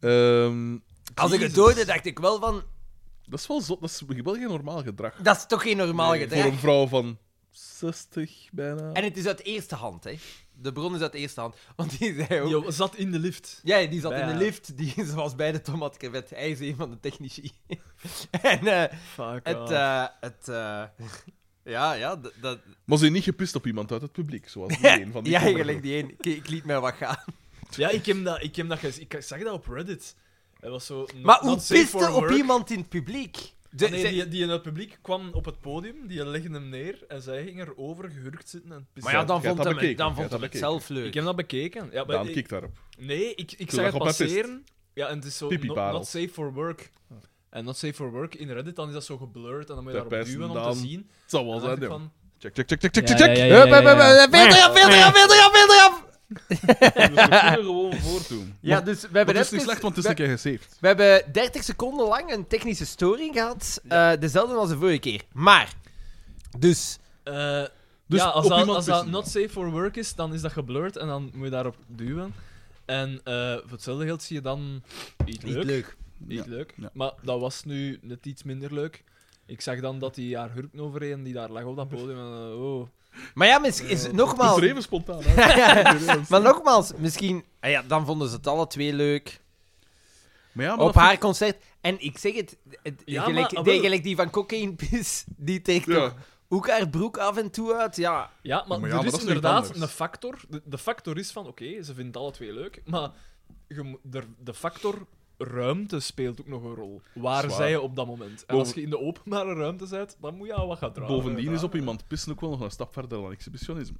Speaker 2: Ehm,
Speaker 4: Als ik het doodde, dacht ik wel van:
Speaker 2: dat is wel zot. Dat is wel geen normaal gedrag.
Speaker 4: dat is toch geen normaal gedrag.
Speaker 2: Voor een vrouw van 60 bijna.
Speaker 4: En het is uit eerste hand, hè. De bron is uit eerste hand. Want die zei ook...
Speaker 3: Jo, zat in de lift.
Speaker 4: Ja, die zat
Speaker 3: Ja.
Speaker 4: in de lift. Die was bij de Tomat Crevet. Hij is een van de technici. en eh,
Speaker 3: Fuck
Speaker 4: het...
Speaker 3: off.
Speaker 4: eh, het eh, ja, ja, d- dat...
Speaker 2: Maar ze zijn niet gepist op iemand uit het publiek, zoals die een van die
Speaker 4: ja,
Speaker 2: andere
Speaker 4: eigenlijk die één. Ik, ik liet mij wat gaan.
Speaker 3: Ja, ik, heb dat, ik, heb dat gez- ik zag dat op Reddit. Het was zo... not-
Speaker 4: maar hoe
Speaker 3: not safe
Speaker 4: piste
Speaker 3: for
Speaker 4: op
Speaker 3: work.
Speaker 4: iemand in het publiek? De,
Speaker 3: Ah, nee,
Speaker 4: ze-
Speaker 3: die, die in het publiek kwam op het podium, die legde hem neer en zij ging erover gehurkt zitten en
Speaker 4: Maar
Speaker 3: pissen.
Speaker 4: ja,
Speaker 2: Jij
Speaker 4: dan
Speaker 2: hebt dat
Speaker 4: vond
Speaker 2: bekeken,
Speaker 4: hem, het-
Speaker 2: jij
Speaker 4: dan
Speaker 2: hebt dat
Speaker 4: vond hem het
Speaker 2: bekeken.
Speaker 4: zelf leuk.
Speaker 3: Ik heb dat bekeken. Ja, maar
Speaker 2: Daan
Speaker 3: ik-
Speaker 2: kijkt daarop.
Speaker 3: Nee, ik, ik
Speaker 2: Toen
Speaker 3: zag
Speaker 2: lag
Speaker 3: het
Speaker 2: op mijn pist.
Speaker 3: passeren. Ja, en het is zo not,
Speaker 2: Pipiparel.
Speaker 3: not safe for work.
Speaker 2: Ah.
Speaker 3: En not safe for work in Reddit, dan is dat zo geblurred en dan moet je
Speaker 2: Daar
Speaker 3: daarop
Speaker 2: pijst
Speaker 3: duwen om
Speaker 2: Daan.
Speaker 3: te zien.
Speaker 2: Het zal wel
Speaker 3: En dan
Speaker 2: zijn,
Speaker 3: dacht ik
Speaker 2: joh.
Speaker 3: van,
Speaker 2: Check, check, check, check, check,
Speaker 3: Ja,
Speaker 2: check.
Speaker 3: ja, ja, ja,
Speaker 2: Hup, hup,
Speaker 3: ja,
Speaker 2: hup,
Speaker 3: ja.
Speaker 2: hup.
Speaker 4: Filter af, filter af, filter af, filter af!
Speaker 2: We kunnen gewoon voortdoen.
Speaker 4: Ja, dus we hebben
Speaker 2: Dat is niet
Speaker 4: even-
Speaker 2: slecht, want het is een keer gesaved.
Speaker 4: We hebben 30 seconden lang een technische storing gehad. Eh, dezelfde als de vorige keer. Maar, dus,
Speaker 3: eh,
Speaker 2: Dus
Speaker 3: ja, als,
Speaker 2: op
Speaker 3: dat,
Speaker 2: iemand
Speaker 3: als dat
Speaker 2: pissen.
Speaker 3: not safe for work is, dan is dat geblurred en dan moet je daarop duwen. En eh, voor hetzelfde geld zie je dan iets leuk.
Speaker 2: Ja.
Speaker 3: Niet leuk.
Speaker 2: ja.
Speaker 3: Maar dat was nu net iets minder leuk. Ik zag dan dat die haar hurken overheen, die daar lag op dat podium. En, eh, oh.
Speaker 4: Maar ja, misschien
Speaker 3: Eh,
Speaker 4: is,
Speaker 2: Het is
Speaker 4: nogmaals,
Speaker 2: er even spontaan. hè.
Speaker 4: maar nogmaals, misschien, ah ja, dan vonden ze het alle twee leuk.
Speaker 2: Maar ja, maar
Speaker 4: op
Speaker 2: dat
Speaker 4: haar concert. En ik zeg het, het
Speaker 3: Ja,
Speaker 4: gelijk,
Speaker 3: maar, ah,
Speaker 4: die,
Speaker 3: wel.
Speaker 4: gelijk die van Cocaine Piss, die trekt
Speaker 2: vind-
Speaker 4: toch
Speaker 2: Ja.
Speaker 4: ook haar broek af en toe uit. Ja,
Speaker 3: Ja, maar,
Speaker 2: maar ja,
Speaker 3: er is
Speaker 2: maar dat is nog iets
Speaker 3: inderdaad
Speaker 2: anders.
Speaker 3: een factor. De, de factor is van, oké, ze vinden het alle twee leuk, maar je mo- de, de factor ruimte speelt ook nog een rol. Waar
Speaker 2: Zwaar.
Speaker 3: zij je op dat moment? En
Speaker 2: Boven-
Speaker 3: als je in de openbare ruimte bent, dan moet je al wat gaan dragen.
Speaker 2: Bovendien is op iemand pissen ook wel nog een stap verder dan exhibitionisme.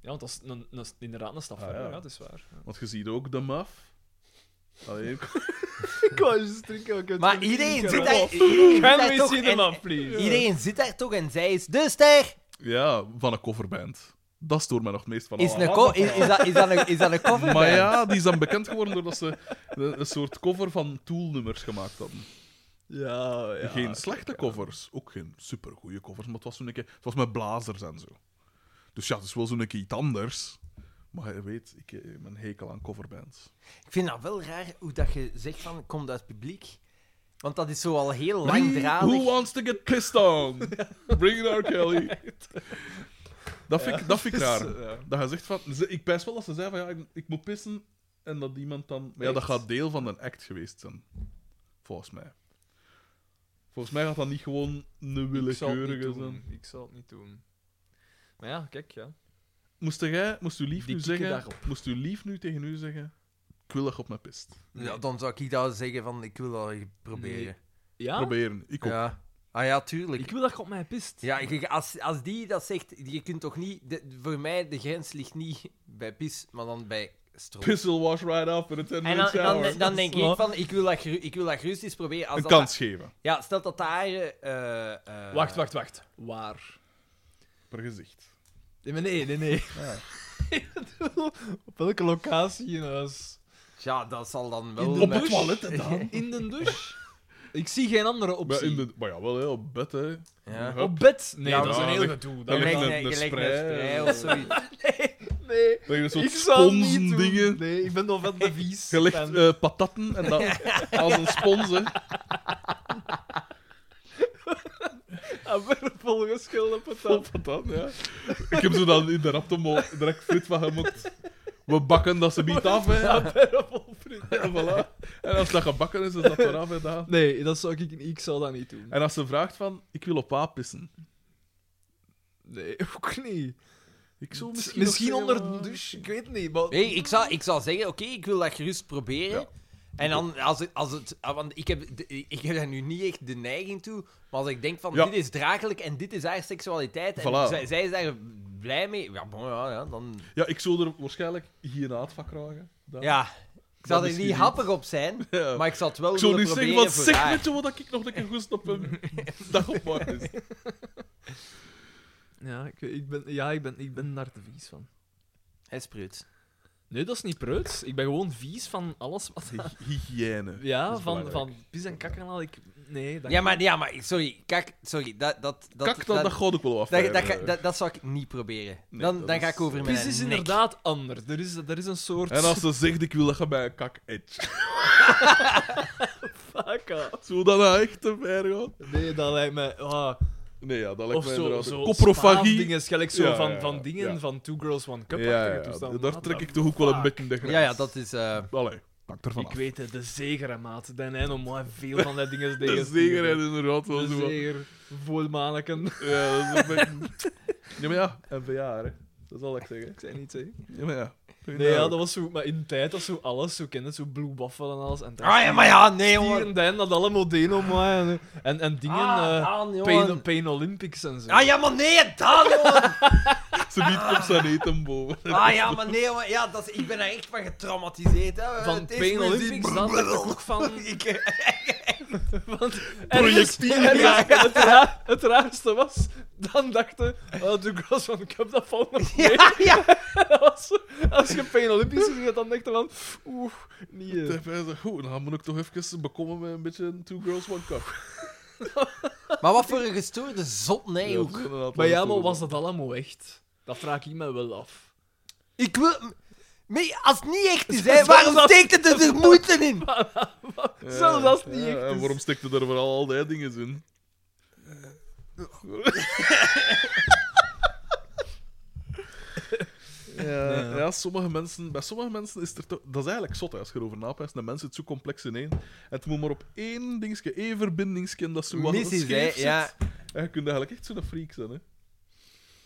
Speaker 3: Ja, want dat is een, een, inderdaad een stap
Speaker 2: Ah,
Speaker 3: verder,
Speaker 2: ja.
Speaker 3: ja. dat is waar. Ja.
Speaker 2: Want je ziet ook de maf. Allee,
Speaker 3: Ik wou juist drinken, ik
Speaker 4: maar iedereen zit
Speaker 3: Gaan
Speaker 4: daar, iedereen
Speaker 3: we
Speaker 4: zit daar toch
Speaker 3: zien hem
Speaker 4: en,
Speaker 3: af, please.
Speaker 4: iedereen zit daar toch en zij is de ster.
Speaker 2: ja, van een coverband. Dat stoort mij nog het meest van
Speaker 4: Is,
Speaker 3: Oh,
Speaker 2: allemaal.
Speaker 4: een co- is, is, dat, is, dat een, is dat een cover?
Speaker 2: Maar ja, die is dan bekend geworden doordat ze een een soort cover van Tool-nummers gemaakt hadden.
Speaker 3: Ja, ja.
Speaker 2: geen slechte covers, ook geen supergoeie covers, maar het was, zo'n keer, het was met blazers en zo. Dus ja, het is wel zo'n keer iets anders. Maar je weet, ik eh, mijn hekel aan coverbands.
Speaker 4: Ik vind dat wel raar hoe dat je zegt van, komt uit het publiek. Want dat is zo al heel langdradig.
Speaker 2: Who wants to get pissed on? Bring it out, Kelly. Dat vind, ik, dat vind ik
Speaker 3: eh,
Speaker 2: raar. Dat je zegt van... ze- Ik pijs wel dat ze zei van ja, ik, ik moet pissen en dat iemand dan... Maar ja, dat
Speaker 3: Echt?
Speaker 2: gaat deel van een act geweest zijn. Volgens mij. Volgens mij gaat dat niet gewoon een
Speaker 3: Ik zal het niet
Speaker 2: willekeurige zijn.
Speaker 3: doen. Ik zal het niet doen. Maar ja, kijk, ja.
Speaker 2: Moest jij, moest uw lief
Speaker 3: Die
Speaker 2: nu
Speaker 3: kikken
Speaker 2: zeggen,
Speaker 3: daarop.
Speaker 2: moest uw lief nu tegen u zeggen, ik wil dat je op mijn pist.
Speaker 4: Ja, dan zou ik dat zeggen van, ik wil dat proberen. Ah.
Speaker 3: Ja?
Speaker 2: Proberen. Ik ook.
Speaker 4: Ja. Ah ja, tuurlijk.
Speaker 3: Ik wil dat je op mij pist.
Speaker 4: Ja, ik- als, als die dat zegt, je kunt toch niet... de- voor mij, de grens ligt niet bij pis, maar dan bij stroop.
Speaker 2: Piss will wash right after the 10
Speaker 4: En dan,
Speaker 2: minutes
Speaker 4: dan,
Speaker 2: shower.
Speaker 4: dan denk ik van, ik wil dat, geru- ik wil dat gerust eens proberen. Als
Speaker 2: Een
Speaker 4: dat-
Speaker 2: kans geven.
Speaker 4: Ja, stel dat daar... eh, eh,
Speaker 3: Wacht, wacht, wacht. Waar?
Speaker 2: Per gezicht.
Speaker 3: Nee, maar nee, nee, nee. op welke locatie in huis?
Speaker 4: Ja, dat zal dan wel...
Speaker 3: In
Speaker 4: met-
Speaker 3: de
Speaker 2: Op het
Speaker 3: douche?
Speaker 2: toilet dan.
Speaker 3: In de douche? Ik zie geen andere
Speaker 2: Maar,
Speaker 3: optie.
Speaker 2: in de, maar ja, wel hè, op bed hè.
Speaker 4: Ja.
Speaker 2: Hup.
Speaker 3: Op bed? Nee,
Speaker 2: Ja,
Speaker 3: dat is een
Speaker 2: daar
Speaker 3: heel
Speaker 2: ligt-
Speaker 3: gedoe.
Speaker 2: daar
Speaker 3: Dat
Speaker 4: Je
Speaker 2: ligt
Speaker 4: lijkt
Speaker 2: een-
Speaker 4: een,
Speaker 2: een
Speaker 4: je lijkt
Speaker 2: spray,
Speaker 4: een spray
Speaker 2: eh,
Speaker 4: of zoiets.
Speaker 3: nee,
Speaker 2: Dat je een soort
Speaker 3: ik zou het niet doen.
Speaker 2: sponsdingen.
Speaker 3: Nee, ik ben nog van de vies.
Speaker 2: Je legt
Speaker 3: Ben-
Speaker 2: eh, patatten en dan als een spons hè. eh.
Speaker 3: Ah, maar volgens
Speaker 2: Vol
Speaker 3: schilderpatat.
Speaker 2: patat, ja. Ik heb zo dan in de raptomo direct frit van gemokt. We bakken dat ze niet af hè.
Speaker 3: Ja, bijna vol friet.
Speaker 2: Ja, voilà. En als dat gebakken is, is dat eraf en dan.
Speaker 3: Nee, dat zou ik, ik zou dat niet doen.
Speaker 2: En als ze vraagt van, ik wil op A pissen.
Speaker 3: Nee, ook niet.
Speaker 2: Ik zou
Speaker 3: Misschien,
Speaker 2: misschien, nog eh, zeggen,
Speaker 3: onder de
Speaker 2: maar-
Speaker 3: douche, ik weet niet. Maar...
Speaker 4: Nee, ik zou, ik zou zeggen, oké, ik wil dat gerust proberen.
Speaker 2: Ja.
Speaker 4: En dan, als het, als het, ah, want ik heb, de- ik heb daar nu niet echt de neiging toe, maar als ik denk van,
Speaker 2: Ja.
Speaker 4: dit is draaglijk en dit is haar seksualiteit, en
Speaker 2: Voilà.
Speaker 4: zij, zij is daar blij mee, ja, bon, ja, ja, dan...
Speaker 2: Ja, ik zou er waarschijnlijk hierna het van krijgen. Daar.
Speaker 4: Ja, ik
Speaker 2: Dat
Speaker 4: zal er
Speaker 2: is
Speaker 4: niet
Speaker 2: geniet.
Speaker 4: happig op zijn,
Speaker 2: Ja.
Speaker 4: maar ik zal het wel
Speaker 2: ik zou
Speaker 4: willen
Speaker 2: niet
Speaker 4: proberen
Speaker 2: zeggen van,
Speaker 4: voor
Speaker 2: zeg
Speaker 4: haar.
Speaker 2: met je wat ik nog een keer goed op een dag op maak is.
Speaker 3: Ja, ik, ik ben, ja ik, ben, ik ben daar te vies van.
Speaker 4: Hij spreekt.
Speaker 3: Nee, dat is niet preuts. Ik ben gewoon vies van alles wat...
Speaker 2: Hy- Hygiëne. Dat
Speaker 3: Ja,
Speaker 2: is
Speaker 3: van,
Speaker 2: belangrijk.
Speaker 3: van pis en kakken al. Ik... Nee, dank
Speaker 4: Ja maar, ja, maar sorry, kijk, sorry, dat... dat, dat
Speaker 2: Kak, dat, dat,
Speaker 4: dat,
Speaker 2: gaat ook wel af.
Speaker 4: dat, dat, dat, dat zou ik niet proberen.
Speaker 2: Nee,
Speaker 4: dan
Speaker 2: dat
Speaker 4: dan ga
Speaker 2: is- eh,
Speaker 4: ik over mijn
Speaker 3: Pis is
Speaker 4: nek.
Speaker 3: inderdaad anders. Er is, er is een soort...
Speaker 2: En als ze zegt, ik wil dat je bij een kak etch.
Speaker 3: Faka.
Speaker 2: Zo dan nou echt te ver gaan.
Speaker 3: Nee, dat lijkt me... Ah.
Speaker 2: Nee, ja, dat lijkt
Speaker 3: Of
Speaker 2: mij
Speaker 3: zo,
Speaker 2: inderdaad.
Speaker 3: zo
Speaker 2: Coprofagie.
Speaker 3: dingen, gelijk zo
Speaker 2: Ja,
Speaker 3: van,
Speaker 2: ja, ja,
Speaker 3: van dingen,
Speaker 2: ja.
Speaker 3: van Two Girls, One Cup.
Speaker 2: Ja, ja, ja. daar
Speaker 3: Ah,
Speaker 2: trek ik toch ook wel een beetje de grens.
Speaker 4: Ja, ja, dat is... eh,
Speaker 2: Allee, pak ervan
Speaker 3: Ah, Ik
Speaker 2: af.
Speaker 3: weet het, de zegere maat. Dan en om maar veel van die dingen tegen
Speaker 2: De
Speaker 3: te
Speaker 2: zeger
Speaker 3: sturen.
Speaker 2: en inderdaad wel
Speaker 3: De
Speaker 2: zo. wat-
Speaker 3: zeger, volmaneken.
Speaker 2: Ja, dat is een beetje... Ja, maar ja, NBA, hè. Dat zal ik zeggen.
Speaker 3: Ik zei niet zeker.
Speaker 2: Ja, maar ja.
Speaker 3: Nee, ja, dat was zo... Maar in de tijd, dat zo alles, zo kende zo Blue Waffle en alles. En
Speaker 4: Ah ja, maar ja, nee,
Speaker 3: Hier
Speaker 4: jongen.
Speaker 3: en dan dat allemaal deden om mij. En, en, en dingen, eh,
Speaker 4: Daan,
Speaker 3: Pain, Pain Olympics en zo.
Speaker 4: Ah ja, maar nee, Daan, jongen.
Speaker 2: Ze biedt op zijn eten boven.
Speaker 4: Ah ja, maar nee, jongen. Ja, dat is, ik ben daar echt van getraumatiseerd. Hè.
Speaker 3: Van
Speaker 4: Het is
Speaker 3: Pain
Speaker 4: mijn
Speaker 3: Olympics,
Speaker 4: zin.
Speaker 3: dat dacht ik ook van...
Speaker 4: Ik, eh,
Speaker 3: Want
Speaker 2: Projectielen.
Speaker 3: en dus- het, raar- het raarste was, dan dachten oh, de girls van Cup, dat valt nog mee.
Speaker 4: ja, ja.
Speaker 3: Dat was zo- als je Pain Olympics gezien dan dachten van, oeh, niet... eh.
Speaker 2: Goed, dan moet ik toch even bekomen met een beetje een Two Girls One Cup.
Speaker 4: Maar wat voor een gestoorde zot, nee,
Speaker 2: Ja, dat
Speaker 4: ook.
Speaker 2: is inderdaad
Speaker 3: Maar
Speaker 2: wel
Speaker 3: ja,
Speaker 2: zo.
Speaker 3: maar was dat allemaal echt? Dat vraag ik me wel af.
Speaker 4: Ik wil... Nee, als het niet echt is, hè,
Speaker 3: Zelfs
Speaker 4: waarom
Speaker 3: als-
Speaker 4: steekt het er de moeite in?
Speaker 2: Ja,
Speaker 3: Zelfs als het niet
Speaker 2: Eh, ja,
Speaker 3: echt
Speaker 2: En
Speaker 3: is.
Speaker 2: waarom stikte er vooral al die dingen in?
Speaker 4: Eh.
Speaker 2: Ja, ja, sommige mensen, bij sommige mensen is het er toch. Dat is eigenlijk zot hè, als je erover napijst. De mensen het zo complex in één. En het moet maar op één dingetje, één verbindingsje, dat zo wat
Speaker 4: Mis is, hè?
Speaker 2: scheef zit.
Speaker 4: Ja,
Speaker 2: En je kunt eigenlijk echt zo'n freak zijn. Hè.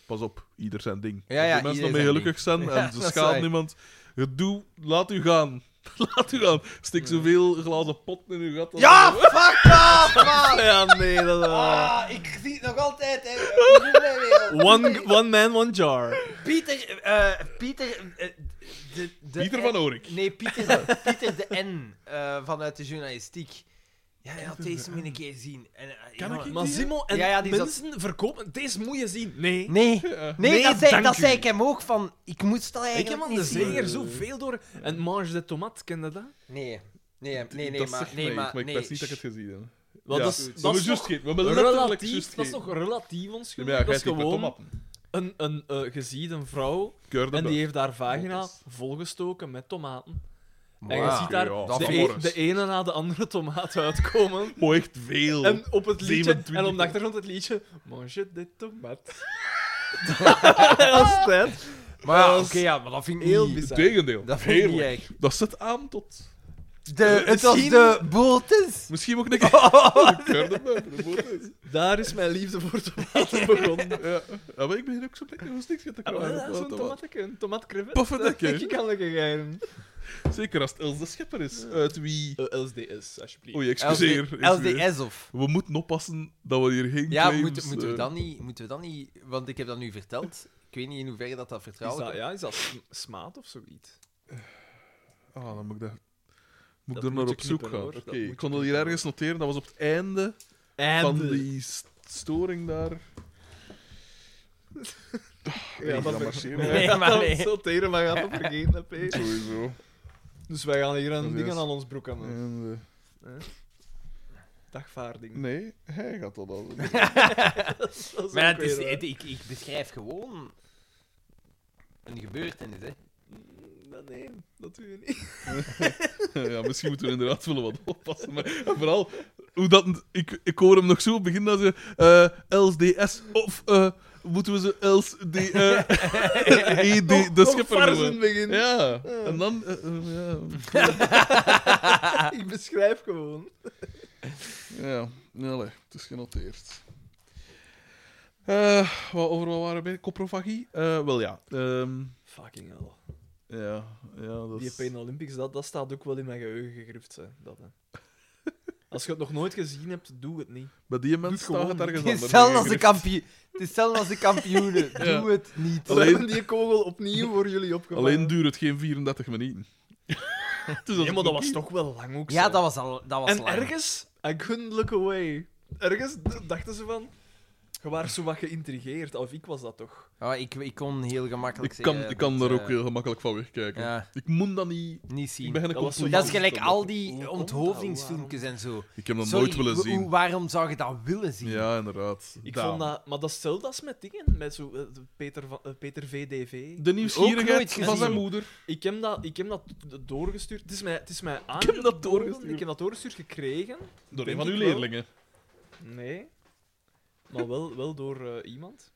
Speaker 2: Pas op, ieder zijn ding.
Speaker 4: Ja, ja,
Speaker 2: de mensen
Speaker 4: ieder
Speaker 2: daarmee
Speaker 4: zijn
Speaker 2: gelukkig zijn
Speaker 4: Ja,
Speaker 2: en
Speaker 4: dat
Speaker 2: ze
Speaker 4: is
Speaker 2: schaadt
Speaker 4: waar.
Speaker 2: niemand. Het doe, laat u gaan. Laat u gaan. Stik zoveel glazen pot in uw gat. als-
Speaker 4: ja Ah, fuck off, man!
Speaker 3: Ja, nee, dat...
Speaker 4: Ah, ik zie het nog altijd, hè. Hoe doen wij weer?
Speaker 3: One, one man, one jar.
Speaker 4: Pieter, eh, Pieter... eh, de, de
Speaker 2: Pieter van Oorik.
Speaker 4: Nee, Pieter, Pieter de N eh, vanuit de journalistiek. Ja, hij had deze moet je een keer zien. En, eh,
Speaker 2: Kan
Speaker 4: jongen,
Speaker 2: ik
Speaker 3: Maar Zimo en
Speaker 4: Ja, ja, die zat-
Speaker 3: mensen verkopen... Deze moet je zien. Nee.
Speaker 4: Nee,
Speaker 2: Ja.
Speaker 4: nee,
Speaker 3: Nee,
Speaker 4: dat, zei,
Speaker 3: dank
Speaker 4: dat
Speaker 3: u.
Speaker 4: zei ik hem ook van. Ik moest dat
Speaker 3: Ik
Speaker 4: eigenlijk.
Speaker 3: heb aan
Speaker 4: niet
Speaker 3: de
Speaker 4: zien.
Speaker 3: zeger zoveel door. En Mange de Tomat, ken je dat?
Speaker 4: Nee, nee, nee, nee,
Speaker 2: dat
Speaker 4: maar.
Speaker 2: zegt mij
Speaker 4: Nee,
Speaker 2: iets,
Speaker 4: maar.
Speaker 2: maar ik
Speaker 4: Nee,
Speaker 2: wist niet dat ik het gezien heb.
Speaker 3: Want
Speaker 2: Ja,
Speaker 3: dat is,
Speaker 2: we
Speaker 3: dat
Speaker 2: hebben
Speaker 3: is
Speaker 2: juist
Speaker 3: nog
Speaker 2: geen- we hebben letterlijk
Speaker 3: relatief,
Speaker 2: juist
Speaker 3: dat is
Speaker 2: geen.
Speaker 3: nog relatief onschuldig.
Speaker 2: Ja, maar
Speaker 3: dat
Speaker 2: jij
Speaker 3: is
Speaker 2: ziet met
Speaker 3: gewoon
Speaker 2: tomaten.
Speaker 3: een, een eh, je ziet een vrouw
Speaker 2: Keur de
Speaker 3: en
Speaker 2: buis.
Speaker 3: die heeft haar vagina
Speaker 4: dus.
Speaker 2: Tomaten.
Speaker 3: volgestoken met tomaten. En je
Speaker 4: Wow.
Speaker 3: ziet daar
Speaker 2: Ja,
Speaker 3: de,
Speaker 2: dat
Speaker 3: e-
Speaker 2: vermoord.
Speaker 3: de ene na de andere tomaat uitkomen.
Speaker 2: Mooi, echt veel.
Speaker 3: En op het liedje,
Speaker 2: 27.
Speaker 3: en op de achtergrond het liedje, mange de tomat. dat is tijd.
Speaker 4: Maar ja,
Speaker 3: dat
Speaker 4: oké,
Speaker 3: is
Speaker 4: ja, maar dat vind ik
Speaker 3: Heel
Speaker 4: niet.
Speaker 3: bizar.
Speaker 2: Tegendeel.
Speaker 4: Dat vind ik niet
Speaker 2: Heerlijk.
Speaker 4: echt.
Speaker 2: Dat zet aan tot...
Speaker 4: De, het was
Speaker 2: Misschien-
Speaker 4: de boeltes.
Speaker 2: Misschien ook een keer... Keur de buis, dat moet eens.
Speaker 3: Daar is mijn liefde voor tomaten begonnen.
Speaker 2: Ja, Ja, maar ik begin ook zo lekker een stukje te
Speaker 3: Ah, wel,
Speaker 2: krijgen.
Speaker 3: dat is een
Speaker 2: Wat- wat-
Speaker 3: tomaatje, een tomaatcrevet.
Speaker 2: Poffertje.
Speaker 3: Dat kan lekker geheim.
Speaker 2: Zeker als het Els de Schepper is. Uit wie...
Speaker 3: LSDS, alsjeblieft.
Speaker 2: Oei, excuseer. excuseer.
Speaker 4: LDS of.
Speaker 2: We moeten oppassen dat we hier geen
Speaker 4: Ja,
Speaker 2: claims,
Speaker 4: moeten moeten we
Speaker 2: eh,
Speaker 4: dan niet. Moeten we dan niet. Want ik heb dat nu verteld. Ik weet niet in hoeverre dat dat
Speaker 3: Is
Speaker 4: vertrouwd
Speaker 3: dat, ja, is dat sm- smaad of zoiets?
Speaker 2: Ah, dan moet ik, dat... moet
Speaker 3: Dat
Speaker 2: ik er
Speaker 3: moet
Speaker 2: naar
Speaker 3: je
Speaker 2: op zoek
Speaker 3: knippen,
Speaker 2: gaan.
Speaker 3: hoor.
Speaker 2: Oké,
Speaker 3: Dat moet je
Speaker 2: ik kon dat hier ergens noteren. Dat was op het einde
Speaker 3: En
Speaker 2: van die st- storing daar.
Speaker 3: Ja, dat
Speaker 2: marcheren.
Speaker 3: Nee,
Speaker 4: Nee, maar
Speaker 3: maar
Speaker 4: nee.
Speaker 3: Solteren, maar gaat dat vergeten, hè, P.
Speaker 2: Sowieso.
Speaker 3: Dus wij gaan hier
Speaker 2: Dat
Speaker 3: een
Speaker 2: is
Speaker 3: dingen
Speaker 2: juist.
Speaker 3: aan ons broek aan doen.
Speaker 2: En, eh,
Speaker 3: Dagvaarding.
Speaker 2: nee, hij gaat dat al doen.
Speaker 3: Dat
Speaker 4: Maar
Speaker 3: ook
Speaker 4: het is,
Speaker 3: weer, eh,
Speaker 4: het- ik, ik beschrijf gewoon. een gebeurtenis, hè?
Speaker 3: eh, dat- Nee, dat doen we niet.
Speaker 2: ja, misschien moeten we inderdaad willen wat oppassen. Maar en vooral, hoe dat, ik, ik hoor hem nog zo op het begin dat ze eh, LSDS of eh, moeten we ze LSD, eh, ED, de schipper
Speaker 3: Vars in het
Speaker 2: noemen.
Speaker 3: begin.
Speaker 2: Ja, en dan... eh, eh, ja,
Speaker 3: Ik beschrijf gewoon.
Speaker 2: ja, ja allee, het is genoteerd. Eh, wat, over wat waren we? bij? Coprofagie? Eh, wel ja. ehm,
Speaker 3: Fucking hell.
Speaker 2: ja, ja dat
Speaker 3: Die
Speaker 2: is...
Speaker 3: Pain Olympics, dat, dat staat ook wel in mijn geheugen gegrift. Hè. Dat, hè. Als je het nog nooit gezien hebt, doe het niet.
Speaker 2: Bij die mensen
Speaker 3: Doe het
Speaker 2: staat het
Speaker 3: gewoon.
Speaker 2: ergens
Speaker 4: Het is
Speaker 2: anders.
Speaker 4: hetzelfde als de
Speaker 2: ingericht.
Speaker 4: kampioen. Het is hetzelfde als de kampioenen. Doe het niet.
Speaker 3: We
Speaker 2: Alleen-
Speaker 3: hebben die kogel opnieuw voor jullie opgevangen.
Speaker 2: Alleen duurt het geen 34 minuten. dus
Speaker 3: Nee, maar dat was toch wel lang ook
Speaker 4: Ja,
Speaker 3: zo.
Speaker 4: dat was al. Dat was
Speaker 3: En
Speaker 4: lang.
Speaker 3: ergens, I couldn't look away. Ergens d- dachten ze van, je was zo wat geïntrigeerd, of ik was dat toch?
Speaker 4: Ja, ik, ik kon heel gemakkelijk
Speaker 2: Ik
Speaker 4: zeggen.
Speaker 2: kan, ik kan
Speaker 4: dat,
Speaker 2: er
Speaker 4: eh,
Speaker 2: ook heel gemakkelijk van wegkijken.
Speaker 4: Ja,
Speaker 2: Ik moet dat niet.
Speaker 4: niet
Speaker 2: Ik
Speaker 4: zien.
Speaker 2: ben een
Speaker 3: Dat was zo-
Speaker 2: complotist.
Speaker 4: Dat is gelijk al
Speaker 3: Hoe
Speaker 4: die
Speaker 3: komt dat?
Speaker 4: onthoofdingsfilmpjes en zo.
Speaker 2: Ik heb dat
Speaker 4: Sorry,
Speaker 2: nooit willen
Speaker 4: wa-
Speaker 2: zien.
Speaker 4: hoe- waarom zou je dat willen zien?
Speaker 2: Ja, inderdaad.
Speaker 3: Ik
Speaker 2: Daan.
Speaker 3: vond dat... Maar dat is hetzelfde als met dingen, met zo, eh, Peter, van, eh, Peter VDV.
Speaker 2: De nieuwsgierigheid
Speaker 4: nooit
Speaker 2: van
Speaker 4: gezien.
Speaker 2: zijn moeder.
Speaker 3: Ik heb dat, ik heb dat d- doorgestuurd. Het is mij, het is mij aan.
Speaker 2: heb dat doorgestuurd.
Speaker 3: Ik heb dat doorgestuurd gekregen.
Speaker 2: Door een
Speaker 3: Denk
Speaker 2: van uw
Speaker 3: ik wel.
Speaker 2: leerlingen.
Speaker 3: Nee. Maar wel, wel door eh, iemand.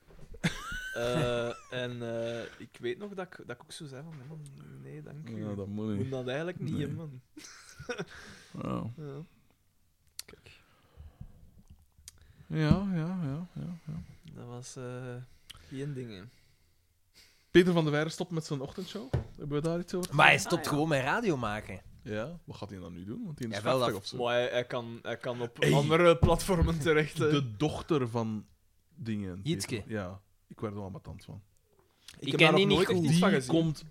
Speaker 3: Eh, en eh, ik weet nog dat ik, dat ik ook zo zei van, nee, man, nee dank u.
Speaker 2: Ja, dat moet
Speaker 3: Ik
Speaker 2: niet.
Speaker 3: moet dat eigenlijk niet,
Speaker 2: Nee.
Speaker 3: hebben, man.
Speaker 2: Ja.
Speaker 3: Ja.
Speaker 2: Ja, ja, ja, ja, ja.
Speaker 3: Dat was eh geen dingen.
Speaker 2: Peter van der Weijden stopt met zijn ochtendshow. Hebben we daar iets over?
Speaker 4: Maar hij stopt gewoon met radio maken.
Speaker 2: Ja. Wat gaat hij dan nu doen? Want hij is
Speaker 4: Ja, wel
Speaker 2: 50
Speaker 4: dat-
Speaker 2: of zo.
Speaker 3: Maar hij, hij kan, hij kan op
Speaker 2: Hey.
Speaker 3: andere platformen terecht. hè.
Speaker 2: De dochter van dingen.
Speaker 4: Jitske.
Speaker 2: Ja. Ik werd er wel ambetant van.
Speaker 3: ik
Speaker 4: ken
Speaker 3: heb daar
Speaker 4: die
Speaker 3: nog
Speaker 4: niet
Speaker 3: nooit echt
Speaker 4: goed.
Speaker 3: iets van
Speaker 2: Die
Speaker 3: gezien.
Speaker 2: komt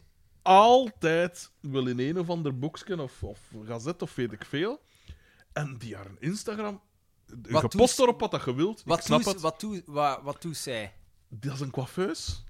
Speaker 2: altijd wel in een of ander boekje of, of gazet of weet ik veel. En die haar Instagram.
Speaker 4: Wat
Speaker 2: Je
Speaker 4: doet-
Speaker 2: post erop wat dat je wilt. ik
Speaker 4: Wat
Speaker 2: snap
Speaker 4: doet,
Speaker 2: het.
Speaker 4: wat, doet, wat, wat doet zij?
Speaker 2: Dat is een coiffeus.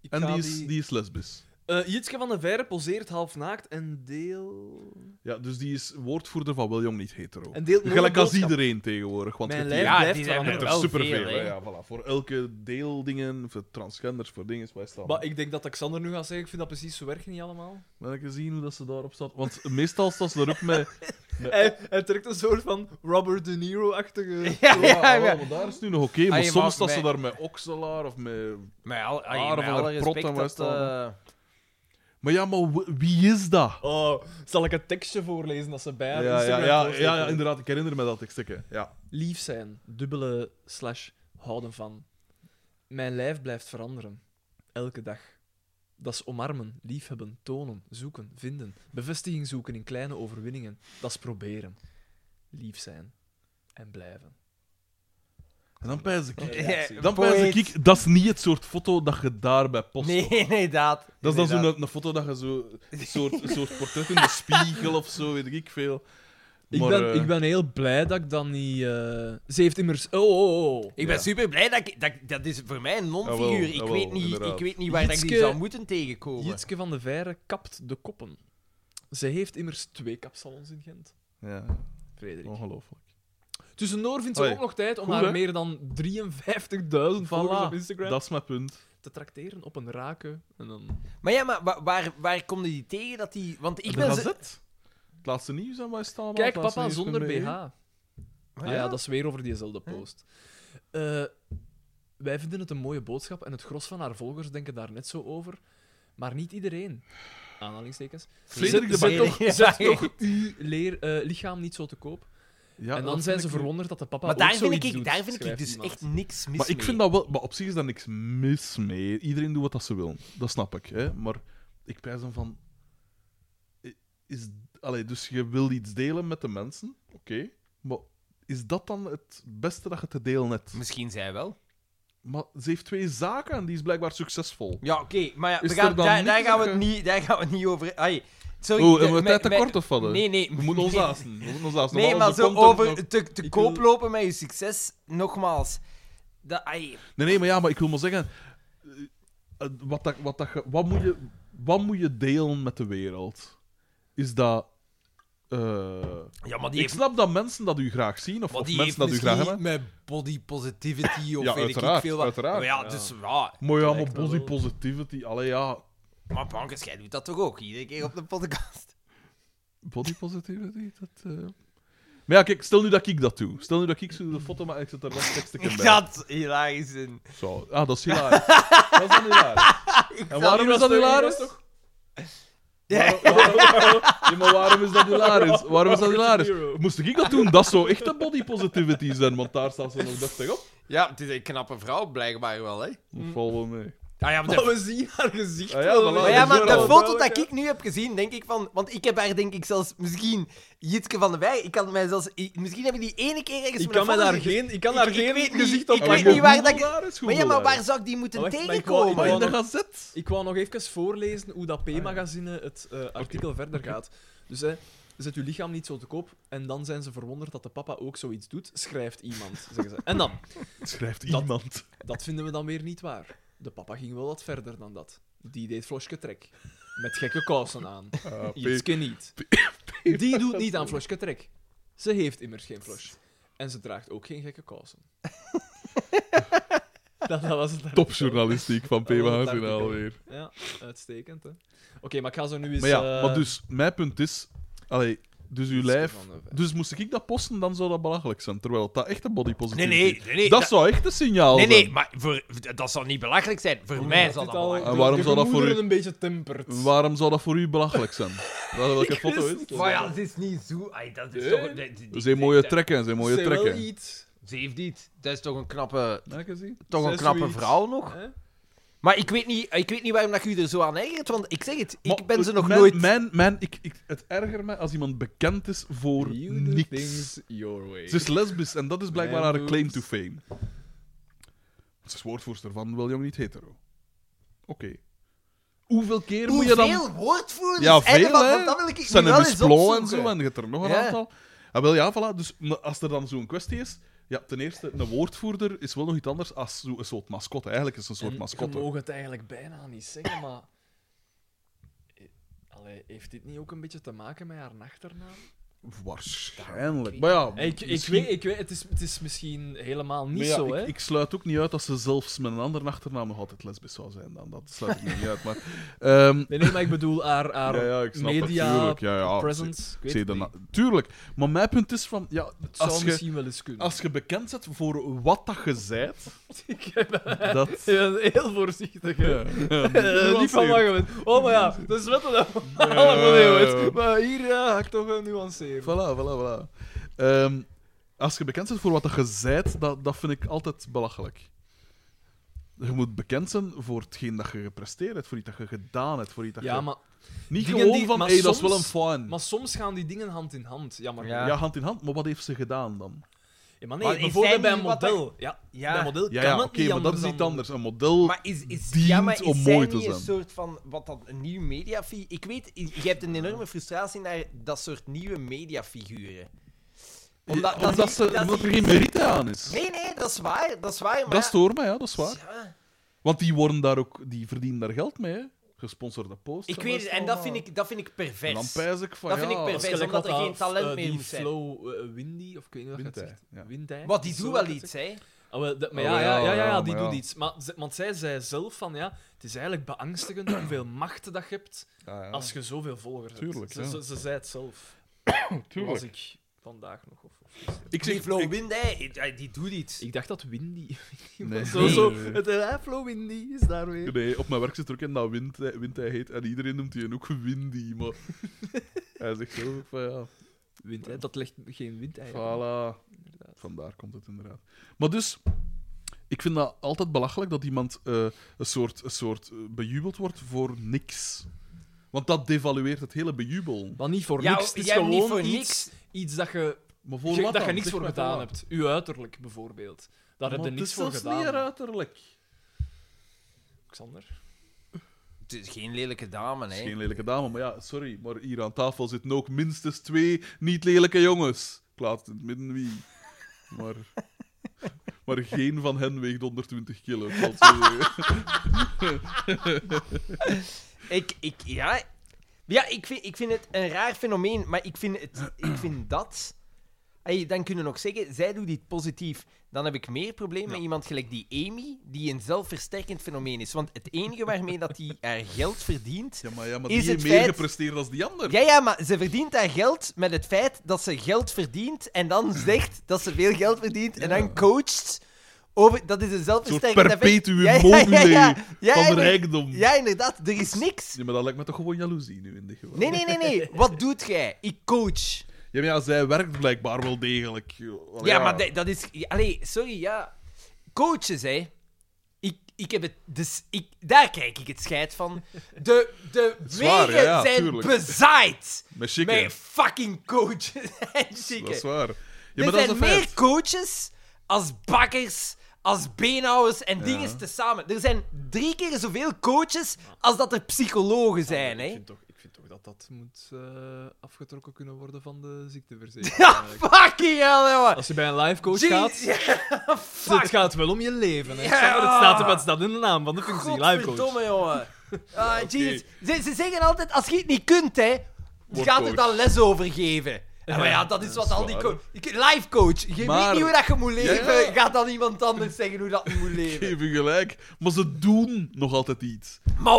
Speaker 3: Ik
Speaker 2: En
Speaker 3: ga
Speaker 2: die is, die is lesbisch.
Speaker 3: Eh, Jitske van de Veire poseert half naakt en deel...
Speaker 2: Ja, dus die is woordvoerder van Wel Jong Niet Hetero.
Speaker 3: En deelt nooit
Speaker 2: Gelijk
Speaker 3: een
Speaker 2: als
Speaker 3: boodschap.
Speaker 2: iedereen tegenwoordig. Want
Speaker 3: Mijn
Speaker 2: het
Speaker 3: lijf
Speaker 2: ja,
Speaker 3: blijft
Speaker 4: die zijn
Speaker 3: veranderen.
Speaker 2: het
Speaker 4: er
Speaker 2: er
Speaker 4: wel
Speaker 2: superveel.
Speaker 4: veel,
Speaker 2: hè.
Speaker 4: hè.
Speaker 2: Ja, voilà. Voor elke deeldingen, voor transgenders, voor dingen. Wij staan.
Speaker 3: Maar ik denk dat Alexander nu gaat zeggen, ik vind dat precies, zo werken niet allemaal.
Speaker 2: Wil ik eens zien hoe dat ze daarop staat? Want meestal staat ze er ook mee.
Speaker 3: Hij, hij trekt een soort van Robert De Niro-achtige...
Speaker 4: Ja, ja,
Speaker 2: Ah,
Speaker 4: ja.
Speaker 2: wel, maar daar is het nu nog oké, maar
Speaker 4: Ah, je
Speaker 2: soms
Speaker 4: mag
Speaker 2: staat ze
Speaker 4: mij-
Speaker 2: daar met okselaar of met...
Speaker 4: Met al, ay,
Speaker 2: Haren
Speaker 4: met
Speaker 2: van
Speaker 4: alle
Speaker 2: haar prot
Speaker 4: respect
Speaker 2: en wat
Speaker 4: dat...
Speaker 2: is dat
Speaker 4: eh,
Speaker 2: Maar ja, maar w- wie is dat?
Speaker 3: Oh, zal ik het tekstje voorlezen dat ze bij
Speaker 2: Ja,
Speaker 3: haar
Speaker 2: ja, ja,
Speaker 3: Instagram
Speaker 2: ja,
Speaker 3: voorsteken?
Speaker 2: ja, inderdaad, ik herinner me dat tekstje. Ja.
Speaker 3: Lief zijn, dubbele slash houden van. Mijn lijf blijft veranderen. Elke dag. Dat is omarmen, liefhebben, tonen, zoeken, vinden. Bevestiging zoeken in kleine overwinningen. Dat is proberen. Lief zijn. En blijven.
Speaker 2: En dan pijs ik,
Speaker 4: Ja,
Speaker 2: dan
Speaker 4: poëet.
Speaker 2: pijs ik, dat is niet het soort foto dat je daarbij post.
Speaker 4: Nee, inderdaad.
Speaker 2: Dat is dan
Speaker 4: Inderdaad.
Speaker 2: zo'n een foto dat je zo, een soort, een soort portret in de spiegel of zo, weet ik veel.
Speaker 3: Ik,
Speaker 2: Maar,
Speaker 3: ben,
Speaker 2: eh,
Speaker 3: ik ben heel blij dat ik dan niet... eh, Ze heeft immers... Oh, oh, oh.
Speaker 4: Ik ben super blij dat, ik, dat ik- dat is voor mij een non-figuur.
Speaker 2: Jawel,
Speaker 4: Ik,
Speaker 2: jawel,
Speaker 4: weet niet,
Speaker 2: inderdaad.
Speaker 4: ik weet niet waar dat ik die
Speaker 3: Jitske-
Speaker 4: zou moeten tegenkomen.
Speaker 3: Jitske van de Veire kapt de koppen. Ze heeft immers twee kapsalons in Gent.
Speaker 2: Ja, Oh.
Speaker 3: Frederik.
Speaker 2: ongelooflijk.
Speaker 3: Tussendoor vindt ze
Speaker 2: Hoi.
Speaker 3: ook nog tijd om
Speaker 2: Goed,
Speaker 3: haar
Speaker 2: hè?
Speaker 3: meer dan 53.000 volgers op Instagram
Speaker 2: Dat is mijn punt.
Speaker 3: te trakteren op een raken. En dan...
Speaker 4: Maar ja, maar wa- waar, waar kom je die tegen dat die... Want ik ben...
Speaker 2: dat
Speaker 4: ze-
Speaker 2: was het. Het laatste nieuws aan mij staan.
Speaker 3: Kijk,
Speaker 2: het laatste
Speaker 3: papa
Speaker 2: nieuws
Speaker 3: zonder
Speaker 2: van mij.
Speaker 3: BH. Ah ja, dat is weer over diezelfde post. Eh, wij vinden het een mooie boodschap en het gros van haar volgers denken daar net zo over. Maar niet iedereen. Aanhalingstekens.
Speaker 2: Frederik de
Speaker 3: zet,
Speaker 2: Bakker.
Speaker 3: toch, zet toch uw leer, eh, lichaam niet zo te koop.
Speaker 2: Ja,
Speaker 3: en
Speaker 2: dat
Speaker 3: dan
Speaker 2: vind
Speaker 3: zijn ze
Speaker 2: ik-
Speaker 3: verwonderd dat de papa
Speaker 4: Maar
Speaker 3: ook
Speaker 4: daar
Speaker 3: zoiets
Speaker 4: vind, ik,
Speaker 3: doet,
Speaker 4: daar vind ik
Speaker 3: schrijft
Speaker 4: dus
Speaker 3: iemand.
Speaker 4: echt niks mis
Speaker 2: Maar ik
Speaker 4: mee.
Speaker 2: vind dat wel... Maar op zich is daar niks mis mee. Iedereen doet wat dat ze wil. Dat snap ik. Hè? Maar ik pijs dan van... Is, allee, dus je wil iets delen met de mensen. Oké. Maar is dat dan het beste dat je te delen hebt?
Speaker 4: Misschien zij wel.
Speaker 2: Maar ze heeft twee zaken en die is blijkbaar succesvol.
Speaker 4: Ja, oké. maar ja, we
Speaker 2: Is
Speaker 4: gaan,
Speaker 2: er dan
Speaker 4: daar,
Speaker 2: niet
Speaker 4: daar gaan we
Speaker 2: dat
Speaker 4: het
Speaker 2: je-
Speaker 4: niet, daar gaan we het niet over... Ai, sorry,
Speaker 2: Oh,
Speaker 4: de-
Speaker 2: hebben we
Speaker 4: mijn-
Speaker 2: tijd te
Speaker 4: mijn-
Speaker 2: kort of wat? hè?
Speaker 4: Nee, nee.
Speaker 2: We moeten ons haasten. We moeten ons haasten.
Speaker 4: Nee,
Speaker 2: want
Speaker 4: maar
Speaker 2: anders
Speaker 4: zo
Speaker 2: komt er nog-
Speaker 4: over te, te
Speaker 3: Ik
Speaker 4: koop
Speaker 3: wil-
Speaker 4: lopen met je succes, nogmaals. Dat, ai,
Speaker 2: Nee, nee, maar ja, maar ik wil maar zeggen... eh, eh, Wat, dat, wat, dat, ge- wat, moet je, wat moet je delen met de wereld? Is dat... eh,
Speaker 4: ja, maar die
Speaker 2: ik
Speaker 4: heeft,
Speaker 2: snap dat mensen dat u graag zien, of,
Speaker 4: maar
Speaker 2: of
Speaker 4: die
Speaker 2: mensen
Speaker 4: heeft
Speaker 2: dat u
Speaker 4: misschien
Speaker 2: graag hebben.
Speaker 4: met body positivity of
Speaker 2: Ja,
Speaker 4: weet ik
Speaker 2: uiteraard,
Speaker 4: veel wat.
Speaker 2: uiteraard.
Speaker 4: Maar ja, dus ja,
Speaker 2: Mooi allemaal
Speaker 3: lijkt me
Speaker 2: body
Speaker 3: wel.
Speaker 2: positivity. Allee, ja.
Speaker 4: Maar Bankers, jij doet dat toch ook? Iedere keer op de podcast.
Speaker 2: Body positivity, dat... eh. Maar ja, kijk, stel nu dat ik dat doe. Stel nu dat ik zo de foto maak, ik zet er dat tekstje bij.
Speaker 4: Dat hilarisch in.
Speaker 2: Zo. Ah, dat is hilarisch. dat is dan hilarisch. En waarom is dat hilarisch? Waarom- waarom- Ja, maar waarom is dat hilarisch? Waarom is dat hilarisch? Moest ik dat doen? Dat zou echt een body positivity zijn, want daar staat ze nog deftig op.
Speaker 4: Ja, het is een knappe vrouw, blijkbaar wel, hè?
Speaker 2: Dat valt wel mee.
Speaker 4: Ah, ja, maar
Speaker 3: Maar
Speaker 4: de,
Speaker 3: we zien haar gezicht.
Speaker 2: Ah ja,
Speaker 3: wel
Speaker 2: voilà,
Speaker 3: weer.
Speaker 4: maar ja, maar de
Speaker 2: wel.
Speaker 4: foto dat ik nu heb gezien, denk ik van... Want ik heb haar, denk ik, zelfs misschien... Jitske van der Wij, ik kan mij zelfs... ik- misschien heb ik die ene keer ergens
Speaker 3: Ik
Speaker 4: met
Speaker 3: kan,
Speaker 4: een
Speaker 3: mij
Speaker 4: foto
Speaker 3: daar
Speaker 4: zien.
Speaker 3: geen, ik kan
Speaker 4: Ik-
Speaker 3: daar
Speaker 4: ik
Speaker 3: geen
Speaker 4: weet niet-
Speaker 3: gezicht
Speaker 4: ik
Speaker 3: op
Speaker 4: weet
Speaker 3: plakken.
Speaker 4: niet waar dat ik-
Speaker 2: Hilarisch,
Speaker 4: Maar ja, maar waar
Speaker 2: hilarisch.
Speaker 4: zou ik die moeten
Speaker 3: Maar wacht, maar ik
Speaker 4: tegenkomen?
Speaker 3: wou-
Speaker 2: Maar in de
Speaker 3: nog-
Speaker 2: gazet.
Speaker 3: Ik wou nog even voorlezen hoe dat P-magazine het eh, artikel verder gaat. Dus hè, zet uw lichaam niet zo te koop en dan zijn ze verwonderd dat de papa ook zoiets doet, schrijft iemand, zeggen ze. En dan,
Speaker 2: Schrijft
Speaker 3: Dat-
Speaker 2: iemand.
Speaker 3: dat vinden we dan weer niet waar. De papa ging wel wat verder dan dat. Die deed Floske trek. Met gekke kousen aan.
Speaker 2: Ah, P.
Speaker 3: Jitske niet. Die doet niet aan Floske trek. Ze heeft immers geen flosh. En ze draagt ook geen gekke kousen. dat, dat was het artikel.
Speaker 2: Topjournalistiek van P.
Speaker 3: Oh, dat
Speaker 2: Magazine
Speaker 3: dacht ik ook.
Speaker 2: alweer.
Speaker 3: Ja, uitstekend, hè. Oké, maar ik ga zo nu eens...
Speaker 2: Maar ja,
Speaker 3: eh,
Speaker 2: maar dus, mijn punt is... Allee, dus uw
Speaker 3: Jitske
Speaker 2: lijf...
Speaker 3: van de Vijf.
Speaker 2: Dus moest ik dat posten, dan zou dat belachelijk zijn. Terwijl dat echt een body
Speaker 4: Nee,
Speaker 2: positivity
Speaker 4: nee, nee. nee
Speaker 2: dat, zou echt een signaal
Speaker 4: Nee,
Speaker 2: zijn.
Speaker 4: nee, maar voor, dat zal niet belachelijk zijn. Voor mij zal
Speaker 3: Dit
Speaker 4: dat
Speaker 3: al-
Speaker 4: belachelijk
Speaker 2: En waarom
Speaker 3: de
Speaker 2: zou dat voor
Speaker 3: gemoederen
Speaker 2: u-
Speaker 3: een beetje temperd.
Speaker 2: Waarom zou dat voor u belachelijk zijn? Wel, Welke foto is het?
Speaker 4: zijn. Maar ja, het is niet zo... Ai, dat is
Speaker 3: Nee.
Speaker 4: toch... die- die- die-
Speaker 2: Ze mooie
Speaker 4: die-
Speaker 2: trekken, ze mooie
Speaker 3: Zij wel
Speaker 2: trekken.
Speaker 3: iets.
Speaker 4: Ze heeft niet. Dat is toch een knappe,
Speaker 2: Ja, ik zie.
Speaker 4: toch
Speaker 3: Zij
Speaker 4: een
Speaker 3: is
Speaker 4: knappe
Speaker 3: zoiets.
Speaker 4: vrouw nog?
Speaker 3: Hè?
Speaker 4: Maar ik weet, niet, ik weet niet waarom dat je je er zo aan ergert, want ik zeg het, ik
Speaker 2: Maar dus
Speaker 4: ben ze nog
Speaker 2: mijn-
Speaker 4: nooit...
Speaker 2: Mijn, mijn, ik, ik, het erger me als iemand bekend is voor
Speaker 3: You do
Speaker 2: niks.
Speaker 3: things your way.
Speaker 2: Ze is lesbisch en dat is blijkbaar
Speaker 3: Mijn
Speaker 2: haar
Speaker 3: doet-
Speaker 2: claim to fame. Ze is woordvoerster van Wel Jong Niet Hetero. Oké. Hoeveel keer moet je dan...
Speaker 4: Hoeveel woordvoerders?
Speaker 2: Ja,
Speaker 4: en
Speaker 2: veel,
Speaker 4: wat-
Speaker 2: hè.
Speaker 4: want dat wil ik
Speaker 2: zijn
Speaker 4: nu
Speaker 2: er
Speaker 4: wel eens
Speaker 2: misplo en
Speaker 4: opzoeken.
Speaker 2: zo, en je hebt er nog een
Speaker 4: Ja.
Speaker 2: aantal. Ah, wel, ja, voilà. Dus maar als er dan zo'n kwestie is... Ja, ten eerste, een woordvoerder is wel nog iets anders als zo- een soort mascotte. Eigenlijk is het een soort
Speaker 3: En
Speaker 2: mascotte.
Speaker 3: Je mag het eigenlijk bijna niet zeggen, maar... Eh, Allee, heeft dit niet ook een beetje te maken met haar achternaam?
Speaker 2: Waarschijnlijk. Maar ja,
Speaker 3: Ik, ik,
Speaker 2: misschien-
Speaker 3: weet, ik weet, het is, het is misschien helemaal niet
Speaker 2: Maar ja,
Speaker 3: zo,
Speaker 2: ik,
Speaker 3: hè?
Speaker 2: ik sluit ook niet uit dat ze zelfs met een andere achternaam nog altijd lesbisch zou zijn. Dan. Dat sluit ik niet uit. Maar, ehm,
Speaker 3: Nee, nee, maar ik bedoel haar, haar
Speaker 2: ja, ja, ik snap
Speaker 3: media
Speaker 2: het. Tuurlijk, ja, ja.
Speaker 3: presence. Ik
Speaker 2: Ik
Speaker 3: weet
Speaker 2: zie
Speaker 3: het
Speaker 2: dat
Speaker 3: niet.
Speaker 2: na- Tuurlijk. Maar mijn punt is van... Ja,
Speaker 3: Het zou
Speaker 2: als, je,
Speaker 3: misschien wel eens kunnen.
Speaker 2: als je bekend bent voor wat dat je zijt...
Speaker 3: Ik ben
Speaker 2: Dat...
Speaker 3: heel voorzichtig. hè.
Speaker 2: Ja, ja,
Speaker 3: Eh, niet van
Speaker 2: nuanceer.
Speaker 3: lachen. met- Oh, maar ja, dat is wat dat
Speaker 2: Ja, ja, ja.
Speaker 3: is. Maar hier ja, ga ik toch wel nuanceren.
Speaker 2: Voilà, voilà, voilà. Ehm, als je bekend bent voor wat dat je zijt, dat, dat vind ik altijd belachelijk. Je moet bekend zijn voor hetgeen dat je gepresteerd hebt, voor iets dat je gedaan hebt, voor iets dat
Speaker 3: Ja,
Speaker 2: je...
Speaker 3: maar,
Speaker 2: Niet
Speaker 3: dingen
Speaker 2: gewoon
Speaker 3: die-
Speaker 2: van,
Speaker 3: maar
Speaker 2: hey, dat is wel een
Speaker 3: soms-
Speaker 2: fun.
Speaker 3: maar soms gaan die dingen hand in hand. Jammer.
Speaker 4: Ja.
Speaker 2: Ja. hand in hand, maar wat heeft ze gedaan dan?
Speaker 3: Ja, maar nee,
Speaker 4: Maar is zij
Speaker 3: bijvoorbeeld bij een
Speaker 4: niet wat
Speaker 3: model. Ja,
Speaker 4: Ja.
Speaker 3: bij een model
Speaker 2: Ja,
Speaker 3: kan
Speaker 2: ja oké,
Speaker 3: het niet
Speaker 2: maar dat is iets
Speaker 3: dan-
Speaker 2: anders. Een model.
Speaker 4: Maar is, is,
Speaker 2: dient
Speaker 4: ja, maar is
Speaker 2: om
Speaker 4: zij
Speaker 2: mooi te
Speaker 4: niet
Speaker 2: zijn.
Speaker 4: een soort van wat dat een nieuw mediafiguur? Ik weet, je hebt een enorme frustratie naar dat soort nieuwe mediafiguren.
Speaker 2: omdat
Speaker 4: dat
Speaker 2: omdat,
Speaker 4: is-
Speaker 2: ze,
Speaker 4: dat is
Speaker 2: omdat er
Speaker 4: iets-
Speaker 2: geen merite aan is.
Speaker 4: Nee, nee, dat is waar, dat is waar. Maar
Speaker 2: dat stoort mij, ja, dat is waar.
Speaker 4: ja,
Speaker 2: Want die, worden daar ook, die verdienen daar geld mee, hè. Gesponsorde posts.
Speaker 4: ik weet het, en dat vind ik, dat vind ik
Speaker 2: En dan
Speaker 4: pervers.
Speaker 2: pijs ik van,
Speaker 4: Dat vind
Speaker 2: ja,
Speaker 4: ik
Speaker 3: Dat is
Speaker 4: pervers,
Speaker 3: gelijk
Speaker 4: omdat
Speaker 3: wat
Speaker 4: er
Speaker 3: dat,
Speaker 4: geen talent
Speaker 3: eh,
Speaker 4: meer
Speaker 3: die
Speaker 4: moet zijn.
Speaker 3: Flow eh, Windy, of ik weet niet wat je
Speaker 2: Windij,
Speaker 3: zegt.
Speaker 2: ja.
Speaker 3: Windij.
Speaker 4: Wat, die
Speaker 3: Zo
Speaker 4: doen
Speaker 3: dat
Speaker 4: wel
Speaker 3: het
Speaker 4: iets, hè?
Speaker 3: Ah, wel, dat- maar
Speaker 2: Oh,
Speaker 3: ja, ja, ja, ja,
Speaker 2: ja,
Speaker 3: die
Speaker 2: maar
Speaker 3: doet
Speaker 2: ja.
Speaker 3: iets. Maar, ze- want zij zei zelf van, ja, het is eigenlijk beangstigend hoeveel macht dat je hebt
Speaker 2: Ja, ja.
Speaker 3: als je zoveel volgers hebt.
Speaker 2: Tuurlijk,
Speaker 3: ze,
Speaker 2: ja.
Speaker 3: ze, ze zei het zelf. Toen was ik vandaag nog. Of, of gisteren.
Speaker 2: Ik
Speaker 4: Die
Speaker 2: zeg,
Speaker 4: Flow
Speaker 2: ik-
Speaker 4: Windij, die- die doet iets.
Speaker 3: ik dacht dat Windy...
Speaker 2: Nee.
Speaker 3: zo,
Speaker 2: Nee.
Speaker 3: zo, het eh, Flow Windy is daar weer.
Speaker 2: Nee, op mijn werk zit er ook in dat wind, hij- wind hij heet. En iedereen noemt hij ook Windy, maar... hij zegt zo van, ja,
Speaker 3: Wind, hè, dat legt geen wind eigenlijk.
Speaker 2: voilà. Vandaar komt het inderdaad. Maar dus, ik vind dat altijd belachelijk dat iemand eh, een soort, een soort eh, bejubeld wordt voor niks. Want dat devalueert het hele bejubel.
Speaker 3: Maar niet voor
Speaker 4: Ja,
Speaker 3: niks. Het is
Speaker 4: jij hebt niet
Speaker 3: gewoon
Speaker 4: voor
Speaker 3: iets, iets dat je,
Speaker 2: Maar voor
Speaker 3: je-
Speaker 2: wat
Speaker 3: dat je
Speaker 2: dan?
Speaker 3: niks
Speaker 2: Zeg
Speaker 3: voor
Speaker 2: maar
Speaker 3: gedaan
Speaker 2: wat.
Speaker 3: hebt. Uw uiterlijk bijvoorbeeld. Daar heb
Speaker 2: Maar
Speaker 3: je
Speaker 2: het
Speaker 3: niks
Speaker 2: is
Speaker 3: voor
Speaker 2: zelfs niet haar
Speaker 3: gedaan.
Speaker 2: uiterlijk.
Speaker 3: Xander.
Speaker 4: Het is geen lelijke dame,
Speaker 2: Het
Speaker 4: hè?
Speaker 2: is geen lelijke dame, maar ja, sorry. Maar hier aan tafel zitten ook minstens twee niet-lelijke jongens. Ik laat het in het midden wie. Maar, maar geen van hen weegt 120 kilo. ik zal het zo zeggen.
Speaker 4: Ik, ik, ja. Ja, ik vind, ik vind het een raar fenomeen, maar ik vind, het, ik vind dat. Ey, dan kunnen we nog zeggen, zij doet dit positief. Dan heb ik meer probleem met iemand gelijk die Amy, die een zelfversterkend fenomeen is. Want het enige waarmee dat die haar geld verdient.
Speaker 2: Ja, maar, ja, maar
Speaker 4: Is
Speaker 2: die
Speaker 4: het
Speaker 2: heeft meer
Speaker 4: feit-
Speaker 2: gepresteerd dan die ander.
Speaker 4: Ja, ja, maar ze verdient haar geld met het feit dat ze geld verdient. En dan zegt dat ze veel geld verdient. En
Speaker 2: Ja.
Speaker 4: dan coacht over. Dat is een
Speaker 2: Een
Speaker 4: zelfversterkend
Speaker 2: soort
Speaker 4: effect.
Speaker 2: perpetuum
Speaker 4: ja,
Speaker 2: mobile
Speaker 4: ja. Ja,
Speaker 2: van de
Speaker 4: inder-
Speaker 2: rijkdom.
Speaker 4: ja, inderdaad. Er is niks.
Speaker 2: Ja, maar dat lijkt me toch gewoon jaloezie nu in dit geval.
Speaker 4: Nee, nee, nee, nee. Wat doet jij? Ik coach.
Speaker 2: Ja, maar ja, zij werkt blijkbaar wel degelijk. Allee,
Speaker 4: Ja, maar dat- dat is. Allee, sorry, ja. Coaches, hè. Ik, ik heb het. Dus ik, daar kijk ik het scheid van. De, de
Speaker 2: Zwaar,
Speaker 4: wegen
Speaker 2: ja, ja,
Speaker 4: zijn
Speaker 2: tuurlijk.
Speaker 4: bezaaid
Speaker 2: Met chicken.
Speaker 4: met fucking coaches en
Speaker 2: dat is
Speaker 4: chicken.
Speaker 2: waar. Ja,
Speaker 4: er
Speaker 2: maar dat is
Speaker 4: zijn
Speaker 2: een
Speaker 4: meer
Speaker 2: feit.
Speaker 4: coaches als bakkers, als beenhouwers en dingen tezamen. Er zijn drie keer zoveel coaches als dat er psychologen zijn,
Speaker 3: Ik
Speaker 4: hè.
Speaker 3: vind, toch, ik vind toch dat dat moet eh, afgetrokken kunnen worden van de ziekteverzekering.
Speaker 4: Ja,
Speaker 3: eigenlijk.
Speaker 4: fucking hell, jongen.
Speaker 3: Als je bij een live coach
Speaker 4: Jeez,
Speaker 3: gaat, het gaat wel om je leven. Hè.
Speaker 4: Ja.
Speaker 3: Xander, Het staat er wat staat in de naam van de functie, live coach.
Speaker 4: Godverdomme, jongen. Ah, jeez. Ze, ze zeggen altijd, als je het niet kunt, hè, gaat het
Speaker 2: coach.
Speaker 4: dan les overgeven. Ja, maar ja, dat is wat al die...
Speaker 2: waar.
Speaker 4: co- Ik- Life coach. Je weet
Speaker 2: Maar-
Speaker 4: niet hoe dat je moet leven.
Speaker 2: Ja.
Speaker 4: Gaat dan iemand anders zeggen hoe dat je moet leven.
Speaker 2: Geef je gelijk. Maar ze doen nog altijd iets.
Speaker 4: Maar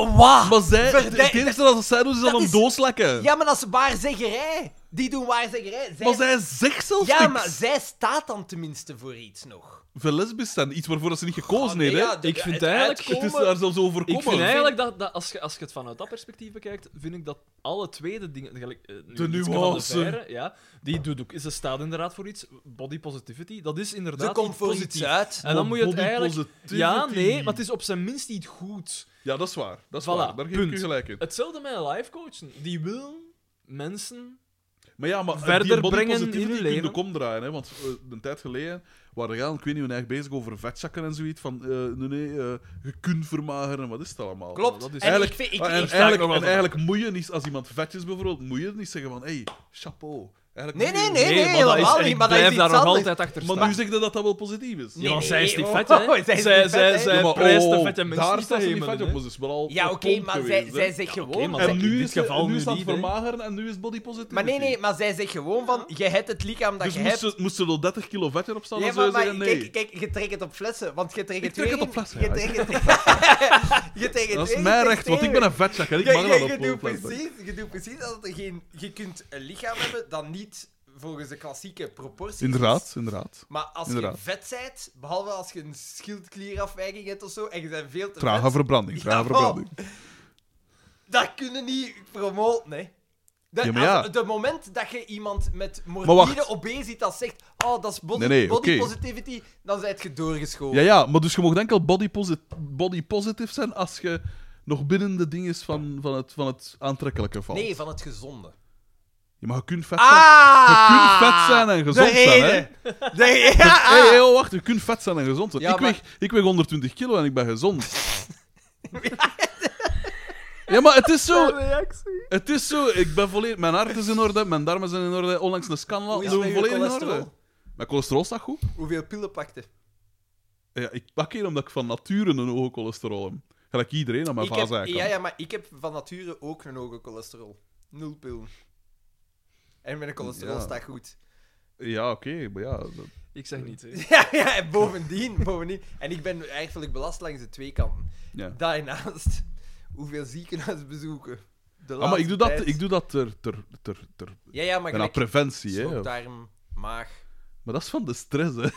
Speaker 4: wat?
Speaker 2: Maar zij,
Speaker 4: Verdij-
Speaker 2: het eerste dat zij doen, is dan
Speaker 4: dat
Speaker 2: een
Speaker 4: is-
Speaker 2: doos lekken.
Speaker 4: Ja, maar dat is waarzeggerij. Die doen waarzeggerij. Zij...
Speaker 2: Maar zij zegt zelfs
Speaker 4: Ja,
Speaker 2: niks.
Speaker 4: maar zij staat dan tenminste voor iets nog.
Speaker 2: Voor lesbisch zijn, iets waarvoor ze niet gekozen
Speaker 4: Ah, nee,
Speaker 2: heeft. hè.
Speaker 4: ja, de-
Speaker 3: Ik vind
Speaker 4: het
Speaker 3: eigenlijk-
Speaker 4: uitkomen-
Speaker 2: Het is daar zelfs over
Speaker 3: Ik
Speaker 2: komen.
Speaker 3: vind eigenlijk dat, dat als, je, als je het vanuit dat perspectief bekijkt, vind ik dat alle tweede dingen. gelijk, eh, nu
Speaker 2: De
Speaker 3: Jitske
Speaker 2: nuance.
Speaker 3: Van de Veire, ja, die doet ook. Ze staat inderdaad voor iets. Body positivity, dat is inderdaad.
Speaker 4: Ze komt
Speaker 3: iets
Speaker 4: voor
Speaker 3: positiefs.
Speaker 4: iets uit.
Speaker 3: En dan moet je het
Speaker 2: Body
Speaker 3: eigenlijk.
Speaker 2: positivity.
Speaker 3: Ja, nee, maar het is op zijn minst niet goed.
Speaker 2: Ja, dat is waar. Dat is
Speaker 3: Voilà,
Speaker 2: waar. Daar geef
Speaker 3: punt.
Speaker 2: ik u gelijk in.
Speaker 3: Hetzelfde met live coachen. Die wil mensen.
Speaker 2: Maar ja, maar
Speaker 3: Verder
Speaker 2: die body
Speaker 3: brengen
Speaker 2: positivity
Speaker 3: in je
Speaker 2: kun je
Speaker 3: leven.
Speaker 2: ook omdraaien. Hè? Want eh, een tijd geleden waren we, ik weet niet hoe erg bezig over vetzakken en zoiets. Van, eh, nee, nee, eh, je kunt vermageren en wat is het allemaal? Dus
Speaker 4: Klopt.
Speaker 3: Dat is
Speaker 4: en ik
Speaker 2: eigenlijk-
Speaker 4: vind... Ik,
Speaker 2: Ah, en
Speaker 4: ik-
Speaker 2: eigenlijk,
Speaker 3: nog wel
Speaker 2: en eigenlijk moet je niet, als iemand vet is bijvoorbeeld, moet je niet zeggen van, hé, hey, chapeau. Eigenlijk
Speaker 4: Nee, nee,
Speaker 2: niet.
Speaker 4: nee,
Speaker 3: maar
Speaker 4: nee,
Speaker 3: dat is-
Speaker 4: helemaal niet.
Speaker 3: ik
Speaker 4: Maar dat is
Speaker 3: blijf
Speaker 4: iets
Speaker 3: daar nog
Speaker 4: anders.
Speaker 3: altijd achter
Speaker 2: Maar nu
Speaker 3: staan.
Speaker 2: zeg je dat dat wel positief is.
Speaker 4: Nee,
Speaker 3: Ja, want zij is
Speaker 4: nee,
Speaker 3: die
Speaker 4: oh,
Speaker 3: vet,
Speaker 4: zij
Speaker 3: hè?
Speaker 4: is die
Speaker 3: Zij,
Speaker 4: vet,
Speaker 3: zij,
Speaker 4: hè?
Speaker 3: zij
Speaker 2: Ja, maar,
Speaker 3: prijst de
Speaker 2: oh,
Speaker 3: vette mensen
Speaker 2: Daar
Speaker 3: niet
Speaker 2: staat
Speaker 3: te
Speaker 2: ze niet vet
Speaker 3: hemelen, hè.
Speaker 2: op, dus het is wel al
Speaker 4: Ja,
Speaker 2: een
Speaker 4: oké,
Speaker 2: pomp
Speaker 4: maar zij,
Speaker 2: geweest, hè.
Speaker 4: zij zegt gewoon...
Speaker 3: oké, maar
Speaker 4: zij-
Speaker 2: En
Speaker 3: in
Speaker 2: nu
Speaker 3: dit
Speaker 2: is, het
Speaker 3: geval
Speaker 2: nu
Speaker 3: nu
Speaker 2: staat het
Speaker 3: niet, hè.
Speaker 2: vermageren en nu is body positive.
Speaker 4: maar nee, nee, maar zij zegt gewoon van... Je hebt het lichaam dat
Speaker 2: Dus
Speaker 4: je
Speaker 2: moest
Speaker 4: hebt.
Speaker 2: ze, moest ze er wel 30 kilo vetter op staan?
Speaker 4: Ja,
Speaker 2: dan
Speaker 4: maar,
Speaker 2: zou je
Speaker 4: maar
Speaker 2: zeggen nee.
Speaker 4: kijk, kijk, je trekt het op flessen, want je trekt
Speaker 2: Ik
Speaker 4: het
Speaker 2: trek het
Speaker 4: weer
Speaker 2: op flessen,
Speaker 4: in-
Speaker 2: ja,
Speaker 4: Je trekt het, je trekt het
Speaker 2: dat is
Speaker 4: weer
Speaker 2: mijn
Speaker 4: in
Speaker 2: recht, want ik ben
Speaker 4: tegen.
Speaker 2: een vetzak en ik
Speaker 4: Je-
Speaker 2: mag
Speaker 4: je-
Speaker 2: dat
Speaker 4: je
Speaker 2: op
Speaker 4: doet
Speaker 2: voorplanten.
Speaker 4: precies, Je doet precies dat er geen... Je kunt een lichaam hebben dat niet volgens de klassieke proporties is.
Speaker 2: Inderdaad, inderdaad.
Speaker 4: Maar als
Speaker 2: Inderdaad.
Speaker 4: je vet bent, behalve als je een schildklierafwijking hebt of zo, en je bent veel te
Speaker 2: Trage
Speaker 4: vet,
Speaker 2: verbranding, trage
Speaker 4: Ja, Oh.
Speaker 2: verbranding.
Speaker 4: dat kunnen niet promoten, nee. De,
Speaker 2: Ja, maar ja.
Speaker 4: als- de moment dat je iemand met
Speaker 2: wacht.
Speaker 4: morbide obesitas zegt, oh, dat is body,
Speaker 2: Nee, nee,
Speaker 4: body
Speaker 2: oké.
Speaker 4: positivity, dan zijt je doorgeschoven.
Speaker 2: Ja, ja, maar dus je mag enkel body, posit body positive zijn als je nog binnen de dingen van, van, het, van het aantrekkelijke valt.
Speaker 4: Nee, van het gezonde.
Speaker 2: Ja, maar je kunt vet zijn. Je kunt
Speaker 4: Ah!
Speaker 2: vet zijn en gezond zijn, hè.
Speaker 4: De,
Speaker 2: Hé,
Speaker 4: ja,
Speaker 2: hey, oh, wacht, je kunt vet zijn en gezond zijn.
Speaker 4: Ah! Ja,
Speaker 2: ik,
Speaker 4: maar-
Speaker 2: weeg, ik weeg 120 kilo en ik ben gezond. ja, maar het is zo. Het is zo. Ik ben volledig... Mijn hart is in orde, mijn darmen zijn in orde. Onlangs een scan
Speaker 4: Hoe
Speaker 2: laten
Speaker 4: is het
Speaker 2: doen,
Speaker 4: met uw
Speaker 2: volledig in orde.
Speaker 4: cholesterol?
Speaker 2: Mijn cholesterol staat goed.
Speaker 4: Hoeveel pillen pakte?
Speaker 2: Ja, ik pak hier omdat ik van nature een hoge cholesterol heb. Gelijk iedereen aan mijn
Speaker 4: Ik heb,
Speaker 2: vaas eigenlijk.
Speaker 4: ja, ja, maar ik heb van nature ook een hoge cholesterol. Nul pillen. En mijn cholesterol
Speaker 2: Ja.
Speaker 4: staat goed.
Speaker 2: Ja, oké, maar ja. dat-
Speaker 3: Ik zeg niet, hè.
Speaker 4: Ja, ja, en bovendien, bovendien. En ik ben eigenlijk belast langs de twee kanten.
Speaker 2: Ja.
Speaker 4: Daarnaast, hoeveel ziekenhuisbezoeken. De
Speaker 2: Ah, maar ik
Speaker 4: laatste
Speaker 2: doe dat,
Speaker 4: tijd.
Speaker 2: ik doe dat ter, ter, ter, ter,
Speaker 4: Ja, ja, maar
Speaker 2: bijna
Speaker 4: gelijk,
Speaker 2: preventie. Hè.
Speaker 4: slokdarm, maag.
Speaker 2: Maar dat is van de stress, hè.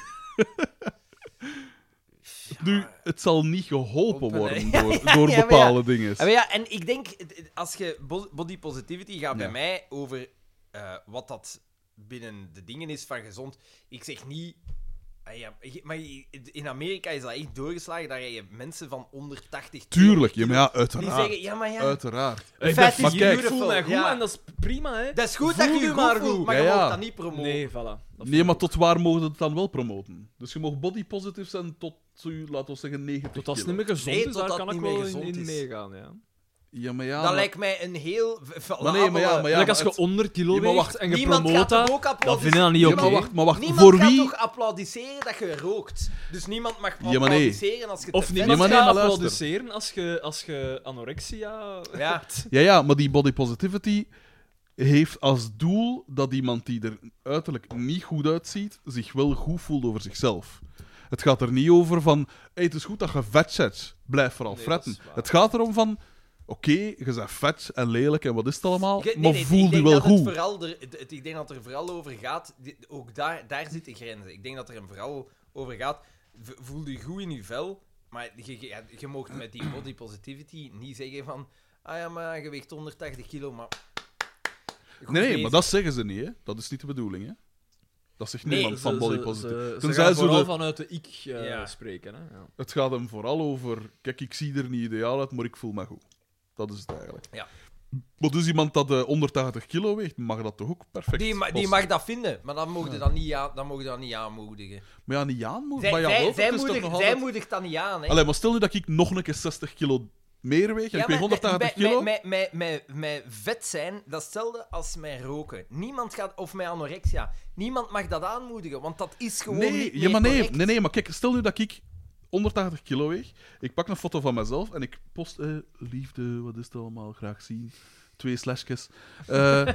Speaker 2: Nu, het zal niet geholpen
Speaker 4: Op een-
Speaker 2: worden
Speaker 4: Ja,
Speaker 2: door,
Speaker 4: ja,
Speaker 2: door
Speaker 4: ja, Ah, maar
Speaker 2: bepaalde dingen.
Speaker 4: Ja, maar ja, en ik denk, het- het- als je bo- body positivity gaat bij
Speaker 2: Ja.
Speaker 4: mij over eh, wat dat binnen de dingen is van gezond. Ik zeg niet. ah ja, je- maar je- in Amerika is dat echt doorgeslagen. Daar heb je mensen van 180
Speaker 2: Tuurlijk, ja, maar ja,
Speaker 4: Die
Speaker 2: uiteraard.
Speaker 4: zeggen, ja, maar ja.
Speaker 2: Eh, Uiteraard.
Speaker 3: Ik
Speaker 4: Vet
Speaker 3: ben
Speaker 4: is
Speaker 3: fysiek,
Speaker 2: Maar kijk-
Speaker 3: ik voel mij goed
Speaker 4: Ja.
Speaker 3: en dat is prima, hè.
Speaker 4: Dat is goed
Speaker 3: Voel
Speaker 4: dat je
Speaker 3: je
Speaker 4: je
Speaker 3: maar
Speaker 4: goed voelt,
Speaker 3: goed.
Speaker 4: maar
Speaker 2: Ja,
Speaker 4: je
Speaker 2: ja.
Speaker 4: mag dat niet promoten.
Speaker 3: Nee, voilà. Dat
Speaker 2: Nee, maar tot waar mogen we het dan wel promoten? Dus je mag body positive zijn tot, zo, laten we zeggen, 90
Speaker 3: Tot als het
Speaker 2: kilo.
Speaker 3: niet meer gezond
Speaker 4: Nee,
Speaker 3: is,
Speaker 4: tot
Speaker 3: daar
Speaker 4: dat
Speaker 3: kan
Speaker 4: het
Speaker 3: ik
Speaker 4: niet meer
Speaker 3: wel in,
Speaker 4: gezond
Speaker 3: in
Speaker 4: is.
Speaker 3: meegaan, ja.
Speaker 2: Ja, maar ja.
Speaker 4: dat
Speaker 2: maar-
Speaker 4: lijkt mij een heel.
Speaker 2: Maar nee, maar ja, maar ja.
Speaker 3: Like als
Speaker 2: maar
Speaker 3: je onder kilo
Speaker 2: Ja, maar
Speaker 3: weegt en je
Speaker 4: Niemand
Speaker 3: promoot
Speaker 4: gaat toch
Speaker 3: dat,
Speaker 4: ook applaudisseren.
Speaker 3: dat vind ik dan niet
Speaker 2: Ja,
Speaker 3: oké.
Speaker 2: maar wacht, maar wacht.
Speaker 4: Niemand
Speaker 2: voor
Speaker 4: gaat
Speaker 2: wie?
Speaker 4: toch applaudisseren dat je rookt. Dus niemand mag
Speaker 2: Ja, maar nee.
Speaker 4: applaudisseren als je te
Speaker 3: Of
Speaker 4: vet
Speaker 3: niemand
Speaker 2: maar nee,
Speaker 3: gaat
Speaker 2: maar luister.
Speaker 3: applaudisseren als je, als je anorexia
Speaker 4: bent. Ja.
Speaker 2: Ja, ja, maar die body positivity heeft als doel dat iemand die er uiterlijk niet goed uitziet, zich wel goed voelt over zichzelf. Het gaat er niet over van, hey, het is goed dat je vet zet, blijf vooral
Speaker 3: Nee,
Speaker 2: fretten.
Speaker 3: dat is waar.
Speaker 2: Het gaat erom van, oké, je bent vet en lelijk en wat is het allemaal,
Speaker 4: Ik- Oh, nee,
Speaker 2: maar
Speaker 4: nee,
Speaker 2: voel
Speaker 4: ik
Speaker 2: je
Speaker 4: denk
Speaker 2: wel
Speaker 4: dat het
Speaker 2: goed.
Speaker 4: vooral er- het- het- ik denk dat er vooral over gaat. die- ook daar, daar zitten grenzen. Ik denk dat er hem vooral over gaat. v- Voel je goed in je vel. Maar je, je, ja, je mag met die body positivity niet zeggen van. Ah ja, maar je weegt 180 kilo, maar. goed
Speaker 2: Nee, nee,
Speaker 4: bezig."
Speaker 2: maar dat zeggen ze niet, hè. Dat is niet de bedoeling, hè. Dat zegt
Speaker 4: Nee,
Speaker 2: niemand van body positive.
Speaker 3: Ze, ze,
Speaker 2: Tenzij
Speaker 3: gaan
Speaker 2: ze
Speaker 3: vooral
Speaker 2: de-
Speaker 3: vanuit de ik eh,
Speaker 4: Ja.
Speaker 3: spreken, hè. Ja.
Speaker 2: Het gaat hem vooral over, kijk, ik zie er niet ideaal uit, maar ik voel me goed. Dat is het eigenlijk.
Speaker 4: Ja.
Speaker 2: Maar dus iemand dat eh 180 kilo weegt, mag dat toch ook perfect?
Speaker 4: Die, ma- die
Speaker 2: passen?
Speaker 4: mag dat vinden, maar dan mogen ze dat, niet aan- dan mogen ze dat niet aanmoedigen.
Speaker 2: Maar ja, niet aanmoedigen.
Speaker 4: Zij,
Speaker 2: Maar ja,
Speaker 4: zij,
Speaker 2: wel,
Speaker 4: zij
Speaker 2: het is toch
Speaker 4: moedig-
Speaker 2: nog
Speaker 4: zij
Speaker 2: altijd...
Speaker 4: moedigt dat niet aan, hè?
Speaker 2: Allee, maar stel nu dat ik nog een keer 60 kilo meer weeg en ik weeg
Speaker 4: maar
Speaker 2: 180
Speaker 4: bij-
Speaker 2: kilo.
Speaker 4: Bij, bij, bij- bij- bij vet zijn, dat is hetzelfde als mijn roken. Niemand gaat, of mijn anorexia. Niemand mag dat aanmoedigen, want dat is gewoon niet
Speaker 2: nee, ja,
Speaker 4: meer
Speaker 2: maar nee,
Speaker 4: correct.
Speaker 2: nee, nee, maar kijk, stel nu dat ik 180 kilo weeg, ik pak een foto van mezelf en ik post, eh, liefde, wat is het allemaal, graag zien, twee slashjes. Eh,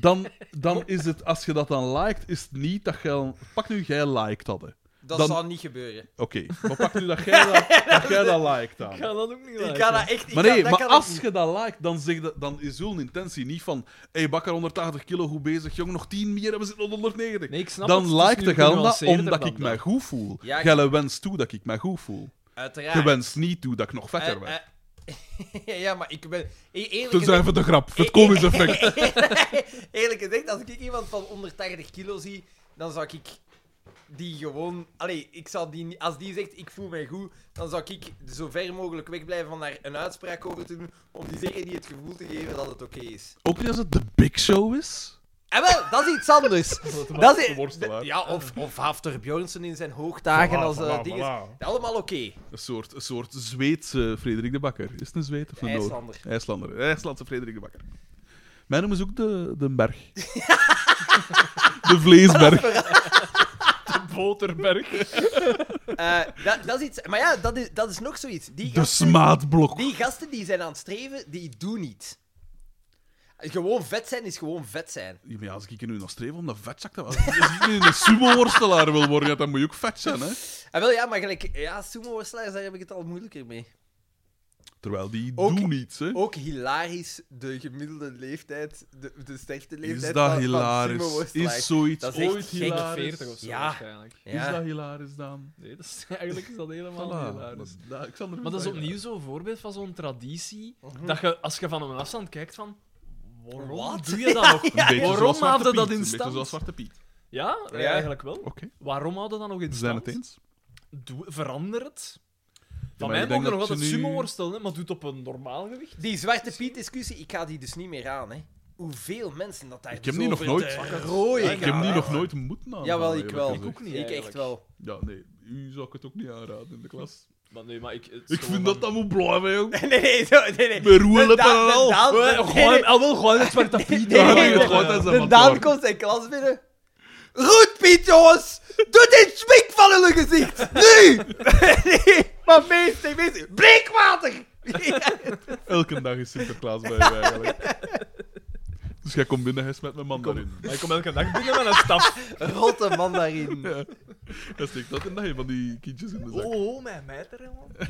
Speaker 2: dan, dan is het, als je dat dan liked, is het niet dat jij... Pak nu, jij liked dat, hè.
Speaker 4: Dat
Speaker 2: dan-
Speaker 4: zal niet gebeuren.
Speaker 2: Oké, maar pak nu dat jij dat, dat, jij dat liked dan.
Speaker 3: Ik ga dat ook niet
Speaker 4: Ik
Speaker 3: laten.
Speaker 4: ga dat echt... ik
Speaker 2: Maar
Speaker 4: ga-
Speaker 2: nee,
Speaker 4: dat
Speaker 2: maar
Speaker 4: kan ik
Speaker 2: als
Speaker 4: niet.
Speaker 2: je dat liked, dan, zeg dat, dan is hun intentie niet van hey, bakker 180 kilo, goed bezig, jong, nog 10 meer en we zitten op 190.
Speaker 3: Nee, ik snap het,
Speaker 2: dan
Speaker 3: het is
Speaker 2: like
Speaker 3: nu
Speaker 2: de Gelda
Speaker 3: genuanceerder
Speaker 2: omdat
Speaker 3: dan
Speaker 2: ik mij
Speaker 3: dat.
Speaker 2: goed voel.
Speaker 4: Ja, ik-
Speaker 2: Gelle wenst toe dat ik mij goed voel.
Speaker 4: Uiteraard.
Speaker 2: Je wenst niet toe dat ik nog vetter
Speaker 4: Eh,
Speaker 2: ben.
Speaker 4: eh, ja, maar ik ben... e- Eerlijk
Speaker 2: Tenzij
Speaker 4: gezegd-
Speaker 2: voor de grap, voor het komisch effect.
Speaker 4: Eerlijk gezegd, als ik iemand van 180 kilo zie, dan zou ik die gewoon. Allee, ik zou die, niet- als die zegt ik voel mij goed, dan zou ik zo ver mogelijk wegblijven van daar een uitspraak over te doen. Om diegene die het gevoel te geven dat het oké is.
Speaker 2: Ook niet als het de Big Show is.
Speaker 4: En wel, dat is iets anders. dat is,
Speaker 2: worstelaar.
Speaker 4: ja, of, of Hafter Björnsen in zijn hoogdagen als eh, ding is. Allemaal oké.
Speaker 2: Een soort, een soort Zweedse Frederik de Bakker. Is het een Zweed of een Noor?
Speaker 4: IJslander.
Speaker 2: IJslander. IJslandse Frederik de Bakker. Mijn noem is ook de, de berg. de vleesberg.
Speaker 3: Boterberg.
Speaker 4: Eh, dat, dat is iets... Maar ja, dat is, dat is nog zoiets. Die
Speaker 2: De
Speaker 4: gasten,
Speaker 2: smaadblok.
Speaker 4: die gasten die zijn aan het streven, die doen niet. Gewoon vet zijn is gewoon vet zijn.
Speaker 2: Ja, maar ja, als ik hier nu naar streef om dat vetzak te worden. Als ik nu een sumo-worstelaar wil worden, ja, dan moet je ook vet zijn, hè?
Speaker 4: En Ah, wel, ja, maar gelijk... Ja, sumo-worstelaars, daar heb ik het al moeilijker mee.
Speaker 2: Terwijl die
Speaker 4: Ook-
Speaker 2: doen iets, hè?
Speaker 4: Ook hilarisch, de gemiddelde leeftijd, de, de sterkste leeftijd
Speaker 2: Is
Speaker 4: van-
Speaker 2: dat
Speaker 4: van
Speaker 2: hilarisch?
Speaker 4: sumo-worstelaars.
Speaker 2: Is zoiets
Speaker 4: Dat is echt
Speaker 2: ooit
Speaker 4: gek.
Speaker 2: hilarisch?
Speaker 3: 40 of zo
Speaker 4: Ja.
Speaker 3: waarschijnlijk.
Speaker 4: Ja.
Speaker 2: Is dat hilarisch, dan?
Speaker 3: Nee, dat is, eigenlijk is dat helemaal niet
Speaker 2: Voilà.
Speaker 3: hilarisch.
Speaker 2: Dat- dat- ik zal er
Speaker 3: Maar dat is
Speaker 2: wel-
Speaker 3: opnieuw zo'n voorbeeld van zo'n traditie.
Speaker 2: Oh.
Speaker 3: Dat je, als je van een afstand kijkt, van... Waarom
Speaker 4: Wat?
Speaker 3: doe je dat nog?
Speaker 2: Een beetje
Speaker 3: Waarom
Speaker 2: zoals Zwarte
Speaker 3: houden dat
Speaker 2: Piet,
Speaker 3: in
Speaker 2: Een beetje
Speaker 3: stand?
Speaker 2: zoals Zwarte Piet.
Speaker 3: Ja,
Speaker 4: Ja.
Speaker 3: eigenlijk wel.
Speaker 2: Oké,
Speaker 3: Waarom houden dat nog in
Speaker 2: we zijn
Speaker 3: stand?
Speaker 2: het eens.
Speaker 3: Doe- verander het. Van
Speaker 2: maar
Speaker 3: mij
Speaker 2: ik denk
Speaker 3: mogen nog
Speaker 2: dat
Speaker 3: altijd
Speaker 2: ze nu-
Speaker 3: sumo worstelen, hè, maar doe het op een normaal gewicht.
Speaker 4: Die Zwarte Piet-discussie, ik ga die dus niet meer aan, hè. Hoeveel mensen dat daar
Speaker 2: Ik heb
Speaker 4: dus
Speaker 2: die nog
Speaker 4: over
Speaker 2: nooit.
Speaker 4: te
Speaker 2: Ja,
Speaker 4: rooien
Speaker 2: Ik heb
Speaker 4: gaan,
Speaker 2: die
Speaker 4: hè.
Speaker 2: nog nooit nou, moeten aanraden.
Speaker 4: Jawel, ik
Speaker 2: eerlijk
Speaker 4: wel.
Speaker 2: gezegd.
Speaker 3: Ik ook niet,
Speaker 4: Ik echt
Speaker 3: eigenlijk.
Speaker 4: wel.
Speaker 2: Ja, nee, u zou ik het ook niet aanraden in de klas.
Speaker 3: Maar nee, maar ik... het is
Speaker 2: Ik
Speaker 3: gewoon
Speaker 2: vind dat
Speaker 3: van-
Speaker 2: dat moet blijven, jong.
Speaker 4: Nee, nee, zo- nee. nee.
Speaker 2: Met roelen
Speaker 4: Daan-
Speaker 2: en al.
Speaker 4: de Daan-
Speaker 3: Eh,
Speaker 4: de-
Speaker 3: Gooi
Speaker 4: nee,
Speaker 3: hem, al wel, gooi hem het zwarte piet.
Speaker 4: nee,
Speaker 3: Ja,
Speaker 4: nee,
Speaker 3: ja,
Speaker 4: nee.
Speaker 3: ja.
Speaker 4: De Daan komt zijn klas binnen. Goed, Piet, jongens! Doe dit smik van hun gezicht! Nu! Nee, maar meester, meester, breekwater!
Speaker 2: Elke dag is Sinterklaas bij jou eigenlijk. Dus jij komt binnen, hij smet mijn man daarin.
Speaker 3: Maar ik kom elke dag binnen met een staf.
Speaker 4: Rotte mandarin.
Speaker 2: Hij steekt dat en dat je van die kindjes in de zak.
Speaker 3: Oh, mijn meiter, man.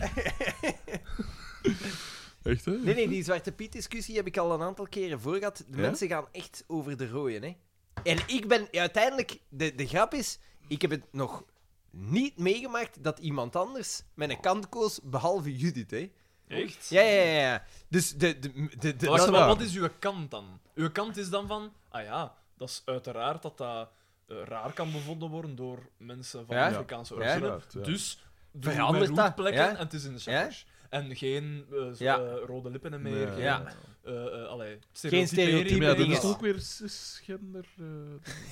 Speaker 2: Echt, hè?
Speaker 4: Nee, nee, die Zwarte Piet-discussie heb ik al een aantal keren voor gehad. De
Speaker 2: Ja?
Speaker 4: mensen gaan echt over de rooien, hè. En ik ben ja, uiteindelijk... De, de grap is, ik heb het nog niet meegemaakt dat iemand anders met een kant koos, behalve Judith, hè.
Speaker 3: Echt?
Speaker 4: Ja, ja, ja. ja. Dus de... de, de, de,
Speaker 3: Maar wacht,
Speaker 4: dat-
Speaker 3: maar wat is uw kant dan? Uw kant is dan van, ah ja, dat is uiteraard dat dat eh, raar kan bevonden worden door mensen van
Speaker 4: Ja?
Speaker 3: Afrikaanse
Speaker 4: Ja.
Speaker 3: origine.
Speaker 2: Uiteraard, ja.
Speaker 3: Dus
Speaker 4: Verandert
Speaker 3: verandert
Speaker 4: dat,
Speaker 3: dat plekken
Speaker 4: ja?
Speaker 3: en het is in de cijfers. En geen eh, zo-
Speaker 4: Ja.
Speaker 3: eh, rode lippen en meer.
Speaker 2: Nee.
Speaker 3: Geen,
Speaker 4: Ja.
Speaker 3: eh, eh, allee,
Speaker 4: Geen
Speaker 3: stereotypering.
Speaker 2: Maar ja, dat
Speaker 4: dingen.
Speaker 2: is toch ook weer cisgender. eh,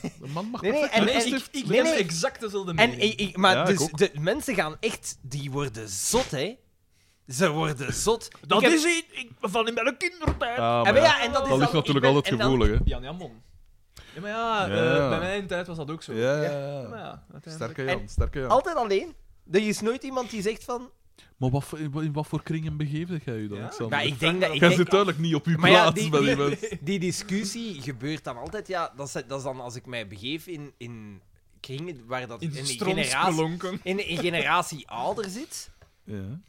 Speaker 2: de- een man mag
Speaker 4: Nee, nee,
Speaker 2: perfect
Speaker 4: en-
Speaker 3: nee,
Speaker 4: en-
Speaker 3: ik, ik ben
Speaker 4: nee, nee.
Speaker 3: exact dezelfde
Speaker 4: En
Speaker 3: mening.
Speaker 4: ik, ik- maar
Speaker 2: Ja, ik
Speaker 4: dus
Speaker 2: ook.
Speaker 4: de mensen gaan echt, die worden zot, hè? Ze worden zot.
Speaker 3: dat
Speaker 4: Ik heb-
Speaker 3: is iets ik- van in mijn kindertijd.
Speaker 2: Ah,
Speaker 4: en
Speaker 2: maar ja,
Speaker 4: ja, en dat, is
Speaker 2: dat ligt
Speaker 4: dan- ik
Speaker 2: natuurlijk
Speaker 4: ben-
Speaker 2: altijd
Speaker 4: en dan-
Speaker 2: gevoelig, hè?
Speaker 3: Jan Jamon. Ja, maar ja, eh,
Speaker 2: Ja.
Speaker 3: bij mijn tijd was dat ook zo.
Speaker 2: Ja,
Speaker 3: Maar
Speaker 2: ja.
Speaker 3: ja, eh, uiteindelijk.
Speaker 2: Sterke
Speaker 4: En-
Speaker 2: Jan, sterke Jan.
Speaker 4: Altijd alleen. Er is nooit iemand die zegt van.
Speaker 2: Maar wat, voor- in wat voor kringen begeef jij je dan,
Speaker 3: Ja?
Speaker 2: Alexander?
Speaker 4: Maar "Nou, ik denk dat. Ik
Speaker 2: Jij
Speaker 4: denk-
Speaker 2: zit duidelijk niet op uw
Speaker 4: maar
Speaker 2: plaats
Speaker 4: ja, die,
Speaker 2: bij die
Speaker 4: die,
Speaker 2: mensen.
Speaker 4: die discussie gebeurt dan altijd. Ja, dat is, dat is dan als ik mij begeef in, in kringen waar dat
Speaker 3: In
Speaker 4: een generatie,
Speaker 3: stroomspelonken.
Speaker 4: in een generatie ouder zit.
Speaker 2: Ja.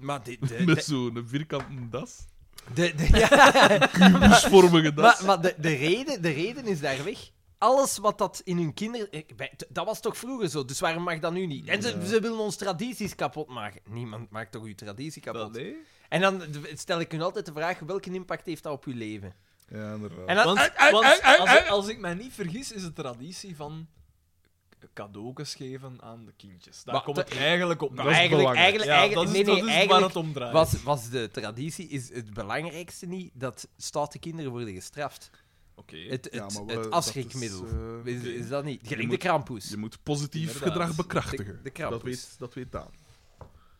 Speaker 4: Maar de, de,
Speaker 2: Met
Speaker 4: de,
Speaker 2: zo'n vierkante das.
Speaker 4: de- de- ja.
Speaker 2: Kubusvormige das.
Speaker 4: Maar, maar de, de, reden, de reden is daar weg. Alles wat dat in hun kinderen... eh, bij- t- Dat was toch vroeger zo, dus waarom mag dat nu niet? En ze, ze willen ons tradities kapot maken. Niemand maakt toch uw traditie kapot?
Speaker 3: Nee.
Speaker 4: En dan d- stel ik hun altijd de vraag, welke impact heeft dat op uw leven?
Speaker 2: Ja, inderdaad.
Speaker 4: En dan,
Speaker 3: Want,
Speaker 4: uit, uit,
Speaker 3: want
Speaker 4: uit, uit,
Speaker 3: als,
Speaker 4: uit.
Speaker 3: ik, als ik mij niet vergis, is het traditie van cadeautjes geven aan de kindjes. Daar
Speaker 4: Maar
Speaker 3: komt
Speaker 4: dat-
Speaker 3: het eigenlijk op.
Speaker 4: Maar eigenlijk, eigenlijk,
Speaker 3: Ja,
Speaker 4: eigenlijk,
Speaker 3: dat is,
Speaker 4: nee,
Speaker 3: dat
Speaker 4: nee,
Speaker 3: is waar
Speaker 4: eigenlijk
Speaker 3: het om draait.
Speaker 4: was, was de traditie is het belangrijkste niet dat stoute kinderen worden gestraft.
Speaker 3: Oké.
Speaker 4: Het, het,
Speaker 2: Ja, maar wel,
Speaker 4: het
Speaker 2: dat
Speaker 4: afschrikmiddel.
Speaker 2: is,
Speaker 4: Is,
Speaker 2: eh,
Speaker 4: is, dat niet? Gelijk de
Speaker 2: moet-
Speaker 4: krampoes.
Speaker 2: Je moet positief
Speaker 3: Inderdaad.
Speaker 2: gedrag bekrachtigen.
Speaker 4: De- de krampus.
Speaker 2: dat, weet, dat weet Daan.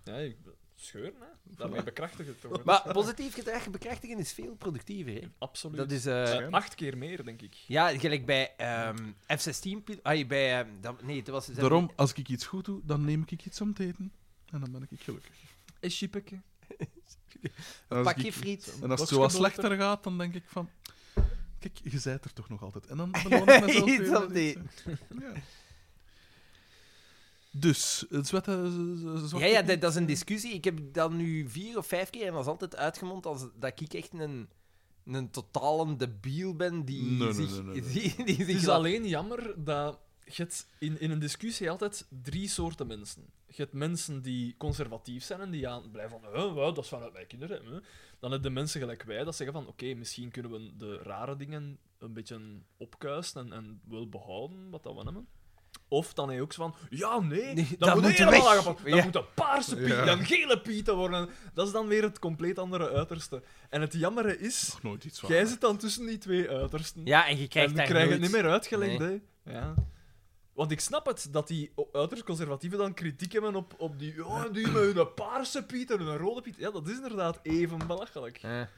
Speaker 3: Ja, ik- scheuren, hè. Daarmee bekrachtig het toch.
Speaker 4: Maar positief gedrag bekrachtigen is veel productiever. Hè?
Speaker 3: Absoluut.
Speaker 4: Dat is... eh,
Speaker 3: Eh, acht keer meer, denk ik.
Speaker 4: Ja, gelijk bij ehm, F-16... pil- Ah, bij... ehm, dat- nee, dat was... ze-
Speaker 2: Daarom, als ik iets goed doe, dan neem ik iets om te eten. En dan ben ik gelukkig.
Speaker 3: Is chipeke.
Speaker 2: En als,
Speaker 4: Pakje
Speaker 2: ik-
Speaker 4: friet.
Speaker 2: en als het
Speaker 3: Dokske
Speaker 2: zo wat
Speaker 3: boter.
Speaker 2: slechter gaat, dan denk ik van... Kijk, je zijt er toch nog altijd. En dan beloon ik mezelf
Speaker 4: Iets
Speaker 2: weer met
Speaker 4: om te eten.
Speaker 2: Ja. Dus, het zwette...
Speaker 4: Ja, ja, dat, dat is een discussie. Ik heb dat nu vier of vijf keer en dat is altijd uitgemond als dat ik echt een, een totale debiel ben die
Speaker 2: Nee, nee, nee,
Speaker 4: zich...
Speaker 2: nee, nee.
Speaker 4: Die, die
Speaker 3: Het
Speaker 4: zich
Speaker 3: is
Speaker 4: laat-
Speaker 3: alleen jammer dat je hebt in, in een discussie altijd drie soorten mensen. Je hebt mensen die conservatief zijn en die aan, blijven van, "Hè, wat, dat is vanuit mijn kinderen. hè." Dan heb je mensen gelijk wij dat zeggen van, oké, misschien kunnen we de rare dingen een beetje opkuisen en, en wel behouden wat dat we hebben. Of dan heb je ook zo van, ja, nee,
Speaker 4: Nee,
Speaker 3: dat,
Speaker 4: dat
Speaker 3: moet
Speaker 4: moet
Speaker 3: helemaal
Speaker 4: weg.
Speaker 3: aangepakt. Dat
Speaker 4: Ja.
Speaker 3: moet een paarse piet,
Speaker 2: Ja.
Speaker 3: dan gele pieten worden. Dat is dan weer het compleet andere uiterste. En het jammere is,
Speaker 2: Nog nooit iets waar.
Speaker 3: jij zit dan tussen die twee uitersten
Speaker 4: Ja, en je krijgt
Speaker 3: en
Speaker 4: daar
Speaker 3: we krijgen
Speaker 4: nooit...
Speaker 3: het niet meer uitgelegd, hè. Ja. Want ik snap het, dat die o- uiterst conservatieven dan kritiek hebben op, op die... Oh, die met hun paarse piet en hun rode piet. Ja, dat is inderdaad even belachelijk.
Speaker 4: Ja.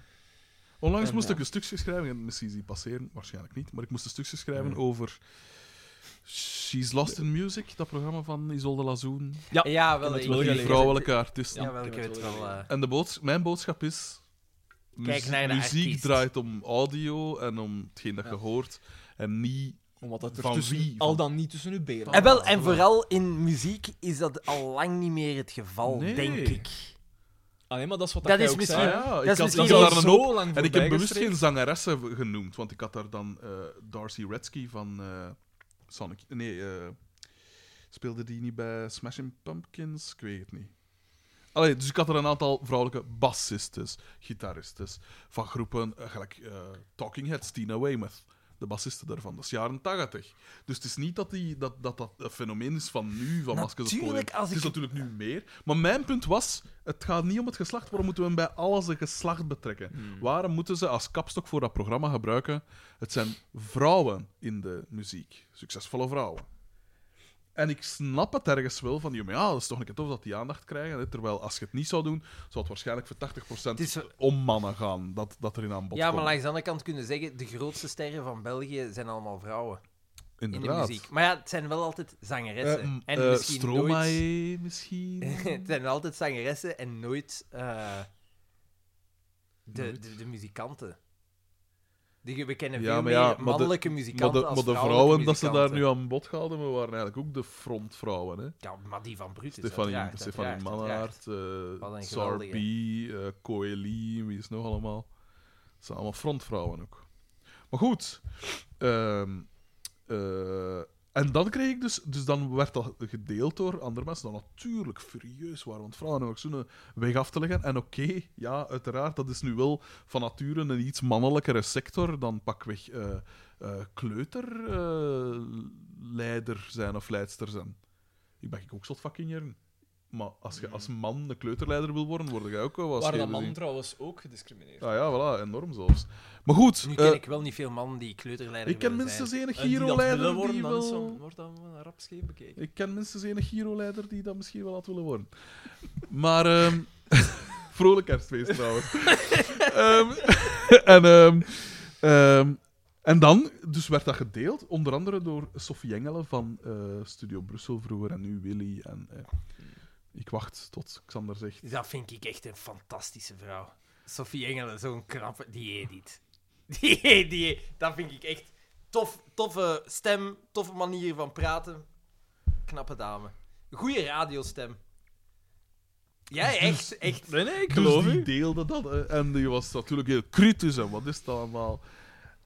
Speaker 2: Onlangs
Speaker 4: En
Speaker 2: moest
Speaker 4: ja.
Speaker 2: ik een stukje schrijven, en misschien zie passeren, waarschijnlijk niet, maar ik moest een stukje schrijven over She's Lost in Music, dat programma van Isolde Lazoen.
Speaker 4: Ja, Eh, ja wel.
Speaker 2: Met die vrouwelijke artiesten.
Speaker 4: Ja, wel, ik heb het wel. eh,
Speaker 2: En de boods- mijn boodschap is... muzie-
Speaker 4: naar de
Speaker 2: muziek
Speaker 4: artiest.
Speaker 2: draait om audio en om hetgeen dat je hoort. En niet...
Speaker 4: eh,
Speaker 3: Omdat dat er
Speaker 2: Van
Speaker 3: tussen-
Speaker 2: wie?
Speaker 3: al dan niet tussen uw benen.
Speaker 4: En, Eh, wel,
Speaker 2: Ah,
Speaker 4: en vooral in muziek is dat al lang niet meer het geval,
Speaker 2: Nee.
Speaker 4: denk ik.
Speaker 3: Ah, nee, maar dat is wat
Speaker 4: Dat
Speaker 3: jij
Speaker 4: is
Speaker 3: ook
Speaker 4: misschien-
Speaker 3: zei,
Speaker 4: Ja,
Speaker 3: hè.
Speaker 2: ik
Speaker 4: is
Speaker 2: had-
Speaker 4: misschien
Speaker 2: ik
Speaker 3: Dat
Speaker 2: had
Speaker 3: is
Speaker 2: daar een
Speaker 3: zo
Speaker 2: hoop-
Speaker 3: lang
Speaker 2: En ik heb
Speaker 3: voorbij
Speaker 2: bewust
Speaker 3: gestreefd.
Speaker 2: geen zangeressen v- genoemd, want ik had daar dan eh, Darcy Redsky van eh, Sonic. Nee, eh, speelde die niet bij Smashing Pumpkins? Ik weet het niet. Allee, dus ik had er een aantal vrouwelijke bassistes, gitaristes van groepen, eh, gelijk eh, Talking Heads, Tina Weymouth, de bassiste daarvan, dat is jaren 80. Dus het is niet dat die, dat, dat, dat een fenomeen is van nu, van maskers op het podium.
Speaker 4: Natuurlijk, als
Speaker 2: Het is
Speaker 4: ik-
Speaker 2: natuurlijk nu meer. Maar mijn punt was, het gaat niet om het geslacht, waarom moeten we hem bij alles een geslacht betrekken? Waarom moeten ze als kapstok voor dat programma gebruiken? Het zijn vrouwen in de muziek, succesvolle vrouwen. En ik snap het ergens wel van, joh, maar ja, dat is toch een keer tof dat die aandacht krijgen. hè. Terwijl als je het niet zou doen, zou het waarschijnlijk voor 80%
Speaker 4: is zo-
Speaker 2: om mannen gaan dat, dat erin aan bod
Speaker 4: Ja, maar
Speaker 2: komt.
Speaker 4: langs de andere kant kunnen zeggen, de grootste sterren van België zijn allemaal vrouwen in de
Speaker 2: Inderdaad.
Speaker 4: muziek. Maar ja, het zijn wel altijd zangeressen.
Speaker 2: Eh, m-
Speaker 4: en
Speaker 2: eh,
Speaker 4: misschien nooit...
Speaker 2: Stromae misschien.
Speaker 4: het zijn altijd zangeressen en nooit, eh, de, de, de muzikanten. Die, we kennen
Speaker 2: Ja,
Speaker 4: veel
Speaker 2: maar
Speaker 4: meer
Speaker 2: ja, maar de-
Speaker 4: mannelijke
Speaker 2: maar
Speaker 4: muzikanten
Speaker 2: de, maar de
Speaker 4: als
Speaker 2: vrouwen dat ze daar
Speaker 4: muzikanten.
Speaker 2: nu aan bod gehouden hebben, waren eigenlijk ook de frontvrouwen. Hè?
Speaker 4: Ja, maar die van Brutus,
Speaker 2: Stefanie,
Speaker 4: uiteraard,
Speaker 2: Stefanie
Speaker 4: uiteraard,
Speaker 2: Mannaert,
Speaker 4: Wat
Speaker 2: eh
Speaker 4: een
Speaker 2: Sar B,
Speaker 4: geweldige.
Speaker 2: eh, Coeli, wie is nog allemaal? Het zijn allemaal frontvrouwen ook. Maar goed. ehm, eh, en dan kreeg ik dus... Dus dan werd dat gedeeld door andere mensen. Dan natuurlijk furieus waren, want vrouwen hebben ook zo'n weg af te leggen. En oké, ja, uiteraard, dat is nu wel van nature een iets mannelijkere sector dan pakweg eh kleuterleider zijn of leidster zijn. Ik ben ook slotvakkingeren. Maar als je als man de kleuterleider wil worden, word jij ook wel wat
Speaker 3: Mhm. Waar dat
Speaker 2: scheef
Speaker 3: man
Speaker 2: gezien.
Speaker 3: trouwens ook gediscrimineerd.
Speaker 2: Ah ja, voilà, enorm zelfs. Maar goed,
Speaker 4: Nu
Speaker 2: eh,
Speaker 4: ken ik wel niet veel mannen die kleuterleider
Speaker 2: ik ken
Speaker 4: willen
Speaker 2: minstens
Speaker 4: zijn.
Speaker 2: enig
Speaker 3: En eh, die dat willen
Speaker 2: Giro-leider die,
Speaker 3: worden, dan is
Speaker 2: wel...
Speaker 3: dat- wordt dan wel een rap scheef bekeken.
Speaker 2: Ik ken minstens enig Giro-leider die dat misschien wel had willen worden. Maar, ehm, vrolijk kerstfeest trouwens. Ehm, en, ehm, ehm, en dan, dus werd dat gedeeld, onder andere door Sofie Engelen van eh, Studio Brussel vroeger en nu Willy. En, eh, ik wacht tot Xander zegt.
Speaker 4: Dus Dat vind ik echt een fantastische vrouw. Sophie Engelen, zo'n knappe... Die edit. Die, die, dat vind ik echt tof, toffe stem, toffe manier van praten. Knappe dame. Goeie radiostem. Jij echt, echt.
Speaker 3: Nee, nee, ik
Speaker 2: dus die deelde dat. hè. En die was natuurlijk heel kritisch. En wat is dat allemaal?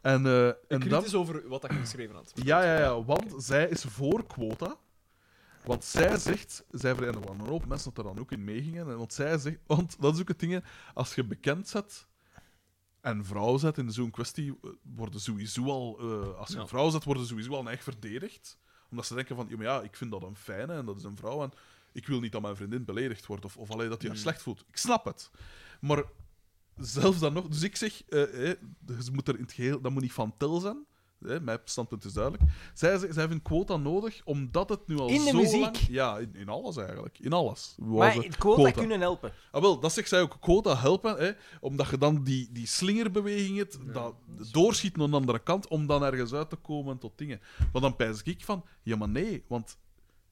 Speaker 2: En, eh, en
Speaker 3: Kritisch
Speaker 2: dan,
Speaker 3: over wat ik geschreven had.
Speaker 2: ja, ja, ja, want zij is voor quota. Want zij zegt, zij ver- en er waren een hoop mensen dat er dan ook in meegingen. en Want zij zegt, want dat is ook het ding, hè, als je bekend zet en vrouw zet in zo'n kwestie, eh, worden sowieso al, eh, als je een vrouw zet, worden sowieso al echt verdedigd. Omdat ze denken van, ja, maar ja, ik vind dat een fijne en dat is een vrouw en ik wil niet dat mijn vriendin beledigd wordt of, of alleen dat hij haar slecht voelt. Ik snap het. Maar zelfs dan nog, dus ik zeg, eh, eh, dus moet er in het geheel, dat moet niet van tel zijn. Hè, mijn standpunt is duidelijk. Zij, ze- zij hebben quota nodig, omdat het nu al
Speaker 4: In de
Speaker 2: zo
Speaker 4: muziek?
Speaker 2: lang... Ja, in, in alles eigenlijk. In alles.
Speaker 4: Maar
Speaker 2: Wou ze
Speaker 4: het quota kunnen helpen.
Speaker 2: Ah, wel, dat zegt zij ook. Quota helpen, hè, omdat je dan die, die slingerbeweging hebt, dat doorschiet naar de andere kant, om dan ergens uit te komen tot dingen. Maar dan pijs ik van, ja maar nee, want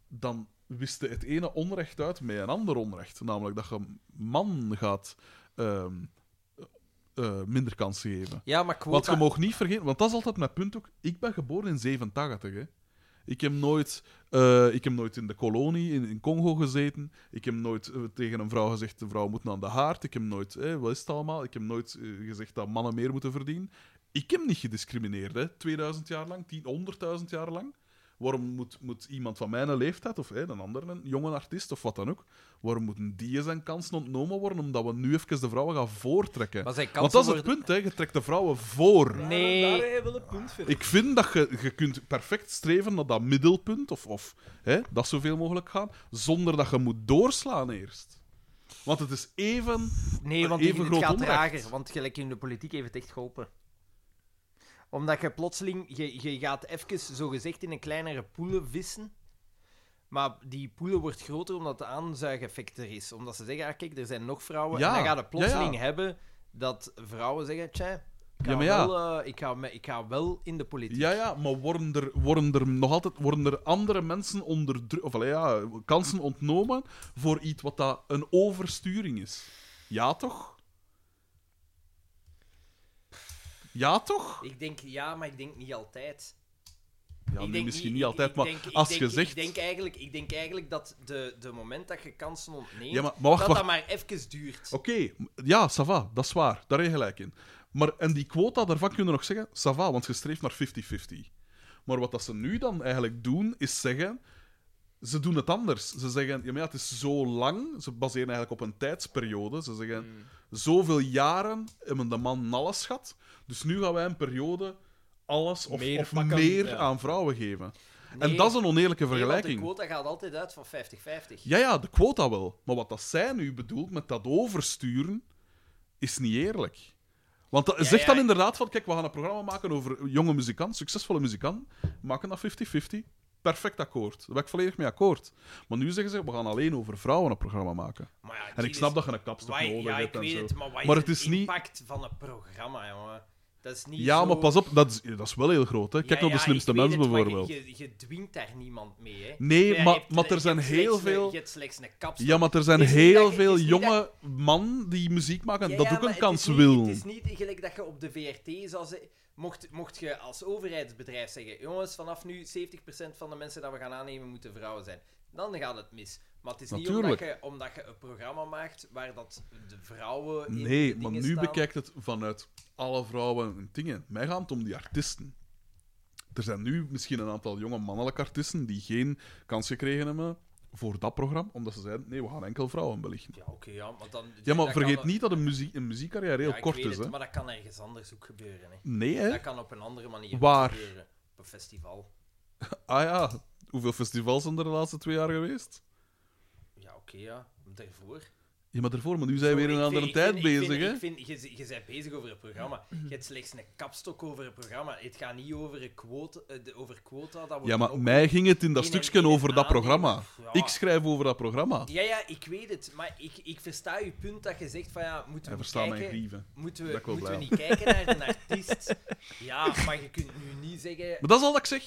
Speaker 2: dan wist je het ene onrecht uit met een ander onrecht. Namelijk dat je man gaat ehm, eh, minder kansen geven.
Speaker 4: Ja, maar
Speaker 2: Want je
Speaker 4: quota...
Speaker 2: mag niet vergeten, want dat is altijd mijn punt ook. Ik ben geboren in 87. Hè. Ik, heb nooit, eh, ik heb nooit in de kolonie in, in Congo gezeten. Ik heb nooit eh, tegen een vrouw gezegd: de vrouw moet aan de haard. Ik heb nooit, eh, wat is het allemaal? Ik heb nooit eh, gezegd dat mannen meer moeten verdienen. Ik heb niet gediscrimineerd, hè. 2000 jaar lang, 10, 100.000 jaar lang. Waarom moet, moet iemand van mijn leeftijd, of hè, een andere, een jonge artiest of wat dan ook, waarom moeten die zijn kansen ontnomen worden omdat we nu even de vrouwen gaan voortrekken?
Speaker 4: Maar zij
Speaker 2: Want
Speaker 4: kansen
Speaker 2: dat is het
Speaker 4: worden-
Speaker 2: punt, hè. je trekt de vrouwen voor.
Speaker 4: Nee.
Speaker 3: Daar heb je wel een punt voor.
Speaker 2: Ik vind dat je, je kunt perfect streven naar dat middelpunt, of, of hè, dat zoveel mogelijk gaan, zonder dat je moet doorslaan eerst. Want het is even...
Speaker 4: Nee, want
Speaker 2: even
Speaker 4: die, het
Speaker 2: groot
Speaker 4: gaat
Speaker 2: onrecht.
Speaker 4: trager. Want gelijk in de politiek heeft het echt geholpen. Omdat je plotseling... Je, je gaat even zogezegd in een kleinere poelen vissen. Maar die poelen wordt groter omdat de aanzuigeffect er is. Omdat ze zeggen, ah, kijk, er zijn nog vrouwen.
Speaker 2: Ja,
Speaker 4: En dan gaat
Speaker 2: ja,
Speaker 4: het plotseling
Speaker 2: ja.
Speaker 4: hebben dat vrouwen zeggen: Tja, ik ga,
Speaker 2: Ja, maar ja.
Speaker 4: wel, eh, ik, ga me- ik ga wel in de politiek.
Speaker 2: Ja, ja, maar worden er, worden er nog altijd worden er andere mensen onder dru- of allee, ja, kansen ontnomen voor iets wat dat een oversturing is? Ja, toch? Ja, toch?
Speaker 4: Ik denk ja, maar ik denk niet altijd.
Speaker 2: Ja,
Speaker 4: ik
Speaker 2: nu
Speaker 4: denk
Speaker 2: misschien
Speaker 4: niet-
Speaker 2: niet
Speaker 4: ik-
Speaker 2: altijd,
Speaker 4: ik
Speaker 2: maar
Speaker 4: denk- ik
Speaker 2: als
Speaker 4: denk-
Speaker 2: je zegt...
Speaker 4: Ik denk eigenlijk, ik denk eigenlijk dat de, de moment dat je kansen ontneemt,
Speaker 2: Ja, maar, maar wacht,
Speaker 4: dat
Speaker 2: wacht.
Speaker 4: dat maar even duurt.
Speaker 2: Oké, m- ja, ça va, dat is waar. Daar heb je gelijk in. Maar, en die quota, daarvan kunnen we nog zeggen, ça va, want je streeft naar 50-50. Maar wat dat ze nu dan eigenlijk doen, is zeggen... Ze doen het anders. Ze zeggen, ja, maar ja, het is zo lang. Ze baseren eigenlijk op een tijdsperiode. Ze zeggen,
Speaker 4: Hmm.
Speaker 2: zoveel jaren hebben de man alles gehad. Dus nu gaan wij een periode alles of meer,
Speaker 3: Meer
Speaker 2: of
Speaker 3: pakken,
Speaker 2: meer
Speaker 3: ja.
Speaker 2: aan vrouwen geven. en
Speaker 4: Nee.
Speaker 2: dat is een oneerlijke
Speaker 4: Nee, want
Speaker 2: vergelijking.
Speaker 4: de quota gaat altijd uit van 50-50.
Speaker 2: Ja, ja, de quota wel. Maar wat dat zij nu bedoelt met dat oversturen, is niet eerlijk. Want dat, zeg
Speaker 4: ja,
Speaker 2: dan
Speaker 4: ik-
Speaker 2: inderdaad van, kijk, we gaan een programma maken over jonge muzikant, succesvolle muzikant, maken dat 50-50, perfect akkoord. Daar ben ik volledig mee akkoord. Maar nu zeggen ze, we gaan alleen over vrouwen een programma maken.
Speaker 4: Maar ja,
Speaker 2: En ik
Speaker 4: Jesus,
Speaker 2: snap dat je een kapstok
Speaker 4: wat-
Speaker 2: nodig
Speaker 4: dus ja, ik
Speaker 2: hebt en
Speaker 4: weet
Speaker 2: zo.
Speaker 4: het, maar wat
Speaker 2: Maar
Speaker 4: is
Speaker 2: het is
Speaker 4: de
Speaker 2: niet-
Speaker 4: impact van een programma, jongen? Dat is niet
Speaker 2: ja,
Speaker 4: zo...
Speaker 2: maar pas op, dat is, dat is wel heel groot. Hè. Kijk
Speaker 4: Ja,
Speaker 2: naar
Speaker 4: ja,
Speaker 2: de slimste
Speaker 4: ik weet
Speaker 2: mens
Speaker 4: het, maar je-
Speaker 2: bijvoorbeeld.
Speaker 4: Je, je dwingt daar niemand mee, hè.
Speaker 2: Nee,
Speaker 4: Ja, je
Speaker 2: maar,
Speaker 4: hebt-
Speaker 2: maar
Speaker 4: je
Speaker 2: er zijn
Speaker 4: hebt
Speaker 2: heel
Speaker 4: slechts een-
Speaker 2: veel...
Speaker 4: je hebt slechts een kapstok.
Speaker 2: Ja, maar er zijn
Speaker 4: Het is niet
Speaker 2: heel
Speaker 4: dat je-
Speaker 2: veel
Speaker 4: het is niet dat-
Speaker 2: jonge man die muziek maken
Speaker 4: Ja,
Speaker 2: dat
Speaker 4: ja,
Speaker 2: ook
Speaker 4: maar
Speaker 2: een
Speaker 4: het
Speaker 2: kans
Speaker 4: is niet-
Speaker 2: wil.
Speaker 4: Het is niet gelijk dat je op de VRT zou zeggen... Mocht, mocht je als overheidsbedrijf zeggen... Jongens, vanaf nu 70% van de mensen dat we gaan aannemen moeten vrouwen zijn. Dan gaat het mis. Maar het is niet
Speaker 2: Natuurlijk.
Speaker 4: omdat je, omdat je een programma maakt waar dat de vrouwen
Speaker 2: Nee,
Speaker 4: in de
Speaker 2: maar
Speaker 4: dingen
Speaker 2: nu
Speaker 4: staan.
Speaker 2: bekijkt het vanuit alle vrouwen en dingen. Mij gaat het om die artiesten. Er zijn nu misschien een aantal jonge mannelijke artiesten die geen kans gekregen hebben voor dat programma, omdat ze zeiden, nee, we gaan enkel vrouwen belichten.
Speaker 4: Ja, oké, ja, maar dan...
Speaker 2: Ja, maar
Speaker 4: dat
Speaker 2: vergeet
Speaker 4: kan-
Speaker 2: niet dat een, muziek, een muziekcarrière heel
Speaker 4: Ja, ik
Speaker 2: kort
Speaker 4: weet
Speaker 2: is.
Speaker 4: het,
Speaker 2: Hè?
Speaker 4: maar dat kan ergens anders ook gebeuren, hè.
Speaker 2: Nee, hè?
Speaker 4: Dat kan op een andere manier
Speaker 2: Waar?
Speaker 4: gebeuren. Op een festival.
Speaker 2: Ah ja, hoeveel festivals zijn er de laatste twee jaar geweest?
Speaker 4: Ja, oké, ja. Daarvoor.
Speaker 2: Ja, maar daarvoor, maar nu zijn we weer
Speaker 4: Ik
Speaker 2: een
Speaker 4: vind-
Speaker 2: andere
Speaker 4: ik
Speaker 2: tijd
Speaker 4: vind- ik
Speaker 2: bezig,
Speaker 4: vind-
Speaker 2: hè?
Speaker 4: ik vind- je, z- je bent bezig over een programma. Je hebt slechts een kapstok over een programma. Het gaat niet over, een quota, eh, de- over quota. Dat wordt
Speaker 2: Ja, maar
Speaker 4: ook-
Speaker 2: mij ging het in dat
Speaker 4: in-
Speaker 2: stukje
Speaker 4: in- in-
Speaker 2: over dat
Speaker 4: aan-
Speaker 2: programma.
Speaker 4: Ja.
Speaker 2: Ik schrijf over dat programma.
Speaker 4: Ja, ja, ik weet het. Maar ik, ik versta je punt dat je zegt van ja, moeten
Speaker 2: Hij
Speaker 4: we
Speaker 2: verstaat mijn
Speaker 4: kijken...
Speaker 2: grieven.
Speaker 4: Moeten
Speaker 2: Dat
Speaker 4: we,
Speaker 2: ik wel
Speaker 4: moeten we
Speaker 2: blij
Speaker 4: niet kijken naar een artiest? Ja, maar je kunt nu niet zeggen...
Speaker 2: Maar dat is al dat ik zeg.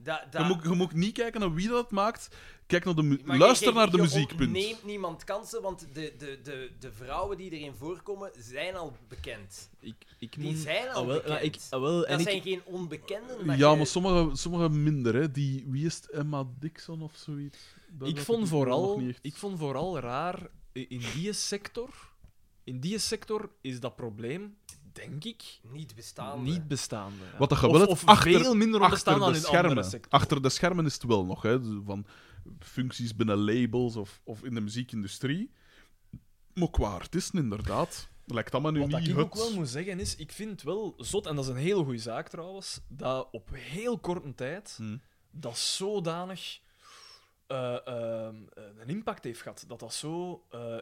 Speaker 4: Dat,
Speaker 2: Je
Speaker 4: dat,
Speaker 2: moet, je moet niet kijken naar wie dat maakt. Kijk naar de mu-
Speaker 4: Maar
Speaker 2: luister
Speaker 4: je-
Speaker 2: naar de
Speaker 4: je
Speaker 2: muziek, punt.
Speaker 4: ontneemt niemand kansen, want de, de, de, de vrouwen die erin voorkomen zijn al bekend.
Speaker 3: Ik, ik
Speaker 4: Die
Speaker 3: moet...
Speaker 4: zijn al
Speaker 3: Ah, wel,
Speaker 4: bekend.
Speaker 3: ah, ik, ah, wel, en
Speaker 4: dat
Speaker 3: ik,
Speaker 4: zijn geen onbekenden. dat
Speaker 2: Ja,
Speaker 4: je-
Speaker 2: maar sommige, sommige minder. Hè. Die, wie is het? Emma Dixon of zoiets? Daar
Speaker 3: ik,
Speaker 2: weet
Speaker 3: vond
Speaker 2: het nog
Speaker 3: vooral,
Speaker 2: niet echt.
Speaker 3: ik vond vooral raar i- in die sector. In die sector is dat probleem, denk ik,
Speaker 4: eh, Niet bestaan.
Speaker 3: niet bestaande. ja.
Speaker 2: Wat dat
Speaker 3: of,
Speaker 2: geweld
Speaker 3: of
Speaker 2: achter-
Speaker 3: veel minder
Speaker 2: achter
Speaker 3: onbestaan
Speaker 2: de
Speaker 3: dan in andere
Speaker 2: schermen.
Speaker 3: sectoren.
Speaker 2: Achter de schermen is het wel nog. Hè. Dus Van functies binnen labels of, of in de muziekindustrie. Maar qua artiesten, inderdaad. Lijkt dat me nu
Speaker 3: Wat dat
Speaker 2: niet
Speaker 3: ik ook wel
Speaker 2: het.
Speaker 3: moet zeggen is, ik vind het wel zot, en dat is een hele goede zaak trouwens, dat op heel korte tijd
Speaker 2: Hmm.
Speaker 3: dat zodanig eh, ehm, een impact heeft gehad. Dat dat zo... eh,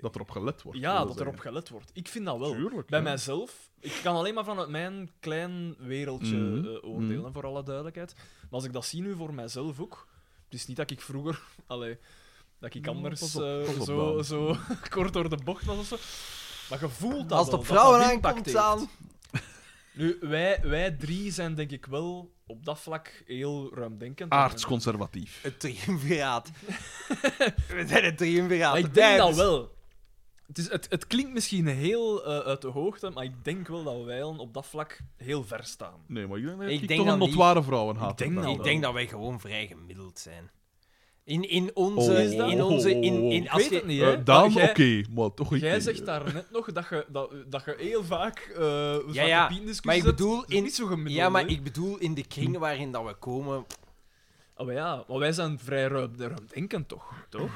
Speaker 2: Dat erop gelet wordt.
Speaker 3: ja,
Speaker 2: wil
Speaker 3: dat
Speaker 2: zeggen.
Speaker 3: erop gelet wordt. Ik vind dat wel.
Speaker 2: Tuurlijk,
Speaker 3: Bij
Speaker 2: ja.
Speaker 3: mijzelf, ik kan alleen maar vanuit mijn klein wereldje
Speaker 2: Mhm.
Speaker 3: eh, oordelen,
Speaker 2: Mhm.
Speaker 3: voor alle duidelijkheid. Maar als ik dat zie nu voor mijzelf ook, het is niet dat ik vroeger, allee, dat ik
Speaker 2: Nou,
Speaker 3: anders
Speaker 2: pas op,
Speaker 3: eh,
Speaker 2: pas op,
Speaker 3: zo,
Speaker 2: Daan.
Speaker 3: zo kort door de bocht was of zo. Maar je voelt dat
Speaker 4: Als het
Speaker 3: wel, dat dat
Speaker 4: op vrouwen
Speaker 3: impact
Speaker 4: aankomt,
Speaker 3: heeft.
Speaker 4: aan.
Speaker 3: Nu, wij, wij drie zijn denk ik wel op dat vlak heel ruimdenkend.
Speaker 2: Aardsconservatief.
Speaker 4: Het triumviraat. we zijn het triumviraat.
Speaker 3: Maar ik denk dat wel. Het, is, het, het klinkt misschien heel eh, uit de hoogte, maar ik denk wel dat wij al op dat vlak heel ver staan.
Speaker 2: Nee, maar ik denk dat
Speaker 4: Ik
Speaker 2: ik,
Speaker 4: denk
Speaker 2: toch een
Speaker 4: dat niet.
Speaker 2: notoire vrouwen haat.
Speaker 3: Ik denk dat
Speaker 4: Ik denk dat wij gewoon vrij gemiddeld zijn. In, in
Speaker 2: Oh,
Speaker 4: onze...
Speaker 2: is dat?
Speaker 4: in onze in, in,
Speaker 2: Ik
Speaker 3: oh, Ik
Speaker 4: als
Speaker 3: weet
Speaker 4: je-
Speaker 3: het niet, hè?
Speaker 2: Eh, dan,
Speaker 3: Maar
Speaker 2: oké,
Speaker 3: jij-
Speaker 2: maar toch een
Speaker 3: Jij
Speaker 2: keer.
Speaker 3: zegt daarnet nog dat je, dat, dat je heel vaak eh
Speaker 4: Ja, ja, maar ik bedoel in-
Speaker 3: niet zo gemiddeld.
Speaker 4: Ja, maar
Speaker 3: hè. Hm.
Speaker 4: ik bedoel, in de kringen waarin dat we komen...
Speaker 3: Oh, maar ja, maar wij zijn vrij ruim, ruimdenkend, toch? toch?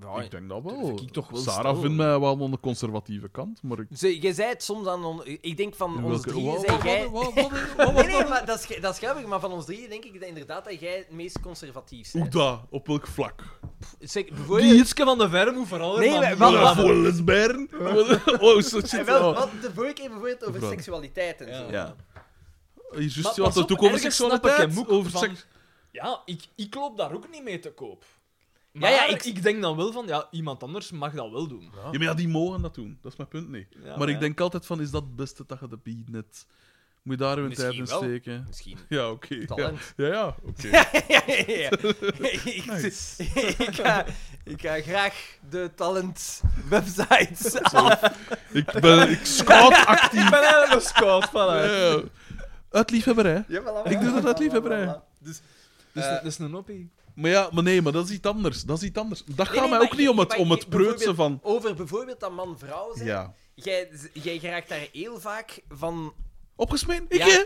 Speaker 4: ja,
Speaker 2: Ik denk dat wel.
Speaker 3: Durf ik toch wel
Speaker 2: Sarah
Speaker 3: stel.
Speaker 2: vindt mij wel aan de conservatieve kant, maar ik...
Speaker 4: Ze, jij zei het soms aan... On, ik denk van
Speaker 2: In
Speaker 4: ons
Speaker 2: welke-
Speaker 4: drieën
Speaker 2: wa-
Speaker 4: zijn
Speaker 2: wa-
Speaker 4: jij...
Speaker 2: wa- wa- wa- wa- wa-
Speaker 4: Nee, nee, maar dat is, ge- dat is grappig. Maar van ons drieën denk ik dat inderdaad dat jij het meest conservatief
Speaker 2: Hoe
Speaker 4: bent.
Speaker 2: dat? Op welk vlak?
Speaker 4: Zeg,
Speaker 3: Die
Speaker 4: bijvoorbeeld...
Speaker 3: Jitske van de Verre moet vooral
Speaker 4: Nee,
Speaker 3: maar
Speaker 4: wij-
Speaker 3: niet
Speaker 4: wacht,
Speaker 3: laten.
Speaker 2: Voilà, voor lesbijren? Oh, zo
Speaker 4: En
Speaker 2: shit.
Speaker 4: wel,
Speaker 2: oh.
Speaker 4: wat de vorige keer bijvoorbeeld over
Speaker 2: Vrouw.
Speaker 4: seksualiteit en zo.
Speaker 2: Ja. Eh,
Speaker 3: Maar
Speaker 2: Juist, je had
Speaker 3: pas
Speaker 2: het
Speaker 3: op,
Speaker 2: ook over
Speaker 3: ergens snap ik
Speaker 2: seksualiteit.
Speaker 3: hem ook
Speaker 2: Over
Speaker 3: van-
Speaker 2: seks...
Speaker 3: Ja, ik, ik loop daar ook niet mee te koop. Maar
Speaker 4: ja, ik-
Speaker 3: ik... denk dan wel van, ja, iemand anders mag dat wel doen.
Speaker 2: Ja, maar ja, die mogen dat doen. Dat is mijn punt niet.
Speaker 3: Ja,
Speaker 2: maar ik
Speaker 3: ja.
Speaker 2: denk altijd van, is dat het beste dat je de bieden hebt? Moet je daar hun tijd
Speaker 4: Misschien
Speaker 2: in
Speaker 4: wel.
Speaker 2: steken?
Speaker 4: Misschien.
Speaker 2: Ja, oké.
Speaker 4: Talent.
Speaker 2: Ja, ja, ja, oké.
Speaker 4: ja, ja, ja. ik,
Speaker 2: Nice.
Speaker 4: ik, ga, ik ga graag de talent websites
Speaker 2: Ik ben ik scout actief.
Speaker 3: Ik ben eigenlijk een scout, voilà. Eh.
Speaker 2: Ja. Uit liefhebberij.
Speaker 4: Ja, voilà,
Speaker 2: Eh, Ik doe dat uit liefhebberij.
Speaker 3: Dus
Speaker 4: Eh,
Speaker 3: dat is een hoppie.
Speaker 2: Maar ja, maar nee, maar dat is iets anders. Dat is iets anders. Dat gaat
Speaker 4: nee,
Speaker 2: mij
Speaker 4: maar
Speaker 2: ook niet
Speaker 4: ik-
Speaker 2: om het,
Speaker 4: maar
Speaker 2: om
Speaker 4: ik-
Speaker 2: het preutsen van...
Speaker 4: Over bijvoorbeeld dat man-vrouw zijn.
Speaker 2: Ja.
Speaker 4: Jij, jij geraakt daar heel vaak van.
Speaker 2: Opgesmeen? Ik,
Speaker 4: Ja.
Speaker 2: hè?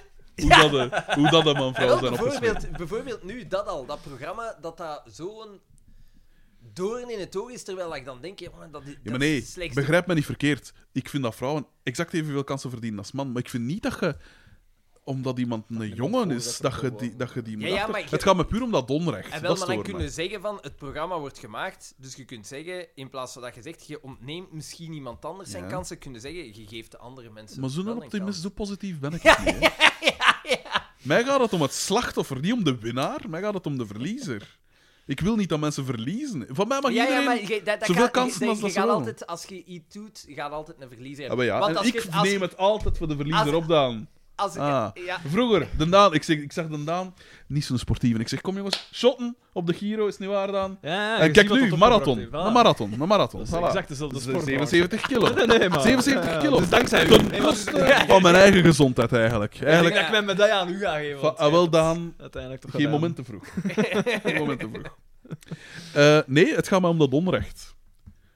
Speaker 2: Hoe, dat, eh, hoe dat een man-vrouw
Speaker 4: Wel,
Speaker 2: zijn opgesmeen.
Speaker 4: bijvoorbeeld, bijvoorbeeld nu dat al, dat programma, dat dat zo'n doorn in het oog is. Terwijl ik dan denk, ja, maar dat is.
Speaker 2: Ja, maar nee,
Speaker 4: dat is slechts-
Speaker 2: begrijp me niet verkeerd. Ik vind dat vrouwen exact evenveel kansen verdienen als man. Maar ik vind niet dat je, omdat iemand een jongen is, dat je die, dat je die moet
Speaker 4: ja,
Speaker 2: achter-
Speaker 4: maar je-
Speaker 2: Het gaat me puur om dat onrecht.
Speaker 4: En
Speaker 2: dat
Speaker 4: wel, maar dan
Speaker 2: stoort
Speaker 4: kunnen
Speaker 2: mij.
Speaker 4: zeggen van het programma wordt gemaakt. Dus je kunt zeggen, in plaats van dat je zegt, je ontneemt misschien iemand anders zijn
Speaker 2: Ja.
Speaker 4: kansen, kunnen zeggen, je geeft de andere mensen.
Speaker 2: Maar zo'n
Speaker 4: wel een
Speaker 2: optimist,
Speaker 4: kans.
Speaker 2: zo positief ben ik niet. hè. Mij gaat het om het slachtoffer, niet om de winnaar. Mij gaat het om de verliezer. Ik wil niet dat mensen verliezen. Van mij mag
Speaker 4: Ja,
Speaker 2: iedereen...
Speaker 4: ja, maar je, dat, dat
Speaker 2: zoveel
Speaker 4: gaat-
Speaker 2: kansen
Speaker 4: je-
Speaker 2: als
Speaker 4: je
Speaker 2: dat ze
Speaker 4: gaat
Speaker 2: willen.
Speaker 4: altijd, als je iets doet, je gaat altijd een verliezer
Speaker 2: Ja,
Speaker 4: hebben.
Speaker 2: maar ja,
Speaker 4: Want
Speaker 2: en
Speaker 4: als
Speaker 2: ik
Speaker 4: je- als- ah,
Speaker 2: neem het altijd voor de verliezer
Speaker 4: als-
Speaker 2: op, Daan.
Speaker 4: Als, ik-
Speaker 2: Ah.
Speaker 4: ja,
Speaker 2: Vroeger, de Daan, ik, zeg, ik zag de Daan, niet zo'n sportief. En ik zeg, kom jongens, shotten op de Giro, is het niet waar, Daan?
Speaker 3: Ja,
Speaker 2: en
Speaker 3: je
Speaker 2: Eh, kijk
Speaker 3: ziet wat
Speaker 2: nu,
Speaker 3: dat
Speaker 2: marathon,
Speaker 3: opgebracht heeft,
Speaker 2: een
Speaker 3: voilà.
Speaker 2: marathon, een marathon.
Speaker 3: Dat is
Speaker 2: voilà.
Speaker 3: exact dezelfde
Speaker 2: Dus, eh,
Speaker 3: sport.
Speaker 2: 77 kilo.
Speaker 3: Nee, nee, man.
Speaker 2: 77 kilo.
Speaker 3: Dus dankzij u.
Speaker 2: Ten
Speaker 3: Nee, maar-
Speaker 2: koste van Oh, mijn eigen gezondheid, eigenlijk.
Speaker 3: Ik
Speaker 2: Eigenlijk,
Speaker 3: denk dat ik mijn medaille aan u ga geven.
Speaker 2: van,
Speaker 3: want
Speaker 2: ah,
Speaker 3: jij
Speaker 2: wel,
Speaker 3: hebt
Speaker 2: Daan,
Speaker 3: Uiteindelijk toch
Speaker 2: geen
Speaker 3: gedaan.
Speaker 2: moment te vroeg. geen moment te vroeg. Eh, nee, het gaat mij om dat onrecht.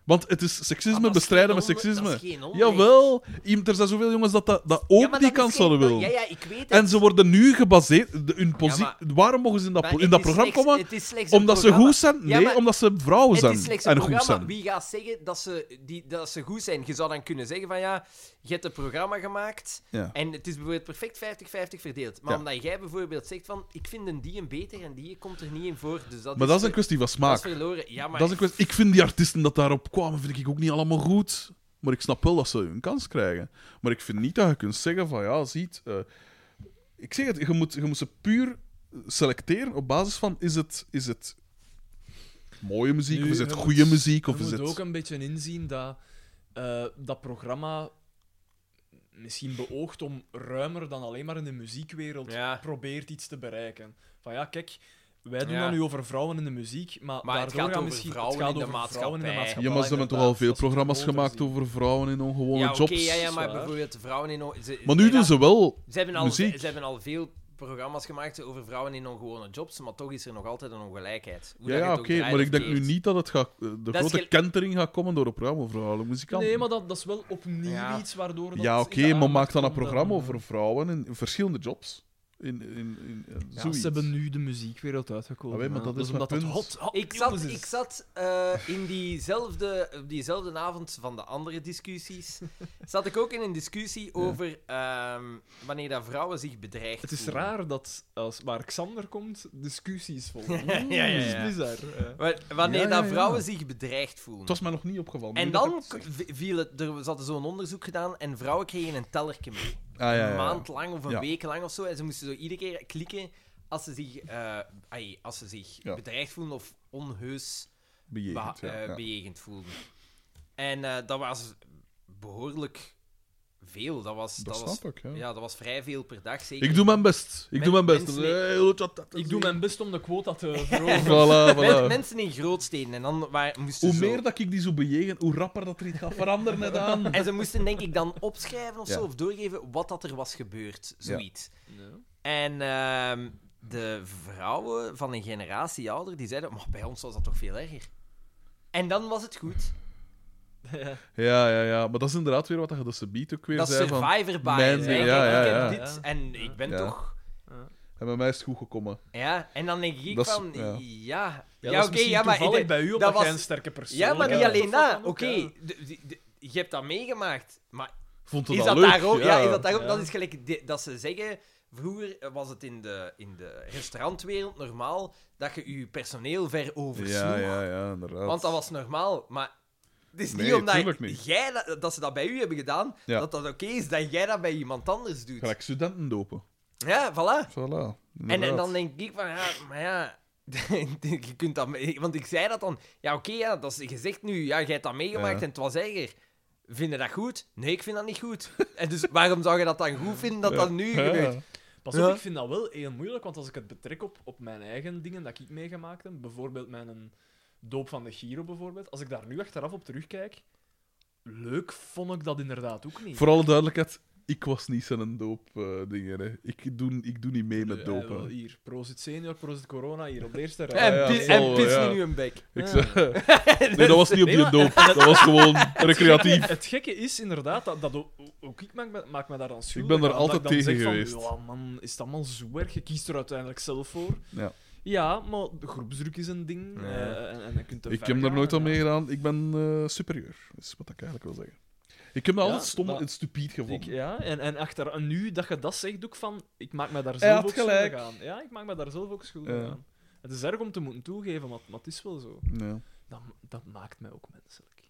Speaker 2: Want het is
Speaker 4: maar
Speaker 2: seksisme
Speaker 4: dat is
Speaker 2: bestrijden
Speaker 4: geen
Speaker 2: met
Speaker 4: onder-
Speaker 2: seksisme.
Speaker 4: dat is geen onrecht.
Speaker 2: Jawel, iemand- er zijn zoveel jongens dat, dat, dat ook
Speaker 4: Ja, maar
Speaker 2: die
Speaker 4: dat is
Speaker 2: kans
Speaker 4: geen-
Speaker 2: zouden willen.
Speaker 4: Ja, ja, ik weet het.
Speaker 2: En ze worden nu gebaseerd. De, hun posi-
Speaker 4: Ja,
Speaker 2: waarom mogen ze in dat,
Speaker 4: Maar
Speaker 2: pro- in
Speaker 4: het
Speaker 2: dat
Speaker 4: is
Speaker 2: programma
Speaker 4: slechts-
Speaker 2: komen?
Speaker 4: het is slechts een
Speaker 2: Omdat ze
Speaker 4: programma.
Speaker 2: goed zijn?
Speaker 4: Ja,
Speaker 2: Nee,
Speaker 4: maar
Speaker 2: omdat ze vrouwen
Speaker 4: Het
Speaker 2: zijn.
Speaker 4: is slechts een
Speaker 2: en goed
Speaker 4: programma.
Speaker 2: zijn.
Speaker 4: Wie gaat zeggen dat ze, die, dat ze goed zijn? Je zou dan kunnen zeggen van ja, je hebt een programma gemaakt
Speaker 2: Ja.
Speaker 4: en het is bijvoorbeeld perfect 50-50 verdeeld. Maar
Speaker 2: Ja.
Speaker 4: omdat jij bijvoorbeeld zegt van ik vind een die een beter en die komt er niet in voor. Dus dat
Speaker 2: Maar
Speaker 4: is
Speaker 2: dat is een
Speaker 4: ver-
Speaker 2: kwestie van
Speaker 4: dat
Speaker 2: smaak.
Speaker 4: is verloren. Ja, maar
Speaker 2: Dat is een kwestie... Ik vind die artiesten dat daarop kwamen, vind ik ook niet allemaal goed. Maar ik snap wel dat ze hun kans krijgen. Maar ik vind niet dat je kunt zeggen van ja, ziet. eh, ik zeg het, je moet, je moet ze puur selecteren op basis van is het, is het mooie muziek,
Speaker 3: Nu,
Speaker 2: of is het
Speaker 3: je
Speaker 2: goede
Speaker 3: moet-
Speaker 2: muziek, of
Speaker 3: je
Speaker 2: is
Speaker 3: moet
Speaker 2: het.
Speaker 3: ook een beetje inzien dat eh, dat programma misschien beoogt om ruimer dan alleen maar in de muziekwereld
Speaker 4: Ja.
Speaker 3: probeert iets te bereiken. Van ja, kijk, wij doen
Speaker 4: Ja.
Speaker 3: dat nu over vrouwen in de muziek, maar,
Speaker 4: Maar het
Speaker 3: daardoor
Speaker 4: gaat
Speaker 3: gaan
Speaker 4: over
Speaker 3: misschien
Speaker 4: vrouwen
Speaker 3: het gaat
Speaker 4: in de
Speaker 3: over vrouwen in de
Speaker 4: maatschappij.
Speaker 3: maatschappij.
Speaker 2: Ja, maar ze hebben toch al
Speaker 3: inderdaad.
Speaker 2: veel
Speaker 3: Dat is
Speaker 2: programma's
Speaker 3: groter
Speaker 2: gemaakt
Speaker 3: zien.
Speaker 2: over vrouwen in ongewone
Speaker 4: ja, oké,
Speaker 2: jobs.
Speaker 4: ja, ja, maar
Speaker 3: waar.
Speaker 4: bijvoorbeeld de vrouwen in. on- Ze,
Speaker 2: Maar nu doen
Speaker 4: ja,
Speaker 2: ze wel.
Speaker 4: ze hebben al, ze,
Speaker 2: muziek.
Speaker 4: hebben al veel programma's gemaakt over vrouwen in ongewone jobs, maar toch is er nog altijd een ongelijkheid. Hoe
Speaker 2: Ja,
Speaker 4: dat je
Speaker 2: ja oké,
Speaker 4: het ook draait
Speaker 2: maar
Speaker 4: of
Speaker 2: ik denk nu
Speaker 4: keert.
Speaker 2: niet dat het gaat, eh, de
Speaker 4: is
Speaker 2: grote
Speaker 4: gel-
Speaker 2: kentering gaat komen door een programma over vrouwelijke muzikanten.
Speaker 3: Nee, maar dat, dat is wel opnieuw
Speaker 4: Ja.
Speaker 3: iets waardoor... Dat
Speaker 2: Ja,
Speaker 3: in
Speaker 2: oké,
Speaker 3: de
Speaker 2: maar
Speaker 3: aandacht
Speaker 2: maak dan een
Speaker 3: komt,
Speaker 2: programma
Speaker 3: eh,
Speaker 2: over vrouwen in, in verschillende jobs. In, in, in, eh,
Speaker 3: Ja,
Speaker 2: zoiets.
Speaker 3: ze hebben nu de muziekwereld uitgekomen.
Speaker 2: Ah, weet, maar
Speaker 3: hè.
Speaker 2: dat is
Speaker 3: omdat
Speaker 2: mijn
Speaker 3: het
Speaker 2: punt.
Speaker 3: hot, hot
Speaker 4: Ik
Speaker 3: nieuws
Speaker 4: zat,
Speaker 3: is.
Speaker 4: ik zat eh, in diezelfde, op diezelfde avond van de andere discussies. zat ik ook in een discussie over ehm, wanneer dat vrouwen zich bedreigd
Speaker 3: Het is
Speaker 4: voelen.
Speaker 3: raar dat als waar Xander komt, discussies volgen.
Speaker 4: ja, ja, ja.
Speaker 3: Dat is bizar. eh.
Speaker 4: Wa- Wanneer
Speaker 2: Ja, ja,
Speaker 4: dat vrouwen
Speaker 2: ja.
Speaker 4: zich bedreigd voelen.
Speaker 2: Het was mij nog niet opgevallen.
Speaker 4: En
Speaker 2: nu dat je
Speaker 4: dan
Speaker 2: het zegt.
Speaker 4: k- viel het, er zat zo'n onderzoek gedaan en vrouwen kregen een tellerke mee.
Speaker 2: Ah, ja, ja,
Speaker 4: Een
Speaker 2: ja.
Speaker 4: maand lang of een
Speaker 2: Ja.
Speaker 4: week lang of zo. En ze moesten zo iedere keer klikken als ze zich, eh, ai, als ze zich
Speaker 2: Ja.
Speaker 4: bedreigd voelen of onheus
Speaker 2: Bejegend,
Speaker 4: Ba-
Speaker 2: ja,
Speaker 4: eh,
Speaker 2: ja.
Speaker 4: bejegend voelden. En eh, dat was behoorlijk veel. Dat was, dat
Speaker 2: Dat
Speaker 4: was,
Speaker 2: snap ik, ja.
Speaker 4: ja. dat was vrij veel per dag. Zeker.
Speaker 2: Ik doe mijn best. Ik
Speaker 4: Men-
Speaker 2: doe mijn best.
Speaker 4: mensen-
Speaker 2: Eh, hoe dat- dat-
Speaker 3: Ik doe mijn best om de quota te veroveren.
Speaker 2: Voilà,
Speaker 4: Men-
Speaker 2: voilà.
Speaker 4: mensen in grootsteden. En dan waar, moesten
Speaker 2: eh, Hoe
Speaker 4: zo-
Speaker 2: meer dat ik die zo bejegen, hoe rapper dat er iets gaat veranderen net aan.
Speaker 4: En ze moesten denk ik dan opschrijven of
Speaker 2: Ja.
Speaker 4: zo, of doorgeven wat dat er was gebeurd. Zoiets.
Speaker 3: Ja.
Speaker 4: En ehm, de vrouwen van een generatie ouder, die zeiden, maar bij ons was dat toch veel erger. En dan was het goed.
Speaker 2: Ja, ja, ja. Maar dat is inderdaad weer wat je dat subiet ook weer
Speaker 4: Dat is
Speaker 2: zei. Van,
Speaker 4: survivor bias.
Speaker 2: mijn-
Speaker 4: hè.
Speaker 2: ja,
Speaker 4: Kijk,
Speaker 2: ja,
Speaker 4: ik heb
Speaker 2: ja.
Speaker 4: dit en ik ben
Speaker 2: Ja.
Speaker 4: toch...
Speaker 2: en bij mij is het goed gekomen.
Speaker 4: Ja, en dan denk ik
Speaker 2: Dat is-
Speaker 4: van,
Speaker 2: ja.
Speaker 4: ja, ja,
Speaker 3: dat is
Speaker 4: oké,
Speaker 3: misschien
Speaker 4: ja, maar
Speaker 3: toevallig
Speaker 4: ik-
Speaker 3: bij u, omdat
Speaker 4: dat
Speaker 3: was... jij
Speaker 4: was-
Speaker 3: een sterke persoon
Speaker 4: ja, maar
Speaker 3: bent.
Speaker 4: niet alleen
Speaker 3: Dat
Speaker 4: dat.
Speaker 3: kan
Speaker 4: Oké,
Speaker 3: ook, ja.
Speaker 4: de- de- de- je hebt dat meegemaakt, maar
Speaker 2: Vond het
Speaker 4: is
Speaker 2: al
Speaker 4: dat
Speaker 2: leuk?
Speaker 4: daarom? Ja, is dat daarom?
Speaker 3: Ja.
Speaker 4: Dat is gelijk de- dat ze zeggen. Vroeger was het in de, in de restaurantwereld normaal dat je je personeel ver oversloeg.
Speaker 2: ja, ja, ja, inderdaad.
Speaker 4: Want dat was normaal, maar het is
Speaker 2: Nee,
Speaker 4: niet omdat
Speaker 2: tuurlijk niet.
Speaker 4: Jij dat, dat ze dat bij u hebben gedaan,
Speaker 2: Ja.
Speaker 4: dat dat oké is dat jij dat bij iemand anders doet.
Speaker 2: Gelijk studenten dopen.
Speaker 4: Ja, voilà.
Speaker 2: Voilà.
Speaker 4: En, en
Speaker 2: inderdaad.
Speaker 4: dan denk ik van, ja, maar ja,
Speaker 10: je kunt dat... me- Want ik zei dat dan. Ja, oké, ja, dat is gezegd nu. Ja, jij hebt dat meegemaakt
Speaker 2: Ja.
Speaker 10: en het was erger. Vind je dat goed? Nee, ik vind dat niet goed. En dus waarom zou je dat dan goed vinden dat dat nu gebeurt?
Speaker 3: Pas
Speaker 10: Ja.
Speaker 3: op, ik vind dat wel heel moeilijk, want als ik het betrek op, op mijn eigen dingen dat ik meegemaakt heb, bijvoorbeeld mijn doop van de Giro, bijvoorbeeld, als ik daar nu achteraf op terugkijk, leuk vond ik dat inderdaad ook niet.
Speaker 2: Voor alle duidelijkheid, ik was niet zijn doop eh, dingen. Hè. Ik, doe, ik doe niet mee met
Speaker 3: Ja,
Speaker 2: dopen.
Speaker 3: Eh, wel, hier, pro zit senior, pro zit corona, hier op de eerste
Speaker 10: En,
Speaker 3: rij.
Speaker 2: Ja, ja,
Speaker 10: pi-
Speaker 2: dat zal
Speaker 10: en
Speaker 2: wel,
Speaker 10: pis
Speaker 2: ja.
Speaker 10: niet nu een bek.
Speaker 2: Ik zeg, nee, dat was niet op die doop. Dat was gewoon recreatief.
Speaker 3: Het gekke is inderdaad, dat, dat o- ook ik maak me, maak me daar dan schuldig
Speaker 2: ben daar
Speaker 3: aan, dat
Speaker 2: altijd
Speaker 3: ik dan
Speaker 2: tegen
Speaker 3: zeg
Speaker 2: geweest.
Speaker 3: Van, ja man, is dat allemaal zo erg? Je kiest er uiteindelijk zelf voor.
Speaker 2: Ja.
Speaker 3: Ja, maar de groepsdruk is een ding.
Speaker 10: Ja.
Speaker 3: eh, en, en je kunt er verder
Speaker 2: Ik heb daar
Speaker 3: gaan,
Speaker 2: nooit aan
Speaker 3: ja.
Speaker 2: meegedaan. Ik ben eh, superieur, is wat ik eigenlijk wil zeggen. Ik heb me
Speaker 3: Ja,
Speaker 2: altijd stom
Speaker 3: maar-
Speaker 2: en stupid gevonden.
Speaker 3: Ik, ja, en, en achter, en nu dat je dat zegt, ook van, ik maak me daar
Speaker 2: Hij
Speaker 3: zelf
Speaker 2: had
Speaker 3: ook
Speaker 2: gelijk.
Speaker 3: schuldig aan. Ja, ik maak me daar zelf ook schuldig
Speaker 2: Ja.
Speaker 3: aan. Het is erg om te moeten toegeven, maar, maar het is wel zo.
Speaker 2: Ja.
Speaker 3: Dat, dat maakt mij ook menselijk.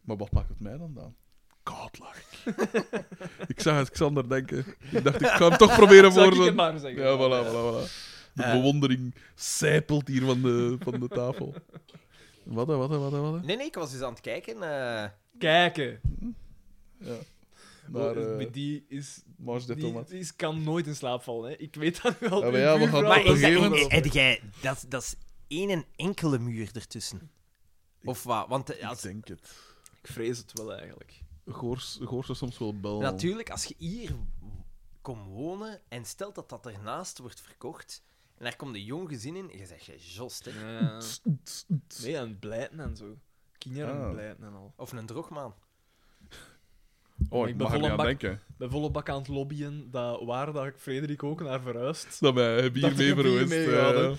Speaker 2: Maar wat maakt het mij dan dan? Godlike. ik zag het Xander denken. Ik dacht, ik ga hem toch proberen
Speaker 3: Zou ik
Speaker 2: voor.
Speaker 3: het maar zeggen?
Speaker 2: Ja, voilà, voilà, voilà. De
Speaker 10: Eh.
Speaker 2: bewondering sijpelt hier van de, van de tafel. Wat, hè, wat, hè, wat, hè, wat? hè?
Speaker 10: Nee, nee, ik was dus aan het kijken. eh,
Speaker 3: Kijken.
Speaker 2: Maar
Speaker 3: Oh,
Speaker 2: eh
Speaker 3: die is,
Speaker 2: Mars de
Speaker 3: die,
Speaker 2: Tomat.
Speaker 3: die is, kan nooit in slaap vallen. Hè. Ik weet dat nu al.
Speaker 2: Ja, maar
Speaker 3: Uw
Speaker 2: ja, we
Speaker 3: buurvrouw-
Speaker 2: gaan
Speaker 10: Maar
Speaker 2: Op een
Speaker 10: is dat
Speaker 2: gegeven
Speaker 10: één,
Speaker 2: moment-
Speaker 10: heb jij, dat, dat is één en enkele muur ertussen. Of wat? Want eh,
Speaker 2: Ik
Speaker 10: als,
Speaker 2: denk het.
Speaker 3: Ik vrees het wel eigenlijk.
Speaker 2: Goors, goors er soms wel bel.
Speaker 10: natuurlijk, als je hier komt wonen en stelt dat dat ernaast wordt verkocht en daar komt een jong gezin in, en je zegt, jij jost, hè.
Speaker 3: Eh, Nee, en blijten en zo. Kinderen
Speaker 2: Ah.
Speaker 3: en blijten en al.
Speaker 10: Of een drogmaan.
Speaker 2: Oh,
Speaker 3: Maar
Speaker 2: ik
Speaker 3: ik ben
Speaker 2: mag er
Speaker 3: vol
Speaker 2: niet
Speaker 3: aan
Speaker 2: aan
Speaker 3: bak-
Speaker 2: denken.
Speaker 3: Bij volle bak aan het lobbyen, dat, waar dat Frederik ook naar verhuist.
Speaker 2: Dat mij heb hier
Speaker 3: Dat
Speaker 2: mee
Speaker 3: ik heb hier
Speaker 2: verwoest.
Speaker 3: mee
Speaker 2: eh.
Speaker 3: gehad,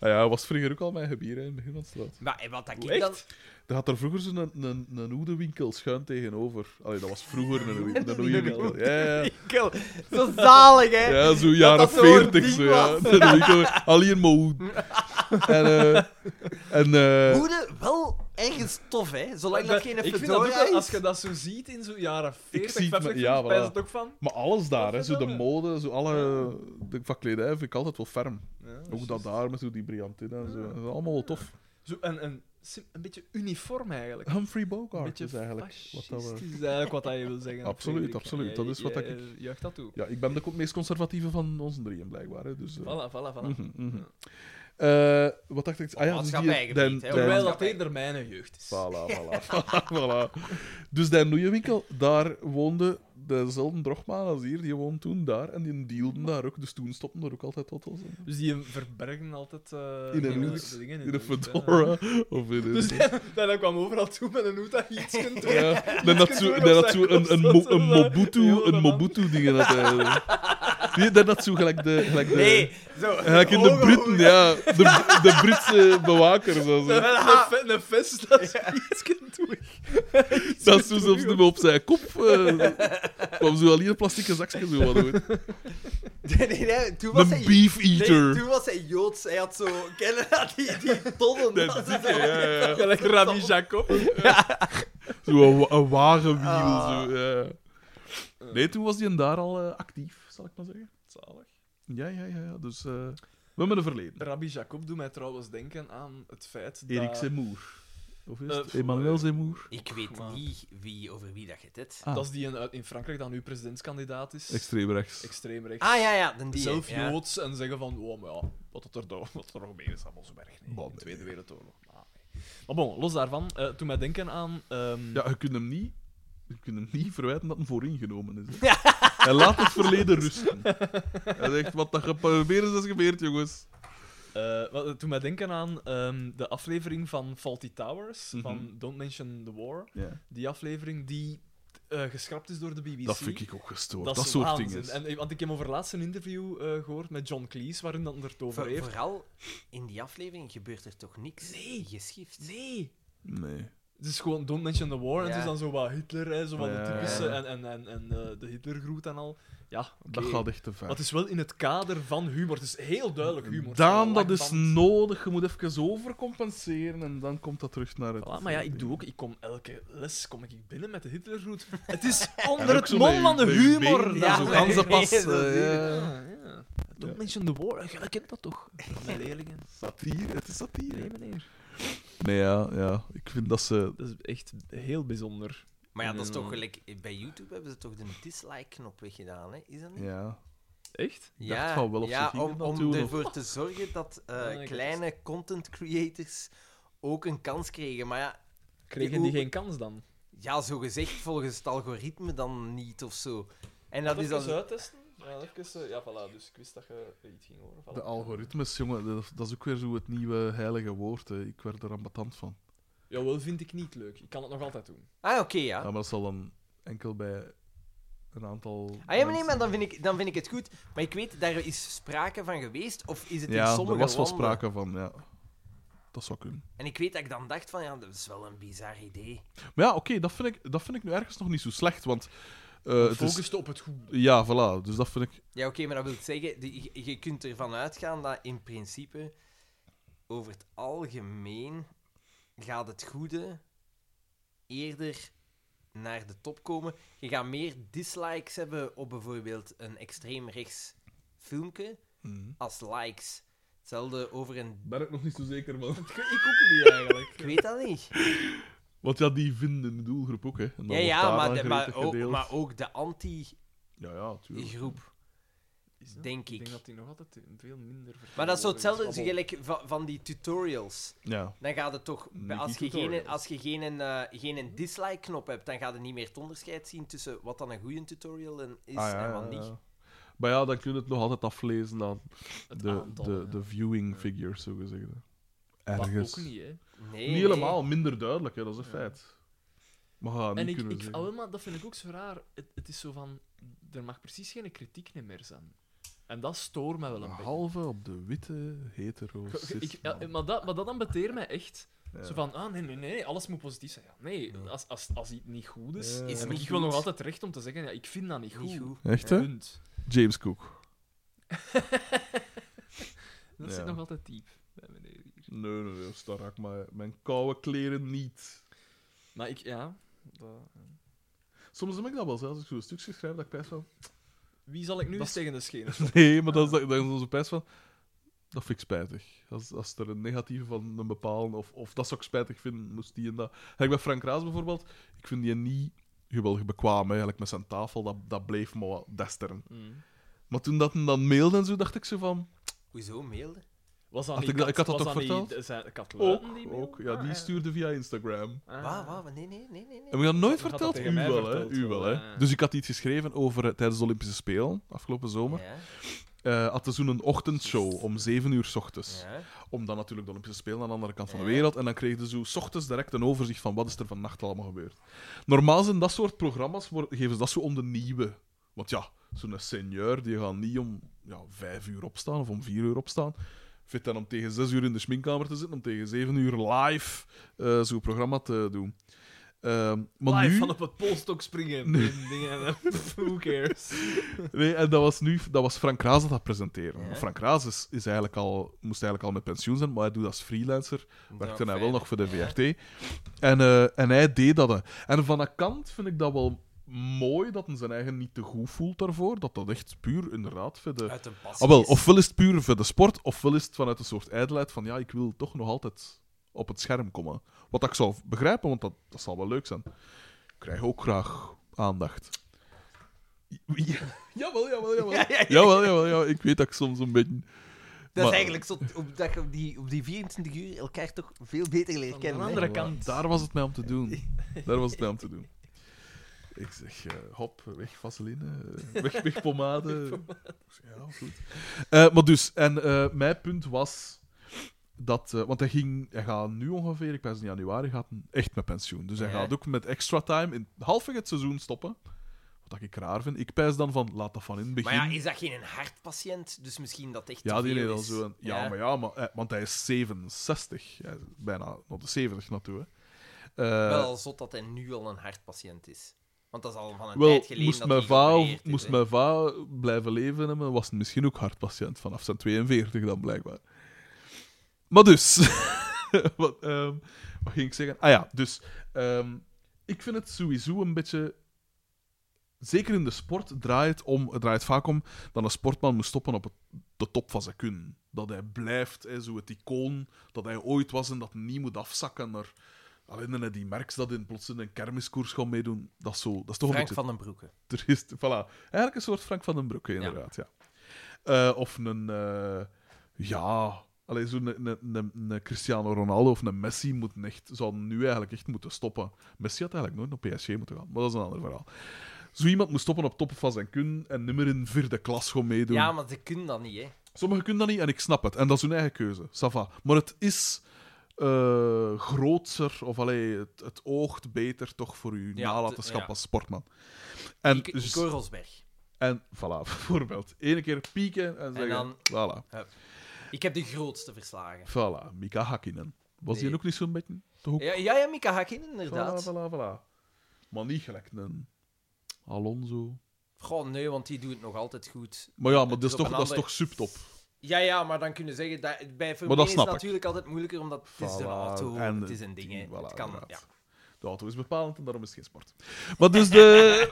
Speaker 2: Ah ja, was vroeger ook al mijn gebier hè, in het begin van het straat.
Speaker 10: Maar eh, wat dat
Speaker 3: Hoe
Speaker 10: ik dan...
Speaker 2: Er had er vroeger zo'n een, een, een hoedenwinkel schuin tegenover. Allee, dat was vroeger een, hoed- een hoedenwinkel. Ja, ja.
Speaker 10: Mikkel, Zo zalig, hè?
Speaker 2: Ja, zo jaren
Speaker 10: dat zo'n
Speaker 2: 40
Speaker 10: ding
Speaker 2: zo, ja. Een winkel, alleen maar hoeden. En, eh, en eh,
Speaker 10: Hoeden, wel ergens tof, hè? Zolang dat geen
Speaker 3: ik vind dat ook
Speaker 10: fedora
Speaker 3: wel, als
Speaker 10: is.
Speaker 3: je dat zo ziet in zo'n jaren 40,
Speaker 2: zie het
Speaker 3: 50,
Speaker 2: me- ja,
Speaker 3: ja,
Speaker 2: voilà.
Speaker 3: spijt het ook van.
Speaker 2: maar alles daar, hè, zo de
Speaker 3: Godverdomme.
Speaker 2: mode, zo alle de van kledij vind ik altijd wel ferm. Ook dat daar met zo die brillantin en zo. Dat is allemaal wel tof.
Speaker 3: Zo, en, en, sim- een beetje uniform eigenlijk.
Speaker 2: Humphrey Bogart
Speaker 3: Een beetje
Speaker 2: Oh, is eigenlijk wat dat we...
Speaker 3: fascistisch eigenlijk wat dat je wil zeggen.
Speaker 2: Absoluut,
Speaker 3: Frederik.
Speaker 2: absoluut.
Speaker 3: En
Speaker 2: Dat is wat
Speaker 3: jij-
Speaker 2: dat ik-
Speaker 3: jij Juicht dat toe.
Speaker 2: Ja, ik ben de co- meest conservatieve van onze drieën, blijkbaar. Hè, dus, eh.
Speaker 3: Voilà, voilà, voilà.
Speaker 2: Mhm, mhm. Eh, wat dacht ik? Ah ja, dus die...
Speaker 10: Maatschappijgebied, hè,
Speaker 2: den-
Speaker 3: Terwijl
Speaker 2: den-
Speaker 3: dat eerder mijn jeugd is.
Speaker 2: Voilà, voilà, voilà, voilà. Dus die nieuwe winkel, daar woonde dezelfde drogmaan als hier. Die woonde toen daar en die dealden daar ook. Dus toen stopten er ook altijd hotels in.
Speaker 3: Dus die verbergen altijd... eh,
Speaker 2: In een
Speaker 3: de-
Speaker 2: hoed,
Speaker 3: de dingen
Speaker 2: In een
Speaker 3: de hoed, hè.
Speaker 2: fedora of in een...
Speaker 3: Dus die, die kwam overal toe met een hoed dat je iets kunt doen.
Speaker 2: ja, dan had zo, dan had zo een, een, mo- een Mobutu, een Mobutu ding dat hij. Nee, dan had zo gelijk de, gelijk de,
Speaker 10: Nee, zo.
Speaker 2: gelijk in de
Speaker 10: Ogen-
Speaker 2: Britten, ja, de, de Britse bewaker. Zo, zo.
Speaker 3: Een fe- Een vest dat je iets kunt doen.
Speaker 2: Dat zo zelfs niet meer op zijn kop eh, kwam zo alleen een plastic zakje zo wat uit.
Speaker 10: Nee, nee, nee, toen was
Speaker 2: Een
Speaker 10: hij...
Speaker 2: beef
Speaker 10: Nee,
Speaker 2: eater.
Speaker 10: toen was hij Joods. Hij had zo... Kennen dat die, die tonnen?
Speaker 2: Dat is dikke, ja, ja, ja.
Speaker 3: Gelijk Rabbi Jacob.
Speaker 2: Zo een, wa- een wagenwiel.
Speaker 3: Ah.
Speaker 2: Zo, ja. Nee, toen was die daar al eh, actief, zal ik maar zeggen.
Speaker 3: Zalig.
Speaker 2: Ja, ja, ja. ja. Dus eh, we hebben een verleden.
Speaker 3: Rabbi Jacob doet mij trouwens denken aan het feit dat...
Speaker 2: Erik Zemoer. Of is het
Speaker 3: Eh,
Speaker 2: Emmanuel Zemoer?
Speaker 10: Ik
Speaker 3: Maar-
Speaker 10: weet niet wie, over wie dat je dit.
Speaker 2: Ah.
Speaker 3: Dat is die in, uit- in Frankrijk dan nu presidentskandidaat is.
Speaker 2: Extreem rechts.
Speaker 3: Extreem rechts.
Speaker 10: Ah, ja, ja, dan die.
Speaker 3: Zelf
Speaker 10: ja.
Speaker 3: Joods en zeggen van, oh, maar ja, wat het er, do- wat er nog meer is, allemaal zo erg. Nee, in de Tweede Wereldoorlog. Maar, nee. maar bon, los daarvan, eh toen mij denken aan... ehm,
Speaker 2: Ja, je kunt hem niet... Je kunt hem niet verwijten dat hij vooringenomen is. hè. Hij laat het verleden rusten. Hij zegt, wat dat geprobeerd is, dat is gebeurd, jongens.
Speaker 3: eh, wat- toen mij denken aan ehm, de aflevering van Faulty Towers,
Speaker 2: Mhm.
Speaker 3: van Don't Mention the War.
Speaker 2: Ja.
Speaker 3: Die aflevering die eh, geschrapt is door de BBC.
Speaker 2: Dat vind ik ook gestoord. Dat,
Speaker 3: Dat is
Speaker 2: soort
Speaker 3: waanzin.
Speaker 2: dingen.
Speaker 3: En, eh, want ik heb over laatst een interview eh, gehoord met John Cleese, waarin dat er het over
Speaker 10: Voor-
Speaker 3: heeft.
Speaker 10: vooral in die aflevering gebeurt er toch niks
Speaker 3: Nee.
Speaker 10: geschift.
Speaker 3: Nee.
Speaker 2: Nee.
Speaker 3: Het is gewoon Don't Mention the War, en het
Speaker 10: Ja.
Speaker 3: is dan zo wat Hitler, hè, zo wat
Speaker 2: Ja,
Speaker 3: de
Speaker 2: ja,
Speaker 3: typische,
Speaker 2: ja.
Speaker 3: en, en, en, en eh, de Hitlergroet en al. Ja, oké.
Speaker 2: Dat gaat echt te ver.
Speaker 3: Maar het is wel in het kader van humor. Het is heel duidelijk humor.
Speaker 2: Daan,
Speaker 3: Zo'n
Speaker 2: dat is
Speaker 3: lachband.
Speaker 2: nodig. Je moet even overcompenseren en dan komt dat terug naar het... eh,
Speaker 3: Voilà, maar ja, ik doe ook... Ik kom elke les kom ik binnen met de Hitlergroet. Het is
Speaker 2: En
Speaker 3: onder
Speaker 2: ook
Speaker 3: het
Speaker 2: zo
Speaker 3: mom
Speaker 2: met
Speaker 3: van de
Speaker 2: je- met je
Speaker 3: humor.
Speaker 2: benen,
Speaker 3: dat
Speaker 2: zo
Speaker 3: zo.
Speaker 2: ganzenpas,
Speaker 10: nee, dat
Speaker 2: eh, ja.
Speaker 3: Ja, ja. Het Don't mention the war. Jij kent dat toch? Mijn leerlingen.
Speaker 2: Satire, het is satire.
Speaker 3: Nee, meneer.
Speaker 2: Nee, ja, ja. Ik vind dat ze...
Speaker 3: Dat is echt heel bijzonder.
Speaker 4: Maar ja, dat is
Speaker 3: Mm.
Speaker 4: toch
Speaker 10: eh,
Speaker 4: gelijk... Bij YouTube hebben ze toch de dislike-knop weggedaan, hè? Is dat niet?
Speaker 2: Ja.
Speaker 3: Echt?
Speaker 2: Ik dacht van wel of ze
Speaker 4: ja
Speaker 2: gingen
Speaker 4: om,
Speaker 2: dat
Speaker 4: om
Speaker 2: doen, of-
Speaker 4: ervoor te zorgen dat eh,
Speaker 3: Ja, ik
Speaker 4: kleine content creators ook een kans kregen. Maar ja,
Speaker 3: Kregen die geen kans dan?
Speaker 4: ja, zo gezegd volgens het algoritme dan niet of zo. En dat is dan.
Speaker 3: dus uittesten. Ja, even, ja, voilà. Dus ik wist dat je iets ging horen.
Speaker 2: De algoritmes, jongen, dat, dat is ook weer zo het nieuwe heilige woord. Hè. Ik werd er ambetant van.
Speaker 3: Ah. Jawel, vind ik niet leuk. Ik kan het nog altijd doen.
Speaker 4: Ah, oké,
Speaker 2: Ja,
Speaker 4: ja.
Speaker 2: maar dat zal dan enkel bij een aantal.
Speaker 4: Ah ja, maar nee, maar dan vind, ik, dan vind ik het goed. Maar ik weet, daar is sprake van geweest, of is het in
Speaker 2: Ja,
Speaker 4: sommige
Speaker 2: er was wel
Speaker 4: landen?
Speaker 2: sprake van, ja. Dat zou kunnen.
Speaker 4: En ik weet dat ik dan dacht van, ja, dat is wel een bizar idee.
Speaker 2: Maar ja, oké, dat vind ik dat vind ik nu ergens nog niet zo slecht, want. eh, het is,
Speaker 3: Focus op het goed.
Speaker 2: ja, voilà. Dus dat vind ik.
Speaker 4: Ja, oké, maar dat wil ik zeggen, die- je, je kunt ervan uitgaan dat in principe over het algemeen gaat het goede eerder naar de top komen. Je gaat meer dislikes hebben op bijvoorbeeld een extreem rechts filmpje als likes. Hetzelfde over een...
Speaker 2: Ben ik nog niet zo zeker van.
Speaker 3: Ik ook niet eigenlijk.
Speaker 4: Ik weet dat niet.
Speaker 2: Want ja, die vinden de doelgroep ook, hè? En dan
Speaker 4: Ja,
Speaker 2: wordt
Speaker 4: ja
Speaker 2: daar
Speaker 4: maar,
Speaker 2: dan
Speaker 4: de- maar,
Speaker 2: gretig
Speaker 4: ook,
Speaker 2: gedeeld.
Speaker 4: maar ook de anti-groep,
Speaker 2: Ja, ja, tuurlijk.
Speaker 3: Is dat? Ik
Speaker 4: denk
Speaker 3: denk
Speaker 4: ik.
Speaker 3: dat die nog altijd veel minder
Speaker 4: Maar dat is zo hetzelfde gelijk van, van die tutorials.
Speaker 2: Ja.
Speaker 4: Dan gaat het toch,
Speaker 2: Niet
Speaker 4: als
Speaker 2: die
Speaker 4: je, geen,
Speaker 2: tutorials.
Speaker 4: als je geen, eh, geen dislike-knop hebt, dan gaat je niet meer het onderscheid zien tussen wat dan een goede tutorial en is
Speaker 2: Ah, ja,
Speaker 4: en wat
Speaker 2: ja,
Speaker 4: niet.
Speaker 2: ja. Maar ja, dan kun je het nog altijd aflezen aan
Speaker 3: Het
Speaker 2: de,
Speaker 3: aantal,
Speaker 2: de,
Speaker 3: Ah, ja.
Speaker 2: de viewing figures, zo gezegd. Ergens.
Speaker 3: Ergens. ook niet, hè.
Speaker 4: Nee,
Speaker 2: Niet
Speaker 4: nee.
Speaker 2: helemaal, minder duidelijk, hè, dat is een feit. Maar ja, niet
Speaker 3: En ik,
Speaker 2: kunnen
Speaker 3: ik,
Speaker 2: zeggen.
Speaker 3: ah, wel, maar dat vind ik ook zo raar. Het, het is zo van, er mag precies geen kritiek meer zijn. En dat stoort mij wel een beetje.
Speaker 2: Behalve op de witte hetero
Speaker 3: Ge- ge- ik- ja, maar, dat, maar dat ambeteert mij echt. Zo van, ah, nee, nee, nee, alles moet positief zijn. Ja, nee, als, als, als iets niet goed is,
Speaker 2: Ja.
Speaker 3: dan
Speaker 2: Is
Speaker 3: heb
Speaker 4: niet
Speaker 3: ik wel
Speaker 4: goed.
Speaker 3: nog altijd recht om te zeggen, ja, ik vind dat niet goed.
Speaker 4: Niet goed.
Speaker 2: Echt, hè?
Speaker 3: Punt.
Speaker 2: James Cook.
Speaker 3: Dat
Speaker 2: Ja.
Speaker 3: zit nog altijd diep bij meneer hier.
Speaker 2: Nee, nee, nee, star ik maar mijn koude kleren niet.
Speaker 3: Maar ik, ja...
Speaker 2: Soms heb ik dat wel, zelfs als ik zo'n stukje schrijf, dat ik pijs van...
Speaker 3: Wie zal ik nu
Speaker 2: Dat
Speaker 3: eens tegen de schenen?
Speaker 2: Nee, maar dat is, dat, dat is onze pijs van... Dat vind ik spijtig. Als, als er een negatieve van een bepaalde, of, of dat zou ik spijtig vinden, moest die en dat... Kijk, bij Frank Raas bijvoorbeeld, ik vind die niet geweldig bekwaam, hè, eigenlijk, met zijn tafel. Dat, dat bleef maar wat desteren.
Speaker 3: Mm.
Speaker 2: Maar toen dat hem dan mailde en zo, dacht ik zo van...
Speaker 4: Hoezo, mailde?
Speaker 3: Was dat
Speaker 2: Had
Speaker 3: niet
Speaker 2: ik dat- ik had dat
Speaker 3: was
Speaker 2: toch
Speaker 3: niet-
Speaker 2: verteld?
Speaker 3: zijn- Kat
Speaker 2: Ook,
Speaker 3: Luiten die mail?
Speaker 2: Oh, ook. Ja,
Speaker 3: Ah,
Speaker 2: die stuurde via Instagram.
Speaker 3: Ah.
Speaker 4: Waar, waar? Nee, nee, nee, nee. nee.
Speaker 2: En we gaan nooit
Speaker 3: had dat
Speaker 2: verteld.
Speaker 3: tegen
Speaker 2: U
Speaker 3: mij
Speaker 2: wel, hè?
Speaker 3: verteld,
Speaker 2: U wel,
Speaker 3: ja,
Speaker 2: hè?
Speaker 3: ja.
Speaker 2: Dus ik had iets geschreven over eh, tijdens de Olympische Spelen, afgelopen zomer.
Speaker 4: Ja,
Speaker 2: eh had ze zo'n ochtendshow om 7 uur s ochtends.
Speaker 4: ja.
Speaker 2: Om dan natuurlijk de Olympische Spelen aan de andere kant van de
Speaker 4: Ja.
Speaker 2: wereld. En dan kregen ze zo 's ochtends direct een overzicht van wat is er vannacht allemaal gebeurd. Normaal zijn dat soort programma's, wor- geven ze dat zo om de nieuwe. Want ja, zo'n senior, die gaan niet om ja, 5 uur opstaan of om 4 uur opstaan. Vindt dan om tegen 6 uur in de schminkkamer te zitten, om tegen 7 uur live eh, zo'n programma te doen. Ehm, maar
Speaker 3: Live
Speaker 2: nu...
Speaker 3: van op het polstok springen. en dingen. Who cares?
Speaker 2: Nee, en dat was nu dat was Frank Raas dat dat presenteerde. Frank Raas is, is eigenlijk al, moest eigenlijk al met pensioen zijn, maar hij doet dat als freelancer. Werkte hij nou wel nog voor de VRT. En, eh, en hij deed dat. hè. En van een kant vind ik dat wel mooi dat hij zijn eigen niet te goed voelt daarvoor. Dat dat echt puur inderdaad voor de...
Speaker 4: Uit een passie.
Speaker 2: Ah, wel, ofwel is het puur voor de sport, ofwel is het vanuit een soort ijdelheid van ja, ik wil toch nog altijd op het scherm komen. Wat ik zou begrijpen, want dat, dat zal wel leuk zijn. Ik krijg ook graag aandacht. Ja, jawel, jawel, jawel. Jawel, jawel, jawel. Ik weet dat ik soms een beetje... maar-
Speaker 4: Dat is eigenlijk zo, op, dat je op, die, op die 24 uur elkaar toch veel beter leert
Speaker 3: Aan de
Speaker 4: kennen. hè?
Speaker 3: andere kant.
Speaker 2: Daar was het mij om te doen. Daar was het mij om te doen. Ik zeg, eh, hop, weg vaseline, eh, weg, weg pomade. ja, goed. Eh, maar dus, en eh, mijn punt was dat... eh, want hij, ging, hij gaat nu ongeveer, ik wijs in januari, gaat hij echt met pensioen. Dus hij
Speaker 4: Ja.
Speaker 2: gaat ook met extra time in halfweg het seizoen stoppen. Wat ik raar vind. Ik pijs dan van, laat dat van in het begin.
Speaker 4: Maar ja, is dat geen hartpatiënt? Dus misschien dat echt
Speaker 2: Ja,
Speaker 4: te
Speaker 2: die
Speaker 4: veel
Speaker 2: deed al
Speaker 4: is.
Speaker 2: zo. een- Ja, maar ja, maar, eh, want hij is 67. Hij is bijna op de 70 naartoe. Hè. Eh,
Speaker 4: Wel al zot dat hij nu al een hartpatiënt is. Want dat is al van een
Speaker 2: wel,
Speaker 4: tijd geleden
Speaker 2: moest
Speaker 4: dat
Speaker 2: mijn,
Speaker 4: hij
Speaker 2: va,
Speaker 4: geopereerd is,
Speaker 2: moest
Speaker 4: hè.
Speaker 2: mijn va blijven leven hebben, was hij misschien ook hartpatiënt vanaf zijn 42 dan blijkbaar. Maar dus, wat, ehm, wat ging ik zeggen? Ah ja, dus ehm, ik vind het sowieso een beetje zeker in de sport draait, om, het draait vaak om dat een sportman moet stoppen op het, de top van zijn kunnen. Dat hij blijft, hè, zo het icoon dat hij ooit was en dat niet moet afzakken naar... Alleen dan die merks dat in plots in een kermiskoers gaan meedoen, dat is, zo, dat is toch
Speaker 4: Frank
Speaker 2: een
Speaker 4: van den Broeke.
Speaker 2: beetje... Er is, voilà. Eigenlijk een soort Frank van den Broeke, inderdaad. Ja. Eh, of een... eh, ja... Allee, zo'n een, een, een- een Cristiano Ronaldo of een Messi moet echt, zou nu eigenlijk echt moeten stoppen. Messi had eigenlijk nooit naar PSG moeten gaan, maar dat is een ander verhaal. Zo iemand moet stoppen op top van zijn kun en nimmer in vierde klas gaan meedoen.
Speaker 4: Ja, maar ze kunnen dat niet, hè.
Speaker 2: Sommigen kunnen dat niet en ik snap het. En dat is hun eigen keuze. Sava. Maar het is eh groter, of allee, het, het oogt beter toch voor uw
Speaker 4: Ja,
Speaker 2: nalatenschap
Speaker 4: ja.
Speaker 2: als sportman. En,
Speaker 4: Ik,
Speaker 2: dus-
Speaker 4: Nico Rosberg.
Speaker 2: en voilà, bijvoorbeeld. Eén keer pieken en zeggen:
Speaker 4: dan-
Speaker 2: voilà,
Speaker 4: Ik heb de grootste verslagen.
Speaker 2: voilà, Mika Hakkinen. Was die
Speaker 4: Nee.
Speaker 2: ook niet zo'n beetje? Toch ook?
Speaker 4: Ja, ja, ja Mika Hakkinen,
Speaker 2: voilà,
Speaker 4: inderdaad.
Speaker 2: voilà, voilà. Maar niet gelijk een Alonso.
Speaker 4: Goh, nee, want die doet het nog altijd goed.
Speaker 2: Maar ja, maar
Speaker 4: Het
Speaker 2: dat is
Speaker 4: is
Speaker 2: toch,
Speaker 4: op een
Speaker 2: dat is
Speaker 4: ander-
Speaker 2: toch subtop.
Speaker 4: Ja, ja, maar dan kunnen zeggen... Dat, bij
Speaker 2: dat
Speaker 4: Formule 1 is
Speaker 2: snap
Speaker 4: het
Speaker 2: ik.
Speaker 4: natuurlijk altijd moeilijker, omdat het is
Speaker 2: Voilà,
Speaker 4: een auto,
Speaker 2: en
Speaker 4: het is een ding, hè.
Speaker 2: voilà,
Speaker 4: het kan, ja.
Speaker 2: inderdaad. De auto is bepalend en daarom is het geen sport. Maar dus de...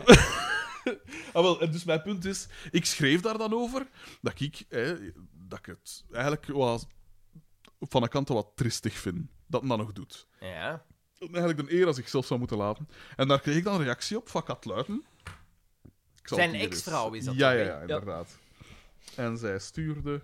Speaker 2: ah, wel, en dus mijn punt is, ik schreef daar dan over dat ik, hè, dat ik het eigenlijk was, van een kant wat tristig vind dat men dat nog doet.
Speaker 4: Ja.
Speaker 2: Dat men eigenlijk een eer aan zichzelf zou moeten laten. En daar kreeg ik dan een reactie op van Kat Luiten. Ik zal
Speaker 4: Zijn
Speaker 2: het hier
Speaker 4: ex-vrouw
Speaker 2: eens-
Speaker 4: is dat
Speaker 2: Ja,
Speaker 4: toch,
Speaker 2: ja,
Speaker 4: hè?
Speaker 2: ja, inderdaad. En zij stuurde...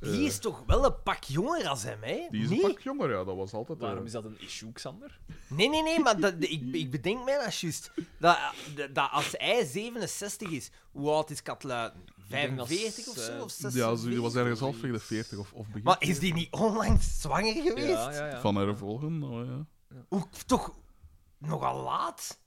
Speaker 2: eh,
Speaker 4: Die is toch wel een pak jonger als hem, hè?
Speaker 2: die is een
Speaker 4: nee?
Speaker 2: pak jonger, ja, dat was altijd... eh,
Speaker 3: Waarom is dat een issue, Xander?
Speaker 4: nee, nee, nee, maar dat, ik, ik bedenk mij dat juist. Dat, dat, dat als hij 67 is, hoe oud is Katluiten?
Speaker 3: denk dat
Speaker 4: 45 of
Speaker 3: ze-
Speaker 4: zo? Of
Speaker 2: Ja,
Speaker 4: 46?
Speaker 2: ze was ergens half tegen de 40 of, of begin.
Speaker 4: Maar is die niet onlangs zwanger geweest?
Speaker 3: Ja, ja, ja.
Speaker 2: Van haar volgen, oh ja.
Speaker 4: Hoe, toch nogal laat?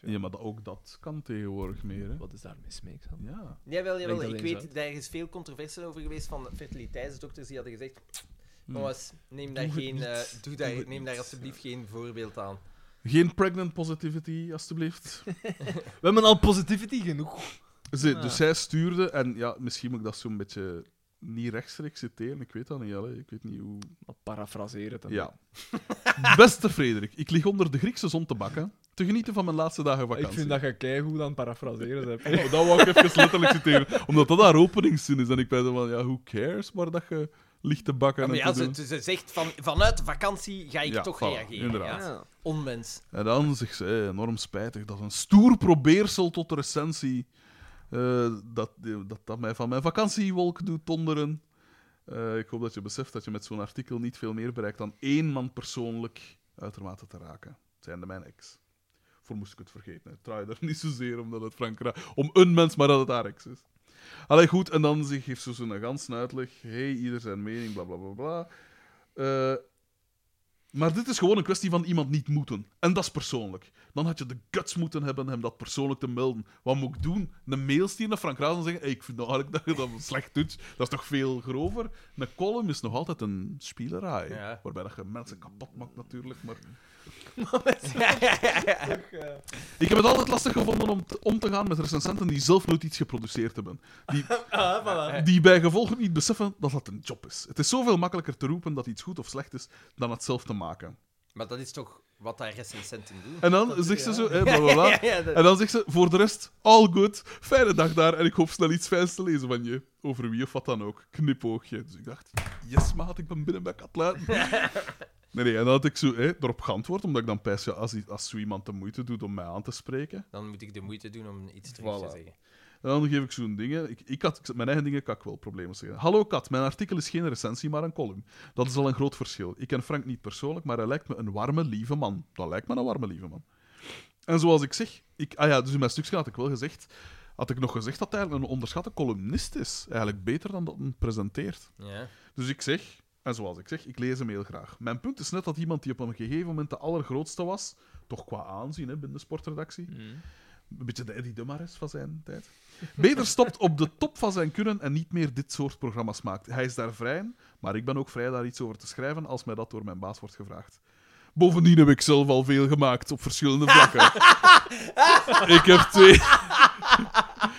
Speaker 2: Ja, maar dat- ook dat kan tegenwoordig meer, hè.
Speaker 3: Wat is daar mis mee, Xander?
Speaker 2: Ja.
Speaker 4: Jawel, jawel.
Speaker 3: Denk dat
Speaker 4: Ik
Speaker 3: eens
Speaker 4: weet, daar is veel controversie over geweest van fertiliteitsdokters die hadden gezegd... Jongens, neem daar,
Speaker 2: Hmm. Doe het
Speaker 4: geen,
Speaker 2: niet.
Speaker 4: eh, doe daar,
Speaker 2: het
Speaker 4: neem daar
Speaker 2: niet."
Speaker 4: alsjeblieft geen voorbeeld aan.
Speaker 2: Hm. Geen pregnant positivity, alstublieft.
Speaker 3: We hebben al positivity genoeg.
Speaker 2: Ze,
Speaker 4: Ah.
Speaker 2: Dus zij stuurde, en ja, misschien moet ik dat zo'n beetje niet rechtstreeks citeren, ik weet dat niet, allee, ik weet niet hoe...
Speaker 3: Maar parafraseer het dan.
Speaker 2: Ja. Beste Frederik, ik lig onder de Griekse zon te bakken, te genieten van mijn laatste dagen vakantie.
Speaker 3: Ik vind dat je keigoed aan parafraseren bent.
Speaker 2: Oh, dat wou ik even letterlijk citeren, omdat dat haar openingszin is. En ik ben zo van, ja, who cares waar dat je ligt te bakken
Speaker 4: Ja, maar
Speaker 2: en
Speaker 4: ja,
Speaker 2: te doen.
Speaker 4: ze, ze zegt van, vanuit de vakantie ga ik
Speaker 2: Ja,
Speaker 4: toch
Speaker 2: voilà,
Speaker 4: reageren.
Speaker 2: inderdaad.
Speaker 3: Dus
Speaker 4: ja. Onmens.
Speaker 2: En dan zegt ze, eh, enorm spijtig, dat is een stoer probeersel tot recensie. eh, dat, dat dat mij van mijn vakantiewolk doet donderen. Eh, ik hoop dat je beseft dat je met zo'n artikel niet veel meer bereikt dan één man persoonlijk uitermate te raken. Zijnde mijn ex. Voor moest ik het vergeten. Het draait er niet zozeer omdat het Frank Ra- om een mens, maar dat het haar ex is. Allee, goed, en dan ze- geeft ze zo'n ganse uitleg. hey, ieder zijn mening, bla bla bla bla. Eh, maar dit is gewoon een kwestie van iemand niet moeten. En dat is persoonlijk. Dan had je de guts moeten hebben hem dat persoonlijk te melden. Wat moet ik doen? Een mail sturen naar Frank Raas en zeggen: hey, Ik vind nou eigenlijk dat je dat slecht doet. Dat is toch veel grover? Een column is nog altijd een spielerij.
Speaker 4: Ja.
Speaker 2: Waarbij dat je mensen kapot maakt, natuurlijk. Maar...
Speaker 4: ja,
Speaker 2: Ik heb het altijd lastig gevonden om te, om te gaan met recensenten die zelf nooit iets geproduceerd hebben. Die,
Speaker 4: Eh.
Speaker 2: die bij gevolg niet beseffen dat dat een job is. Het is zoveel makkelijker te roepen dat iets goed of slecht is dan het zelf te maken.
Speaker 4: Maar dat is toch wat daar recensenten doen?
Speaker 2: En dan zegt ze zo, hè, bla bla bla.
Speaker 4: Ja, dat-
Speaker 2: En dan zegt ze, voor de rest, all good. Fijne dag daar en ik hoop snel iets fijns te lezen van je. Over wie of wat dan ook. Knipoogje. Dus ik dacht, yes maat, ik ben binnen bij Katluiten. Nee, nee, en dan had ik zo, hè, erop geantwoord, omdat ik dan pijs, ja, als, als zo iemand de moeite doet om mij aan te spreken,
Speaker 4: Dan moet ik de moeite doen om iets terug te
Speaker 2: Voilà.
Speaker 4: zeggen.
Speaker 2: En dan geef ik zo'n dingen. Ik, ik had, ik- mijn eigen dingen kan ik wel problemen zeggen. Hallo Kat, mijn artikel is geen recensie, maar een column. Dat is al een groot verschil. Ik ken Frank niet persoonlijk, maar hij lijkt me een warme, lieve man. Dat lijkt me een warme, lieve man. En zoals ik zeg, ik, ah ja, dus in mijn stukje had ik wel gezegd, had ik nog gezegd dat hij eigenlijk een onderschatte columnist is. Eigenlijk beter dan dat hij presenteert.
Speaker 4: Ja.
Speaker 2: Dus ik zeg, en zoals ik zeg, ik lees hem heel graag. Mijn punt is net dat iemand die op een gegeven moment de allergrootste was, toch qua aanzien hè, binnen de sportredactie, een beetje de Eddie Dummaris van zijn tijd, beter stopt op de top van zijn kunnen en niet meer dit soort programma's maakt. Hij is daar vrij in, maar ik ben ook vrij daar iets over te schrijven als mij dat door mijn baas wordt gevraagd. Bovendien heb ik zelf al veel gemaakt op verschillende vlakken. ik heb twee.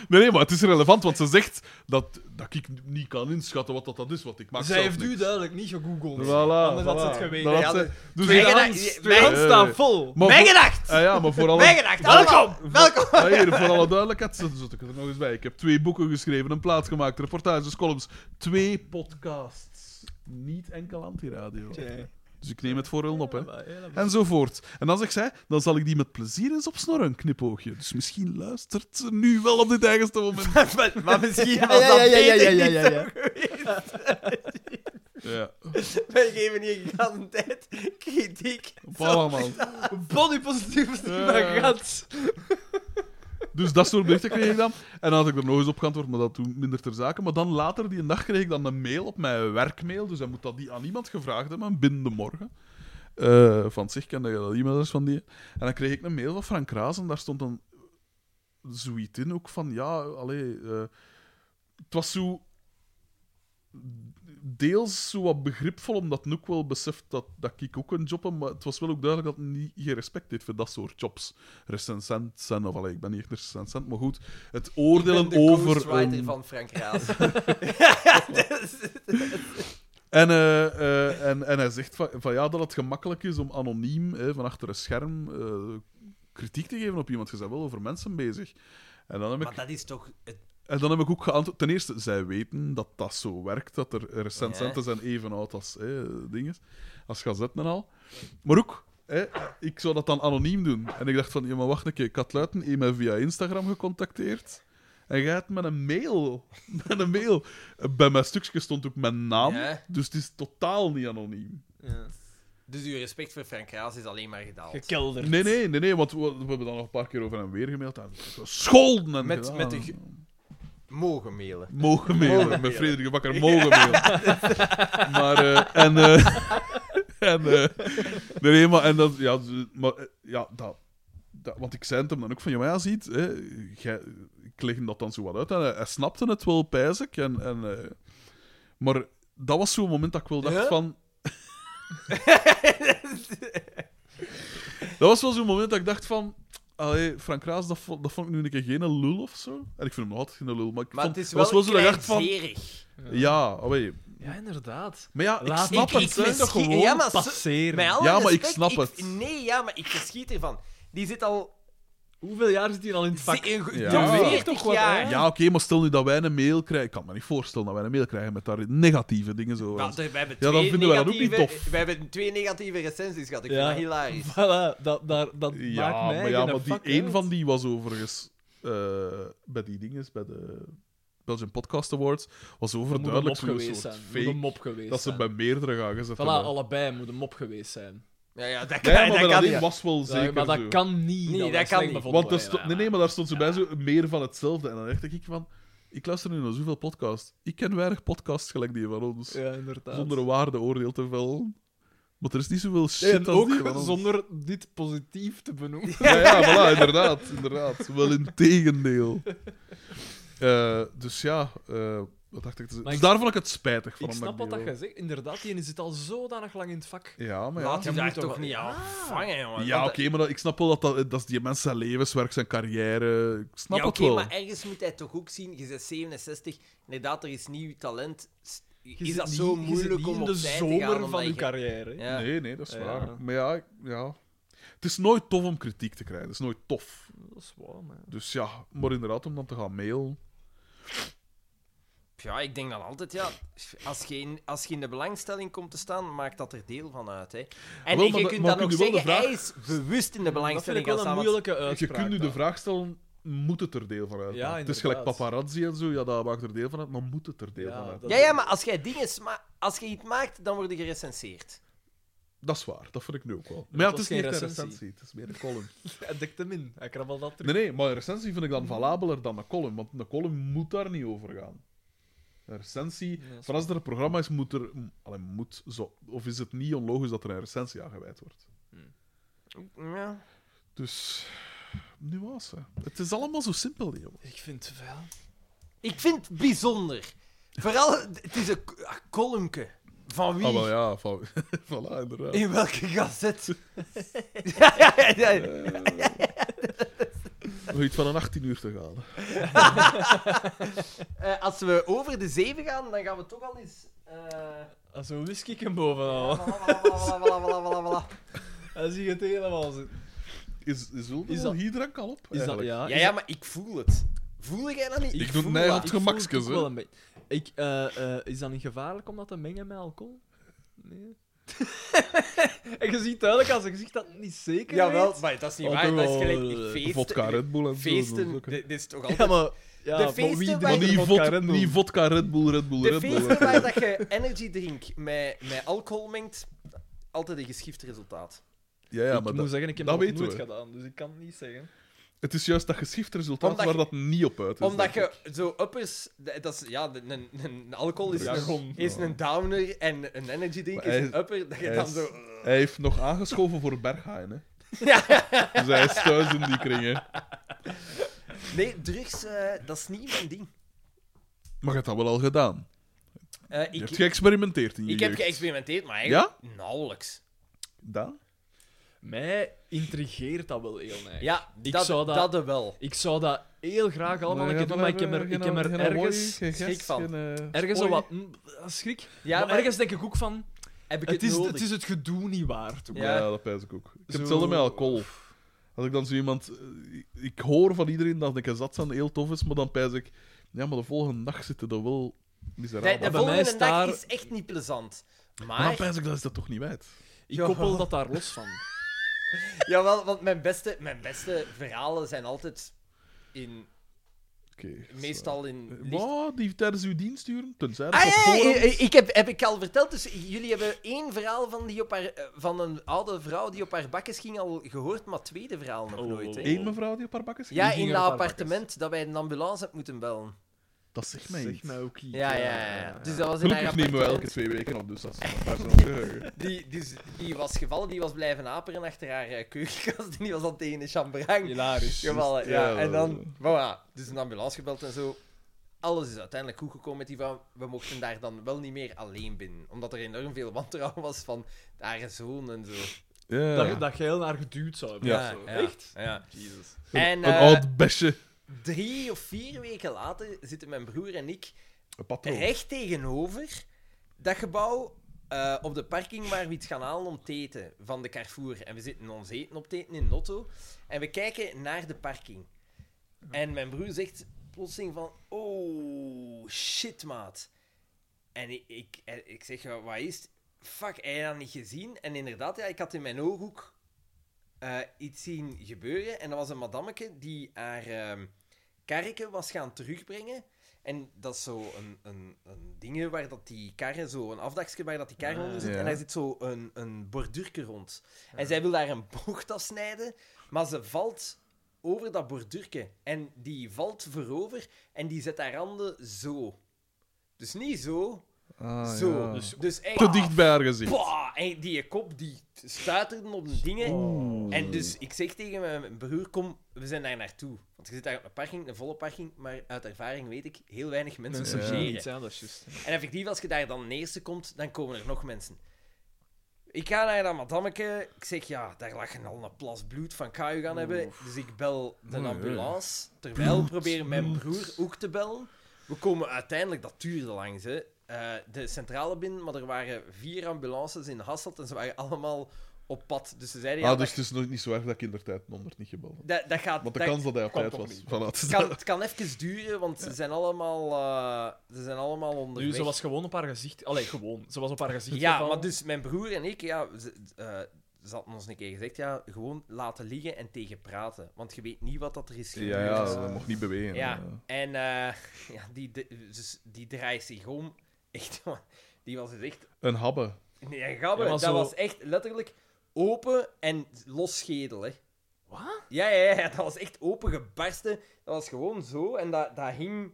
Speaker 2: Nee, nee, maar het is relevant, want ze zegt dat, dat ik niet kan inschatten wat dat, dat is, want ik maak
Speaker 3: Zij
Speaker 2: zelf
Speaker 3: heeft
Speaker 2: niks.
Speaker 3: u duidelijk niet gegoogeld.
Speaker 2: Voilà,
Speaker 3: Anders had ze
Speaker 2: voilà.
Speaker 3: het geweten.
Speaker 2: Dan had
Speaker 3: Ja,
Speaker 2: ze-
Speaker 3: de-
Speaker 2: Dus
Speaker 3: Mijn
Speaker 2: ja,
Speaker 3: gedacht- Mijn hand staat vol.
Speaker 2: maar
Speaker 4: Mijn
Speaker 2: voor-
Speaker 4: gedacht!
Speaker 2: Ah ja, maar voor alle,
Speaker 4: Mijn gedacht! Welkom! Welkom!
Speaker 2: Ah, hier, voor alle duidelijkheid, zet zet ik er nog eens bij. Ik heb twee boeken geschreven, een plaat gemaakt, reportages, columns, twee podcasts. Niet enkel antiradio. Dus ik neem het voor hun op, hè. Enzovoort. En dan zegt zij, dan zal ik die met plezier eens opsnorren, een knipoogje. Dus misschien luistert ze nu wel op dit eigenste moment.
Speaker 4: Maar misschien
Speaker 3: Ja,
Speaker 4: was dat
Speaker 3: ja, ja, ja, ja,
Speaker 4: beter
Speaker 3: ja,
Speaker 4: niet.
Speaker 3: ja, ja.
Speaker 2: Ja,
Speaker 4: Wij geven hier een tijd kritiek.
Speaker 2: op allemaal.
Speaker 3: Body positief,
Speaker 2: Ja.
Speaker 3: maar gat.
Speaker 2: Dus dat soort berichten kreeg ik dan. En dan had ik er nog eens op geantwoord, maar dat toen minder ter zake. Maar dan later die dag kreeg ik dan een mail op mijn werkmail. Dus hij moet dat die aan iemand gevraagd hebben binnen de morgen. Eh, van zich kende je dat e-mailadres van die. En dan kreeg ik een mail van Frank Raas en daar stond dan zoiets in ook van: ja, allee. eh, het was zo. Deels zo wat begripvol, omdat ik ook wel beseft dat, dat ik ook een job heb, maar het was wel ook duidelijk dat hij niet geen respect heeft voor dat soort jobs recensent zijn. Of allee, ik ben niet echt een recensent, maar goed. Het oordelen over.
Speaker 4: ghostwriter
Speaker 2: een-
Speaker 4: van Frank Raas.
Speaker 2: En, eh, eh, en, en hij zegt van, van ja, dat het gemakkelijk is om anoniem hè, van achter een scherm eh, kritiek te geven op iemand. Je bent wel over mensen bezig. En dan, heb ik,
Speaker 4: Maar dat is toch... Het...
Speaker 2: en dan heb ik ook geantwoord. Ten eerste, zij weten dat dat zo werkt. Dat er recensenten zijn even oud als hè, dingen. Als gazetten en al. Maar ook, hè, ik zou dat dan anoniem doen. En ik dacht van, ja, maar wacht een keer. Ik had Luiten heeft mij via Instagram gecontacteerd. En jij hebt met een mail. Met een mail. Bij mijn stukje stond ook mijn naam.
Speaker 4: Ja.
Speaker 2: Dus het is totaal niet anoniem.
Speaker 4: Dus uw respect voor Frank Raas is alleen maar gedaald.
Speaker 3: Gekelderd.
Speaker 2: Nee, nee, nee, nee. Want we, we hebben dan nog een paar keer over en weer gemaild. En gescholden en
Speaker 4: Met-
Speaker 2: gedaan.
Speaker 4: met de ge- Mogen mailen.
Speaker 2: Mogen mailen. Met Frederik de Bakker mogen mailen. Maar, eh, en... eh, en eh, nee, nee, maar... En dat, ja, dus, maar, eh, ja dat, dat... Want ik zei het hem dan ook van... Ja, maar ja, ziet, hè, jij- ik leg hem dat dan zo wat uit. En hij, hij snapte het wel, pijs ik. En, en, eh, maar dat was zo'n moment dat ik wel dacht van... dat was wel zo'n moment dat ik dacht van... Allee, Frank Raas, dat vond, dat vond ik nu een keer geen lul of zo. En ik vind hem nog altijd geen lul, maar ik
Speaker 4: Maar
Speaker 2: vond,
Speaker 4: het is
Speaker 2: dat was
Speaker 4: wel
Speaker 2: zo dat ik dacht van...
Speaker 4: kleinzerig.
Speaker 2: Ja, allee.
Speaker 3: Ja, inderdaad.
Speaker 2: Maar ja, ik
Speaker 3: Laat
Speaker 2: snap
Speaker 4: ik-
Speaker 2: het.
Speaker 4: ik
Speaker 2: hè.
Speaker 4: mis-
Speaker 3: Toch
Speaker 4: Misschien-
Speaker 3: gewoon
Speaker 4: ja, maar zo-
Speaker 3: passeren.
Speaker 4: Met alle
Speaker 2: Ja, maar ik
Speaker 4: respect,
Speaker 2: snap het.
Speaker 4: Nee, ja, maar ik verschiet ervan. Die zit al...
Speaker 3: Hoeveel jaar zit hij al in het vak?
Speaker 4: zi- in ge-
Speaker 2: Ja.
Speaker 4: door
Speaker 2: Je weet
Speaker 4: 40
Speaker 3: toch wat, hè?
Speaker 4: jaar.
Speaker 2: Ja, oké, maar stel nu dat wij een mail krijgen. Ik kan me niet voorstellen dat wij een mail krijgen met daar negatieve dingen zo.
Speaker 4: Want we hebben
Speaker 2: Ja,
Speaker 4: twee
Speaker 2: dan vinden we dat ook niet
Speaker 4: negatieve-
Speaker 2: tof.
Speaker 4: We hebben twee negatieve recensies gehad. Ik
Speaker 3: Ja.
Speaker 4: vind dat hilarisch.
Speaker 3: Voilà, dat, daar, dat
Speaker 2: ja,
Speaker 3: maakt mij
Speaker 2: maar, ja,
Speaker 3: geen
Speaker 2: maar die
Speaker 3: fuck
Speaker 2: één
Speaker 3: uit.
Speaker 2: van die was overigens eh, bij die dingen, bij de Belgian Podcast Awards,
Speaker 3: Moet
Speaker 2: was
Speaker 3: een mop
Speaker 2: overduidelijk zo'n
Speaker 3: geweest
Speaker 2: soort
Speaker 3: zijn. Moet
Speaker 2: fake.
Speaker 3: een mop geweest
Speaker 2: dat ze
Speaker 3: zijn.
Speaker 2: bij meerdere gaan gezet
Speaker 3: Voilà,
Speaker 2: hebben.
Speaker 3: allebei moet een mop geweest zijn.
Speaker 4: Ja, ja, dat
Speaker 2: Nee,
Speaker 4: kan,
Speaker 2: maar
Speaker 4: dat
Speaker 2: bij dat
Speaker 4: kan
Speaker 2: ding
Speaker 4: niet.
Speaker 2: was wel
Speaker 3: Ja,
Speaker 2: zeker
Speaker 3: maar dat
Speaker 2: zo.
Speaker 3: kan niet.
Speaker 4: Nee,
Speaker 3: dat
Speaker 4: dat
Speaker 3: is
Speaker 4: kan
Speaker 3: slecht
Speaker 4: niet.
Speaker 3: bevonden.
Speaker 2: Want er sto-
Speaker 3: Ja,
Speaker 2: nee, nee, maar daar stond ze bij zo meer van hetzelfde. En dan dacht ik van, ik luister nu naar zoveel podcasts. Ik ken weinig podcasts gelijk die van ons.
Speaker 3: Ja, inderdaad.
Speaker 2: zonder een waardeoordeel te vellen. Maar er is niet zoveel shit
Speaker 3: Nee, en
Speaker 2: als die van
Speaker 3: ook
Speaker 2: ons.
Speaker 3: zonder dit positief te benoemen.
Speaker 2: Ja, ja, voilà, inderdaad, inderdaad. Wel in tegendeel. Eh, dus ja, eh, wat dacht ik? te zeggen?
Speaker 3: Maar
Speaker 2: Dus
Speaker 3: ik-
Speaker 2: daar vond ik het spijtig van.
Speaker 3: Ik
Speaker 2: omdat
Speaker 3: snap wat dat
Speaker 2: die
Speaker 3: je zegt. Inderdaad, die zit al zodanig lang in het vak.
Speaker 2: wel- Ja, maar ja.
Speaker 4: Laat je daar
Speaker 3: moet
Speaker 4: toch
Speaker 3: toch-
Speaker 4: niet aan vangen, jongen.
Speaker 2: Ja,
Speaker 4: Want- eh,
Speaker 2: oké, maar dat- ik snap wel dat, dat dat is die mensen zijn levenswerk, zijn carrière. Ik snap
Speaker 4: ja,
Speaker 2: het
Speaker 4: oké,
Speaker 2: wel.
Speaker 4: maar ergens moet hij toch ook zien, je bent 67, inderdaad, er is nieuw talent. S- Is
Speaker 3: zit
Speaker 4: dat
Speaker 3: niet-
Speaker 4: zo
Speaker 3: je zit
Speaker 4: moeilijk
Speaker 3: niet
Speaker 4: om
Speaker 3: in de
Speaker 4: opzij te gaan?
Speaker 3: zomer
Speaker 4: omdat
Speaker 3: van uw
Speaker 4: je-
Speaker 3: carrière. hè.
Speaker 4: Ja.
Speaker 2: Nee, nee, dat is
Speaker 3: Ja.
Speaker 2: waar. Maar ja, ik- ja, het is nooit tof om kritiek te krijgen. Het is nooit tof.
Speaker 3: Dat is waar, man.
Speaker 2: Dus ja, maar inderdaad, om dan te gaan mailen.
Speaker 4: Ja, ik denk dan altijd, ja, als je, in, als je in de belangstelling komt te staan, maakt dat er deel van uit. Hè. En
Speaker 2: wel,
Speaker 4: je
Speaker 2: maar-
Speaker 4: kunt
Speaker 2: maar
Speaker 4: dan ook
Speaker 2: kun je wel
Speaker 4: zeggen,
Speaker 2: de vraag-
Speaker 4: hij is bewust in de
Speaker 3: Dat vind ik
Speaker 4: belangstelling gaan
Speaker 3: wel een
Speaker 4: staan. want-
Speaker 3: moeilijke
Speaker 2: Je
Speaker 3: uitspraak.
Speaker 2: kunt nu de
Speaker 3: dan.
Speaker 2: vraag stellen, moet het er deel van uit?
Speaker 3: Ja,
Speaker 2: het is gelijk
Speaker 3: inderdaad.
Speaker 2: paparazzi en zo, ja, daar maakt er deel van uit, maar moet het er deel
Speaker 3: Ja,
Speaker 2: van uit?
Speaker 3: dat-
Speaker 4: Ja, ja, maar als jij dingen sma- als je iets maakt, dan word je gerecenseerd.
Speaker 2: Dat is waar, dat vind ik nu ook wel. Maar ja, het
Speaker 3: was
Speaker 2: is niet
Speaker 3: geen
Speaker 2: echt een
Speaker 3: recensie.
Speaker 2: recensie, het is meer een column.
Speaker 3: Hij dekt hem in. Hij krabbelt dat terug.
Speaker 2: Nee, nee, maar een recensie vind ik dan valabeler dan een column, want een column moet daar niet over gaan. Een recensie,
Speaker 3: Ja, dat is
Speaker 2: van als er een programma is, moet er... m- Allee, moet zo, of is het niet onlogisch dat er een recensie aan gewijd wordt?
Speaker 4: Ja.
Speaker 2: Dus... Nuance. Het is allemaal zo simpel, joh.
Speaker 3: Ik vind het wel.
Speaker 4: Ik vind het bijzonder. Vooral, het is een k- een kolumke. Van wie?
Speaker 2: Ah, wel ja, van, voilà, inderdaad.
Speaker 4: In welke gazet? ja, ja, ja, ja.
Speaker 2: Eh, nog iets van een 18 uur te gaan.
Speaker 11: Eh, als we over de 7 gaan, dan gaan we toch al eens. eh,
Speaker 3: Ah, Zo whisky ik hem bovenal.
Speaker 11: Blablabla.
Speaker 3: Dan zie je het helemaal zitten.
Speaker 2: Is, is Ulm
Speaker 3: Is
Speaker 2: is
Speaker 3: dat-
Speaker 2: hier drank al op?
Speaker 3: Is dat,
Speaker 2: eigenlijk?
Speaker 3: ja,
Speaker 4: Ja,
Speaker 3: is
Speaker 4: ja, maar ik voel het. Voel jij dat niet?
Speaker 2: Ik doe het
Speaker 4: voel
Speaker 2: mij op
Speaker 4: dat.
Speaker 2: het
Speaker 3: voel het
Speaker 2: gemakskes,
Speaker 3: ook wel
Speaker 2: hè.
Speaker 3: een beetje. Ik, eh, eh, is dat niet gevaarlijk om dat te mengen met alcohol? Nee. en je ziet duidelijk als een gezicht dat het niet zeker
Speaker 4: Jawel,
Speaker 3: weet.
Speaker 4: maar dat is niet
Speaker 3: Oh,
Speaker 4: waar. Dat is
Speaker 3: toch
Speaker 4: gelijk
Speaker 3: wel,
Speaker 4: die
Speaker 3: eh,
Speaker 4: feesten.
Speaker 2: Vodka, Red Bull en zo,
Speaker 4: Feesten,
Speaker 2: zo. zo.
Speaker 4: dit dit is toch
Speaker 3: Ja,
Speaker 4: altijd...
Speaker 3: maar... Ja,
Speaker 4: De
Speaker 3: maar
Speaker 4: feesten
Speaker 3: wie
Speaker 4: waar-
Speaker 3: drinkt
Speaker 2: Maar niet,
Speaker 3: vodka
Speaker 2: vodka,
Speaker 3: Red Bull?
Speaker 2: niet vodka, Red Bull, Red Bull,
Speaker 4: de
Speaker 2: Red Bull.
Speaker 4: feesten waar dat je energy drink met, met alcohol mengt, altijd een geschift resultaat.
Speaker 2: Ja, ja,
Speaker 3: ik
Speaker 2: maar
Speaker 3: moet
Speaker 2: dat,
Speaker 3: zeggen, ik heb
Speaker 2: dat
Speaker 3: dat nog
Speaker 2: weten
Speaker 3: nooit
Speaker 2: we.
Speaker 3: gedaan, dus ik kan het niet zeggen.
Speaker 2: het is juist dat geschift resultaat
Speaker 4: Omdat
Speaker 2: waar
Speaker 4: je-
Speaker 2: dat niet op uit is. denk
Speaker 4: Omdat je
Speaker 2: ik.
Speaker 4: zo uppers... d- Dat is, ja, de- een, een alcohol is,
Speaker 2: Ja,
Speaker 4: een,
Speaker 2: gewoon.
Speaker 4: is een downer en een energy drink
Speaker 2: Maar
Speaker 4: is
Speaker 2: hij-
Speaker 4: een upper. Dat je
Speaker 2: hij
Speaker 4: dan
Speaker 2: is-
Speaker 4: zo...
Speaker 2: Hij heeft nog aangeschoven voor Berghain, hè. Dus hij is thuis in die kringen.
Speaker 4: Nee, drugs, eh, dat is niet mijn ding.
Speaker 2: Maar je hebt dat wel al gedaan.
Speaker 4: Eh,
Speaker 2: Je
Speaker 4: ik,
Speaker 2: hebt geëxperimenteerd in je
Speaker 4: ik heb
Speaker 2: jeugd.
Speaker 4: geëxperimenteerd, maar eigenlijk nauwelijks.
Speaker 2: Daan?
Speaker 3: Mij intrigeert dat wel heel erg.
Speaker 4: Ja,
Speaker 3: Ik
Speaker 4: dat,
Speaker 3: zou dat-
Speaker 4: dat wel.
Speaker 3: Ik zou dat heel graag allemaal een keer doen, maar ik heb er, ik heb er ergens,
Speaker 4: schrik van.
Speaker 3: ergens zo wat mm, schrik.
Speaker 4: Ja,
Speaker 3: maar
Speaker 4: maar
Speaker 3: ergens denk ik ook van,
Speaker 4: heb ik
Speaker 3: het
Speaker 4: het,
Speaker 3: is,
Speaker 4: nodig?
Speaker 3: het is het gedoe niet waard.
Speaker 2: Ja, dat pijs ik ook. Ik heb
Speaker 3: Zo-
Speaker 2: hetzelfde met alcohol. Als ik dan zo iemand... eh, Ik hoor van iedereen dat ik een zat zijn heel tof is, maar dan pijs ik... Ja, maar de volgende dag zitten er wel
Speaker 4: De,
Speaker 2: miserabel.
Speaker 4: de
Speaker 3: bij mij
Speaker 4: volgende
Speaker 3: is
Speaker 4: dag
Speaker 3: daar-
Speaker 4: is echt niet plezant.
Speaker 2: Maar dan
Speaker 4: Maar,
Speaker 2: pijs ik, dat is dat toch niet wijd.
Speaker 3: Ik koppel dat daar los van.
Speaker 4: jawel, want mijn beste, mijn beste verhalen zijn altijd in,
Speaker 2: Oké. dat is
Speaker 4: meestal in.
Speaker 2: waar.
Speaker 4: licht-
Speaker 2: Wow, die tijdens uw dienst duren? Tenzij dat
Speaker 4: Ah,
Speaker 2: op
Speaker 4: ja, ja,
Speaker 2: voorhand-
Speaker 4: ja, ik heb, heb ik al verteld. Dus jullie hebben één verhaal van, die op haar, eh, van een oude vrouw die op haar bakjes ging al gehoord, maar het tweede verhaal nog
Speaker 3: Oh,
Speaker 4: nooit. Hè?
Speaker 2: Eén mevrouw die op haar bakken
Speaker 4: Ja,
Speaker 3: ging
Speaker 4: in
Speaker 3: er
Speaker 4: dat
Speaker 3: op haar bakjes?
Speaker 4: appartement dat wij een ambulance hebben moeten bellen.
Speaker 2: Dat zegt mij iets.
Speaker 3: ook iets.
Speaker 4: Ja, ja, ja. ja. Dus dat was in haar
Speaker 2: Gelukkig nemen we
Speaker 4: appartement.
Speaker 2: elke twee weken op, dus dat is dat is wel geheugen.
Speaker 4: Die, die, die was gevallen, die was blijven aperen achter haar eh, keukenkast en die was al tegen een chambrang
Speaker 3: Hilarisch.
Speaker 4: gevallen. Ja,
Speaker 2: ja,
Speaker 4: en
Speaker 2: wel.
Speaker 4: dan, voilà, dus een ambulance gebeld en zo. Alles is uiteindelijk goed gekomen met die vrouw. We mochten daar dan wel niet meer alleen binnen, omdat er enorm veel wantrouwen was van haar zoon en zo.
Speaker 2: Ja.
Speaker 3: Dat, dat jij heel naar geduwd zou hebben.
Speaker 2: Ja.
Speaker 3: of zo.
Speaker 4: Ja.
Speaker 3: Echt?
Speaker 4: Ja.
Speaker 3: Jezus.
Speaker 4: En
Speaker 2: een
Speaker 4: eh,
Speaker 2: oud besje.
Speaker 4: drie of vier weken later zitten mijn broer en ik
Speaker 2: Een patroon.
Speaker 4: recht tegenover dat gebouw eh, op de parking waar we iets gaan halen om te eten van de Carrefour. En we zitten ons eten op te eten in Notto. En we kijken naar de parking. En mijn broer zegt plotseling van... Oh, shit, maat. En ik, ik, eh, ik zeg, "Ja, wat is het? Fuck, hij had dat niet gezien. En inderdaad, ja, ik had in mijn ooghoek eh, iets zien gebeuren. En dat was een madammeke die haar ehm karretje was gaan terugbrengen. En dat is zo een, een, een ding waar dat die karren, zo een afdakje waar dat die karren onder zit.
Speaker 2: Ja.
Speaker 4: En daar zit zo een, een borduurke rond. En zij wil daar een bocht afsnijden, maar ze valt over dat borduurke. En die valt voorover en die zet haar handen zo. Dus niet zo,
Speaker 2: Ah,
Speaker 4: zo.
Speaker 2: ja.
Speaker 4: Dus, dus echt...
Speaker 2: Te dicht bij haar gezicht.
Speaker 4: Pwa! En die kop die stuiterde op de dingen. En dus ik zeg tegen mijn broer, kom, we zijn daar naartoe. Want je zit daar op een parking, een volle parking, maar uit ervaring weet ik, heel weinig mensen
Speaker 3: Mensen
Speaker 2: Ja.
Speaker 3: zien
Speaker 4: logeren.
Speaker 3: iets, ja, dat is juist.
Speaker 4: En effectief, als je daar dan neerste komt, dan komen er nog mensen. Ik ga naar dat madammeke. Ik zeg, ja, daar lag een al een plas bloed van Kaju gaan hebben. Dus ik bel de ambulance. Terwijl proberen mijn broer ook te bellen. We komen uiteindelijk, dat duurde langs, hè. eh, de centrale binnen, maar er waren vier ambulances in Hasselt en ze waren allemaal op pad. Dus ze zeiden, ja,
Speaker 2: ah, dus
Speaker 4: dat,
Speaker 2: het is nog niet zo erg dat ik in de tijd 100 niet gebeld heb.
Speaker 4: dat, dat gaat...
Speaker 2: Want de
Speaker 4: dat-
Speaker 2: kans dat hij op
Speaker 4: kan
Speaker 2: tijd
Speaker 4: toch
Speaker 2: was.
Speaker 4: niet.
Speaker 2: Voilà.
Speaker 4: het, kan, het kan even duren, want ze zijn allemaal, eh, ze zijn allemaal onderweg.
Speaker 3: Nu, ze was gewoon op haar gezicht... Allee, gewoon. Ze was op haar gezicht
Speaker 4: Ja,
Speaker 3: gevallen.
Speaker 4: maar dus mijn broer en ik, ja, ze, eh, ze hadden ons een keer gezegd, ja, gewoon laten liggen en tegen praten. Want je weet niet wat dat er is gebeurd.
Speaker 2: Ja, ja, dat mocht niet bewegen.
Speaker 4: Ja,
Speaker 2: ja.
Speaker 4: en eh, ja, die, de- dus die draait zich om. Echt, man, die was dus echt...
Speaker 2: Een habbe.
Speaker 4: Nee,
Speaker 3: Ja,
Speaker 4: gabber,
Speaker 3: maar
Speaker 4: dat
Speaker 3: zo-
Speaker 4: was echt letterlijk open en los schedel, hè. Wat? Ja, ja, ja, dat was echt open gebarsten. Dat was gewoon zo en dat, dat hing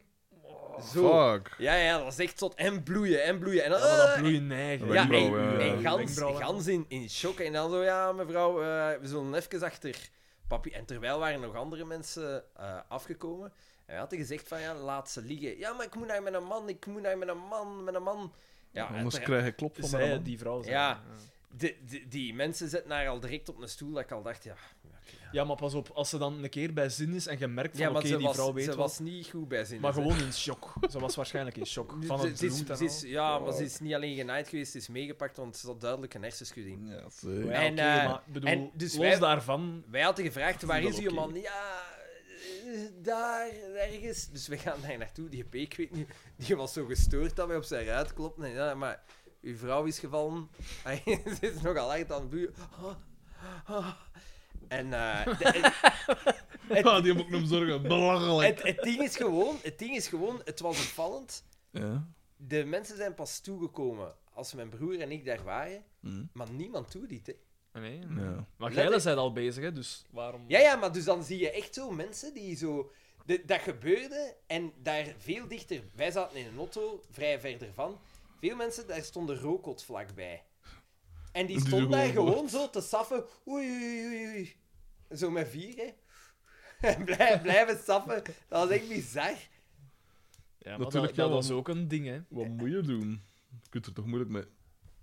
Speaker 4: zo.
Speaker 2: Fuck.
Speaker 4: Ja, ja, dat was echt zot. En bloeien, en bloeien. En,
Speaker 3: Oh, Ja, maar dat
Speaker 4: eh,
Speaker 3: bloeien neigen.
Speaker 4: ja, en,
Speaker 2: Wenkbrauwen,
Speaker 4: en
Speaker 2: ja.
Speaker 4: gans,
Speaker 3: Wenkbrauwen.
Speaker 4: gans in, in shock. En dan zo, ja, mevrouw, eh, we zullen even achter papi. En terwijl waren nog andere mensen eh, afgekomen. En we hadden gezegd van, ja, laat ze liggen. Ja, maar ik moet naar mijn man, ik moet naar mijn man, mijn man. Ja,
Speaker 2: Anders
Speaker 4: uiteraard-
Speaker 2: krijg je klop van mijn
Speaker 3: Zij,
Speaker 2: hand.
Speaker 3: die vrouw. zei.
Speaker 4: Ja. de, de- die mensen zetten haar al direct op een stoel dat ik al dacht, ja... oké, ja.
Speaker 3: Ja, maar pas op, als ze dan een keer bij zin is en je merkt van
Speaker 4: Ja, maar
Speaker 3: oké,
Speaker 4: ze,
Speaker 3: die
Speaker 4: was,
Speaker 3: vrouw weet
Speaker 4: ze
Speaker 3: wat.
Speaker 4: was niet goed bij zin.
Speaker 3: Maar gewoon in shock. ze was waarschijnlijk in shock. Van
Speaker 4: Ze-
Speaker 3: het
Speaker 4: ze is-
Speaker 3: bloed en
Speaker 4: ze is-
Speaker 3: al.
Speaker 4: ja, maar ze is niet alleen genaaid geweest, ze is meegepakt, want ze had duidelijk een hersenschudding.
Speaker 2: Ja,
Speaker 3: Ja,
Speaker 2: zeker.
Speaker 3: oké,
Speaker 4: en, eh,
Speaker 3: maar bedoel,
Speaker 4: en dus
Speaker 3: los
Speaker 4: wij-
Speaker 3: daarvan...
Speaker 4: Wij hadden gevraagd, waar
Speaker 2: wel
Speaker 4: is die
Speaker 2: oké.
Speaker 4: man? Ja, eh, daar, ergens. Dus we gaan daar naartoe. Die P, ik weet niet, die was zo gestoord dat wij op zijn ruit klopten. En, ja, maar uw vrouw is gevallen. Hij ze is nogal hard aan het bloeien. Ah, ah. En
Speaker 2: Oh
Speaker 4: eh, de-
Speaker 2: Ah, die moet ik hem zorgen. Belachelijk.
Speaker 4: het, het, ding is gewoon, het ding is gewoon, het was opvallend.
Speaker 2: Ja.
Speaker 4: De mensen zijn pas toegekomen als mijn broer en ik daar waren.
Speaker 2: Hm.
Speaker 4: Maar niemand toeliet, hè.
Speaker 3: Nee,
Speaker 2: Ja.
Speaker 3: Maar
Speaker 4: Let-
Speaker 3: jij bent al bezig, hè, dus waarom...
Speaker 4: Ja, ja, maar dus dan zie je echt zo mensen die zo... de- dat gebeurde en daar veel dichter... Wij zaten in een auto, vrij verder van. Veel mensen, daar stond een rookhot vlakbij. En die
Speaker 2: Die
Speaker 4: stond daar
Speaker 2: gewoon-
Speaker 4: gewoon zo te saffen. Oei, oei, oei, oei. Zo met vier, hè. En blij- blijven saffen. Dat was echt bizar.
Speaker 3: Ja, maar dat,
Speaker 2: Natuurlijk,
Speaker 3: dat
Speaker 2: ja,
Speaker 3: was
Speaker 2: want-
Speaker 3: ook een ding, hè.
Speaker 2: Wat moet je doen? Je kunt er toch moeilijk met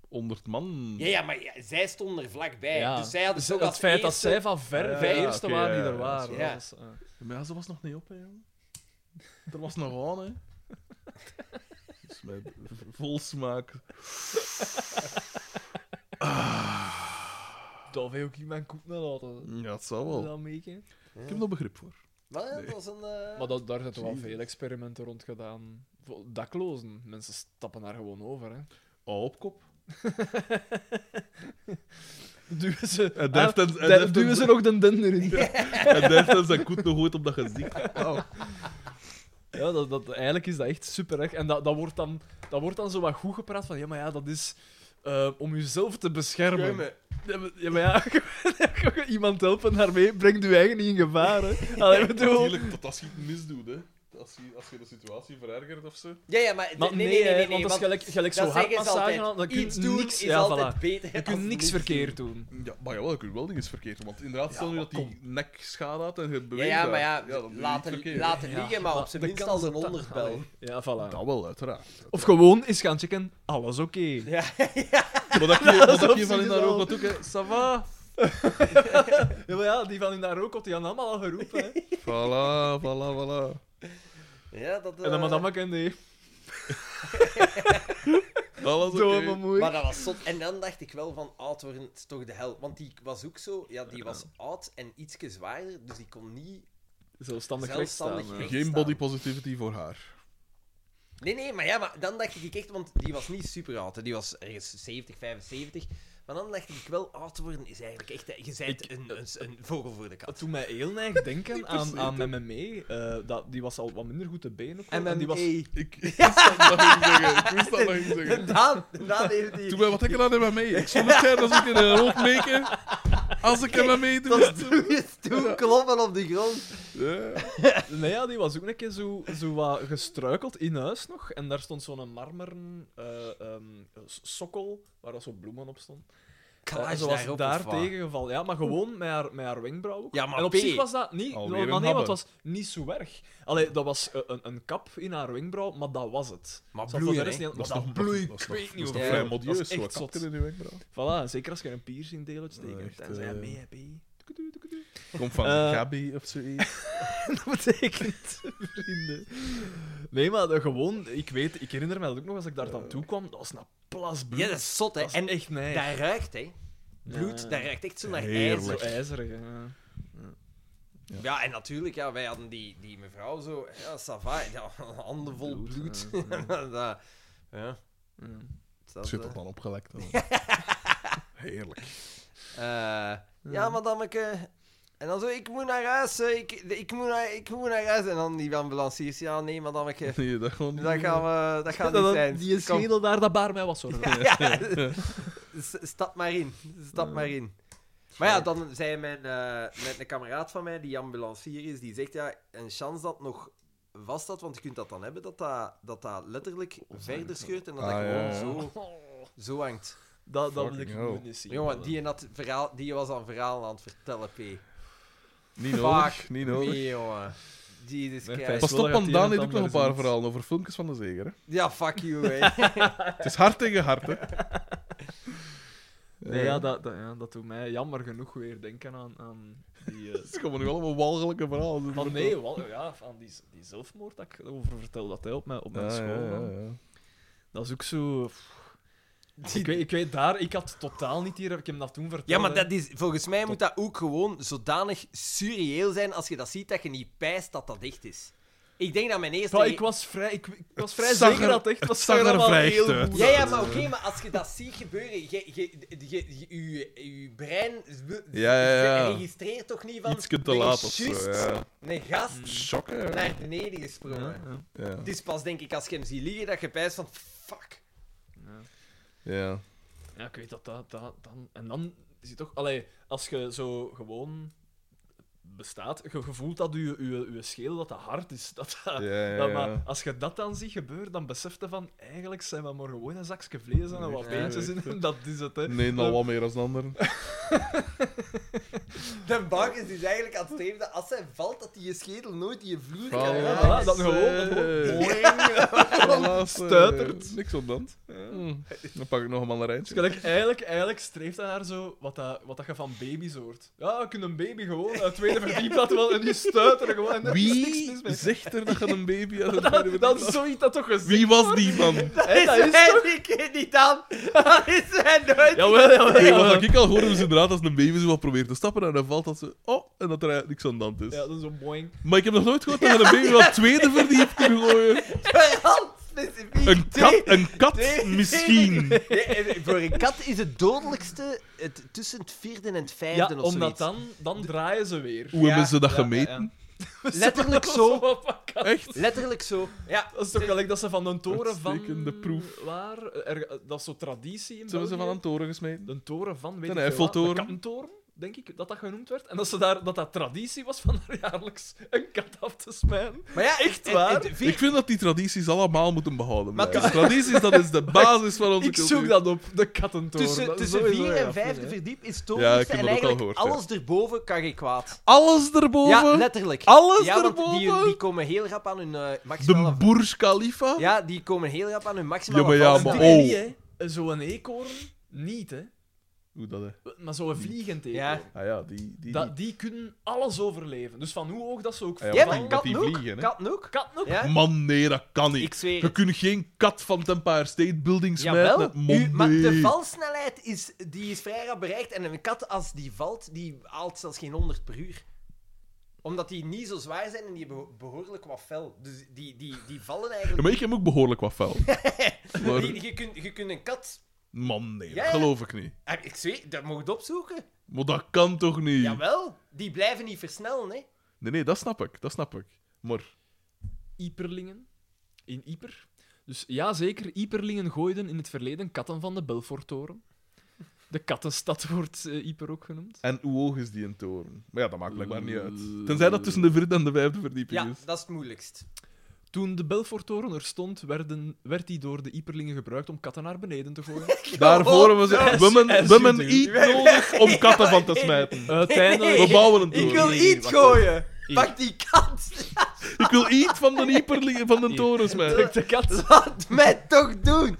Speaker 2: 100 man.
Speaker 4: Ja, ja, maar ja, zij stonden er vlakbij.
Speaker 3: Ja.
Speaker 4: Dus zij hadden
Speaker 3: Dus
Speaker 4: toch
Speaker 3: het
Speaker 4: als
Speaker 3: feit dat
Speaker 4: eerste-
Speaker 3: zij van ver
Speaker 2: Ja,
Speaker 3: de
Speaker 2: ja,
Speaker 3: eerste
Speaker 2: oké,
Speaker 3: waren die
Speaker 2: ja, ja,
Speaker 3: er
Speaker 2: dat is
Speaker 3: waren.
Speaker 4: waar.
Speaker 3: Dat is, eh,
Speaker 2: Maar ja, ze was nog niet op, hè. jongen. Er was nog aan, hè. Dus met v- vol smaak.
Speaker 3: Dat wil ik in mijn koek naar laten.
Speaker 2: Ja, het zou wel.
Speaker 3: Dat meeken.
Speaker 2: Ik heb er begrip voor.
Speaker 4: Maar ja, dat
Speaker 2: Nee.
Speaker 4: was een... eh,
Speaker 3: Maar dat, daar zijn toch wel
Speaker 2: Jezus.
Speaker 3: veel experimenten rond gedaan. Voor Daklozen. Mensen stappen daar gewoon over, hè.
Speaker 2: Oh, op kop.
Speaker 3: Duwen ze...
Speaker 2: En daar heeft
Speaker 3: Ah,
Speaker 2: een- en
Speaker 3: daar
Speaker 2: daar heeft
Speaker 3: duwen
Speaker 2: een-
Speaker 3: ze nog de dender in. Ja,
Speaker 2: En daar heeft hij zijn koet nog ooit op dat gezicht. Wauw.
Speaker 3: dat, dat, eigenlijk is dat echt super, hè. En dat, dat, wordt dan, dat wordt dan zo wat goed gepraat van... Ja, maar ja, dat is... eh, om jezelf te beschermen.
Speaker 4: Schuimen.
Speaker 3: Ja, maar- Ja, maar ja, iemand helpen daarmee brengt uw eigen niet in gevaar. Hè. Allee, bedoel...
Speaker 2: Natuurlijk, dat als je het misdoet, hè. Als je, als je de situatie verergert of zo.
Speaker 4: Ja, ja, maar...
Speaker 3: Maar nee,
Speaker 4: nee, nee, nee,
Speaker 3: want dat is
Speaker 4: want-
Speaker 3: gelijk, gelijk zo
Speaker 4: Dat zeggen ze
Speaker 3: hartmassage,
Speaker 4: altijd.
Speaker 3: dan dan kun je
Speaker 4: Iets doen
Speaker 3: niks,
Speaker 4: is
Speaker 3: ja,
Speaker 4: altijd
Speaker 3: voilà.
Speaker 4: beter.
Speaker 3: Je kunt
Speaker 4: dan
Speaker 3: niks verkeerd doen.
Speaker 2: Ja, maar jawel, je kunt wel dingen verkeerd doen. Want inderdaad, stel nu dat die nek schade had en je
Speaker 4: Ja,
Speaker 2: beweegt
Speaker 4: ja, maar ja,
Speaker 2: daar. dan doe je het
Speaker 4: laten,
Speaker 2: verkeerd.
Speaker 4: laten liggen, maar op
Speaker 3: maar
Speaker 4: zijn
Speaker 3: de
Speaker 4: minst
Speaker 3: kans
Speaker 4: als een
Speaker 3: dat-
Speaker 4: onderbel.
Speaker 3: Ja, voilà.
Speaker 2: Dat wel, uiteraard.
Speaker 3: Of gewoon eens gaan checken, alles oké.
Speaker 2: Maar dat je, wat
Speaker 3: is
Speaker 2: dat
Speaker 3: op
Speaker 2: je van in
Speaker 3: zich
Speaker 2: dat
Speaker 3: wel.
Speaker 2: oog wat ook, hè. Ça va?
Speaker 3: Ja, maar ja, die van in daar ook had die aan allemaal al geroepen. Hè.
Speaker 2: Voilà, voilà, voilà.
Speaker 4: Ja, dat, eh,
Speaker 3: En dan madame kende die.
Speaker 2: Alles oké.
Speaker 3: Domme moei.
Speaker 4: Maar dat was zot. En dan dacht ik wel van, oud worden is toch de hel. Want die was ook zo, ja, die was oud en ietsje zwaarder, dus die kon niet...
Speaker 3: Zelfstandig
Speaker 4: Zelfstandig
Speaker 3: rechtstaan. hè.
Speaker 4: recht.
Speaker 2: Geen body positivity voor haar.
Speaker 4: Nee, nee, maar ja, maar dan dacht ik echt, want die was niet super oud, hè. die was ergens 70, 75. Maar dan dacht ik wel, oud worden is eigenlijk echt, hè, je bent een, een, een vogel voor de kat.
Speaker 3: Dat doet mij heel erg denken aan, aan MMA. eh, dat, die was al wat minder goed te been. Ook, wel, en die was
Speaker 2: Ik, ik wist dat nog niet zeggen. Ik wist dat nog niet zeggen.
Speaker 4: Dan, dan heeft die...
Speaker 2: Doe mij wat ik er aan heb aan mee. Ik zou het zijn als ik in een rood meken. Als ik er aan mee doe.
Speaker 4: Dat doe je stoel kloppen op de grond.
Speaker 2: Ja.
Speaker 3: Nee, ja, die was ook een keer zo, zo wat gestruikeld in huis nog. En daar stond zo'n marmeren eh, ehm, s- sokkel, waar dat zo bloemen op stond.
Speaker 4: Klaas
Speaker 3: en ze
Speaker 4: daarop,
Speaker 3: was
Speaker 4: of
Speaker 3: daar
Speaker 4: wat?
Speaker 3: tegengevallen. Ja, maar gewoon met haar, met haar wenkbrauw. ook.
Speaker 4: Ja, maar
Speaker 3: en op
Speaker 4: P.
Speaker 3: zich was dat niet...
Speaker 2: Alweer
Speaker 3: maar
Speaker 2: een
Speaker 3: nee, want het
Speaker 2: habbe.
Speaker 3: was niet zo erg. Allee, dat was eh, een, een kap in haar wenkbrauw, maar dat was het.
Speaker 4: Maar
Speaker 3: Zo, voor
Speaker 4: bloeien,
Speaker 3: de rest
Speaker 4: hè.
Speaker 3: niet-
Speaker 2: Dat is
Speaker 3: maar
Speaker 2: toch-
Speaker 3: dat bloeit,
Speaker 2: dat is
Speaker 3: ik
Speaker 2: toch-
Speaker 3: weet
Speaker 2: Dat
Speaker 3: niet
Speaker 2: is
Speaker 3: of
Speaker 2: toch
Speaker 4: Ja,
Speaker 2: vrij
Speaker 4: dat
Speaker 3: is
Speaker 2: modieus,
Speaker 3: echt
Speaker 2: wat
Speaker 3: zot.
Speaker 2: kakken in uw wenkbrauw.
Speaker 3: Voilà, zeker als je een piercing deel hebt steken.
Speaker 2: Ja, echt,
Speaker 3: tenzij
Speaker 2: eh.
Speaker 3: mee, heb je. Tukudu, tukudu.
Speaker 2: Kom van
Speaker 3: Eh,
Speaker 2: Gabi of zoiets.
Speaker 3: dat betekent, vrienden. Nee, maar dat gewoon, ik weet, ik herinner me dat ook nog als ik
Speaker 4: Eh.
Speaker 3: daar aan toe kwam, dat was een plas bloed.
Speaker 4: Ja, dat is zot, hè.
Speaker 3: en
Speaker 4: En
Speaker 3: echt nee.
Speaker 4: dat ruikt, hè. Bloed,
Speaker 3: Ja.
Speaker 4: dat ruikt echt zo naar
Speaker 2: Heerlijk.
Speaker 3: Zo
Speaker 4: ijzer.
Speaker 3: ijzerig. hè.
Speaker 4: Ja, en natuurlijk, ja, wij hadden die, die mevrouw zo... Ja, sava, ja, handen vol bloed. dat, eh, ja,
Speaker 3: Ja.
Speaker 4: dat,
Speaker 2: Zit
Speaker 4: eh,
Speaker 2: dat dan opgelekt? dan. Heerlijk.
Speaker 4: eh, ja, madameke. eh, En dan zo, ik moet naar huis, hè, ik, ik, moet naar, ik moet naar huis. En dan die ambulanciers, ja, nee, madameke.
Speaker 2: Nee, dat gewoon niet.
Speaker 4: eh, Dat gaan we... Dat gaat
Speaker 3: Dat-
Speaker 4: niet
Speaker 3: dat-
Speaker 4: zijn.
Speaker 3: die
Speaker 4: Kom.
Speaker 3: schedel daar, dat baar mij was hoor.
Speaker 4: Ja, s- stap maar in. Stap maar in. Maar ja, dan zei mijn, eh, met een kameraad van mij, die ambulancier is, die zegt, ja, een chance dat het nog vast had, want je kunt dat dan hebben, dat dat, dat, dat letterlijk verder scheurt en dat dat
Speaker 2: Ah,
Speaker 4: gewoon
Speaker 2: ja, ja.
Speaker 4: zo, zo hangt.
Speaker 3: Dat, dat wil ik
Speaker 2: Fucking
Speaker 3: gewoon
Speaker 2: hell.
Speaker 3: niet zien.
Speaker 4: Oh. Jongen, die, had verhaal, die was aan verhaal aan het vertellen, P.
Speaker 2: Niet
Speaker 4: Fuck
Speaker 2: nodig, niet nodig.
Speaker 4: Nee, jongen. Jesus
Speaker 3: Nee,
Speaker 4: Christ.
Speaker 2: Pas
Speaker 3: Is wel
Speaker 2: op,
Speaker 3: dat
Speaker 2: want
Speaker 3: je iemand
Speaker 2: Daan heeft ook nog een
Speaker 3: anders
Speaker 2: paar
Speaker 3: doet.
Speaker 2: verhalen over filmpjes van de zeger. Hè?
Speaker 4: Ja, fuck you, hè.
Speaker 2: Het is hard tegen hard, hè.
Speaker 3: Nee, ja, dat, dat, ja, dat doet mij jammer genoeg weer denken aan, aan die... eh,
Speaker 2: Het is gewoon allemaal walgelijke verhalen.
Speaker 3: Maar nee, wel, ja, van die, die zelfmoord dat ik over vertel dat hij op mijn, op mijn
Speaker 2: Ja,
Speaker 3: school.
Speaker 2: ja,
Speaker 3: dan.
Speaker 2: ja, ja.
Speaker 3: Dat is ook zo. pff. Ik weet, ik weet daar, ik had totaal niet hier, ik heb hem dat toen verteld.
Speaker 4: Ja, maar
Speaker 3: hè.
Speaker 4: dat is, volgens mij moet dat ook gewoon zodanig surreëel zijn als je dat ziet dat je niet pijst dat dat dicht is. Ik denk dat mijn eerste.
Speaker 3: Ja, ik was vrij, ik, ik was vrij
Speaker 2: Het zag
Speaker 3: zeker
Speaker 2: er-
Speaker 3: dat het echt was.
Speaker 2: zag er
Speaker 3: allemaal
Speaker 2: vrij
Speaker 3: heel
Speaker 2: echt uit.
Speaker 3: goed
Speaker 4: Ja, ja, maar oké, maar als je dat ziet gebeuren, je, je, je, je- je- je brein wil-
Speaker 2: Ja, ja, ja.
Speaker 4: registreert toch niet van...
Speaker 2: Ietske te
Speaker 4: er is
Speaker 2: laat of
Speaker 4: juist
Speaker 2: zo, ja.
Speaker 4: een gast
Speaker 2: Schokken.
Speaker 4: naar beneden gesprongen.
Speaker 2: Ja.
Speaker 4: Het is pas, denk ik, als je hem ziet liggen, dat je pijst van... Fuck.
Speaker 2: ja.
Speaker 3: Ja, ik weet dat, dat, dat dan. En dan is het toch, allee, als je zo gewoon bestaat, je je voelt dat je, je, je schedel dat dat hard is. Dat, dat,
Speaker 2: Ja, ja,
Speaker 3: dat-
Speaker 2: ja.
Speaker 3: maar als je dat dan ziet gebeuren, dan beseft je van eigenlijk zijn we maar gewoon een zakje vlees en wat
Speaker 2: Ja,
Speaker 3: beentjes
Speaker 2: echt,
Speaker 3: in. Dat is het, hè.
Speaker 2: Nee,
Speaker 3: Dat-
Speaker 2: dan wat meer als de ander.
Speaker 4: De bank is dus eigenlijk aan het streven dat als hij valt, dat hij je schedel nooit in je vloer kan
Speaker 3: ja,
Speaker 4: raken.
Speaker 3: voilà, dat gewoon- dat
Speaker 2: Eh, gewoon.
Speaker 3: Stuitert.
Speaker 2: Niks op dan. eh, Hmm. Dan pak ik nog een mandarijntje.
Speaker 3: Dus gelijk, eigenlijk, eigenlijk streeft hij naar zo wat, dat, wat dat je van baby's hoort. Ja, je kunt een baby gewoon uit het tweede verdiep laten wel en die stuit er gewoon. En er is niks mis
Speaker 2: Wie
Speaker 3: mee.
Speaker 2: zegt er dat je een baby aan het
Speaker 3: Dat,
Speaker 2: midden
Speaker 3: dat is zoiets dat toch gezegd
Speaker 2: Wie was die man? Ik
Speaker 3: Hé, dat is
Speaker 4: Hij
Speaker 3: toch...
Speaker 4: die niet aan. Dat is hij nooit.
Speaker 3: Jawel, jawel,
Speaker 2: was
Speaker 3: jawel.
Speaker 2: dat ik al hoorde, dus inderdaad, als een baby zo wat probeert te stappen en dan valt dat ze... Oh, en dat er eigenlijk niks aan de hand is.
Speaker 3: Ja, dat is zo'n boing.
Speaker 2: Maar ik heb nog nooit gehoord dat je een baby wat tweede verdiep kunt gooien.
Speaker 4: Heel specifiek.
Speaker 2: Een kat, een kat misschien.
Speaker 4: Nee, en voor een kat is het dodelijkste het, tussen het vierde en het
Speaker 3: Ja,
Speaker 4: vijfde of
Speaker 3: omdat
Speaker 4: zoiets.
Speaker 3: dan, dan draaien ze weer.
Speaker 2: Hoe hebben ze dat
Speaker 3: Ja,
Speaker 2: gemeten?
Speaker 3: ja,
Speaker 4: Letterlijk
Speaker 3: ja.
Speaker 4: zo.
Speaker 3: Zo pakken.
Speaker 2: Echt?
Speaker 4: Letterlijk zo. Ja.
Speaker 3: Dat is toch gelijk dat ze van een toren van...
Speaker 2: Uitstekende proef.
Speaker 3: Waar? Er, dat is zo'n traditie in
Speaker 2: Ze hebben ze van
Speaker 3: België.
Speaker 2: een toren gesmeten.
Speaker 3: De toren van, weet
Speaker 2: De
Speaker 3: ik veel wat,
Speaker 2: Eiffeltoren.
Speaker 3: De kattentoren, denk ik, dat dat genoemd werd. En dat, ze daar, dat dat traditie was van daar jaarlijks een kat af te smijten.
Speaker 4: Maar ja,
Speaker 3: Echt
Speaker 4: en-
Speaker 3: waar?
Speaker 4: en de vier-
Speaker 2: Ik vind dat die tradities allemaal moeten behouden. blijven. Tradities, dat is de basis van onze
Speaker 3: Ik
Speaker 2: cultuur.
Speaker 3: zoek dat op, de kattentoren.
Speaker 4: Tussen,
Speaker 3: Dat is
Speaker 4: tussen
Speaker 3: sowieso
Speaker 4: vier
Speaker 3: erg,
Speaker 4: en vijfde
Speaker 3: hè.
Speaker 4: verdiep is het
Speaker 2: Ja,
Speaker 4: dodelijkste
Speaker 2: ik heb
Speaker 4: en
Speaker 2: dat ook al
Speaker 4: eigenlijk
Speaker 2: gehoord, ja.
Speaker 4: alles erboven kan je kwaad.
Speaker 2: Alles erboven.
Speaker 4: Ja, letterlijk.
Speaker 2: Alles
Speaker 4: ja, want
Speaker 2: erboven.
Speaker 4: die, die komen heel rap aan hun eh, maximale...
Speaker 2: de Burj Khalifa.
Speaker 4: Ja, die komen heel rap aan hun maximale...
Speaker 2: Ja, maar ja,
Speaker 4: vals-
Speaker 2: maar
Speaker 3: Die
Speaker 2: oh.
Speaker 3: niet, hè. Zo'n eekhoorn, niet, hè.
Speaker 2: Hoe dat, hè?
Speaker 3: Maar zo'n vliegend eekhoorn.
Speaker 4: Ja.
Speaker 2: Ah ja, die... die,
Speaker 3: Dat, die kunnen alles overleven. Dus van hoe hoog dat ze ook
Speaker 2: Ah ja,
Speaker 4: Jij
Speaker 2: want
Speaker 4: bent
Speaker 2: die-
Speaker 4: een
Speaker 2: want
Speaker 4: kat
Speaker 2: die
Speaker 4: ook.
Speaker 2: vliegen, hè?
Speaker 4: Kat ook.
Speaker 3: Kat nog?
Speaker 4: Ja?
Speaker 2: Man, nee, dat kan niet.
Speaker 4: Ik zweer
Speaker 2: Je
Speaker 4: het.
Speaker 2: kunt geen kat van het Empire State Building
Speaker 4: Jawel.
Speaker 2: smijten.
Speaker 4: U,
Speaker 2: Man,
Speaker 4: maar de
Speaker 2: nee.
Speaker 4: valsnelheid is, die is vrij rap bereikt. En een kat, als die valt, die haalt zelfs geen 100 per uur. Omdat die niet zo zwaar zijn en die hebben behoorlijk wat fel. Dus die, die, die vallen
Speaker 2: Ja,
Speaker 4: eigenlijk...
Speaker 2: maar ik heb ook behoorlijk wat vuil. Maar-
Speaker 4: Die- je, kunt, je kunt een kat...
Speaker 2: Man, nee,
Speaker 4: Ja,
Speaker 2: dat
Speaker 4: ja.
Speaker 2: geloof ik niet.
Speaker 4: Ah, Ik zweer, dat mocht opzoeken.
Speaker 2: Maar dat kan toch niet?
Speaker 4: Jawel. Die blijven niet versnellen, hè.
Speaker 2: Nee, nee, dat snap ik. Dat snap ik. Maar
Speaker 3: Ieperlingen. In Ieper. Dus ja, zeker, Ieperlingen gooiden in het verleden katten van de Belforttoren. De kattenstad wordt eh, Ieper ook genoemd.
Speaker 2: En hoe hoog is die een toren? Maar ja, dat maakt blijkbaar niet uit. Tenzij dat tussen de vierde en de vijfde verdieping
Speaker 4: Ja,
Speaker 2: is.
Speaker 4: dat is het moeilijkst.
Speaker 3: Toen de Belforttoren er stond, werden, werd die door de Ieperlingen gebruikt om katten naar beneden te gooien.
Speaker 2: Daarvoor hebben ze
Speaker 3: yes,
Speaker 2: women,
Speaker 3: yes,
Speaker 2: women
Speaker 3: you do.
Speaker 2: eat nodig om katten van te smijten.
Speaker 3: Uiteindelijk...
Speaker 2: We bouwen een toren.
Speaker 4: Ik wil iets gooien. Pak die kat.
Speaker 2: Ik wil iets van de hyperlingen van de toren smijten.
Speaker 3: De kat.
Speaker 4: Laat mij toch doen.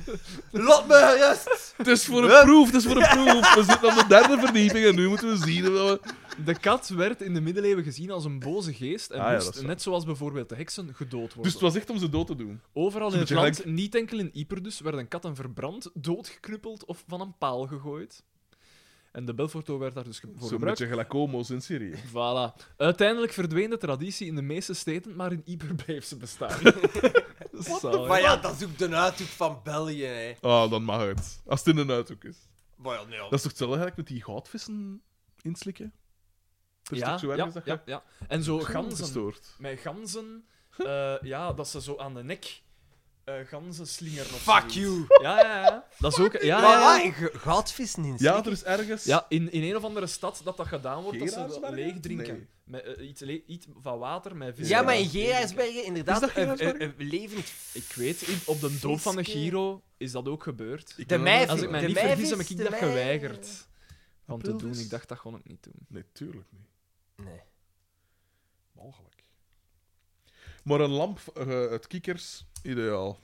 Speaker 4: Laat me rust.
Speaker 2: Het is voor een proef, het is voor een proef. We zitten aan de derde verdieping en nu moeten we zien of we...
Speaker 3: De kat werd in de middeleeuwen gezien als een boze geest en
Speaker 2: Ah, ja,
Speaker 3: moest,
Speaker 2: dat is waar.
Speaker 3: net zoals bijvoorbeeld de heksen, gedood worden.
Speaker 2: Dus het was echt om ze dood te doen.
Speaker 3: Overal in
Speaker 2: Zo'n
Speaker 3: het
Speaker 2: beetje
Speaker 3: land, niet enkel in Ypres dus, werden katten verbrand, doodgeknuppeld of van een paal gegooid. En de Belforto werd daar dus ge- voor
Speaker 2: Zo'n
Speaker 3: gebruikt.
Speaker 2: beetje gelijk homo's in Syrië.
Speaker 3: Voilà. Uiteindelijk verdween de traditie in de meeste steden, maar in Ypres bleef ze bestaan. Zalig.
Speaker 4: Maar ja, dat is ook de uithoek van België, hè.
Speaker 2: Ah, dan mag het. Als het in een uithoek is.
Speaker 4: Maar ja, nee, ja.
Speaker 2: Dat is toch hetzelfde eigenlijk met die goudvissen inslikken? Dat is
Speaker 3: ja,
Speaker 2: toch zo erg
Speaker 3: ja,
Speaker 2: als dat
Speaker 3: ja, ja. En zo ganzen.
Speaker 2: gestoord.
Speaker 3: Met ganzen, eh, ja, dat ze zo aan de nek eh ganzen slingeren of
Speaker 4: Fuck
Speaker 3: zoiets.
Speaker 4: you.
Speaker 3: Ja, ja, ja. Dat is ook... Ja,
Speaker 4: Ah,
Speaker 3: ja, ja.
Speaker 4: Voilà, je gaat vissen in
Speaker 2: Ja, er is ergens...
Speaker 3: Ja, in, in een of andere stad dat dat gedaan wordt, dat ze
Speaker 2: Gerardsbergen?
Speaker 3: leeg drinken.
Speaker 2: Nee.
Speaker 3: Met, eh, iets, le- iets van water met vis.
Speaker 4: Ja, maar in
Speaker 3: leeg drinken.
Speaker 4: Gerardsbergen, inderdaad,
Speaker 10: eh,
Speaker 2: Is dat
Speaker 4: een- een-
Speaker 2: Gerardsbergen?
Speaker 4: een levend...
Speaker 3: Ik weet, in- op de doop van de Giro is dat ook gebeurd.
Speaker 2: Ik
Speaker 4: De
Speaker 2: ben-
Speaker 4: mijver.
Speaker 3: Als ik mij
Speaker 4: de
Speaker 3: niet vergis,
Speaker 4: mijvis,
Speaker 3: heb ik
Speaker 4: de
Speaker 3: dat
Speaker 4: mij-
Speaker 3: geweigerd om te doen.
Speaker 2: Aprilvis.
Speaker 3: Ik dacht, dat kon ik niet doen.
Speaker 2: Nee, tuurlijk niet.
Speaker 4: Nee.
Speaker 2: Mogelijk. Maar een lamp eh, Ah. uit kikkers, ideaal.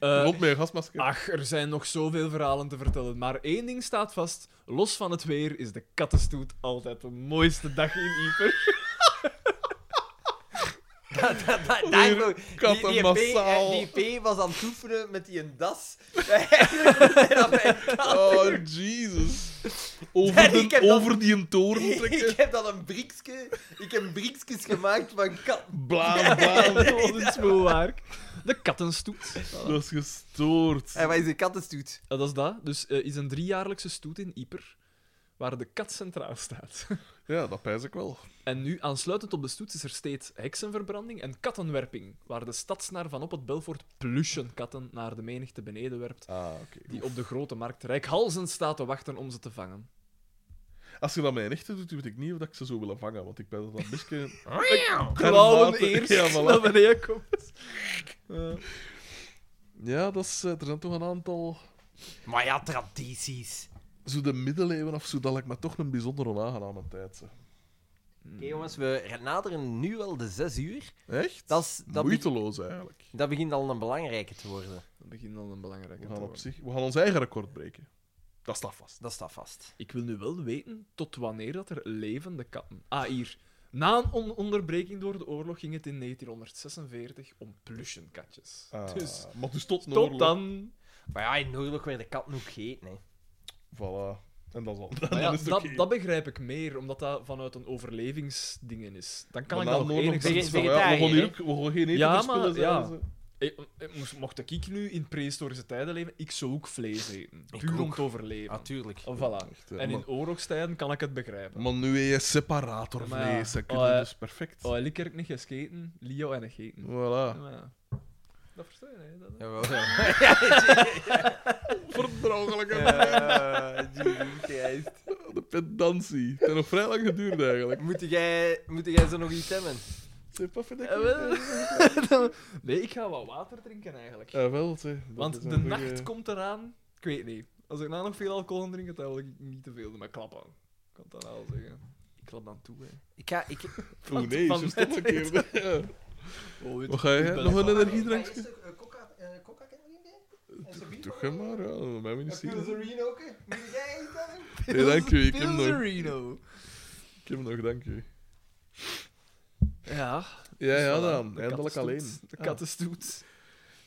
Speaker 3: Eh,
Speaker 2: Rond met een gasmasker.
Speaker 3: Ach, er zijn nog zoveel verhalen te vertellen. Maar één ding staat vast. Los van het weer is de kattenstoet altijd de mooiste dag in Ieper.
Speaker 2: Weer katten
Speaker 10: die,
Speaker 4: eh,
Speaker 2: massaal.
Speaker 10: P, die P was aan het oefenen met die een das. En dan mijn kat.
Speaker 2: Oh, Jesus. Over,
Speaker 10: Ja,
Speaker 2: de-
Speaker 10: ik heb dat-
Speaker 2: over die een toren
Speaker 10: ik
Speaker 2: trekken.
Speaker 10: heb dan een briekske. Ik heb briekskes gemaakt van kat.
Speaker 2: Bla, bla.
Speaker 3: Wat een smoelwerk. De kattenstoet.
Speaker 2: Dat is gestoord.
Speaker 10: En wat is een kattenstoet?
Speaker 3: Ja, dat is dat. Dus eh, is een driejaarlijkse stoet in Ieper. Waar de kat centraal staat.
Speaker 2: Ja, dat pijs ik wel.
Speaker 3: En nu, aansluitend op de stoet, is er steeds heksenverbranding en kattenwerping. Waar de stadsnaar van op het Belfort pluchen katten naar de menigte beneden werpt.
Speaker 2: Ah, oké.
Speaker 3: Die op de grote markt rijkhalzend staat te wachten om ze te vangen.
Speaker 2: Als je dat mij in echte doet, weet ik niet of ik ze zo wil vangen, want ik ben dat een beetje...
Speaker 3: klauwen
Speaker 2: Dermate-
Speaker 3: eerst
Speaker 2: Ja,
Speaker 3: naar
Speaker 2: voilà.
Speaker 3: beneden komt.
Speaker 2: ja dat is, eh, er zijn toch een aantal...
Speaker 4: Maar ja, tradities.
Speaker 2: Zo de middeleeuwen of zo, dat lijkt me toch een bijzonder onaangename tijd. zeg.
Speaker 3: Hmm.
Speaker 10: Oké jongens, we naderen nu al de zes uur.
Speaker 2: Echt?
Speaker 10: Dat, is, dat, be-
Speaker 2: Moeiteloos, eigenlijk.
Speaker 10: dat begint al een belangrijke te worden.
Speaker 3: Dat begint al een belangrijke
Speaker 2: We
Speaker 3: te
Speaker 2: gaan, op
Speaker 3: worden.
Speaker 2: zich, we gaan ons eigen record breken. Dat staat vast.
Speaker 10: Dat staat vast.
Speaker 3: Ik wil nu wel weten tot wanneer dat er levende katten... Ah, hier. Na een on- onderbreking door de oorlog ging het in 1946 om pluchenkatjes.
Speaker 2: Ah,
Speaker 3: Dus
Speaker 2: maar dus tot een
Speaker 3: tot
Speaker 2: oorlog.
Speaker 3: dan.
Speaker 10: Maar ja, in de oorlog werden katten ook gegeten. Hè.
Speaker 2: Voilà. En dat is al.
Speaker 3: Maar
Speaker 2: Dan
Speaker 3: ja,
Speaker 2: Ah, is het
Speaker 3: dat,
Speaker 2: oké.
Speaker 3: dat begrijp ik meer, omdat dat vanuit een overlevingsdingen is. Dan kan
Speaker 2: Maar
Speaker 3: ik
Speaker 2: na
Speaker 3: dat
Speaker 2: de
Speaker 3: nog
Speaker 2: oorlog
Speaker 3: enigszins...
Speaker 2: zeggen ze van,
Speaker 10: vegetariër,
Speaker 2: ja, we gaan hier
Speaker 10: hè?
Speaker 2: ook- we gaan geen eten
Speaker 3: Ja,
Speaker 2: verspillen,
Speaker 3: maar-
Speaker 2: zeggen
Speaker 3: ja.
Speaker 2: ze.
Speaker 3: Ik- ik Eh, moest- Mocht ik nu in prehistorische tijden leven, ik zou ook vlees eten. Puur om
Speaker 10: ook.
Speaker 3: te overleven.
Speaker 10: Natuurlijk.
Speaker 3: Oh, voilà.
Speaker 2: Ah, Echt, hè,
Speaker 3: En
Speaker 2: maar-
Speaker 3: in oorlogstijden kan ik het begrijpen.
Speaker 2: Maar nu eet je separator
Speaker 3: Maar ja.
Speaker 2: vlees, dat kun
Speaker 3: Oh,
Speaker 2: je
Speaker 3: ja.
Speaker 2: dus perfect.
Speaker 3: Oh, ik heb niet gesketen, Leo en ik eten.
Speaker 2: Voilà.
Speaker 3: Maar ja. Dat versta je, hè? Dat...
Speaker 10: Jawel, ja.
Speaker 2: Verdrogelijke
Speaker 10: Eh, Jesus Christ.
Speaker 2: de pedantie. Het heeft nog vrij lang geduurd eigenlijk.
Speaker 10: Moet jij, moet jij zo nog iets hebben?
Speaker 2: Zeg, papa, dat
Speaker 3: Eh, wel. nee, ik ga wat water drinken eigenlijk.
Speaker 2: Ja, wel, zeg. Eh, dat is
Speaker 3: Want de
Speaker 2: een goeie-
Speaker 3: nacht komt eraan. Ik weet niet. Als ik na nog veel alcohol drink, dan wil ik niet te veel doen. Maar klap aan. Ik kan het dan wel zeggen. Ik klap dan toe, hè.
Speaker 10: Ik ga... Ik...
Speaker 2: Oeh, nee,
Speaker 3: van
Speaker 2: zo stond
Speaker 3: net
Speaker 2: een keer. Ja.
Speaker 3: Oh, weet
Speaker 2: Wat ga je? Nog een energiedrankje?
Speaker 10: eh, Coca, coca kan niet meer?
Speaker 2: Toch, hè, maar. Ja, dat mij niet zien.
Speaker 10: Pilserine ook, hè? Moet jij iets hebben?
Speaker 2: Nee, dank u. Ik heb hem nog.
Speaker 3: Pilserino.
Speaker 2: Ik heb hem nog, dank u.
Speaker 3: Ja.
Speaker 2: Ja,
Speaker 3: dus
Speaker 2: ja,
Speaker 3: voilà,
Speaker 2: dan.
Speaker 3: de
Speaker 2: Eindelijk
Speaker 3: kattenstoet.
Speaker 2: alleen.
Speaker 3: De
Speaker 2: Ah.
Speaker 3: kattenstoet.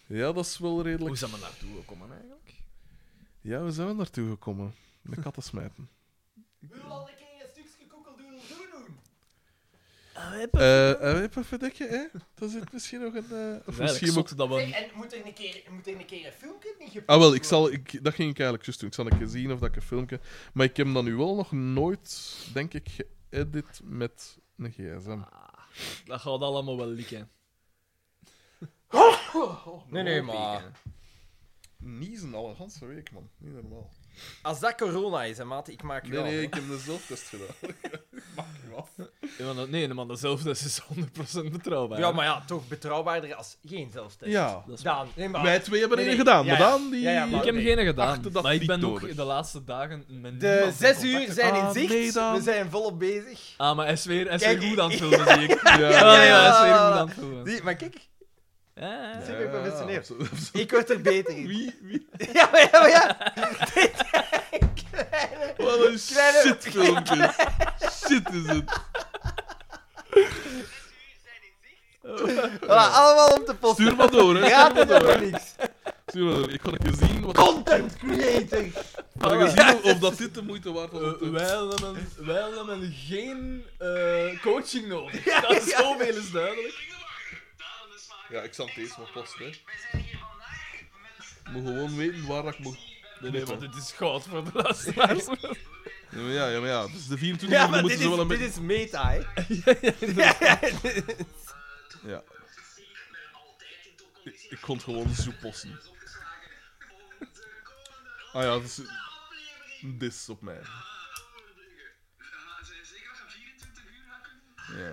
Speaker 2: Ja, dat is wel redelijk.
Speaker 3: Hoe is dat maar naartoe gekomen, eigenlijk?
Speaker 2: Ja, we zijn naartoe gekomen. Met katten smijten.
Speaker 10: Wil al een keer een stukje koekel doen, doen, doen?
Speaker 3: Ah,
Speaker 2: Eh, eh, even verdekje, hè? Dat zit misschien nog een. eh, of misschien ook.
Speaker 3: dat
Speaker 10: Zeg, en moet er een keer, moet er een, keer een filmpje niet gepost
Speaker 2: Ah, wel, ik
Speaker 10: worden?
Speaker 2: zal, ik, dat ging ik eigenlijk juist doen. Ik zal een keer zien of dat ik een filmpje. Maar ik heb hem dan nu wel nog nooit, denk ik, geëdit met een gsm.
Speaker 10: Ah,
Speaker 3: Dat gaat allemaal wel likken.
Speaker 10: Nee, nee, maar...
Speaker 2: Niezen al een ganse week, man. Niet normaal.
Speaker 10: Als dat corona is, hè, maat, ik maak je
Speaker 2: Nee,
Speaker 10: af, hè.
Speaker 2: nee, ik heb een zelftest gedaan. Mag je af.
Speaker 3: Ja, maar dat- nee, man, dezelfde is 100% betrouwbaar.
Speaker 10: Ja, maar ja, toch betrouwbaarder als geen zelftest.
Speaker 2: Ja.
Speaker 3: Dat is
Speaker 10: Daan, nee, maar...
Speaker 2: Wij twee hebben
Speaker 10: Nee,
Speaker 2: één
Speaker 10: nee.
Speaker 2: gedaan,
Speaker 10: Ja,
Speaker 2: maar
Speaker 10: ja.
Speaker 2: dan die...
Speaker 10: Ja, ja, maar-
Speaker 3: Ik heb
Speaker 10: Nee,
Speaker 3: geen gedaan,
Speaker 2: achter dat
Speaker 3: maar ik
Speaker 2: niet
Speaker 3: ben ook
Speaker 2: nodig.
Speaker 3: de laatste dagen met
Speaker 10: De
Speaker 2: eh,
Speaker 3: niemand in
Speaker 10: zes
Speaker 3: contact
Speaker 10: uur zijn in
Speaker 2: Ah,
Speaker 10: zicht.
Speaker 2: nee dan.
Speaker 10: We zijn volop bezig.
Speaker 3: Ah, maar hij is weer, hij is weer
Speaker 10: Kijk,
Speaker 3: goed aan het filmen, zie ik.
Speaker 2: Ja,
Speaker 3: Ja, ja, hij is weer
Speaker 10: ja,
Speaker 3: goed
Speaker 10: ja.
Speaker 3: aan het filmen.
Speaker 10: Die, maar kijk,
Speaker 3: Ja, ja.
Speaker 10: Super professioneel.
Speaker 2: absoluut, absoluut.
Speaker 10: ik word er beter in.
Speaker 2: Wie? Wie?
Speaker 10: Ja, maar ja, maar ja.
Speaker 2: Wat een
Speaker 10: Kleine-
Speaker 2: shitfilmpje. Shit is het.
Speaker 10: Voilà, allemaal om te posten.
Speaker 2: Stuur maar door, hè.
Speaker 10: Raad het over niks.
Speaker 2: Stuur maar door. Ik ga even zien, wat,
Speaker 10: Content creator.
Speaker 2: ik ga even zien of, of dat dit de moeite waard was. om
Speaker 3: Eh,
Speaker 2: te-
Speaker 3: wij, hebben, wij hebben geen eh, coaching nodig. dat is zoveel is duidelijk.
Speaker 2: Ja, ik zal het eens maar posten, hè. Ik moet gewoon weten waar ik moet...
Speaker 3: Nee, nee, want dit is goud voor de luisteraars.
Speaker 2: Ja, maar ja, ja, maar ja. Dus de 24
Speaker 10: Ja,
Speaker 2: ja,
Speaker 10: maar
Speaker 2: moeten
Speaker 10: dit
Speaker 2: ze wel
Speaker 10: is,
Speaker 2: een
Speaker 10: dit
Speaker 2: beetje...
Speaker 10: is meta, hè.
Speaker 2: Ja. Ik, ik kon het gewoon zo posten. Ah ja, dat is... Dis op mij. Ja.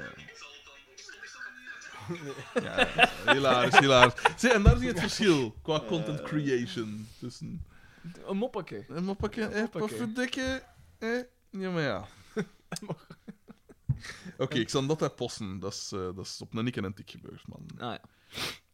Speaker 2: Ja, ja, hilarisch, hilarisch. Zie, en daar zie je het verschil qua content creation. Tussen
Speaker 3: Een moppakje.
Speaker 2: een moppakje, eh, pofferdikke, eh, ja maar ja. Oké, ik zal dat daar posten. Dat is, eh, dat is op een nikken en tik gebeurd, man.
Speaker 3: Ah, ja.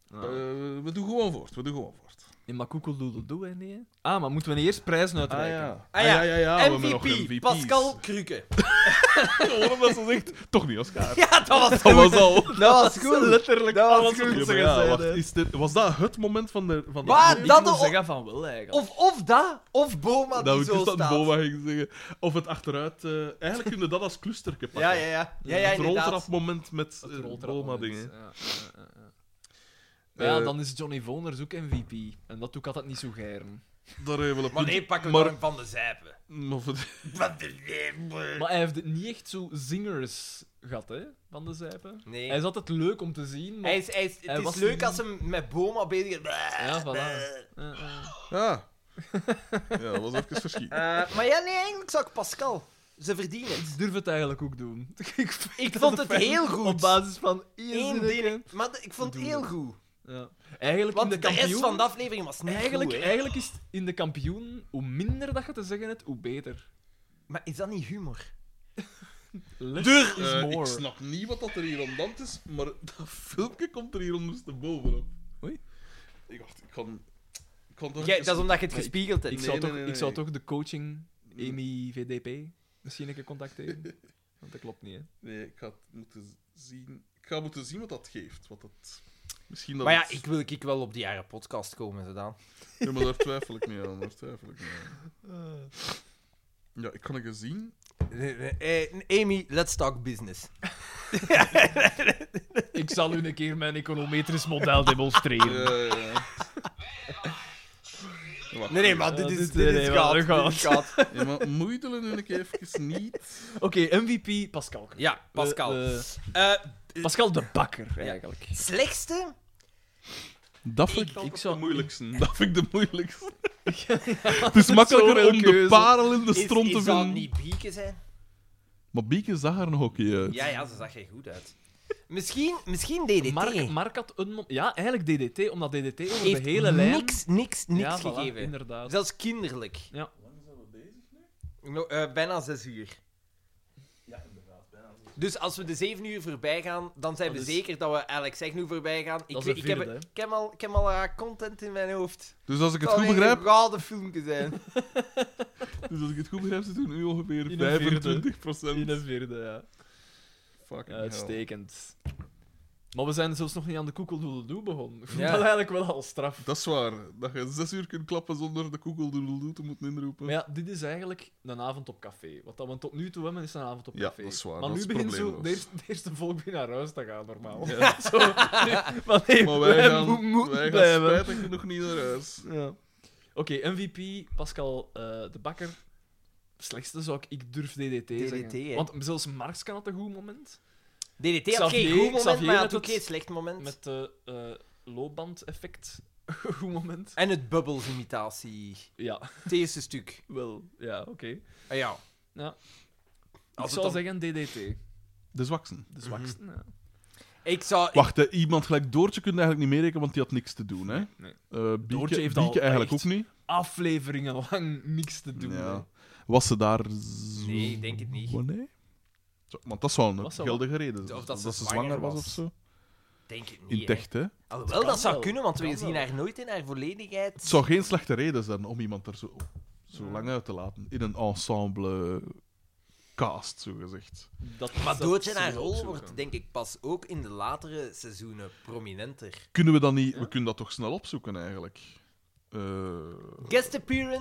Speaker 4: Nou.
Speaker 2: Eh, we doen gewoon voort, we doen gewoon voort.
Speaker 3: Nee, maar koekeldoedeldoe, hè, nee. hè. Ah, maar moeten we niet eerst prijzen
Speaker 2: Ah
Speaker 3: uitreiken?
Speaker 2: ja.
Speaker 4: Ah ja,
Speaker 2: ja, we hebben nog
Speaker 4: MVP,
Speaker 2: MVP's.
Speaker 4: Pascal Krukke.
Speaker 2: Gewoon omdat ze zegt, toch niet Oscar.
Speaker 4: Ja, dat was
Speaker 2: Dat was al.
Speaker 4: Dat was goed.
Speaker 3: Letterlijk
Speaker 4: Dat was
Speaker 3: alles wat
Speaker 4: goed.
Speaker 2: Ja,
Speaker 3: ze
Speaker 2: maar ja,
Speaker 3: gezegd
Speaker 2: wacht,
Speaker 3: heeft.
Speaker 2: is dit, was dat het moment van de... Van de
Speaker 4: Waar?
Speaker 2: aflevering?
Speaker 4: Dat
Speaker 3: Ik moet
Speaker 4: de-
Speaker 3: zeggen van wel, eigenlijk.
Speaker 4: Of, of dat, of Boma
Speaker 2: Dat
Speaker 4: die
Speaker 2: ik
Speaker 4: zo
Speaker 2: dus dat
Speaker 4: staat.
Speaker 2: Boma ging zeggen. Of het achteruit... eh, eigenlijk kun je dat als clusterke pakken.
Speaker 4: Ja, ja, ja. ja, ja
Speaker 2: het
Speaker 4: inderdaad.
Speaker 2: roltrapmoment met
Speaker 3: Het
Speaker 2: eh,
Speaker 3: roltrapmoment,
Speaker 2: Boma-dingen.
Speaker 3: ja, ja, ja, ja. Maar ja,
Speaker 2: Eh,
Speaker 3: dan is Johnny Voners ook MVP. En dat doe ik altijd niet zo gern.
Speaker 2: Daar hebben we een
Speaker 4: eh. Maar
Speaker 2: punt.
Speaker 4: nee, pakken we
Speaker 2: Maar-
Speaker 4: maar... van de zijpen.
Speaker 2: Maar voor de-
Speaker 3: Maar hij heeft het niet echt zo zingers gehad, hè, van de zijpen.
Speaker 4: Nee.
Speaker 3: Hij is altijd leuk om te zien, maar...
Speaker 4: Hij is, hij is, het
Speaker 3: Hij
Speaker 4: is
Speaker 3: was
Speaker 4: leuk
Speaker 3: niet-
Speaker 4: als hem met Boma bezig is.
Speaker 3: Ja, voilà. Eh, eh.
Speaker 4: Ah.
Speaker 2: Ja. Ja, dat was even verschiet.
Speaker 4: Eh, maar ja, nee, eigenlijk zou ik Pascal. Ze verdienen het.
Speaker 3: Ik durf het eigenlijk ook doen. ik vind
Speaker 4: Ik
Speaker 3: dat
Speaker 4: vond het
Speaker 3: fijn
Speaker 4: heel goed.
Speaker 3: Op basis van
Speaker 4: Eén
Speaker 3: één ding.
Speaker 4: ding. Maar de- ik vond het
Speaker 3: Doen
Speaker 4: heel
Speaker 3: we.
Speaker 4: goed.
Speaker 3: Ja. Eigenlijk
Speaker 4: Want
Speaker 3: in de
Speaker 4: de,
Speaker 3: kampioen...
Speaker 4: rest van de aflevering was niet
Speaker 3: eigenlijk,
Speaker 4: goed, hè.
Speaker 3: eigenlijk is het in de kampioen, hoe minder dat je te zeggen hebt, hoe beter.
Speaker 4: Maar is dat niet humor?
Speaker 3: Less
Speaker 2: Dur!
Speaker 3: is more.
Speaker 2: Eh, ik snap niet wat dat er hier aan de hand is, maar dat filmpje komt er hier onderstebovenop.
Speaker 3: Oei.
Speaker 2: Ik wacht, ik kan... Ik kan toch
Speaker 4: Jij-
Speaker 2: even-
Speaker 4: dat is omdat je het
Speaker 3: Nee,
Speaker 4: gespiegeld
Speaker 3: Ik
Speaker 4: hebt.
Speaker 3: zou,
Speaker 2: nee,
Speaker 3: toch,
Speaker 2: nee, Mm.
Speaker 3: ik zou
Speaker 2: nee.
Speaker 3: toch de coaching Amy VDP misschien een keer contacteren. Want dat klopt niet, hè.
Speaker 2: Nee, ik ga het moeten zien... Ik ga moeten zien wat dat geeft. Wat dat... Misschien dat
Speaker 4: Maar ja,
Speaker 2: het-
Speaker 4: ik wil ik wel op die jaren podcast komen, zodan.
Speaker 2: Ja, maar daar twijfel ik niet aan. Daar twijfel ik niet aan. Ja, ik kan het eens zien.
Speaker 4: eh, Amy, let's talk business.
Speaker 3: Ik zal u een keer mijn econometrisch model demonstreren.
Speaker 2: Ja, ja, ja. Wacht,
Speaker 4: Nee, nee, maar dit
Speaker 3: Ja,
Speaker 4: is,
Speaker 3: dit-
Speaker 4: dit
Speaker 3: nee,
Speaker 4: is
Speaker 3: nee,
Speaker 4: goud.
Speaker 3: maar dat
Speaker 4: Dit is goud.
Speaker 2: ja, maar moeidelen nu een keer even niet.
Speaker 3: Oké, MVP Pascal.
Speaker 4: Ja, Pascal.
Speaker 3: Eh, eh,
Speaker 4: Eh,
Speaker 3: Pascal de Bakker, eigenlijk.
Speaker 4: slechtste?
Speaker 2: Dat vind ik,
Speaker 3: ik
Speaker 2: zou...
Speaker 3: zou-
Speaker 2: de moeilijkste. Dat vind ik de moeilijkste. het is makkelijker
Speaker 3: zoveel
Speaker 2: om de
Speaker 3: keuze.
Speaker 2: parel in de
Speaker 4: Is,
Speaker 2: stront te
Speaker 4: is dat
Speaker 2: vinden.
Speaker 4: niet Bieke zijn?
Speaker 2: Maar Bieke zag er nog ook niet uit.
Speaker 4: Ja, ja, ze zag er goed uit. Misschien, misschien DDT.
Speaker 3: Mark, Mark had een... mom- Ja, eigenlijk DDT, omdat DDT over
Speaker 4: heeft
Speaker 3: de hele lijn...
Speaker 4: niks, niks, niks
Speaker 3: ja, voilà,
Speaker 4: gegeven.
Speaker 3: inderdaad.
Speaker 4: Zelfs kinderlijk.
Speaker 3: Ja.
Speaker 4: No- eh, bijna zes uur. Ja, inderdaad. Dus als we de zeven uur voorbij gaan, dan zijn
Speaker 3: Dat
Speaker 4: we
Speaker 3: is-
Speaker 4: zeker dat we Alex zeg nu voorbij gaan. Ik,
Speaker 3: Dat is
Speaker 4: weet-
Speaker 3: een
Speaker 4: ik, heb,
Speaker 3: vierde, hè.
Speaker 4: ik heb al, ik heb al haar content in mijn hoofd.
Speaker 2: Dus als ik het
Speaker 3: Oh,
Speaker 4: zal
Speaker 2: goed
Speaker 4: een
Speaker 2: begrijp,
Speaker 4: gouden filmpje zijn.
Speaker 2: dus als ik het goed begrijp, zitten we nu ongeveer
Speaker 3: een
Speaker 2: 25
Speaker 3: In een vierde, ja.
Speaker 2: Fucking hell.
Speaker 3: Uitstekend. Maar we zijn zelfs nog niet aan de koekeldoedeldoe begonnen. Ik vind
Speaker 4: Ja.
Speaker 3: dat eigenlijk wel al straf.
Speaker 2: Dat is waar. Dat je zes uur kunt klappen zonder de koekeldoedeldoe te moeten inroepen.
Speaker 3: Maar ja, dit is eigenlijk een avond op café. Wat dat we tot nu toe hebben, is een avond op
Speaker 2: Ja,
Speaker 3: café.
Speaker 2: dat is waar,
Speaker 3: Maar
Speaker 2: dat
Speaker 3: nu
Speaker 2: is
Speaker 3: begint zo
Speaker 2: probleemloos.
Speaker 3: de eerste, de eerste volk weer naar huis te gaan, normaal.
Speaker 2: Ja.
Speaker 3: Zo, maar nee,
Speaker 2: Maar wij
Speaker 3: wij
Speaker 2: gaan,
Speaker 3: mo- moeten
Speaker 2: wij gaan
Speaker 3: blijven.
Speaker 2: spijtig genoeg niet naar huis.
Speaker 3: Ja. Oké, MVP, Pascal eh, de Bakker. Slechtste zou ik, ik durf DDT,
Speaker 4: DDT, hè.
Speaker 3: zeggen. Want zelfs Marx kan het een goed moment.
Speaker 4: DDT had geen
Speaker 3: Xavier-
Speaker 4: goed moment,
Speaker 3: Xavier
Speaker 4: maar hij
Speaker 3: met
Speaker 4: had ook
Speaker 3: het-
Speaker 4: geen slecht moment.
Speaker 3: Met de eh loopbandeffect. goed moment.
Speaker 4: En het bubbelsimitatie.
Speaker 3: Ja,
Speaker 4: Het eerste stuk.
Speaker 3: wel. Ja, oké.
Speaker 4: Ah, ja.
Speaker 3: Ik
Speaker 4: het
Speaker 3: zou
Speaker 4: dan-
Speaker 3: zeggen DDT.
Speaker 2: De zwaksten.
Speaker 3: De zwakste. ja.
Speaker 4: Ik zou... ik-
Speaker 2: Wacht, hè, iemand gelijk Doortje kun je eigenlijk niet meerekenen, want die had niks te doen. Hè?
Speaker 3: nee.
Speaker 2: Eh, Bieke,
Speaker 3: Doortje heeft
Speaker 2: Bieke
Speaker 3: al
Speaker 2: eigenlijk
Speaker 3: echt
Speaker 2: ook niet.
Speaker 3: Afleveringen lang niks te doen.
Speaker 2: Ja.
Speaker 3: hè.
Speaker 2: Was ze daar... z-
Speaker 4: Nee, ik denk het niet.
Speaker 2: Oh, nee? Zo, want dat zou een
Speaker 3: Was ze
Speaker 2: geldige reden zijn.
Speaker 4: Of dat ze
Speaker 2: zwanger
Speaker 4: zwanger
Speaker 2: was
Speaker 4: was.
Speaker 2: of zo.
Speaker 4: denk het niet,
Speaker 2: In
Speaker 4: hè.
Speaker 2: techt, hè.
Speaker 4: Alhoewel,
Speaker 3: Kan
Speaker 4: dat zou
Speaker 3: wel,
Speaker 4: kunnen, want we
Speaker 3: kan
Speaker 4: zien
Speaker 3: wel.
Speaker 4: haar nooit in haar
Speaker 2: Het
Speaker 4: volledigheid.
Speaker 2: zou geen slechte reden zijn om iemand er zo, zo lang uit te laten. In een ensemble cast, zogezegd.
Speaker 3: Dat,
Speaker 4: Maar
Speaker 3: dat
Speaker 4: Doodje
Speaker 3: zullen
Speaker 4: haar
Speaker 3: we
Speaker 4: rol
Speaker 3: opzoeken.
Speaker 4: wordt, denk ik, pas ook in de latere seizoenen prominenter.
Speaker 2: Kunnen we dan niet... We kunnen dat toch snel opzoeken, eigenlijk. Eh,
Speaker 4: Guest appearance